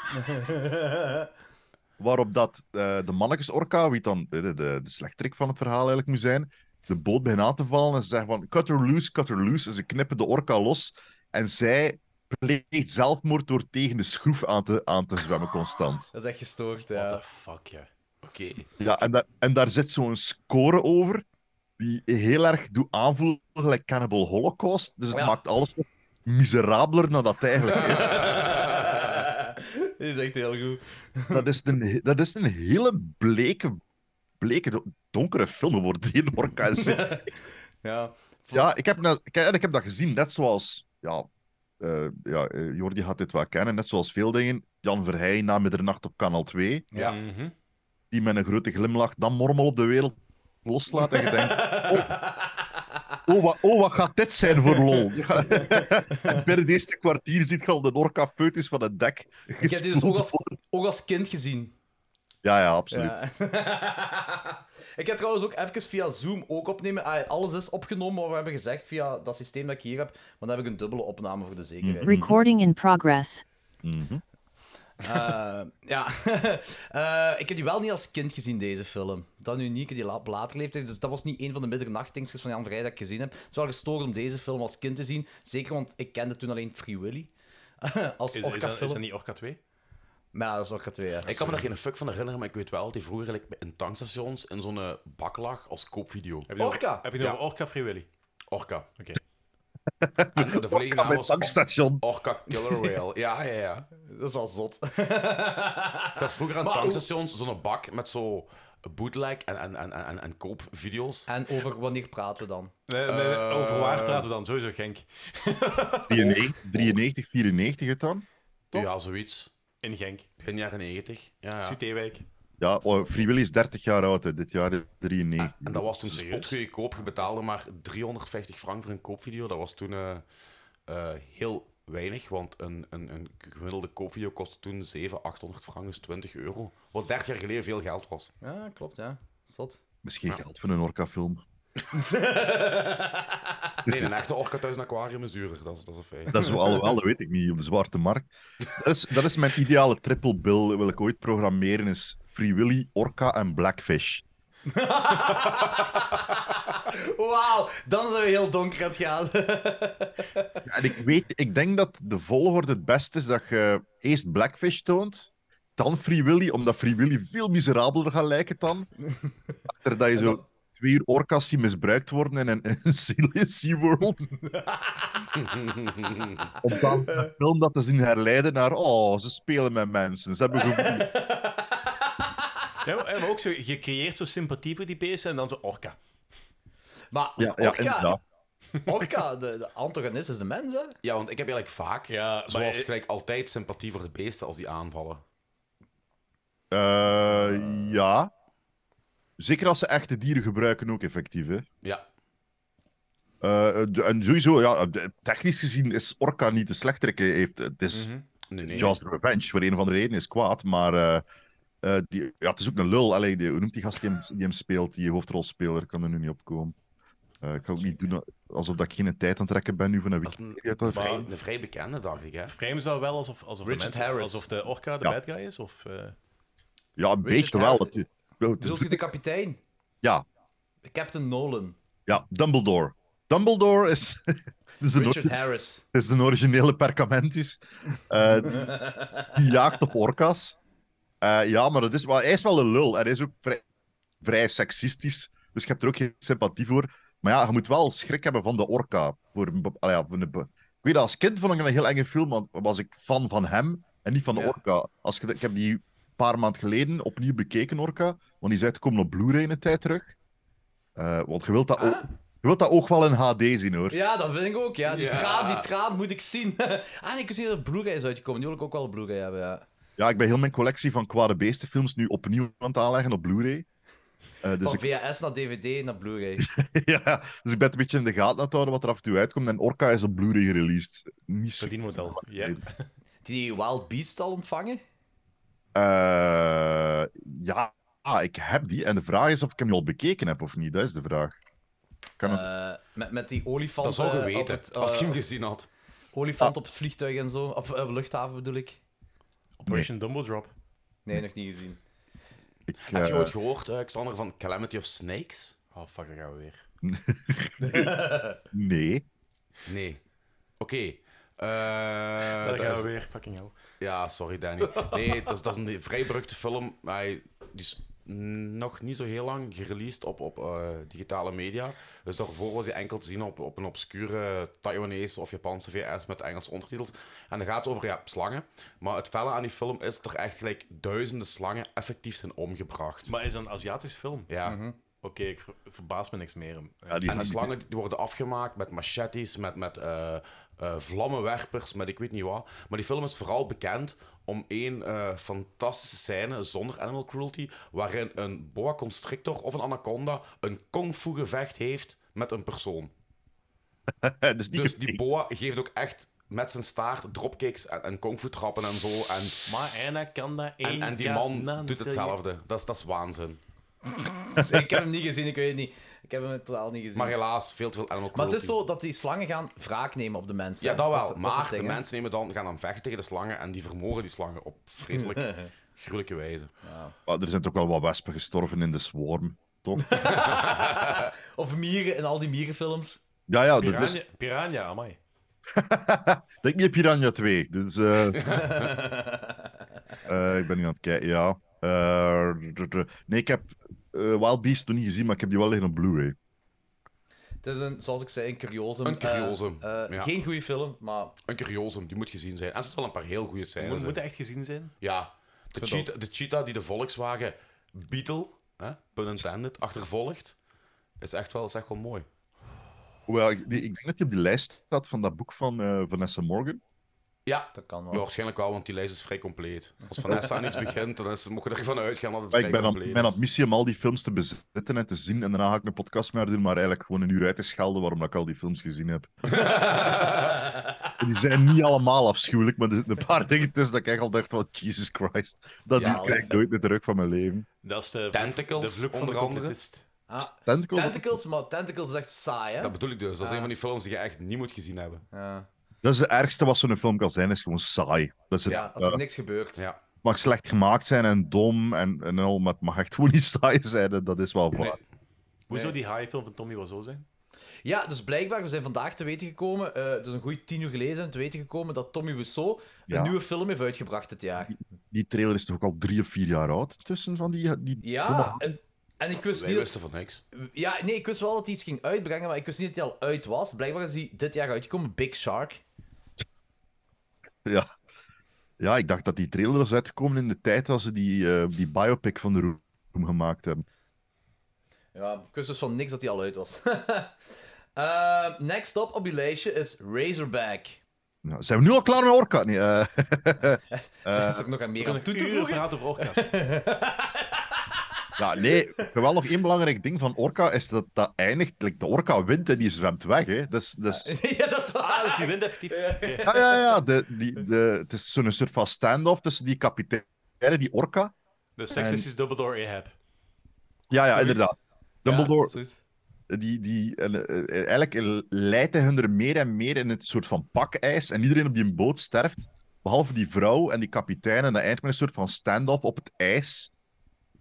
Speaker 6: Waarop dat eh, de mannetjesorka, wie dan de, de, de slechterik van het verhaal eigenlijk moet zijn, de boot begint aan te vallen en ze zeggen van cut her loose, cut her loose. En ze knippen de orka los en zij pleegt zelfmoord door tegen de schroef aan te, aan te zwemmen constant.
Speaker 2: Dat is echt gestoord, ja. What the
Speaker 4: fuck, ja.
Speaker 3: Oké.
Speaker 6: Ja, en, daar- en daar zit zo'n score over die heel erg doet aanvoelen gelijk Cannibal Holocaust. Dus het
Speaker 2: Ja.
Speaker 6: maakt alles nog miserabeler dan dat het eigenlijk is.
Speaker 2: Dit is echt heel goed.
Speaker 6: dat, is een, he- dat is een hele bleke, bleke do- donkere film geworden die in Orca is.
Speaker 2: ja,
Speaker 6: ja ik, heb dat, ik, en ik heb dat gezien, net zoals... Ja, eh, ja, eh, Jordi gaat dit wel kennen, net zoals veel dingen. Jan Verheij na middernacht op kanaal 2.
Speaker 2: Ja.
Speaker 4: Mhm.
Speaker 6: Die met een grote glimlach dan mormel op de wereld loslaat en je denkt... Oh, oh, wat, oh, wat gaat dit zijn voor lol? en binnen het eerste kwartier ziet je al de orca-foetus van het dek.
Speaker 2: Ik heb dit dus ook als, ook als kind gezien.
Speaker 6: Ja, ja, absoluut.
Speaker 2: Ja. ik heb trouwens ook even via Zoom ook opnemen. Ah, alles is opgenomen wat we hebben gezegd via dat systeem dat ik hier heb. Maar dan heb ik een dubbele opname voor de zekerheid.
Speaker 32: Recording in progress.
Speaker 2: Eh, ja, Eh, ik heb die wel niet als kind gezien, deze film. Dat nu niet, ik heb die la- op later leeftijd. Dus dat was niet een van de middernachtdingstjes van Jan Vrij dat ik gezien heb. Het is wel gestoord om deze film als kind te zien. Zeker, want ik kende toen alleen Free Willy. als
Speaker 4: Is, is, dat, is
Speaker 2: orca-film.
Speaker 4: dat niet Orca 2?
Speaker 2: Maar ja, dat is Orca 2, ja.
Speaker 3: Ik kan me daar geen fuck van herinneren, maar ik weet wel dat die vroeger like, in tankstations in zo'n eh, bak lag als koopvideo.
Speaker 4: Heb je het over- Heb je het over Orca of Free Willy?
Speaker 3: Orca.
Speaker 4: Oké.
Speaker 3: En de volledige
Speaker 6: Orca
Speaker 3: naam
Speaker 6: bij
Speaker 3: was
Speaker 6: tankstation.
Speaker 3: Orca Killer Whale. Ja, ja, ja.
Speaker 2: Dat is wel zot.
Speaker 3: Ik had vroeger aan
Speaker 2: Maar hoe-
Speaker 3: tankstations zo'n bak met zo bootleg en, en, en, en, en, en koopvideo's.
Speaker 2: En over wanneer praten we dan?
Speaker 4: Nee, nee, nee, over waar praten we dan? Sowieso Genk.
Speaker 6: 93, 93, 94 het dan?
Speaker 3: Ja, zoiets.
Speaker 4: In Genk.
Speaker 3: Begin jaren 90. Ja, ja.
Speaker 4: Citewijk.
Speaker 6: Ja, oh, Free Willy is 30 jaar oud, hè. dit jaar is 93.
Speaker 3: En dat was toen spotgoeie koop. Je betaalde maar 350 frank voor een koopvideo. Dat was toen eh, eh, heel weinig, want een, een, een gemiddelde koopvideo kostte toen 700, 800 frank, dus 20 euro. Wat 30 jaar geleden veel geld was.
Speaker 2: Ja, klopt, ja. Zot.
Speaker 6: Misschien geld voor een orca-film.
Speaker 3: Nee, een echte orka thuis een aquarium is duurder, dat is, dat is een feit.
Speaker 6: Dat is wel, alhoewel, dat weet ik niet, op de zwarte markt. Dat is, dat is mijn ideale triple bill, wil ik ooit programmeren, is Free Willy, Orca en Blackfish.
Speaker 2: Wauw, dan zijn we heel donker aan het gaan.
Speaker 6: Ja, En ik weet, ik denk dat de volgorde het beste is dat je eerst Blackfish toont, dan Free Willy, omdat Free Willy veel miserabeler gaat lijken dan. Achter dat je zo twee uur orka's die misbruikt worden in een- in een Sea- SeaWorld. Om dan de film dat te zien herleiden naar, oh, ze spelen met mensen, ze hebben gevoel.
Speaker 4: Ja, maar, maar ook zo, je creëert zo sympathie voor die beesten en dan zo orka.
Speaker 2: Maar
Speaker 6: Ja, ja,
Speaker 2: Orca-
Speaker 6: inderdaad.
Speaker 2: Orca, de, de antagonist is de mens, hè?
Speaker 3: Ja, want ik heb eigenlijk vaak,
Speaker 4: maar- eh,
Speaker 3: zoals gelijk altijd, sympathie voor de beesten als die aanvallen.
Speaker 6: Eh, ja. Zeker als ze echte dieren gebruiken ook effectief, hè.
Speaker 3: Ja.
Speaker 6: Eh, de- en sowieso, ja, de- technisch gezien is Orca niet de slechterik. hè. Heeft, het is
Speaker 3: Mhm. Nee, nee.
Speaker 6: Jaws Revenge, voor een of andere reden is kwaad, maar eh, eh, die, ja, het is ook een lul. Allee, die, hoe noemt die gast die hem, die hem speelt, die hoofdrolspeler? Ik kan er nu niet opkomen. Eh ik ga ook niet doen alsof dat ik geen tijd aan het trekken ben nu van een Wikipedia.
Speaker 3: Een
Speaker 6: Dat-
Speaker 3: vrij, een vrij bekende, dacht ik, hè.
Speaker 4: Frames dat wel alsof, alsof, de,
Speaker 3: Richard
Speaker 4: mensen-
Speaker 3: Harris.
Speaker 4: alsof de orka de
Speaker 6: Ja.
Speaker 4: bad guy is? Of, eh,
Speaker 6: Ja, een beetje wel. Dat, die- dat-
Speaker 2: Zult je de kapitein?
Speaker 6: ja,
Speaker 2: Captain Nolan.
Speaker 6: ja, Dumbledore. Dumbledore is... is een
Speaker 2: Richard
Speaker 6: orgi-
Speaker 2: Harris.
Speaker 6: is een originele Perkamentus. Eh, die, die jaagt op orka's. Eh, ja, maar dat is, wel- hij is wel een lul. En hij is ook vrij, vrij seksistisch. Dus je hebt er ook geen sympathie voor. Maar ja, je moet wel schrik hebben van de orka. Voor, een be- ah ja, voor een be- ik weet dat, als kind vond ik dat een heel enge film. Want was ik fan van hem en niet van de orka. Als je, de- ik heb die een paar maanden geleden opnieuw bekeken, orka. Want die is uitgekomen op Blu-ray een tijd terug. Eh, want je wilt, dat ook, je wilt dat ook wel in HD zien, hoor.
Speaker 2: Ja, dat vind ik ook, ja. Die,
Speaker 3: Ja.
Speaker 2: Traan, die traan moet ik zien. ah, nee, ik zie dat Blu-ray is uitgekomen. Die wil ik ook wel Blu-ray hebben, ja.
Speaker 6: Ja, ik ben heel mijn collectie van kwade beestenfilms nu opnieuw aan het aanleggen op Blu-ray. Eh, dus,
Speaker 2: Van
Speaker 6: ik,
Speaker 2: VHS naar DVD naar Blu-ray.
Speaker 6: ja, dus ik ben het een beetje in de gaten aan het houden wat er af en toe uitkomt. En Orca is op Blu-ray gereleased. Niet zo.
Speaker 4: Verdienmodel. Ja.
Speaker 2: Die Wild Beast al ontvangen?
Speaker 6: Eh, ja, ah, ik heb die. En de vraag is of ik hem al bekeken heb of niet. Dat is de vraag. Kan het-
Speaker 2: Eh, met, met die olifant.
Speaker 3: Dat zou je
Speaker 2: eh, op
Speaker 3: weten,
Speaker 2: het,
Speaker 3: als je hem
Speaker 2: eh,
Speaker 3: gezien had.
Speaker 2: Olifant op het vliegtuig en zo. Of eh, luchthaven bedoel ik.
Speaker 4: Operation Dumbo Drop.
Speaker 2: Nee, nog niet gezien.
Speaker 6: ik,
Speaker 3: Heb je
Speaker 6: eh,
Speaker 3: ooit gehoord, eh, Xander, van Calamity of Snakes?
Speaker 4: Oh, fuck, daar gaan we weer.
Speaker 6: nee.
Speaker 3: Nee. Oké. Eh,
Speaker 4: daar
Speaker 3: dat
Speaker 4: gaan
Speaker 3: is-
Speaker 4: we weer, fucking hell.
Speaker 3: Ja, sorry Danny. Nee, dat is, dat is een vrij beruchte film. Hij die is nog niet zo heel lang gereleased op, op eh, digitale media. Dus daarvoor was hij enkel te zien op, op een obscure Taiwanese of Japanse VS met Engelse ondertitels. En dan gaat het over ja, slangen. Maar het felle aan die film is dat er echt gelijk duizenden slangen effectief zijn omgebracht.
Speaker 4: Maar is dat een Aziatische film?
Speaker 3: Ja.
Speaker 4: Oké, ik ver- verbaas me niks meer om.
Speaker 6: Ja, die
Speaker 3: Mhm. en die
Speaker 6: die-
Speaker 3: slangen die worden afgemaakt met machetes, met, met eh, eh, vlammenwerpers, met ik weet niet wat. Maar die film is vooral bekend om één eh, fantastische scène zonder animal cruelty, waarin een boa constrictor of een anaconda een kungfu gevecht heeft met een persoon.
Speaker 6: dat is niet
Speaker 3: Dus
Speaker 6: gepakt.
Speaker 3: die boa geeft ook echt met zijn staart dropkicks en, en kungfu trappen en zo. En,
Speaker 4: Maar Anna kan daar één
Speaker 3: en, en die man doet hetzelfde. Dat is, dat is waanzin.
Speaker 2: ik heb hem niet gezien, ik weet het niet. Ik heb hem totaal niet gezien.
Speaker 3: Maar helaas, veel te veel animal cruelty.
Speaker 2: Maar het is zo dat die slangen gaan wraak nemen op de mensen.
Speaker 3: Ja, dat wel.
Speaker 2: is- is
Speaker 3: maar
Speaker 2: het ding,
Speaker 3: de
Speaker 2: hè.
Speaker 3: mensen nemen dan, gaan dan vechten tegen de slangen en die vermogen die slangen op vreselijk gruwelijke wijze.
Speaker 6: Maar Ah, er zijn toch wel wat wespen gestorven in de swarm, toch?
Speaker 2: Of mieren in al die mierenfilms.
Speaker 6: ja, ja. Dat is,
Speaker 4: Piranha, Piranha, amai.
Speaker 6: denk niet aan Piranha 2. Dus, eh, Eh, ik ben nu aan het kijken, ja. Eh, d- d- nee, ik heb eh, Wild Beast nog niet gezien, maar ik heb die wel liggen op Blu-ray.
Speaker 2: Het is een, zoals ik zei, een curiosum.
Speaker 3: Een curiosum,
Speaker 2: Eh, eh,
Speaker 3: ja.
Speaker 2: Geen goede film, maar
Speaker 3: Een curiosum, die moet gezien zijn. En er zitten wel een paar heel goede
Speaker 4: Moet,
Speaker 3: scènes
Speaker 4: moet
Speaker 3: in.
Speaker 4: echt gezien zijn.
Speaker 3: Ja, de cheetah, de cheetah die de Volkswagen Beetle, hè, pun intended, achtervolgt, is echt wel, is echt wel mooi.
Speaker 6: Hoewel, ik, die- ik denk dat die op die lijst staat van dat boek van eh, Vanessa Morgan.
Speaker 3: Ja,
Speaker 2: dat kan wel.
Speaker 3: Ja, waarschijnlijk wel, want die lijst is vrij compleet. Als Vanessa aan iets begint, dan is, mogen we ervan uitgaan dat het
Speaker 6: Maar
Speaker 3: vrij
Speaker 6: ik ben op,
Speaker 3: compleet
Speaker 6: mijn
Speaker 3: is.
Speaker 6: ambitie om al die films te bezitten en te zien. En daarna ga ik een podcast meer doen, maar eigenlijk gewoon een uur uit te schelden waarom dat ik al die films gezien heb. die zijn niet allemaal afschuwelijk, maar er zitten een paar dingen tussen dat ik echt al dacht van Jesus Christ. Dat
Speaker 2: Ja,
Speaker 6: krijg ik nooit meer terug van mijn leven.
Speaker 4: Dat is de,
Speaker 3: Tentacles,
Speaker 4: de vloek van
Speaker 3: onder
Speaker 4: de
Speaker 3: andere.
Speaker 4: completist.
Speaker 2: Ah,
Speaker 6: Tentacles?
Speaker 2: Tentacles, maar Tentacles is echt saai, hè?
Speaker 3: Dat bedoel ik dus. Dat is
Speaker 2: Ah.
Speaker 3: een van die films die je echt niet moet gezien hebben.
Speaker 2: Ja,
Speaker 6: Dat is het ergste wat zo'n film kan zijn, is gewoon saai. Dat is het,
Speaker 2: ja als er
Speaker 6: eh,
Speaker 2: niks gebeurt.
Speaker 3: Ja.
Speaker 6: het mag slecht gemaakt zijn en dom en, en al, maar het mag echt gewoon niet saai zijn. en Dat is wel waar.
Speaker 4: Hoe zou die high film van Tommy wel zo zijn?
Speaker 2: Ja, dus blijkbaar, we zijn vandaag te weten gekomen, eh dus een goede tien uur geleden zijn we te weten gekomen dat Tommy Wiseau
Speaker 6: Ja.
Speaker 2: een nieuwe film heeft uitgebracht dit jaar.
Speaker 6: Die trailer is toch ook al drie of vier jaar oud tussen van die... die domme-
Speaker 2: Ja, en, en ik wist
Speaker 3: Wij
Speaker 2: niet... dat-
Speaker 3: wisten van niks.
Speaker 2: Ja, nee, ik wist wel dat hij iets ging uitbrengen, maar ik wist niet dat hij al uit was. Blijkbaar is hij dit jaar uitgekomen, Big Shark.
Speaker 6: Ja. ja, ik dacht dat die trailer was uitgekomen in de tijd dat ze die, eh, die biopic van de Room gemaakt hebben.
Speaker 2: Ja, ik wist dus van niks dat hij al uit was. Eh, next up op je lijstje is Razorback.
Speaker 6: Ja, zijn we nu al klaar met Orca? Nee, eh,
Speaker 2: Er
Speaker 6: eh,
Speaker 2: is ook nog aan meer
Speaker 4: kan
Speaker 2: aan
Speaker 4: nog
Speaker 2: toe te
Speaker 4: uren
Speaker 2: voegen.
Speaker 4: praten over orka's.
Speaker 6: ja, nee, ik heb wel nog één belangrijk ding van Orca is dat dat eindigt. like, de Orca wint en die zwemt weg. Hè. Dat is, dat is-
Speaker 2: ja, dat is waar.
Speaker 4: Ah, dus die wint effectief. Oké.
Speaker 6: ja, ja, ja. De, die, de, het is zo'n soort van stand-off tussen die kapitein en die Orca.
Speaker 4: De seksist is Dumbledore Ahab.
Speaker 6: Ja, ja, inderdaad. Dumbledore,
Speaker 2: Zoiets.
Speaker 6: die, die, en, eh, eh, eigenlijk leidt hij hun er meer en meer in het soort van pakijs. En iedereen op die boot sterft, behalve die vrouw en die kapitein. En dat eindigt met een soort van standoff op het ijs,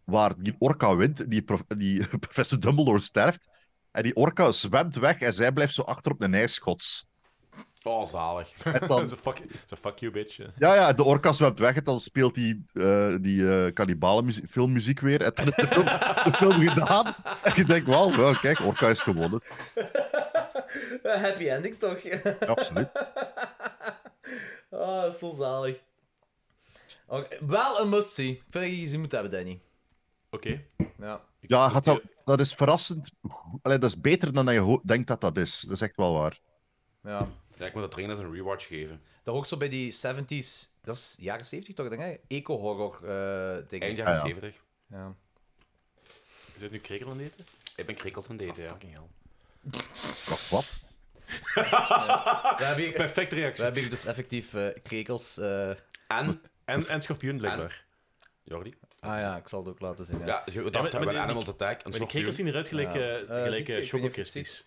Speaker 6: waar die orka wint, die, prof- die professor Dumbledore sterft. En die orka zwemt weg en zij blijft zo achter op een ijsschots.
Speaker 3: Oh, zalig.
Speaker 6: En
Speaker 4: Dat
Speaker 6: dan,
Speaker 4: is een fuck, dat is een fuck you, bitch. eh.
Speaker 6: ja, ja, de orka zwemt weg en dan speelt die, eh die eh kannibalen muzie- filmmuziek weer. En dan is de film, de film gedaan. En je denkt, wauw, wel, kijk, orka is gewonnen.
Speaker 2: Happy ending, toch?
Speaker 6: Ja, absoluut.
Speaker 2: Ah, dat is zo zalig. Oké, Wel een must-see. Ik vind dat je die gezien moet hebben, Danny.
Speaker 4: Oké.
Speaker 2: Ja.
Speaker 6: Ja, gaat dat, dat is verrassend. go- Allee, dat is beter dan dat je ho- denkt dat dat is. Dat is echt wel waar.
Speaker 2: ja.
Speaker 3: Ja, ik moet dat trainen als een rewatch geven.
Speaker 2: Dat hoort zo bij die 70s, dat is jaren 70 toch, denk ik? Eco-horror eh dingen.
Speaker 3: Eind jaren
Speaker 6: Ah, ja.
Speaker 3: 70.
Speaker 2: Ja.
Speaker 4: Is het nu krekel aan het eten?
Speaker 3: Ik ben krekels aan het eten, ja.
Speaker 4: Fucking hell.
Speaker 6: Wacht, wat?
Speaker 2: We, hebben hier,
Speaker 4: Perfecte
Speaker 2: we
Speaker 4: reactie.
Speaker 2: hebben hier dus effectief eh, krekels. eh,
Speaker 3: En?
Speaker 4: En, en schorpioen, blijkbaar.
Speaker 3: Jordi?
Speaker 2: Ah ja, ik zal het ook laten zien. Ja.
Speaker 3: Ja, dus we dachten, we
Speaker 4: maar
Speaker 3: hebben
Speaker 4: die-
Speaker 3: Animals Attack en
Speaker 4: Maar die krekels zien
Speaker 3: Scorpion.
Speaker 4: eruit
Speaker 2: Ja.
Speaker 4: gelijk, eh,
Speaker 2: Eh,
Speaker 4: gelijk
Speaker 2: ziet je?
Speaker 4: eh,
Speaker 2: Ik weet
Speaker 4: Choco
Speaker 2: niet of je het
Speaker 4: Crispies.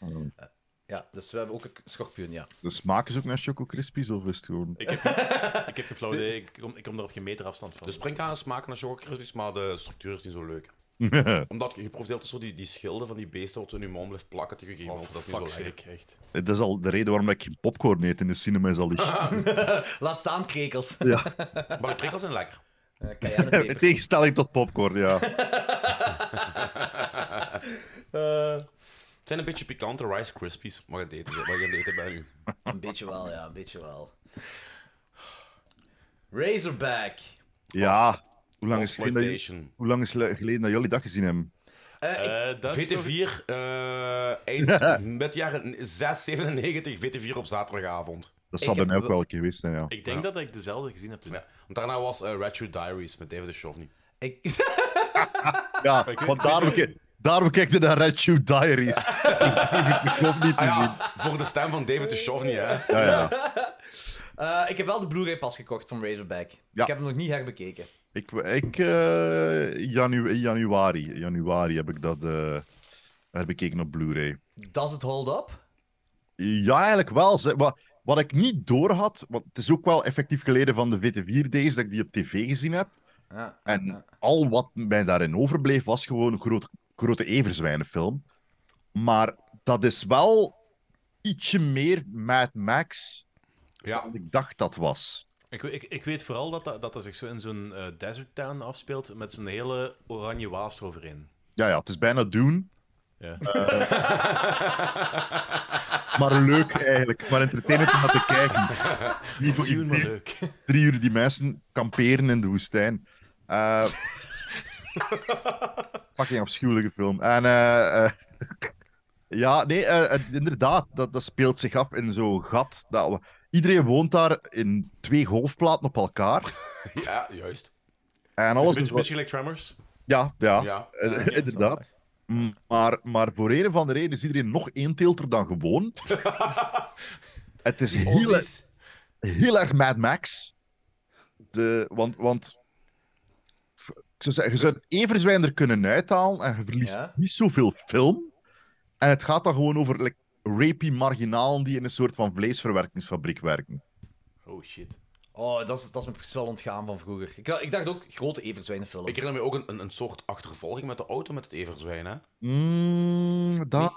Speaker 2: Ja, dus we hebben ook een k- schorpioen, ja.
Speaker 6: De smaak is ook naar Choco Crispies of is het gewoon.
Speaker 4: Ik heb, geen- ik heb geen flauw idee. Ik kom, ik kom er op geen meter afstand van. Oh,
Speaker 3: De springkanen smaken naar chococrustics, maar de structuur is niet zo leuk. Omdat je je proeft altijd zo die, die schilden van die beesten wat zo in je mond blijft plakken tegen je
Speaker 4: Oh,
Speaker 3: mond. Dat is niet zo
Speaker 4: fuck
Speaker 3: lekker.
Speaker 4: sake, echt.
Speaker 6: dat is al de reden waarom ik geen popcorn eet in de cinema. Is al die shit.
Speaker 2: Laat staan, krekels.
Speaker 6: ja.
Speaker 3: Maar de krekels zijn lekker.
Speaker 2: Eh, cayennepeper.
Speaker 6: In tegenstelling tot popcorn, ja.
Speaker 2: Eh,
Speaker 3: Het zijn een beetje pikante Rice Krispies, maar het eten, ze- maar je aan het eten bij nu.
Speaker 2: een beetje wel, ja, een beetje wel. Razorback.
Speaker 6: Ja. Hoe lang is het geleden, dat
Speaker 3: Exploitation.
Speaker 6: jullie- hoe lang is le- geleden dat jullie dat gezien hebben?
Speaker 2: Eh, ik-
Speaker 4: Eh, dat is toch-
Speaker 3: VT4, eh eind met jaren 6, 97, VT4 op zaterdagavond.
Speaker 6: Dat
Speaker 2: Ik
Speaker 6: zal bij
Speaker 2: heb
Speaker 6: mij ook
Speaker 2: wel-
Speaker 6: wel een keer geweest zijn, ja.
Speaker 4: Ik denk dat ik dezelfde gezien heb.
Speaker 3: Ja. Want daarna was eh Red Shoe Diaries met David Duchovny.
Speaker 2: Ik,
Speaker 6: Ja, want daarom, ke- daarom kijk je naar Red Shoe Diaries. ik klopt niet te
Speaker 3: Ah
Speaker 6: zien.
Speaker 3: ja, voor de stem van David Duchovny, hè.
Speaker 6: Ja, ja.
Speaker 2: Eh, ik heb wel de Blu-ray pas gekocht van Razorback.
Speaker 6: Ja.
Speaker 2: Ik heb hem nog niet herbekeken.
Speaker 6: Ik, ik eh, janu in januari, in januari heb ik dat eh herbekeken op Blu-ray.
Speaker 2: Does it hold up?
Speaker 6: Ja, eigenlijk wel. Ze- Wat, wat ik niet door had, want het is ook wel effectief geleden van de VT4 Days dat ik die op tv gezien heb.
Speaker 2: Ja.
Speaker 6: En al wat mij daarin overbleef was gewoon een groot, grote everzwijnenfilm. Maar dat is wel ietsje meer Mad Max
Speaker 3: Ja,
Speaker 6: dan ik dacht dat was.
Speaker 4: Ik, we- ik, ik weet vooral dat dat, dat, dat zich zo in zo'n eh, desert town afspeelt met zijn hele oranje waas eroverheen.
Speaker 6: Ja, ja, het is bijna doen.
Speaker 4: Ja.
Speaker 6: Maar leuk eigenlijk. Maar entertainend om naar te kijken. Niet voor
Speaker 4: Doen maar
Speaker 6: iedereen.
Speaker 4: leuk.
Speaker 6: drie uur die mensen kamperen in de woestijn. Eh, fucking afschuwelijke film. En eh, eh, ja, nee, eh, eh, inderdaad, dat, dat speelt zich af in zo'n gat. Dat, we- Iedereen woont daar in twee golfplaten op elkaar.
Speaker 3: Ja, juist.
Speaker 6: En
Speaker 4: is
Speaker 6: alles
Speaker 4: een beetje,
Speaker 6: wordt-
Speaker 4: beetje gelijk Tremors.
Speaker 6: Ja, ja,
Speaker 4: Ja.
Speaker 6: eh,
Speaker 4: Ja, oké,
Speaker 6: inderdaad. Mm, Maar, maar voor een van de reden is iedereen nog één tilter dan gewoon. Het is heel, erg- heel erg Mad Max. De, want, want ik zou zeggen, je zou het everzwijnder kunnen uithalen en je verliest
Speaker 4: Ja.
Speaker 6: niet zoveel film. En het gaat dan gewoon over like, rapy marginalen die in een soort van vleesverwerkingsfabriek werken.
Speaker 4: Oh shit.
Speaker 2: Oh, dat is, dat is me precies wel ontgaan van vroeger. Ik, dacht- ik dacht ook grote everzwijnenfilm.
Speaker 3: Ik herinner me ook een, een, een soort achtervolging met de auto met het everzwijn, hè?
Speaker 6: Mm, da,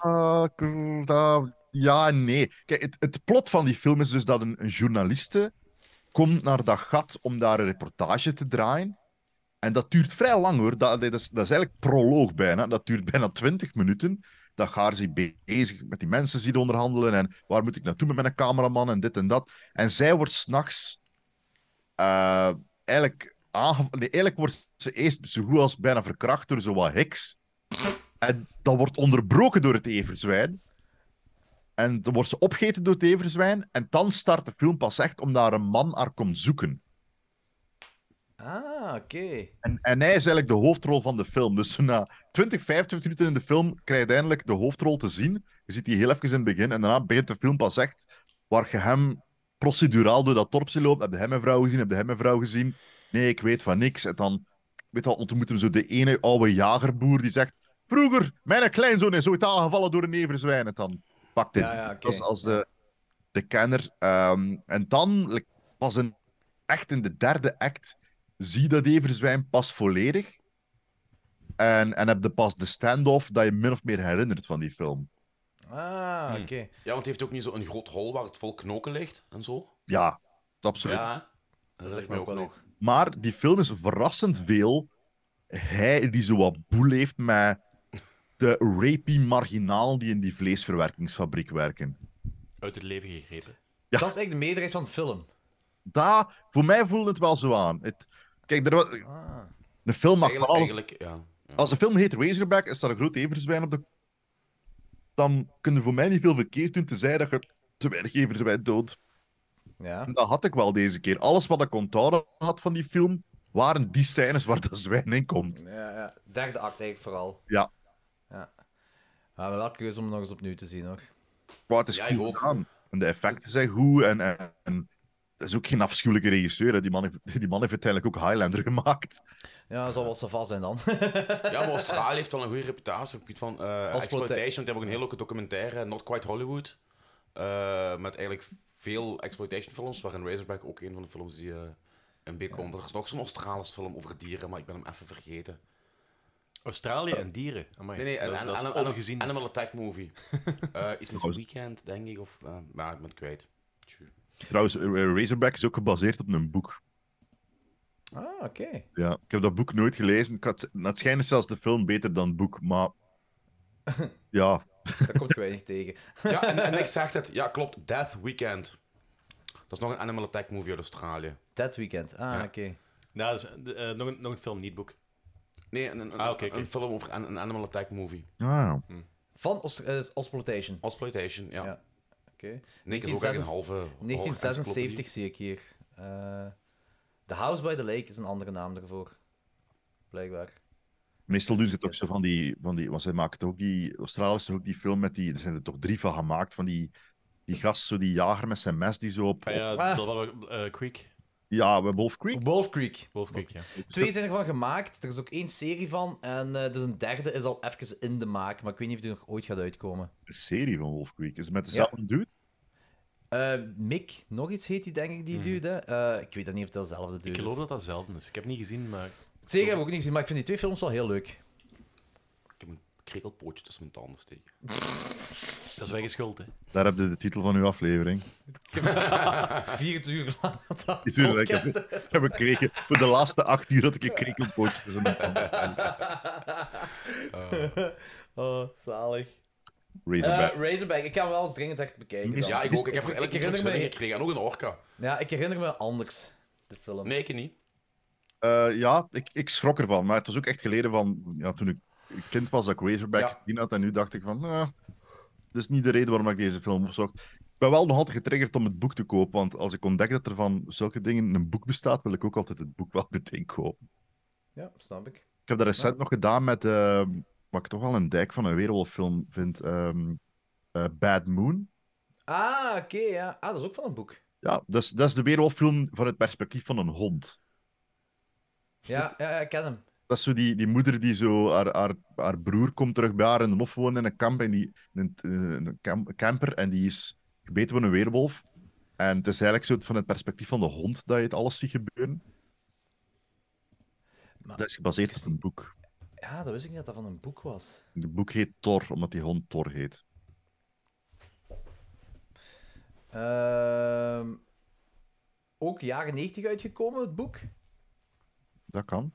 Speaker 6: kr- da- ja en nee. Kijk, het, het plot van die film is dus dat een, een journaliste komt naar dat gat om daar een reportage te draaien. En dat duurt vrij lang hoor. Dat, dat, is, dat is eigenlijk proloog bijna. Dat duurt bijna 20 minuten. Dan gaan ze be- bezig met die mensen die er onderhandelen. En waar moet ik naartoe met mijn cameraman en dit en dat. En zij wordt s'nachts eh, eigenlijk, aangev- nee, eigenlijk wordt ze eerst zo goed als bijna verkracht door zo wat heks. En dat wordt onderbroken door het everzwijn. En dan wordt ze opgegeten door het everzwijn. En dan start de film pas echt om daar een man haar komt zoeken.
Speaker 2: Ah, oké.
Speaker 6: En, en hij is eigenlijk de hoofdrol van de film. Dus zo na 20, 25 minuten in de film krijg je eindelijk de hoofdrol te zien. Je ziet die heel even in het begin. En daarna begint de film pas echt waar je hem proceduraal door dat dorpje loopt. Heb je hem een vrouw gezien? Heb je hem een vrouw gezien? Nee, ik weet van niks. En dan weet je, wel, ontmoet hem zo de ene oude jagerboer die zegt... Vroeger, mijn kleinzoon is ooit aangevallen door een everzwijn. En dan pakt dit.
Speaker 2: Ja, ja, oké.
Speaker 6: Dat is als de, de kenner. Ehm, en dan like, pas in, echt in de derde act zie je dat everzwijn pas volledig. En, en heb je pas de standoff dat je min of meer herinnert van die film.
Speaker 2: Ah, oké.
Speaker 3: Ja, want die heeft ook niet zo'n groot hol waar het vol knoken ligt en zo.
Speaker 6: Ja, absoluut.
Speaker 3: Ja, hè? dat zegt mij ook nog.
Speaker 6: Maar die film is verrassend veel. Hij die zo wat boel heeft met de rapy marginaal die in die vleesverwerkingsfabriek werken.
Speaker 4: Uit het leven gegrepen.
Speaker 2: Dat is echt de meerderheid van de film.
Speaker 6: Daar, voor mij voelde het wel zo aan. Het, kijk, er, wa- een film mag van
Speaker 3: Eigenlijk,
Speaker 6: alles-
Speaker 3: eigenlijk, ja.
Speaker 6: Als de film heet Razorback en staat een groot everzwijn op de... Dan kun je voor mij niet veel verkeerd doen, tenzij dat je te weinig everzwijn doodt.
Speaker 2: Ja.
Speaker 6: En dat had ik wel deze keer. Alles wat ik onthouden had van die film, waren die scènes waar dat zwijn in komt.
Speaker 2: Ja, ja. Derde act eigenlijk vooral.
Speaker 6: Ja,
Speaker 2: Ja. Maar wel keuze om het nog eens opnieuw te zien, hoor.
Speaker 6: maar het is goed gedaan. En de effecten zijn goed en... en, en dat is ook geen afschuwelijke regisseur. hè. Die man, heeft, die man heeft uiteindelijk ook Highlander gemaakt.
Speaker 2: Ja, dat zal wel savas zijn dan.
Speaker 3: Ja, maar Australië heeft wel een goede reputatie op het gebied van eh
Speaker 2: Als
Speaker 3: exploitation.
Speaker 2: protect-
Speaker 3: Want die hebben ook een heel leuke documentaire, Not Quite Hollywood. eh, met eigenlijk veel exploitation films, waarin Razorback ook een van de films die eh in beeld komt. Er is nog zo'n Australische film over dieren, maar ik ben hem even vergeten.
Speaker 4: Australië en dieren. Amai,
Speaker 3: nee, nee,
Speaker 4: dat,
Speaker 3: een,
Speaker 4: dat is
Speaker 3: een- een-
Speaker 4: ongezien.
Speaker 3: een Animal Attack movie. Eh, iets met een weekend, denk ik. Of, eh, maar ik ben het kwijt.
Speaker 6: Trouwens, eh, Razorback is ook gebaseerd op een boek.
Speaker 2: Ah, oké.
Speaker 6: Ja, ik heb dat boek nooit gelezen. Ik had, nou, het schijnt is zelfs de film beter dan het boek, maar... Ja.
Speaker 2: Daar komt je weinig tegen.
Speaker 3: Ja, en, en ik zeg het. Ja, klopt. Death Weekend. Dat is nog een Animal Attack movie uit Australië.
Speaker 2: That Weekend. Ah,
Speaker 3: Ja.
Speaker 2: oké.
Speaker 4: Nou, dat is, eh, eh, nog, een, nog een film, niet boek.
Speaker 3: Nee, een, een,
Speaker 4: Ah, oké,
Speaker 3: een-
Speaker 4: oké.
Speaker 3: een film over an- een Animal Attack movie.
Speaker 6: Ja.
Speaker 2: Van Aus- eh, Exploitation.
Speaker 3: Exploitation, ja.
Speaker 2: ja. Oké.
Speaker 3: Nee, ik is ook echt een
Speaker 2: 1976
Speaker 3: halve- halve
Speaker 2: 1976 zie ik hier. Eh, the House by the Lake is een andere naam ervoor. Blijkbaar.
Speaker 6: Meestal doen ze het ook zo van die... Van die want zij maken toch ook die... Australië toch ook die film met die... Er zijn er toch drie van gemaakt, van die... Die gast, zo die jager met zijn mes, die zo op...
Speaker 4: Ah, ja,
Speaker 6: op-
Speaker 4: dat was wel, eh, Creek.
Speaker 6: ja, bij Wolf Creek.
Speaker 2: Wolf Creek.
Speaker 4: Wolf Creek, Oh, ja.
Speaker 2: Twee zijn ervan gemaakt. Er is ook één serie van. En eh, dus een derde is al even in de maak. Maar ik weet niet of die nog ooit gaat uitkomen.
Speaker 6: Een serie van Wolf Creek. Is het met dezelfde dude?
Speaker 2: Eh, Mick, nog iets heet die, denk ik, die
Speaker 4: Mhm.
Speaker 2: dude. hè? Eh, ik weet dan niet of dat dezelfde dude
Speaker 4: Ik
Speaker 2: is.
Speaker 4: geloof dat dat hetzelfde is. Ik heb het niet gezien, maar...
Speaker 2: Het zeker heb ik ook niet gezien, maar ik vind die twee films wel heel leuk.
Speaker 3: Ik heb een krekelpootje tussen mijn tanden steken.
Speaker 4: Dat is weggeschuld, hè.
Speaker 3: Ah.
Speaker 6: Daar heb je de titel van uw aflevering.
Speaker 2: 24 uur lang aan dat
Speaker 6: Die tuurlijk, ik heb,
Speaker 2: podcast.
Speaker 6: heb ik gekregen. Voor de laatste acht uur had ik een krekelpootje tussen mijn tanden.
Speaker 2: Oh, zalig.
Speaker 6: Razorback.
Speaker 2: Eh, Razorback, ik ga hem wel eens dringend echt bekijken. dan.
Speaker 3: Ja, ik ook. Ik heb er elke keer
Speaker 2: herinner
Speaker 3: terugzending
Speaker 2: me,
Speaker 3: gekregen. En ook een orka.
Speaker 2: ja, ik herinner me anders, de film.
Speaker 3: Nee, ik niet.
Speaker 6: Eh, ja, ik, ik schrok ervan. Maar het was ook echt geleden van... Ja, toen ik kind was, dat ik Razorback
Speaker 3: Ja.
Speaker 6: gezien had. En nu dacht ik van... nou, dat is niet de reden waarom ik deze film opzocht. ben wel nog altijd getriggerd om het boek te kopen, want als ik ontdek dat er van zulke dingen een boek bestaat, wil ik ook altijd het boek wel meteen kopen.
Speaker 2: Ja, snap ik.
Speaker 6: Ik heb dat recent nog gedaan met, eh, wat ik toch wel een dijk van een weerwolffilm vind, ehm, eh, Bad Moon.
Speaker 2: Ah, oké, ja. Ah, dat is ook van een boek.
Speaker 6: Ja, dat is, dat is de weerwolffilm van het perspectief van een hond.
Speaker 2: Ja, ja, ja, ik ken hem.
Speaker 6: Dat is zo die, die moeder die zo... Haar, haar, haar broer komt terug bij haar in de lof wonen in een kamp. En die, in een, in een kam- camper. En die is gebeten door een weerwolf. En het is eigenlijk zo van het perspectief van de hond dat je het alles ziet gebeuren. dat is gebaseerd op een boek.
Speaker 2: Ja, dat wist ik niet dat dat van een boek was.
Speaker 6: Het boek heet Thor, omdat die hond Thor heet.
Speaker 2: Ehm, ook jaren 90 uitgekomen, het boek.
Speaker 6: Dat kan.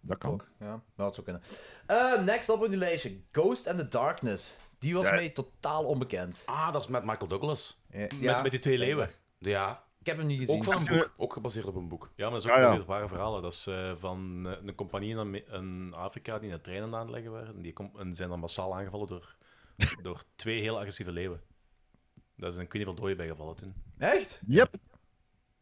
Speaker 6: Dat kan.
Speaker 2: Ja, dat zou kunnen. Eh, next op in uw lijstje: Ghost and the Darkness. Die was
Speaker 3: Ja.
Speaker 2: mij totaal onbekend.
Speaker 3: Ah, dat is met Michael Douglas.
Speaker 2: ja. met die twee leeuwen.
Speaker 3: Ja.
Speaker 2: Ik heb hem niet
Speaker 3: Ook van een boek. Ook gebaseerd op een boek.
Speaker 4: Ja, maar dat is
Speaker 3: Ah,
Speaker 4: ook
Speaker 3: ja.
Speaker 4: gebaseerd op ware verhalen. Dat is eh, van eh, een compagnie in, Ame- in Afrika die een trein aan het aanleggen waren. En die kom- en zijn dan massaal aangevallen door, door twee heel agressieve leeuwen. Daar zijn ik weet niet veel doden bij gevallen toen.
Speaker 2: Echt?
Speaker 6: Yep.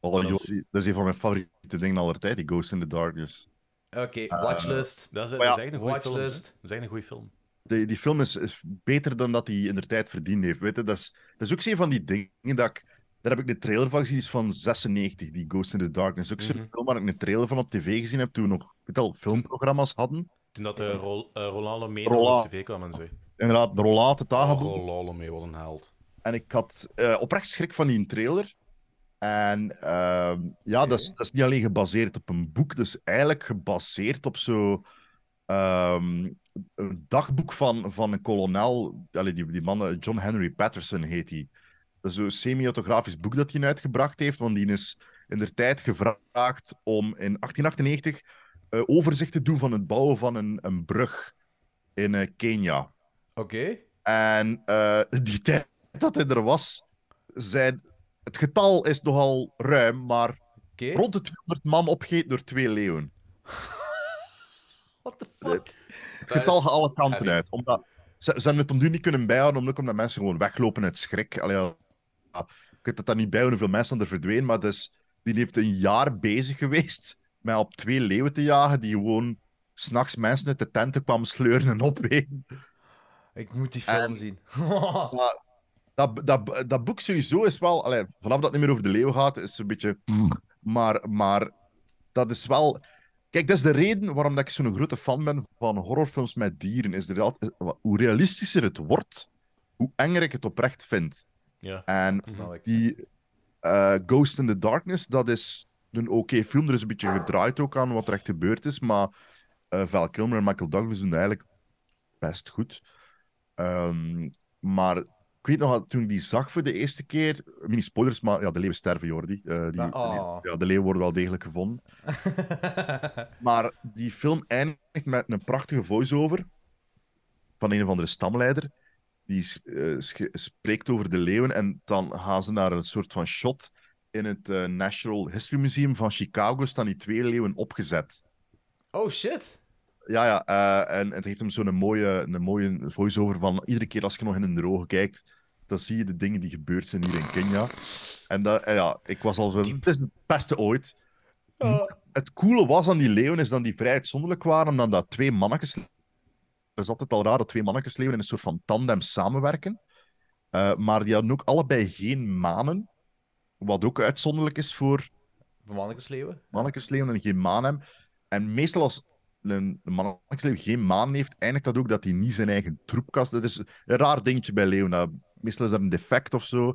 Speaker 6: Oh,
Speaker 4: Dat
Speaker 6: joh,
Speaker 4: is-
Speaker 6: die- dat is een van mijn favoriete dingen aller tijd, die Ghost in the Darkness.
Speaker 2: Oké,
Speaker 6: Eh,
Speaker 2: watchlist.
Speaker 4: Dat is,
Speaker 6: maar
Speaker 4: dat is
Speaker 6: ja,
Speaker 4: echt een goede film. hè. Dat
Speaker 2: watchlist.
Speaker 4: is echt een goede film.
Speaker 6: Die, die film is, is beter dan dat hij in de tijd verdiend heeft. Weet je? Dat, is, dat is ook zo een van die dingen dat ik. Daar heb ik een trailer van gezien, die is van 96, die Ghost in the Darkness. Ook zo'n
Speaker 4: Mhm.
Speaker 6: film waar ik een trailer van op tv gezien heb toen we nog weet je wel, filmprogramma's hadden.
Speaker 4: Toen dat de Rol, eh, Roland Lemaitre
Speaker 6: Roland.
Speaker 4: op tv kwam en zo.
Speaker 6: Inderdaad, de rollate
Speaker 3: Oh,
Speaker 2: ah,
Speaker 6: tafel.
Speaker 3: Rololo mee, wat een held.
Speaker 6: En ik had eh, oprecht schrik van die trailer. En ehm, ja, dat, is, dat is niet alleen gebaseerd op een boek, dat is eigenlijk gebaseerd op zo. ehm, een dagboek van, van een kolonel, allee, die, die man, eh, John Henry Patterson heet hij. Dat is zo'n semi-autografisch boek dat hij uitgebracht heeft, want die is in de tijd gevraagd om in 1898 eh, overzicht te doen van het bouwen van een, een brug in eh, Kenia.
Speaker 2: Oké.
Speaker 6: En eh, die tijd dat hij er was, zijn... het getal is nogal ruim, maar rond de 200 man opgegeten door twee leeuwen. Het
Speaker 3: Dat
Speaker 6: getal
Speaker 3: is
Speaker 6: gaat alle kanten
Speaker 3: heavy.
Speaker 6: uit. Omdat, ze, ze hebben het om nu niet kunnen bijhouden, omdat, omdat mensen gewoon weglopen uit schrik. Allee, ja, ik weet dat dat niet bij hoeveel mensen er verdwenen, maar dus, die heeft een jaar bezig geweest met op twee leeuwen te jagen, die gewoon s'nachts mensen uit de tenten kwamen sleuren en opeten.
Speaker 2: Ik moet die film zien.
Speaker 6: Maar dat, dat, dat boek sowieso is wel... allee, vanaf dat het niet meer over de leeuw gaat, is het een beetje... Maar, maar dat is wel... Kijk, dat is de reden waarom dat ik zo'n grote fan ben van horrorfilms met dieren. Is er altijd, eh, hoe realistischer het wordt, hoe enger ik het oprecht vind.
Speaker 4: Ja.
Speaker 6: En
Speaker 4: Snap ik.
Speaker 6: die eh, Ghost in the Darkness, dat is een oké film. Er is een beetje gedraaid ook aan wat er echt gebeurd is. Maar eh, Val Kilmer en Michael Douglas doen dat eigenlijk best goed. Ehm, maar ik weet nog, dat toen ik die zag voor de eerste keer... Mini spoilers, maar ja, de leeuwen sterven, Jordi. Eh, die,
Speaker 2: Ah, oh.
Speaker 6: Ja, de leeuwen worden wel degelijk gevonden. maar die film eindigt met een prachtige voice-over van een of andere stamleider. Die s- eh, sch- spreekt over de leeuwen en dan gaan ze naar een soort van shot. In het eh, National History Museum van Chicago staan die twee leeuwen opgezet.
Speaker 2: Oh shit.
Speaker 6: Ja, ja, eh, en het heeft hem zo'n mooie, een mooie voice-over van iedere keer als je nog in hun ogen kijkt, dan zie je de dingen die gebeurd zijn hier in Kenia. En dat, eh, ja, ik was al zo... Het is het beste ooit. Het coole was aan die leeuwen is dat die vrij uitzonderlijk waren, omdat dat twee mannetjes... Dat is altijd al raar dat twee mannetjes leeuwen in een soort van tandem samenwerken. Eh, maar die hadden ook allebei geen manen, wat ook uitzonderlijk is voor
Speaker 2: Mannekensleeuwen.
Speaker 6: mannetjesleeuwen en geen maan hebben. En meestal als een mannetjesleeuw geen maan heeft, eindigt dat ook dat hij niet zijn eigen troep kast. Dat is een raar dingetje bij leeuwen. dat- Meestal is dat een defect of zo.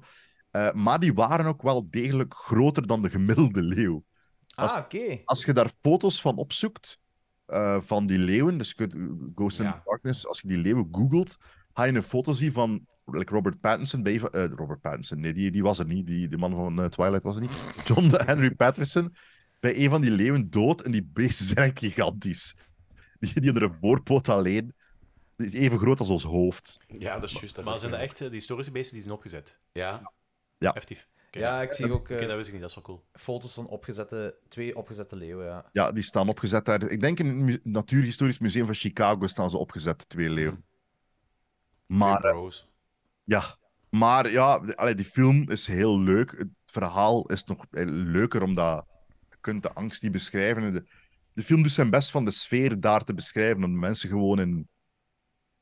Speaker 6: Eh, maar die waren ook wel degelijk groter dan de gemiddelde leeuw. Als,
Speaker 2: Ah, oké.
Speaker 6: als je daar foto's van opzoekt, eh, van die leeuwen, dus je kunt Ghost in the Darkness, als je die leeuwen googelt, ga je een foto zien van like Robert Pattinson. Bij, eh, Robert Pattinson, nee, die, die was er niet. Die, die man van eh, Twilight was er niet. John Henry Patterson, bij een van die leeuwen dood en die beesten zijn echt gigantisch. Die, die onder een voorpoot alleen, die is even groot als ons hoofd.
Speaker 3: Ja, dat is juist.
Speaker 4: Maar zijn dat echt eh, die historische beesten die zijn opgezet?
Speaker 3: Ja.
Speaker 6: Ja.
Speaker 4: Effectief. Kijk,
Speaker 2: Ja, ik zie ook
Speaker 4: Oké,
Speaker 2: eh,
Speaker 4: dat wist ik niet, dat is wel cool.
Speaker 2: foto's van opgezette, twee opgezette leeuwen. Ja.
Speaker 6: Ja, die staan opgezet daar. Ik denk in het mu-
Speaker 3: Hm.
Speaker 6: Natuurhistorisch Museum van Chicago staan ze opgezet, twee leeuwen. Maar, eh, Ja, maar ja, de- allee, die film is heel leuk. Het verhaal is nog eh, leuker, omdat je kunt de angst die beschrijven. En De, de film doet zijn best van de sfeer daar te beschrijven, omdat mensen gewoon in,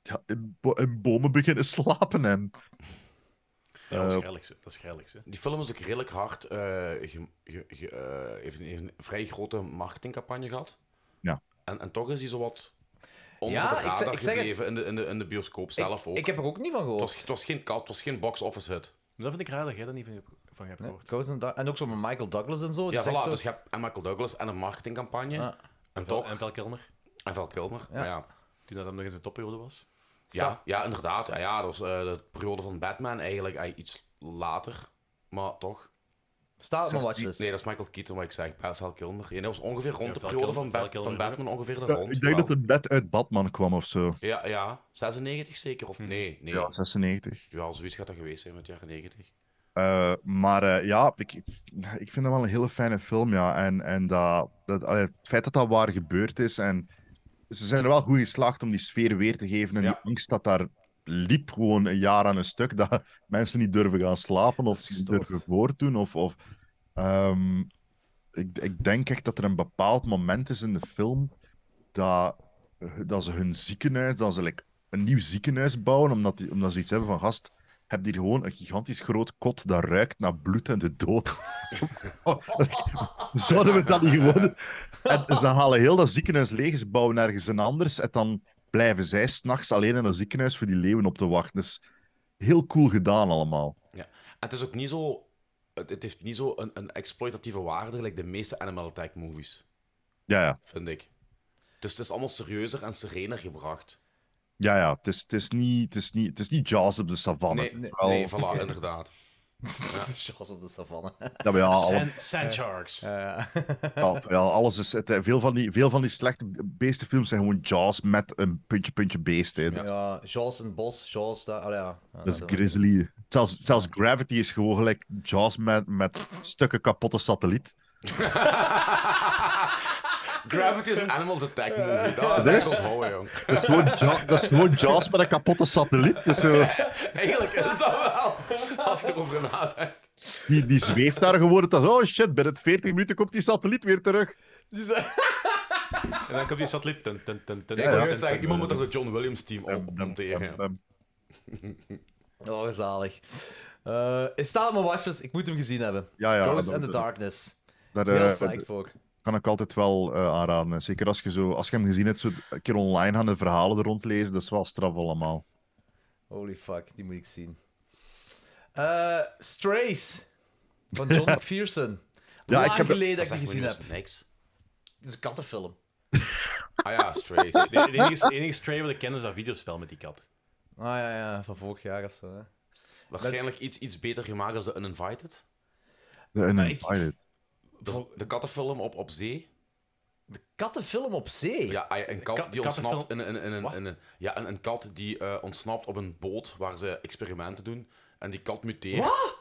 Speaker 6: ja, in, bo- in bomen beginnen slapen. En,
Speaker 4: Ja, dat is grillig, hè. Dat is grillig, hè.
Speaker 3: Die film is ook redelijk hard. eh ge- ge- ge- eh, heeft, een, heeft een vrij grote marketingcampagne gehad.
Speaker 6: Ja.
Speaker 3: En, en toch is die zowat onder
Speaker 2: Ja,
Speaker 3: de
Speaker 2: ik zeg-
Speaker 3: radar
Speaker 2: ik zeg het.
Speaker 3: gebleven in de, in, de, in de bioscoop zelf ook.
Speaker 2: ik heb er ook niet van gehoord.
Speaker 3: Het was, het was geen kat, het was geen box-office hit.
Speaker 4: Maar dat vind ik raar dat jij daar niet van, van hebt gehoord.
Speaker 2: Ghost in the Dark- En ook zo met Michael Douglas en zo. die
Speaker 3: ja,
Speaker 2: zegt
Speaker 3: voilà,
Speaker 2: zo-
Speaker 3: dus je hebt en Michael Douglas en een marketingcampagne.
Speaker 2: Ja.
Speaker 3: En,
Speaker 4: Val-
Speaker 3: toch...
Speaker 4: En Val Kilmer,
Speaker 3: En Val Kilmer,
Speaker 4: Ja.
Speaker 3: maar ja.
Speaker 4: toen dat hem nog in zijn topperiode was.
Speaker 3: Ja, ja inderdaad. Ja, ja, dat was eh, de periode van Batman eigenlijk eh, iets later. Maar toch.
Speaker 2: Staat op mijn watchlist.
Speaker 3: Nee, dat is Michael Keaton wat ik zeg. Ba- Val Kilmer. Ja, dat was ongeveer rond
Speaker 4: Ja,
Speaker 3: de
Speaker 4: Val
Speaker 3: periode
Speaker 4: Kilmer-
Speaker 3: van,
Speaker 4: Val
Speaker 3: Bat-
Speaker 4: Kilmer
Speaker 3: van
Speaker 4: ook.
Speaker 3: Batman ongeveer daar
Speaker 6: Ja,
Speaker 3: rond.
Speaker 6: ik denk
Speaker 3: wel.
Speaker 6: dat het bed uit Batman kwam of zo.
Speaker 3: Ja, ja. 96 zeker?
Speaker 4: Hmm.
Speaker 3: Of nee? nee.
Speaker 6: Ja, 96.
Speaker 3: Ja, zoiets gaat dat geweest zijn met de jaren 90.
Speaker 6: Eh, maar eh, ja, ik, ik vind dat wel een hele fijne film, ja. En, en dat, dat, allee, het feit dat dat waar gebeurd is. En ze zijn er wel goed geslaagd om die sfeer weer te geven. En die angst dat daar liep gewoon een jaar aan een stuk. Dat mensen niet durven gaan slapen of niet durven voortdoen. Of, of, ehm, ik, ik denk echt dat er een bepaald moment is in de film dat, dat ze hun ziekenhuis, dat ze like, een nieuw ziekenhuis bouwen, omdat, die, omdat ze iets hebben van gast. Heb hier gewoon een gigantisch groot kot dat ruikt naar bloed en de dood. Oh, Zouden we dat niet gewoon. En ze halen heel dat ziekenhuis leeg, ze bouwen ergens een anders. En dan blijven zij s'nachts alleen in dat ziekenhuis voor die leeuwen op te wachten. Dus heel cool gedaan allemaal.
Speaker 3: Ja. En het is ook niet zo... Het, het heeft niet zo een, een exploitatieve waarde, gelijk de meeste Animal Attack movies,
Speaker 6: Ja, ja.
Speaker 3: vind ik. Dus het is allemaal serieuzer en serener gebracht.
Speaker 6: Ja, ja, het is, het is, niet, het is, niet, het is niet Jaws op de savanne.
Speaker 3: Nee, nee,
Speaker 6: Wel-
Speaker 3: nee, voilà, inderdaad.
Speaker 2: Jaws op de savanne. Eh,
Speaker 6: Ja, maar ja, alle-
Speaker 4: Sand, sand sharks.
Speaker 6: Ja, ja, alles is, het, eh, veel, van die, veel van die slechte beestenfilms zijn gewoon Jaws met een puntje, puntje beest. hè.
Speaker 2: Ja, Jaws en Bos, Jaws, daar, allee, ja. Ja,
Speaker 6: Dat is
Speaker 2: wel-
Speaker 6: grizzly. Zelfs, zelfs Gravity is gewoon gelijk Jaws met, met stukken kapotte satelliet.
Speaker 3: Gravity is een Animals Attack movie. Dat,
Speaker 6: Dus?
Speaker 3: dat onthouden, jong.
Speaker 6: Dat is gewoon, Ja- dat is gewoon Jaws met een kapotte satelliet. Dus, eh,
Speaker 3: Eigenlijk is dat wel, als je erover nadenkt.
Speaker 6: die, die zweeft daar gewoon. Dat is, oh shit, binnen 40 minuten komt die satelliet weer terug.
Speaker 4: En dan komt die satelliet. Dun, dun, dun, dun,
Speaker 3: Ik
Speaker 4: dun,
Speaker 3: wou
Speaker 4: dun,
Speaker 3: juist zeggen,
Speaker 4: dun,
Speaker 3: iemand moet
Speaker 4: dun,
Speaker 3: er de John Williams team op monteren.
Speaker 2: Oh, gezalig. Eh het staat op mijn watchlist, ik moet hem gezien hebben.
Speaker 6: Ja, ja,
Speaker 2: Ghost
Speaker 6: dat-
Speaker 2: and the
Speaker 6: dat-
Speaker 2: Darkness.
Speaker 6: Daar,
Speaker 2: Heel
Speaker 6: eh,
Speaker 2: psyched voor.
Speaker 6: Kan ik altijd wel eh, aanraden. Zeker als je, zo, als je hem gezien hebt, zo een keer online gaan de verhalen er rond lezen. Dat is wel straf allemaal.
Speaker 2: Holy fuck, die moet ik zien. Eh, Strays van John McPherson.
Speaker 6: Ja,
Speaker 2: Lang
Speaker 6: ik heb-
Speaker 2: geleden dat
Speaker 3: Dat
Speaker 2: ik die gezien
Speaker 3: zegt me nu
Speaker 2: heb.
Speaker 3: dus niks.
Speaker 2: Het is een kattenfilm.
Speaker 3: Ah ja, Strays.
Speaker 4: dun. De de enige, de enige stray wat ik ken is dat videospel met die kat.
Speaker 2: Ah ja, ja, van vorig jaar of zo. Hè.
Speaker 3: Waarschijnlijk iets, iets beter gemaakt dan de Uninvited.
Speaker 6: De Uninvited.
Speaker 3: Dat is de kattenfilm op, op zee.
Speaker 2: Kattenfilm op zee?
Speaker 3: Ja, ah ja, een kat
Speaker 2: Kat-
Speaker 3: die ontsnapt in,
Speaker 2: kattenfilm?
Speaker 3: een- in een- in een- ja, een, een kat die eh, ontsnapt op een boot waar ze experimenten doen. En die kat muteert.
Speaker 2: Wat?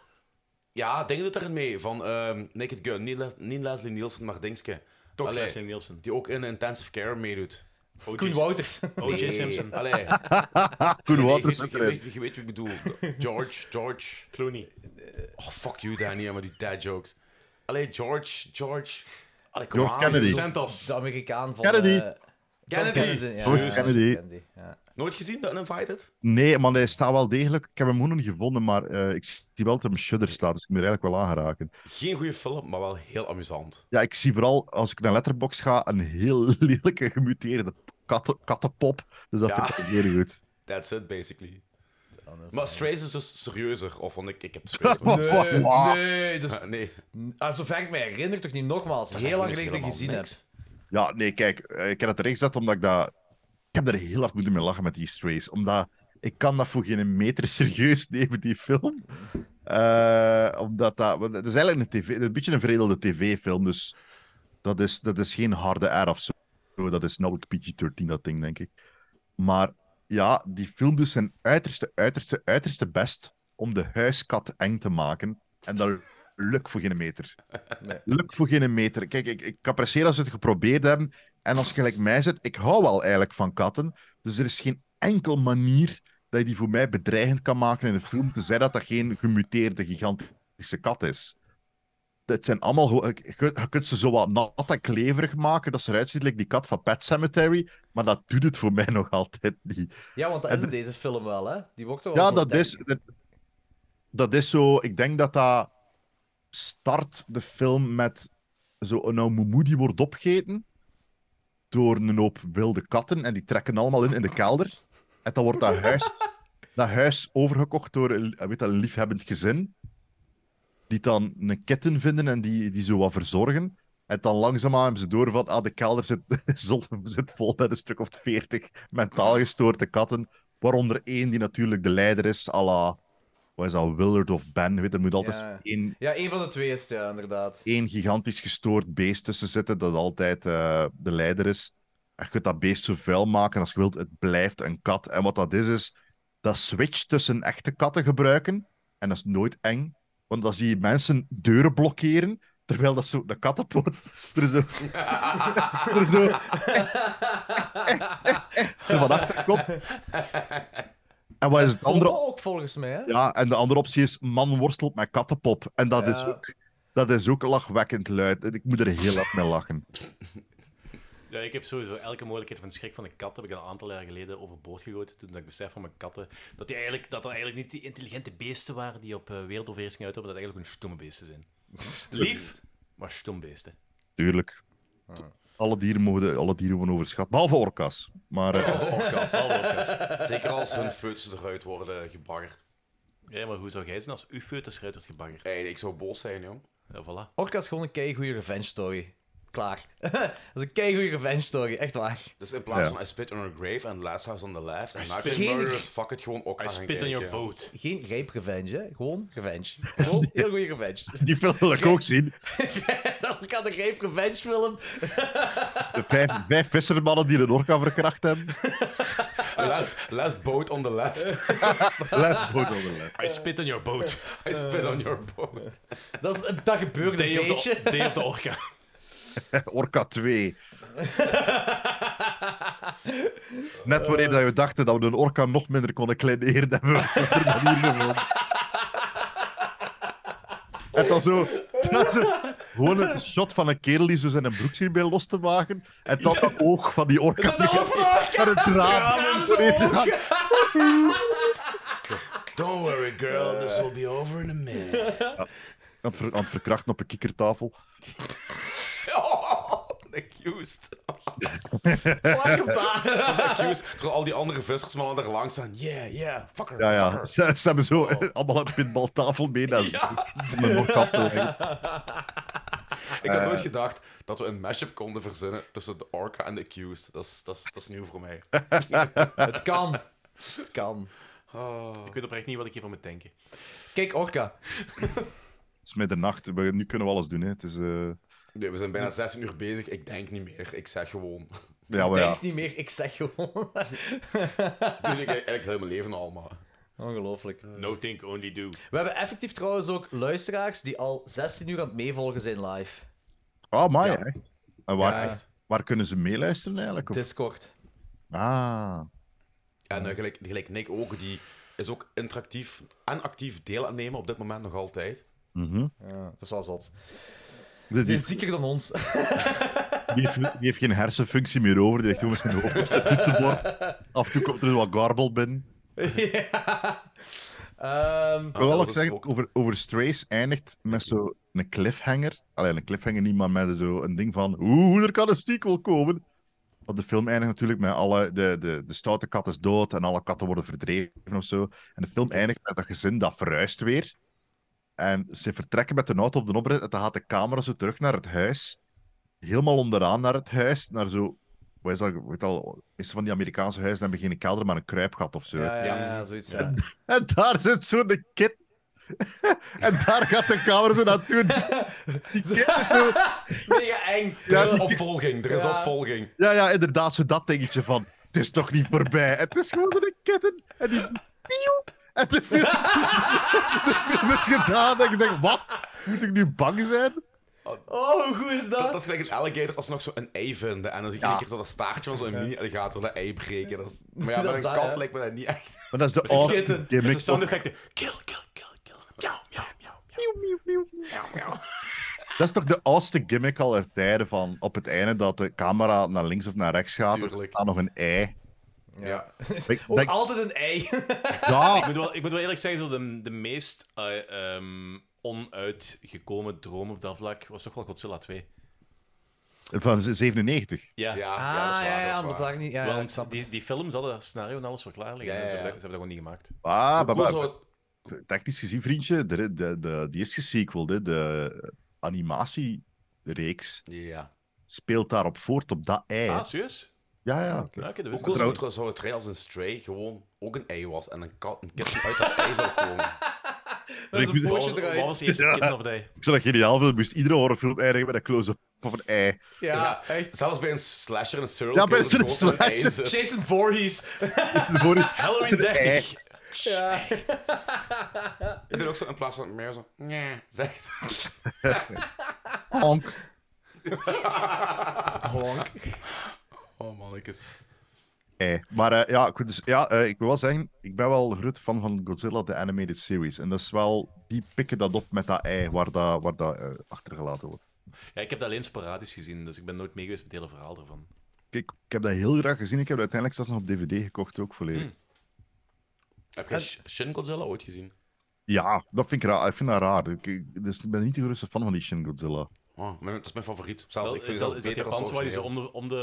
Speaker 3: Ja, denk doet erin mee. Van ehm, Naked Gun. Niet, Les- niet Leslie Nielsen, maar Dingske.
Speaker 4: Toch
Speaker 3: Allee,
Speaker 4: Leslie Nielsen. Oh,
Speaker 3: Die ook in Intensive Care meedoet.
Speaker 2: Koen Wouters.
Speaker 4: O.J. Simpson.
Speaker 3: Allee.
Speaker 6: Koen
Speaker 3: Nee,
Speaker 6: Wouters
Speaker 3: je,
Speaker 6: zit
Speaker 3: je,
Speaker 6: erin.
Speaker 3: weet, je weet wie ik bedoel. George, George.
Speaker 4: Clooney.
Speaker 3: Oh, fuck you, Danny, maar die dad jokes. Allee, George, George. Allee, kom
Speaker 6: George
Speaker 3: aan.
Speaker 6: Kennedy.
Speaker 4: Santos.
Speaker 2: De Amerikaan van...
Speaker 6: Kennedy.
Speaker 2: eh, John
Speaker 3: Kennedy.
Speaker 2: ja,
Speaker 6: George
Speaker 2: ja,
Speaker 6: Kennedy.
Speaker 2: ja.
Speaker 3: Nooit gezien, The Uninvited?
Speaker 6: Nee, maar hij staat wel degelijk. Ik heb hem gewoon niet gevonden, maar eh, ik zie wel dat hem Shudder staat. Dus ik moet er eigenlijk wel aangeraken.
Speaker 3: Geen goede film, maar wel heel amusant.
Speaker 6: Ja, ik zie vooral als ik naar Letterboxd ga een heel lelijke gemuteerde katten, kattenpop. Dus dat
Speaker 3: Ja.
Speaker 6: vind ik heel goed.
Speaker 3: That's it, basically. Maar Strays is dus serieuzer, of want ik, ik heb
Speaker 6: Wat,
Speaker 3: Strays
Speaker 6: wat, wat?
Speaker 2: Nee, dus...
Speaker 3: Ah, nee.
Speaker 2: Ah, zover ik me herinner, toch niet nogmaals.
Speaker 3: Dat
Speaker 2: heel
Speaker 3: zegt
Speaker 2: lang
Speaker 3: me
Speaker 2: geleden dat ik
Speaker 3: dus
Speaker 2: die gezien
Speaker 3: helemaal
Speaker 2: heb.
Speaker 6: Ja, nee, kijk, eh, ik heb dat erin gezet omdat ik dat... Ik heb er heel hard moeten mee lachen met die strays. Omdat ik kan dat voor geen meter serieus nemen, die film. Eh, omdat dat... want Het is eigenlijk een, TV, een beetje een veredelde tv-film, dus... Dat is, dat is geen harde R of zo. Dat is nauwelijks PG-13, dat ding, denk ik. Maar ja, die film doet zijn uiterste, uiterste, uiterste best om de huiskat eng te maken. En dat lukt voor geen meter. Lukt voor geen meter. Kijk, ik, ik apprecieer als ze het geprobeerd hebben. En als je gelijk mij zit, ik hou wel eigenlijk van katten. Dus er is geen enkel manier dat je die voor mij bedreigend kan maken in een film, tenzij dat dat geen gemuteerde gigantische kat is. Het zijn allemaal gewoon... Je kunt- je kunt ze zo wat nat en kleverig maken, dat ze eruit ziet like die kat van Pet Cemetery, maar dat doet het voor mij nog altijd niet.
Speaker 7: Ja, want dat
Speaker 6: En
Speaker 7: is in
Speaker 6: de-
Speaker 7: deze film wel, hè? Die wordt toch wel
Speaker 6: Ja,
Speaker 7: zo
Speaker 6: dat
Speaker 7: denk-
Speaker 6: is, dat, dat is zo. Ik denk dat dat start de film met zo'n oumoemoe die wordt opgegeten door een hoop wilde katten. En die trekken allemaal in in de kelder. En dan wordt dat huis, dat huis overgekocht door een, eh, weet dat, een liefhebbend gezin. Die dan een kitten vinden en die, die zo wat verzorgen. En dan langzaamaan hebben ze door van, ah, de kelder zit, zot- zit vol met een stuk of veertig mentaal gestoorde katten. Waaronder één die natuurlijk de leider is, à la, wat is dat, Willard of Ben, weet je, er moet altijd
Speaker 7: Ja.
Speaker 6: één,
Speaker 7: Ja, één van de twee is het, ja, inderdaad.
Speaker 6: één gigantisch gestoord beest tussen zitten dat altijd eh, de leider is. En je kunt dat beest zo vuil maken als je wilt, het blijft een kat. En wat dat is, is dat switch tussen echte katten gebruiken. En dat is nooit eng, want dan zie je mensen deuren blokkeren, terwijl dat zo de kattenpoot er zo, er zo er van achter komt. En wat is het andere?
Speaker 7: Pompa ook volgens mij, hè?
Speaker 6: Ja, en de andere optie is man worstelt met kattenpop. En dat, is,
Speaker 7: Ja.
Speaker 6: ook, dat is ook lachwekkend luid. Ik moet er heel hard mee lachen.
Speaker 4: Ja, ik heb sowieso elke mogelijkheid van de schrik van de kat heb ik al een aantal jaar geleden overboord gegooid. Toen dat ik besef van mijn katten dat die eigenlijk, dat, dat eigenlijk niet die intelligente beesten waren die op eh, wereldoverheersing uitkomen, dat dat eigenlijk gewoon stomme beesten zijn. Lief, maar stom beesten.
Speaker 6: Tuurlijk. Alle dieren mogen, alle dieren worden overschat. Behalve orka's. Maar, eh,
Speaker 3: Behalve orka's.
Speaker 4: Behalve orka's.
Speaker 3: Zeker als hun foetsen eruit worden gebaggerd.
Speaker 4: Ja, maar hoe zou jij zijn als uw foetus eruit wordt gebaggerd?
Speaker 3: Hey, ik zou boos zijn, jong.
Speaker 4: Ja,
Speaker 3: Oh,
Speaker 4: voilà.
Speaker 7: Orca is gewoon een keigoeie revenge story. Klaar. dat is een keigoeie revenge story, echt waar.
Speaker 3: Dus in plaats
Speaker 7: Ja.
Speaker 3: van I spit on her grave and last house on the left
Speaker 7: I
Speaker 3: en
Speaker 7: spit-
Speaker 3: Nightmare
Speaker 7: Geen-
Speaker 3: Murderers, fuck it, gewoon ook
Speaker 7: I spit on your boat. Geen rape revenge, hè? Gewoon revenge. Gewoon heel goede revenge.
Speaker 6: die film wil ik ook zien.
Speaker 7: Dan kan de rape revenge film.
Speaker 6: De vijf, vijf vissermannen die een orka verkracht hebben.
Speaker 3: Last, last boat on the left.
Speaker 6: Last boat on the left.
Speaker 4: I spit on your boat.
Speaker 3: I spit on your boat.
Speaker 7: Dat, is, dat gebeurt
Speaker 4: Day
Speaker 7: een
Speaker 4: of the-
Speaker 7: beetje.
Speaker 4: Day of the Orca.
Speaker 6: Orca 2. Net wanneer dat we dachten dat we een orka nog minder konden kleineren, hebben we het er nog niet gevonden. En dan zo, dat is een- gewoon een shot van een kerel die zo zijn broek zit bij los te maken. En dan dat oog van die orka.
Speaker 7: Dat oog van de orka!
Speaker 6: Met
Speaker 7: Tranen
Speaker 6: een traan.
Speaker 7: in zijn oog.
Speaker 3: Don't worry, girl, this will be over in a minute.
Speaker 6: Ja, aan, het ver- aan het verkrachten op een kikkertafel.
Speaker 3: Oh, accused.
Speaker 6: Plak hem daar.
Speaker 3: accused. Terwijl al die andere vissers maar er langs staan. Yeah, yeah, fucker,
Speaker 6: Ja, ja.
Speaker 3: fucker.
Speaker 6: Ze, ze hebben zo eh, allemaal een pitbaltafel mee. Dat is om hem nog af te leggen.
Speaker 3: Ik had
Speaker 6: Eh.
Speaker 3: nooit gedacht dat we een mashup konden verzinnen tussen de orca en de accused. Dat is, dat is, dat is nieuw voor mij.
Speaker 7: Het kan. Het kan.
Speaker 4: Ik weet oprecht niet wat ik hiervan moet denken.
Speaker 7: Kijk, Orca.
Speaker 6: Het is middernacht. We, nu kunnen we alles doen. Hè. Het is, eh,
Speaker 3: Nee, we zijn bijna 16 uur bezig. Ik denk niet meer. Ik zeg gewoon.
Speaker 6: Ja, maar ja.
Speaker 7: Denk niet meer, ik zeg gewoon.
Speaker 3: Dat doe ik eigenlijk heel mijn leven al, maar...
Speaker 7: Ongelooflijk.
Speaker 4: No think, only do.
Speaker 7: We hebben effectief trouwens ook luisteraars die al 16 uur aan het meevolgen zijn live.
Speaker 6: Ah, maar echt. En waar,
Speaker 7: Ja, echt.
Speaker 6: waar kunnen ze meeluisteren eigenlijk? Of-
Speaker 7: Discord.
Speaker 6: Ah.
Speaker 3: En eh, gelijk, gelijk Nick ook, die is ook interactief en actief deel aan het nemen op dit moment nog altijd.
Speaker 6: mhm.
Speaker 7: Ja, Nou, dat is wel zot.
Speaker 6: Dus
Speaker 7: Die
Speaker 6: die,
Speaker 7: zijn zieker dan ons.
Speaker 6: die, heeft, die heeft geen hersenfunctie meer over. Die ligt gewoon met zijn hoofd op het toetsenbord. Af en toe komt er wat garbled binnen.
Speaker 7: Ehm,
Speaker 6: Ik
Speaker 7: Ah,
Speaker 6: wil wel nog zeggen, over, over Strays eindigt met zo'n cliffhanger. Alleen een cliffhanger niet, maar met zo'n ding van... Oeh, er kan een sequel komen. Want de film eindigt natuurlijk met alle... De, de, de stoute kat is dood en alle katten worden verdreven of zo. En de film eindigt met dat gezin dat verhuist weer. En ze vertrekken met de auto op de oprit. En dan gaat de camera zo terug naar het huis. Helemaal onderaan naar het huis. Naar zo... Wat is dat? Weet al, is van die Amerikaanse huizen hebben geen kelder, maar een kruipgat of zo.
Speaker 7: ja, ja, ja, zoiets. Ja.
Speaker 6: En daar zit zo'n kid. en daar gaat de camera zo naartoe. Die kid is zo...
Speaker 7: Mega eng.
Speaker 3: Er is opvolging, er is opvolging.
Speaker 6: Ja, ja, inderdaad, zo dat dingetje van... Het is toch niet voorbij? Het is gewoon zo'n kitten. En die... Pieuw. En de film... de film is gedaan. En ik denk, wat? Moet ik nu bang zijn?
Speaker 2: Oh, hoe goed is dat?
Speaker 3: Dat, is gelijk een alligator als ze nog zo'n ei vinden. En dan zie je
Speaker 6: Ja.
Speaker 3: een keer zo dat staartje van zo'n mini-alligator dat ei breken. Dat is, maar ja,
Speaker 6: Dat
Speaker 3: bij
Speaker 6: is
Speaker 3: een
Speaker 6: dat,
Speaker 3: kat
Speaker 6: hè?
Speaker 3: lijkt me dat niet echt.
Speaker 6: Maar dat is de awesome gimmick
Speaker 4: Met zijn sound
Speaker 6: ook.
Speaker 4: effecten. Kill, kill, kill, kill. Miauw, miauw, miauw, miauw. Miauw, miauw.
Speaker 6: Dat is toch de oudste gimmick aller tijden van op het einde dat de camera naar links of naar rechts gaat. Er staat nog een ei.
Speaker 3: Ja.
Speaker 6: Ik-
Speaker 4: Ook
Speaker 6: dat-
Speaker 4: altijd een ei.
Speaker 6: Ja.
Speaker 4: ik, moet wel, ik moet wel eerlijk zeggen, zo de, de meest eh, ehm, onuitgekomen droom op dat vlak was toch wel Godzilla 2.
Speaker 6: Van 97.
Speaker 2: Ja,
Speaker 4: Ja,
Speaker 2: ja, dat is Ah, waar, ja, dat is ja, omdat waar. daar niet- ja, ja, ik
Speaker 4: Want
Speaker 2: snap
Speaker 4: die, die films hadden dat scenario en alles voor klaar
Speaker 2: Ja,
Speaker 4: liggen.
Speaker 2: ja,
Speaker 4: en Ze,
Speaker 2: ja.
Speaker 4: hebben dat, ze hebben dat gewoon niet gemaakt.
Speaker 6: Ah, maar,
Speaker 4: cool
Speaker 6: maar-
Speaker 4: zou
Speaker 6: technisch gezien, vriendje, de, de, de, die is gesequeld. Hè. De animatiereeks
Speaker 3: Ja.
Speaker 6: speelt daarop voort, op dat ei.
Speaker 4: Ah, serieus? Ah,
Speaker 6: ja, ja.
Speaker 3: Hoe cool zou het, zou het rij als een stray gewoon ook een ei was en een kat, een kip uit dat ei zou komen?
Speaker 6: Dat is een
Speaker 4: poosje Wat was- eruit. wat was de eerste Kitten of the Eye?
Speaker 6: Ik zou dat geniaal vinden. Moest iedere horrorfilm eindigen met een close-up van een ei.
Speaker 3: Ja, echt. Zelfs bij een slasher en een serial
Speaker 6: Ja, bij
Speaker 3: killer
Speaker 6: een
Speaker 3: is gewoon een ei
Speaker 6: slasher.
Speaker 3: zit.
Speaker 2: Jason Voorhees.
Speaker 6: Voorhees.
Speaker 4: Halloween 30.
Speaker 2: Ja.
Speaker 3: Ik doe ook zo in plaats van meer zo. Nee, zegt.
Speaker 6: Honk.
Speaker 2: Honk.
Speaker 3: Oh mannetjes.
Speaker 6: Ei. Maar eh, ja, goed, dus, ja eh, ik wil wel zeggen, ik ben wel groot fan van Godzilla, de animated series. En dat is wel, die pikken dat op met dat ei waar dat, waar dat eh, achtergelaten wordt.
Speaker 4: Ja, ik heb dat alleen sporadisch gezien, dus ik ben nooit mee geweest met het hele verhaal ervan.
Speaker 6: Ik, ik heb dat heel graag gezien. Ik heb dat uiteindelijk zelfs nog op DVD gekocht, ook volledig.
Speaker 3: Hmm. Heb je Sh- Shin Godzilla ooit gezien?
Speaker 6: Ja, dat vind ik raar. Ik vind dat raar. Ik, ik- dus ik ben niet de grootste fan van die Shin Godzilla.
Speaker 3: Oh, mijn- dat is mijn favoriet. Zelfs,
Speaker 4: Wel,
Speaker 3: ik vind
Speaker 4: is dat,
Speaker 3: zelfs
Speaker 4: is
Speaker 3: beter
Speaker 4: dat
Speaker 3: als
Speaker 4: Japans waar je ze
Speaker 3: origineel.
Speaker 4: om de,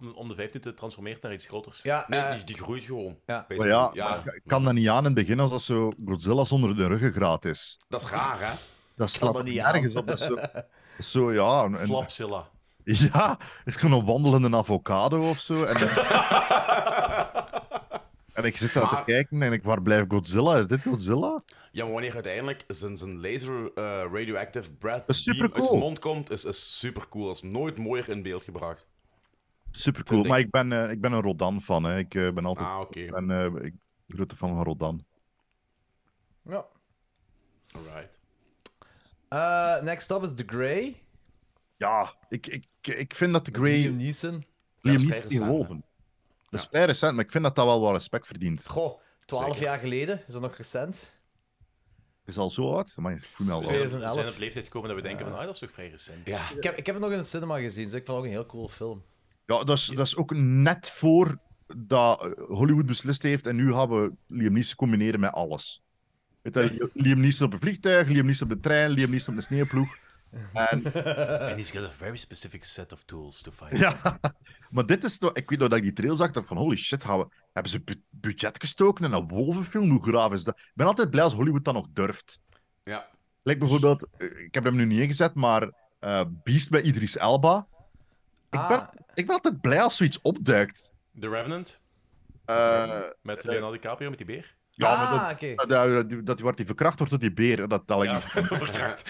Speaker 4: om, de, om de vijf minuten transformeert naar iets groters?
Speaker 2: Ja,
Speaker 3: Nee, die, die groeit gewoon.
Speaker 6: Maar
Speaker 3: basically.
Speaker 6: ja, maar ik kan dat niet aan in het begin als dat zo Godzilla zonder de ruggengraat is.
Speaker 3: Dat is raar, hè?
Speaker 6: Dat slaat
Speaker 3: dat
Speaker 6: ik
Speaker 3: niet aan.
Speaker 6: nergens op. Dat is zo, dat is zo, ja... Een, een-
Speaker 4: Flapzilla.
Speaker 6: Ja, het is gewoon een wandelende avocado of zo. En, en ik zit daar te
Speaker 3: Maar-
Speaker 6: kijken en denk ik, waar blijft Godzilla? Is dit Godzilla?
Speaker 3: Ja, maar wanneer uiteindelijk zijn, zijn laser eh, radioactive breath
Speaker 6: Dat is
Speaker 3: beam uit
Speaker 6: supercool.
Speaker 3: zijn mond komt, is, is super cool. Dat is nooit mooier in beeld gebracht.
Speaker 6: Super cool. Maar ik ben, eh, ik ben een Rodan fan. Hè. Ik eh, ben altijd
Speaker 3: Ah, oké.
Speaker 6: ik ben, eh, ik, grote fan van Rodan.
Speaker 2: Ja.
Speaker 3: Alright.
Speaker 2: Eh, next up is The Grey.
Speaker 6: Ja, ik, ik, ik vind dat de Grey.
Speaker 2: Liam Neeson.
Speaker 6: Liam niet geloven. Dat is vrij recent, maar ik vind dat dat wel wat respect verdient.
Speaker 2: Goh, 12 jaar geleden. Is dat nog recent?
Speaker 6: Is al zo oud? Maar ik voel me al
Speaker 4: We
Speaker 6: oud.
Speaker 4: zijn- we zijn op leeftijd gekomen dat we denken van,
Speaker 2: Ja.
Speaker 4: ah, dat is toch vrij recent.
Speaker 2: Ik, heb, ik heb het nog in het cinema gezien, dus ik vond het ook een heel cool film.
Speaker 6: Ja, dat is, dat is ook net voor dat eh, Hollywood beslist heeft en nu gaan we Liam Neeson combineren met alles. Weet je, Liam Neeson op een vliegtuig, Liam Neeson op de trein, Liam Neeson op de sneeuwploeg. En
Speaker 4: And he's got a very specific set of tools to fight.
Speaker 6: Ja, maar dit is toch... Ik weet nog dat ik die trail zag, dacht van holy shit, gaan we... hebben ze bu- budget gestoken in een wolvenfilm? Hoe graaf is dat? Ik ben altijd blij als Hollywood dat nog durft.
Speaker 3: Ja.
Speaker 6: Like bijvoorbeeld, eh, ik heb hem nu niet ingezet, maar eh, Beast bij Idris Elba. Ik, ben, ik ben altijd blij als zoiets opduikt.
Speaker 4: The Revenant,
Speaker 6: Eh,
Speaker 4: met Leonardo DiCaprio, met die beer.
Speaker 6: ja, maar
Speaker 2: Ah,
Speaker 6: dat, dat, dat, dat wordt die verkracht wordt door die beer, dat tel ik
Speaker 4: Ja,
Speaker 6: niet.
Speaker 4: verkracht.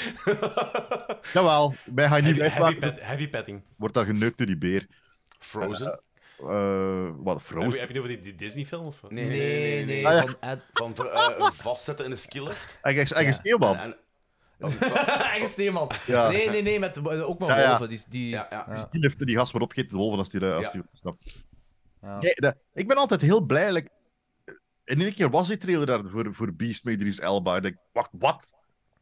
Speaker 6: Jawel, wij gaan niet
Speaker 4: Heavy, heavy,
Speaker 6: blijven.
Speaker 4: pet, heavy petting.
Speaker 6: Wordt daar geneukt door die beer.
Speaker 3: Frozen?
Speaker 6: Eh, eh, wat,
Speaker 4: Heb
Speaker 6: Frozen?
Speaker 4: je, heb je het over die, die Disney-film? Of... wat?
Speaker 3: Nee, nee, nee. nee, nee.
Speaker 6: Ah, ja.
Speaker 3: Van, van ver- eh, vastzetten in de skilift.
Speaker 6: Eigen, eigen sneeuwman.
Speaker 3: En-
Speaker 2: Eigen Steeman.
Speaker 6: Ja.
Speaker 2: Nee, nee, nee, met eh, ook maar
Speaker 6: Ja, ja.
Speaker 2: wolven. Die, die, ja.
Speaker 6: Dus die liften die gas maar opgeet de wolven als die... eh, Als
Speaker 2: Ja.
Speaker 6: die snapt.
Speaker 2: Ja.
Speaker 6: Nee, dat- ik ben altijd heel blij. like, in één keer was die trailer daar voor, voor Beast met Idris Elba. Ik denk, wacht, wat?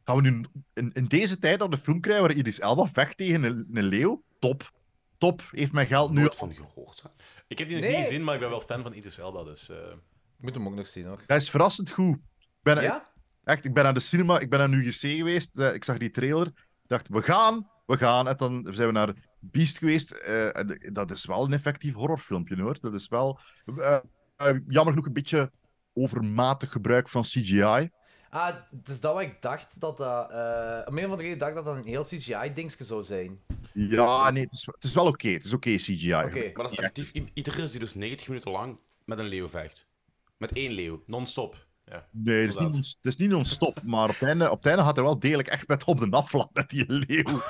Speaker 6: Gaan we nu in, in deze tijd dan de film krijgen waar Idris Elba vecht tegen een, een leeuw? Top. Top. Heeft mijn geld nu...
Speaker 3: van gehoord.
Speaker 4: Ik heb die nog
Speaker 6: Nee.
Speaker 4: niet gezien, maar ik ben wel fan van Idris Elba, dus... eh,
Speaker 2: Ik moet hem ook nog zien, hoor.
Speaker 6: Dat is verrassend goed. Ik ben,
Speaker 2: Ja?
Speaker 6: Echt, ik ben naar de cinema, ik ben naar UGC geweest. eh, ik zag die trailer. Ik dacht, we gaan, we gaan. En dan zijn we naar Beast geweest. eh, en dat is wel een effectief horrorfilmpje, hoor. Dat is wel, eh, eh, jammer genoeg, een beetje overmatig gebruik van CGI.
Speaker 2: Ah, het is dat wat ik dacht dat dat... eh, om een of andere reden dacht ik dat dat een heel CGI-dingske zou zijn.
Speaker 6: Ja, nee, het is, het is wel oké. Het is oké CGI.
Speaker 3: Maar dat is effectief i- iedereen die dus 90 minuten lang met een leeuw vecht. Met één leeuw.
Speaker 4: Non-stop. Ja.
Speaker 6: Nee, het is, niet, het is niet non-stop, maar op het, einde, op het einde had hij wel degelijk echt met op de naflap met die leeuw.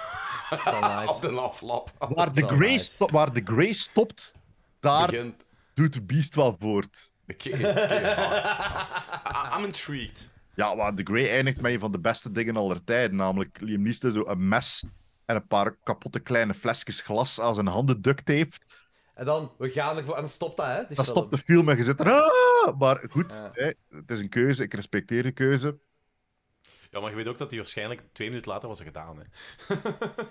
Speaker 3: Op de aflap.
Speaker 6: Waar de, Grey sto- waar de Grey stopt, daar
Speaker 3: Begint.
Speaker 6: doet de Beast wel voort.
Speaker 3: Oké, oké, hard, hard. I- I'm intrigued.
Speaker 6: Ja, maar de Grey eindigt met een van de beste dingen aller tijden, namelijk Liam Neeson zo een mes en een paar kapotte kleine flesjes glas aan zijn handen duct taped.
Speaker 2: En dan, we gaan ervoor. En dan stopt dat, hè? die
Speaker 6: Dan
Speaker 2: film.
Speaker 6: stopt de film en je zit er. "Ah!" Maar goed,
Speaker 4: Ja.
Speaker 6: hè, het is een keuze. Ik respecteer de keuze.
Speaker 4: Ja, maar je weet ook dat hij waarschijnlijk twee minuten later was er gedaan. Hè.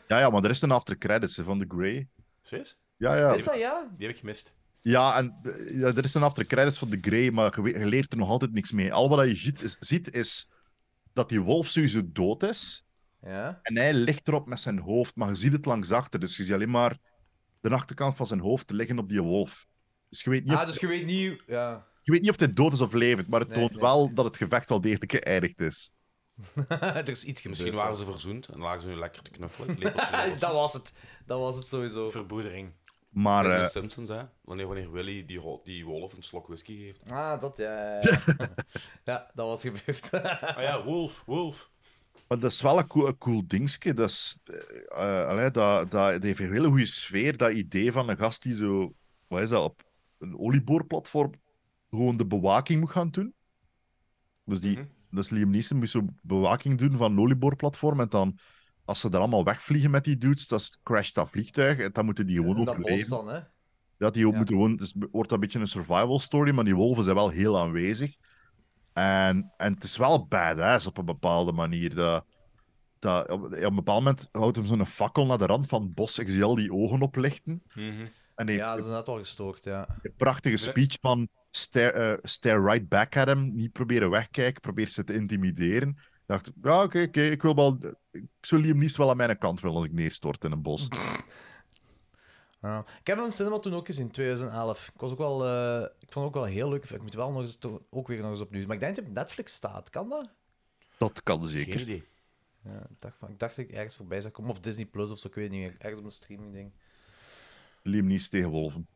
Speaker 6: Ja, ja, maar er is een after credits hè, van The Grey.
Speaker 4: Serieus?
Speaker 6: Ja, ja.
Speaker 4: Die heb ik-
Speaker 2: ja?
Speaker 4: Die heb ik gemist.
Speaker 6: Ja, en eh, ja, er is een after credits van de Grey, maar je, we- je leert er nog altijd niks mee. Al wat je ziet is, ziet is dat die wolf sowieso dood is.
Speaker 2: Ja.
Speaker 6: En hij ligt erop met zijn hoofd, maar je ziet het langs achter. Dus je ziet alleen maar de achterkant van zijn hoofd liggen op die wolf. Dus je weet niet,
Speaker 2: Ah,
Speaker 6: of,
Speaker 2: dus je weet niet. Ja.
Speaker 6: je weet niet of hij dood is of levend, maar het
Speaker 2: Nee,
Speaker 6: toont
Speaker 2: nee.
Speaker 6: wel dat het gevecht wel degelijk geëindigd is.
Speaker 2: er is iets gebeurd.
Speaker 3: Misschien waren ze verzoend en lagen ze nu lekker te knuffelen. Het lepeltje, lepeltje.
Speaker 2: dat was het. Dat was het sowieso.
Speaker 4: Verboedering.
Speaker 6: Maar,
Speaker 3: Bij de
Speaker 2: dus-
Speaker 6: eh,
Speaker 3: Simpsons, hè? Wanneer, wanneer Willy die, ro- die wolf een slok whisky geeft.
Speaker 2: Ah, dat ja. Ja, ja. ja dat was gebeurd.
Speaker 4: Ah ja, Wolf, Wolf.
Speaker 6: Maar dat is wel een cool, een cool dingetje. Dat, is, eh, eh, allee, dat, dat, dat heeft een hele goede sfeer. Dat idee van een gast die zo, wat is dat, op een olieboorplatform gewoon de bewaking moet gaan doen. Dus,
Speaker 2: Mhm.
Speaker 6: die, dus Liam Neeson moest zo bewaking doen van een olieboorplatform. En dan, als ze er allemaal wegvliegen met die dudes, dat is- crasht dat vliegtuig. En dan moeten die gewoon
Speaker 2: In dat bos
Speaker 6: overleven.
Speaker 2: dan, hè?
Speaker 6: Ja, die moeten gewoon, het is- wordt dat een beetje een survival story, maar die wolven zijn wel heel aanwezig. En, en het is wel badass op een bepaalde manier. Dat, dat, op, op een bepaald moment houdt hem zo'n fakkel naar de rand van het bos. Ik zie al die ogen oplichten. En heeft
Speaker 2: Ja, dat is net wel gestoord, ja.
Speaker 6: een prachtige speech van stare, eh, stare right back at hem. Niet proberen wegkijken, probeer ze te intimideren. Ik dacht, ja, oké, oké, ik wil wel... Ik zou Liam Neeson wel aan mijn kant willen als ik neerstort in een bos.
Speaker 2: Ja. Ik heb hem in cinema toen ook gezien, in 2011. Ik, was ook wel, eh, ik vond het ook wel een heel leuk. Ik moet wel nog eens, to- ook weer nog eens opnieuw. Maar ik denk dat hij op Netflix staat. Kan dat?
Speaker 6: Dat kan zeker.
Speaker 3: Geen idee.
Speaker 2: Ja, ik, dacht van, ik dacht dat ik ergens voorbij zou komen. Of Disney Plus of zo, ik weet het niet meer. Ergens op een streaming ding.
Speaker 6: Liam Neeson tegen wolven.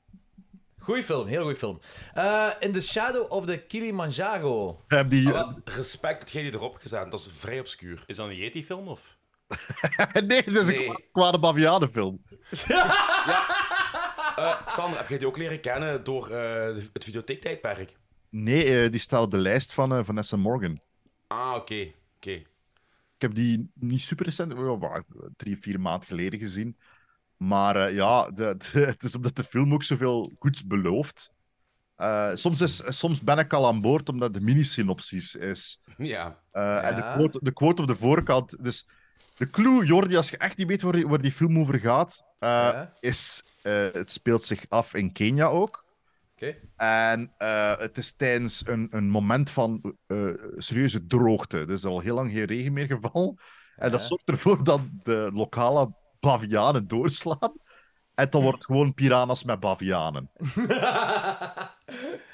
Speaker 2: Goeie film, heel goeie film. Eh, In the Shadow of the Kilimanjaro.
Speaker 6: Heb die...
Speaker 3: Ah, wel, respect dat jij die erop gezet hebt, dat is vrij obscuur.
Speaker 4: Is dat een Yeti-film of?
Speaker 6: nee, dat is
Speaker 3: Nee.
Speaker 6: een kwa- kwade bavianenfilm.
Speaker 3: Eh Xander, heb jij die ook leren kennen door eh, de- het videotheektijdperk?
Speaker 6: Nee, eh, die staat op de lijst van eh, Vanessa Morgan.
Speaker 3: Ah, oké. Oké.
Speaker 6: Ik heb die niet super recent, wel, waar, drie, vier maanden geleden gezien. Maar eh, ja, de- de- het is omdat de film ook zoveel goeds belooft. Eh, soms, is, soms ben ik al aan boord omdat de mini-synopsis is.
Speaker 3: Ja.
Speaker 6: Eh, En de
Speaker 3: Ja.
Speaker 6: quote, de quote op de voorkant. Dus de clue, Jordi, als je echt niet weet waar, die- waar die film over gaat, eh, is: eh, het speelt zich af in Kenia ook.
Speaker 2: Oké.
Speaker 6: En eh, het is tijdens een, een moment van eh, serieuze droogte. Dus Er is al heel lang geen regen meer gevallen. En dat
Speaker 2: Ja.
Speaker 6: zorgt ervoor dat de lokale bavianen doorslaan. En
Speaker 2: Hm.
Speaker 6: dan wordt gewoon piranha's met bavianen.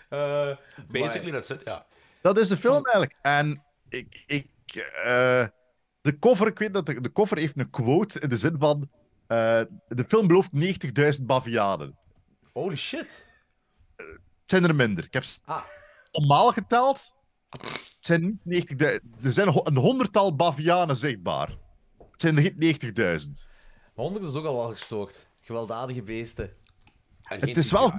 Speaker 2: Eh,
Speaker 3: Basically, dat zit, ja.
Speaker 6: Dat is de film eigenlijk. En ik. ik eh, de cover, ik weet dat de, de cover heeft een quote in de zin van. eh, de film belooft 90.000 bavianen.
Speaker 2: Holy shit.
Speaker 6: Het zijn er minder. Ik heb ze
Speaker 2: Ah.
Speaker 6: normaal geteld. Het zijn niet 90.000. Er zijn ho- een honderdtal bavianen zichtbaar. Het zijn er geen 90.000.
Speaker 2: Maar Honderd is ook al wel gestoord. Gewelddadige beesten.
Speaker 6: Het is wel.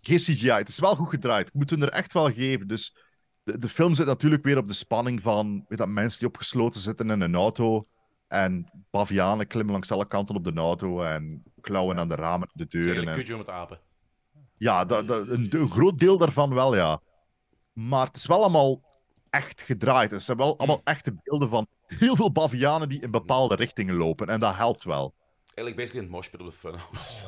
Speaker 6: Geen CGI. Het is wel goed gedraaid. Ik moet hun er echt wel geven. Dus de, de film zit natuurlijk weer op de spanning van. Weet dat mensen die opgesloten zitten in een auto. En bavianen klimmen langs alle kanten op de auto. En klauwen aan de ramen, de deuren.
Speaker 4: Eigenlijk
Speaker 6: en-
Speaker 4: Kujo met apen.
Speaker 6: Ja, dat, dat- een, een groot deel daarvan wel, ja. Maar het is wel allemaal echt gedraaid. Het zijn wel allemaal echte beelden van heel veel bavianen die in bepaalde richtingen lopen. En dat helpt wel.
Speaker 3: Eigenlijk basically een moshpit op de funhouse.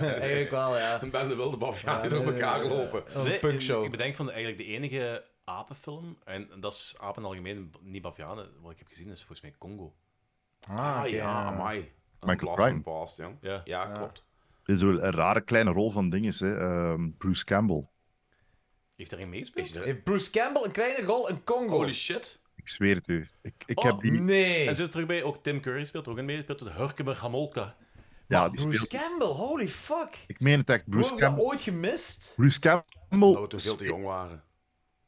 Speaker 2: Eigenlijk wel, ja.
Speaker 3: Een bende wilde bavianen door elkaar lopen.
Speaker 4: Nee, Ik bedenk van eigenlijk de enige apenfilm, en dat is apen in het algemeen, niet Bavianen, wat ik heb gezien is volgens mij Congo.
Speaker 6: Ah,
Speaker 3: Ah,
Speaker 6: oké,
Speaker 3: ja,
Speaker 6: ja.
Speaker 3: amai. Blast
Speaker 6: Michael Prime.
Speaker 3: from the Past, jong. Ja, klopt.
Speaker 6: Dit is wel een rare kleine rol van dinges, hè. Ehm, Bruce Campbell.
Speaker 4: Heeft er een meespeeld?
Speaker 2: Heeft Bruce Campbell een kleine rol in Congo?
Speaker 7: Oh.
Speaker 4: Holy shit.
Speaker 6: Ik zweer het u. Ik, ik
Speaker 4: Oh,
Speaker 6: heb die...
Speaker 2: Nee.
Speaker 4: En zit er terug bij, ook Tim Curry speelt er ook in mee, speelt de Hurkemer Hamolka.
Speaker 6: Ja, die
Speaker 2: Bruce
Speaker 6: speelt...
Speaker 2: Campbell, holy fuck.
Speaker 6: Ik meen het echt,
Speaker 2: Hoe
Speaker 6: Bruce
Speaker 2: heb ik dat
Speaker 6: Campbell.
Speaker 2: ooit gemist?
Speaker 7: oh.
Speaker 6: Bruce Campbell...
Speaker 3: Dat we toen veel te jong waren.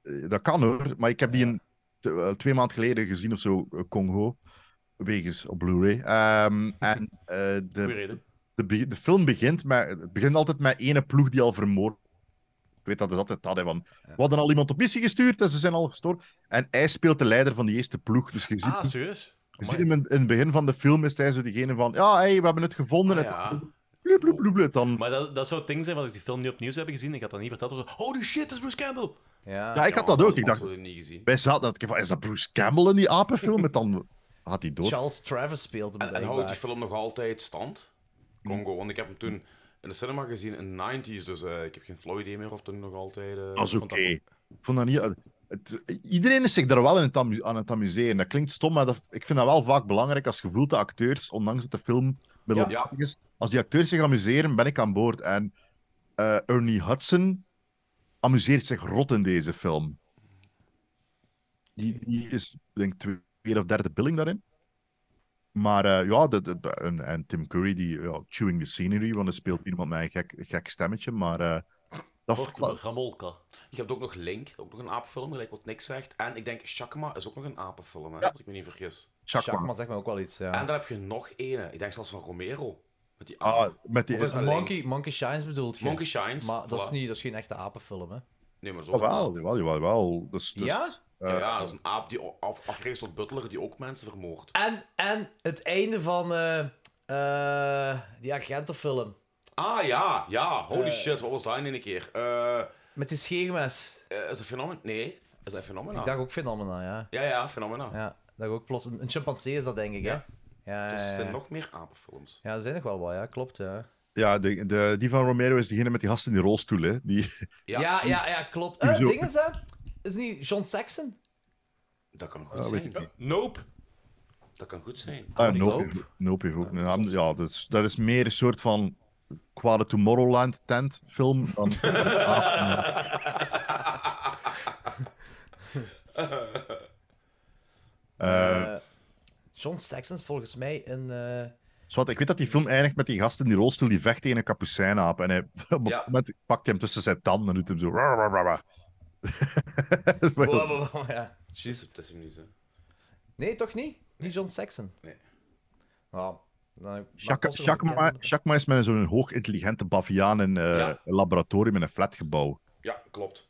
Speaker 6: Eh, Dat kan hoor, maar ik heb die een, te- eh, twee maanden geleden gezien of zo, eh, Congo. Wegens op Blu-ray. Ehm, en eh,
Speaker 4: Goeie
Speaker 6: de,
Speaker 4: reden.
Speaker 6: de, be- de film begint, met, het begint altijd met ene ploeg die al vermoord weet dat is altijd dat. Hè, van, We hadden al iemand op missie gestuurd en ze zijn al gestoord. En hij speelt de leider van die eerste ploeg. Dus je ziet,
Speaker 4: Ah, serieus?
Speaker 6: je ziet hem in, in het begin van de film is hij zo diegene van... Ja, hey, we hebben het gevonden.
Speaker 4: Ah,
Speaker 6: en-
Speaker 4: ja.
Speaker 6: Bloep, bloep, bloep, bloep, dan...
Speaker 4: Maar dat, dat zou het ding zijn, want als ik die film niet opnieuw zou hebben gezien, ik had dat niet verteld. of zo, Holy shit, dat is Bruce Campbell!
Speaker 6: Ja, ik had dat ook. Ik dacht,
Speaker 3: niet gezien.
Speaker 6: wij zaten dat ik van, is dat Bruce Campbell in die apenfilm? En dan had hij dood.
Speaker 7: Charles Travis speelt hem
Speaker 3: En, en houdt die
Speaker 7: blijkbaar.
Speaker 3: film nog altijd stand? Congo, want ik heb hem toen in de cinema gezien in de 90s, dus eh, ik heb geen flow idee meer of toen nog altijd. eh,
Speaker 6: Dat is
Speaker 3: ik
Speaker 6: oké.
Speaker 3: vond
Speaker 6: Ik vond dat niet... eh, het- iedereen is zich daar wel in het amu- aan het amuseren. Dat klinkt stom, maar dat, ik vind dat wel vaak belangrijk als je voelt dat acteurs, ondanks dat de film middelmatig is, als die acteurs zich amuseren, ben ik aan boord. En eh, Ernie Hudson amuseert zich rot in deze film. Die, die is, denk ik, tweede of derde billing daarin. Maar eh, ja, de, de- de- en, en Tim Curry, die ja, chewing the scenery, want er speelt iemand met een gek, gek stemmetje, maar... eh, dat, dat-
Speaker 4: Ramolka.
Speaker 3: Je hebt ook nog Link, ook nog een apenfilm, gelijk wat niks zegt. En ik denk Chakma is ook nog een apenfilm, hè, als ik me niet vergis.
Speaker 6: Chakma. Chakma
Speaker 7: zegt me ook wel iets,
Speaker 3: En daar heb je nog ene, ik denk zelfs van Romero. Met die
Speaker 6: Ah,
Speaker 3: aap.
Speaker 6: met die-
Speaker 3: Of is dat Link?
Speaker 7: Monkey, Monkey Shines bedoelt je?
Speaker 3: Monkey Shines,
Speaker 7: Maar dat is,
Speaker 3: voilà.
Speaker 7: niet, dat is geen echte apenfilm, hè?
Speaker 3: Nee, maar zo.
Speaker 6: Jawel, jawel, jawel, jawel. Dus, dus,
Speaker 7: Ja?
Speaker 6: Ah, eh,
Speaker 3: ja, ja, dat is een aap die af, afgericht tot butler die ook mensen vermoordt.
Speaker 7: En, en het einde van eh, eh, die Argento-film.
Speaker 3: Ah ja, ja, holy
Speaker 7: Eh.
Speaker 3: shit, wat was dat in één keer? Eh,
Speaker 7: Met die scheermes.
Speaker 3: eh, is dat fenomen? Nee, is dat fenomen?
Speaker 7: Ik dacht ook Phenomena, ja.
Speaker 3: Ja, ja, Phenomena.
Speaker 7: Ja, dat ook plots... Een, een chimpansee is dat, denk ik,
Speaker 3: Ja.
Speaker 7: hè? Ja, Eh.
Speaker 3: Dus
Speaker 7: ja,
Speaker 3: er zijn
Speaker 7: ja.
Speaker 3: nog meer apenfilms.
Speaker 7: Ja, er zijn nog wel wat, ja. Klopt, ja.
Speaker 6: Ja, de, de, die van Romero is diegene met die gast in die rolstoel, hè. Die...
Speaker 7: Ja, ja, ja, klopt.
Speaker 6: Hoezo?
Speaker 7: Eh, ding is dat... Is niet John Saxon?
Speaker 3: Dat kan goed
Speaker 6: Ah, weet
Speaker 3: zijn.
Speaker 6: ik niet.
Speaker 4: Nope.
Speaker 3: Dat kan goed zijn.
Speaker 6: Ah, nope. heeft- Nope heeft ook een naam. Ja, dat is, dat is meer een soort van kwade Tomorrowland tent film dan... Eh,
Speaker 7: Eh, John Saxon is volgens mij een... eh,
Speaker 6: zwart, ik weet dat die film eindigt met die gast in die rolstoel die vecht tegen een kapucijnaap. En hij, op een bepaald moment pakt hij hem tussen zijn tanden en doet hem zo... "Ra, ra, ra, ra." Dat is wel-
Speaker 7: ja.
Speaker 3: Juist. Dat Dus is hem niet zo.
Speaker 7: Nee, toch niet? Niet John Saxon?
Speaker 3: Nee.
Speaker 7: Nou, dan heb ik- maar
Speaker 6: Jacques-
Speaker 7: toch een
Speaker 6: Jacques
Speaker 7: bekende-
Speaker 6: Ma- Jacques Ma is met zo'n hoog intelligente baviaan in eh, een laboratorium in een flatgebouw.
Speaker 3: Ja, klopt.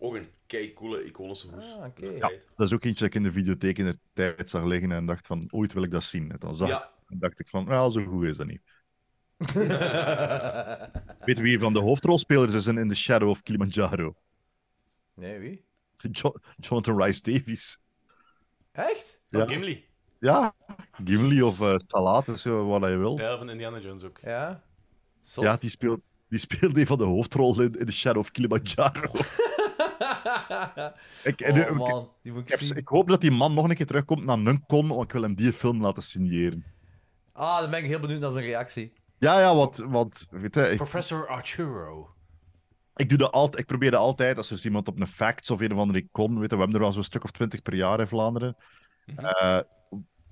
Speaker 3: Ook een kei coole iconische hoes.
Speaker 7: Ah, oké.
Speaker 6: Ja, dat is ook eentje dat ik in de videotheek in de tijd zag liggen en dacht van, ooit wil ik dat zien. En dan zag
Speaker 3: Ja.
Speaker 6: ik- en dacht ik van, nou, zo goed is dat niet. Weet je wie van de hoofdrolspelers is in, in The Shadow of Kilimanjaro?
Speaker 7: Nee, wie?
Speaker 6: Jo- Jonathan Rice Davies.
Speaker 7: Echt?
Speaker 6: Ja.
Speaker 4: Van Gimli.
Speaker 6: Ja, Gimli of eh Talat, is, eh, wat je wil. Ja,
Speaker 4: Ja, van Indiana Jones ook.
Speaker 7: Ja.
Speaker 6: die speelt... Die speelt een van de hoofdrollen in, in The Shadow of Kilimanjaro. Ik, en,
Speaker 7: Oh
Speaker 6: eh,
Speaker 7: man, die moet
Speaker 6: ik,
Speaker 7: ik
Speaker 6: heb-
Speaker 7: zien.
Speaker 6: ik hoop dat die man nog een keer terugkomt naar Nuncon, want ik wil hem die film laten signeren.
Speaker 7: Ah, dan ben ik heel benieuwd naar zijn reactie.
Speaker 6: Ja, ja, want, want weet je, ik,
Speaker 4: Professor Arturo.
Speaker 6: ik, doe dat altijd, ik probeer dat altijd als er dus iemand op een facts of een of andere kon. Weet je, we hebben er wel zo'n stuk of twintig per jaar in Vlaanderen. Eh,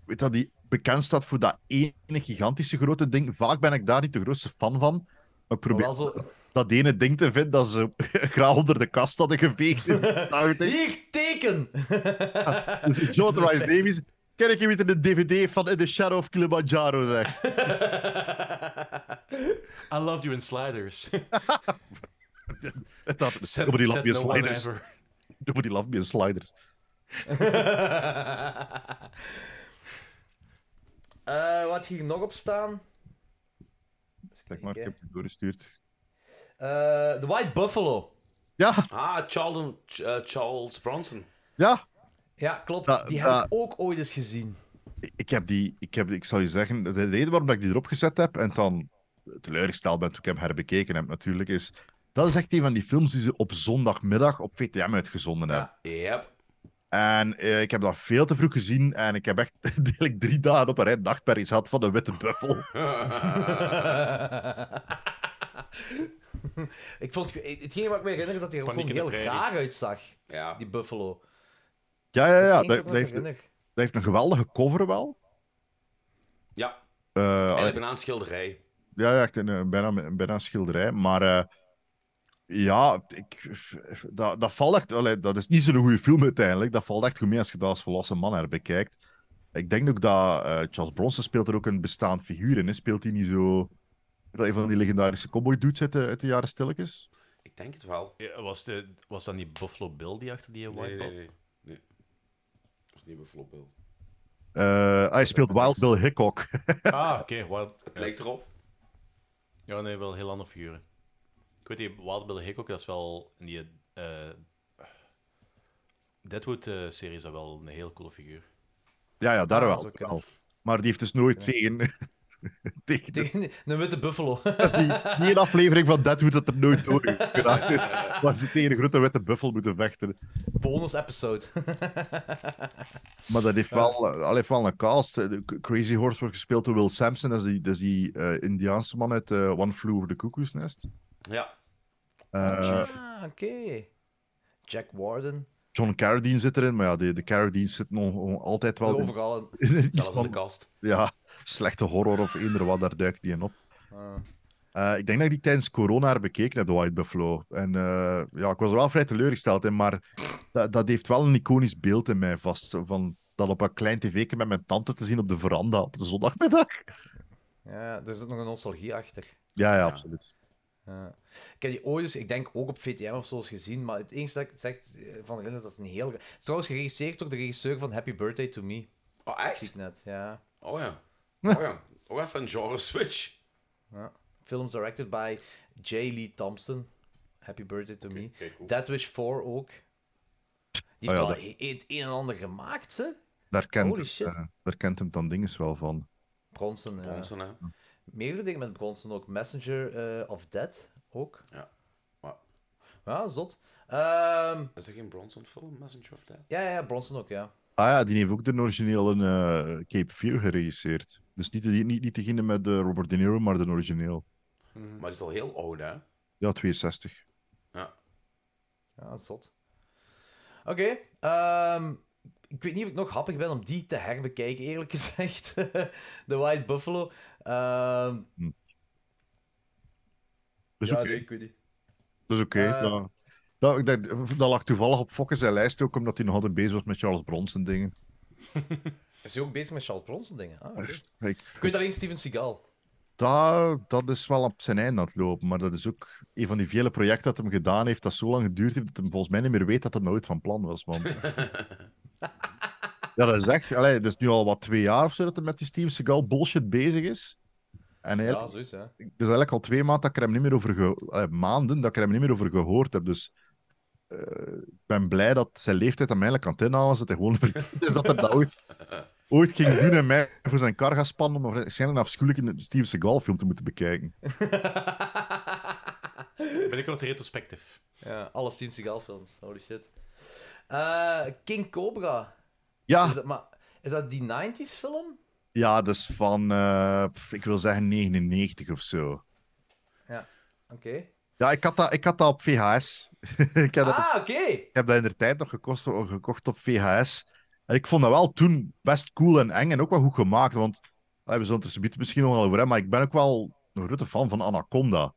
Speaker 6: weet dat die bekend staat voor dat ene gigantische grote ding. Vaak ben ik daar niet de grootste fan van. Maar ik probeer
Speaker 7: wel zo-
Speaker 6: dat ene ding te vinden dat ze graag onder de kast hadden geveegd. in de tuin.
Speaker 7: Hier, teken!
Speaker 6: Dus Jonathan Rice Davies. Ken ik je weer in de DVD van In the Shadow of Kilimanjaro, zeg.
Speaker 4: I loved you in Sliders.
Speaker 6: Het had
Speaker 4: Set-
Speaker 6: nobody
Speaker 4: set
Speaker 6: loved me in
Speaker 4: no one
Speaker 6: sliders.
Speaker 4: ever.
Speaker 6: Nobody loved me in sliders.
Speaker 7: Eh, wat hier nog op staan?
Speaker 6: Kijk maar, ik heb het doorgestuurd.
Speaker 7: Eh, The White Buffalo.
Speaker 6: Ja.
Speaker 3: Ah, Charlton, Ch- eh, Charles Bronson.
Speaker 6: Ja.
Speaker 7: Ja, klopt.
Speaker 6: Da-
Speaker 7: die
Speaker 6: da-
Speaker 7: heb ik ook ooit eens gezien.
Speaker 6: Ik heb die, ik heb, ik zal je zeggen, de reden waarom dat ik die erop gezet heb en dan teleurgesteld ben toen ik hem herbekeken heb natuurlijk, is dat is echt een van die films die ze op zondagmiddag op VTM uitgezonden hebben.
Speaker 3: Yep.
Speaker 6: En eh, ik heb dat veel te vroeg gezien en ik heb echt eigenlijk drie dagen op een rij nachtmerries gehad van de witte buffel.
Speaker 7: ik vond, hetgeen wat ik me herinner is dat hij er
Speaker 6: Paniek
Speaker 7: gewoon
Speaker 6: in de
Speaker 7: heel
Speaker 6: prairie.
Speaker 7: raar uitzag.
Speaker 3: Ja.
Speaker 7: Die Buffalo.
Speaker 6: Ja, ja, ja.
Speaker 7: Dat is het enige wat ik
Speaker 6: Dat, dat
Speaker 7: me
Speaker 6: heeft, dat
Speaker 7: herinner.
Speaker 6: heeft een geweldige cover wel.
Speaker 3: Ja,
Speaker 6: Eh,
Speaker 3: en ik ben aan het schilderij.
Speaker 6: Ja, ja echt een, eh, bijna, bijna een schilderij. Maar eh, ja, ik, dat, dat valt echt. allee, dat is niet zo'n goede film uiteindelijk. Dat valt echt goed mee als je dat als volwassen man herbekijkt. Ik denk ook dat eh, Charles Bronson speelt er ook een bestaand figuur in. Hè? Speelt hij niet zo. Dat een van die legendarische cowboy dudes uit de, uit de jaren stilletjes?
Speaker 3: Ik denk het wel.
Speaker 4: Ja, was, de, was dat niet Buffalo Bill die achter die
Speaker 3: Nee,
Speaker 4: white
Speaker 3: nee,
Speaker 4: ball?
Speaker 3: nee. nee. Dat was niet Buffalo Bill.
Speaker 6: Eh, hij speelt Wild Bill Hickok.
Speaker 4: Ah, oké. Wild...
Speaker 3: Het lijkt erop.
Speaker 4: Ja, nee, wel heel andere figuren. Ik weet die Wild Bill Hickok, dat is wel in die eh Deadwood-serie is dat wel een heel coole figuur.
Speaker 6: ja, ja, daar
Speaker 4: Ah,
Speaker 6: wel.
Speaker 4: dat is ook, ja.
Speaker 6: wel. Maar die heeft dus nooit tegen... tegen de-
Speaker 7: Een witte buffalo.
Speaker 6: Dat is die die ene aflevering van Deadwood dat er nooit door geraakt is. Waar ze tegen een grote witte buffel moeten vechten.
Speaker 7: Bonus episode.
Speaker 6: Maar dat heeft wel, eh, al heeft wel een cast. De C- Crazy Horse wordt gespeeld door Will Sampson. Dat is die, dat is die eh, Indiaanse man uit eh, One Flew Over the Cuckoo's Nest.
Speaker 3: Ja.
Speaker 6: Eh,
Speaker 7: ah, oké. Jack Warden.
Speaker 6: John Carradine zit erin, maar ja, de, de Carradine zit nog, nog altijd wel... in-
Speaker 7: Overal.
Speaker 6: in
Speaker 3: Zelfs
Speaker 6: iets
Speaker 3: in de
Speaker 6: van-
Speaker 3: kast.
Speaker 6: Ja, slechte horror of eender wat, daar duikt die in op.
Speaker 7: Ah.
Speaker 6: Eh, ik denk dat ik die tijdens corona heb bekeken heb, de White Buffalo. En eh, ja, ik was er wel vrij teleurgesteld in, maar dat, dat heeft wel een iconisch beeld in mij vast. Zo Van dat op een klein tv'tje met mijn tante te zien op de veranda op de zondagmiddag.
Speaker 7: Ja, er zit nog een nostalgie achter.
Speaker 6: Ja, ja, absoluut.
Speaker 7: Ja. Ik heb die ooit eens, ik denk ook op VTM of zo eens gezien, maar het enige dat ik zegt eh, van herinner, dat is een heel... Het is trouwens geregisseerd door de regisseur van Happy Birthday to Me.
Speaker 3: Oh, echt?
Speaker 7: Zie ik net, ja.
Speaker 3: Oh ja. Oh ja. Oh, even een genre switch.
Speaker 7: ja. Films directed by J. Lee Thompson. Happy Birthday to Me. Dead Wish 4 ook. Die
Speaker 6: Oh
Speaker 7: heeft
Speaker 6: ja,
Speaker 7: wel
Speaker 6: dat-
Speaker 7: he- het een en ander gemaakt, hè?
Speaker 6: Daar kent,
Speaker 7: Holy
Speaker 6: hem,
Speaker 7: shit.
Speaker 6: eh, daar kent hem dan dinges wel van.
Speaker 7: Bronson, ja.
Speaker 3: Bronson, hè.
Speaker 7: Meerdere dingen met Bronson ook. Messenger eh, of Dead ook.
Speaker 3: Ja. Maar-
Speaker 7: Ja, zot. Ehm,
Speaker 3: Is dat geen Bronson-film, Messenger of Death?
Speaker 7: ja, ja, ja, Bronson ook, ja.
Speaker 6: Ah ja, die heeft ook de originele eh, Cape Fear geregisseerd. Dus niet, de- niet, niet degene met eh, Robert De Niro, maar de origineel.
Speaker 3: Maar die is al heel oud, hè?
Speaker 6: Ja, 62.
Speaker 3: Ja.
Speaker 7: Ja, zot. Oké. ehm, ik weet niet of ik nog happig ben om die te herbekijken, eerlijk gezegd. De White Buffalo. Ehm,
Speaker 6: Dus
Speaker 7: ja,
Speaker 6: oké.
Speaker 7: nee, ik weet niet.
Speaker 6: Dat is oké.
Speaker 7: Eh.
Speaker 6: ja. dat, ik denk, dat lag toevallig op Fokke zijn lijst ook, omdat hij nog altijd bezig was met Charles Bronson dingen.
Speaker 7: Is hij ook bezig met Charles Bronson dingen? Ah, oké.
Speaker 6: Ik,
Speaker 7: Ik weet alleen Steven Seagal.
Speaker 6: dat, dat is wel op zijn einde aan het lopen, maar dat is ook een van die vele projecten dat hem gedaan heeft, dat zo lang geduurd heeft, dat hij volgens mij niet meer weet dat dat nooit van plan was. Man. ja, dat is echt... Allee, het is nu al wat twee jaar of zo dat hij met die Steven Seagal bullshit bezig is. En eigenlijk,
Speaker 7: Ja, zoiets, hè.
Speaker 6: het is eigenlijk al twee maanden dat ik er hem niet meer over geho- eh, maanden dat ik er hem niet meer over gehoord heb. Dus eh, ik ben blij dat zijn leeftijd aan mij eigenlijk aan het inhalen is. Dat hij gewoon vergeten is dat hij dat ooit, ooit ging doen en mij voor zijn kar gaat spannen om waarschijnlijk een afschuwelijke Steven Seagal film te moeten bekijken.
Speaker 4: Binnenkort retrospectief.
Speaker 7: Ja, alle Steven Seagal films. Holy shit. Eh, King Cobra.
Speaker 6: Ja.
Speaker 7: Is dat, maar, is dat die 90s film?
Speaker 6: Ja, dat is van, eh, pff, ik wil zeggen 99 of zo.
Speaker 7: Ja. Oké.
Speaker 6: Ja, ik had dat, ik had dat op VHS. ik had dat-
Speaker 7: Ah, oké.
Speaker 6: Ik heb dat in de tijd nog gekost, eh, gekocht op VHS. En ik vond dat wel toen best cool en eng en ook wel goed gemaakt. Want eh, we zullen het er zo meteen misschien nog wel over hebben, maar ik ben ook wel een grote fan van Anaconda.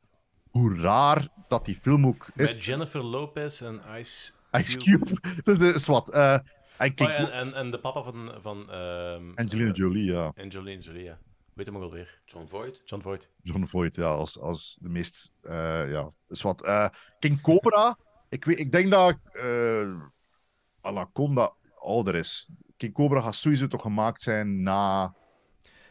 Speaker 6: Hoe raar dat die film ook is.
Speaker 4: Met Jennifer Lopez en Ice
Speaker 6: Ice Cube. dat is wat. eh, en
Speaker 4: Oh,
Speaker 6: King-
Speaker 4: ja, en, en, en de papa van, van ehm,
Speaker 6: Angelina Jolie, ja.
Speaker 4: Angelina Jolie, ja. Weet hem ook alweer.
Speaker 3: John Voight.
Speaker 4: John Voight.
Speaker 6: John Voight, ja, als, als de meest... eh, ja, is wat. Eh, King Cobra, ik, weet, ik denk dat eh, Anaconda ouder is. King Cobra gaat sowieso toch gemaakt zijn na...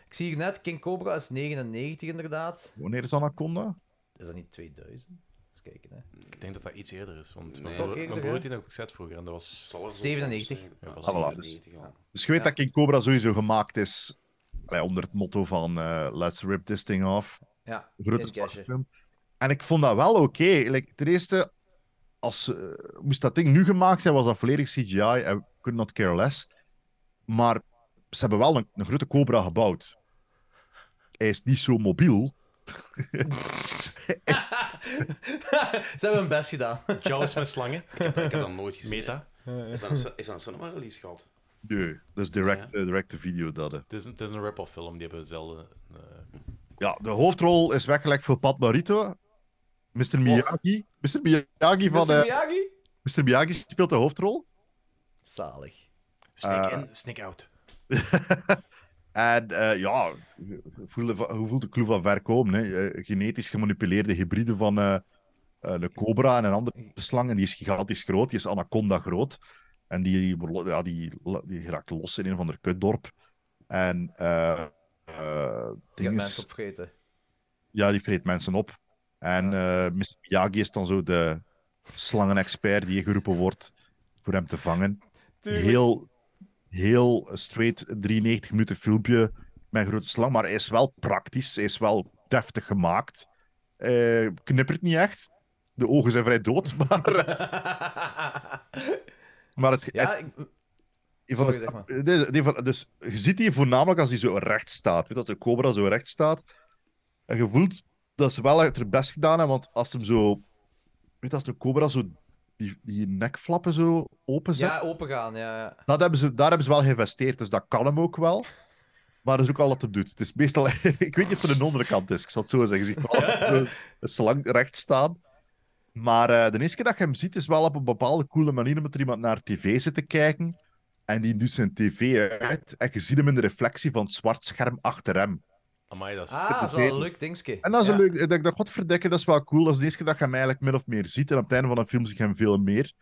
Speaker 7: Ik zie hier net, King Cobra is 99 inderdaad.
Speaker 6: Wanneer is Anaconda?
Speaker 7: Is dat niet 2000? Eens kijken, hè.
Speaker 4: Ik denk dat dat iets eerder is, want
Speaker 7: Nee.
Speaker 4: mijn,
Speaker 7: Toch
Speaker 4: broer, mijn
Speaker 7: eerder,
Speaker 4: broer
Speaker 7: hè?
Speaker 4: had die nog gezet vroeger en dat was...
Speaker 3: Zal er zo
Speaker 7: 97.
Speaker 3: zijn?
Speaker 4: Ja, dat was
Speaker 6: Ah, voilà,
Speaker 3: 97 al.
Speaker 6: Dus je weet dat King Cobra sowieso gemaakt is allee, onder het motto van eh, Let's rip this thing off.
Speaker 7: Ja,
Speaker 6: Grote
Speaker 7: in cashen.
Speaker 6: slagfilm. En ik vond dat wel oké. Like, ten eerste, als, eh, moest dat ding nu gemaakt zijn, was dat volledig CGI en could not care less. Maar ze hebben wel een, een grote Cobra gebouwd. Hij is niet zo mobiel.
Speaker 7: Ze hebben hun best gedaan.
Speaker 4: Jaws met slangen.
Speaker 3: Ik heb, ik heb dat nooit gezien.
Speaker 4: Meta.
Speaker 3: Is dat een, ci- is dat een cinema release gehad?
Speaker 6: Nee, dat is direct, eh, direct de video dat. hè.
Speaker 4: Het is, het is een rip-off film, die hebben zelden...
Speaker 6: Ah.
Speaker 4: eh,
Speaker 6: Ja, de hoofdrol is weggelegd voor Pat Morito. Mr. Miyagi. Mr. Miyagi van...
Speaker 7: Mr.
Speaker 6: eh,
Speaker 7: Miyagi?
Speaker 6: Mr. Miyagi speelt de hoofdrol.
Speaker 7: Zalig.
Speaker 4: Sneak
Speaker 6: Eh,
Speaker 4: in, sneak out.
Speaker 6: En eh, ja, hoe voelt de clue van ver komen? Hè? Eh, Genetisch gemanipuleerde hybride van eh, een cobra en een andere slang. En die is gigantisch groot. Die is anaconda groot. En die, ja, die, die raakt los in een of ander kutdorp. En... eh eh
Speaker 2: gaat
Speaker 6: ding is-
Speaker 2: mensen opvreten.
Speaker 6: ja, die vreet mensen op. En eh Mr. Miyagi is dan zo de slangenexpert die geroepen wordt voor hem te vangen.
Speaker 2: Tuurlijk.
Speaker 6: Heel, heel straight 93 minuten filmpje met een grote slang, maar hij is wel praktisch, hij is wel deftig gemaakt. Eh, knippert niet echt. De ogen zijn vrij dood, maar... maar het,
Speaker 2: Ja,
Speaker 6: het-
Speaker 2: ik-
Speaker 6: een van
Speaker 2: Sorry,
Speaker 6: de-
Speaker 2: zeg maar.
Speaker 6: dit is- dit van- Dus je ziet die voornamelijk als die zo recht staat. Weet je, dat de cobra zo recht staat. En je voelt dat ze wel het best gedaan hebben, want als hem zo... Weet je, als de cobra zo die, die nekflappen zo openzet,
Speaker 2: Ja, opengaan, ja. ja.
Speaker 6: dat hebben ze, daar hebben ze wel geïnvesteerd, dus dat kan hem ook wel. Maar dat is ook al wat hem doet. Het is meestal... ik weet niet of het een andere kant is, ik zal het zo zeggen. Je ziet vooral zo een slang recht staan. Maar eh, de eerste keer dat je hem ziet, is wel op een bepaalde coole manier omdat er iemand naar tv zit te kijken. En die doet zijn tv uit en je ziet hem in de reflectie van het zwart scherm achter hem.
Speaker 4: Amai, dat is...
Speaker 2: Ah, dat is wel een leuk dingetje.
Speaker 6: En dat is
Speaker 2: ja.
Speaker 6: een leuk... Ik denk, dat godverdekken, dat is wel cool. Dat is de eerste keer dat je hem eigenlijk min of meer ziet. En op het einde van een film zie je hem veel meer.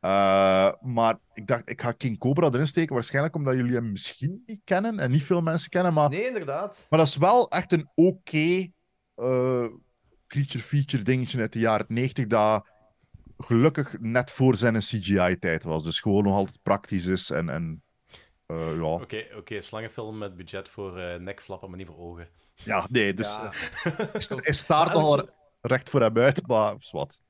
Speaker 6: Eh, maar ik dacht, ik ga King Cobra erin steken. Waarschijnlijk omdat jullie hem misschien niet kennen. En niet veel mensen kennen, maar...
Speaker 2: Nee, inderdaad.
Speaker 6: Maar dat is wel echt een oké eh, creature feature dingetje uit de jaren 90 dat gelukkig net voor zijn CGI-tijd was. Dus gewoon nog altijd praktisch is en, en eh, ja.
Speaker 4: Oké, oké, slangenfilm met budget voor eh, nekflappen, maar niet voor ogen.
Speaker 6: Ja, nee, dus
Speaker 4: Ja.
Speaker 6: eh, hij staart nogal
Speaker 2: Alex-
Speaker 6: recht voor hem uit, maar zwart.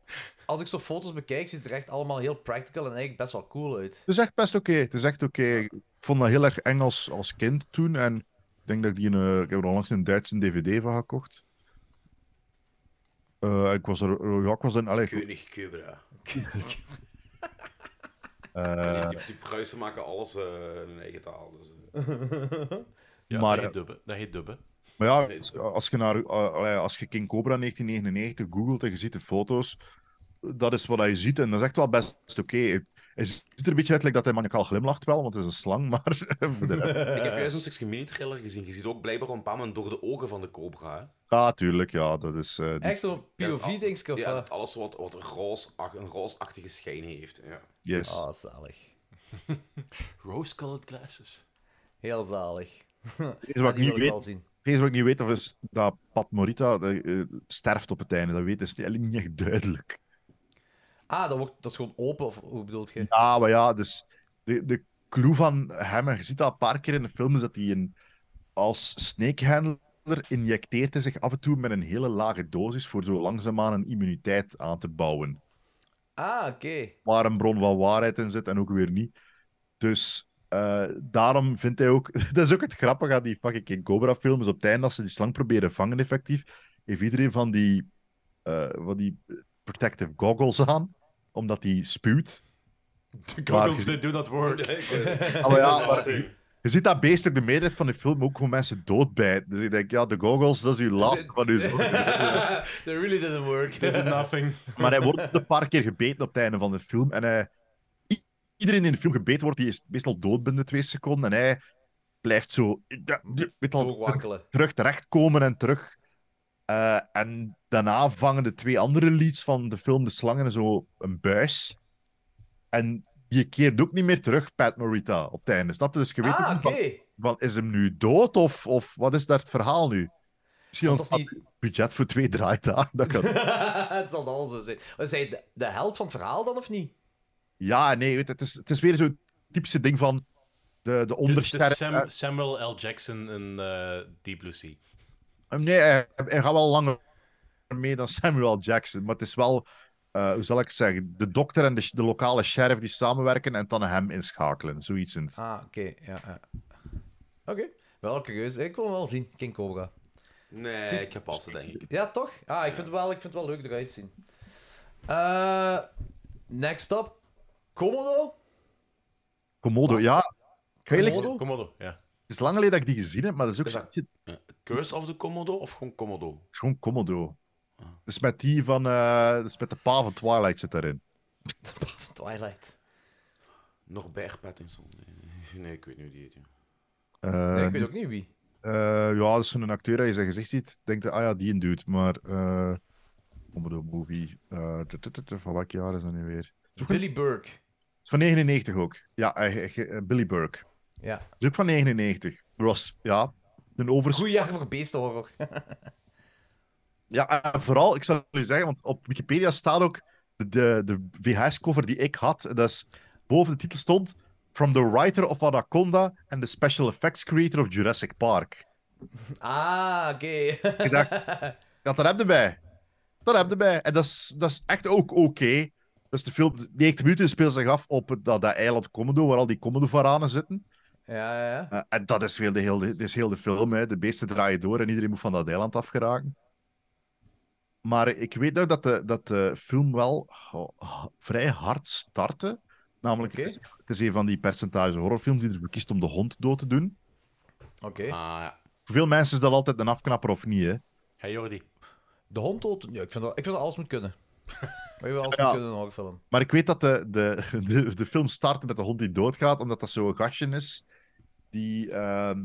Speaker 2: Als ik zo foto's bekijk, ziet het er echt allemaal heel practical en eigenlijk best wel cool uit.
Speaker 6: Het is echt best oké. Het is echt oké. Ik vond dat heel erg eng als, als kind toen. En ik denk dat ik die in, eh, ik heb er onlangs een Duitse DVD van gekocht. Eh, ik was er, ja, ik was er, allee, ik-
Speaker 3: König Cobra.
Speaker 6: eh,
Speaker 3: die, die Pruisen maken alles eh, in hun eigen taal. Dus, eh.
Speaker 4: Ja,
Speaker 6: Maar,
Speaker 4: dat heet
Speaker 6: eh,
Speaker 4: dubben. Dat heet dubben.
Speaker 6: Maar ja, als- als je, naar, eh, allee, als je King Cobra 1999 googelt en je ziet de foto's, dat is wat je ziet. En dat is echt wel best oké. Hij ziet er een beetje uit like dat hij maniacaal glimlacht wel, want het is een slang, maar... voor de rest-
Speaker 3: Ik heb juist een stukje mini-trailer gezien. Je ziet ook blijkbaar een paar man door de ogen van de cobra. hè.
Speaker 6: ah, tuurlijk, ja, dat is... eh, die-
Speaker 2: zo'n
Speaker 3: Ja, dat al-
Speaker 2: POV-dingetje of
Speaker 3: Ja,
Speaker 2: wat?
Speaker 3: dat alles wat, wat een, roos, een roosachtige schijn heeft. Ja.
Speaker 6: Yes.
Speaker 2: Ah, zalig.
Speaker 4: Rose-colored glasses.
Speaker 2: Heel zalig.
Speaker 6: Het is wat ik
Speaker 2: die
Speaker 6: niet
Speaker 2: wil ik wel
Speaker 6: weet,
Speaker 2: zien.
Speaker 6: het enige wat ik niet weet of is dat Pat Morita eh, eh, sterft op het einde. Dat weet is niet- eigenlijk niet echt duidelijk.
Speaker 2: Ah, dat, wordt, dat is gewoon open, of hoe bedoelt je?
Speaker 6: Ja, maar ja, dus de, de clue van hem, en je ziet dat een paar keer in de film, is dat hij een, als snakehandler injecteert hij zich af en toe met een hele lage dosis voor zo langzaamaan een immuniteit aan te bouwen.
Speaker 2: Ah, oké.
Speaker 6: Waar een bron van waarheid in zit en ook weer niet. Dus eh, daarom vindt hij ook... dat is ook het grappige aan die fucking King Cobra films. Op het einde, als ze die slang proberen vangen effectief, heeft iedereen van die, eh, van die protective goggles aan, omdat die spuwt.
Speaker 4: The
Speaker 6: Maar
Speaker 4: goggles,
Speaker 6: je-
Speaker 4: they do not work.
Speaker 6: Oh ja, maar je ziet dat beest ook de meerderheid van de film ook gewoon mensen doodbijten. Dus ik denk, ja, de goggles, dat is uw laatste van uw zorgen.
Speaker 2: That really didn't work.
Speaker 4: They did nothing.
Speaker 6: Maar hij wordt een paar keer gebeten op het einde van de film. En hij... i- iedereen die in de film gebeten wordt, die is meestal dood binnen twee seconden. En hij blijft zo ja, de- weet al,
Speaker 2: Doorwakkelen.
Speaker 6: terug terechtkomen en terug. Eh, en daarna vangen de twee andere leads van de film, de slangen, zo een buis. En je keert ook niet meer terug, Pat Morita, op het einde. Snap je? Dus je weet
Speaker 2: Ah,
Speaker 6: niet van-
Speaker 2: oké.
Speaker 6: van, is hem nu dood of, of wat is daar het verhaal nu? Misschien
Speaker 2: Want als
Speaker 6: ontstaat budget voor twee draaidagen. Dat kan.
Speaker 2: het zal al zo zijn. Was hij de, de held van het verhaal dan, of niet?
Speaker 6: Ja, nee, weet, je, het, is, het is weer zo'n typische ding van de, de
Speaker 4: Het is- het is
Speaker 6: ondersterren.
Speaker 4: Sam- Samuel L. Jackson in eh, Deep Blue Sea.
Speaker 6: Eh, nee, hij, hij gaat wel langer mee dan Samuel Jackson. Maar het is wel, eh, hoe zal ik het zeggen, de dokter en de, de lokale sheriff die samenwerken en dan hem inschakelen. Zoiets. in het-
Speaker 2: Ah, oké. Ja, ja. Oké. Wel curieus. Ik wil hem wel zien, King Cobra.
Speaker 3: Nee,
Speaker 2: Zie-
Speaker 3: ik heb passen, denk ik.
Speaker 2: Ja, toch? Ah, ik vind het wel, ik vind het wel leuk eruit zien. Eh, next up. Komodo?
Speaker 6: Komodo, ja. Ik weet eigenlijk-
Speaker 2: Komodo?
Speaker 4: Komodo, ja.
Speaker 6: Het is lang geleden dat ik die gezien heb, maar dat is ook zo'n-
Speaker 3: Curse of the Commodore of gewoon Commodore?
Speaker 6: Het is gewoon Komodo.
Speaker 2: Ah.
Speaker 6: Dus met die van. eh, dus met de pa van Twilight zit daarin.
Speaker 2: Twilight.
Speaker 3: Norbert Pattinson. Nee, Nee, ik weet niet hoe die heet. ja.
Speaker 6: Eh,
Speaker 2: Nee, ik weet ook niet wie.
Speaker 6: eh, ja, dat is zo'n acteur dat je zijn gezicht ziet. Denkt, ah ja, die een dude. Maar. eh, Commodore Movie. eh, tut, tut, tut, van welk jaar is dat nu weer? Zoek een-
Speaker 7: Billy Burke.
Speaker 6: is Van 99 ook. Ja, eh, eh, eh, Billy Burke.
Speaker 7: Ja.
Speaker 6: Is ook van 99. Er was, ja, een overs...
Speaker 7: Goeie jaar voor beestenhorror.
Speaker 6: Ja, en vooral, ik zal u zeggen, want op Wikipedia staat ook de, de, de VHS-cover die ik had. En dat is, boven de titel stond From the writer of Anaconda and the special effects creator of Jurassic Park.
Speaker 7: ah, oké.
Speaker 6: Ik dacht, ja, dat heb je bij. Dat heb je bij. En dat is, dat is echt ook oké. Dus de film, 90 minuten speelt zich af op het- dat, dat eiland Komodo, waar al die Komodo-varanen zitten.
Speaker 7: ja, ja, ja.
Speaker 6: Eh, en dat is, heel de, heel de, dat is heel de film. Hè. De beesten draaien door en iedereen moet van dat eiland afgeraken. Maar ik weet nog dat de, dat de film wel oh, h- vrij hard startte. Namelijk, het, is, het is een van die percentage horrorfilms die ervoor kiest om de hond dood te doen.
Speaker 7: Oké. Ah,
Speaker 6: Voor veel mensen is dat altijd een afknapper of niet, hè?
Speaker 7: Hey Jordi. De hond tot... Ja, ik vind dat, ik vind dat alles moet kunnen. Maar je wil alles
Speaker 6: Ja.
Speaker 7: moet kunnen in een horrorfilm.
Speaker 6: Maar ik weet dat de, de, de, de film start met de hond die doodgaat, omdat dat zo'n gastje is. Die, ehm,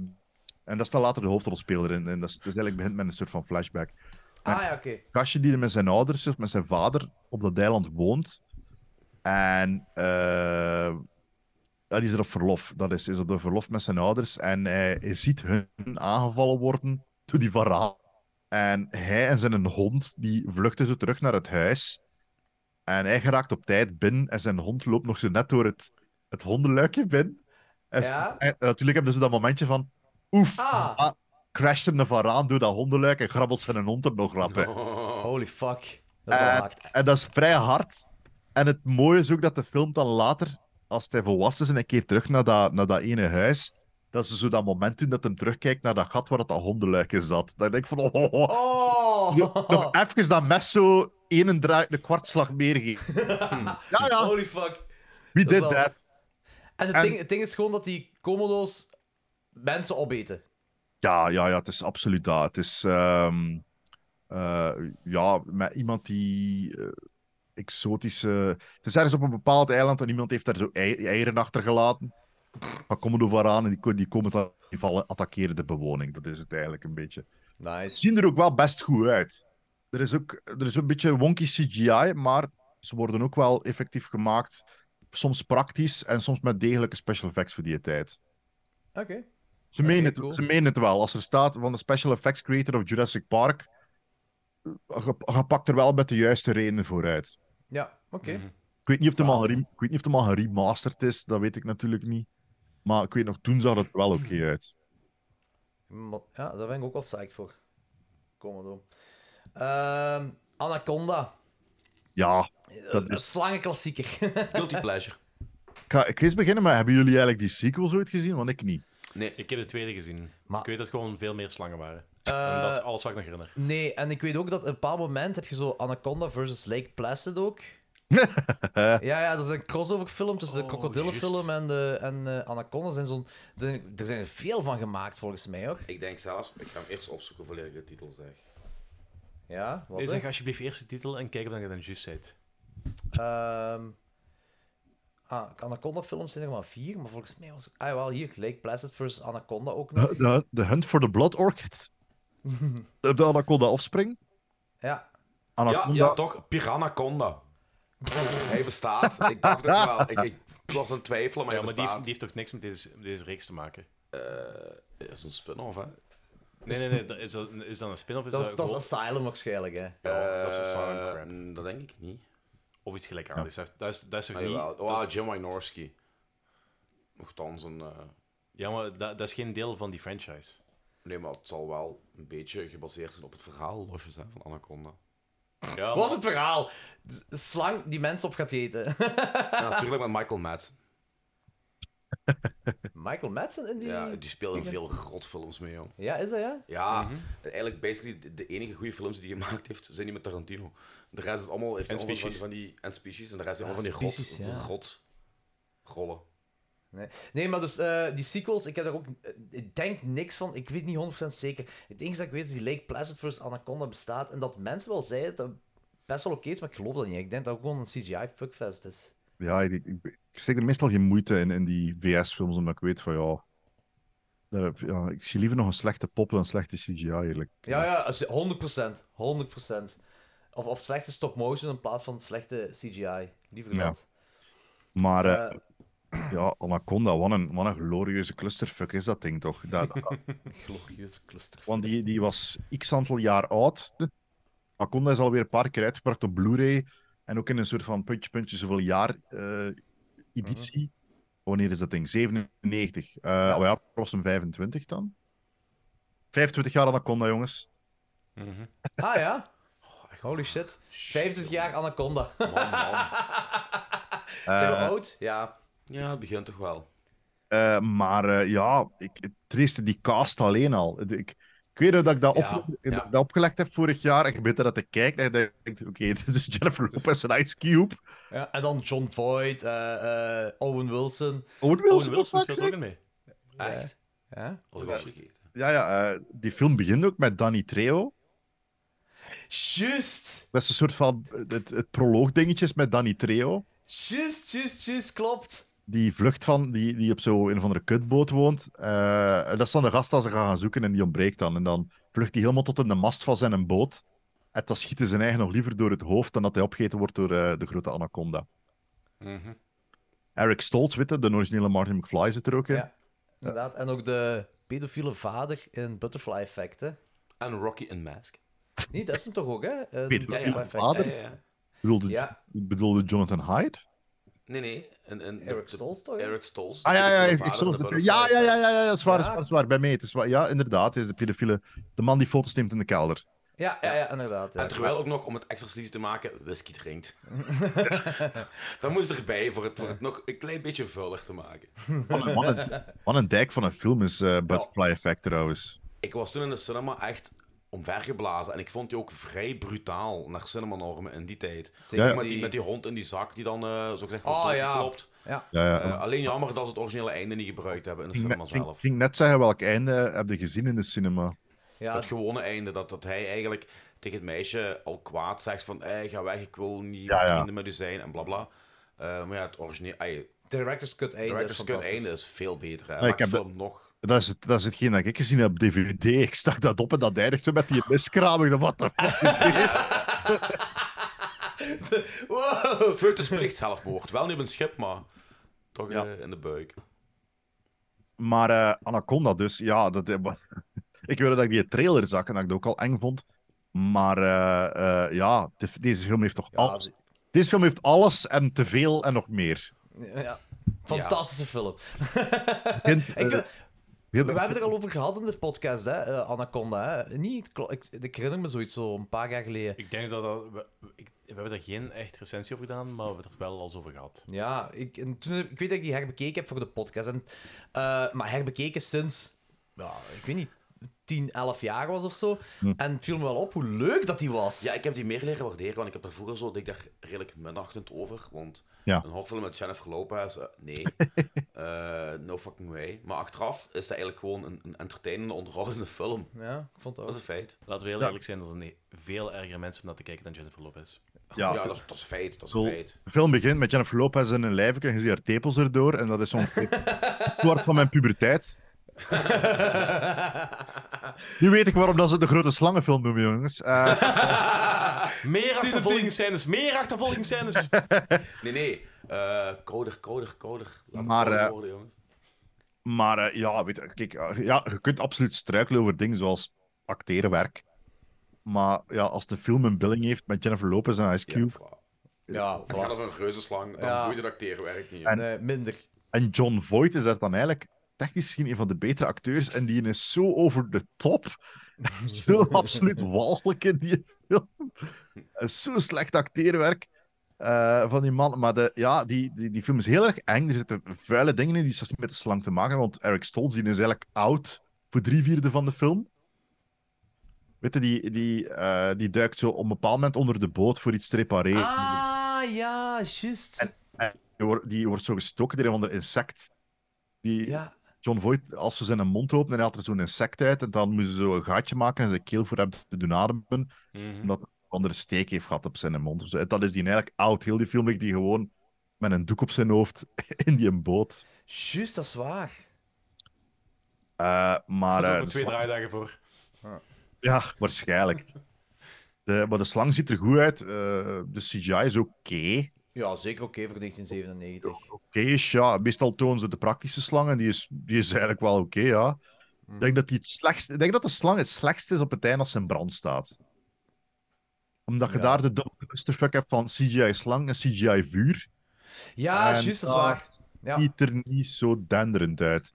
Speaker 6: en dat is dan later de hoofdrolspeler in. En dat is, dus eigenlijk begint met een soort van flashback.
Speaker 7: Ah, ja, oké.
Speaker 6: Een gastje die er met zijn ouders of met zijn vader op dat eiland woont. En eh, ja, die is er op verlof. Dat is, is op de verlof met zijn ouders. En hij, hij ziet hun aangevallen worden door die varaan. En hij en zijn hond die vluchten zo terug naar het huis. En hij geraakt op tijd binnen en zijn hond loopt nog zo net door het, het hondenluikje binnen. En, ze-
Speaker 7: Ja.
Speaker 6: en natuurlijk hebben ze dat momentje van... Oef,
Speaker 7: Ah.
Speaker 6: ah, crasht hem de varaan door dat hondenluik en grabbelt zijn hond er nog rap bij.
Speaker 7: Holy fuck. Dat is wel
Speaker 6: En-
Speaker 7: hard.
Speaker 6: En dat is vrij hard. En het mooie is ook dat de film dan later, als hij volwassen is en een keer terug naar dat, naar dat ene huis, dat ze zo dat moment doen dat hem terugkijkt naar dat gat waar dat, dat hondenluikje zat. Dan denk ik van, oh, oh, oh. Nog, nog even dat mes zo één draai, een kwartslag meer geven. Ja, ja.
Speaker 7: Holy fuck.
Speaker 6: Wie
Speaker 7: Oh, Dat is
Speaker 6: did
Speaker 7: wel-
Speaker 6: that?
Speaker 7: En het,
Speaker 6: En-
Speaker 7: Ding, het ding is gewoon dat die komodo's mensen opeten.
Speaker 6: Ja, ja, ja, het is absoluut dat. Het is ehm, eh, ja, met iemand die eh, exotische. Het is ergens op een bepaald eiland en iemand heeft daar zo ei- eieren achtergelaten. Maar komen er vooraan en die, ko- die komen dan die vallen, attackeren de bewoning. Dat is het eigenlijk een beetje.
Speaker 7: Nice.
Speaker 6: Ze zien er ook wel best goed uit. Er is ook er is een beetje wonky CGI, maar ze worden ook wel effectief gemaakt. Soms praktisch en soms met degelijke special effects voor die tijd.
Speaker 7: Oké.
Speaker 6: Ze, menen het, ze menen het wel. Als er staat van de special effects creator of Jurassic Park, je, je pakt er wel met de juiste redenen voor uit.
Speaker 7: Ja, oké.
Speaker 6: Ik weet, niet of het al gerem- ik weet niet of het al geremasterd is, dat weet ik natuurlijk niet. Maar ik weet nog, toen zag het er wel oké uit.
Speaker 7: Maar- Ja, daar ben ik ook wel psyched voor. Komodo. Ehm Anaconda.
Speaker 6: Ja, dat
Speaker 7: Een
Speaker 6: is...
Speaker 7: slangenklassieker.
Speaker 3: Guilty pleasure.
Speaker 6: Ik ga ik ga eens beginnen, maar hebben jullie eigenlijk die sequels ooit gezien? Want ik niet.
Speaker 4: Nee, ik heb de tweede gezien. Ik weet dat het gewoon veel meer slangen waren.
Speaker 7: Eh,
Speaker 4: en dat is alles wat ik nog herinner.
Speaker 7: Nee, en ik weet ook dat op een bepaald moment heb je zo Anaconda versus Lake Placid ook. ja, ja, dat is een crossover film tussen de krokodillenfilm en, de, en eh, Anaconda. Zijn zo'n, zijn, er zijn er veel van gemaakt volgens mij hoor.
Speaker 3: Ik denk zelfs, ik ga hem eerst opzoeken voordat ik de titel zeg.
Speaker 7: Ja, wat
Speaker 4: Nee,
Speaker 7: hè?
Speaker 4: zeg alsjeblieft eerst de titel en kijk of dat je dan juist zit.
Speaker 7: Ehm, ah, Anaconda films zijn er maar vier, maar volgens mij was... Ah wel, hier, Lake Placid versus Anaconda ook nog.
Speaker 6: De, de, de Hunt for the Blood Orchid? De, de Anaconda Offspring?
Speaker 7: Ja.
Speaker 3: Ja,
Speaker 6: Anaconda...
Speaker 3: ja, toch? Piranaconda. Hij bestaat. Ik dacht het wel. Ik, ik was aan het twijfelen, maar
Speaker 4: ja,
Speaker 3: hij
Speaker 4: maar die
Speaker 3: bestaat.
Speaker 4: heeft, die heeft toch niks met deze, deze reeks te maken?
Speaker 3: Eh, is een spin-off, hè?
Speaker 4: Nee, nee, nee. dat- Is dat, is dat een spin-off? Is
Speaker 7: Dat is, dat is
Speaker 4: gewoon-
Speaker 7: Asylum waarschijnlijk, hè.
Speaker 4: Ja, dat is Asylum
Speaker 3: Eh,
Speaker 4: Crap.
Speaker 3: Dat denk ik niet.
Speaker 4: Of iets gelijkaardigs. Dat is- Dat is, dat is toch
Speaker 3: Ah,
Speaker 4: niet...
Speaker 3: jawel. Oh,
Speaker 4: dat-
Speaker 3: Jim Wynorski. Nochtans een... eh,
Speaker 4: Ja, maar dat, dat is geen deel van die franchise.
Speaker 3: Nee, maar het zal wel een beetje gebaseerd zijn op het verhaal losjes hè, van Anaconda.
Speaker 4: Ja,
Speaker 7: Wat is het verhaal? S- Slang die mensen op gaat eten.
Speaker 3: Ja, natuurlijk met Michael Madsen.
Speaker 7: Michael Madsen in die...
Speaker 3: Ja, die speelde in
Speaker 7: dingen?
Speaker 3: veel rotfilms mee, jong.
Speaker 7: Ja, is dat ja?
Speaker 3: Ja,
Speaker 7: Mhm.
Speaker 3: eigenlijk basically de, de enige goede films die hij gemaakt heeft, zijn die met Tarantino. De rest is allemaal, heeft
Speaker 4: En
Speaker 3: allemaal van,
Speaker 4: Species.
Speaker 3: van die... En Species. En de rest zijn
Speaker 7: Ja,
Speaker 3: allemaal van die
Speaker 7: Species,
Speaker 3: rot,
Speaker 7: ja.
Speaker 3: rot- rollen.
Speaker 7: Nee. nee, maar dus eh, die sequels, ik heb daar ook, eh, ik denk niks van, ik weet niet 100% zeker. Het enige dat ik weet is dat die Lake Placid vs. Anaconda bestaat en dat mensen wel zeiden dat het best wel oké is, maar ik geloof dat niet. Ik denk dat het gewoon een CGI-fuckfest is.
Speaker 6: Ja, ik, ik, ik steek er meestal geen moeite in, in die VS-films, omdat ik weet van ja, daar heb, ja. Ik zie liever nog een slechte pop dan slechte CGI, eigenlijk.
Speaker 7: Ja, ja, als je- 100%. 100%. Of, of slechte stop-motion in plaats van slechte CGI. Liever dat.
Speaker 6: Maar eh, ja, Anaconda, wat een, wat een glorieuze clusterfuck is dat ding toch? Dat, dat-
Speaker 7: Glorieuze cluster.
Speaker 6: want die, die was x aantal jaar oud. De- Anaconda is alweer een paar keer uitgebracht op Blu-ray. En ook in een soort van puntje-puntje zoveel jaar eh, editie. Wanneer is dat ding? 97. Eh ja. ja, was hem 25 dan? 25 jaar Anaconda, jongens.
Speaker 7: Ah ja? Oh, holy shit. 50 jaar Anaconda. Zijn we
Speaker 6: Eh,
Speaker 7: oud? Ja.
Speaker 3: Ja, het begint toch wel.
Speaker 6: Eh, maar eh, ja, ik, het trieste, die cast alleen al. Het- Ik, ik weet nog dat ik dat, op,
Speaker 3: Ja,
Speaker 6: dat- dat opgelegd heb vorig jaar. En je bent er dat te kijken en je denkt, oké, dit is Jennifer Lopez en Ice Cube.
Speaker 7: ja. En dan John Voight, eh, eh, Owen Wilson.
Speaker 6: Owen Wilson, Owen Wilson
Speaker 7: speelt ook in mee.
Speaker 3: Echt?
Speaker 7: Ja?
Speaker 6: Ja, ja, eh, die film begint ook met Danny Trejo.
Speaker 7: Juist!
Speaker 6: Dat is een soort van, het, het proloogdingetje is met Danny Trejo.
Speaker 7: Juist, juist, juist, klopt.
Speaker 6: Die vlucht van, die, die op zo'n een of andere kutboot woont. Eh, en dat is dan de gast als ze gaan gaan zoeken en die ontbreekt dan. En dan vlucht hij helemaal tot in de mast van zijn boot. En dan schiet hij zijn eigen nog liever door het hoofd dan dat hij opgegeten wordt door eh, de grote anaconda. Eric Stoltz, witte, de originele Martin McFly zit er ook in.
Speaker 7: Inderdaad. En ook de pedofiele vader in Butterfly Effect, hè?
Speaker 3: En Rocky in Mask.
Speaker 7: Nee, dat is hem toch ook, hè? Eh, de
Speaker 6: Pedofiele
Speaker 7: Butterfly Effect.
Speaker 6: vader?
Speaker 3: Ja, ja, ja.
Speaker 6: Bedoelde,
Speaker 7: Ja.
Speaker 6: bedoelde Jonathan Hyde?
Speaker 3: Nee, nee. En, en
Speaker 7: Eric Stolz toch?
Speaker 3: Eric Stolz.
Speaker 6: Ah ja, ja,
Speaker 3: de
Speaker 6: ik,
Speaker 3: vader
Speaker 6: ik stond
Speaker 3: van
Speaker 6: op de-
Speaker 3: de
Speaker 6: ja, ja,
Speaker 3: Butterfly
Speaker 6: ja, ja, ja, dat is waar,
Speaker 7: Ja.
Speaker 6: dat is waar, dat is waar, bij mij. Het is waar, ja, inderdaad, hij is de pedofiele, de man die foto's neemt in de kelder.
Speaker 7: Ja, ja, ja, inderdaad. ja.
Speaker 3: En terwijl ook nog, om het extra sleazy te maken, whisky drinkt. dat moest erbij voor het, voor het nog een klein beetje vuller te maken.
Speaker 6: Wat een, wat een, wat een dijk van een film is eh, Butterfly Effect trouwens.
Speaker 3: Ik was toen in de cinema echt omvergeblazen. En ik vond die ook vrij brutaal naar cinemanormen in die tijd.
Speaker 6: Zeker
Speaker 3: Met, die,
Speaker 6: die-
Speaker 3: met die hond in die zak die dan, eh, zo zogezegd,
Speaker 7: Oh,
Speaker 3: wordt
Speaker 7: ja.
Speaker 3: klopt.
Speaker 7: Ja.
Speaker 6: Ja, ja.
Speaker 3: Eh, alleen jammer dat ze het originele einde niet gebruikt hebben in de
Speaker 6: Ik
Speaker 3: cinema
Speaker 6: ging,
Speaker 3: zelf.
Speaker 6: ging- ging net zeggen welk einde heb je gezien in de cinema.
Speaker 3: Het gewone einde, dat, dat hij eigenlijk tegen het meisje al kwaad zegt van hey, ga weg, ik wil niet
Speaker 6: Ja, ja.
Speaker 3: vrienden met u zijn en blablabla. Eh, maar ja, het origineel... ai,
Speaker 7: Director's Cut einde
Speaker 3: Director's
Speaker 7: is
Speaker 3: Cut
Speaker 7: fantastisch.
Speaker 3: einde is veel beter. Hè.
Speaker 6: Ja,
Speaker 3: Maakt
Speaker 6: ik heb
Speaker 3: de
Speaker 6: de-
Speaker 3: film nog...
Speaker 6: Dat is, het, dat is hetgeen dat ik gezien heb op DVD. Ik stak dat op en dat eindigde met die miskraam. Ik dacht, Wat de fuck?
Speaker 3: wow! Foetus plicht zelfmoord. Wel niet op een schip, maar toch eh, in de buik.
Speaker 6: Maar eh, Anaconda dus, ja, dat, ik weet dat ik die trailer zag en dat ik dat ook al eng vond. Maar eh, eh, ja, de- deze film heeft toch alles. Deze film heeft alles en te veel en nog meer.
Speaker 7: Ja. Fantastische film.
Speaker 6: Begint,
Speaker 7: Ik vind-
Speaker 6: eh, begint-
Speaker 7: We hebben het er al over gehad in de podcast, hè? eh, Anaconda. Hè? Niet, klo- ik, ik herinner me zoiets zo een paar jaar geleden.
Speaker 4: Ik denk dat, dat we, ik- we hebben daar geen echt recensie over gedaan, maar we hebben het er wel al eens over gehad.
Speaker 7: Ja, ik, en toen, ik weet dat ik die herbekeken heb voor de podcast. En, eh, maar herbekeken sinds, ja, ik weet niet, 10, 11 jaar was of zo. En het viel me wel op hoe leuk dat die was.
Speaker 3: Ja, ik heb die meer leren waarderen, want ik heb er vroeger zo, dat ik daar redelijk minachtend over. Want
Speaker 6: Ja.
Speaker 3: een horrorfilm met Jennifer Lopez, eh, nee. Eh, no fucking way. Maar achteraf is dat eigenlijk gewoon een, een entertainende, onderhoudende film.
Speaker 7: Ja, ik vond dat
Speaker 3: Dat is
Speaker 7: ook.
Speaker 3: een feit.
Speaker 4: Laten we heel
Speaker 6: Ja.
Speaker 4: eerlijk zijn, er zijn e- veel erger mensen om naar te kijken dan Jennifer Lopez.
Speaker 6: Ja.
Speaker 3: Ja, dat is, dat is feit. Dat is
Speaker 6: Zo,
Speaker 3: feit.
Speaker 6: de film begint met Jennifer Lopez in een lijfje en je ziet haar tepels erdoor. En dat is zo'n kwart van mijn puberteit. nu weet ik waarom dat ze het de grote slangenfilm noemen, jongens. Eh,
Speaker 4: Meer achtervolgingsscènes, meer achtervolgingsscènes!
Speaker 3: Nee, nee. Eh coder, coder, coder. Laat het
Speaker 6: Maar,
Speaker 3: coder
Speaker 6: eh,
Speaker 3: worden, jongens.
Speaker 6: maar eh, ja, weet je, kijk, eh, ja, je kunt absoluut struikelen over dingen zoals acterenwerk. Maar ja, als de film een billing heeft met Jennifer Lopez en Ice Cube
Speaker 7: Ja,
Speaker 3: Het gaat over een reuzenslang, dan
Speaker 7: Ja.
Speaker 3: ja. boeit het acteerwerk niet.
Speaker 6: En-
Speaker 7: Nee, minder.
Speaker 6: en John Voight is dat dan eigenlijk technisch gezien een van de betere acteurs. En die is zo over de top. zo absoluut walgelijk in die film. En Zo slecht acteerwerk eh, van die man. Maar de, ja, die, die, die film is heel erg eng. Er zitten vuile dingen in die zelfs niet met de slang te maken hebben, Want Eric Stoltz die is eigenlijk oud voor drie vierde van de film. Weet je, die, die, eh, die duikt zo op een bepaald moment onder de boot voor iets te repareren.
Speaker 7: Ah, ja, juist.
Speaker 6: Die, wordt, die wordt zo gestoken door een of ander insect. Die,
Speaker 7: Ja.
Speaker 6: John Voight, als ze zijn mond openen, haalt er zo'n insect uit. En dan moeten ze zo een gaatje maken en zijn keel voor hem te doen ademen. Omdat hij een andere steek heeft gehad op zijn mond. of zo. En dat is die eigenlijk oud. Heel die film ligt die gewoon met een doek op zijn hoofd in die boot.
Speaker 7: Juist, dat is waar.
Speaker 6: Eh, maar.
Speaker 4: Daar zijn
Speaker 6: eh,
Speaker 4: we twee
Speaker 6: sla-
Speaker 4: draaidagen voor.
Speaker 6: ja, waarschijnlijk. De, maar de slang ziet er goed uit. eh, de CGI is oké.
Speaker 2: Ja, zeker oké voor 1997.
Speaker 6: Oké is, ja. Meestal tonen ze de praktische slang en die is, die is eigenlijk wel oké, ja. Ik denk, dat die het slechtst, ik denk dat de slang het slechtst is op het einde als ze in brand staat. Omdat je daar de dubbele clusterfuck hebt van CGI slang en CGI vuur.
Speaker 2: Ja,
Speaker 6: En
Speaker 2: juist, dat is waar. Ja.
Speaker 6: Ziet er niet zo denderend uit.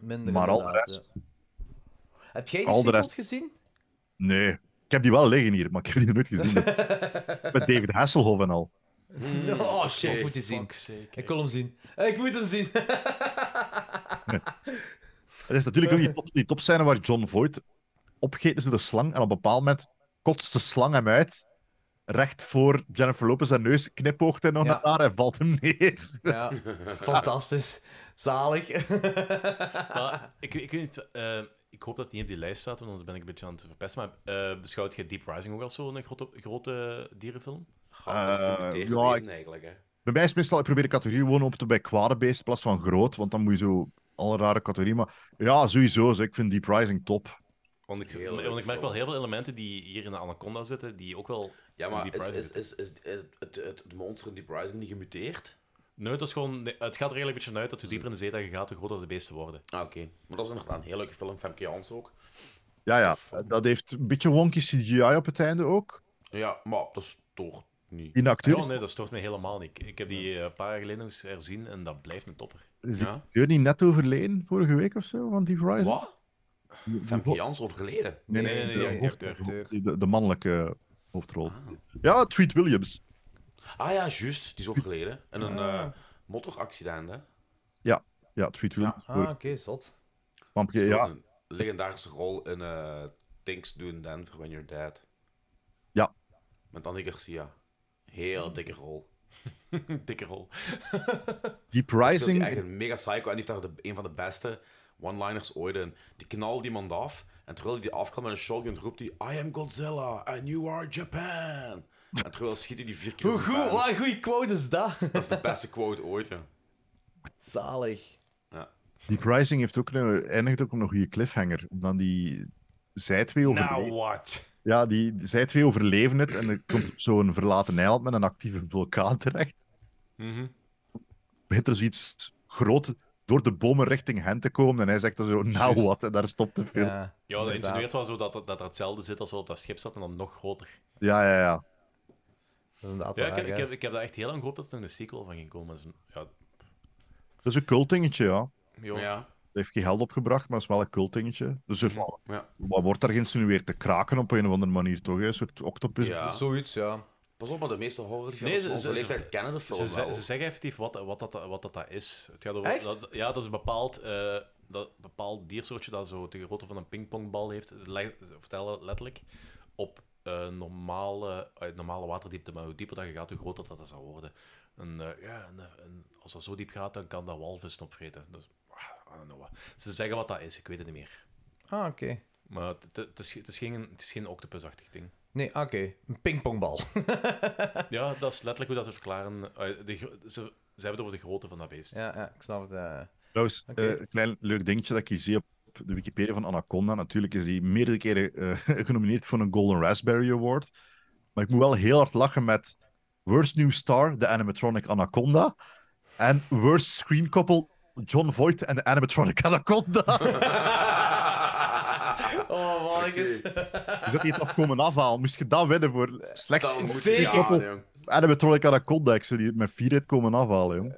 Speaker 2: Minder
Speaker 6: maar al de
Speaker 2: inderdaad,
Speaker 6: rest,
Speaker 2: Heb jij
Speaker 6: Al
Speaker 2: die
Speaker 6: de
Speaker 2: sequels
Speaker 6: rest-
Speaker 2: gezien?
Speaker 6: nee. Ik heb die wel liggen hier, maar ik heb die nog nooit gezien. Dat is met David Hasselhoff en al.
Speaker 3: Mm.
Speaker 2: oh shit, ik moet die zien. Ik wil hem zien. Eh, Ik moet hem zien.
Speaker 6: Het is natuurlijk
Speaker 4: Eh.
Speaker 6: ook die, top, die topscène waar John Voight opgegeten is door de slang. En op een bepaald moment kotst de slang hem uit. Recht voor Jennifer Lopez en neus knipoogt hij nog
Speaker 2: Ja.
Speaker 6: naar haar en valt hem neer.
Speaker 2: Ja, fantastisch. Zalig.
Speaker 4: Maar ik, ik weet niet, eh, ik hoop dat die op die lijst staat, want anders ben ik een beetje aan het verpesten. Maar eh, beschouwt jij Deep Rising ook als zo'n grote, grote dierenfilm?
Speaker 6: Eh, ja, ik- Bij mij is meestal, ik probeer de categorie gewoon op te bij kwade beest in plaats van groot. Want dan moet je zo alle rare categorieën. Maar ja, sowieso. zo, Ik vind Deep Rising top.
Speaker 4: Want ik, want ik merk wel heel veel elementen die hier in de Anaconda zitten, die ook wel
Speaker 3: Ja,
Speaker 4: in
Speaker 3: maar
Speaker 4: Deep
Speaker 3: is,
Speaker 4: Rising
Speaker 3: is,
Speaker 4: zitten.
Speaker 3: is, is, is het, het, het monster in Deep Rising niet gemuteerd?
Speaker 4: Nee, het, is gewoon, nee, het gaat er eigenlijk een beetje vanuit dat hoe dieper in de zee dat je gaat, hoe groter de beesten worden.
Speaker 3: Ah, oké. Maar dat is inderdaad een heel leuke film, Femke Jans ook.
Speaker 6: Ja, ja. Dat heeft een beetje wonky CGI op het einde ook.
Speaker 3: Ja, maar dat stoort niet.
Speaker 6: Die acteur-
Speaker 4: Ja, nee, dat stoort me helemaal niet. Ik- Ik heb die eh, een paar jaar geleden nog eens herzien en dat blijft een topper.
Speaker 6: Is die acteur niet net overleden vorige week of zo van Deep Rising?
Speaker 3: Wat? Femke Jans overgeleden?
Speaker 6: Nee, nee,
Speaker 4: Nee, nee,
Speaker 6: de,
Speaker 4: nee,
Speaker 6: hoofd-
Speaker 4: acteur.
Speaker 6: de, de mannelijke hoofdrol. Ja, Treat Williams.
Speaker 3: Ah ja, juist. Die is overgeleden. En een eh motoraccident, hè?
Speaker 6: Ja, ja Treat Williams.
Speaker 2: Ah, oké, zot.
Speaker 6: Wampje,
Speaker 3: Speelde
Speaker 6: ja,
Speaker 3: Een legendarische rol in eh, Things Do in Denver When You're Dead.
Speaker 6: Ja.
Speaker 3: Met Annie Garcia. Heel dikke rol.
Speaker 4: dikke rol.
Speaker 6: Deep
Speaker 3: Speelt die
Speaker 6: Rising.
Speaker 3: echt een mega psycho en die heeft daar de, een van de beste one-liners ooit in. Die knalt iemand af en terwijl hij die afknalt met een shotgun roept hij I am Godzilla and you are Japan. En terwijl schiet hij die vier keer
Speaker 2: Hoe
Speaker 3: in zijn
Speaker 2: goed,
Speaker 3: pants.
Speaker 2: wat een goede quote is dat?
Speaker 3: Dat is de beste quote ooit, ja.
Speaker 2: Zalig.
Speaker 3: ja.
Speaker 6: Deep Rising heeft ook een, eindigt ook op een goede cliffhanger. Dan die zij twee overleven.
Speaker 4: Nou, what?
Speaker 6: Ja, die, zij twee overleven het en er komt op zo'n verlaten eiland met een actieve vulkaan terecht. Begint er zoiets groot door de bomen richting hen te komen en hij zegt dan zo, nou
Speaker 4: Juist.
Speaker 6: wat, en daar stopt de film.
Speaker 4: Ja, dat insinueert wel zo dat, dat dat er hetzelfde zit als wel op dat schip zat, maar dan nog groter.
Speaker 6: Ja, ja, ja.
Speaker 4: Ja, ik heb, ik, heb, ik heb daar echt heel lang gehoopt dat er nog een sequel van ging komen. maar dat is een-
Speaker 6: Dat is een cultingetje, ja.
Speaker 4: Ja,
Speaker 3: ja.
Speaker 6: Dat heeft geen geld opgebracht, maar het is wel een cultingetje. Dus er
Speaker 3: Ja.
Speaker 6: wat wordt daar geïnsinueerd? Te kraken op een of andere manier, toch? Een soort octopus.
Speaker 3: Ja.
Speaker 2: Zoiets, ja.
Speaker 3: Pas op, maar de meeste horrorfilms
Speaker 4: Nee,
Speaker 3: nee,
Speaker 4: ze,
Speaker 3: van onze
Speaker 4: ze-
Speaker 3: leeftijd
Speaker 4: ze-
Speaker 3: kennen de film
Speaker 4: ze,
Speaker 3: wel.
Speaker 4: ze- ze zeggen effectief wat, wat, dat, wat dat, dat is. Het gaat over,
Speaker 2: Echt?
Speaker 4: Dat, ja, dat is een bepaald, eh, dat, bepaald diersoortje dat zo de grootte van een pingpongbal heeft. Ze, leg- ze vertellen letterlijk op eh, normale, uit normale waterdiepte, maar hoe dieper dat je gaat, hoe groter dat, dat zal worden. En, eh, ja, en, eh, en als dat zo diep gaat, dan kan dat walvis opvreten. Dus, ah, I don't know what. Ze zeggen wat dat is, ik weet het niet meer.
Speaker 2: Ah, oké.
Speaker 4: Maar het, het- het is, het is geen, het is geen octopusachtig ding.
Speaker 2: Nee, ah, oké. Een pingpongbal.
Speaker 4: Ja, dat is letterlijk hoe dat ze verklaren. eh, de, gro- ze, ze hebben het over de grootte van dat beest.
Speaker 2: ja, ja, ik snap het. eh.
Speaker 6: Trouwens,
Speaker 2: Oké.
Speaker 6: eh, een klein leuk dingetje dat ik hier zie op de Wikipedia van Anaconda. Natuurlijk is die meerdere keren eh, genomineerd voor een Golden Raspberry Award. Maar ik moet wel heel hard lachen met Worst New Star, de animatronic Anaconda. En Worst Screen Couple, John Voight en de animatronic Anaconda. Dus
Speaker 2: oh, mannetjes.
Speaker 6: Dus dat die het nog komen afhalen. Moest je dat winnen voor slechts
Speaker 2: Dat moet je
Speaker 6: Screen
Speaker 2: niet
Speaker 6: Couple?
Speaker 2: halen,
Speaker 6: Animatronic Anaconda, Ah, ik zou die met vier het komen afhalen, jong.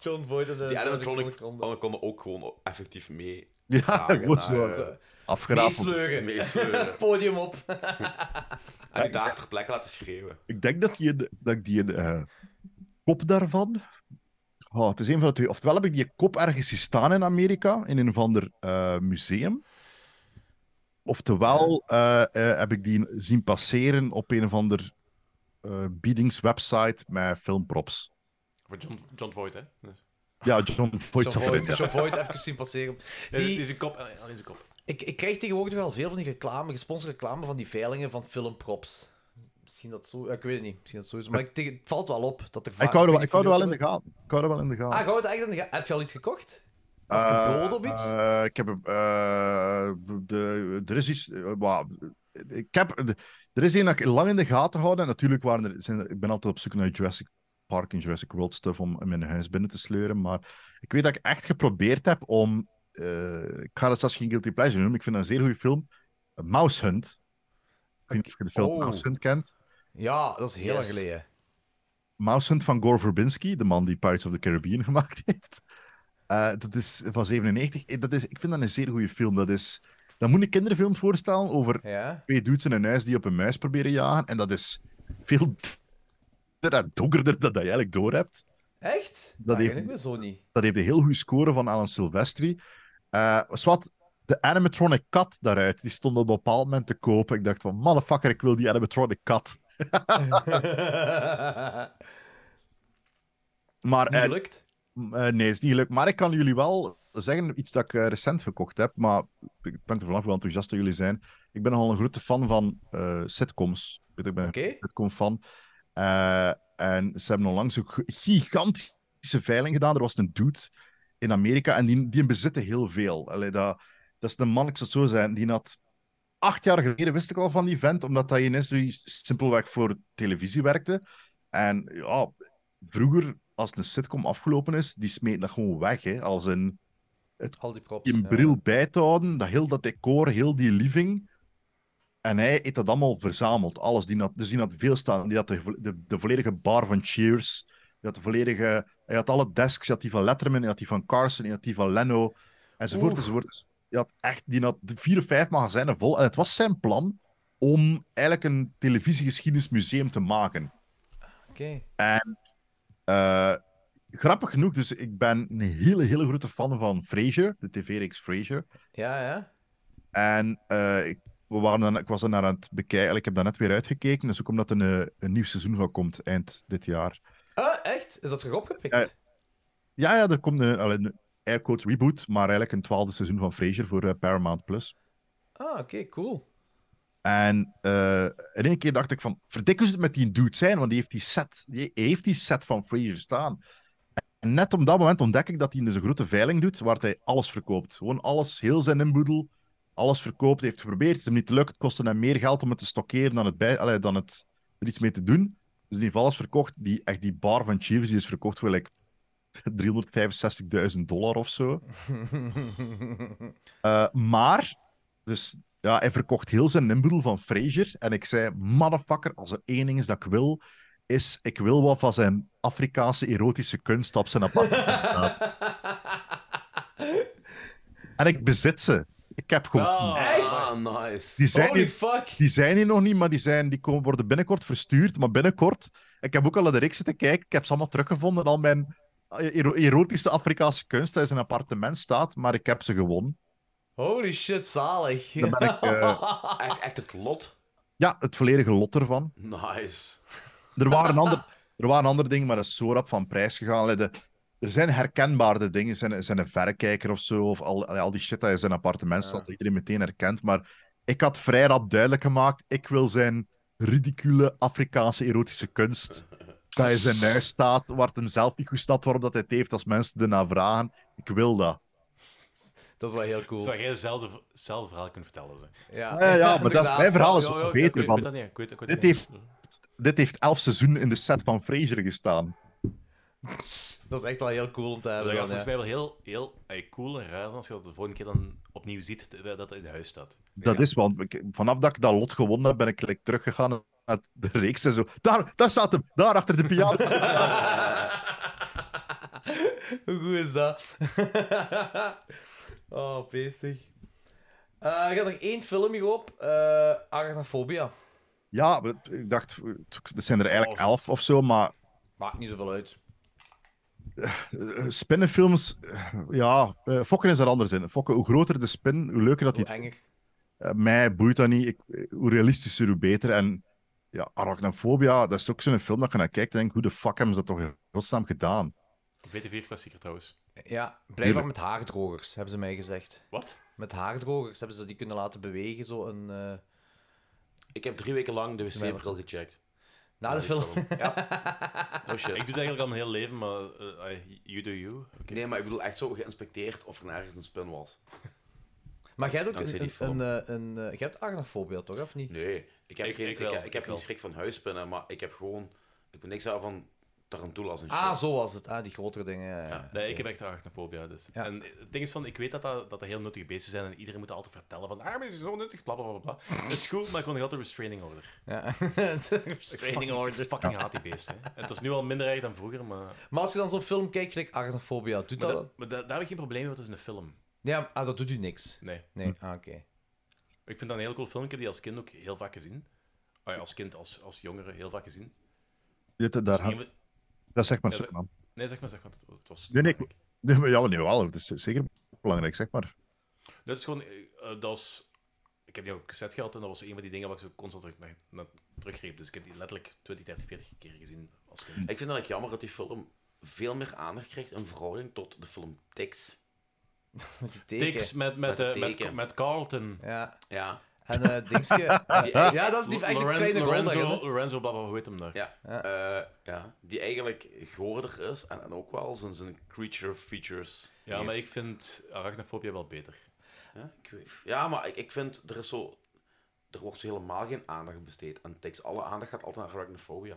Speaker 2: John Voight en de...
Speaker 3: Die animatronic Anaconda ook gewoon effectief mee.
Speaker 6: Ja,
Speaker 3: dragen
Speaker 6: gewoon
Speaker 3: naar,
Speaker 6: zo.
Speaker 3: eh,
Speaker 6: Afgerafeld.
Speaker 3: Meesleuren.
Speaker 2: Podium op.
Speaker 3: En die daar ter plekke laten schreeuwen.
Speaker 6: Ik denk dat, die een, dat ik die een eh, kop daarvan. Oh, het is een van de twee. Oftewel heb ik die kop ergens zien staan in Amerika, in een of ander eh, museum. Oftewel eh, eh, heb ik die zien passeren op een of ander eh biedingswebsite met filmprops.
Speaker 4: Voor John, John Voight, hè? Dus-
Speaker 6: Ja, John Voight
Speaker 2: John
Speaker 6: zat erin.
Speaker 2: Voight,
Speaker 6: ja.
Speaker 2: John Voight even zien passeren.
Speaker 4: Ja,
Speaker 2: Die-
Speaker 4: die is een kop, eh, alleen zijn kop.
Speaker 2: Ik, ik krijg tegenwoordig wel veel van die reclame, gesponsorde reclame van die veilingen van filmprops. Misschien dat zo... Ik weet het niet. Misschien dat zo is. Maar ik, tegen- het valt wel op dat er vaak...
Speaker 6: Ik hou er wel-
Speaker 2: weet
Speaker 6: ik hou er wel in
Speaker 2: niet
Speaker 6: de gaten. Ik hou er wel in de
Speaker 2: of jullie ook hebben. Ah,
Speaker 6: gaten.
Speaker 2: goud, echt in de ga- Heb je al iets gekocht? Of
Speaker 6: Eh,
Speaker 2: geboden op iets?
Speaker 6: eh, ik heb... hem, eh, de, er is iets... eh, wauw. ik heb, er is één dat ik lang in de gaten houd. En natuurlijk waren er... Zijn, er- ik ben altijd op zoek naar Jurassic Park en Jurassic World stuff om in mijn huis binnen te sleuren. Maar ik weet dat ik echt geprobeerd heb om... eh, ik ga dat zelfs geen guilty pleasure noemen. Ik vind dat een zeer goede film. Mouse Hunt. Ik weet niet of je de film
Speaker 2: Oh.
Speaker 6: Mouse Hunt kent.
Speaker 2: Ja, dat is heel lang
Speaker 6: Yes.
Speaker 2: geleden.
Speaker 6: Mouse Hunt van Gore Verbinski, de man die Pirates of the Caribbean gemaakt heeft. Eh, dat is van 97. Eh, Dat is, ik vind dat een zeer goede film. Dat, is, dat moet een kinderfilm voorstellen over
Speaker 2: Ja.
Speaker 6: twee dudes in een huis die op een muis proberen jagen. En dat is veel d- en donkerder dan dat je eigenlijk doorhebt.
Speaker 2: Echt?
Speaker 6: Dat heeft-
Speaker 2: ken ik me zo niet.
Speaker 6: Dat heeft een heel goede score van Alan Silvestri. Eh Swat, de animatronic kat daaruit, die stond op een bepaald moment te kopen. Ik dacht van, motherfucker, ik wil die animatronic kat. Maar,
Speaker 2: Is niet
Speaker 6: eh,
Speaker 2: gelukt?
Speaker 6: m- eh, nee, is niet gelukt. Maar ik kan jullie wel zeggen iets dat ik eh, recent gekocht heb. Maar ik dank er vanaf hoe enthousiast dat jullie zijn. Ik ben nogal een grote fan van eh, sitcoms. Ik weet, Ik ben een sitcom-fan. Eh, en ze hebben onlangs een g- gigantische veiling gedaan. Er was een dude in Amerika en die, die bezitte heel veel. Allee, dat, dat is een man, ik zou het zo zijn, die had acht jaar geleden wist ik al van die vent, omdat hij ineens die simpelweg voor televisie werkte. En ja, vroeger, als een sitcom afgelopen is, die smeet dat gewoon weg. Hè? Als een, het,
Speaker 2: Al die props.
Speaker 6: een
Speaker 2: ja.
Speaker 6: bril bij te houden, dat heel dat decor, heel die living. En hij heeft dat allemaal verzameld, alles. Die had, dus die had veel staan. Die had de, de, de volledige bar van Cheers. Die had de volledige... Hij had alle desks. Hij had die van Letterman, hij had die van Carson, hij had die van Leno. Enzovoort,
Speaker 2: Oeh.
Speaker 6: enzovoort. Dus Die had echt die had de vier of vijf magazijnen vol. En het was zijn plan om eigenlijk een televisiegeschiedenismuseum te maken.
Speaker 2: Oké.
Speaker 6: En eh, grappig genoeg, dus ik ben een hele, hele grote fan van Frasier, de tv-reeks Frasier.
Speaker 2: Ja, ja.
Speaker 6: En eh, ik, we waren dan, ik was dan naar aan het bekijken, ik heb daar net weer uitgekeken, dus ook omdat er een, een nieuw seizoen van komt eind dit jaar.
Speaker 2: Ah, echt? Is dat terug opgepikt?
Speaker 6: Eh, ja, ja, er komt een, allee, een aircode reboot, maar eigenlijk een twaalfde seizoen van Frasier voor eh, Paramount+. Plus.
Speaker 2: Ah, oké, cool.
Speaker 6: En eh, in één keer dacht ik van, verdik hoe ze het met die dude zijn, want die heeft die set, die heeft die set van Frasier staan. En net op dat moment ontdek ik dat hij dus een grote veiling doet, waar hij alles verkoopt. Gewoon alles, heel zijn inboedel, alles verkoopt, heeft geprobeerd, is hem niet gelukt, het kostte hem meer geld om het te stockeren dan, het bij, allee, dan het, er iets mee te doen. Dus die heeft alles verkocht, die, echt die bar van Cheers, die is verkocht voor like 365.000 dollar of zo. Eh, maar, dus ja, hij verkocht heel zijn nimboedel van Fraser. En ik zei: Motherfucker, als er één ding is dat ik wil, is ik wil wat van zijn Afrikaanse erotische kunst op zijn appartement staan. en ik bezit ze. Ik heb gewoon.
Speaker 10: Oh.
Speaker 3: Echt? Ah, nice.
Speaker 6: Die zijn,
Speaker 3: Holy
Speaker 6: hier, die zijn hier nog niet, maar die, zijn, die komen, worden binnenkort verstuurd. Maar binnenkort, ik heb ook al naar de reeks zitten kijken, ik heb ze allemaal teruggevonden. Al mijn eh, ero- erotische Afrikaanse kunst dat in zijn appartement staat, maar ik heb ze gewonnen.
Speaker 2: Holy shit, zalig.
Speaker 6: Dan ben ik, eh,
Speaker 3: Echt, echt het lot.
Speaker 6: Ja, het volledige lot ervan.
Speaker 3: Nice.
Speaker 6: Er waren, ander, er waren andere dingen, maar dat is zo rap van prijs gegaan. Allee, de- er zijn herkenbare dingen. Zijn, zijn een verrekijker of zo. Of al, allee, al die shit dat in zijn appartement staat, dat iedereen meteen herkent. Maar ik had vrij rap duidelijk gemaakt: ik wil zijn ridicule Afrikaanse erotische kunst. Dat in zijn huis staat, waar het hem zelf niet goed snapt waarom dat hij het heeft als mensen ernaar vragen. Ik wil dat.
Speaker 2: Dat is wel heel cool.
Speaker 4: Zou jij hetzelfde hetzelfde verhaal kunnen vertellen? Zeg.
Speaker 2: Ja,
Speaker 6: Ja, ja, maar dat,
Speaker 4: Inderdaad,
Speaker 6: mijn verhaal is
Speaker 4: Oh, ja, ja,
Speaker 6: nog
Speaker 4: ja, ik
Speaker 6: beter.
Speaker 4: weet- ik weet dat
Speaker 6: Van,
Speaker 4: niet, ik weet- ik weet
Speaker 6: dit,
Speaker 4: dat niet. Mm.
Speaker 6: heeft, dit heeft elf seizoenen in de set van Frasier gestaan.
Speaker 2: Dat is echt wel heel cool om te
Speaker 4: Dat
Speaker 2: hebben.
Speaker 4: gaat
Speaker 2: dan,
Speaker 4: volgens
Speaker 2: ja.
Speaker 4: mij wel heel, heel eh, cool en raar zijn als je dat de volgende keer dan opnieuw ziet te- dat dat in huis staat.
Speaker 6: Dat is wel. ik- Vanaf dat ik dat lot gewonnen heb, ben ik gelijk teruggegaan naar de reeks en zo. Daar, daar staat hem, daar achter de piano.
Speaker 2: Hoe goed is dat? oh, peestig. Eh, ik had nog één film hierop. eh Arachnophobia.
Speaker 6: ja, we- ik dacht, er zijn er eigenlijk elf of zo, maar
Speaker 2: Maakt niet zoveel uit.
Speaker 6: eh, spinnenfilms, eh, ja, eh, fokken is er anders in. Fokken, hoe groter de spin, hoe leuker dat
Speaker 2: Hoe
Speaker 6: die.
Speaker 2: enger.
Speaker 6: Eh, mij boeit dat niet. Ik, eh, hoe realistischer, hoe beter. En ja, Arachnophobia, dat is ook zo'n film dat je naar kijkt en denkt, hoe de fuck hebben ze dat toch in godsnaam gedaan?
Speaker 4: VTV-klassieker trouwens.
Speaker 2: Ja, blijkbaar
Speaker 6: Tuurlijk.
Speaker 2: met haardrogers, hebben ze mij gezegd.
Speaker 4: Wat?
Speaker 2: Met haardrogers hebben ze die kunnen laten bewegen, zo een... eh,
Speaker 3: Ik heb drie weken lang de wc-bril gecheckt.
Speaker 2: Na de film.
Speaker 4: Ja. Oh shit. Ik doe het eigenlijk al mijn hele leven, maar eh, I- you do you. Oké.
Speaker 3: Nee, maar ik bedoel echt zo geïnspecteerd of er nergens een spin was.
Speaker 2: Maar jij hebt ook
Speaker 3: Dankzij
Speaker 2: een,
Speaker 3: die
Speaker 2: een,
Speaker 3: film.
Speaker 2: een, eh, een, eh, jij hebt arachnophobie, toch, of niet?
Speaker 3: Nee, ik heb,
Speaker 2: Ik-
Speaker 3: geen,
Speaker 2: ik
Speaker 3: ik,
Speaker 2: wel,
Speaker 3: heb, ik
Speaker 2: ik
Speaker 3: heb
Speaker 2: wel.
Speaker 3: geen schrik van huispinnen, maar ik heb gewoon... Ik ben niks aan van tarantulas en shit.
Speaker 2: Ah, zo was het. Ah, die grotere dingen. ja, ja.
Speaker 4: Nee, ik heb echt arachnofobia. Dus. En het ding is van, ik weet dat dat, dat, dat heel nuttige beesten zijn en iedereen moet altijd vertellen van, ah, maar het is zo nuttig, bla bla bla, bla. Dat is goed, maar ik wil nog altijd restraining order.
Speaker 2: Ja.
Speaker 4: Fucking- Ik fucking haat die beesten. hè. Het is nu al minder erg dan vroeger, maar...
Speaker 2: Maar als je dan zo'n film kijkt, gelijk arachnophobia, doet dat...
Speaker 4: Maar, dat, maar da- daar heb ik geen probleem mee, want het is een film.
Speaker 2: Ja, ah, dat doet u niks.
Speaker 4: Nee.
Speaker 2: Nee, ah, oké.
Speaker 4: Ik vind dat een heel cool film. Ik heb die als kind ook heel vaak gezien. Ah ja, als kind, als, als jongere, heel vaak gezien.
Speaker 6: Dit, daar,
Speaker 4: Dus een van-
Speaker 6: dat zeg maar,
Speaker 4: Ja,
Speaker 6: zeg maar.
Speaker 4: Nee, zeg maar, zeg maar. Het was...
Speaker 6: Nee, nee, ik- nee, maar ja, nee, wel, het is zeker belangrijk, zeg maar.
Speaker 4: Dat is gewoon... eh, eh, dat was... Ik heb die ook op cassette gehad en dat was een van die dingen waar ik zo constant terug naar, naar teruggreep. Dus ik heb die letterlijk 20, 30, 40 keer gezien als kind.
Speaker 3: Ik vind dat ik jammer dat die film veel meer aandacht krijgt in verhouding tot de film Tix.
Speaker 4: Tix met, met,
Speaker 3: de
Speaker 4: eh, met,
Speaker 3: teken.
Speaker 4: met Carlton.
Speaker 2: Ja.
Speaker 3: Ja.
Speaker 2: En eh Dingske... ja, dat is die echt een
Speaker 4: Loren-
Speaker 2: kleine rol
Speaker 4: Lorenzo,
Speaker 2: daarin, hè.
Speaker 4: Lorenzo, bla, bla, hoe heet hem daar?
Speaker 3: Ja. eh, ja. Die eigenlijk goorder is en, en ook wel zijn, zijn creature features.
Speaker 4: Ja,
Speaker 3: heeft.
Speaker 4: maar ik vind arachnofobia wel beter.
Speaker 3: Ja, ik, weet- ja, maar ik, ik vind, er is zo... Er wordt zo helemaal geen aandacht besteed aan Tix. Alle aandacht gaat altijd naar arachnophobia.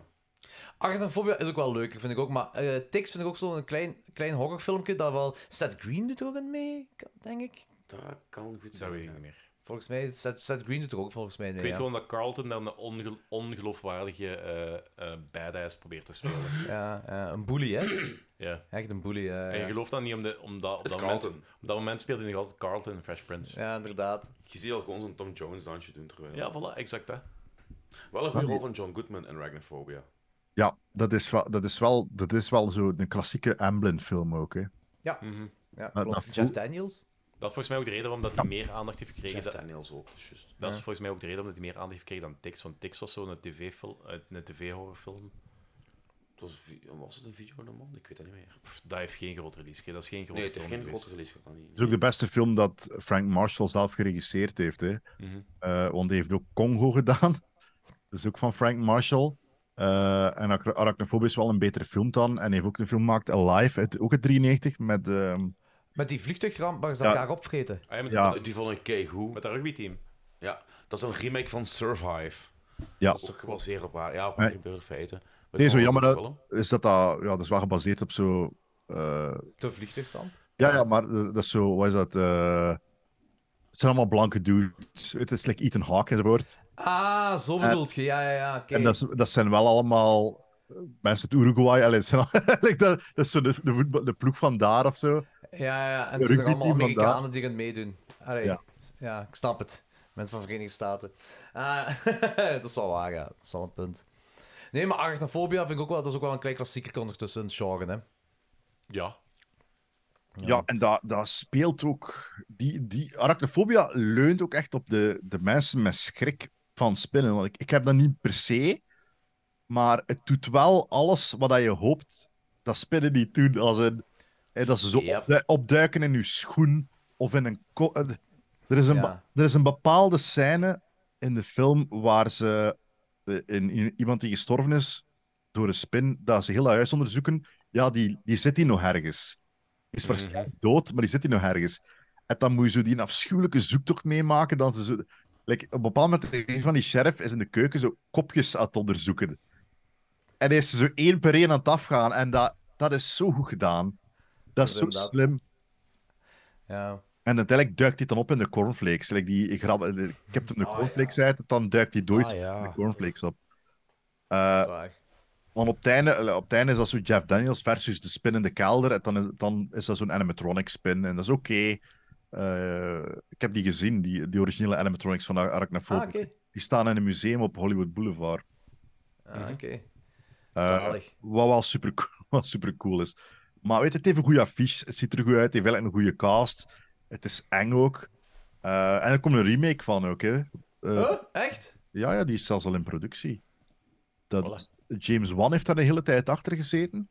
Speaker 2: Arachnophobia is ook wel leuker, vind ik ook. Maar eh Tix vind ik ook zo'n klein, klein horrorfilmpje dat wel... Seth Green doet er ook in mee, denk ik.
Speaker 3: Dat kan goed
Speaker 4: zijn. Dat weet ik niet meer.
Speaker 2: Volgens mij, Seth, Seth Green doet er ook volgens mij mee,
Speaker 4: Ik weet
Speaker 2: ja.
Speaker 4: gewoon dat Carlton dan een onge- ongeloofwaardige eh, eh, badass probeert te spelen.
Speaker 2: Ja, eh, een bully, hè?
Speaker 4: Ja.
Speaker 2: Echt een bully, eh. ja,
Speaker 4: En je
Speaker 2: ja.
Speaker 4: gelooft dat niet, omdat om dat, op,
Speaker 3: Is
Speaker 4: dat moment,
Speaker 3: Carlton.
Speaker 4: op dat moment speelt hij nog altijd Carlton in Fresh Prince.
Speaker 2: Ja, inderdaad.
Speaker 3: Je ziet al gewoon zo'n Tom Jones dansje doen terwijl...
Speaker 4: Ja, voilà, exact hè.
Speaker 3: Wel een goede rol van John Goodman in Arachnophobia.
Speaker 6: Ja, dat is wel, dat is wel, dat is wel zo een klassieke Amblin-film ook. Hè.
Speaker 2: Ja.
Speaker 6: Ja, klopt. dat voelt-
Speaker 2: Jeff Daniels?
Speaker 4: Dat is volgens mij ook de reden waarom dat hij meer aandacht heeft gekregen.
Speaker 3: Jeff
Speaker 4: dan-
Speaker 3: Daniels ook, juist.
Speaker 4: Dat is
Speaker 3: Ja.
Speaker 4: volgens mij ook de reden waarom dat hij meer aandacht heeft gekregen dan Tix. Want Tix was zo'n TV-film, eh, een tv-horrorfilm.
Speaker 3: Het was, een vi- was het een video aan de man? Ik weet dat niet meer.
Speaker 4: Pff, Dat heeft geen groot release gekregen. Dat is geen grote
Speaker 3: Nee, het heeft
Speaker 4: film
Speaker 3: geen
Speaker 4: geweest.
Speaker 3: grote release gehad. dat niet.
Speaker 6: Het is ook de beste film dat Frank Marshall zelf geregisseerd heeft. Hè.
Speaker 4: Mhm.
Speaker 6: Eh, want hij heeft ook Congo gedaan. Dat is ook van Frank Marshall. Eh, en Arach- Arachnophobia is wel een betere film dan. En hij heeft ook een film gemaakt, Alive, uit, ook uit 93, met... ehm,
Speaker 2: Met die vliegtuigramp waar ze
Speaker 6: Ja.
Speaker 2: elkaar opvreten.
Speaker 4: Ah, ja, met
Speaker 6: Ja.
Speaker 4: dat-
Speaker 3: Die vond ik keigoed.
Speaker 4: Met dat rugbyteam.
Speaker 3: Ja, dat is een remake van Survive.
Speaker 6: Ja.
Speaker 3: Dat is toch gebaseerd op waar? Ja, op waar
Speaker 6: Nee.
Speaker 3: gebeurde feiten. Maar
Speaker 6: nee,
Speaker 3: ik
Speaker 6: zo
Speaker 3: vond
Speaker 6: jammer
Speaker 3: het een
Speaker 6: dat,
Speaker 3: film.
Speaker 6: is dat dat... Ja, dat is wel gebaseerd op zo... eh,
Speaker 2: De vliegtuigramp?
Speaker 6: Ja, ja, maar eh, dat is zo, wat is dat? eh, het zijn allemaal blanke dudes. Het is like Ethan Hawke enzovoort.
Speaker 2: Ah, zo bedoelt je. Ja, ja, ja, oké.
Speaker 6: En dat, is- dat zijn wel allemaal eh, mensen uit Uruguay. Allee, het zijn al- like dat, dat is zo de, de, voetbal- de ploeg van daar of zo.
Speaker 2: Ja, ja, en
Speaker 6: De
Speaker 2: het zijn er allemaal
Speaker 6: rugbyteam van daar.
Speaker 2: Amerikanen die gaan meedoen. Allee,
Speaker 6: Ja.
Speaker 2: ja. ik snap het. Mensen van Verenigde Staten. Ah, dat is wel waar, ja. Dat is wel een punt. Nee, maar arachnophobia vind ik ook wel... Dat is ook wel een klein klassieker ondertussen in het genre, hè.
Speaker 4: Ja.
Speaker 6: Ja, en dat, dat speelt ook. Die, die arachnofobia leunt ook echt op de, de mensen met schrik van spinnen. Want ik, ik heb dat niet per se, maar het doet wel alles wat dat je hoopt dat spinnen niet doen. Als een, hè, dat ze zo opdu- opduiken in je schoen of in een. ko- eh, Er is een, ba- er is een bepaalde scène in de film waar ze eh, in, in iemand die gestorven is door een spin, dat ze heel dat huis onderzoeken. Ja, die, die zit hier nog ergens. Die is waarschijnlijk dood, maar die zit hier nog ergens. En dan moet je zo die afschuwelijke zoektocht meemaken. Dan ze zo... like, op een bepaald moment, een van die sheriff is in de keuken zo kopjes aan het onderzoeken. En hij is er zo één per één aan het afgaan. En dat, dat is zo goed gedaan. Dat is zo
Speaker 2: inderdaad-
Speaker 6: slim.
Speaker 2: Ja.
Speaker 6: En uiteindelijk duikt hij dan op in de cornflakes. Like die, ik, grab, ik heb hem de
Speaker 2: Ah,
Speaker 6: cornflakes uit, dan duikt hij dood
Speaker 3: Ah, ja.
Speaker 6: in de cornflakes op. Eh, want op het, einde, eh, op het einde is dat zo Jeff Daniels versus de spin in de kelder. En dan is, dan is dat zo'n animatronic spin. En dat is oké. Eh, ik heb die gezien, die, die originele animatronics van Ar- Arachnophobia.
Speaker 2: Ah, oké.
Speaker 6: Die staan in een museum op Hollywood Boulevard.
Speaker 2: Ah, oké.
Speaker 6: Eh,
Speaker 2: Zalig.
Speaker 6: wat wel super, wat super cool is. Maar weet je, het heeft een goede affiche. Het ziet er goed uit. Het heeft wel een goede cast. Het is eng ook. Eh, en er komt een remake van ook. Hè. Eh,
Speaker 2: Oh, echt?
Speaker 6: Ja, ja, die is zelfs al in productie. Dat, James Wan heeft daar de hele tijd achter gezeten.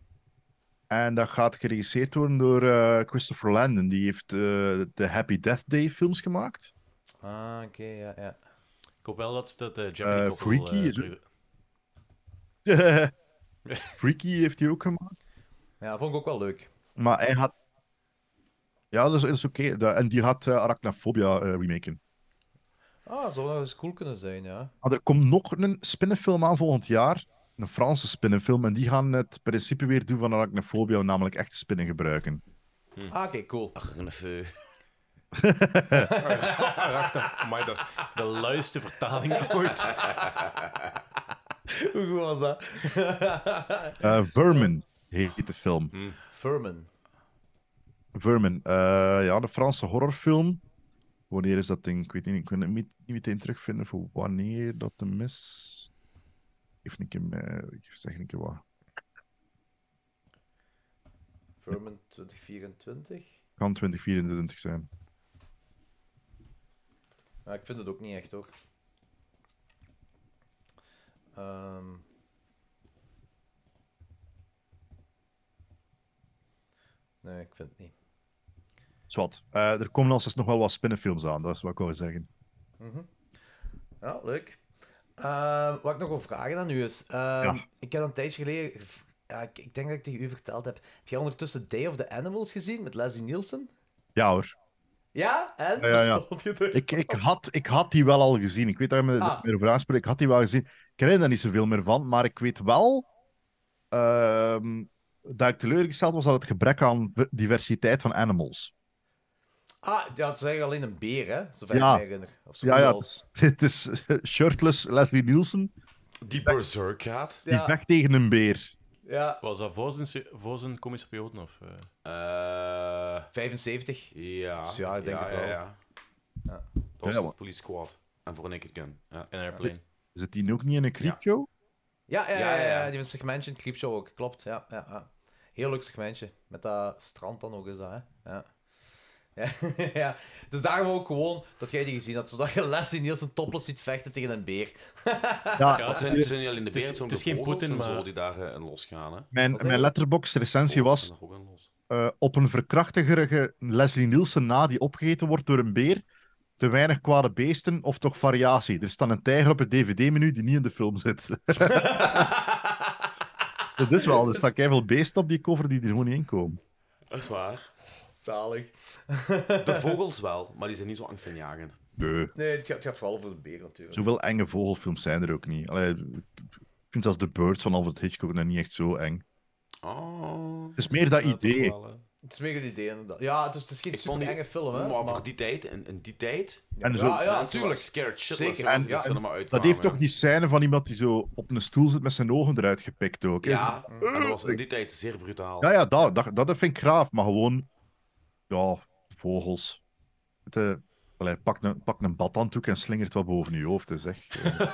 Speaker 6: En dat gaat geregisseerd worden door eh, Christopher Landon. Die heeft eh, de Happy Death Day films gemaakt.
Speaker 2: Ah, oké, ja, ja.
Speaker 4: Ik hoop wel dat ze dat eh
Speaker 6: Eh,
Speaker 4: Jeremy Cockle...
Speaker 6: Freaky
Speaker 4: eh,
Speaker 6: is-
Speaker 4: terug-
Speaker 6: Freaky heeft hij ook gemaakt.
Speaker 7: Ja, vond ik ook wel leuk.
Speaker 6: Maar hij had. Ja, dat is, dat is oké. Dat- En die had eh, Arachnophobia eh, remaken.
Speaker 7: Ah, zou wel eens cool kunnen zijn, ja.
Speaker 6: Maar er komt nog een spinnenfilm aan volgend jaar. Een Franse spinnenfilm. En die gaan het principe weer doen van Arachnophobia, namelijk echte spinnen gebruiken.
Speaker 7: Ah, oké, cool.
Speaker 3: Arachnofeu.
Speaker 4: Rachter, Ah, maar dat is de luiste vertaling ooit.
Speaker 7: Hoe goed was dat?
Speaker 6: Eh Vermin heet de film.
Speaker 7: Furman.
Speaker 6: Vermin. eh, ja, de Franse horrorfilm. Wanneer is dat ding? Ik weet niet. Ik kan het niet, niet meteen terugvinden voor wanneer dat hem is. Even een keer, eh, ik zeg een keer wat.
Speaker 7: Furman 2024.
Speaker 6: Kan 2024 zijn.
Speaker 7: Ja, ik vind het ook niet echt, hoor. Ehm. Nee, ik vind het niet.
Speaker 6: Zwat. Eh, er komen alsnog nog wel wat spinnenfilms aan, dat is wat ik wou zeggen.
Speaker 7: Mhm. Ja, leuk. Ehm, wat ik nog wil vragen aan u is... ehm, Ik heb een tijdje geleden... gev- Ja, ik, ik denk dat ik tegen u verteld heb. Heb jij ondertussen Day of the Animals gezien met Leslie Nielsen?
Speaker 6: Ja hoor.
Speaker 7: Ja? En?
Speaker 6: Ja, ja, ja.
Speaker 7: Vond je het leuk?
Speaker 6: Ik, ik, had, ik had die wel al gezien. Ik weet dat je me
Speaker 7: Ah.
Speaker 6: meer over aanspreekt. Ik had die wel gezien. Ik herinner daar niet zoveel meer van, maar ik weet wel ehm, dat ik teleurgesteld was aan het gebrek aan v- diversiteit van animals.
Speaker 7: Ah, ja, het is eigenlijk alleen een beer, hè? Zover
Speaker 6: Ja.
Speaker 7: ik me herinner. Of zo
Speaker 6: ja, ja,
Speaker 7: als-
Speaker 6: het- het is eh, shirtless Leslie Nielsen
Speaker 3: Die berserk gaat.
Speaker 6: die vecht tegen een beer.
Speaker 7: Ja.
Speaker 4: Was dat voor zijn, se- voor zijn komische periode? Of, eh?
Speaker 7: 75?
Speaker 3: Ja.
Speaker 7: Dus ja, ik denk
Speaker 3: ja,
Speaker 7: het wel.
Speaker 3: Ja, ja.
Speaker 7: Ja.
Speaker 3: Dat was
Speaker 6: Ja,
Speaker 3: de
Speaker 6: maar-
Speaker 3: police squad. En voor Naked Gun. Ja.
Speaker 4: En Airplane.
Speaker 6: Zit die ook niet in een creepshow?
Speaker 7: Ja, ja, ja,
Speaker 3: Ja, ja, ja.
Speaker 7: ja, die van segmentje in Creepshow ook. Klopt, ja, ja, ja. Heel leuk segmentje. Met dat strand dan ook eens, dat, hè. Ja. Ja, ja. Dus daarom ook gewoon dat jij die gezien had, zodat je Leslie Nielsen topless ziet vechten tegen een beer.
Speaker 6: Ja,
Speaker 3: het zijn, het zijn niet alleen de
Speaker 4: het is-
Speaker 3: beer, het zijn ook
Speaker 4: het is
Speaker 3: de
Speaker 4: geen
Speaker 3: vogels
Speaker 4: Poetin,
Speaker 3: en zo
Speaker 4: maar-
Speaker 3: die daar eh, in losgaan. Hè.
Speaker 6: Mijn, mijn letterbox-recensie was
Speaker 3: Ook in los.
Speaker 6: eh, op een verkrachtigerige Leslie Nielsen na die opgegeten wordt door een beer. Te weinig kwade beesten of toch variatie. Er staat een tijger op het DVD-menu die niet in de film zit. dat is wel. Er staan keiveel beesten op die cover die er gewoon niet in komen.
Speaker 3: Dat is waar.
Speaker 7: Zalig.
Speaker 3: De vogels wel, maar die zijn niet zo angstaanjagend.
Speaker 6: Nee.
Speaker 7: Nee, het gaat, het gaat vooral over de beer natuurlijk.
Speaker 6: Zoveel enge vogelfilms zijn er ook niet. Allee, ik vind zelfs The Birds van Alfred Hitchcock nog niet echt zo eng.
Speaker 3: Oh.
Speaker 6: Het is meer dat
Speaker 3: snap ik
Speaker 6: idee.
Speaker 3: wel, hè.
Speaker 7: Het is meer het idee inderdaad. Ja, het is, het is geen
Speaker 3: Ik vond
Speaker 7: super
Speaker 3: die-
Speaker 7: enge film, hè.
Speaker 3: Maar, voor die tijd, in, in die tijd...
Speaker 6: En zo- Ja,
Speaker 7: ja,
Speaker 3: mensen
Speaker 7: tuurlijk.
Speaker 3: waren scared shitless
Speaker 7: Zeker. En-
Speaker 3: als ze de
Speaker 7: ja, en
Speaker 3: cinema uitkwamen.
Speaker 6: Dat heeft toch die scène van iemand die zo op een stoel zit met zijn ogen eruit gepikt ook. hè?
Speaker 3: Ja, en dat was in die tijd zeer brutaal.
Speaker 6: Ja, ja dat, dat, dat vind ik graaf, maar gewoon... Ja, vogels. Het, eh, allee, pak, een, pak een badhanddoek en slingert wat boven je hoofd, hè, zeg.
Speaker 3: Ja,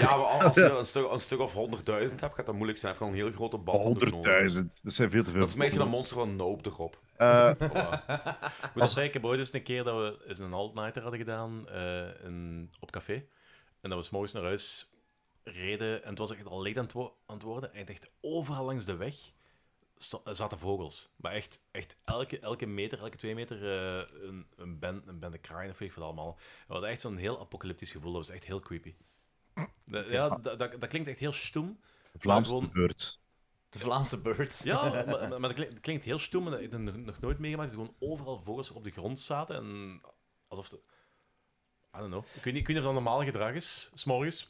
Speaker 3: maar als je een stuk, een stuk of 100.000 hebt, gaat dat moeilijk zijn. Heb je al een heel grote bal.
Speaker 6: Honderdduizend, dat zijn veel te veel.
Speaker 3: Dat smeet je dat monster van Nope erop.
Speaker 6: Eh,
Speaker 4: Ik moet dat zeggen, ik heb ooit eens een keer dat we eens een alt-nighter hadden gedaan eh, in- op café. En dat we s'morgens naar huis reden. En het was echt al leed aan het, wo- aan het worden. En echt overal langs de weg sta- zaten vogels. Maar echt, echt elke, elke meter, elke twee meter eh, een, een, ben, een bende kraaien of weet ik wat allemaal. En we hadden echt zo'n heel apocalyptisch gevoel. Dat was echt heel creepy. Dat- ja, dat, dat, dat klinkt echt heel stoem. maar
Speaker 6: Vlaamse
Speaker 4: gewoon-
Speaker 6: birds.
Speaker 7: De Vlaamse birds.
Speaker 4: ja, maar, maar- maar dat klink- dat klinkt heel stoem. En dat heb ik nog- nog nooit meegemaakt. Dat gewoon overal vogels op de grond zaten. En alsof de... I don't know. Ik weet niet, ik weet niet of dat normaal gedrag is, s'morgens.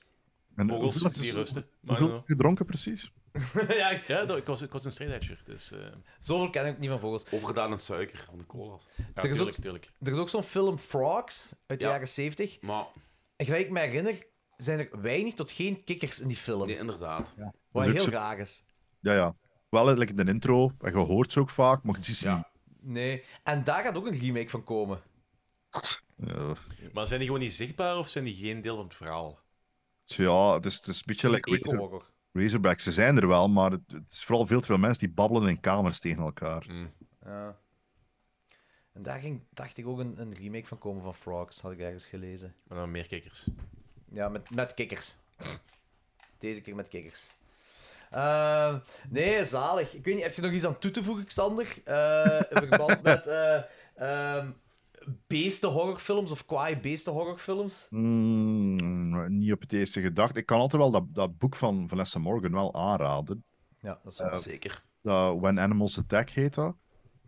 Speaker 6: En
Speaker 4: Vogels
Speaker 6: hoeveel-
Speaker 4: die rusten. Maar I don't
Speaker 6: Hoeveel heb
Speaker 4: know.
Speaker 6: je gedronken, precies?
Speaker 7: ja, ik-
Speaker 4: Ja, dat, ik, was, ik was een straight-edger, dus... eh,
Speaker 7: Zoveel ken ik niet van vogels.
Speaker 3: Overgedaan aan suiker, aan de colas.
Speaker 4: ja,
Speaker 7: Er is ook-
Speaker 4: tuurlijk, tuurlijk.
Speaker 7: Er is ook zo'n film Frogs uit de
Speaker 3: Ja.
Speaker 7: jaren 70.
Speaker 3: Maar,
Speaker 7: En gelijk ik me herinner, zijn er weinig tot geen kikkers in die film.
Speaker 3: nee, inderdaad.
Speaker 7: Wat
Speaker 6: Dus ook
Speaker 7: heel
Speaker 6: zo-
Speaker 7: raar is.
Speaker 6: Ja, ja. Wel, eh, like in de intro, en je hoort ze ook vaak, maar je ziet ze
Speaker 7: Nee. En daar gaat ook een remake van komen.
Speaker 6: niet. Ja,
Speaker 4: Maar zijn die gewoon niet zichtbaar of zijn die geen deel van het verhaal?
Speaker 6: ja het, is, het is een beetje
Speaker 7: Het is
Speaker 6: like
Speaker 7: een eco-horror.
Speaker 6: Razorbacks, ze zijn er wel, maar het, het is vooral veel te veel mensen die babbelen in kamers tegen elkaar.
Speaker 7: Ja. En daar ging, dacht ik ook een, een remake van komen van Frogs, had ik ergens gelezen.
Speaker 4: Maar dan meer kikkers.
Speaker 7: Ja, met, met kikkers. Deze keer met kikkers. Ehm, nee, zalig. Ik weet niet, heb je nog iets aan toe te voegen, Xander? Eh, in verband met eh, ehm, beestenhorrorfilms of kwaai beestenhorrorfilms?
Speaker 6: Mm, niet op het eerste gedacht. Ik kan altijd wel dat, dat boek van Vanessa Morgan wel aanraden.
Speaker 7: Ja, dat is wel
Speaker 6: Eh,
Speaker 7: zeker.
Speaker 6: Dat When Animals Attack heet dat.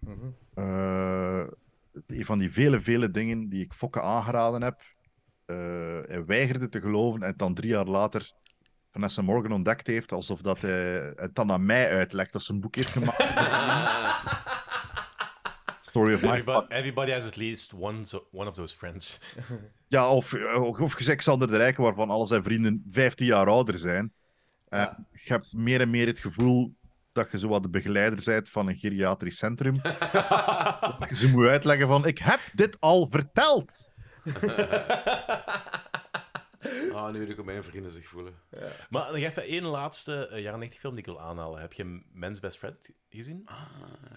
Speaker 7: Mhm.
Speaker 6: Eh, een van die vele, vele dingen die ik Fokke aangeraden heb. Eh, hij weigerde te geloven en dan drie jaar later Vanessa Morgan ontdekt heeft, alsof dat hij het dan aan mij uitlegt dat ze een boek heeft gemaakt. Story of my...
Speaker 4: Everybody, everybody has at least one, zo- one of those friends.
Speaker 6: Ja, of, of, of gezegd Xander de Rijken, waarvan al zijn vrienden 15 jaar ouder zijn. Eh, Je hebt meer en meer het gevoel dat je zowat de begeleider bent van een geriatrisch centrum. dat je ze moet uitleggen van, ik heb dit al verteld.
Speaker 3: Ah, nu de mijn vrienden zich voelen.
Speaker 4: Maar nog even één laatste eh, jaren 90 film die ik wil aanhalen. Heb je Men's Best Friend gezien?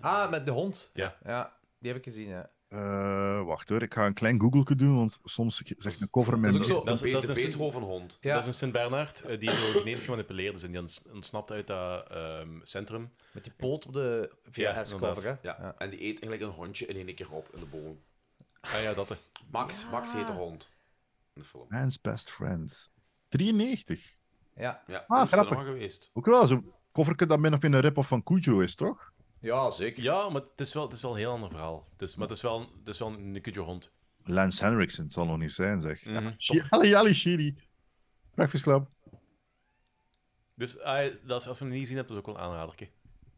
Speaker 7: Ah, met de hond.
Speaker 4: Ja.
Speaker 7: Ja, die heb ik gezien, ja.
Speaker 6: Eh, wacht hoor, ik ga een klein googeltje doen, want soms zegt een cover mijn...
Speaker 4: Dat is- dat is een Sint-
Speaker 3: Beethovenhond.
Speaker 4: Dat is een Sint-Bernard eh, die zo genetisch gemanipuleerd is en die ons- ontsnapt uit dat ehm, centrum.
Speaker 7: Met die poot op de
Speaker 3: inderdaad. Ja. En die eet eigenlijk een hondje in één keer op in de boom.
Speaker 4: Ah ja, dat
Speaker 3: Max, Max heet de hond. In de film.
Speaker 6: Man's Best Friend. 93.
Speaker 7: Ja.
Speaker 3: Ja,
Speaker 6: Ah,
Speaker 3: in de cinema
Speaker 6: grappig.
Speaker 3: geweest.
Speaker 6: Ook wel zo'n coverke dat min of meer een rip-off van Cujo is, toch?
Speaker 7: Ja, zeker.
Speaker 4: Ja, maar het is wel, het is wel een heel ander verhaal. Het is, maar het is wel, het is wel een kutje hond.
Speaker 6: Lance Henriksen, het zal nog niet zijn, zeg.
Speaker 4: Mhm.
Speaker 6: Ja, Jally, jally, Shiri. Breakfast Club.
Speaker 4: Dus ah, dat is, als je hem niet gezien hebt, dat is ook wel een aanraderke.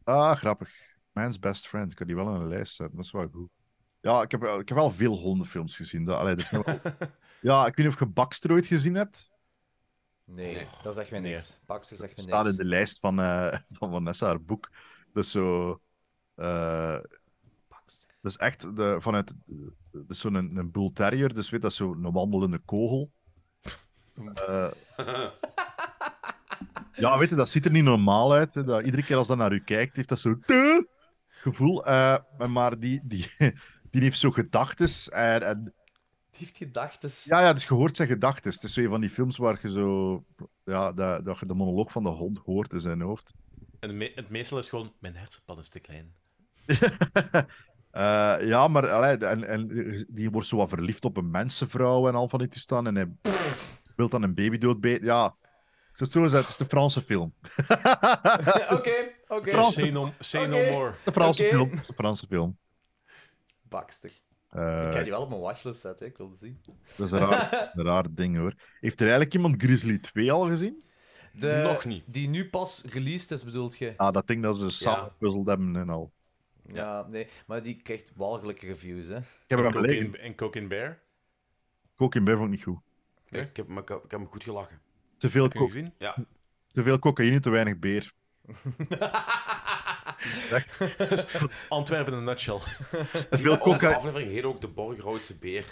Speaker 6: Ah, grappig. Man's Best Friend. Ik kan die wel in een lijst zetten, dat is wel goed. Ja, ik heb, wel- ik heb wel veel hondenfilms gezien. Dat, allee, dat is nou wel- ja, ik weet niet of je Baxter ooit gezien hebt.
Speaker 7: Nee, dat zegt mij niks. Baxter zegt mij niks.
Speaker 6: staat in de lijst van, eh, van Vanessa, haar boek. Dat is zo. eh, dat is echt de, vanuit. Dat is zo'n een, een bull terrier, dus weet dat is zo'n wandelende kogel. Eh, ja, weet je, dat ziet er niet normaal uit. hè, dat, iedere keer als dat naar u kijkt, heeft dat zo'n "Tuh!" gevoel. Eh, maar- maar die, die, die heeft zo gedachtes. En, en
Speaker 7: Die heeft gedachten.
Speaker 6: ja, ja, dus je hoort zijn gedachten. Het is zo een van die films waar je zo. Ja, dat, dat je de monoloog van de hond hoort in zijn hoofd.
Speaker 4: En het me- het meestal is gewoon, mijn hersenpad is te klein.
Speaker 6: Eh, ja, maar allee, en, en, die wordt zo wat verliefd op een mensenvrouw en al van die toestaan. En hij wil dan een baby doodbeten. Ja, zo is het, het is de Franse film.
Speaker 7: Oké, oké.
Speaker 6: Frans-
Speaker 4: Say no, say
Speaker 7: Oké.
Speaker 4: no more.
Speaker 6: De Franse
Speaker 7: Oké.
Speaker 6: film. De Franse film.
Speaker 7: Baxter.
Speaker 6: Eh,
Speaker 7: Ik ga die wel op mijn watchlist zetten, hè. ik wil die zien.
Speaker 6: Dat is een raar, een raar ding hoor. Heeft er eigenlijk iemand Grizzly 2 al gezien?
Speaker 7: De-
Speaker 6: Nog niet.
Speaker 7: Die nu pas released is, bedoelt je?
Speaker 6: Ah, dat ding dat ze samen gepuzzeld hebben en al.
Speaker 7: Ja, nee. Maar die krijgt walgelijke reviews, hè. Ik
Speaker 6: heb hem
Speaker 4: Cocaine-
Speaker 6: gelegen.
Speaker 4: En Cocaine Bear?
Speaker 6: Cocaine Bear vond ik niet goed.
Speaker 3: Ik, heb, me- ik, heb, ik heb me goed gelachen.
Speaker 6: Te veel,
Speaker 3: Heb je hem
Speaker 6: co-
Speaker 3: gezien? Ja.
Speaker 6: te veel cocaïne, te weinig beer.
Speaker 4: Antwerpen in een nutshell.
Speaker 6: Te veel
Speaker 3: Onze
Speaker 6: coca-
Speaker 3: aflevering heet ook de Borgroodse Beer.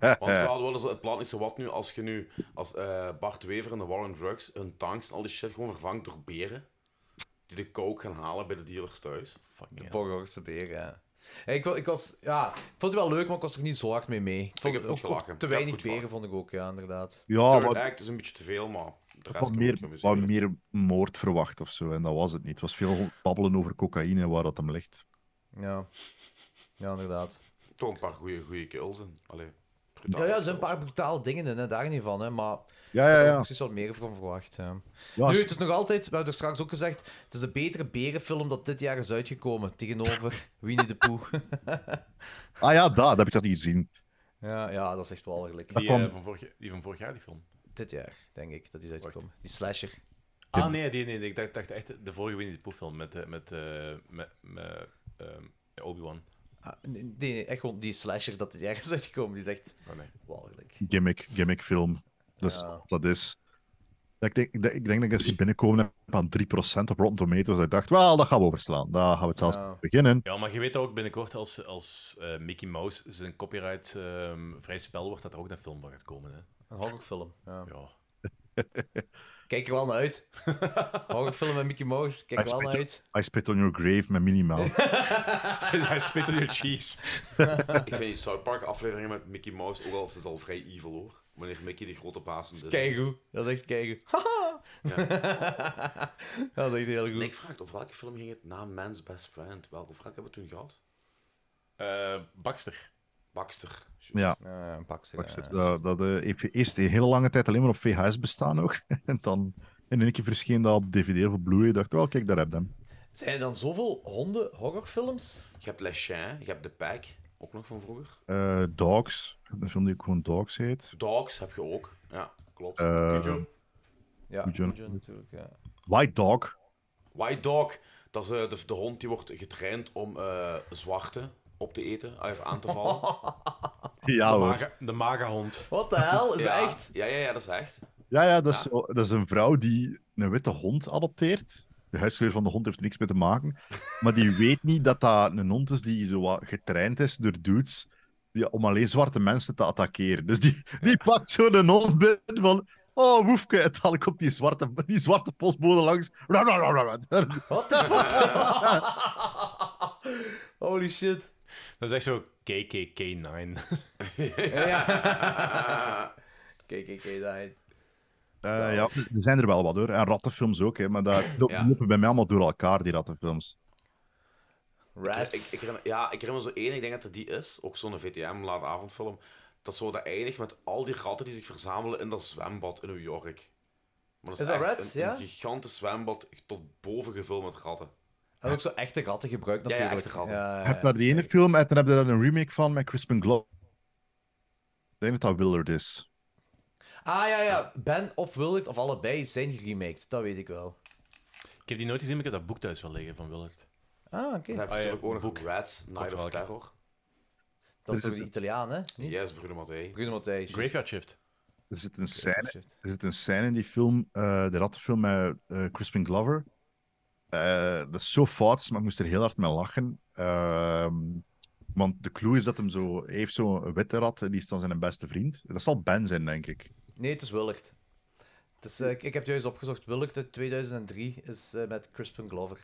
Speaker 3: Want we hadden wel eens het plan is zo wat nu als je nu als eh, Bart Wever en de War on Drugs hun tanks en al die shit gewoon vervangt door beren die de coke gaan halen bij de dealers thuis.
Speaker 7: De Borgorgse beer, ja. Hey, Ik, wa- ik, was, ja. ik vond het wel leuk, maar ik was er niet zo hard mee mee. Ik vond het
Speaker 3: heb goed
Speaker 7: ook, ook
Speaker 3: gelachen.
Speaker 7: te
Speaker 3: Ik heb
Speaker 7: weinig
Speaker 3: goed
Speaker 7: beren, vond ik ook, ja, inderdaad.
Speaker 6: Ja,
Speaker 3: Third
Speaker 6: wat-
Speaker 3: Act is een beetje te veel, maar de
Speaker 6: Ik had
Speaker 3: rest
Speaker 6: meer,
Speaker 3: Oh, meer...
Speaker 6: wat meer moord verwacht of zo. En dat was het niet. Het was veel babbelen over cocaïne en waar dat hem ligt.
Speaker 7: Ja. Ja, inderdaad.
Speaker 3: toch een paar goede goede kills in. Allee,
Speaker 7: Ja, ja, er zijn een paar brutale dingen in, hè, daar niet van, hè, maar
Speaker 6: Ja, ja,
Speaker 7: ik had er
Speaker 6: ja.
Speaker 7: precies wat meer van verwacht. hè.
Speaker 6: Ja,
Speaker 7: nu,
Speaker 6: ze-
Speaker 7: het is nog altijd, we hebben er straks ook gezegd, het is een betere berenfilm dat dit jaar is uitgekomen tegenover Winnie de Pooh.
Speaker 6: Ah ja, daar dat heb ik dat niet gezien.
Speaker 7: ja, ja, dat is echt wel gelijk.
Speaker 4: Die, eh, van vorig, die van vorig jaar, die film.
Speaker 7: Dit jaar, denk ik, dat die is uitgekomen. Die slasher.
Speaker 4: Ah, nee, nee, nee. nee, Ik dacht, dacht echt de vorige Winnie the Pooh film met, eh, met, eh, met, met, ehm, Obi-Wan.
Speaker 7: Ah, nee, nee, echt gewoon die slasher dat dit jaar is uitgekomen, die is echt
Speaker 4: Oh,
Speaker 7: walgelijk.
Speaker 6: Gimmick, gimmick film. Dat is wat dat is. Ik denk, ik denk- ik denk dat ik als die binnenkomen heb aan 3% op Rotten Tomatoes. Dat ik dacht, wel, dat gaan we overslaan. Daar gaan we zelfs mee beginnen.
Speaker 4: Ja, maar je weet dat ook binnenkort als, als eh, Mickey Mouse zijn copyright ehm, vrij spel wordt, dat er ook een film van gaat komen. Hè?
Speaker 7: Een horrorfilm, ja.
Speaker 4: Kijk
Speaker 7: er wel naar uit. horrorfilm met Mickey Mouse, kijk
Speaker 6: I
Speaker 7: er wel naar
Speaker 6: spit-
Speaker 7: uit.
Speaker 6: I spit on your grave met minimaal.
Speaker 4: Hij spit op je cheese.
Speaker 3: Ik vind die South Park afleveringen met Mickey Mouse ook al is het al vrij evil hoor. Wanneer Mickey de grote baas is.
Speaker 7: Keigoed, dat is echt keigoed. dat is echt heel goed.
Speaker 3: ik vraag het, over welke film ging het na Man's Best Friend? Welke vraag hebben we toen gehad?
Speaker 4: Eh, Baxter.
Speaker 3: Baxter.
Speaker 6: Ja.
Speaker 7: Eh, Baxter,
Speaker 6: Baxter,
Speaker 7: eh.
Speaker 6: dat dat eh, heeft eerst een hele lange tijd alleen maar op VHS bestaan ook. en dan in één keer verscheen dat op DVD of op Blu-ray. dacht ik, oh, kijk, daar heb je hem.
Speaker 7: Zijn er dan zoveel honden horrorfilms?
Speaker 3: Je hebt Les Chiens, je hebt The Pack, ook nog van vroeger.
Speaker 6: Eh, Dogs, een film die ook gewoon Dogs heet.
Speaker 3: Dogs heb je ook, ja, klopt.
Speaker 6: Eh,
Speaker 7: Ja,
Speaker 6: Cujo.
Speaker 7: Cujo natuurlijk, ja.
Speaker 6: White Dog.
Speaker 3: White Dog, dat is eh, de, de hond die wordt getraind om eh, zwarte op te eten, eh, of aan te vallen.
Speaker 7: Oh,
Speaker 6: Ja
Speaker 4: de,
Speaker 6: hoor.
Speaker 4: maga, de magahond.
Speaker 7: Wat de hel? Is
Speaker 3: ja.
Speaker 7: dat echt?
Speaker 3: Ja, ja, ja, dat is echt.
Speaker 6: Ja, ja, dat, Is, zo- dat is een vrouw die een witte hond adopteert. De huidskleur van de hond heeft er niks mee te maken. Maar die weet niet dat dat een hond is die zo wat getraind is door dudes die, om alleen zwarte mensen te attackeren. Dus die, die pakt zo'n hond binnen van... Oh, woefke. En dan komt die zwarte, die zwarte postbode langs. Eh,
Speaker 7: What the Holy shit.
Speaker 4: Dat is echt zo KKK9.
Speaker 7: ja. KKK, daarheen.
Speaker 6: Eh, ja, er zijn er wel wat hoor. En rattenfilms ook, hè, maar dat dat
Speaker 3: Ja.
Speaker 6: lopen bij mij allemaal door elkaar, die rattenfilms.
Speaker 3: Ik, ik, ik herinner- ja, ik herinner me zo één, ik denk dat het die is, ook zo'n VTM, late avondfilm, dat zo dat eindigt met al die ratten die zich verzamelen in dat zwembad in New York. Maar
Speaker 7: Is dat
Speaker 3: echt
Speaker 7: Rats,
Speaker 3: een,
Speaker 7: ja?
Speaker 3: een gigantisch zwembad tot boven gevuld met ratten.
Speaker 7: En ook zo echte ratten gebruikt
Speaker 3: Ja, ja,
Speaker 7: natuurlijk.
Speaker 3: echte ratten.
Speaker 7: Ja, ja,
Speaker 6: Je hebt daar die ene film en dan heb je daar een remake van met Crispin Glover. Ik denk dat dat Willard is.
Speaker 7: Ah ja, ja. Ben of Willard of allebei zijn geremaked. Dat weet ik wel.
Speaker 4: Ik heb die nooit gezien, maar ik heb dat boek thuis wel liggen van Willard.
Speaker 7: Ah, oké.
Speaker 3: Dan heb je natuurlijk ook nog Rats, Night of
Speaker 4: Godverhaal.
Speaker 3: Terror.
Speaker 7: Dat is toch de Italiaan, hè?
Speaker 3: Yes, Bruno Mattei.
Speaker 7: Bruno Mattei.
Speaker 4: Graveyard Shift.
Speaker 6: Er zit een scène, er zit een scène in die film, eh, de rattenfilm met eh, Crispin Glover. Eh, dat is zo fout, maar ik moest er heel hard mee lachen. Ehm, want de clue is dat hem zo, hij heeft zo'n witte rat en die is dan zijn beste vriend. Dat zal Ben zijn, denk ik.
Speaker 7: Nee, het is Willard. Het is, eh, ik, ik heb juist opgezocht. Willard uit 2003 is eh, met Crispin Glover.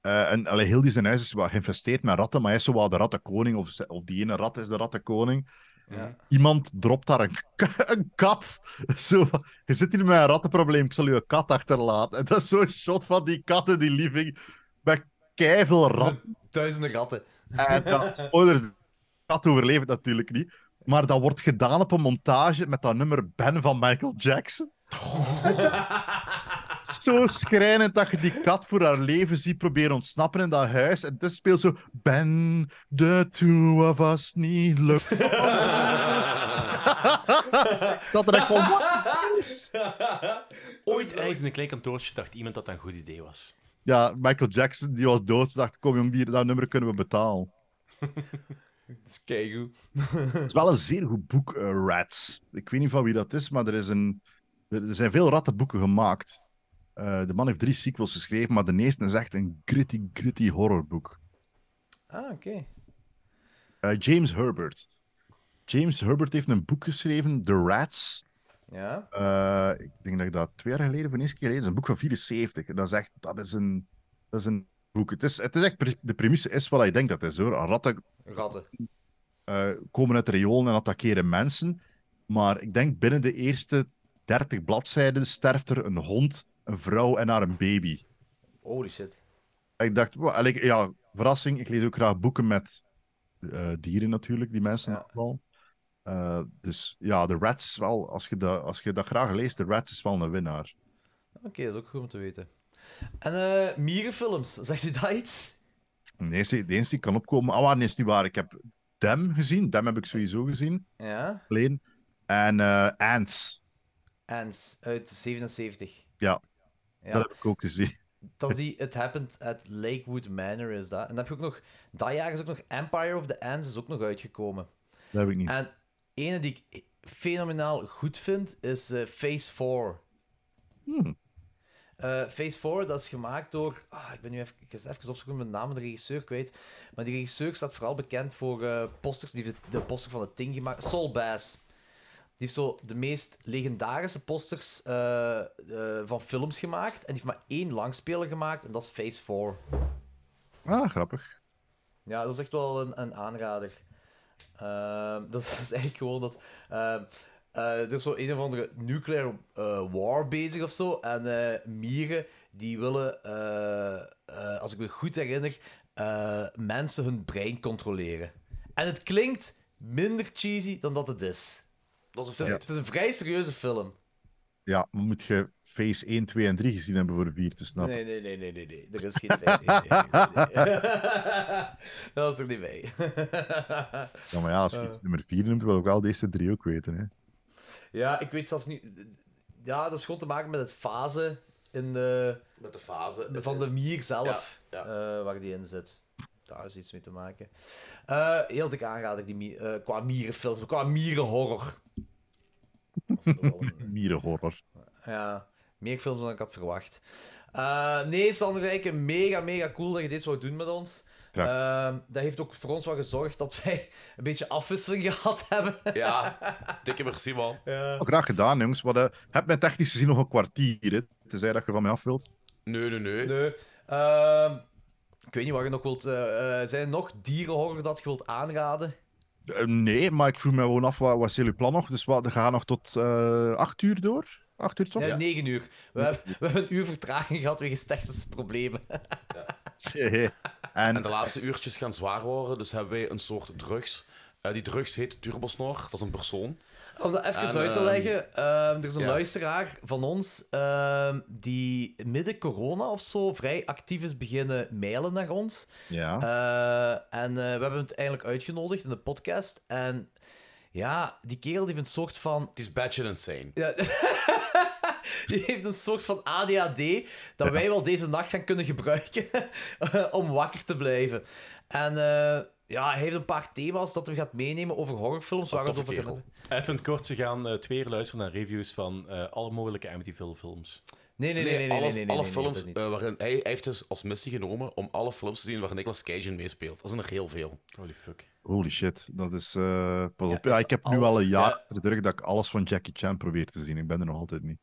Speaker 6: Eh, en allee, heel die zijn huis is wel geïnvesteerd met ratten, maar hij is zo wel de rattenkoning, of, ze- of die ene rat is de rattenkoning.
Speaker 7: Ja.
Speaker 6: Iemand dropt daar een, k- een kat. Zo, van, je zit hier met een rattenprobleem, ik zal je een kat achterlaten. En dat is zo'n shot van die kat in die living, met keiveel ratten.
Speaker 7: Duizenden ratten.
Speaker 6: En dat, oh, de kat overleeft natuurlijk niet. Maar dat wordt gedaan op een montage met dat nummer Ben van Michael Jackson. Zo schrijnend dat je die kat voor haar leven ziet proberen ontsnappen in dat huis. En dus speelt zo... Ben, the two of us niet lukt. dat er echt van... "What is?"
Speaker 4: Ooit ergens in een klein kantoortje dacht iemand dat dat een goed idee was.
Speaker 6: Ja, Michael Jackson, die was dood. Ze dacht, kom jong, die, dat nummer kunnen we betalen.
Speaker 7: Het is keigoed.
Speaker 6: Het is wel een zeer goed boek, eh, Rats. Ik weet niet van wie dat is, maar er, is een... er er zijn veel rattenboeken gemaakt. Eh, de man heeft drie sequels geschreven, maar de eerste is echt een gritty, gritty horrorboek.
Speaker 7: Ah, oké.
Speaker 6: Eh, James Herbert. James Herbert heeft een boek geschreven, The Rats.
Speaker 7: Ja.
Speaker 6: Eh, ik denk dat ik dat twee jaar geleden, of een eerste keer gelezen, heb. een boek van 74. En dat is echt, dat is een, dat is een boek. Het is, het is echt, pre- de premisse is wat je denkt dat het is hoor. Ratten
Speaker 7: Ratten.
Speaker 6: eh, komen uit de riolen en attackeren mensen. Maar ik denk binnen de eerste 30 bladzijden sterft er een hond, een vrouw en haar een baby.
Speaker 7: Holy shit.
Speaker 6: En ik dacht, wa- en ik- ja, verrassing. Ik lees ook graag boeken met eh, dieren natuurlijk, die mensen wel. Eh, dus ja, de Rats is wel, als je, dat, als je dat graag leest, de Rats is wel een winnaar.
Speaker 7: Oké, dat is ook goed om te weten. En eh, mierenfilms, zegt u dat iets?
Speaker 6: De eerste, de eerste die kan opkomen, ah, waar, nee, is niet waar. Ik heb Dem gezien, Dem heb ik sowieso gezien.
Speaker 7: Ja.
Speaker 6: Alleen. En eh, Ants,
Speaker 7: Ants, uit 77.
Speaker 6: ja,
Speaker 7: Ja.
Speaker 6: dat heb ik ook gezien.
Speaker 7: Dat is die It Happened at Lakewood Manor, is dat. En dan heb je ook nog... Dat jaar is ook nog Empire of the Ants, is ook nog uitgekomen.
Speaker 6: Dat heb ik niet.
Speaker 7: En ene die ik fenomenaal goed vind, is eh, Phase 4.
Speaker 6: Hmm.
Speaker 7: Eh, Phase 4, dat is gemaakt door... Ah, ik ben nu even, ik ga even opzoeken met de naam van de regisseur kwijt. Maar die regisseur staat vooral bekend voor eh, posters. Die heeft de, de poster van de Ting gemaakt. Saul Bass. Die heeft zo de meest legendarische posters eh, eh, van films gemaakt. En die heeft maar één langspeler gemaakt. En dat is Phase 4.
Speaker 6: Ah, grappig.
Speaker 7: Ja, dat is echt wel een, een aanrader. Ehm, dat is eigenlijk gewoon dat. ehm, eh, er is zo een of andere nuclear eh, war bezig of zo. En eh, mieren die willen, eh, eh, als ik me goed herinner, eh, mensen hun brein controleren. En het klinkt minder cheesy dan dat het is. Dat is een,
Speaker 6: Ja.
Speaker 7: Het is een vrij serieuze film.
Speaker 6: Ja, maar moet je Phase 1, 2 en 3 gezien hebben voor 4 te snappen.
Speaker 7: Nee, nee, nee, nee, nee, nee. Er is geen feest. Nee, nee, nee, nee. dat is er niet mee.
Speaker 6: Ja, maar ja, als je
Speaker 7: Eh.
Speaker 6: nummer 4 noemt, wil ik wel deze drie ook weten. Hè.
Speaker 7: Ja, ik weet zelfs niet. Ja, dat is gewoon te maken met het fase in de. Met de fase. Van de mier zelf, eh, waar die in zit. Daar is iets mee te maken. Eh, heel dik aanrader die mi- eh, qua mierenfilm, qua mierenhorror.
Speaker 6: Mierenhorror.
Speaker 7: Ja, meer films dan ik had verwacht. Eh, nee, Sander Rijken, mega, mega cool dat je dit wou doen met ons.
Speaker 6: Graag.
Speaker 7: Ehm, dat heeft ook voor ons wel gezorgd dat wij een beetje afwisseling gehad hebben.
Speaker 3: Ja, dikke merci, man.
Speaker 6: Oh, graag gedaan, jongens. Wat, eh, heb mijn technisch gezien nog een kwartier, hè, tenzij dat je van mij af wilt.
Speaker 3: Nee, nee, nee.
Speaker 7: Nee. Ehm, ik weet niet wat je nog wilt. eh, eh, zijn er nog dierenhorror dat je wilt aanraden?
Speaker 6: Eh, nee, maar ik vroeg me gewoon af, wat wat is jullie plan nog? Dus wat, gaan nog tot eh 8 uur door? 8 uur toch?
Speaker 7: Nee, 9 uur. We, hebben, we hebben een uur vertraging gehad wegens technische problemen.
Speaker 3: En... de laatste uurtjes gaan zwaar worden, dus hebben wij een soort drugs. Eh, die drugs heet Turbosnor, dat is een persoon.
Speaker 7: Om dat even
Speaker 3: En,
Speaker 7: uit te
Speaker 3: ehm,
Speaker 7: leggen, ehm, er is een
Speaker 3: ja.
Speaker 7: luisteraar van ons ehm, die midden corona of zo vrij actief is beginnen mailen naar ons.
Speaker 6: Ja.
Speaker 7: Eh, en eh, we hebben het eindelijk uitgenodigd in de podcast. En ja, die kerel die heeft een soort van...
Speaker 3: Het is Badger Insane.
Speaker 7: Ja. Die heeft een soort van ADHD dat wij wel deze nacht gaan kunnen gebruiken om wakker te blijven. En eh, ja, hij heeft een paar thema's dat hij gaat meenemen over horrorfilms. Waar we het over gaan hebben.
Speaker 4: Even kort, ze gaan eh, twee uur luisteren naar reviews van eh, alle mogelijke Amityville-films.
Speaker 7: Nee, nee, nee, nee, nee,
Speaker 3: alles-
Speaker 7: nee, nee,
Speaker 3: alle
Speaker 7: nee, nee,
Speaker 3: films
Speaker 7: dat niet.
Speaker 3: eh, waarin hij, hij heeft dus als missie genomen om alle films te zien waar Nicolas Cage in meespeelt. Dat zijn er heel veel.
Speaker 4: Holy fuck.
Speaker 6: Holy shit, dat is... eh, pas op.
Speaker 4: Ja,
Speaker 6: Ja,
Speaker 4: is
Speaker 6: ik heb nu
Speaker 4: al-
Speaker 6: al een jaar
Speaker 4: ja.
Speaker 6: achter de rug dat ik alles van Jackie Chan probeer te zien. Ik ben er nog altijd niet.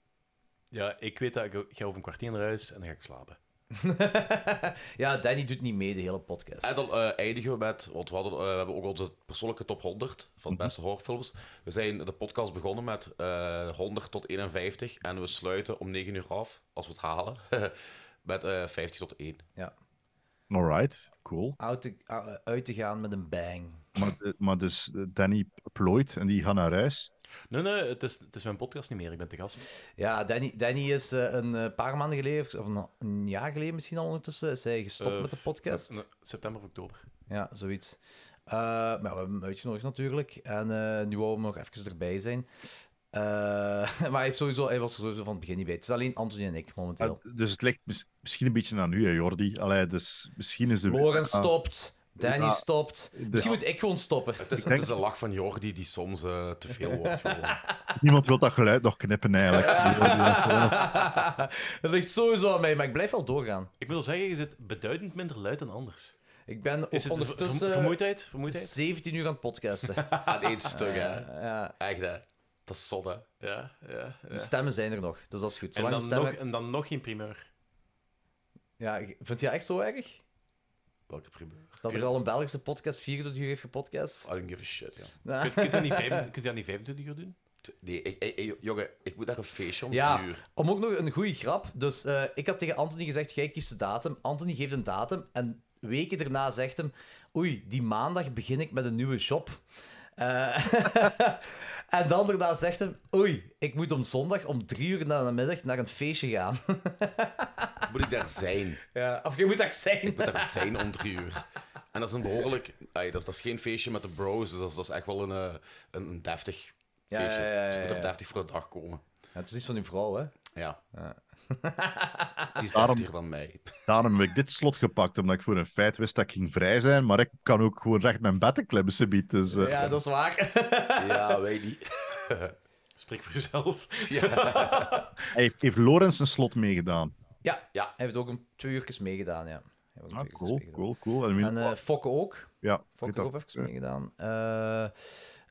Speaker 4: Ja, ik weet dat ik ik ga over een kwartier naar huis en dan ga ik slapen.
Speaker 7: Ja, Danny doet niet mee de hele podcast.
Speaker 3: En dan eh, eindigen we met, want we, hadden, eh, we hebben ook onze persoonlijke top 100 van
Speaker 7: Mhm.
Speaker 3: de beste horrorfilms. We zijn de podcast begonnen met eh, 100 tot 51 en we sluiten om 9 uur af, als we het halen, met eh 50 tot 1.
Speaker 7: Ja.
Speaker 6: Alright, cool.
Speaker 7: Uit te, uh, uit te gaan met een bang.
Speaker 6: Maar, de- maar dus eh, Danny plooit en die gaat naar huis.
Speaker 4: Nee, nee, het is, het is mijn podcast niet meer. Ik ben te gast.
Speaker 7: Ja, Danny, Danny is eh, een eh, paar maanden geleden, of een, een jaar geleden misschien al ondertussen, is hij gestopt
Speaker 4: Eh,
Speaker 7: met de podcast.
Speaker 4: eh, september of oktober.
Speaker 7: Ja, zoiets. Eh, maar we hebben hem uitgenodigd natuurlijk. En eh, nu wou we nog even erbij zijn. Eh, maar hij, heeft sowieso, hij was er sowieso van het begin niet bij. Het is alleen Anthony en ik momenteel.
Speaker 6: Ah, dus het lijkt mis- misschien een beetje aan u, hè, Jordi. Allee, dus misschien is de...
Speaker 7: Loren
Speaker 6: Ah.
Speaker 7: stopt. Danny
Speaker 6: Ja.
Speaker 7: stopt. Misschien moet ik gewoon stoppen.
Speaker 3: Het is,
Speaker 6: Ik denk-
Speaker 3: het is de lach van Jordi die soms eh, te veel wordt. gewoon.
Speaker 6: Niemand wil dat geluid nog knippen, eigenlijk.
Speaker 7: Het ligt sowieso aan mij, maar ik blijf wel doorgaan.
Speaker 4: Ik wil zeggen, je zit beduidend minder luid dan anders.
Speaker 7: Ik ben
Speaker 4: Is het
Speaker 7: ondertussen... eh,
Speaker 4: ver- vermoeidheid? Vermoeidheid?
Speaker 7: 17 uur aan het podcasten.
Speaker 3: Aan één stuk, hè.
Speaker 7: Ja.
Speaker 3: Echt, hè. Dat is zot, hè.
Speaker 4: Ja, ja.
Speaker 7: De stemmen zijn er nog, dus dat is goed.
Speaker 4: En
Speaker 7: Zolang
Speaker 4: dan,
Speaker 7: de stemmen...
Speaker 4: nog, en dan nog geen primeur.
Speaker 7: Ja, vind je dat echt zo erg?
Speaker 3: Welke primeur?
Speaker 7: Dat er al een Belgische podcast 24 uur heeft gepodcast?
Speaker 3: I don't give a shit, ja.
Speaker 7: Ja.
Speaker 4: Kunt, kunt, je dat niet vijf- kunt je dat niet 25 uur doen?
Speaker 3: Nee, ik, ik- ik- jongen, ik moet naar een feestje om
Speaker 7: Ja,
Speaker 3: drie uur.
Speaker 7: om ook nog een goede grap. Dus eh, ik had tegen Anthony gezegd: jij kiest de datum. Anthony geeft een datum. En weken daarna zegt hem: Oei, die maandag begin ik met een nieuwe job. Eh, en dan daarna zegt hem: Oei, ik moet om zondag om drie uur na de middag naar een feestje gaan.
Speaker 3: Moet ik daar zijn?
Speaker 7: Ja, of je moet daar zijn.
Speaker 3: Ik moet daar zijn om drie uur. En dat is een behoorlijk... ai, dat, is, dat is geen feestje met de bros, dus dat is, dat is echt wel een, eh, een, een deftig
Speaker 7: Ja,
Speaker 3: feestje.
Speaker 7: ja, ja,
Speaker 3: Dus je moet
Speaker 7: ja,
Speaker 3: er
Speaker 7: ja.
Speaker 3: deftig voor de dag komen.
Speaker 7: Ja, het is iets van uw vrouw, hè?
Speaker 3: Ja. Die is
Speaker 6: Daarom-
Speaker 3: deftiger dan mij.
Speaker 6: Daarom heb ik dit slot gepakt, omdat ik voor een feit wist dat ik ging vrij zijn, maar ik kan ook gewoon recht mijn bed klemmen, subiet. Dus, eh,
Speaker 7: Ja, dat is waar.
Speaker 3: Ja, weet niet.
Speaker 4: Spreek voor jezelf.
Speaker 6: Hij heeft, heeft Lorenz een slot meegedaan.
Speaker 7: ja, ja, hij heeft ook een twee uurtjes meegedaan. Ja. Hij heeft
Speaker 3: Ah,
Speaker 7: ook twee uurtjes
Speaker 6: Ah, Cool, cool, cool. En,
Speaker 7: En eh, Fokke ook.
Speaker 6: Ja, weet
Speaker 7: Fokke
Speaker 6: dat.
Speaker 7: ook even meegedaan. Eh,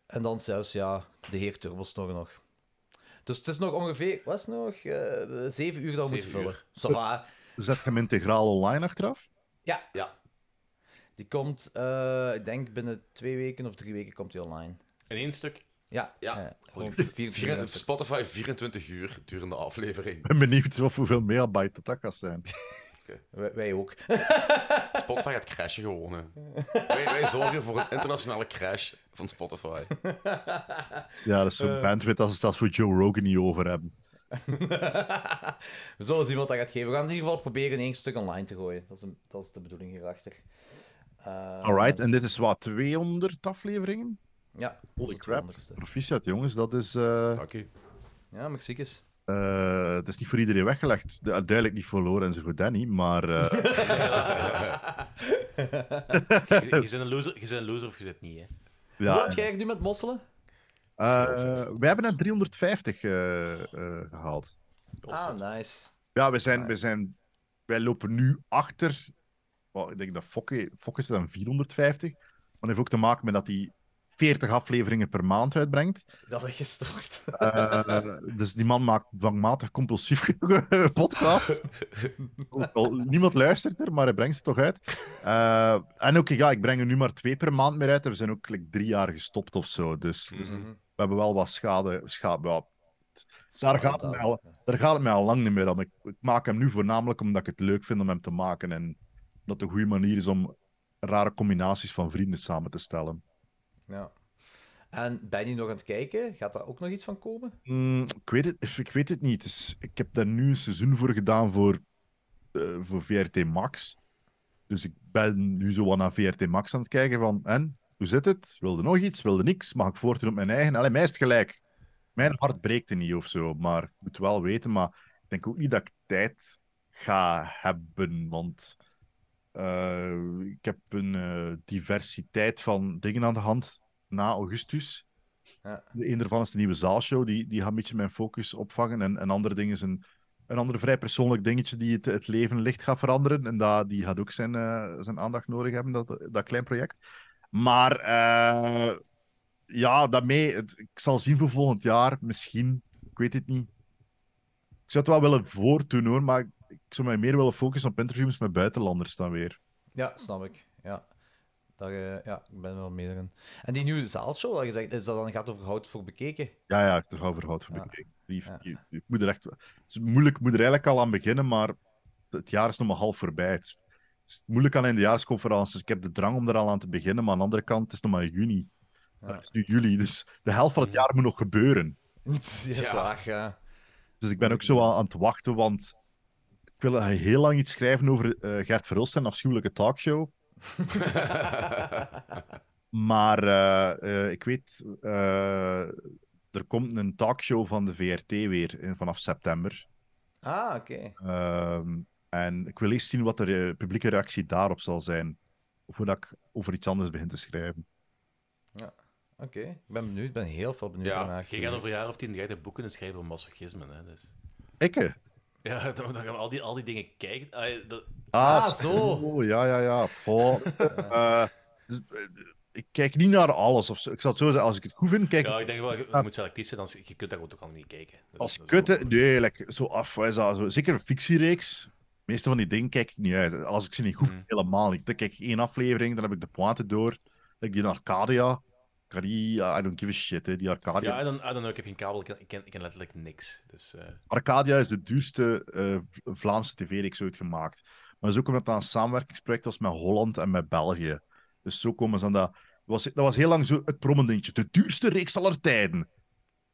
Speaker 7: en dan zelfs, ja, de heer Turbos nog nog. Dus het is nog ongeveer, wat is het nog? eh zeven uur dat we moeten
Speaker 3: Zeven
Speaker 7: vullen.
Speaker 3: uur.
Speaker 7: Ça va.
Speaker 6: Zet je hem integraal online achteraf?
Speaker 7: Ja.
Speaker 3: ja.
Speaker 7: Die komt, eh, ik denk binnen twee weken of drie weken komt hij online.
Speaker 4: In één stuk.
Speaker 7: Ja.
Speaker 3: Ja.
Speaker 7: eh, gewoon
Speaker 3: Vier-
Speaker 7: vier, vier,
Speaker 3: Spotify 24 uur durende aflevering.
Speaker 6: Ik ben benieuwd of hoeveel megabyte dat, dat kan zijn.
Speaker 2: Wij, wij ook.
Speaker 3: Spotify gaat crashen gewoon. hè. Wij, wij zorgen voor een internationale crash van Spotify.
Speaker 6: Ja, dat is zo'n
Speaker 2: Eh.
Speaker 6: bandwidth als we het voor Joe Rogan niet over hebben.
Speaker 2: We zullen zien wat dat gaat geven. We gaan in ieder geval proberen in één stuk online te gooien. Dat is, een- dat is de bedoeling hierachter. Eh,
Speaker 6: Alright, en dit is wat, 200 afleveringen?
Speaker 2: Ja,
Speaker 6: Holy
Speaker 2: onze
Speaker 6: crap.
Speaker 2: 200ste.
Speaker 6: Proficiat, jongens, dat is. eh,
Speaker 2: Ja, Mexicus.
Speaker 6: eh, het is niet voor iedereen weggelegd. Du- duidelijk niet voor Loren en zo goed Danny, maar. eh,
Speaker 4: Je, je bent een loser, je bent een loser of je bent niet, hè.
Speaker 6: Ja,
Speaker 2: Hoe
Speaker 6: en-
Speaker 2: heb jij het nu met mosselen?
Speaker 6: eh, we hebben net 350 eh, eh, gehaald.
Speaker 2: Ah, nice.
Speaker 6: Ja, we zijn, we zijn, wij lopen nu achter. Wel, ik denk dat Fokke, Fokke is dan 450. Maar dat heeft ook te maken met dat hij 40 afleveringen per maand uitbrengt.
Speaker 2: Dat is gestort.
Speaker 6: Eh, dus die man maakt dwangmatig compulsief podcast. Ook al niemand luistert er, maar hij brengt ze toch uit. Eh, en ook, ja, ik breng er nu maar twee per maand meer uit. En we zijn ook like, drie jaar gestopt of zo. Dus, dus
Speaker 2: Mhm.
Speaker 6: we hebben wel wat schade. schade ja, daar, gaat het mij al, daar gaat het mij al lang niet meer om. Ik, ik maak hem nu voornamelijk omdat ik het leuk vind om hem te maken. En dat het een goede manier is om rare combinaties van vrienden samen te stellen.
Speaker 2: Ja. En ben je nog aan het kijken? Gaat daar ook nog iets van komen?
Speaker 6: Mm, ik, weet het, ik weet het niet. Dus ik heb daar nu een seizoen voor gedaan voor, eh, voor VRT Max. Dus ik ben nu zo wat naar VRT Max aan het kijken van... En, hoe zit het? Wilde nog iets? Wilde niks? Mag ik voortdoen op mijn eigen? Allee, mij is het gelijk. Mijn hart breekt er niet of zo. Maar ik moet wel weten. Maar ik denk ook niet dat ik tijd ga hebben. Want eh, ik heb een eh, diversiteit van dingen aan de hand na augustus.
Speaker 2: Ja.
Speaker 6: De een daarvan is de nieuwe zaalshow, die, die gaat een beetje mijn focus opvangen. En een ander ding is een, een ander vrij persoonlijk dingetje die het, het leven licht gaat veranderen. En dat, die gaat ook zijn, eh, zijn aandacht nodig hebben, dat, dat klein project. Maar eh, ja, daarmee, het- ik zal zien voor volgend jaar, misschien, ik weet het niet. Ik zou het wel willen voortdoen hoor, maar ik zou mij meer willen focussen op interviews met buitenlanders dan weer.
Speaker 2: Ja, snap ik. Ja. Daar, eh, ja, ik ben er wel meer in. En die nieuwe zaalshow, dat je zegt, is dat dan gaat over hout voor bekeken?
Speaker 6: Ja, ja, ik heb er wel voor hout voor bekeken. Die- die- die- ik moet er echt... Het is moeilijk, ik moet er eigenlijk al aan beginnen, maar het jaar is nog maar half voorbij. Het is, het is moeilijk aan in de jaarsconferentie, dus ik heb de drang om er al aan te beginnen, maar aan de andere kant, het is nog maar in juni. Het is nu juli, dus de helft van het jaar moet nog gebeuren.
Speaker 2: Ja, zwaar, ja.
Speaker 6: Dus ik ben ook zo aan, aan het wachten, want ik wil heel lang iets schrijven over eh, Gert Verhulst en afschuwelijke talkshow. maar eh, eh, ik weet, eh, er komt een talkshow van de VRT weer in, vanaf september.
Speaker 2: Ah, oké.
Speaker 6: Ehm, en ik wil eens zien wat de re- publieke reactie daarop zal zijn. Voordat ik over iets anders begin te schrijven.
Speaker 2: Ja. Oké, ik ben benieuwd, ik ben heel veel benieuwd. daarna.
Speaker 4: Je gaat over een jaar of tien ga je boeken kunnen schrijven over masochisme, hè. Dus.
Speaker 6: Ikke?
Speaker 4: Ja, dan, dan gaan we al die, al die dingen kijken. Ah, dat-
Speaker 6: Ah, oh, ja, ja, ja. Goh, eh, dus, eh, ik kijk niet naar alles. Of zo. Ik zal het zo zeggen, als ik het goed vind, kijk
Speaker 4: Ja,
Speaker 6: ik
Speaker 4: ik denk wel, je, je moet selectief zijn, anders, je kunt daar ook toch al niet kijken. Dat is-
Speaker 6: Als kutte, nee, like, zo af, wat is dat, zo, zeker een fictiereeks. De meeste van die dingen kijk ik niet uit. Als ik ze niet goed vind, helemaal niet. Dan kijk ik één aflevering, dan heb ik de pointe door. Like die in Arcadia. Ik kan niet- I don't give a shit, hè, die Arcadia.
Speaker 4: Ja, en dan, ah, dan ook, ik heb geen kabel, ik ken, ik ken, ik ken letterlijk niks. Dus, eh,
Speaker 6: Arcadia is de duurste eh, V- Vlaamse tv-reeks ooit gemaakt. Maar dat is ook omdat dat een samenwerkingsproject was met Holland en met België. Dus zo komen ze aan dat... Was, dat was heel lang zo het promendingetje. De duurste reeks aller tijden.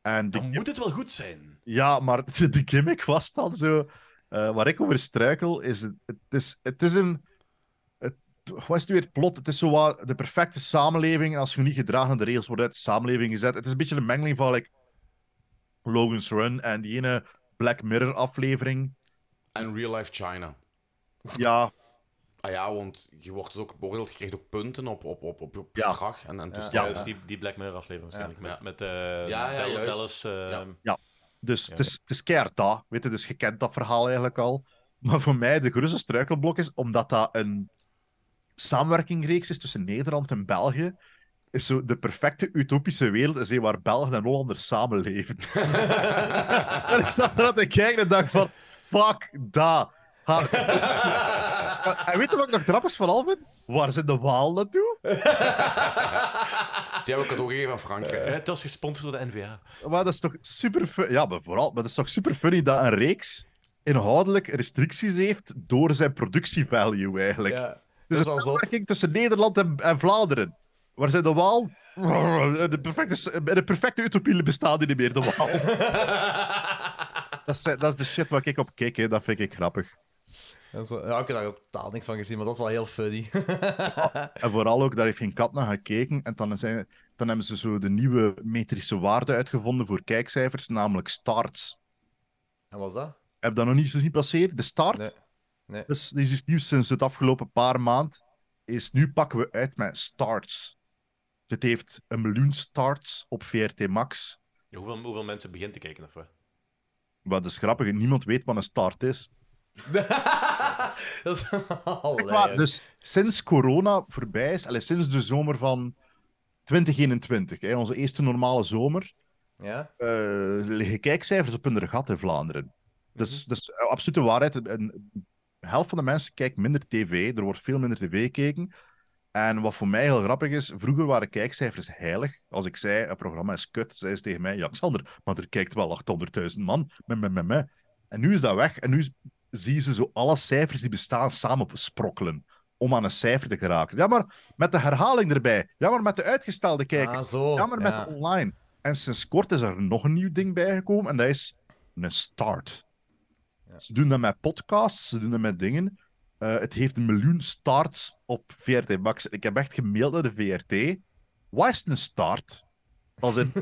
Speaker 6: En de
Speaker 4: dan moet het wel goed zijn.
Speaker 6: Ja, maar de gimmick was dan zo. eh, waar ik over struikel, is het, het, is, het is een. Het, wat is het nu weer het plot? Het is zo wat de perfecte samenleving. En als je niet gedragen aan de regels wordt uit de samenleving gezet. Het is een beetje een mengeling van like, Logan's Run en die ene Black Mirror aflevering.
Speaker 3: En real life China.
Speaker 6: Ja,
Speaker 3: Ah ja, want je wordt dus ook beoordeeld, je krijgt ook punten op, op, op, op, op
Speaker 6: Ja.
Speaker 3: gedrag en, en
Speaker 4: Dus
Speaker 3: toestanden.
Speaker 4: dat is die, die Black Mirror aflevering waarschijnlijk.
Speaker 3: Ja.
Speaker 4: Met, met eh
Speaker 3: Ja, ja,
Speaker 4: Del-
Speaker 3: juist.
Speaker 4: Dallas. eh,
Speaker 6: Ja, dus Het, is, het is keihard dat. Weet je, dus je kent dat verhaal eigenlijk al. Maar voor mij de grootste struikelblok is, omdat dat een samenwerkingreeks is tussen Nederland en België, is zo de perfecte utopische wereld is, hé, waar Belgen en Hollanders samenleven. en ik zat eraan te kijken en dacht van, fuck dat. Ga- en weet je wat ik nog grappig van al vind? Waar zit de Waal naartoe?
Speaker 3: Die hebben we cadeau gegeven aan Frankrijk.
Speaker 4: eh, het was gesponsord door de NVA.
Speaker 6: Maar dat is toch super fun- Ja, maar vooral, maar dat is toch super funny dat een reeks inhoudelijk restricties heeft door zijn productievalue eigenlijk.
Speaker 7: Ja,
Speaker 6: dus
Speaker 7: dat
Speaker 6: het
Speaker 7: is al
Speaker 6: is
Speaker 7: zot.
Speaker 6: een vergelijking tussen Nederland en, en Vlaanderen. Waar zijn de Waal? De perfecte, de perfecte utopie bestaat niet meer, de Waal. dat, is, dat is de shit waar ik op kijk, hè. dat vind ik grappig.
Speaker 7: Dat is wel- ja, ik heb daar ook totaal niks van gezien, maar dat is wel heel funny.
Speaker 6: En vooral ook, daar heeft geen kat naar gekeken. En dan, zijn, dan hebben ze zo de nieuwe metrische waarde uitgevonden voor kijkcijfers, namelijk starts.
Speaker 7: en wat is dat?
Speaker 6: Heb je dat nog niet zo zien passeren? De start?
Speaker 7: Nee. Nee.
Speaker 6: Dus dit is iets nieuws sinds het afgelopen paar maand. Is nu pakken we uit met starts. Dit heeft een miljoen starts op VRT Max.
Speaker 4: Ja, hoeveel, hoeveel mensen beginnen te kijken? Of, wat?
Speaker 6: Wat is grappig, niemand weet wat een start is.
Speaker 7: Dat is
Speaker 6: Echt waar, dus sinds corona voorbij is, allee, sinds de zomer van 2021, hè, onze eerste normale zomer,
Speaker 7: Ja?
Speaker 6: eh, liggen kijkcijfers op hun gat in Vlaanderen. Dus dat is een absolute waarheid. Een- Een, de helft van de mensen kijkt minder tv, er wordt veel minder tv gekeken. En wat voor mij heel grappig is, vroeger waren kijkcijfers heilig. Als ik zei, een programma is kut, zei ze tegen mij, ja, Xander, maar er kijkt wel 800.000 man. Meh, meh, meh, meh. En nu is dat weg. En nu is- zie je ze zo alle cijfers die bestaan samen sprokkelen. Om aan een cijfer te geraken. Ja, maar met de herhaling erbij. Ja, maar met de uitgestelde kijker.
Speaker 2: Ah,
Speaker 6: ja, maar met
Speaker 7: Oh, ja.
Speaker 6: de online. En sinds kort is er nog een nieuw ding bijgekomen. En dat is een start. Ze doen dat met podcasts, ze doen dat met dingen. Eh, het heeft een miljoen starts op VRT Max. Ik heb echt gemaild naar de VRT. Wat is een start? Als in,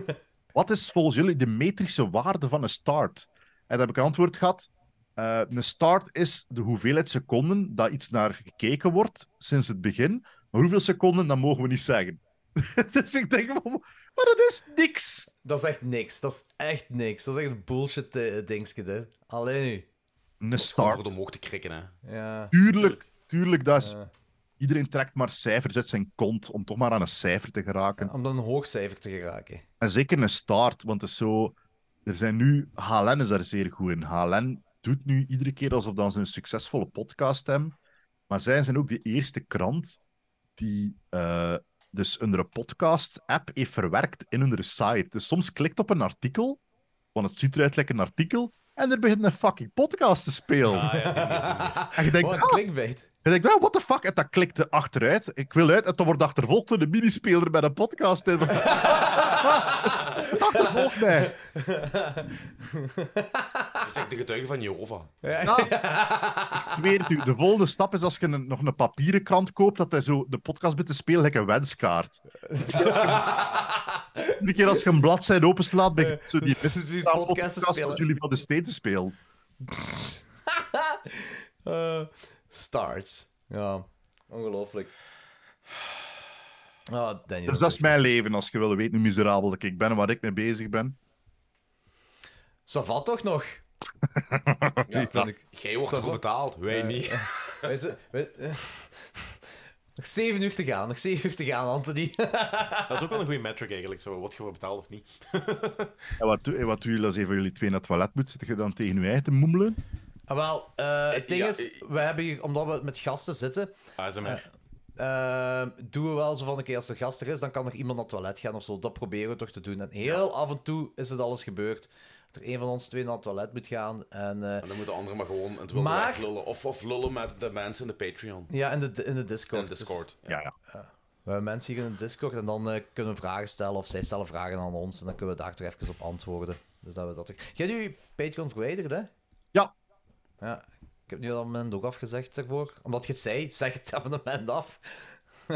Speaker 6: wat is volgens jullie de metrische waarde van een start? En daar heb ik een antwoord gehad. Eh, een start is de hoeveelheid seconden dat iets naar gekeken wordt sinds het begin. Maar hoeveel seconden, dat mogen we niet zeggen. dus ik denk, maar maar dat is niks.
Speaker 7: Dat is echt niks. Dat is echt niks. Dat is echt een bullshit eh, dingetje, hè. Alleen nu.
Speaker 6: een
Speaker 3: Gewoon
Speaker 6: start.
Speaker 3: voor de omhoog te krikken, hè.
Speaker 7: Ja.
Speaker 6: Tuurlijk, tuurlijk. Dat is... Iedereen trekt maar cijfers uit zijn kont om toch maar aan een cijfer te geraken.
Speaker 7: Om dan een hoog cijfer te geraken.
Speaker 6: En zeker een start, want het is zo... Er zijn nu... HLN is daar zeer goed in. HLN doet nu iedere keer alsof dan ze een succesvolle podcast hebben. Maar zij zijn ook de eerste krant die eh, dus hun podcast-app heeft verwerkt in hun site. Dus soms klikt op een artikel, want het ziet eruit lekker een artikel, en er begint een fucking podcast te spelen. en je denkt,
Speaker 7: Wat
Speaker 6: ah,
Speaker 7: clickbait.
Speaker 6: en ik dacht, what the fuck? En dat klikte achteruit. Ik wil uit en dan wordt achtervolgd door de minispeler bij de podcast. En dan- Achtervolg mij.
Speaker 3: Dat is echt de getuige van Jehovah.
Speaker 6: Ah. Ik zweer het u. De volgende stap is als je een- nog een papieren krant koopt, dat hij zo de podcast bent te spelen, like een wenskaart. Iedere keer als je een bladzijde openslaat, ben je zo die
Speaker 7: Dus die
Speaker 6: die
Speaker 7: podcast te
Speaker 6: podcast
Speaker 7: spelen.
Speaker 6: dat jullie van de steden te spelen.
Speaker 7: Eh, starts. Ja. Ongelooflijk. Ah, Daniel.
Speaker 6: Dus dat is mijn leven, als je wil weten hoe miserabel dat ik ben en waar ik mee bezig ben.
Speaker 7: Ça va toch nog?
Speaker 6: Ja,
Speaker 7: vind ik.
Speaker 3: Jij wordt
Speaker 7: Ça
Speaker 3: ervoor
Speaker 7: va.
Speaker 3: betaald, wij
Speaker 7: Ja.
Speaker 3: niet.
Speaker 7: Wij zijn- wij- nog zeven uur te gaan, nog zeven uur te gaan, Anthony.
Speaker 4: Dat is ook wel een goede metric eigenlijk. Zo, word je voor betaald of niet?
Speaker 6: En wat, doe- en wat doen jullie als een van jullie twee naar het toilet moet? Zitten je dan tegen je eigen te moemelen?
Speaker 7: Ah, wel, eh, het ding
Speaker 3: ja,
Speaker 7: is, we hebben hier, omdat we met gasten zitten,
Speaker 4: ASMR.
Speaker 7: eh, doen we wel zo van, oké, als er gast er is, dan kan er iemand naar het toilet gaan of zo. Dat proberen we toch te doen. En heel af en toe is het alles gebeurd. Dat er een van ons twee naar het toilet moet gaan. En, eh,
Speaker 3: En dan moet de andere maar gewoon het wilde
Speaker 7: Maar-
Speaker 3: weglullen. Of, of lullen met de mensen in de Patreon.
Speaker 7: ja, in de, in de Discord.
Speaker 3: In de
Speaker 7: Dus
Speaker 3: Discord.
Speaker 6: Ja, ja.
Speaker 7: we hebben mensen hier in de Discord en dan eh, kunnen we vragen stellen of zij stellen vragen aan ons en dan kunnen we daar toch even op antwoorden. Dus dat we dat toch... Jij hebt je Patreon verwijderd, hè?
Speaker 6: Ja.
Speaker 7: Ja. Ik heb nu dat abonnement ook afgezegd daarvoor. Omdat je het zei, zeg het abonnement af.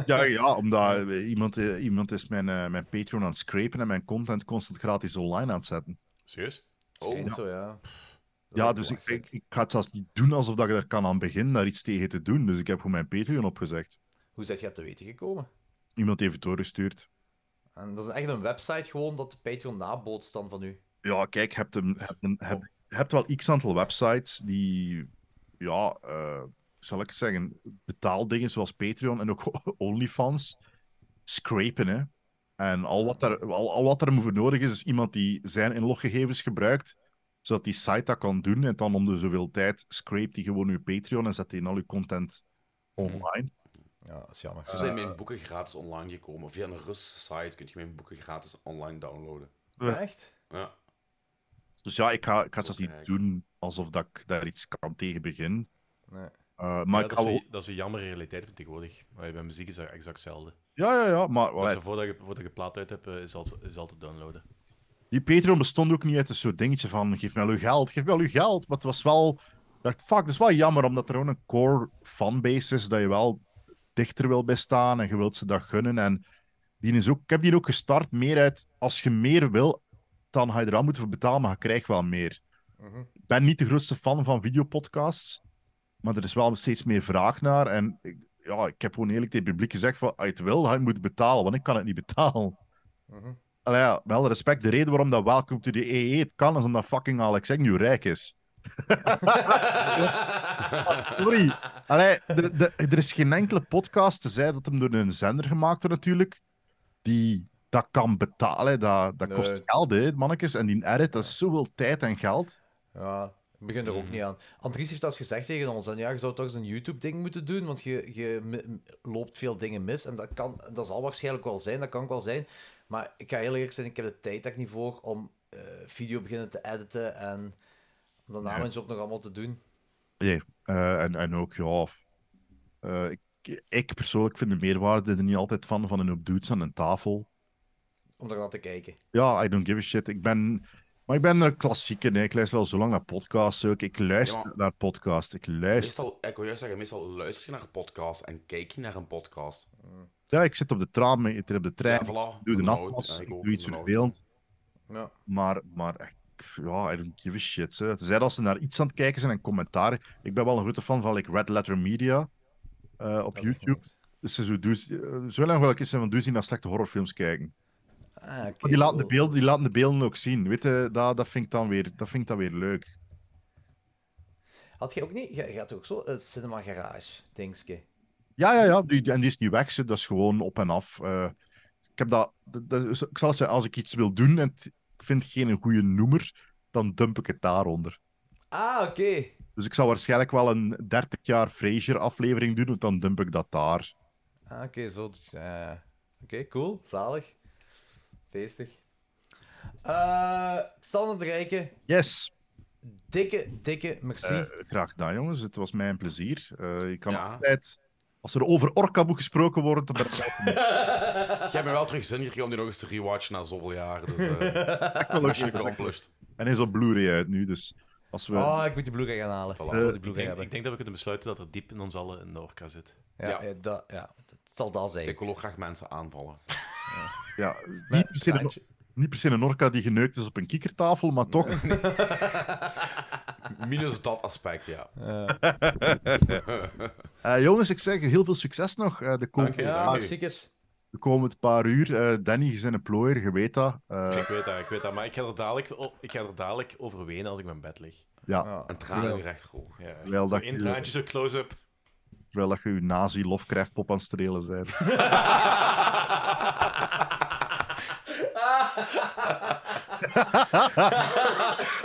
Speaker 6: Ja, ja omdat eh, iemand, eh, iemand is mijn, eh, mijn Patreon aan het scrapen en mijn content constant gratis online aan het zetten.
Speaker 4: Serieus?
Speaker 3: Oh.
Speaker 7: Schijnt zo, ja.
Speaker 6: Ja, dus ik, ik, ik ga het zelfs niet doen alsof dat ik er kan aan beginnen daar iets tegen te doen. Dus ik heb gewoon mijn Patreon opgezegd.
Speaker 7: Hoe zit je dat te weten gekomen?
Speaker 6: Iemand heeft het doorgestuurd.
Speaker 7: En dat is echt een website gewoon dat de Patreon nabootst dan van u.
Speaker 6: Ja, kijk, je hebt, een, hebt, een,
Speaker 4: Oh.
Speaker 6: hebt, hebt wel x aantal websites die, ja, eh, zal ik zeggen, betaaldingen zoals Patreon en ook OnlyFans scrapen. Hè. En al wat, er, al, al wat er voor nodig is, is iemand die zijn inloggegevens gebruikt, zodat die site dat kan doen. En dan om de zoveel tijd scrape die gewoon uw Patreon en zet die in al uw content online.
Speaker 4: Hmm.
Speaker 7: Ja, dat is jammer.
Speaker 3: Zo
Speaker 6: Eh.
Speaker 3: zijn mijn boeken gratis online gekomen. Via een Russische site kun je mijn boeken gratis online downloaden.
Speaker 6: Eh,
Speaker 7: Echt?
Speaker 3: Ja.
Speaker 6: Dus ja, ik ga, ik ga het zelfs niet doen alsof dat ik daar iets kan tegen begin.
Speaker 4: Nee.
Speaker 6: Eh, maar
Speaker 4: Ja,
Speaker 6: ik
Speaker 4: dat, is
Speaker 6: hou-
Speaker 4: een, dat is een jammer realiteit van tegenwoordig. Maar bij muziek is dat exact hetzelfde.
Speaker 6: Ja, ja, ja, maar-
Speaker 4: Dat ze voordat, je, voordat je plaat uit hebt, eh, is al, te- is al te downloaden.
Speaker 6: Die Patreon bestond ook niet uit een soort dingetje van geef mij al uw geld, geef mij al uw geld. Maar het was wel, ik dacht fuck, dat is wel jammer omdat er gewoon een core fanbase is dat je wel dichter wil bij staan en je wilt ze dat gunnen. En die is ook, ik heb die ook gestart meer uit, als je meer wil, dan ga je er aan moeten voor betalen, maar je krijgt wel meer.
Speaker 7: Mhm.
Speaker 6: Ik ben niet de grootste fan van videopodcasts, maar er is wel steeds meer vraag naar. En ik, ja, ik heb gewoon eerlijk tegen het publiek gezegd van, als je het wil, ga je moeten betalen, want ik kan het niet betalen. Allee, ja, wel respect, de reden waarom dat Welcome to the EE het kan, is omdat fucking Alex Agnew rijk is. Sorry. Allee, de, de, er is geen enkele podcast, tenzij dat hem door een zender gemaakt wordt natuurlijk, die dat kan betalen. Dat, dat kost
Speaker 7: Nee.
Speaker 6: geld, hè, mannetjes. En die edit, dat is zoveel tijd en geld.
Speaker 7: Ja, ik begin er
Speaker 6: Mm.
Speaker 7: ook niet aan. Andries heeft dat eens gezegd tegen ons. En ja, je zou toch eens een YouTube-ding moeten doen, want je, je mi- m- loopt veel dingen mis. En dat, kan, dat zal waarschijnlijk wel zijn, dat kan ook wel zijn. Maar ik ga heel eerlijk zijn, ik heb de tijd daar niet voor om eh, video beginnen te editen en om daarna
Speaker 6: Nee.
Speaker 7: mijn job nog allemaal te doen.
Speaker 6: Ja, eh, en, en ook, ja... eh, ik, ik persoonlijk vind de meerwaarde er niet altijd van, van een op dudes aan een tafel.
Speaker 7: Om er naar te kijken.
Speaker 6: Ja, I don't give a shit. Ik ben... Maar ik ben een klassieke, nee. Ik luister al zo lang naar podcasts ook. Ik luister
Speaker 3: Ja, maar-
Speaker 6: naar podcasts. Ik luister...
Speaker 3: Meestal, ik wil juist zeggen, meestal luister je naar een podcast en kijk je naar een podcast.
Speaker 6: Ja, ik zit op de tram, ik zit op de
Speaker 3: Ja,
Speaker 6: trein,
Speaker 3: voilà.
Speaker 6: ik doe de
Speaker 3: Onderhoud, ja,
Speaker 6: afwas,
Speaker 3: ik
Speaker 6: ik
Speaker 3: ook,
Speaker 6: doe iets
Speaker 3: onderhoud.
Speaker 6: vervelend.
Speaker 7: Ja.
Speaker 6: Maar, maar ik- ja, I don't give a shit. Hè. Tenzij dat ze naar iets aan het kijken zijn en commentaar. Ik ben wel een grote fan van like, Red Letter Media eh, op YouTube. Dus ze zo dudes, eh, zo lang wel eens zijn van dudes die naar slechte horrorfilms kijken.
Speaker 7: Ah,
Speaker 6: Maar die, laten de beelden, die laten de beelden ook zien. Weet je, dat, dat, vind ik dan weer, dat vind ik dan weer leuk.
Speaker 7: Had jij ook niet? Je, je had ook zo een cinema garage, dingske.
Speaker 6: Ja, ja, ja. Die, die- en die is niet weg, ze, dat is gewoon op en af. Eh, ik, heb dat, dat, dat is- ik zal het zeggen, als ik iets wil doen en het- ik vind geen goede noemer, dan dump ik het daaronder.
Speaker 7: Ah, oké.
Speaker 6: Dus ik zal waarschijnlijk wel een 30 jaar Frasier-aflevering doen, want dan dump ik dat daar.
Speaker 7: Ah, oké, zo. dus, eh, Oké, cool. Zalig. Feestig. Eh Standaard Rijken,
Speaker 6: Yes!
Speaker 7: dikke, dikke merci.
Speaker 6: Eh, graag gedaan, jongens. Het was mij een plezier. Eh je kan
Speaker 3: Ja.
Speaker 6: altijd... Als er over Orkaboe gesproken wordt, dan ben ik altijd mee.
Speaker 3: Jij hebt me wel terug zin gekregen om die nog eens te rewatchen na zoveel jaar. Dus, eh,
Speaker 6: Echt wel leuk.
Speaker 3: mission accomplished.
Speaker 6: En hij is op Blu-ray uit nu, dus als we...
Speaker 7: Oh, ik moet die Blu-ray gaan halen. Ik wil die
Speaker 6: Eh,
Speaker 4: ik,
Speaker 7: Blu-ray
Speaker 4: denk,
Speaker 7: hebben.
Speaker 4: ik denk dat we kunnen besluiten dat er diep in ons allen een orka zit.
Speaker 7: Ja, eh, dat, ja, dat zal dat zijn. Eh,
Speaker 3: Ik wil ook graag mensen aanvallen.
Speaker 6: Ja, niet per, se een, niet per se een orka die geneukt is op een kikkertafel, maar toch...
Speaker 3: Minus dat aspect, ja.
Speaker 6: Eh, jongens, ik zeg heel veel succes nog eh, de, komende,
Speaker 3: Dank je, dank
Speaker 7: Ah,
Speaker 3: u.
Speaker 7: ziekes.
Speaker 6: de komende paar uur. Eh, Danny, je bent een plooier, je weet dat. Eh,
Speaker 4: Dus Ik weet dat, ik weet dat. Maar ik ga er dadelijk, op- ik ga er dadelijk over wenen als ik mijn bed lig.
Speaker 6: ja,
Speaker 3: Een traan in je rechterhoek.
Speaker 4: Ja,
Speaker 6: Wel,
Speaker 4: zo
Speaker 6: dat
Speaker 4: één
Speaker 6: je-
Speaker 4: traantje, zo close-up.
Speaker 6: terwijl dat je je nazi-Lovecraft-pop aan het strelen bent.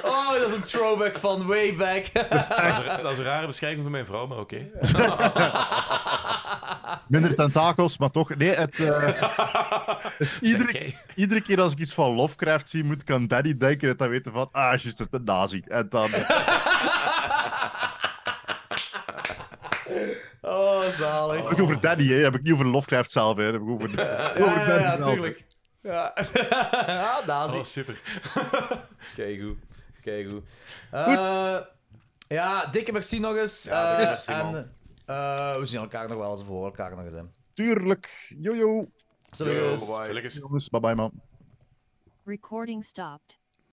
Speaker 7: oh, dat is een throwback van way back.
Speaker 4: Dat is, een- dat is een rare beschrijving van mijn vrouw, maar oké.
Speaker 6: Minder tentakels, maar toch. Nee, het. eh, dus iedere,
Speaker 4: jij.
Speaker 6: iedere keer als ik iets van Lovecraft zie, moet ik aan Danny denken en dan weten van. Ah, juist, dat is de nazi. En dan.
Speaker 7: Oh, zalig.
Speaker 6: Heb ik over Danny, hè? Heb ik niet over Lovecraft zelf, hè? Heb ik over.
Speaker 7: Ja, ja,
Speaker 6: over Danny
Speaker 7: Eh, ja,
Speaker 6: zelf.
Speaker 7: tuurlijk. Ja, ah,
Speaker 4: Dat
Speaker 7: nazi.
Speaker 4: was Oh, super.
Speaker 7: Kijk hoe. Kijk hoe. Eh, ja, dikke merci nog eens.
Speaker 3: Ja, dikke
Speaker 7: Eh,
Speaker 3: merci, man.
Speaker 7: en eh, we zien elkaar nog wel eens, we horen elkaar nog eens. Hè.
Speaker 6: Tuurlijk. Jojo.
Speaker 7: Zullen we
Speaker 3: Yo,
Speaker 7: eens-
Speaker 3: bye-bye.
Speaker 4: Zullen we eens-
Speaker 6: Jongens, bye bye, man.
Speaker 33: Recording stopped.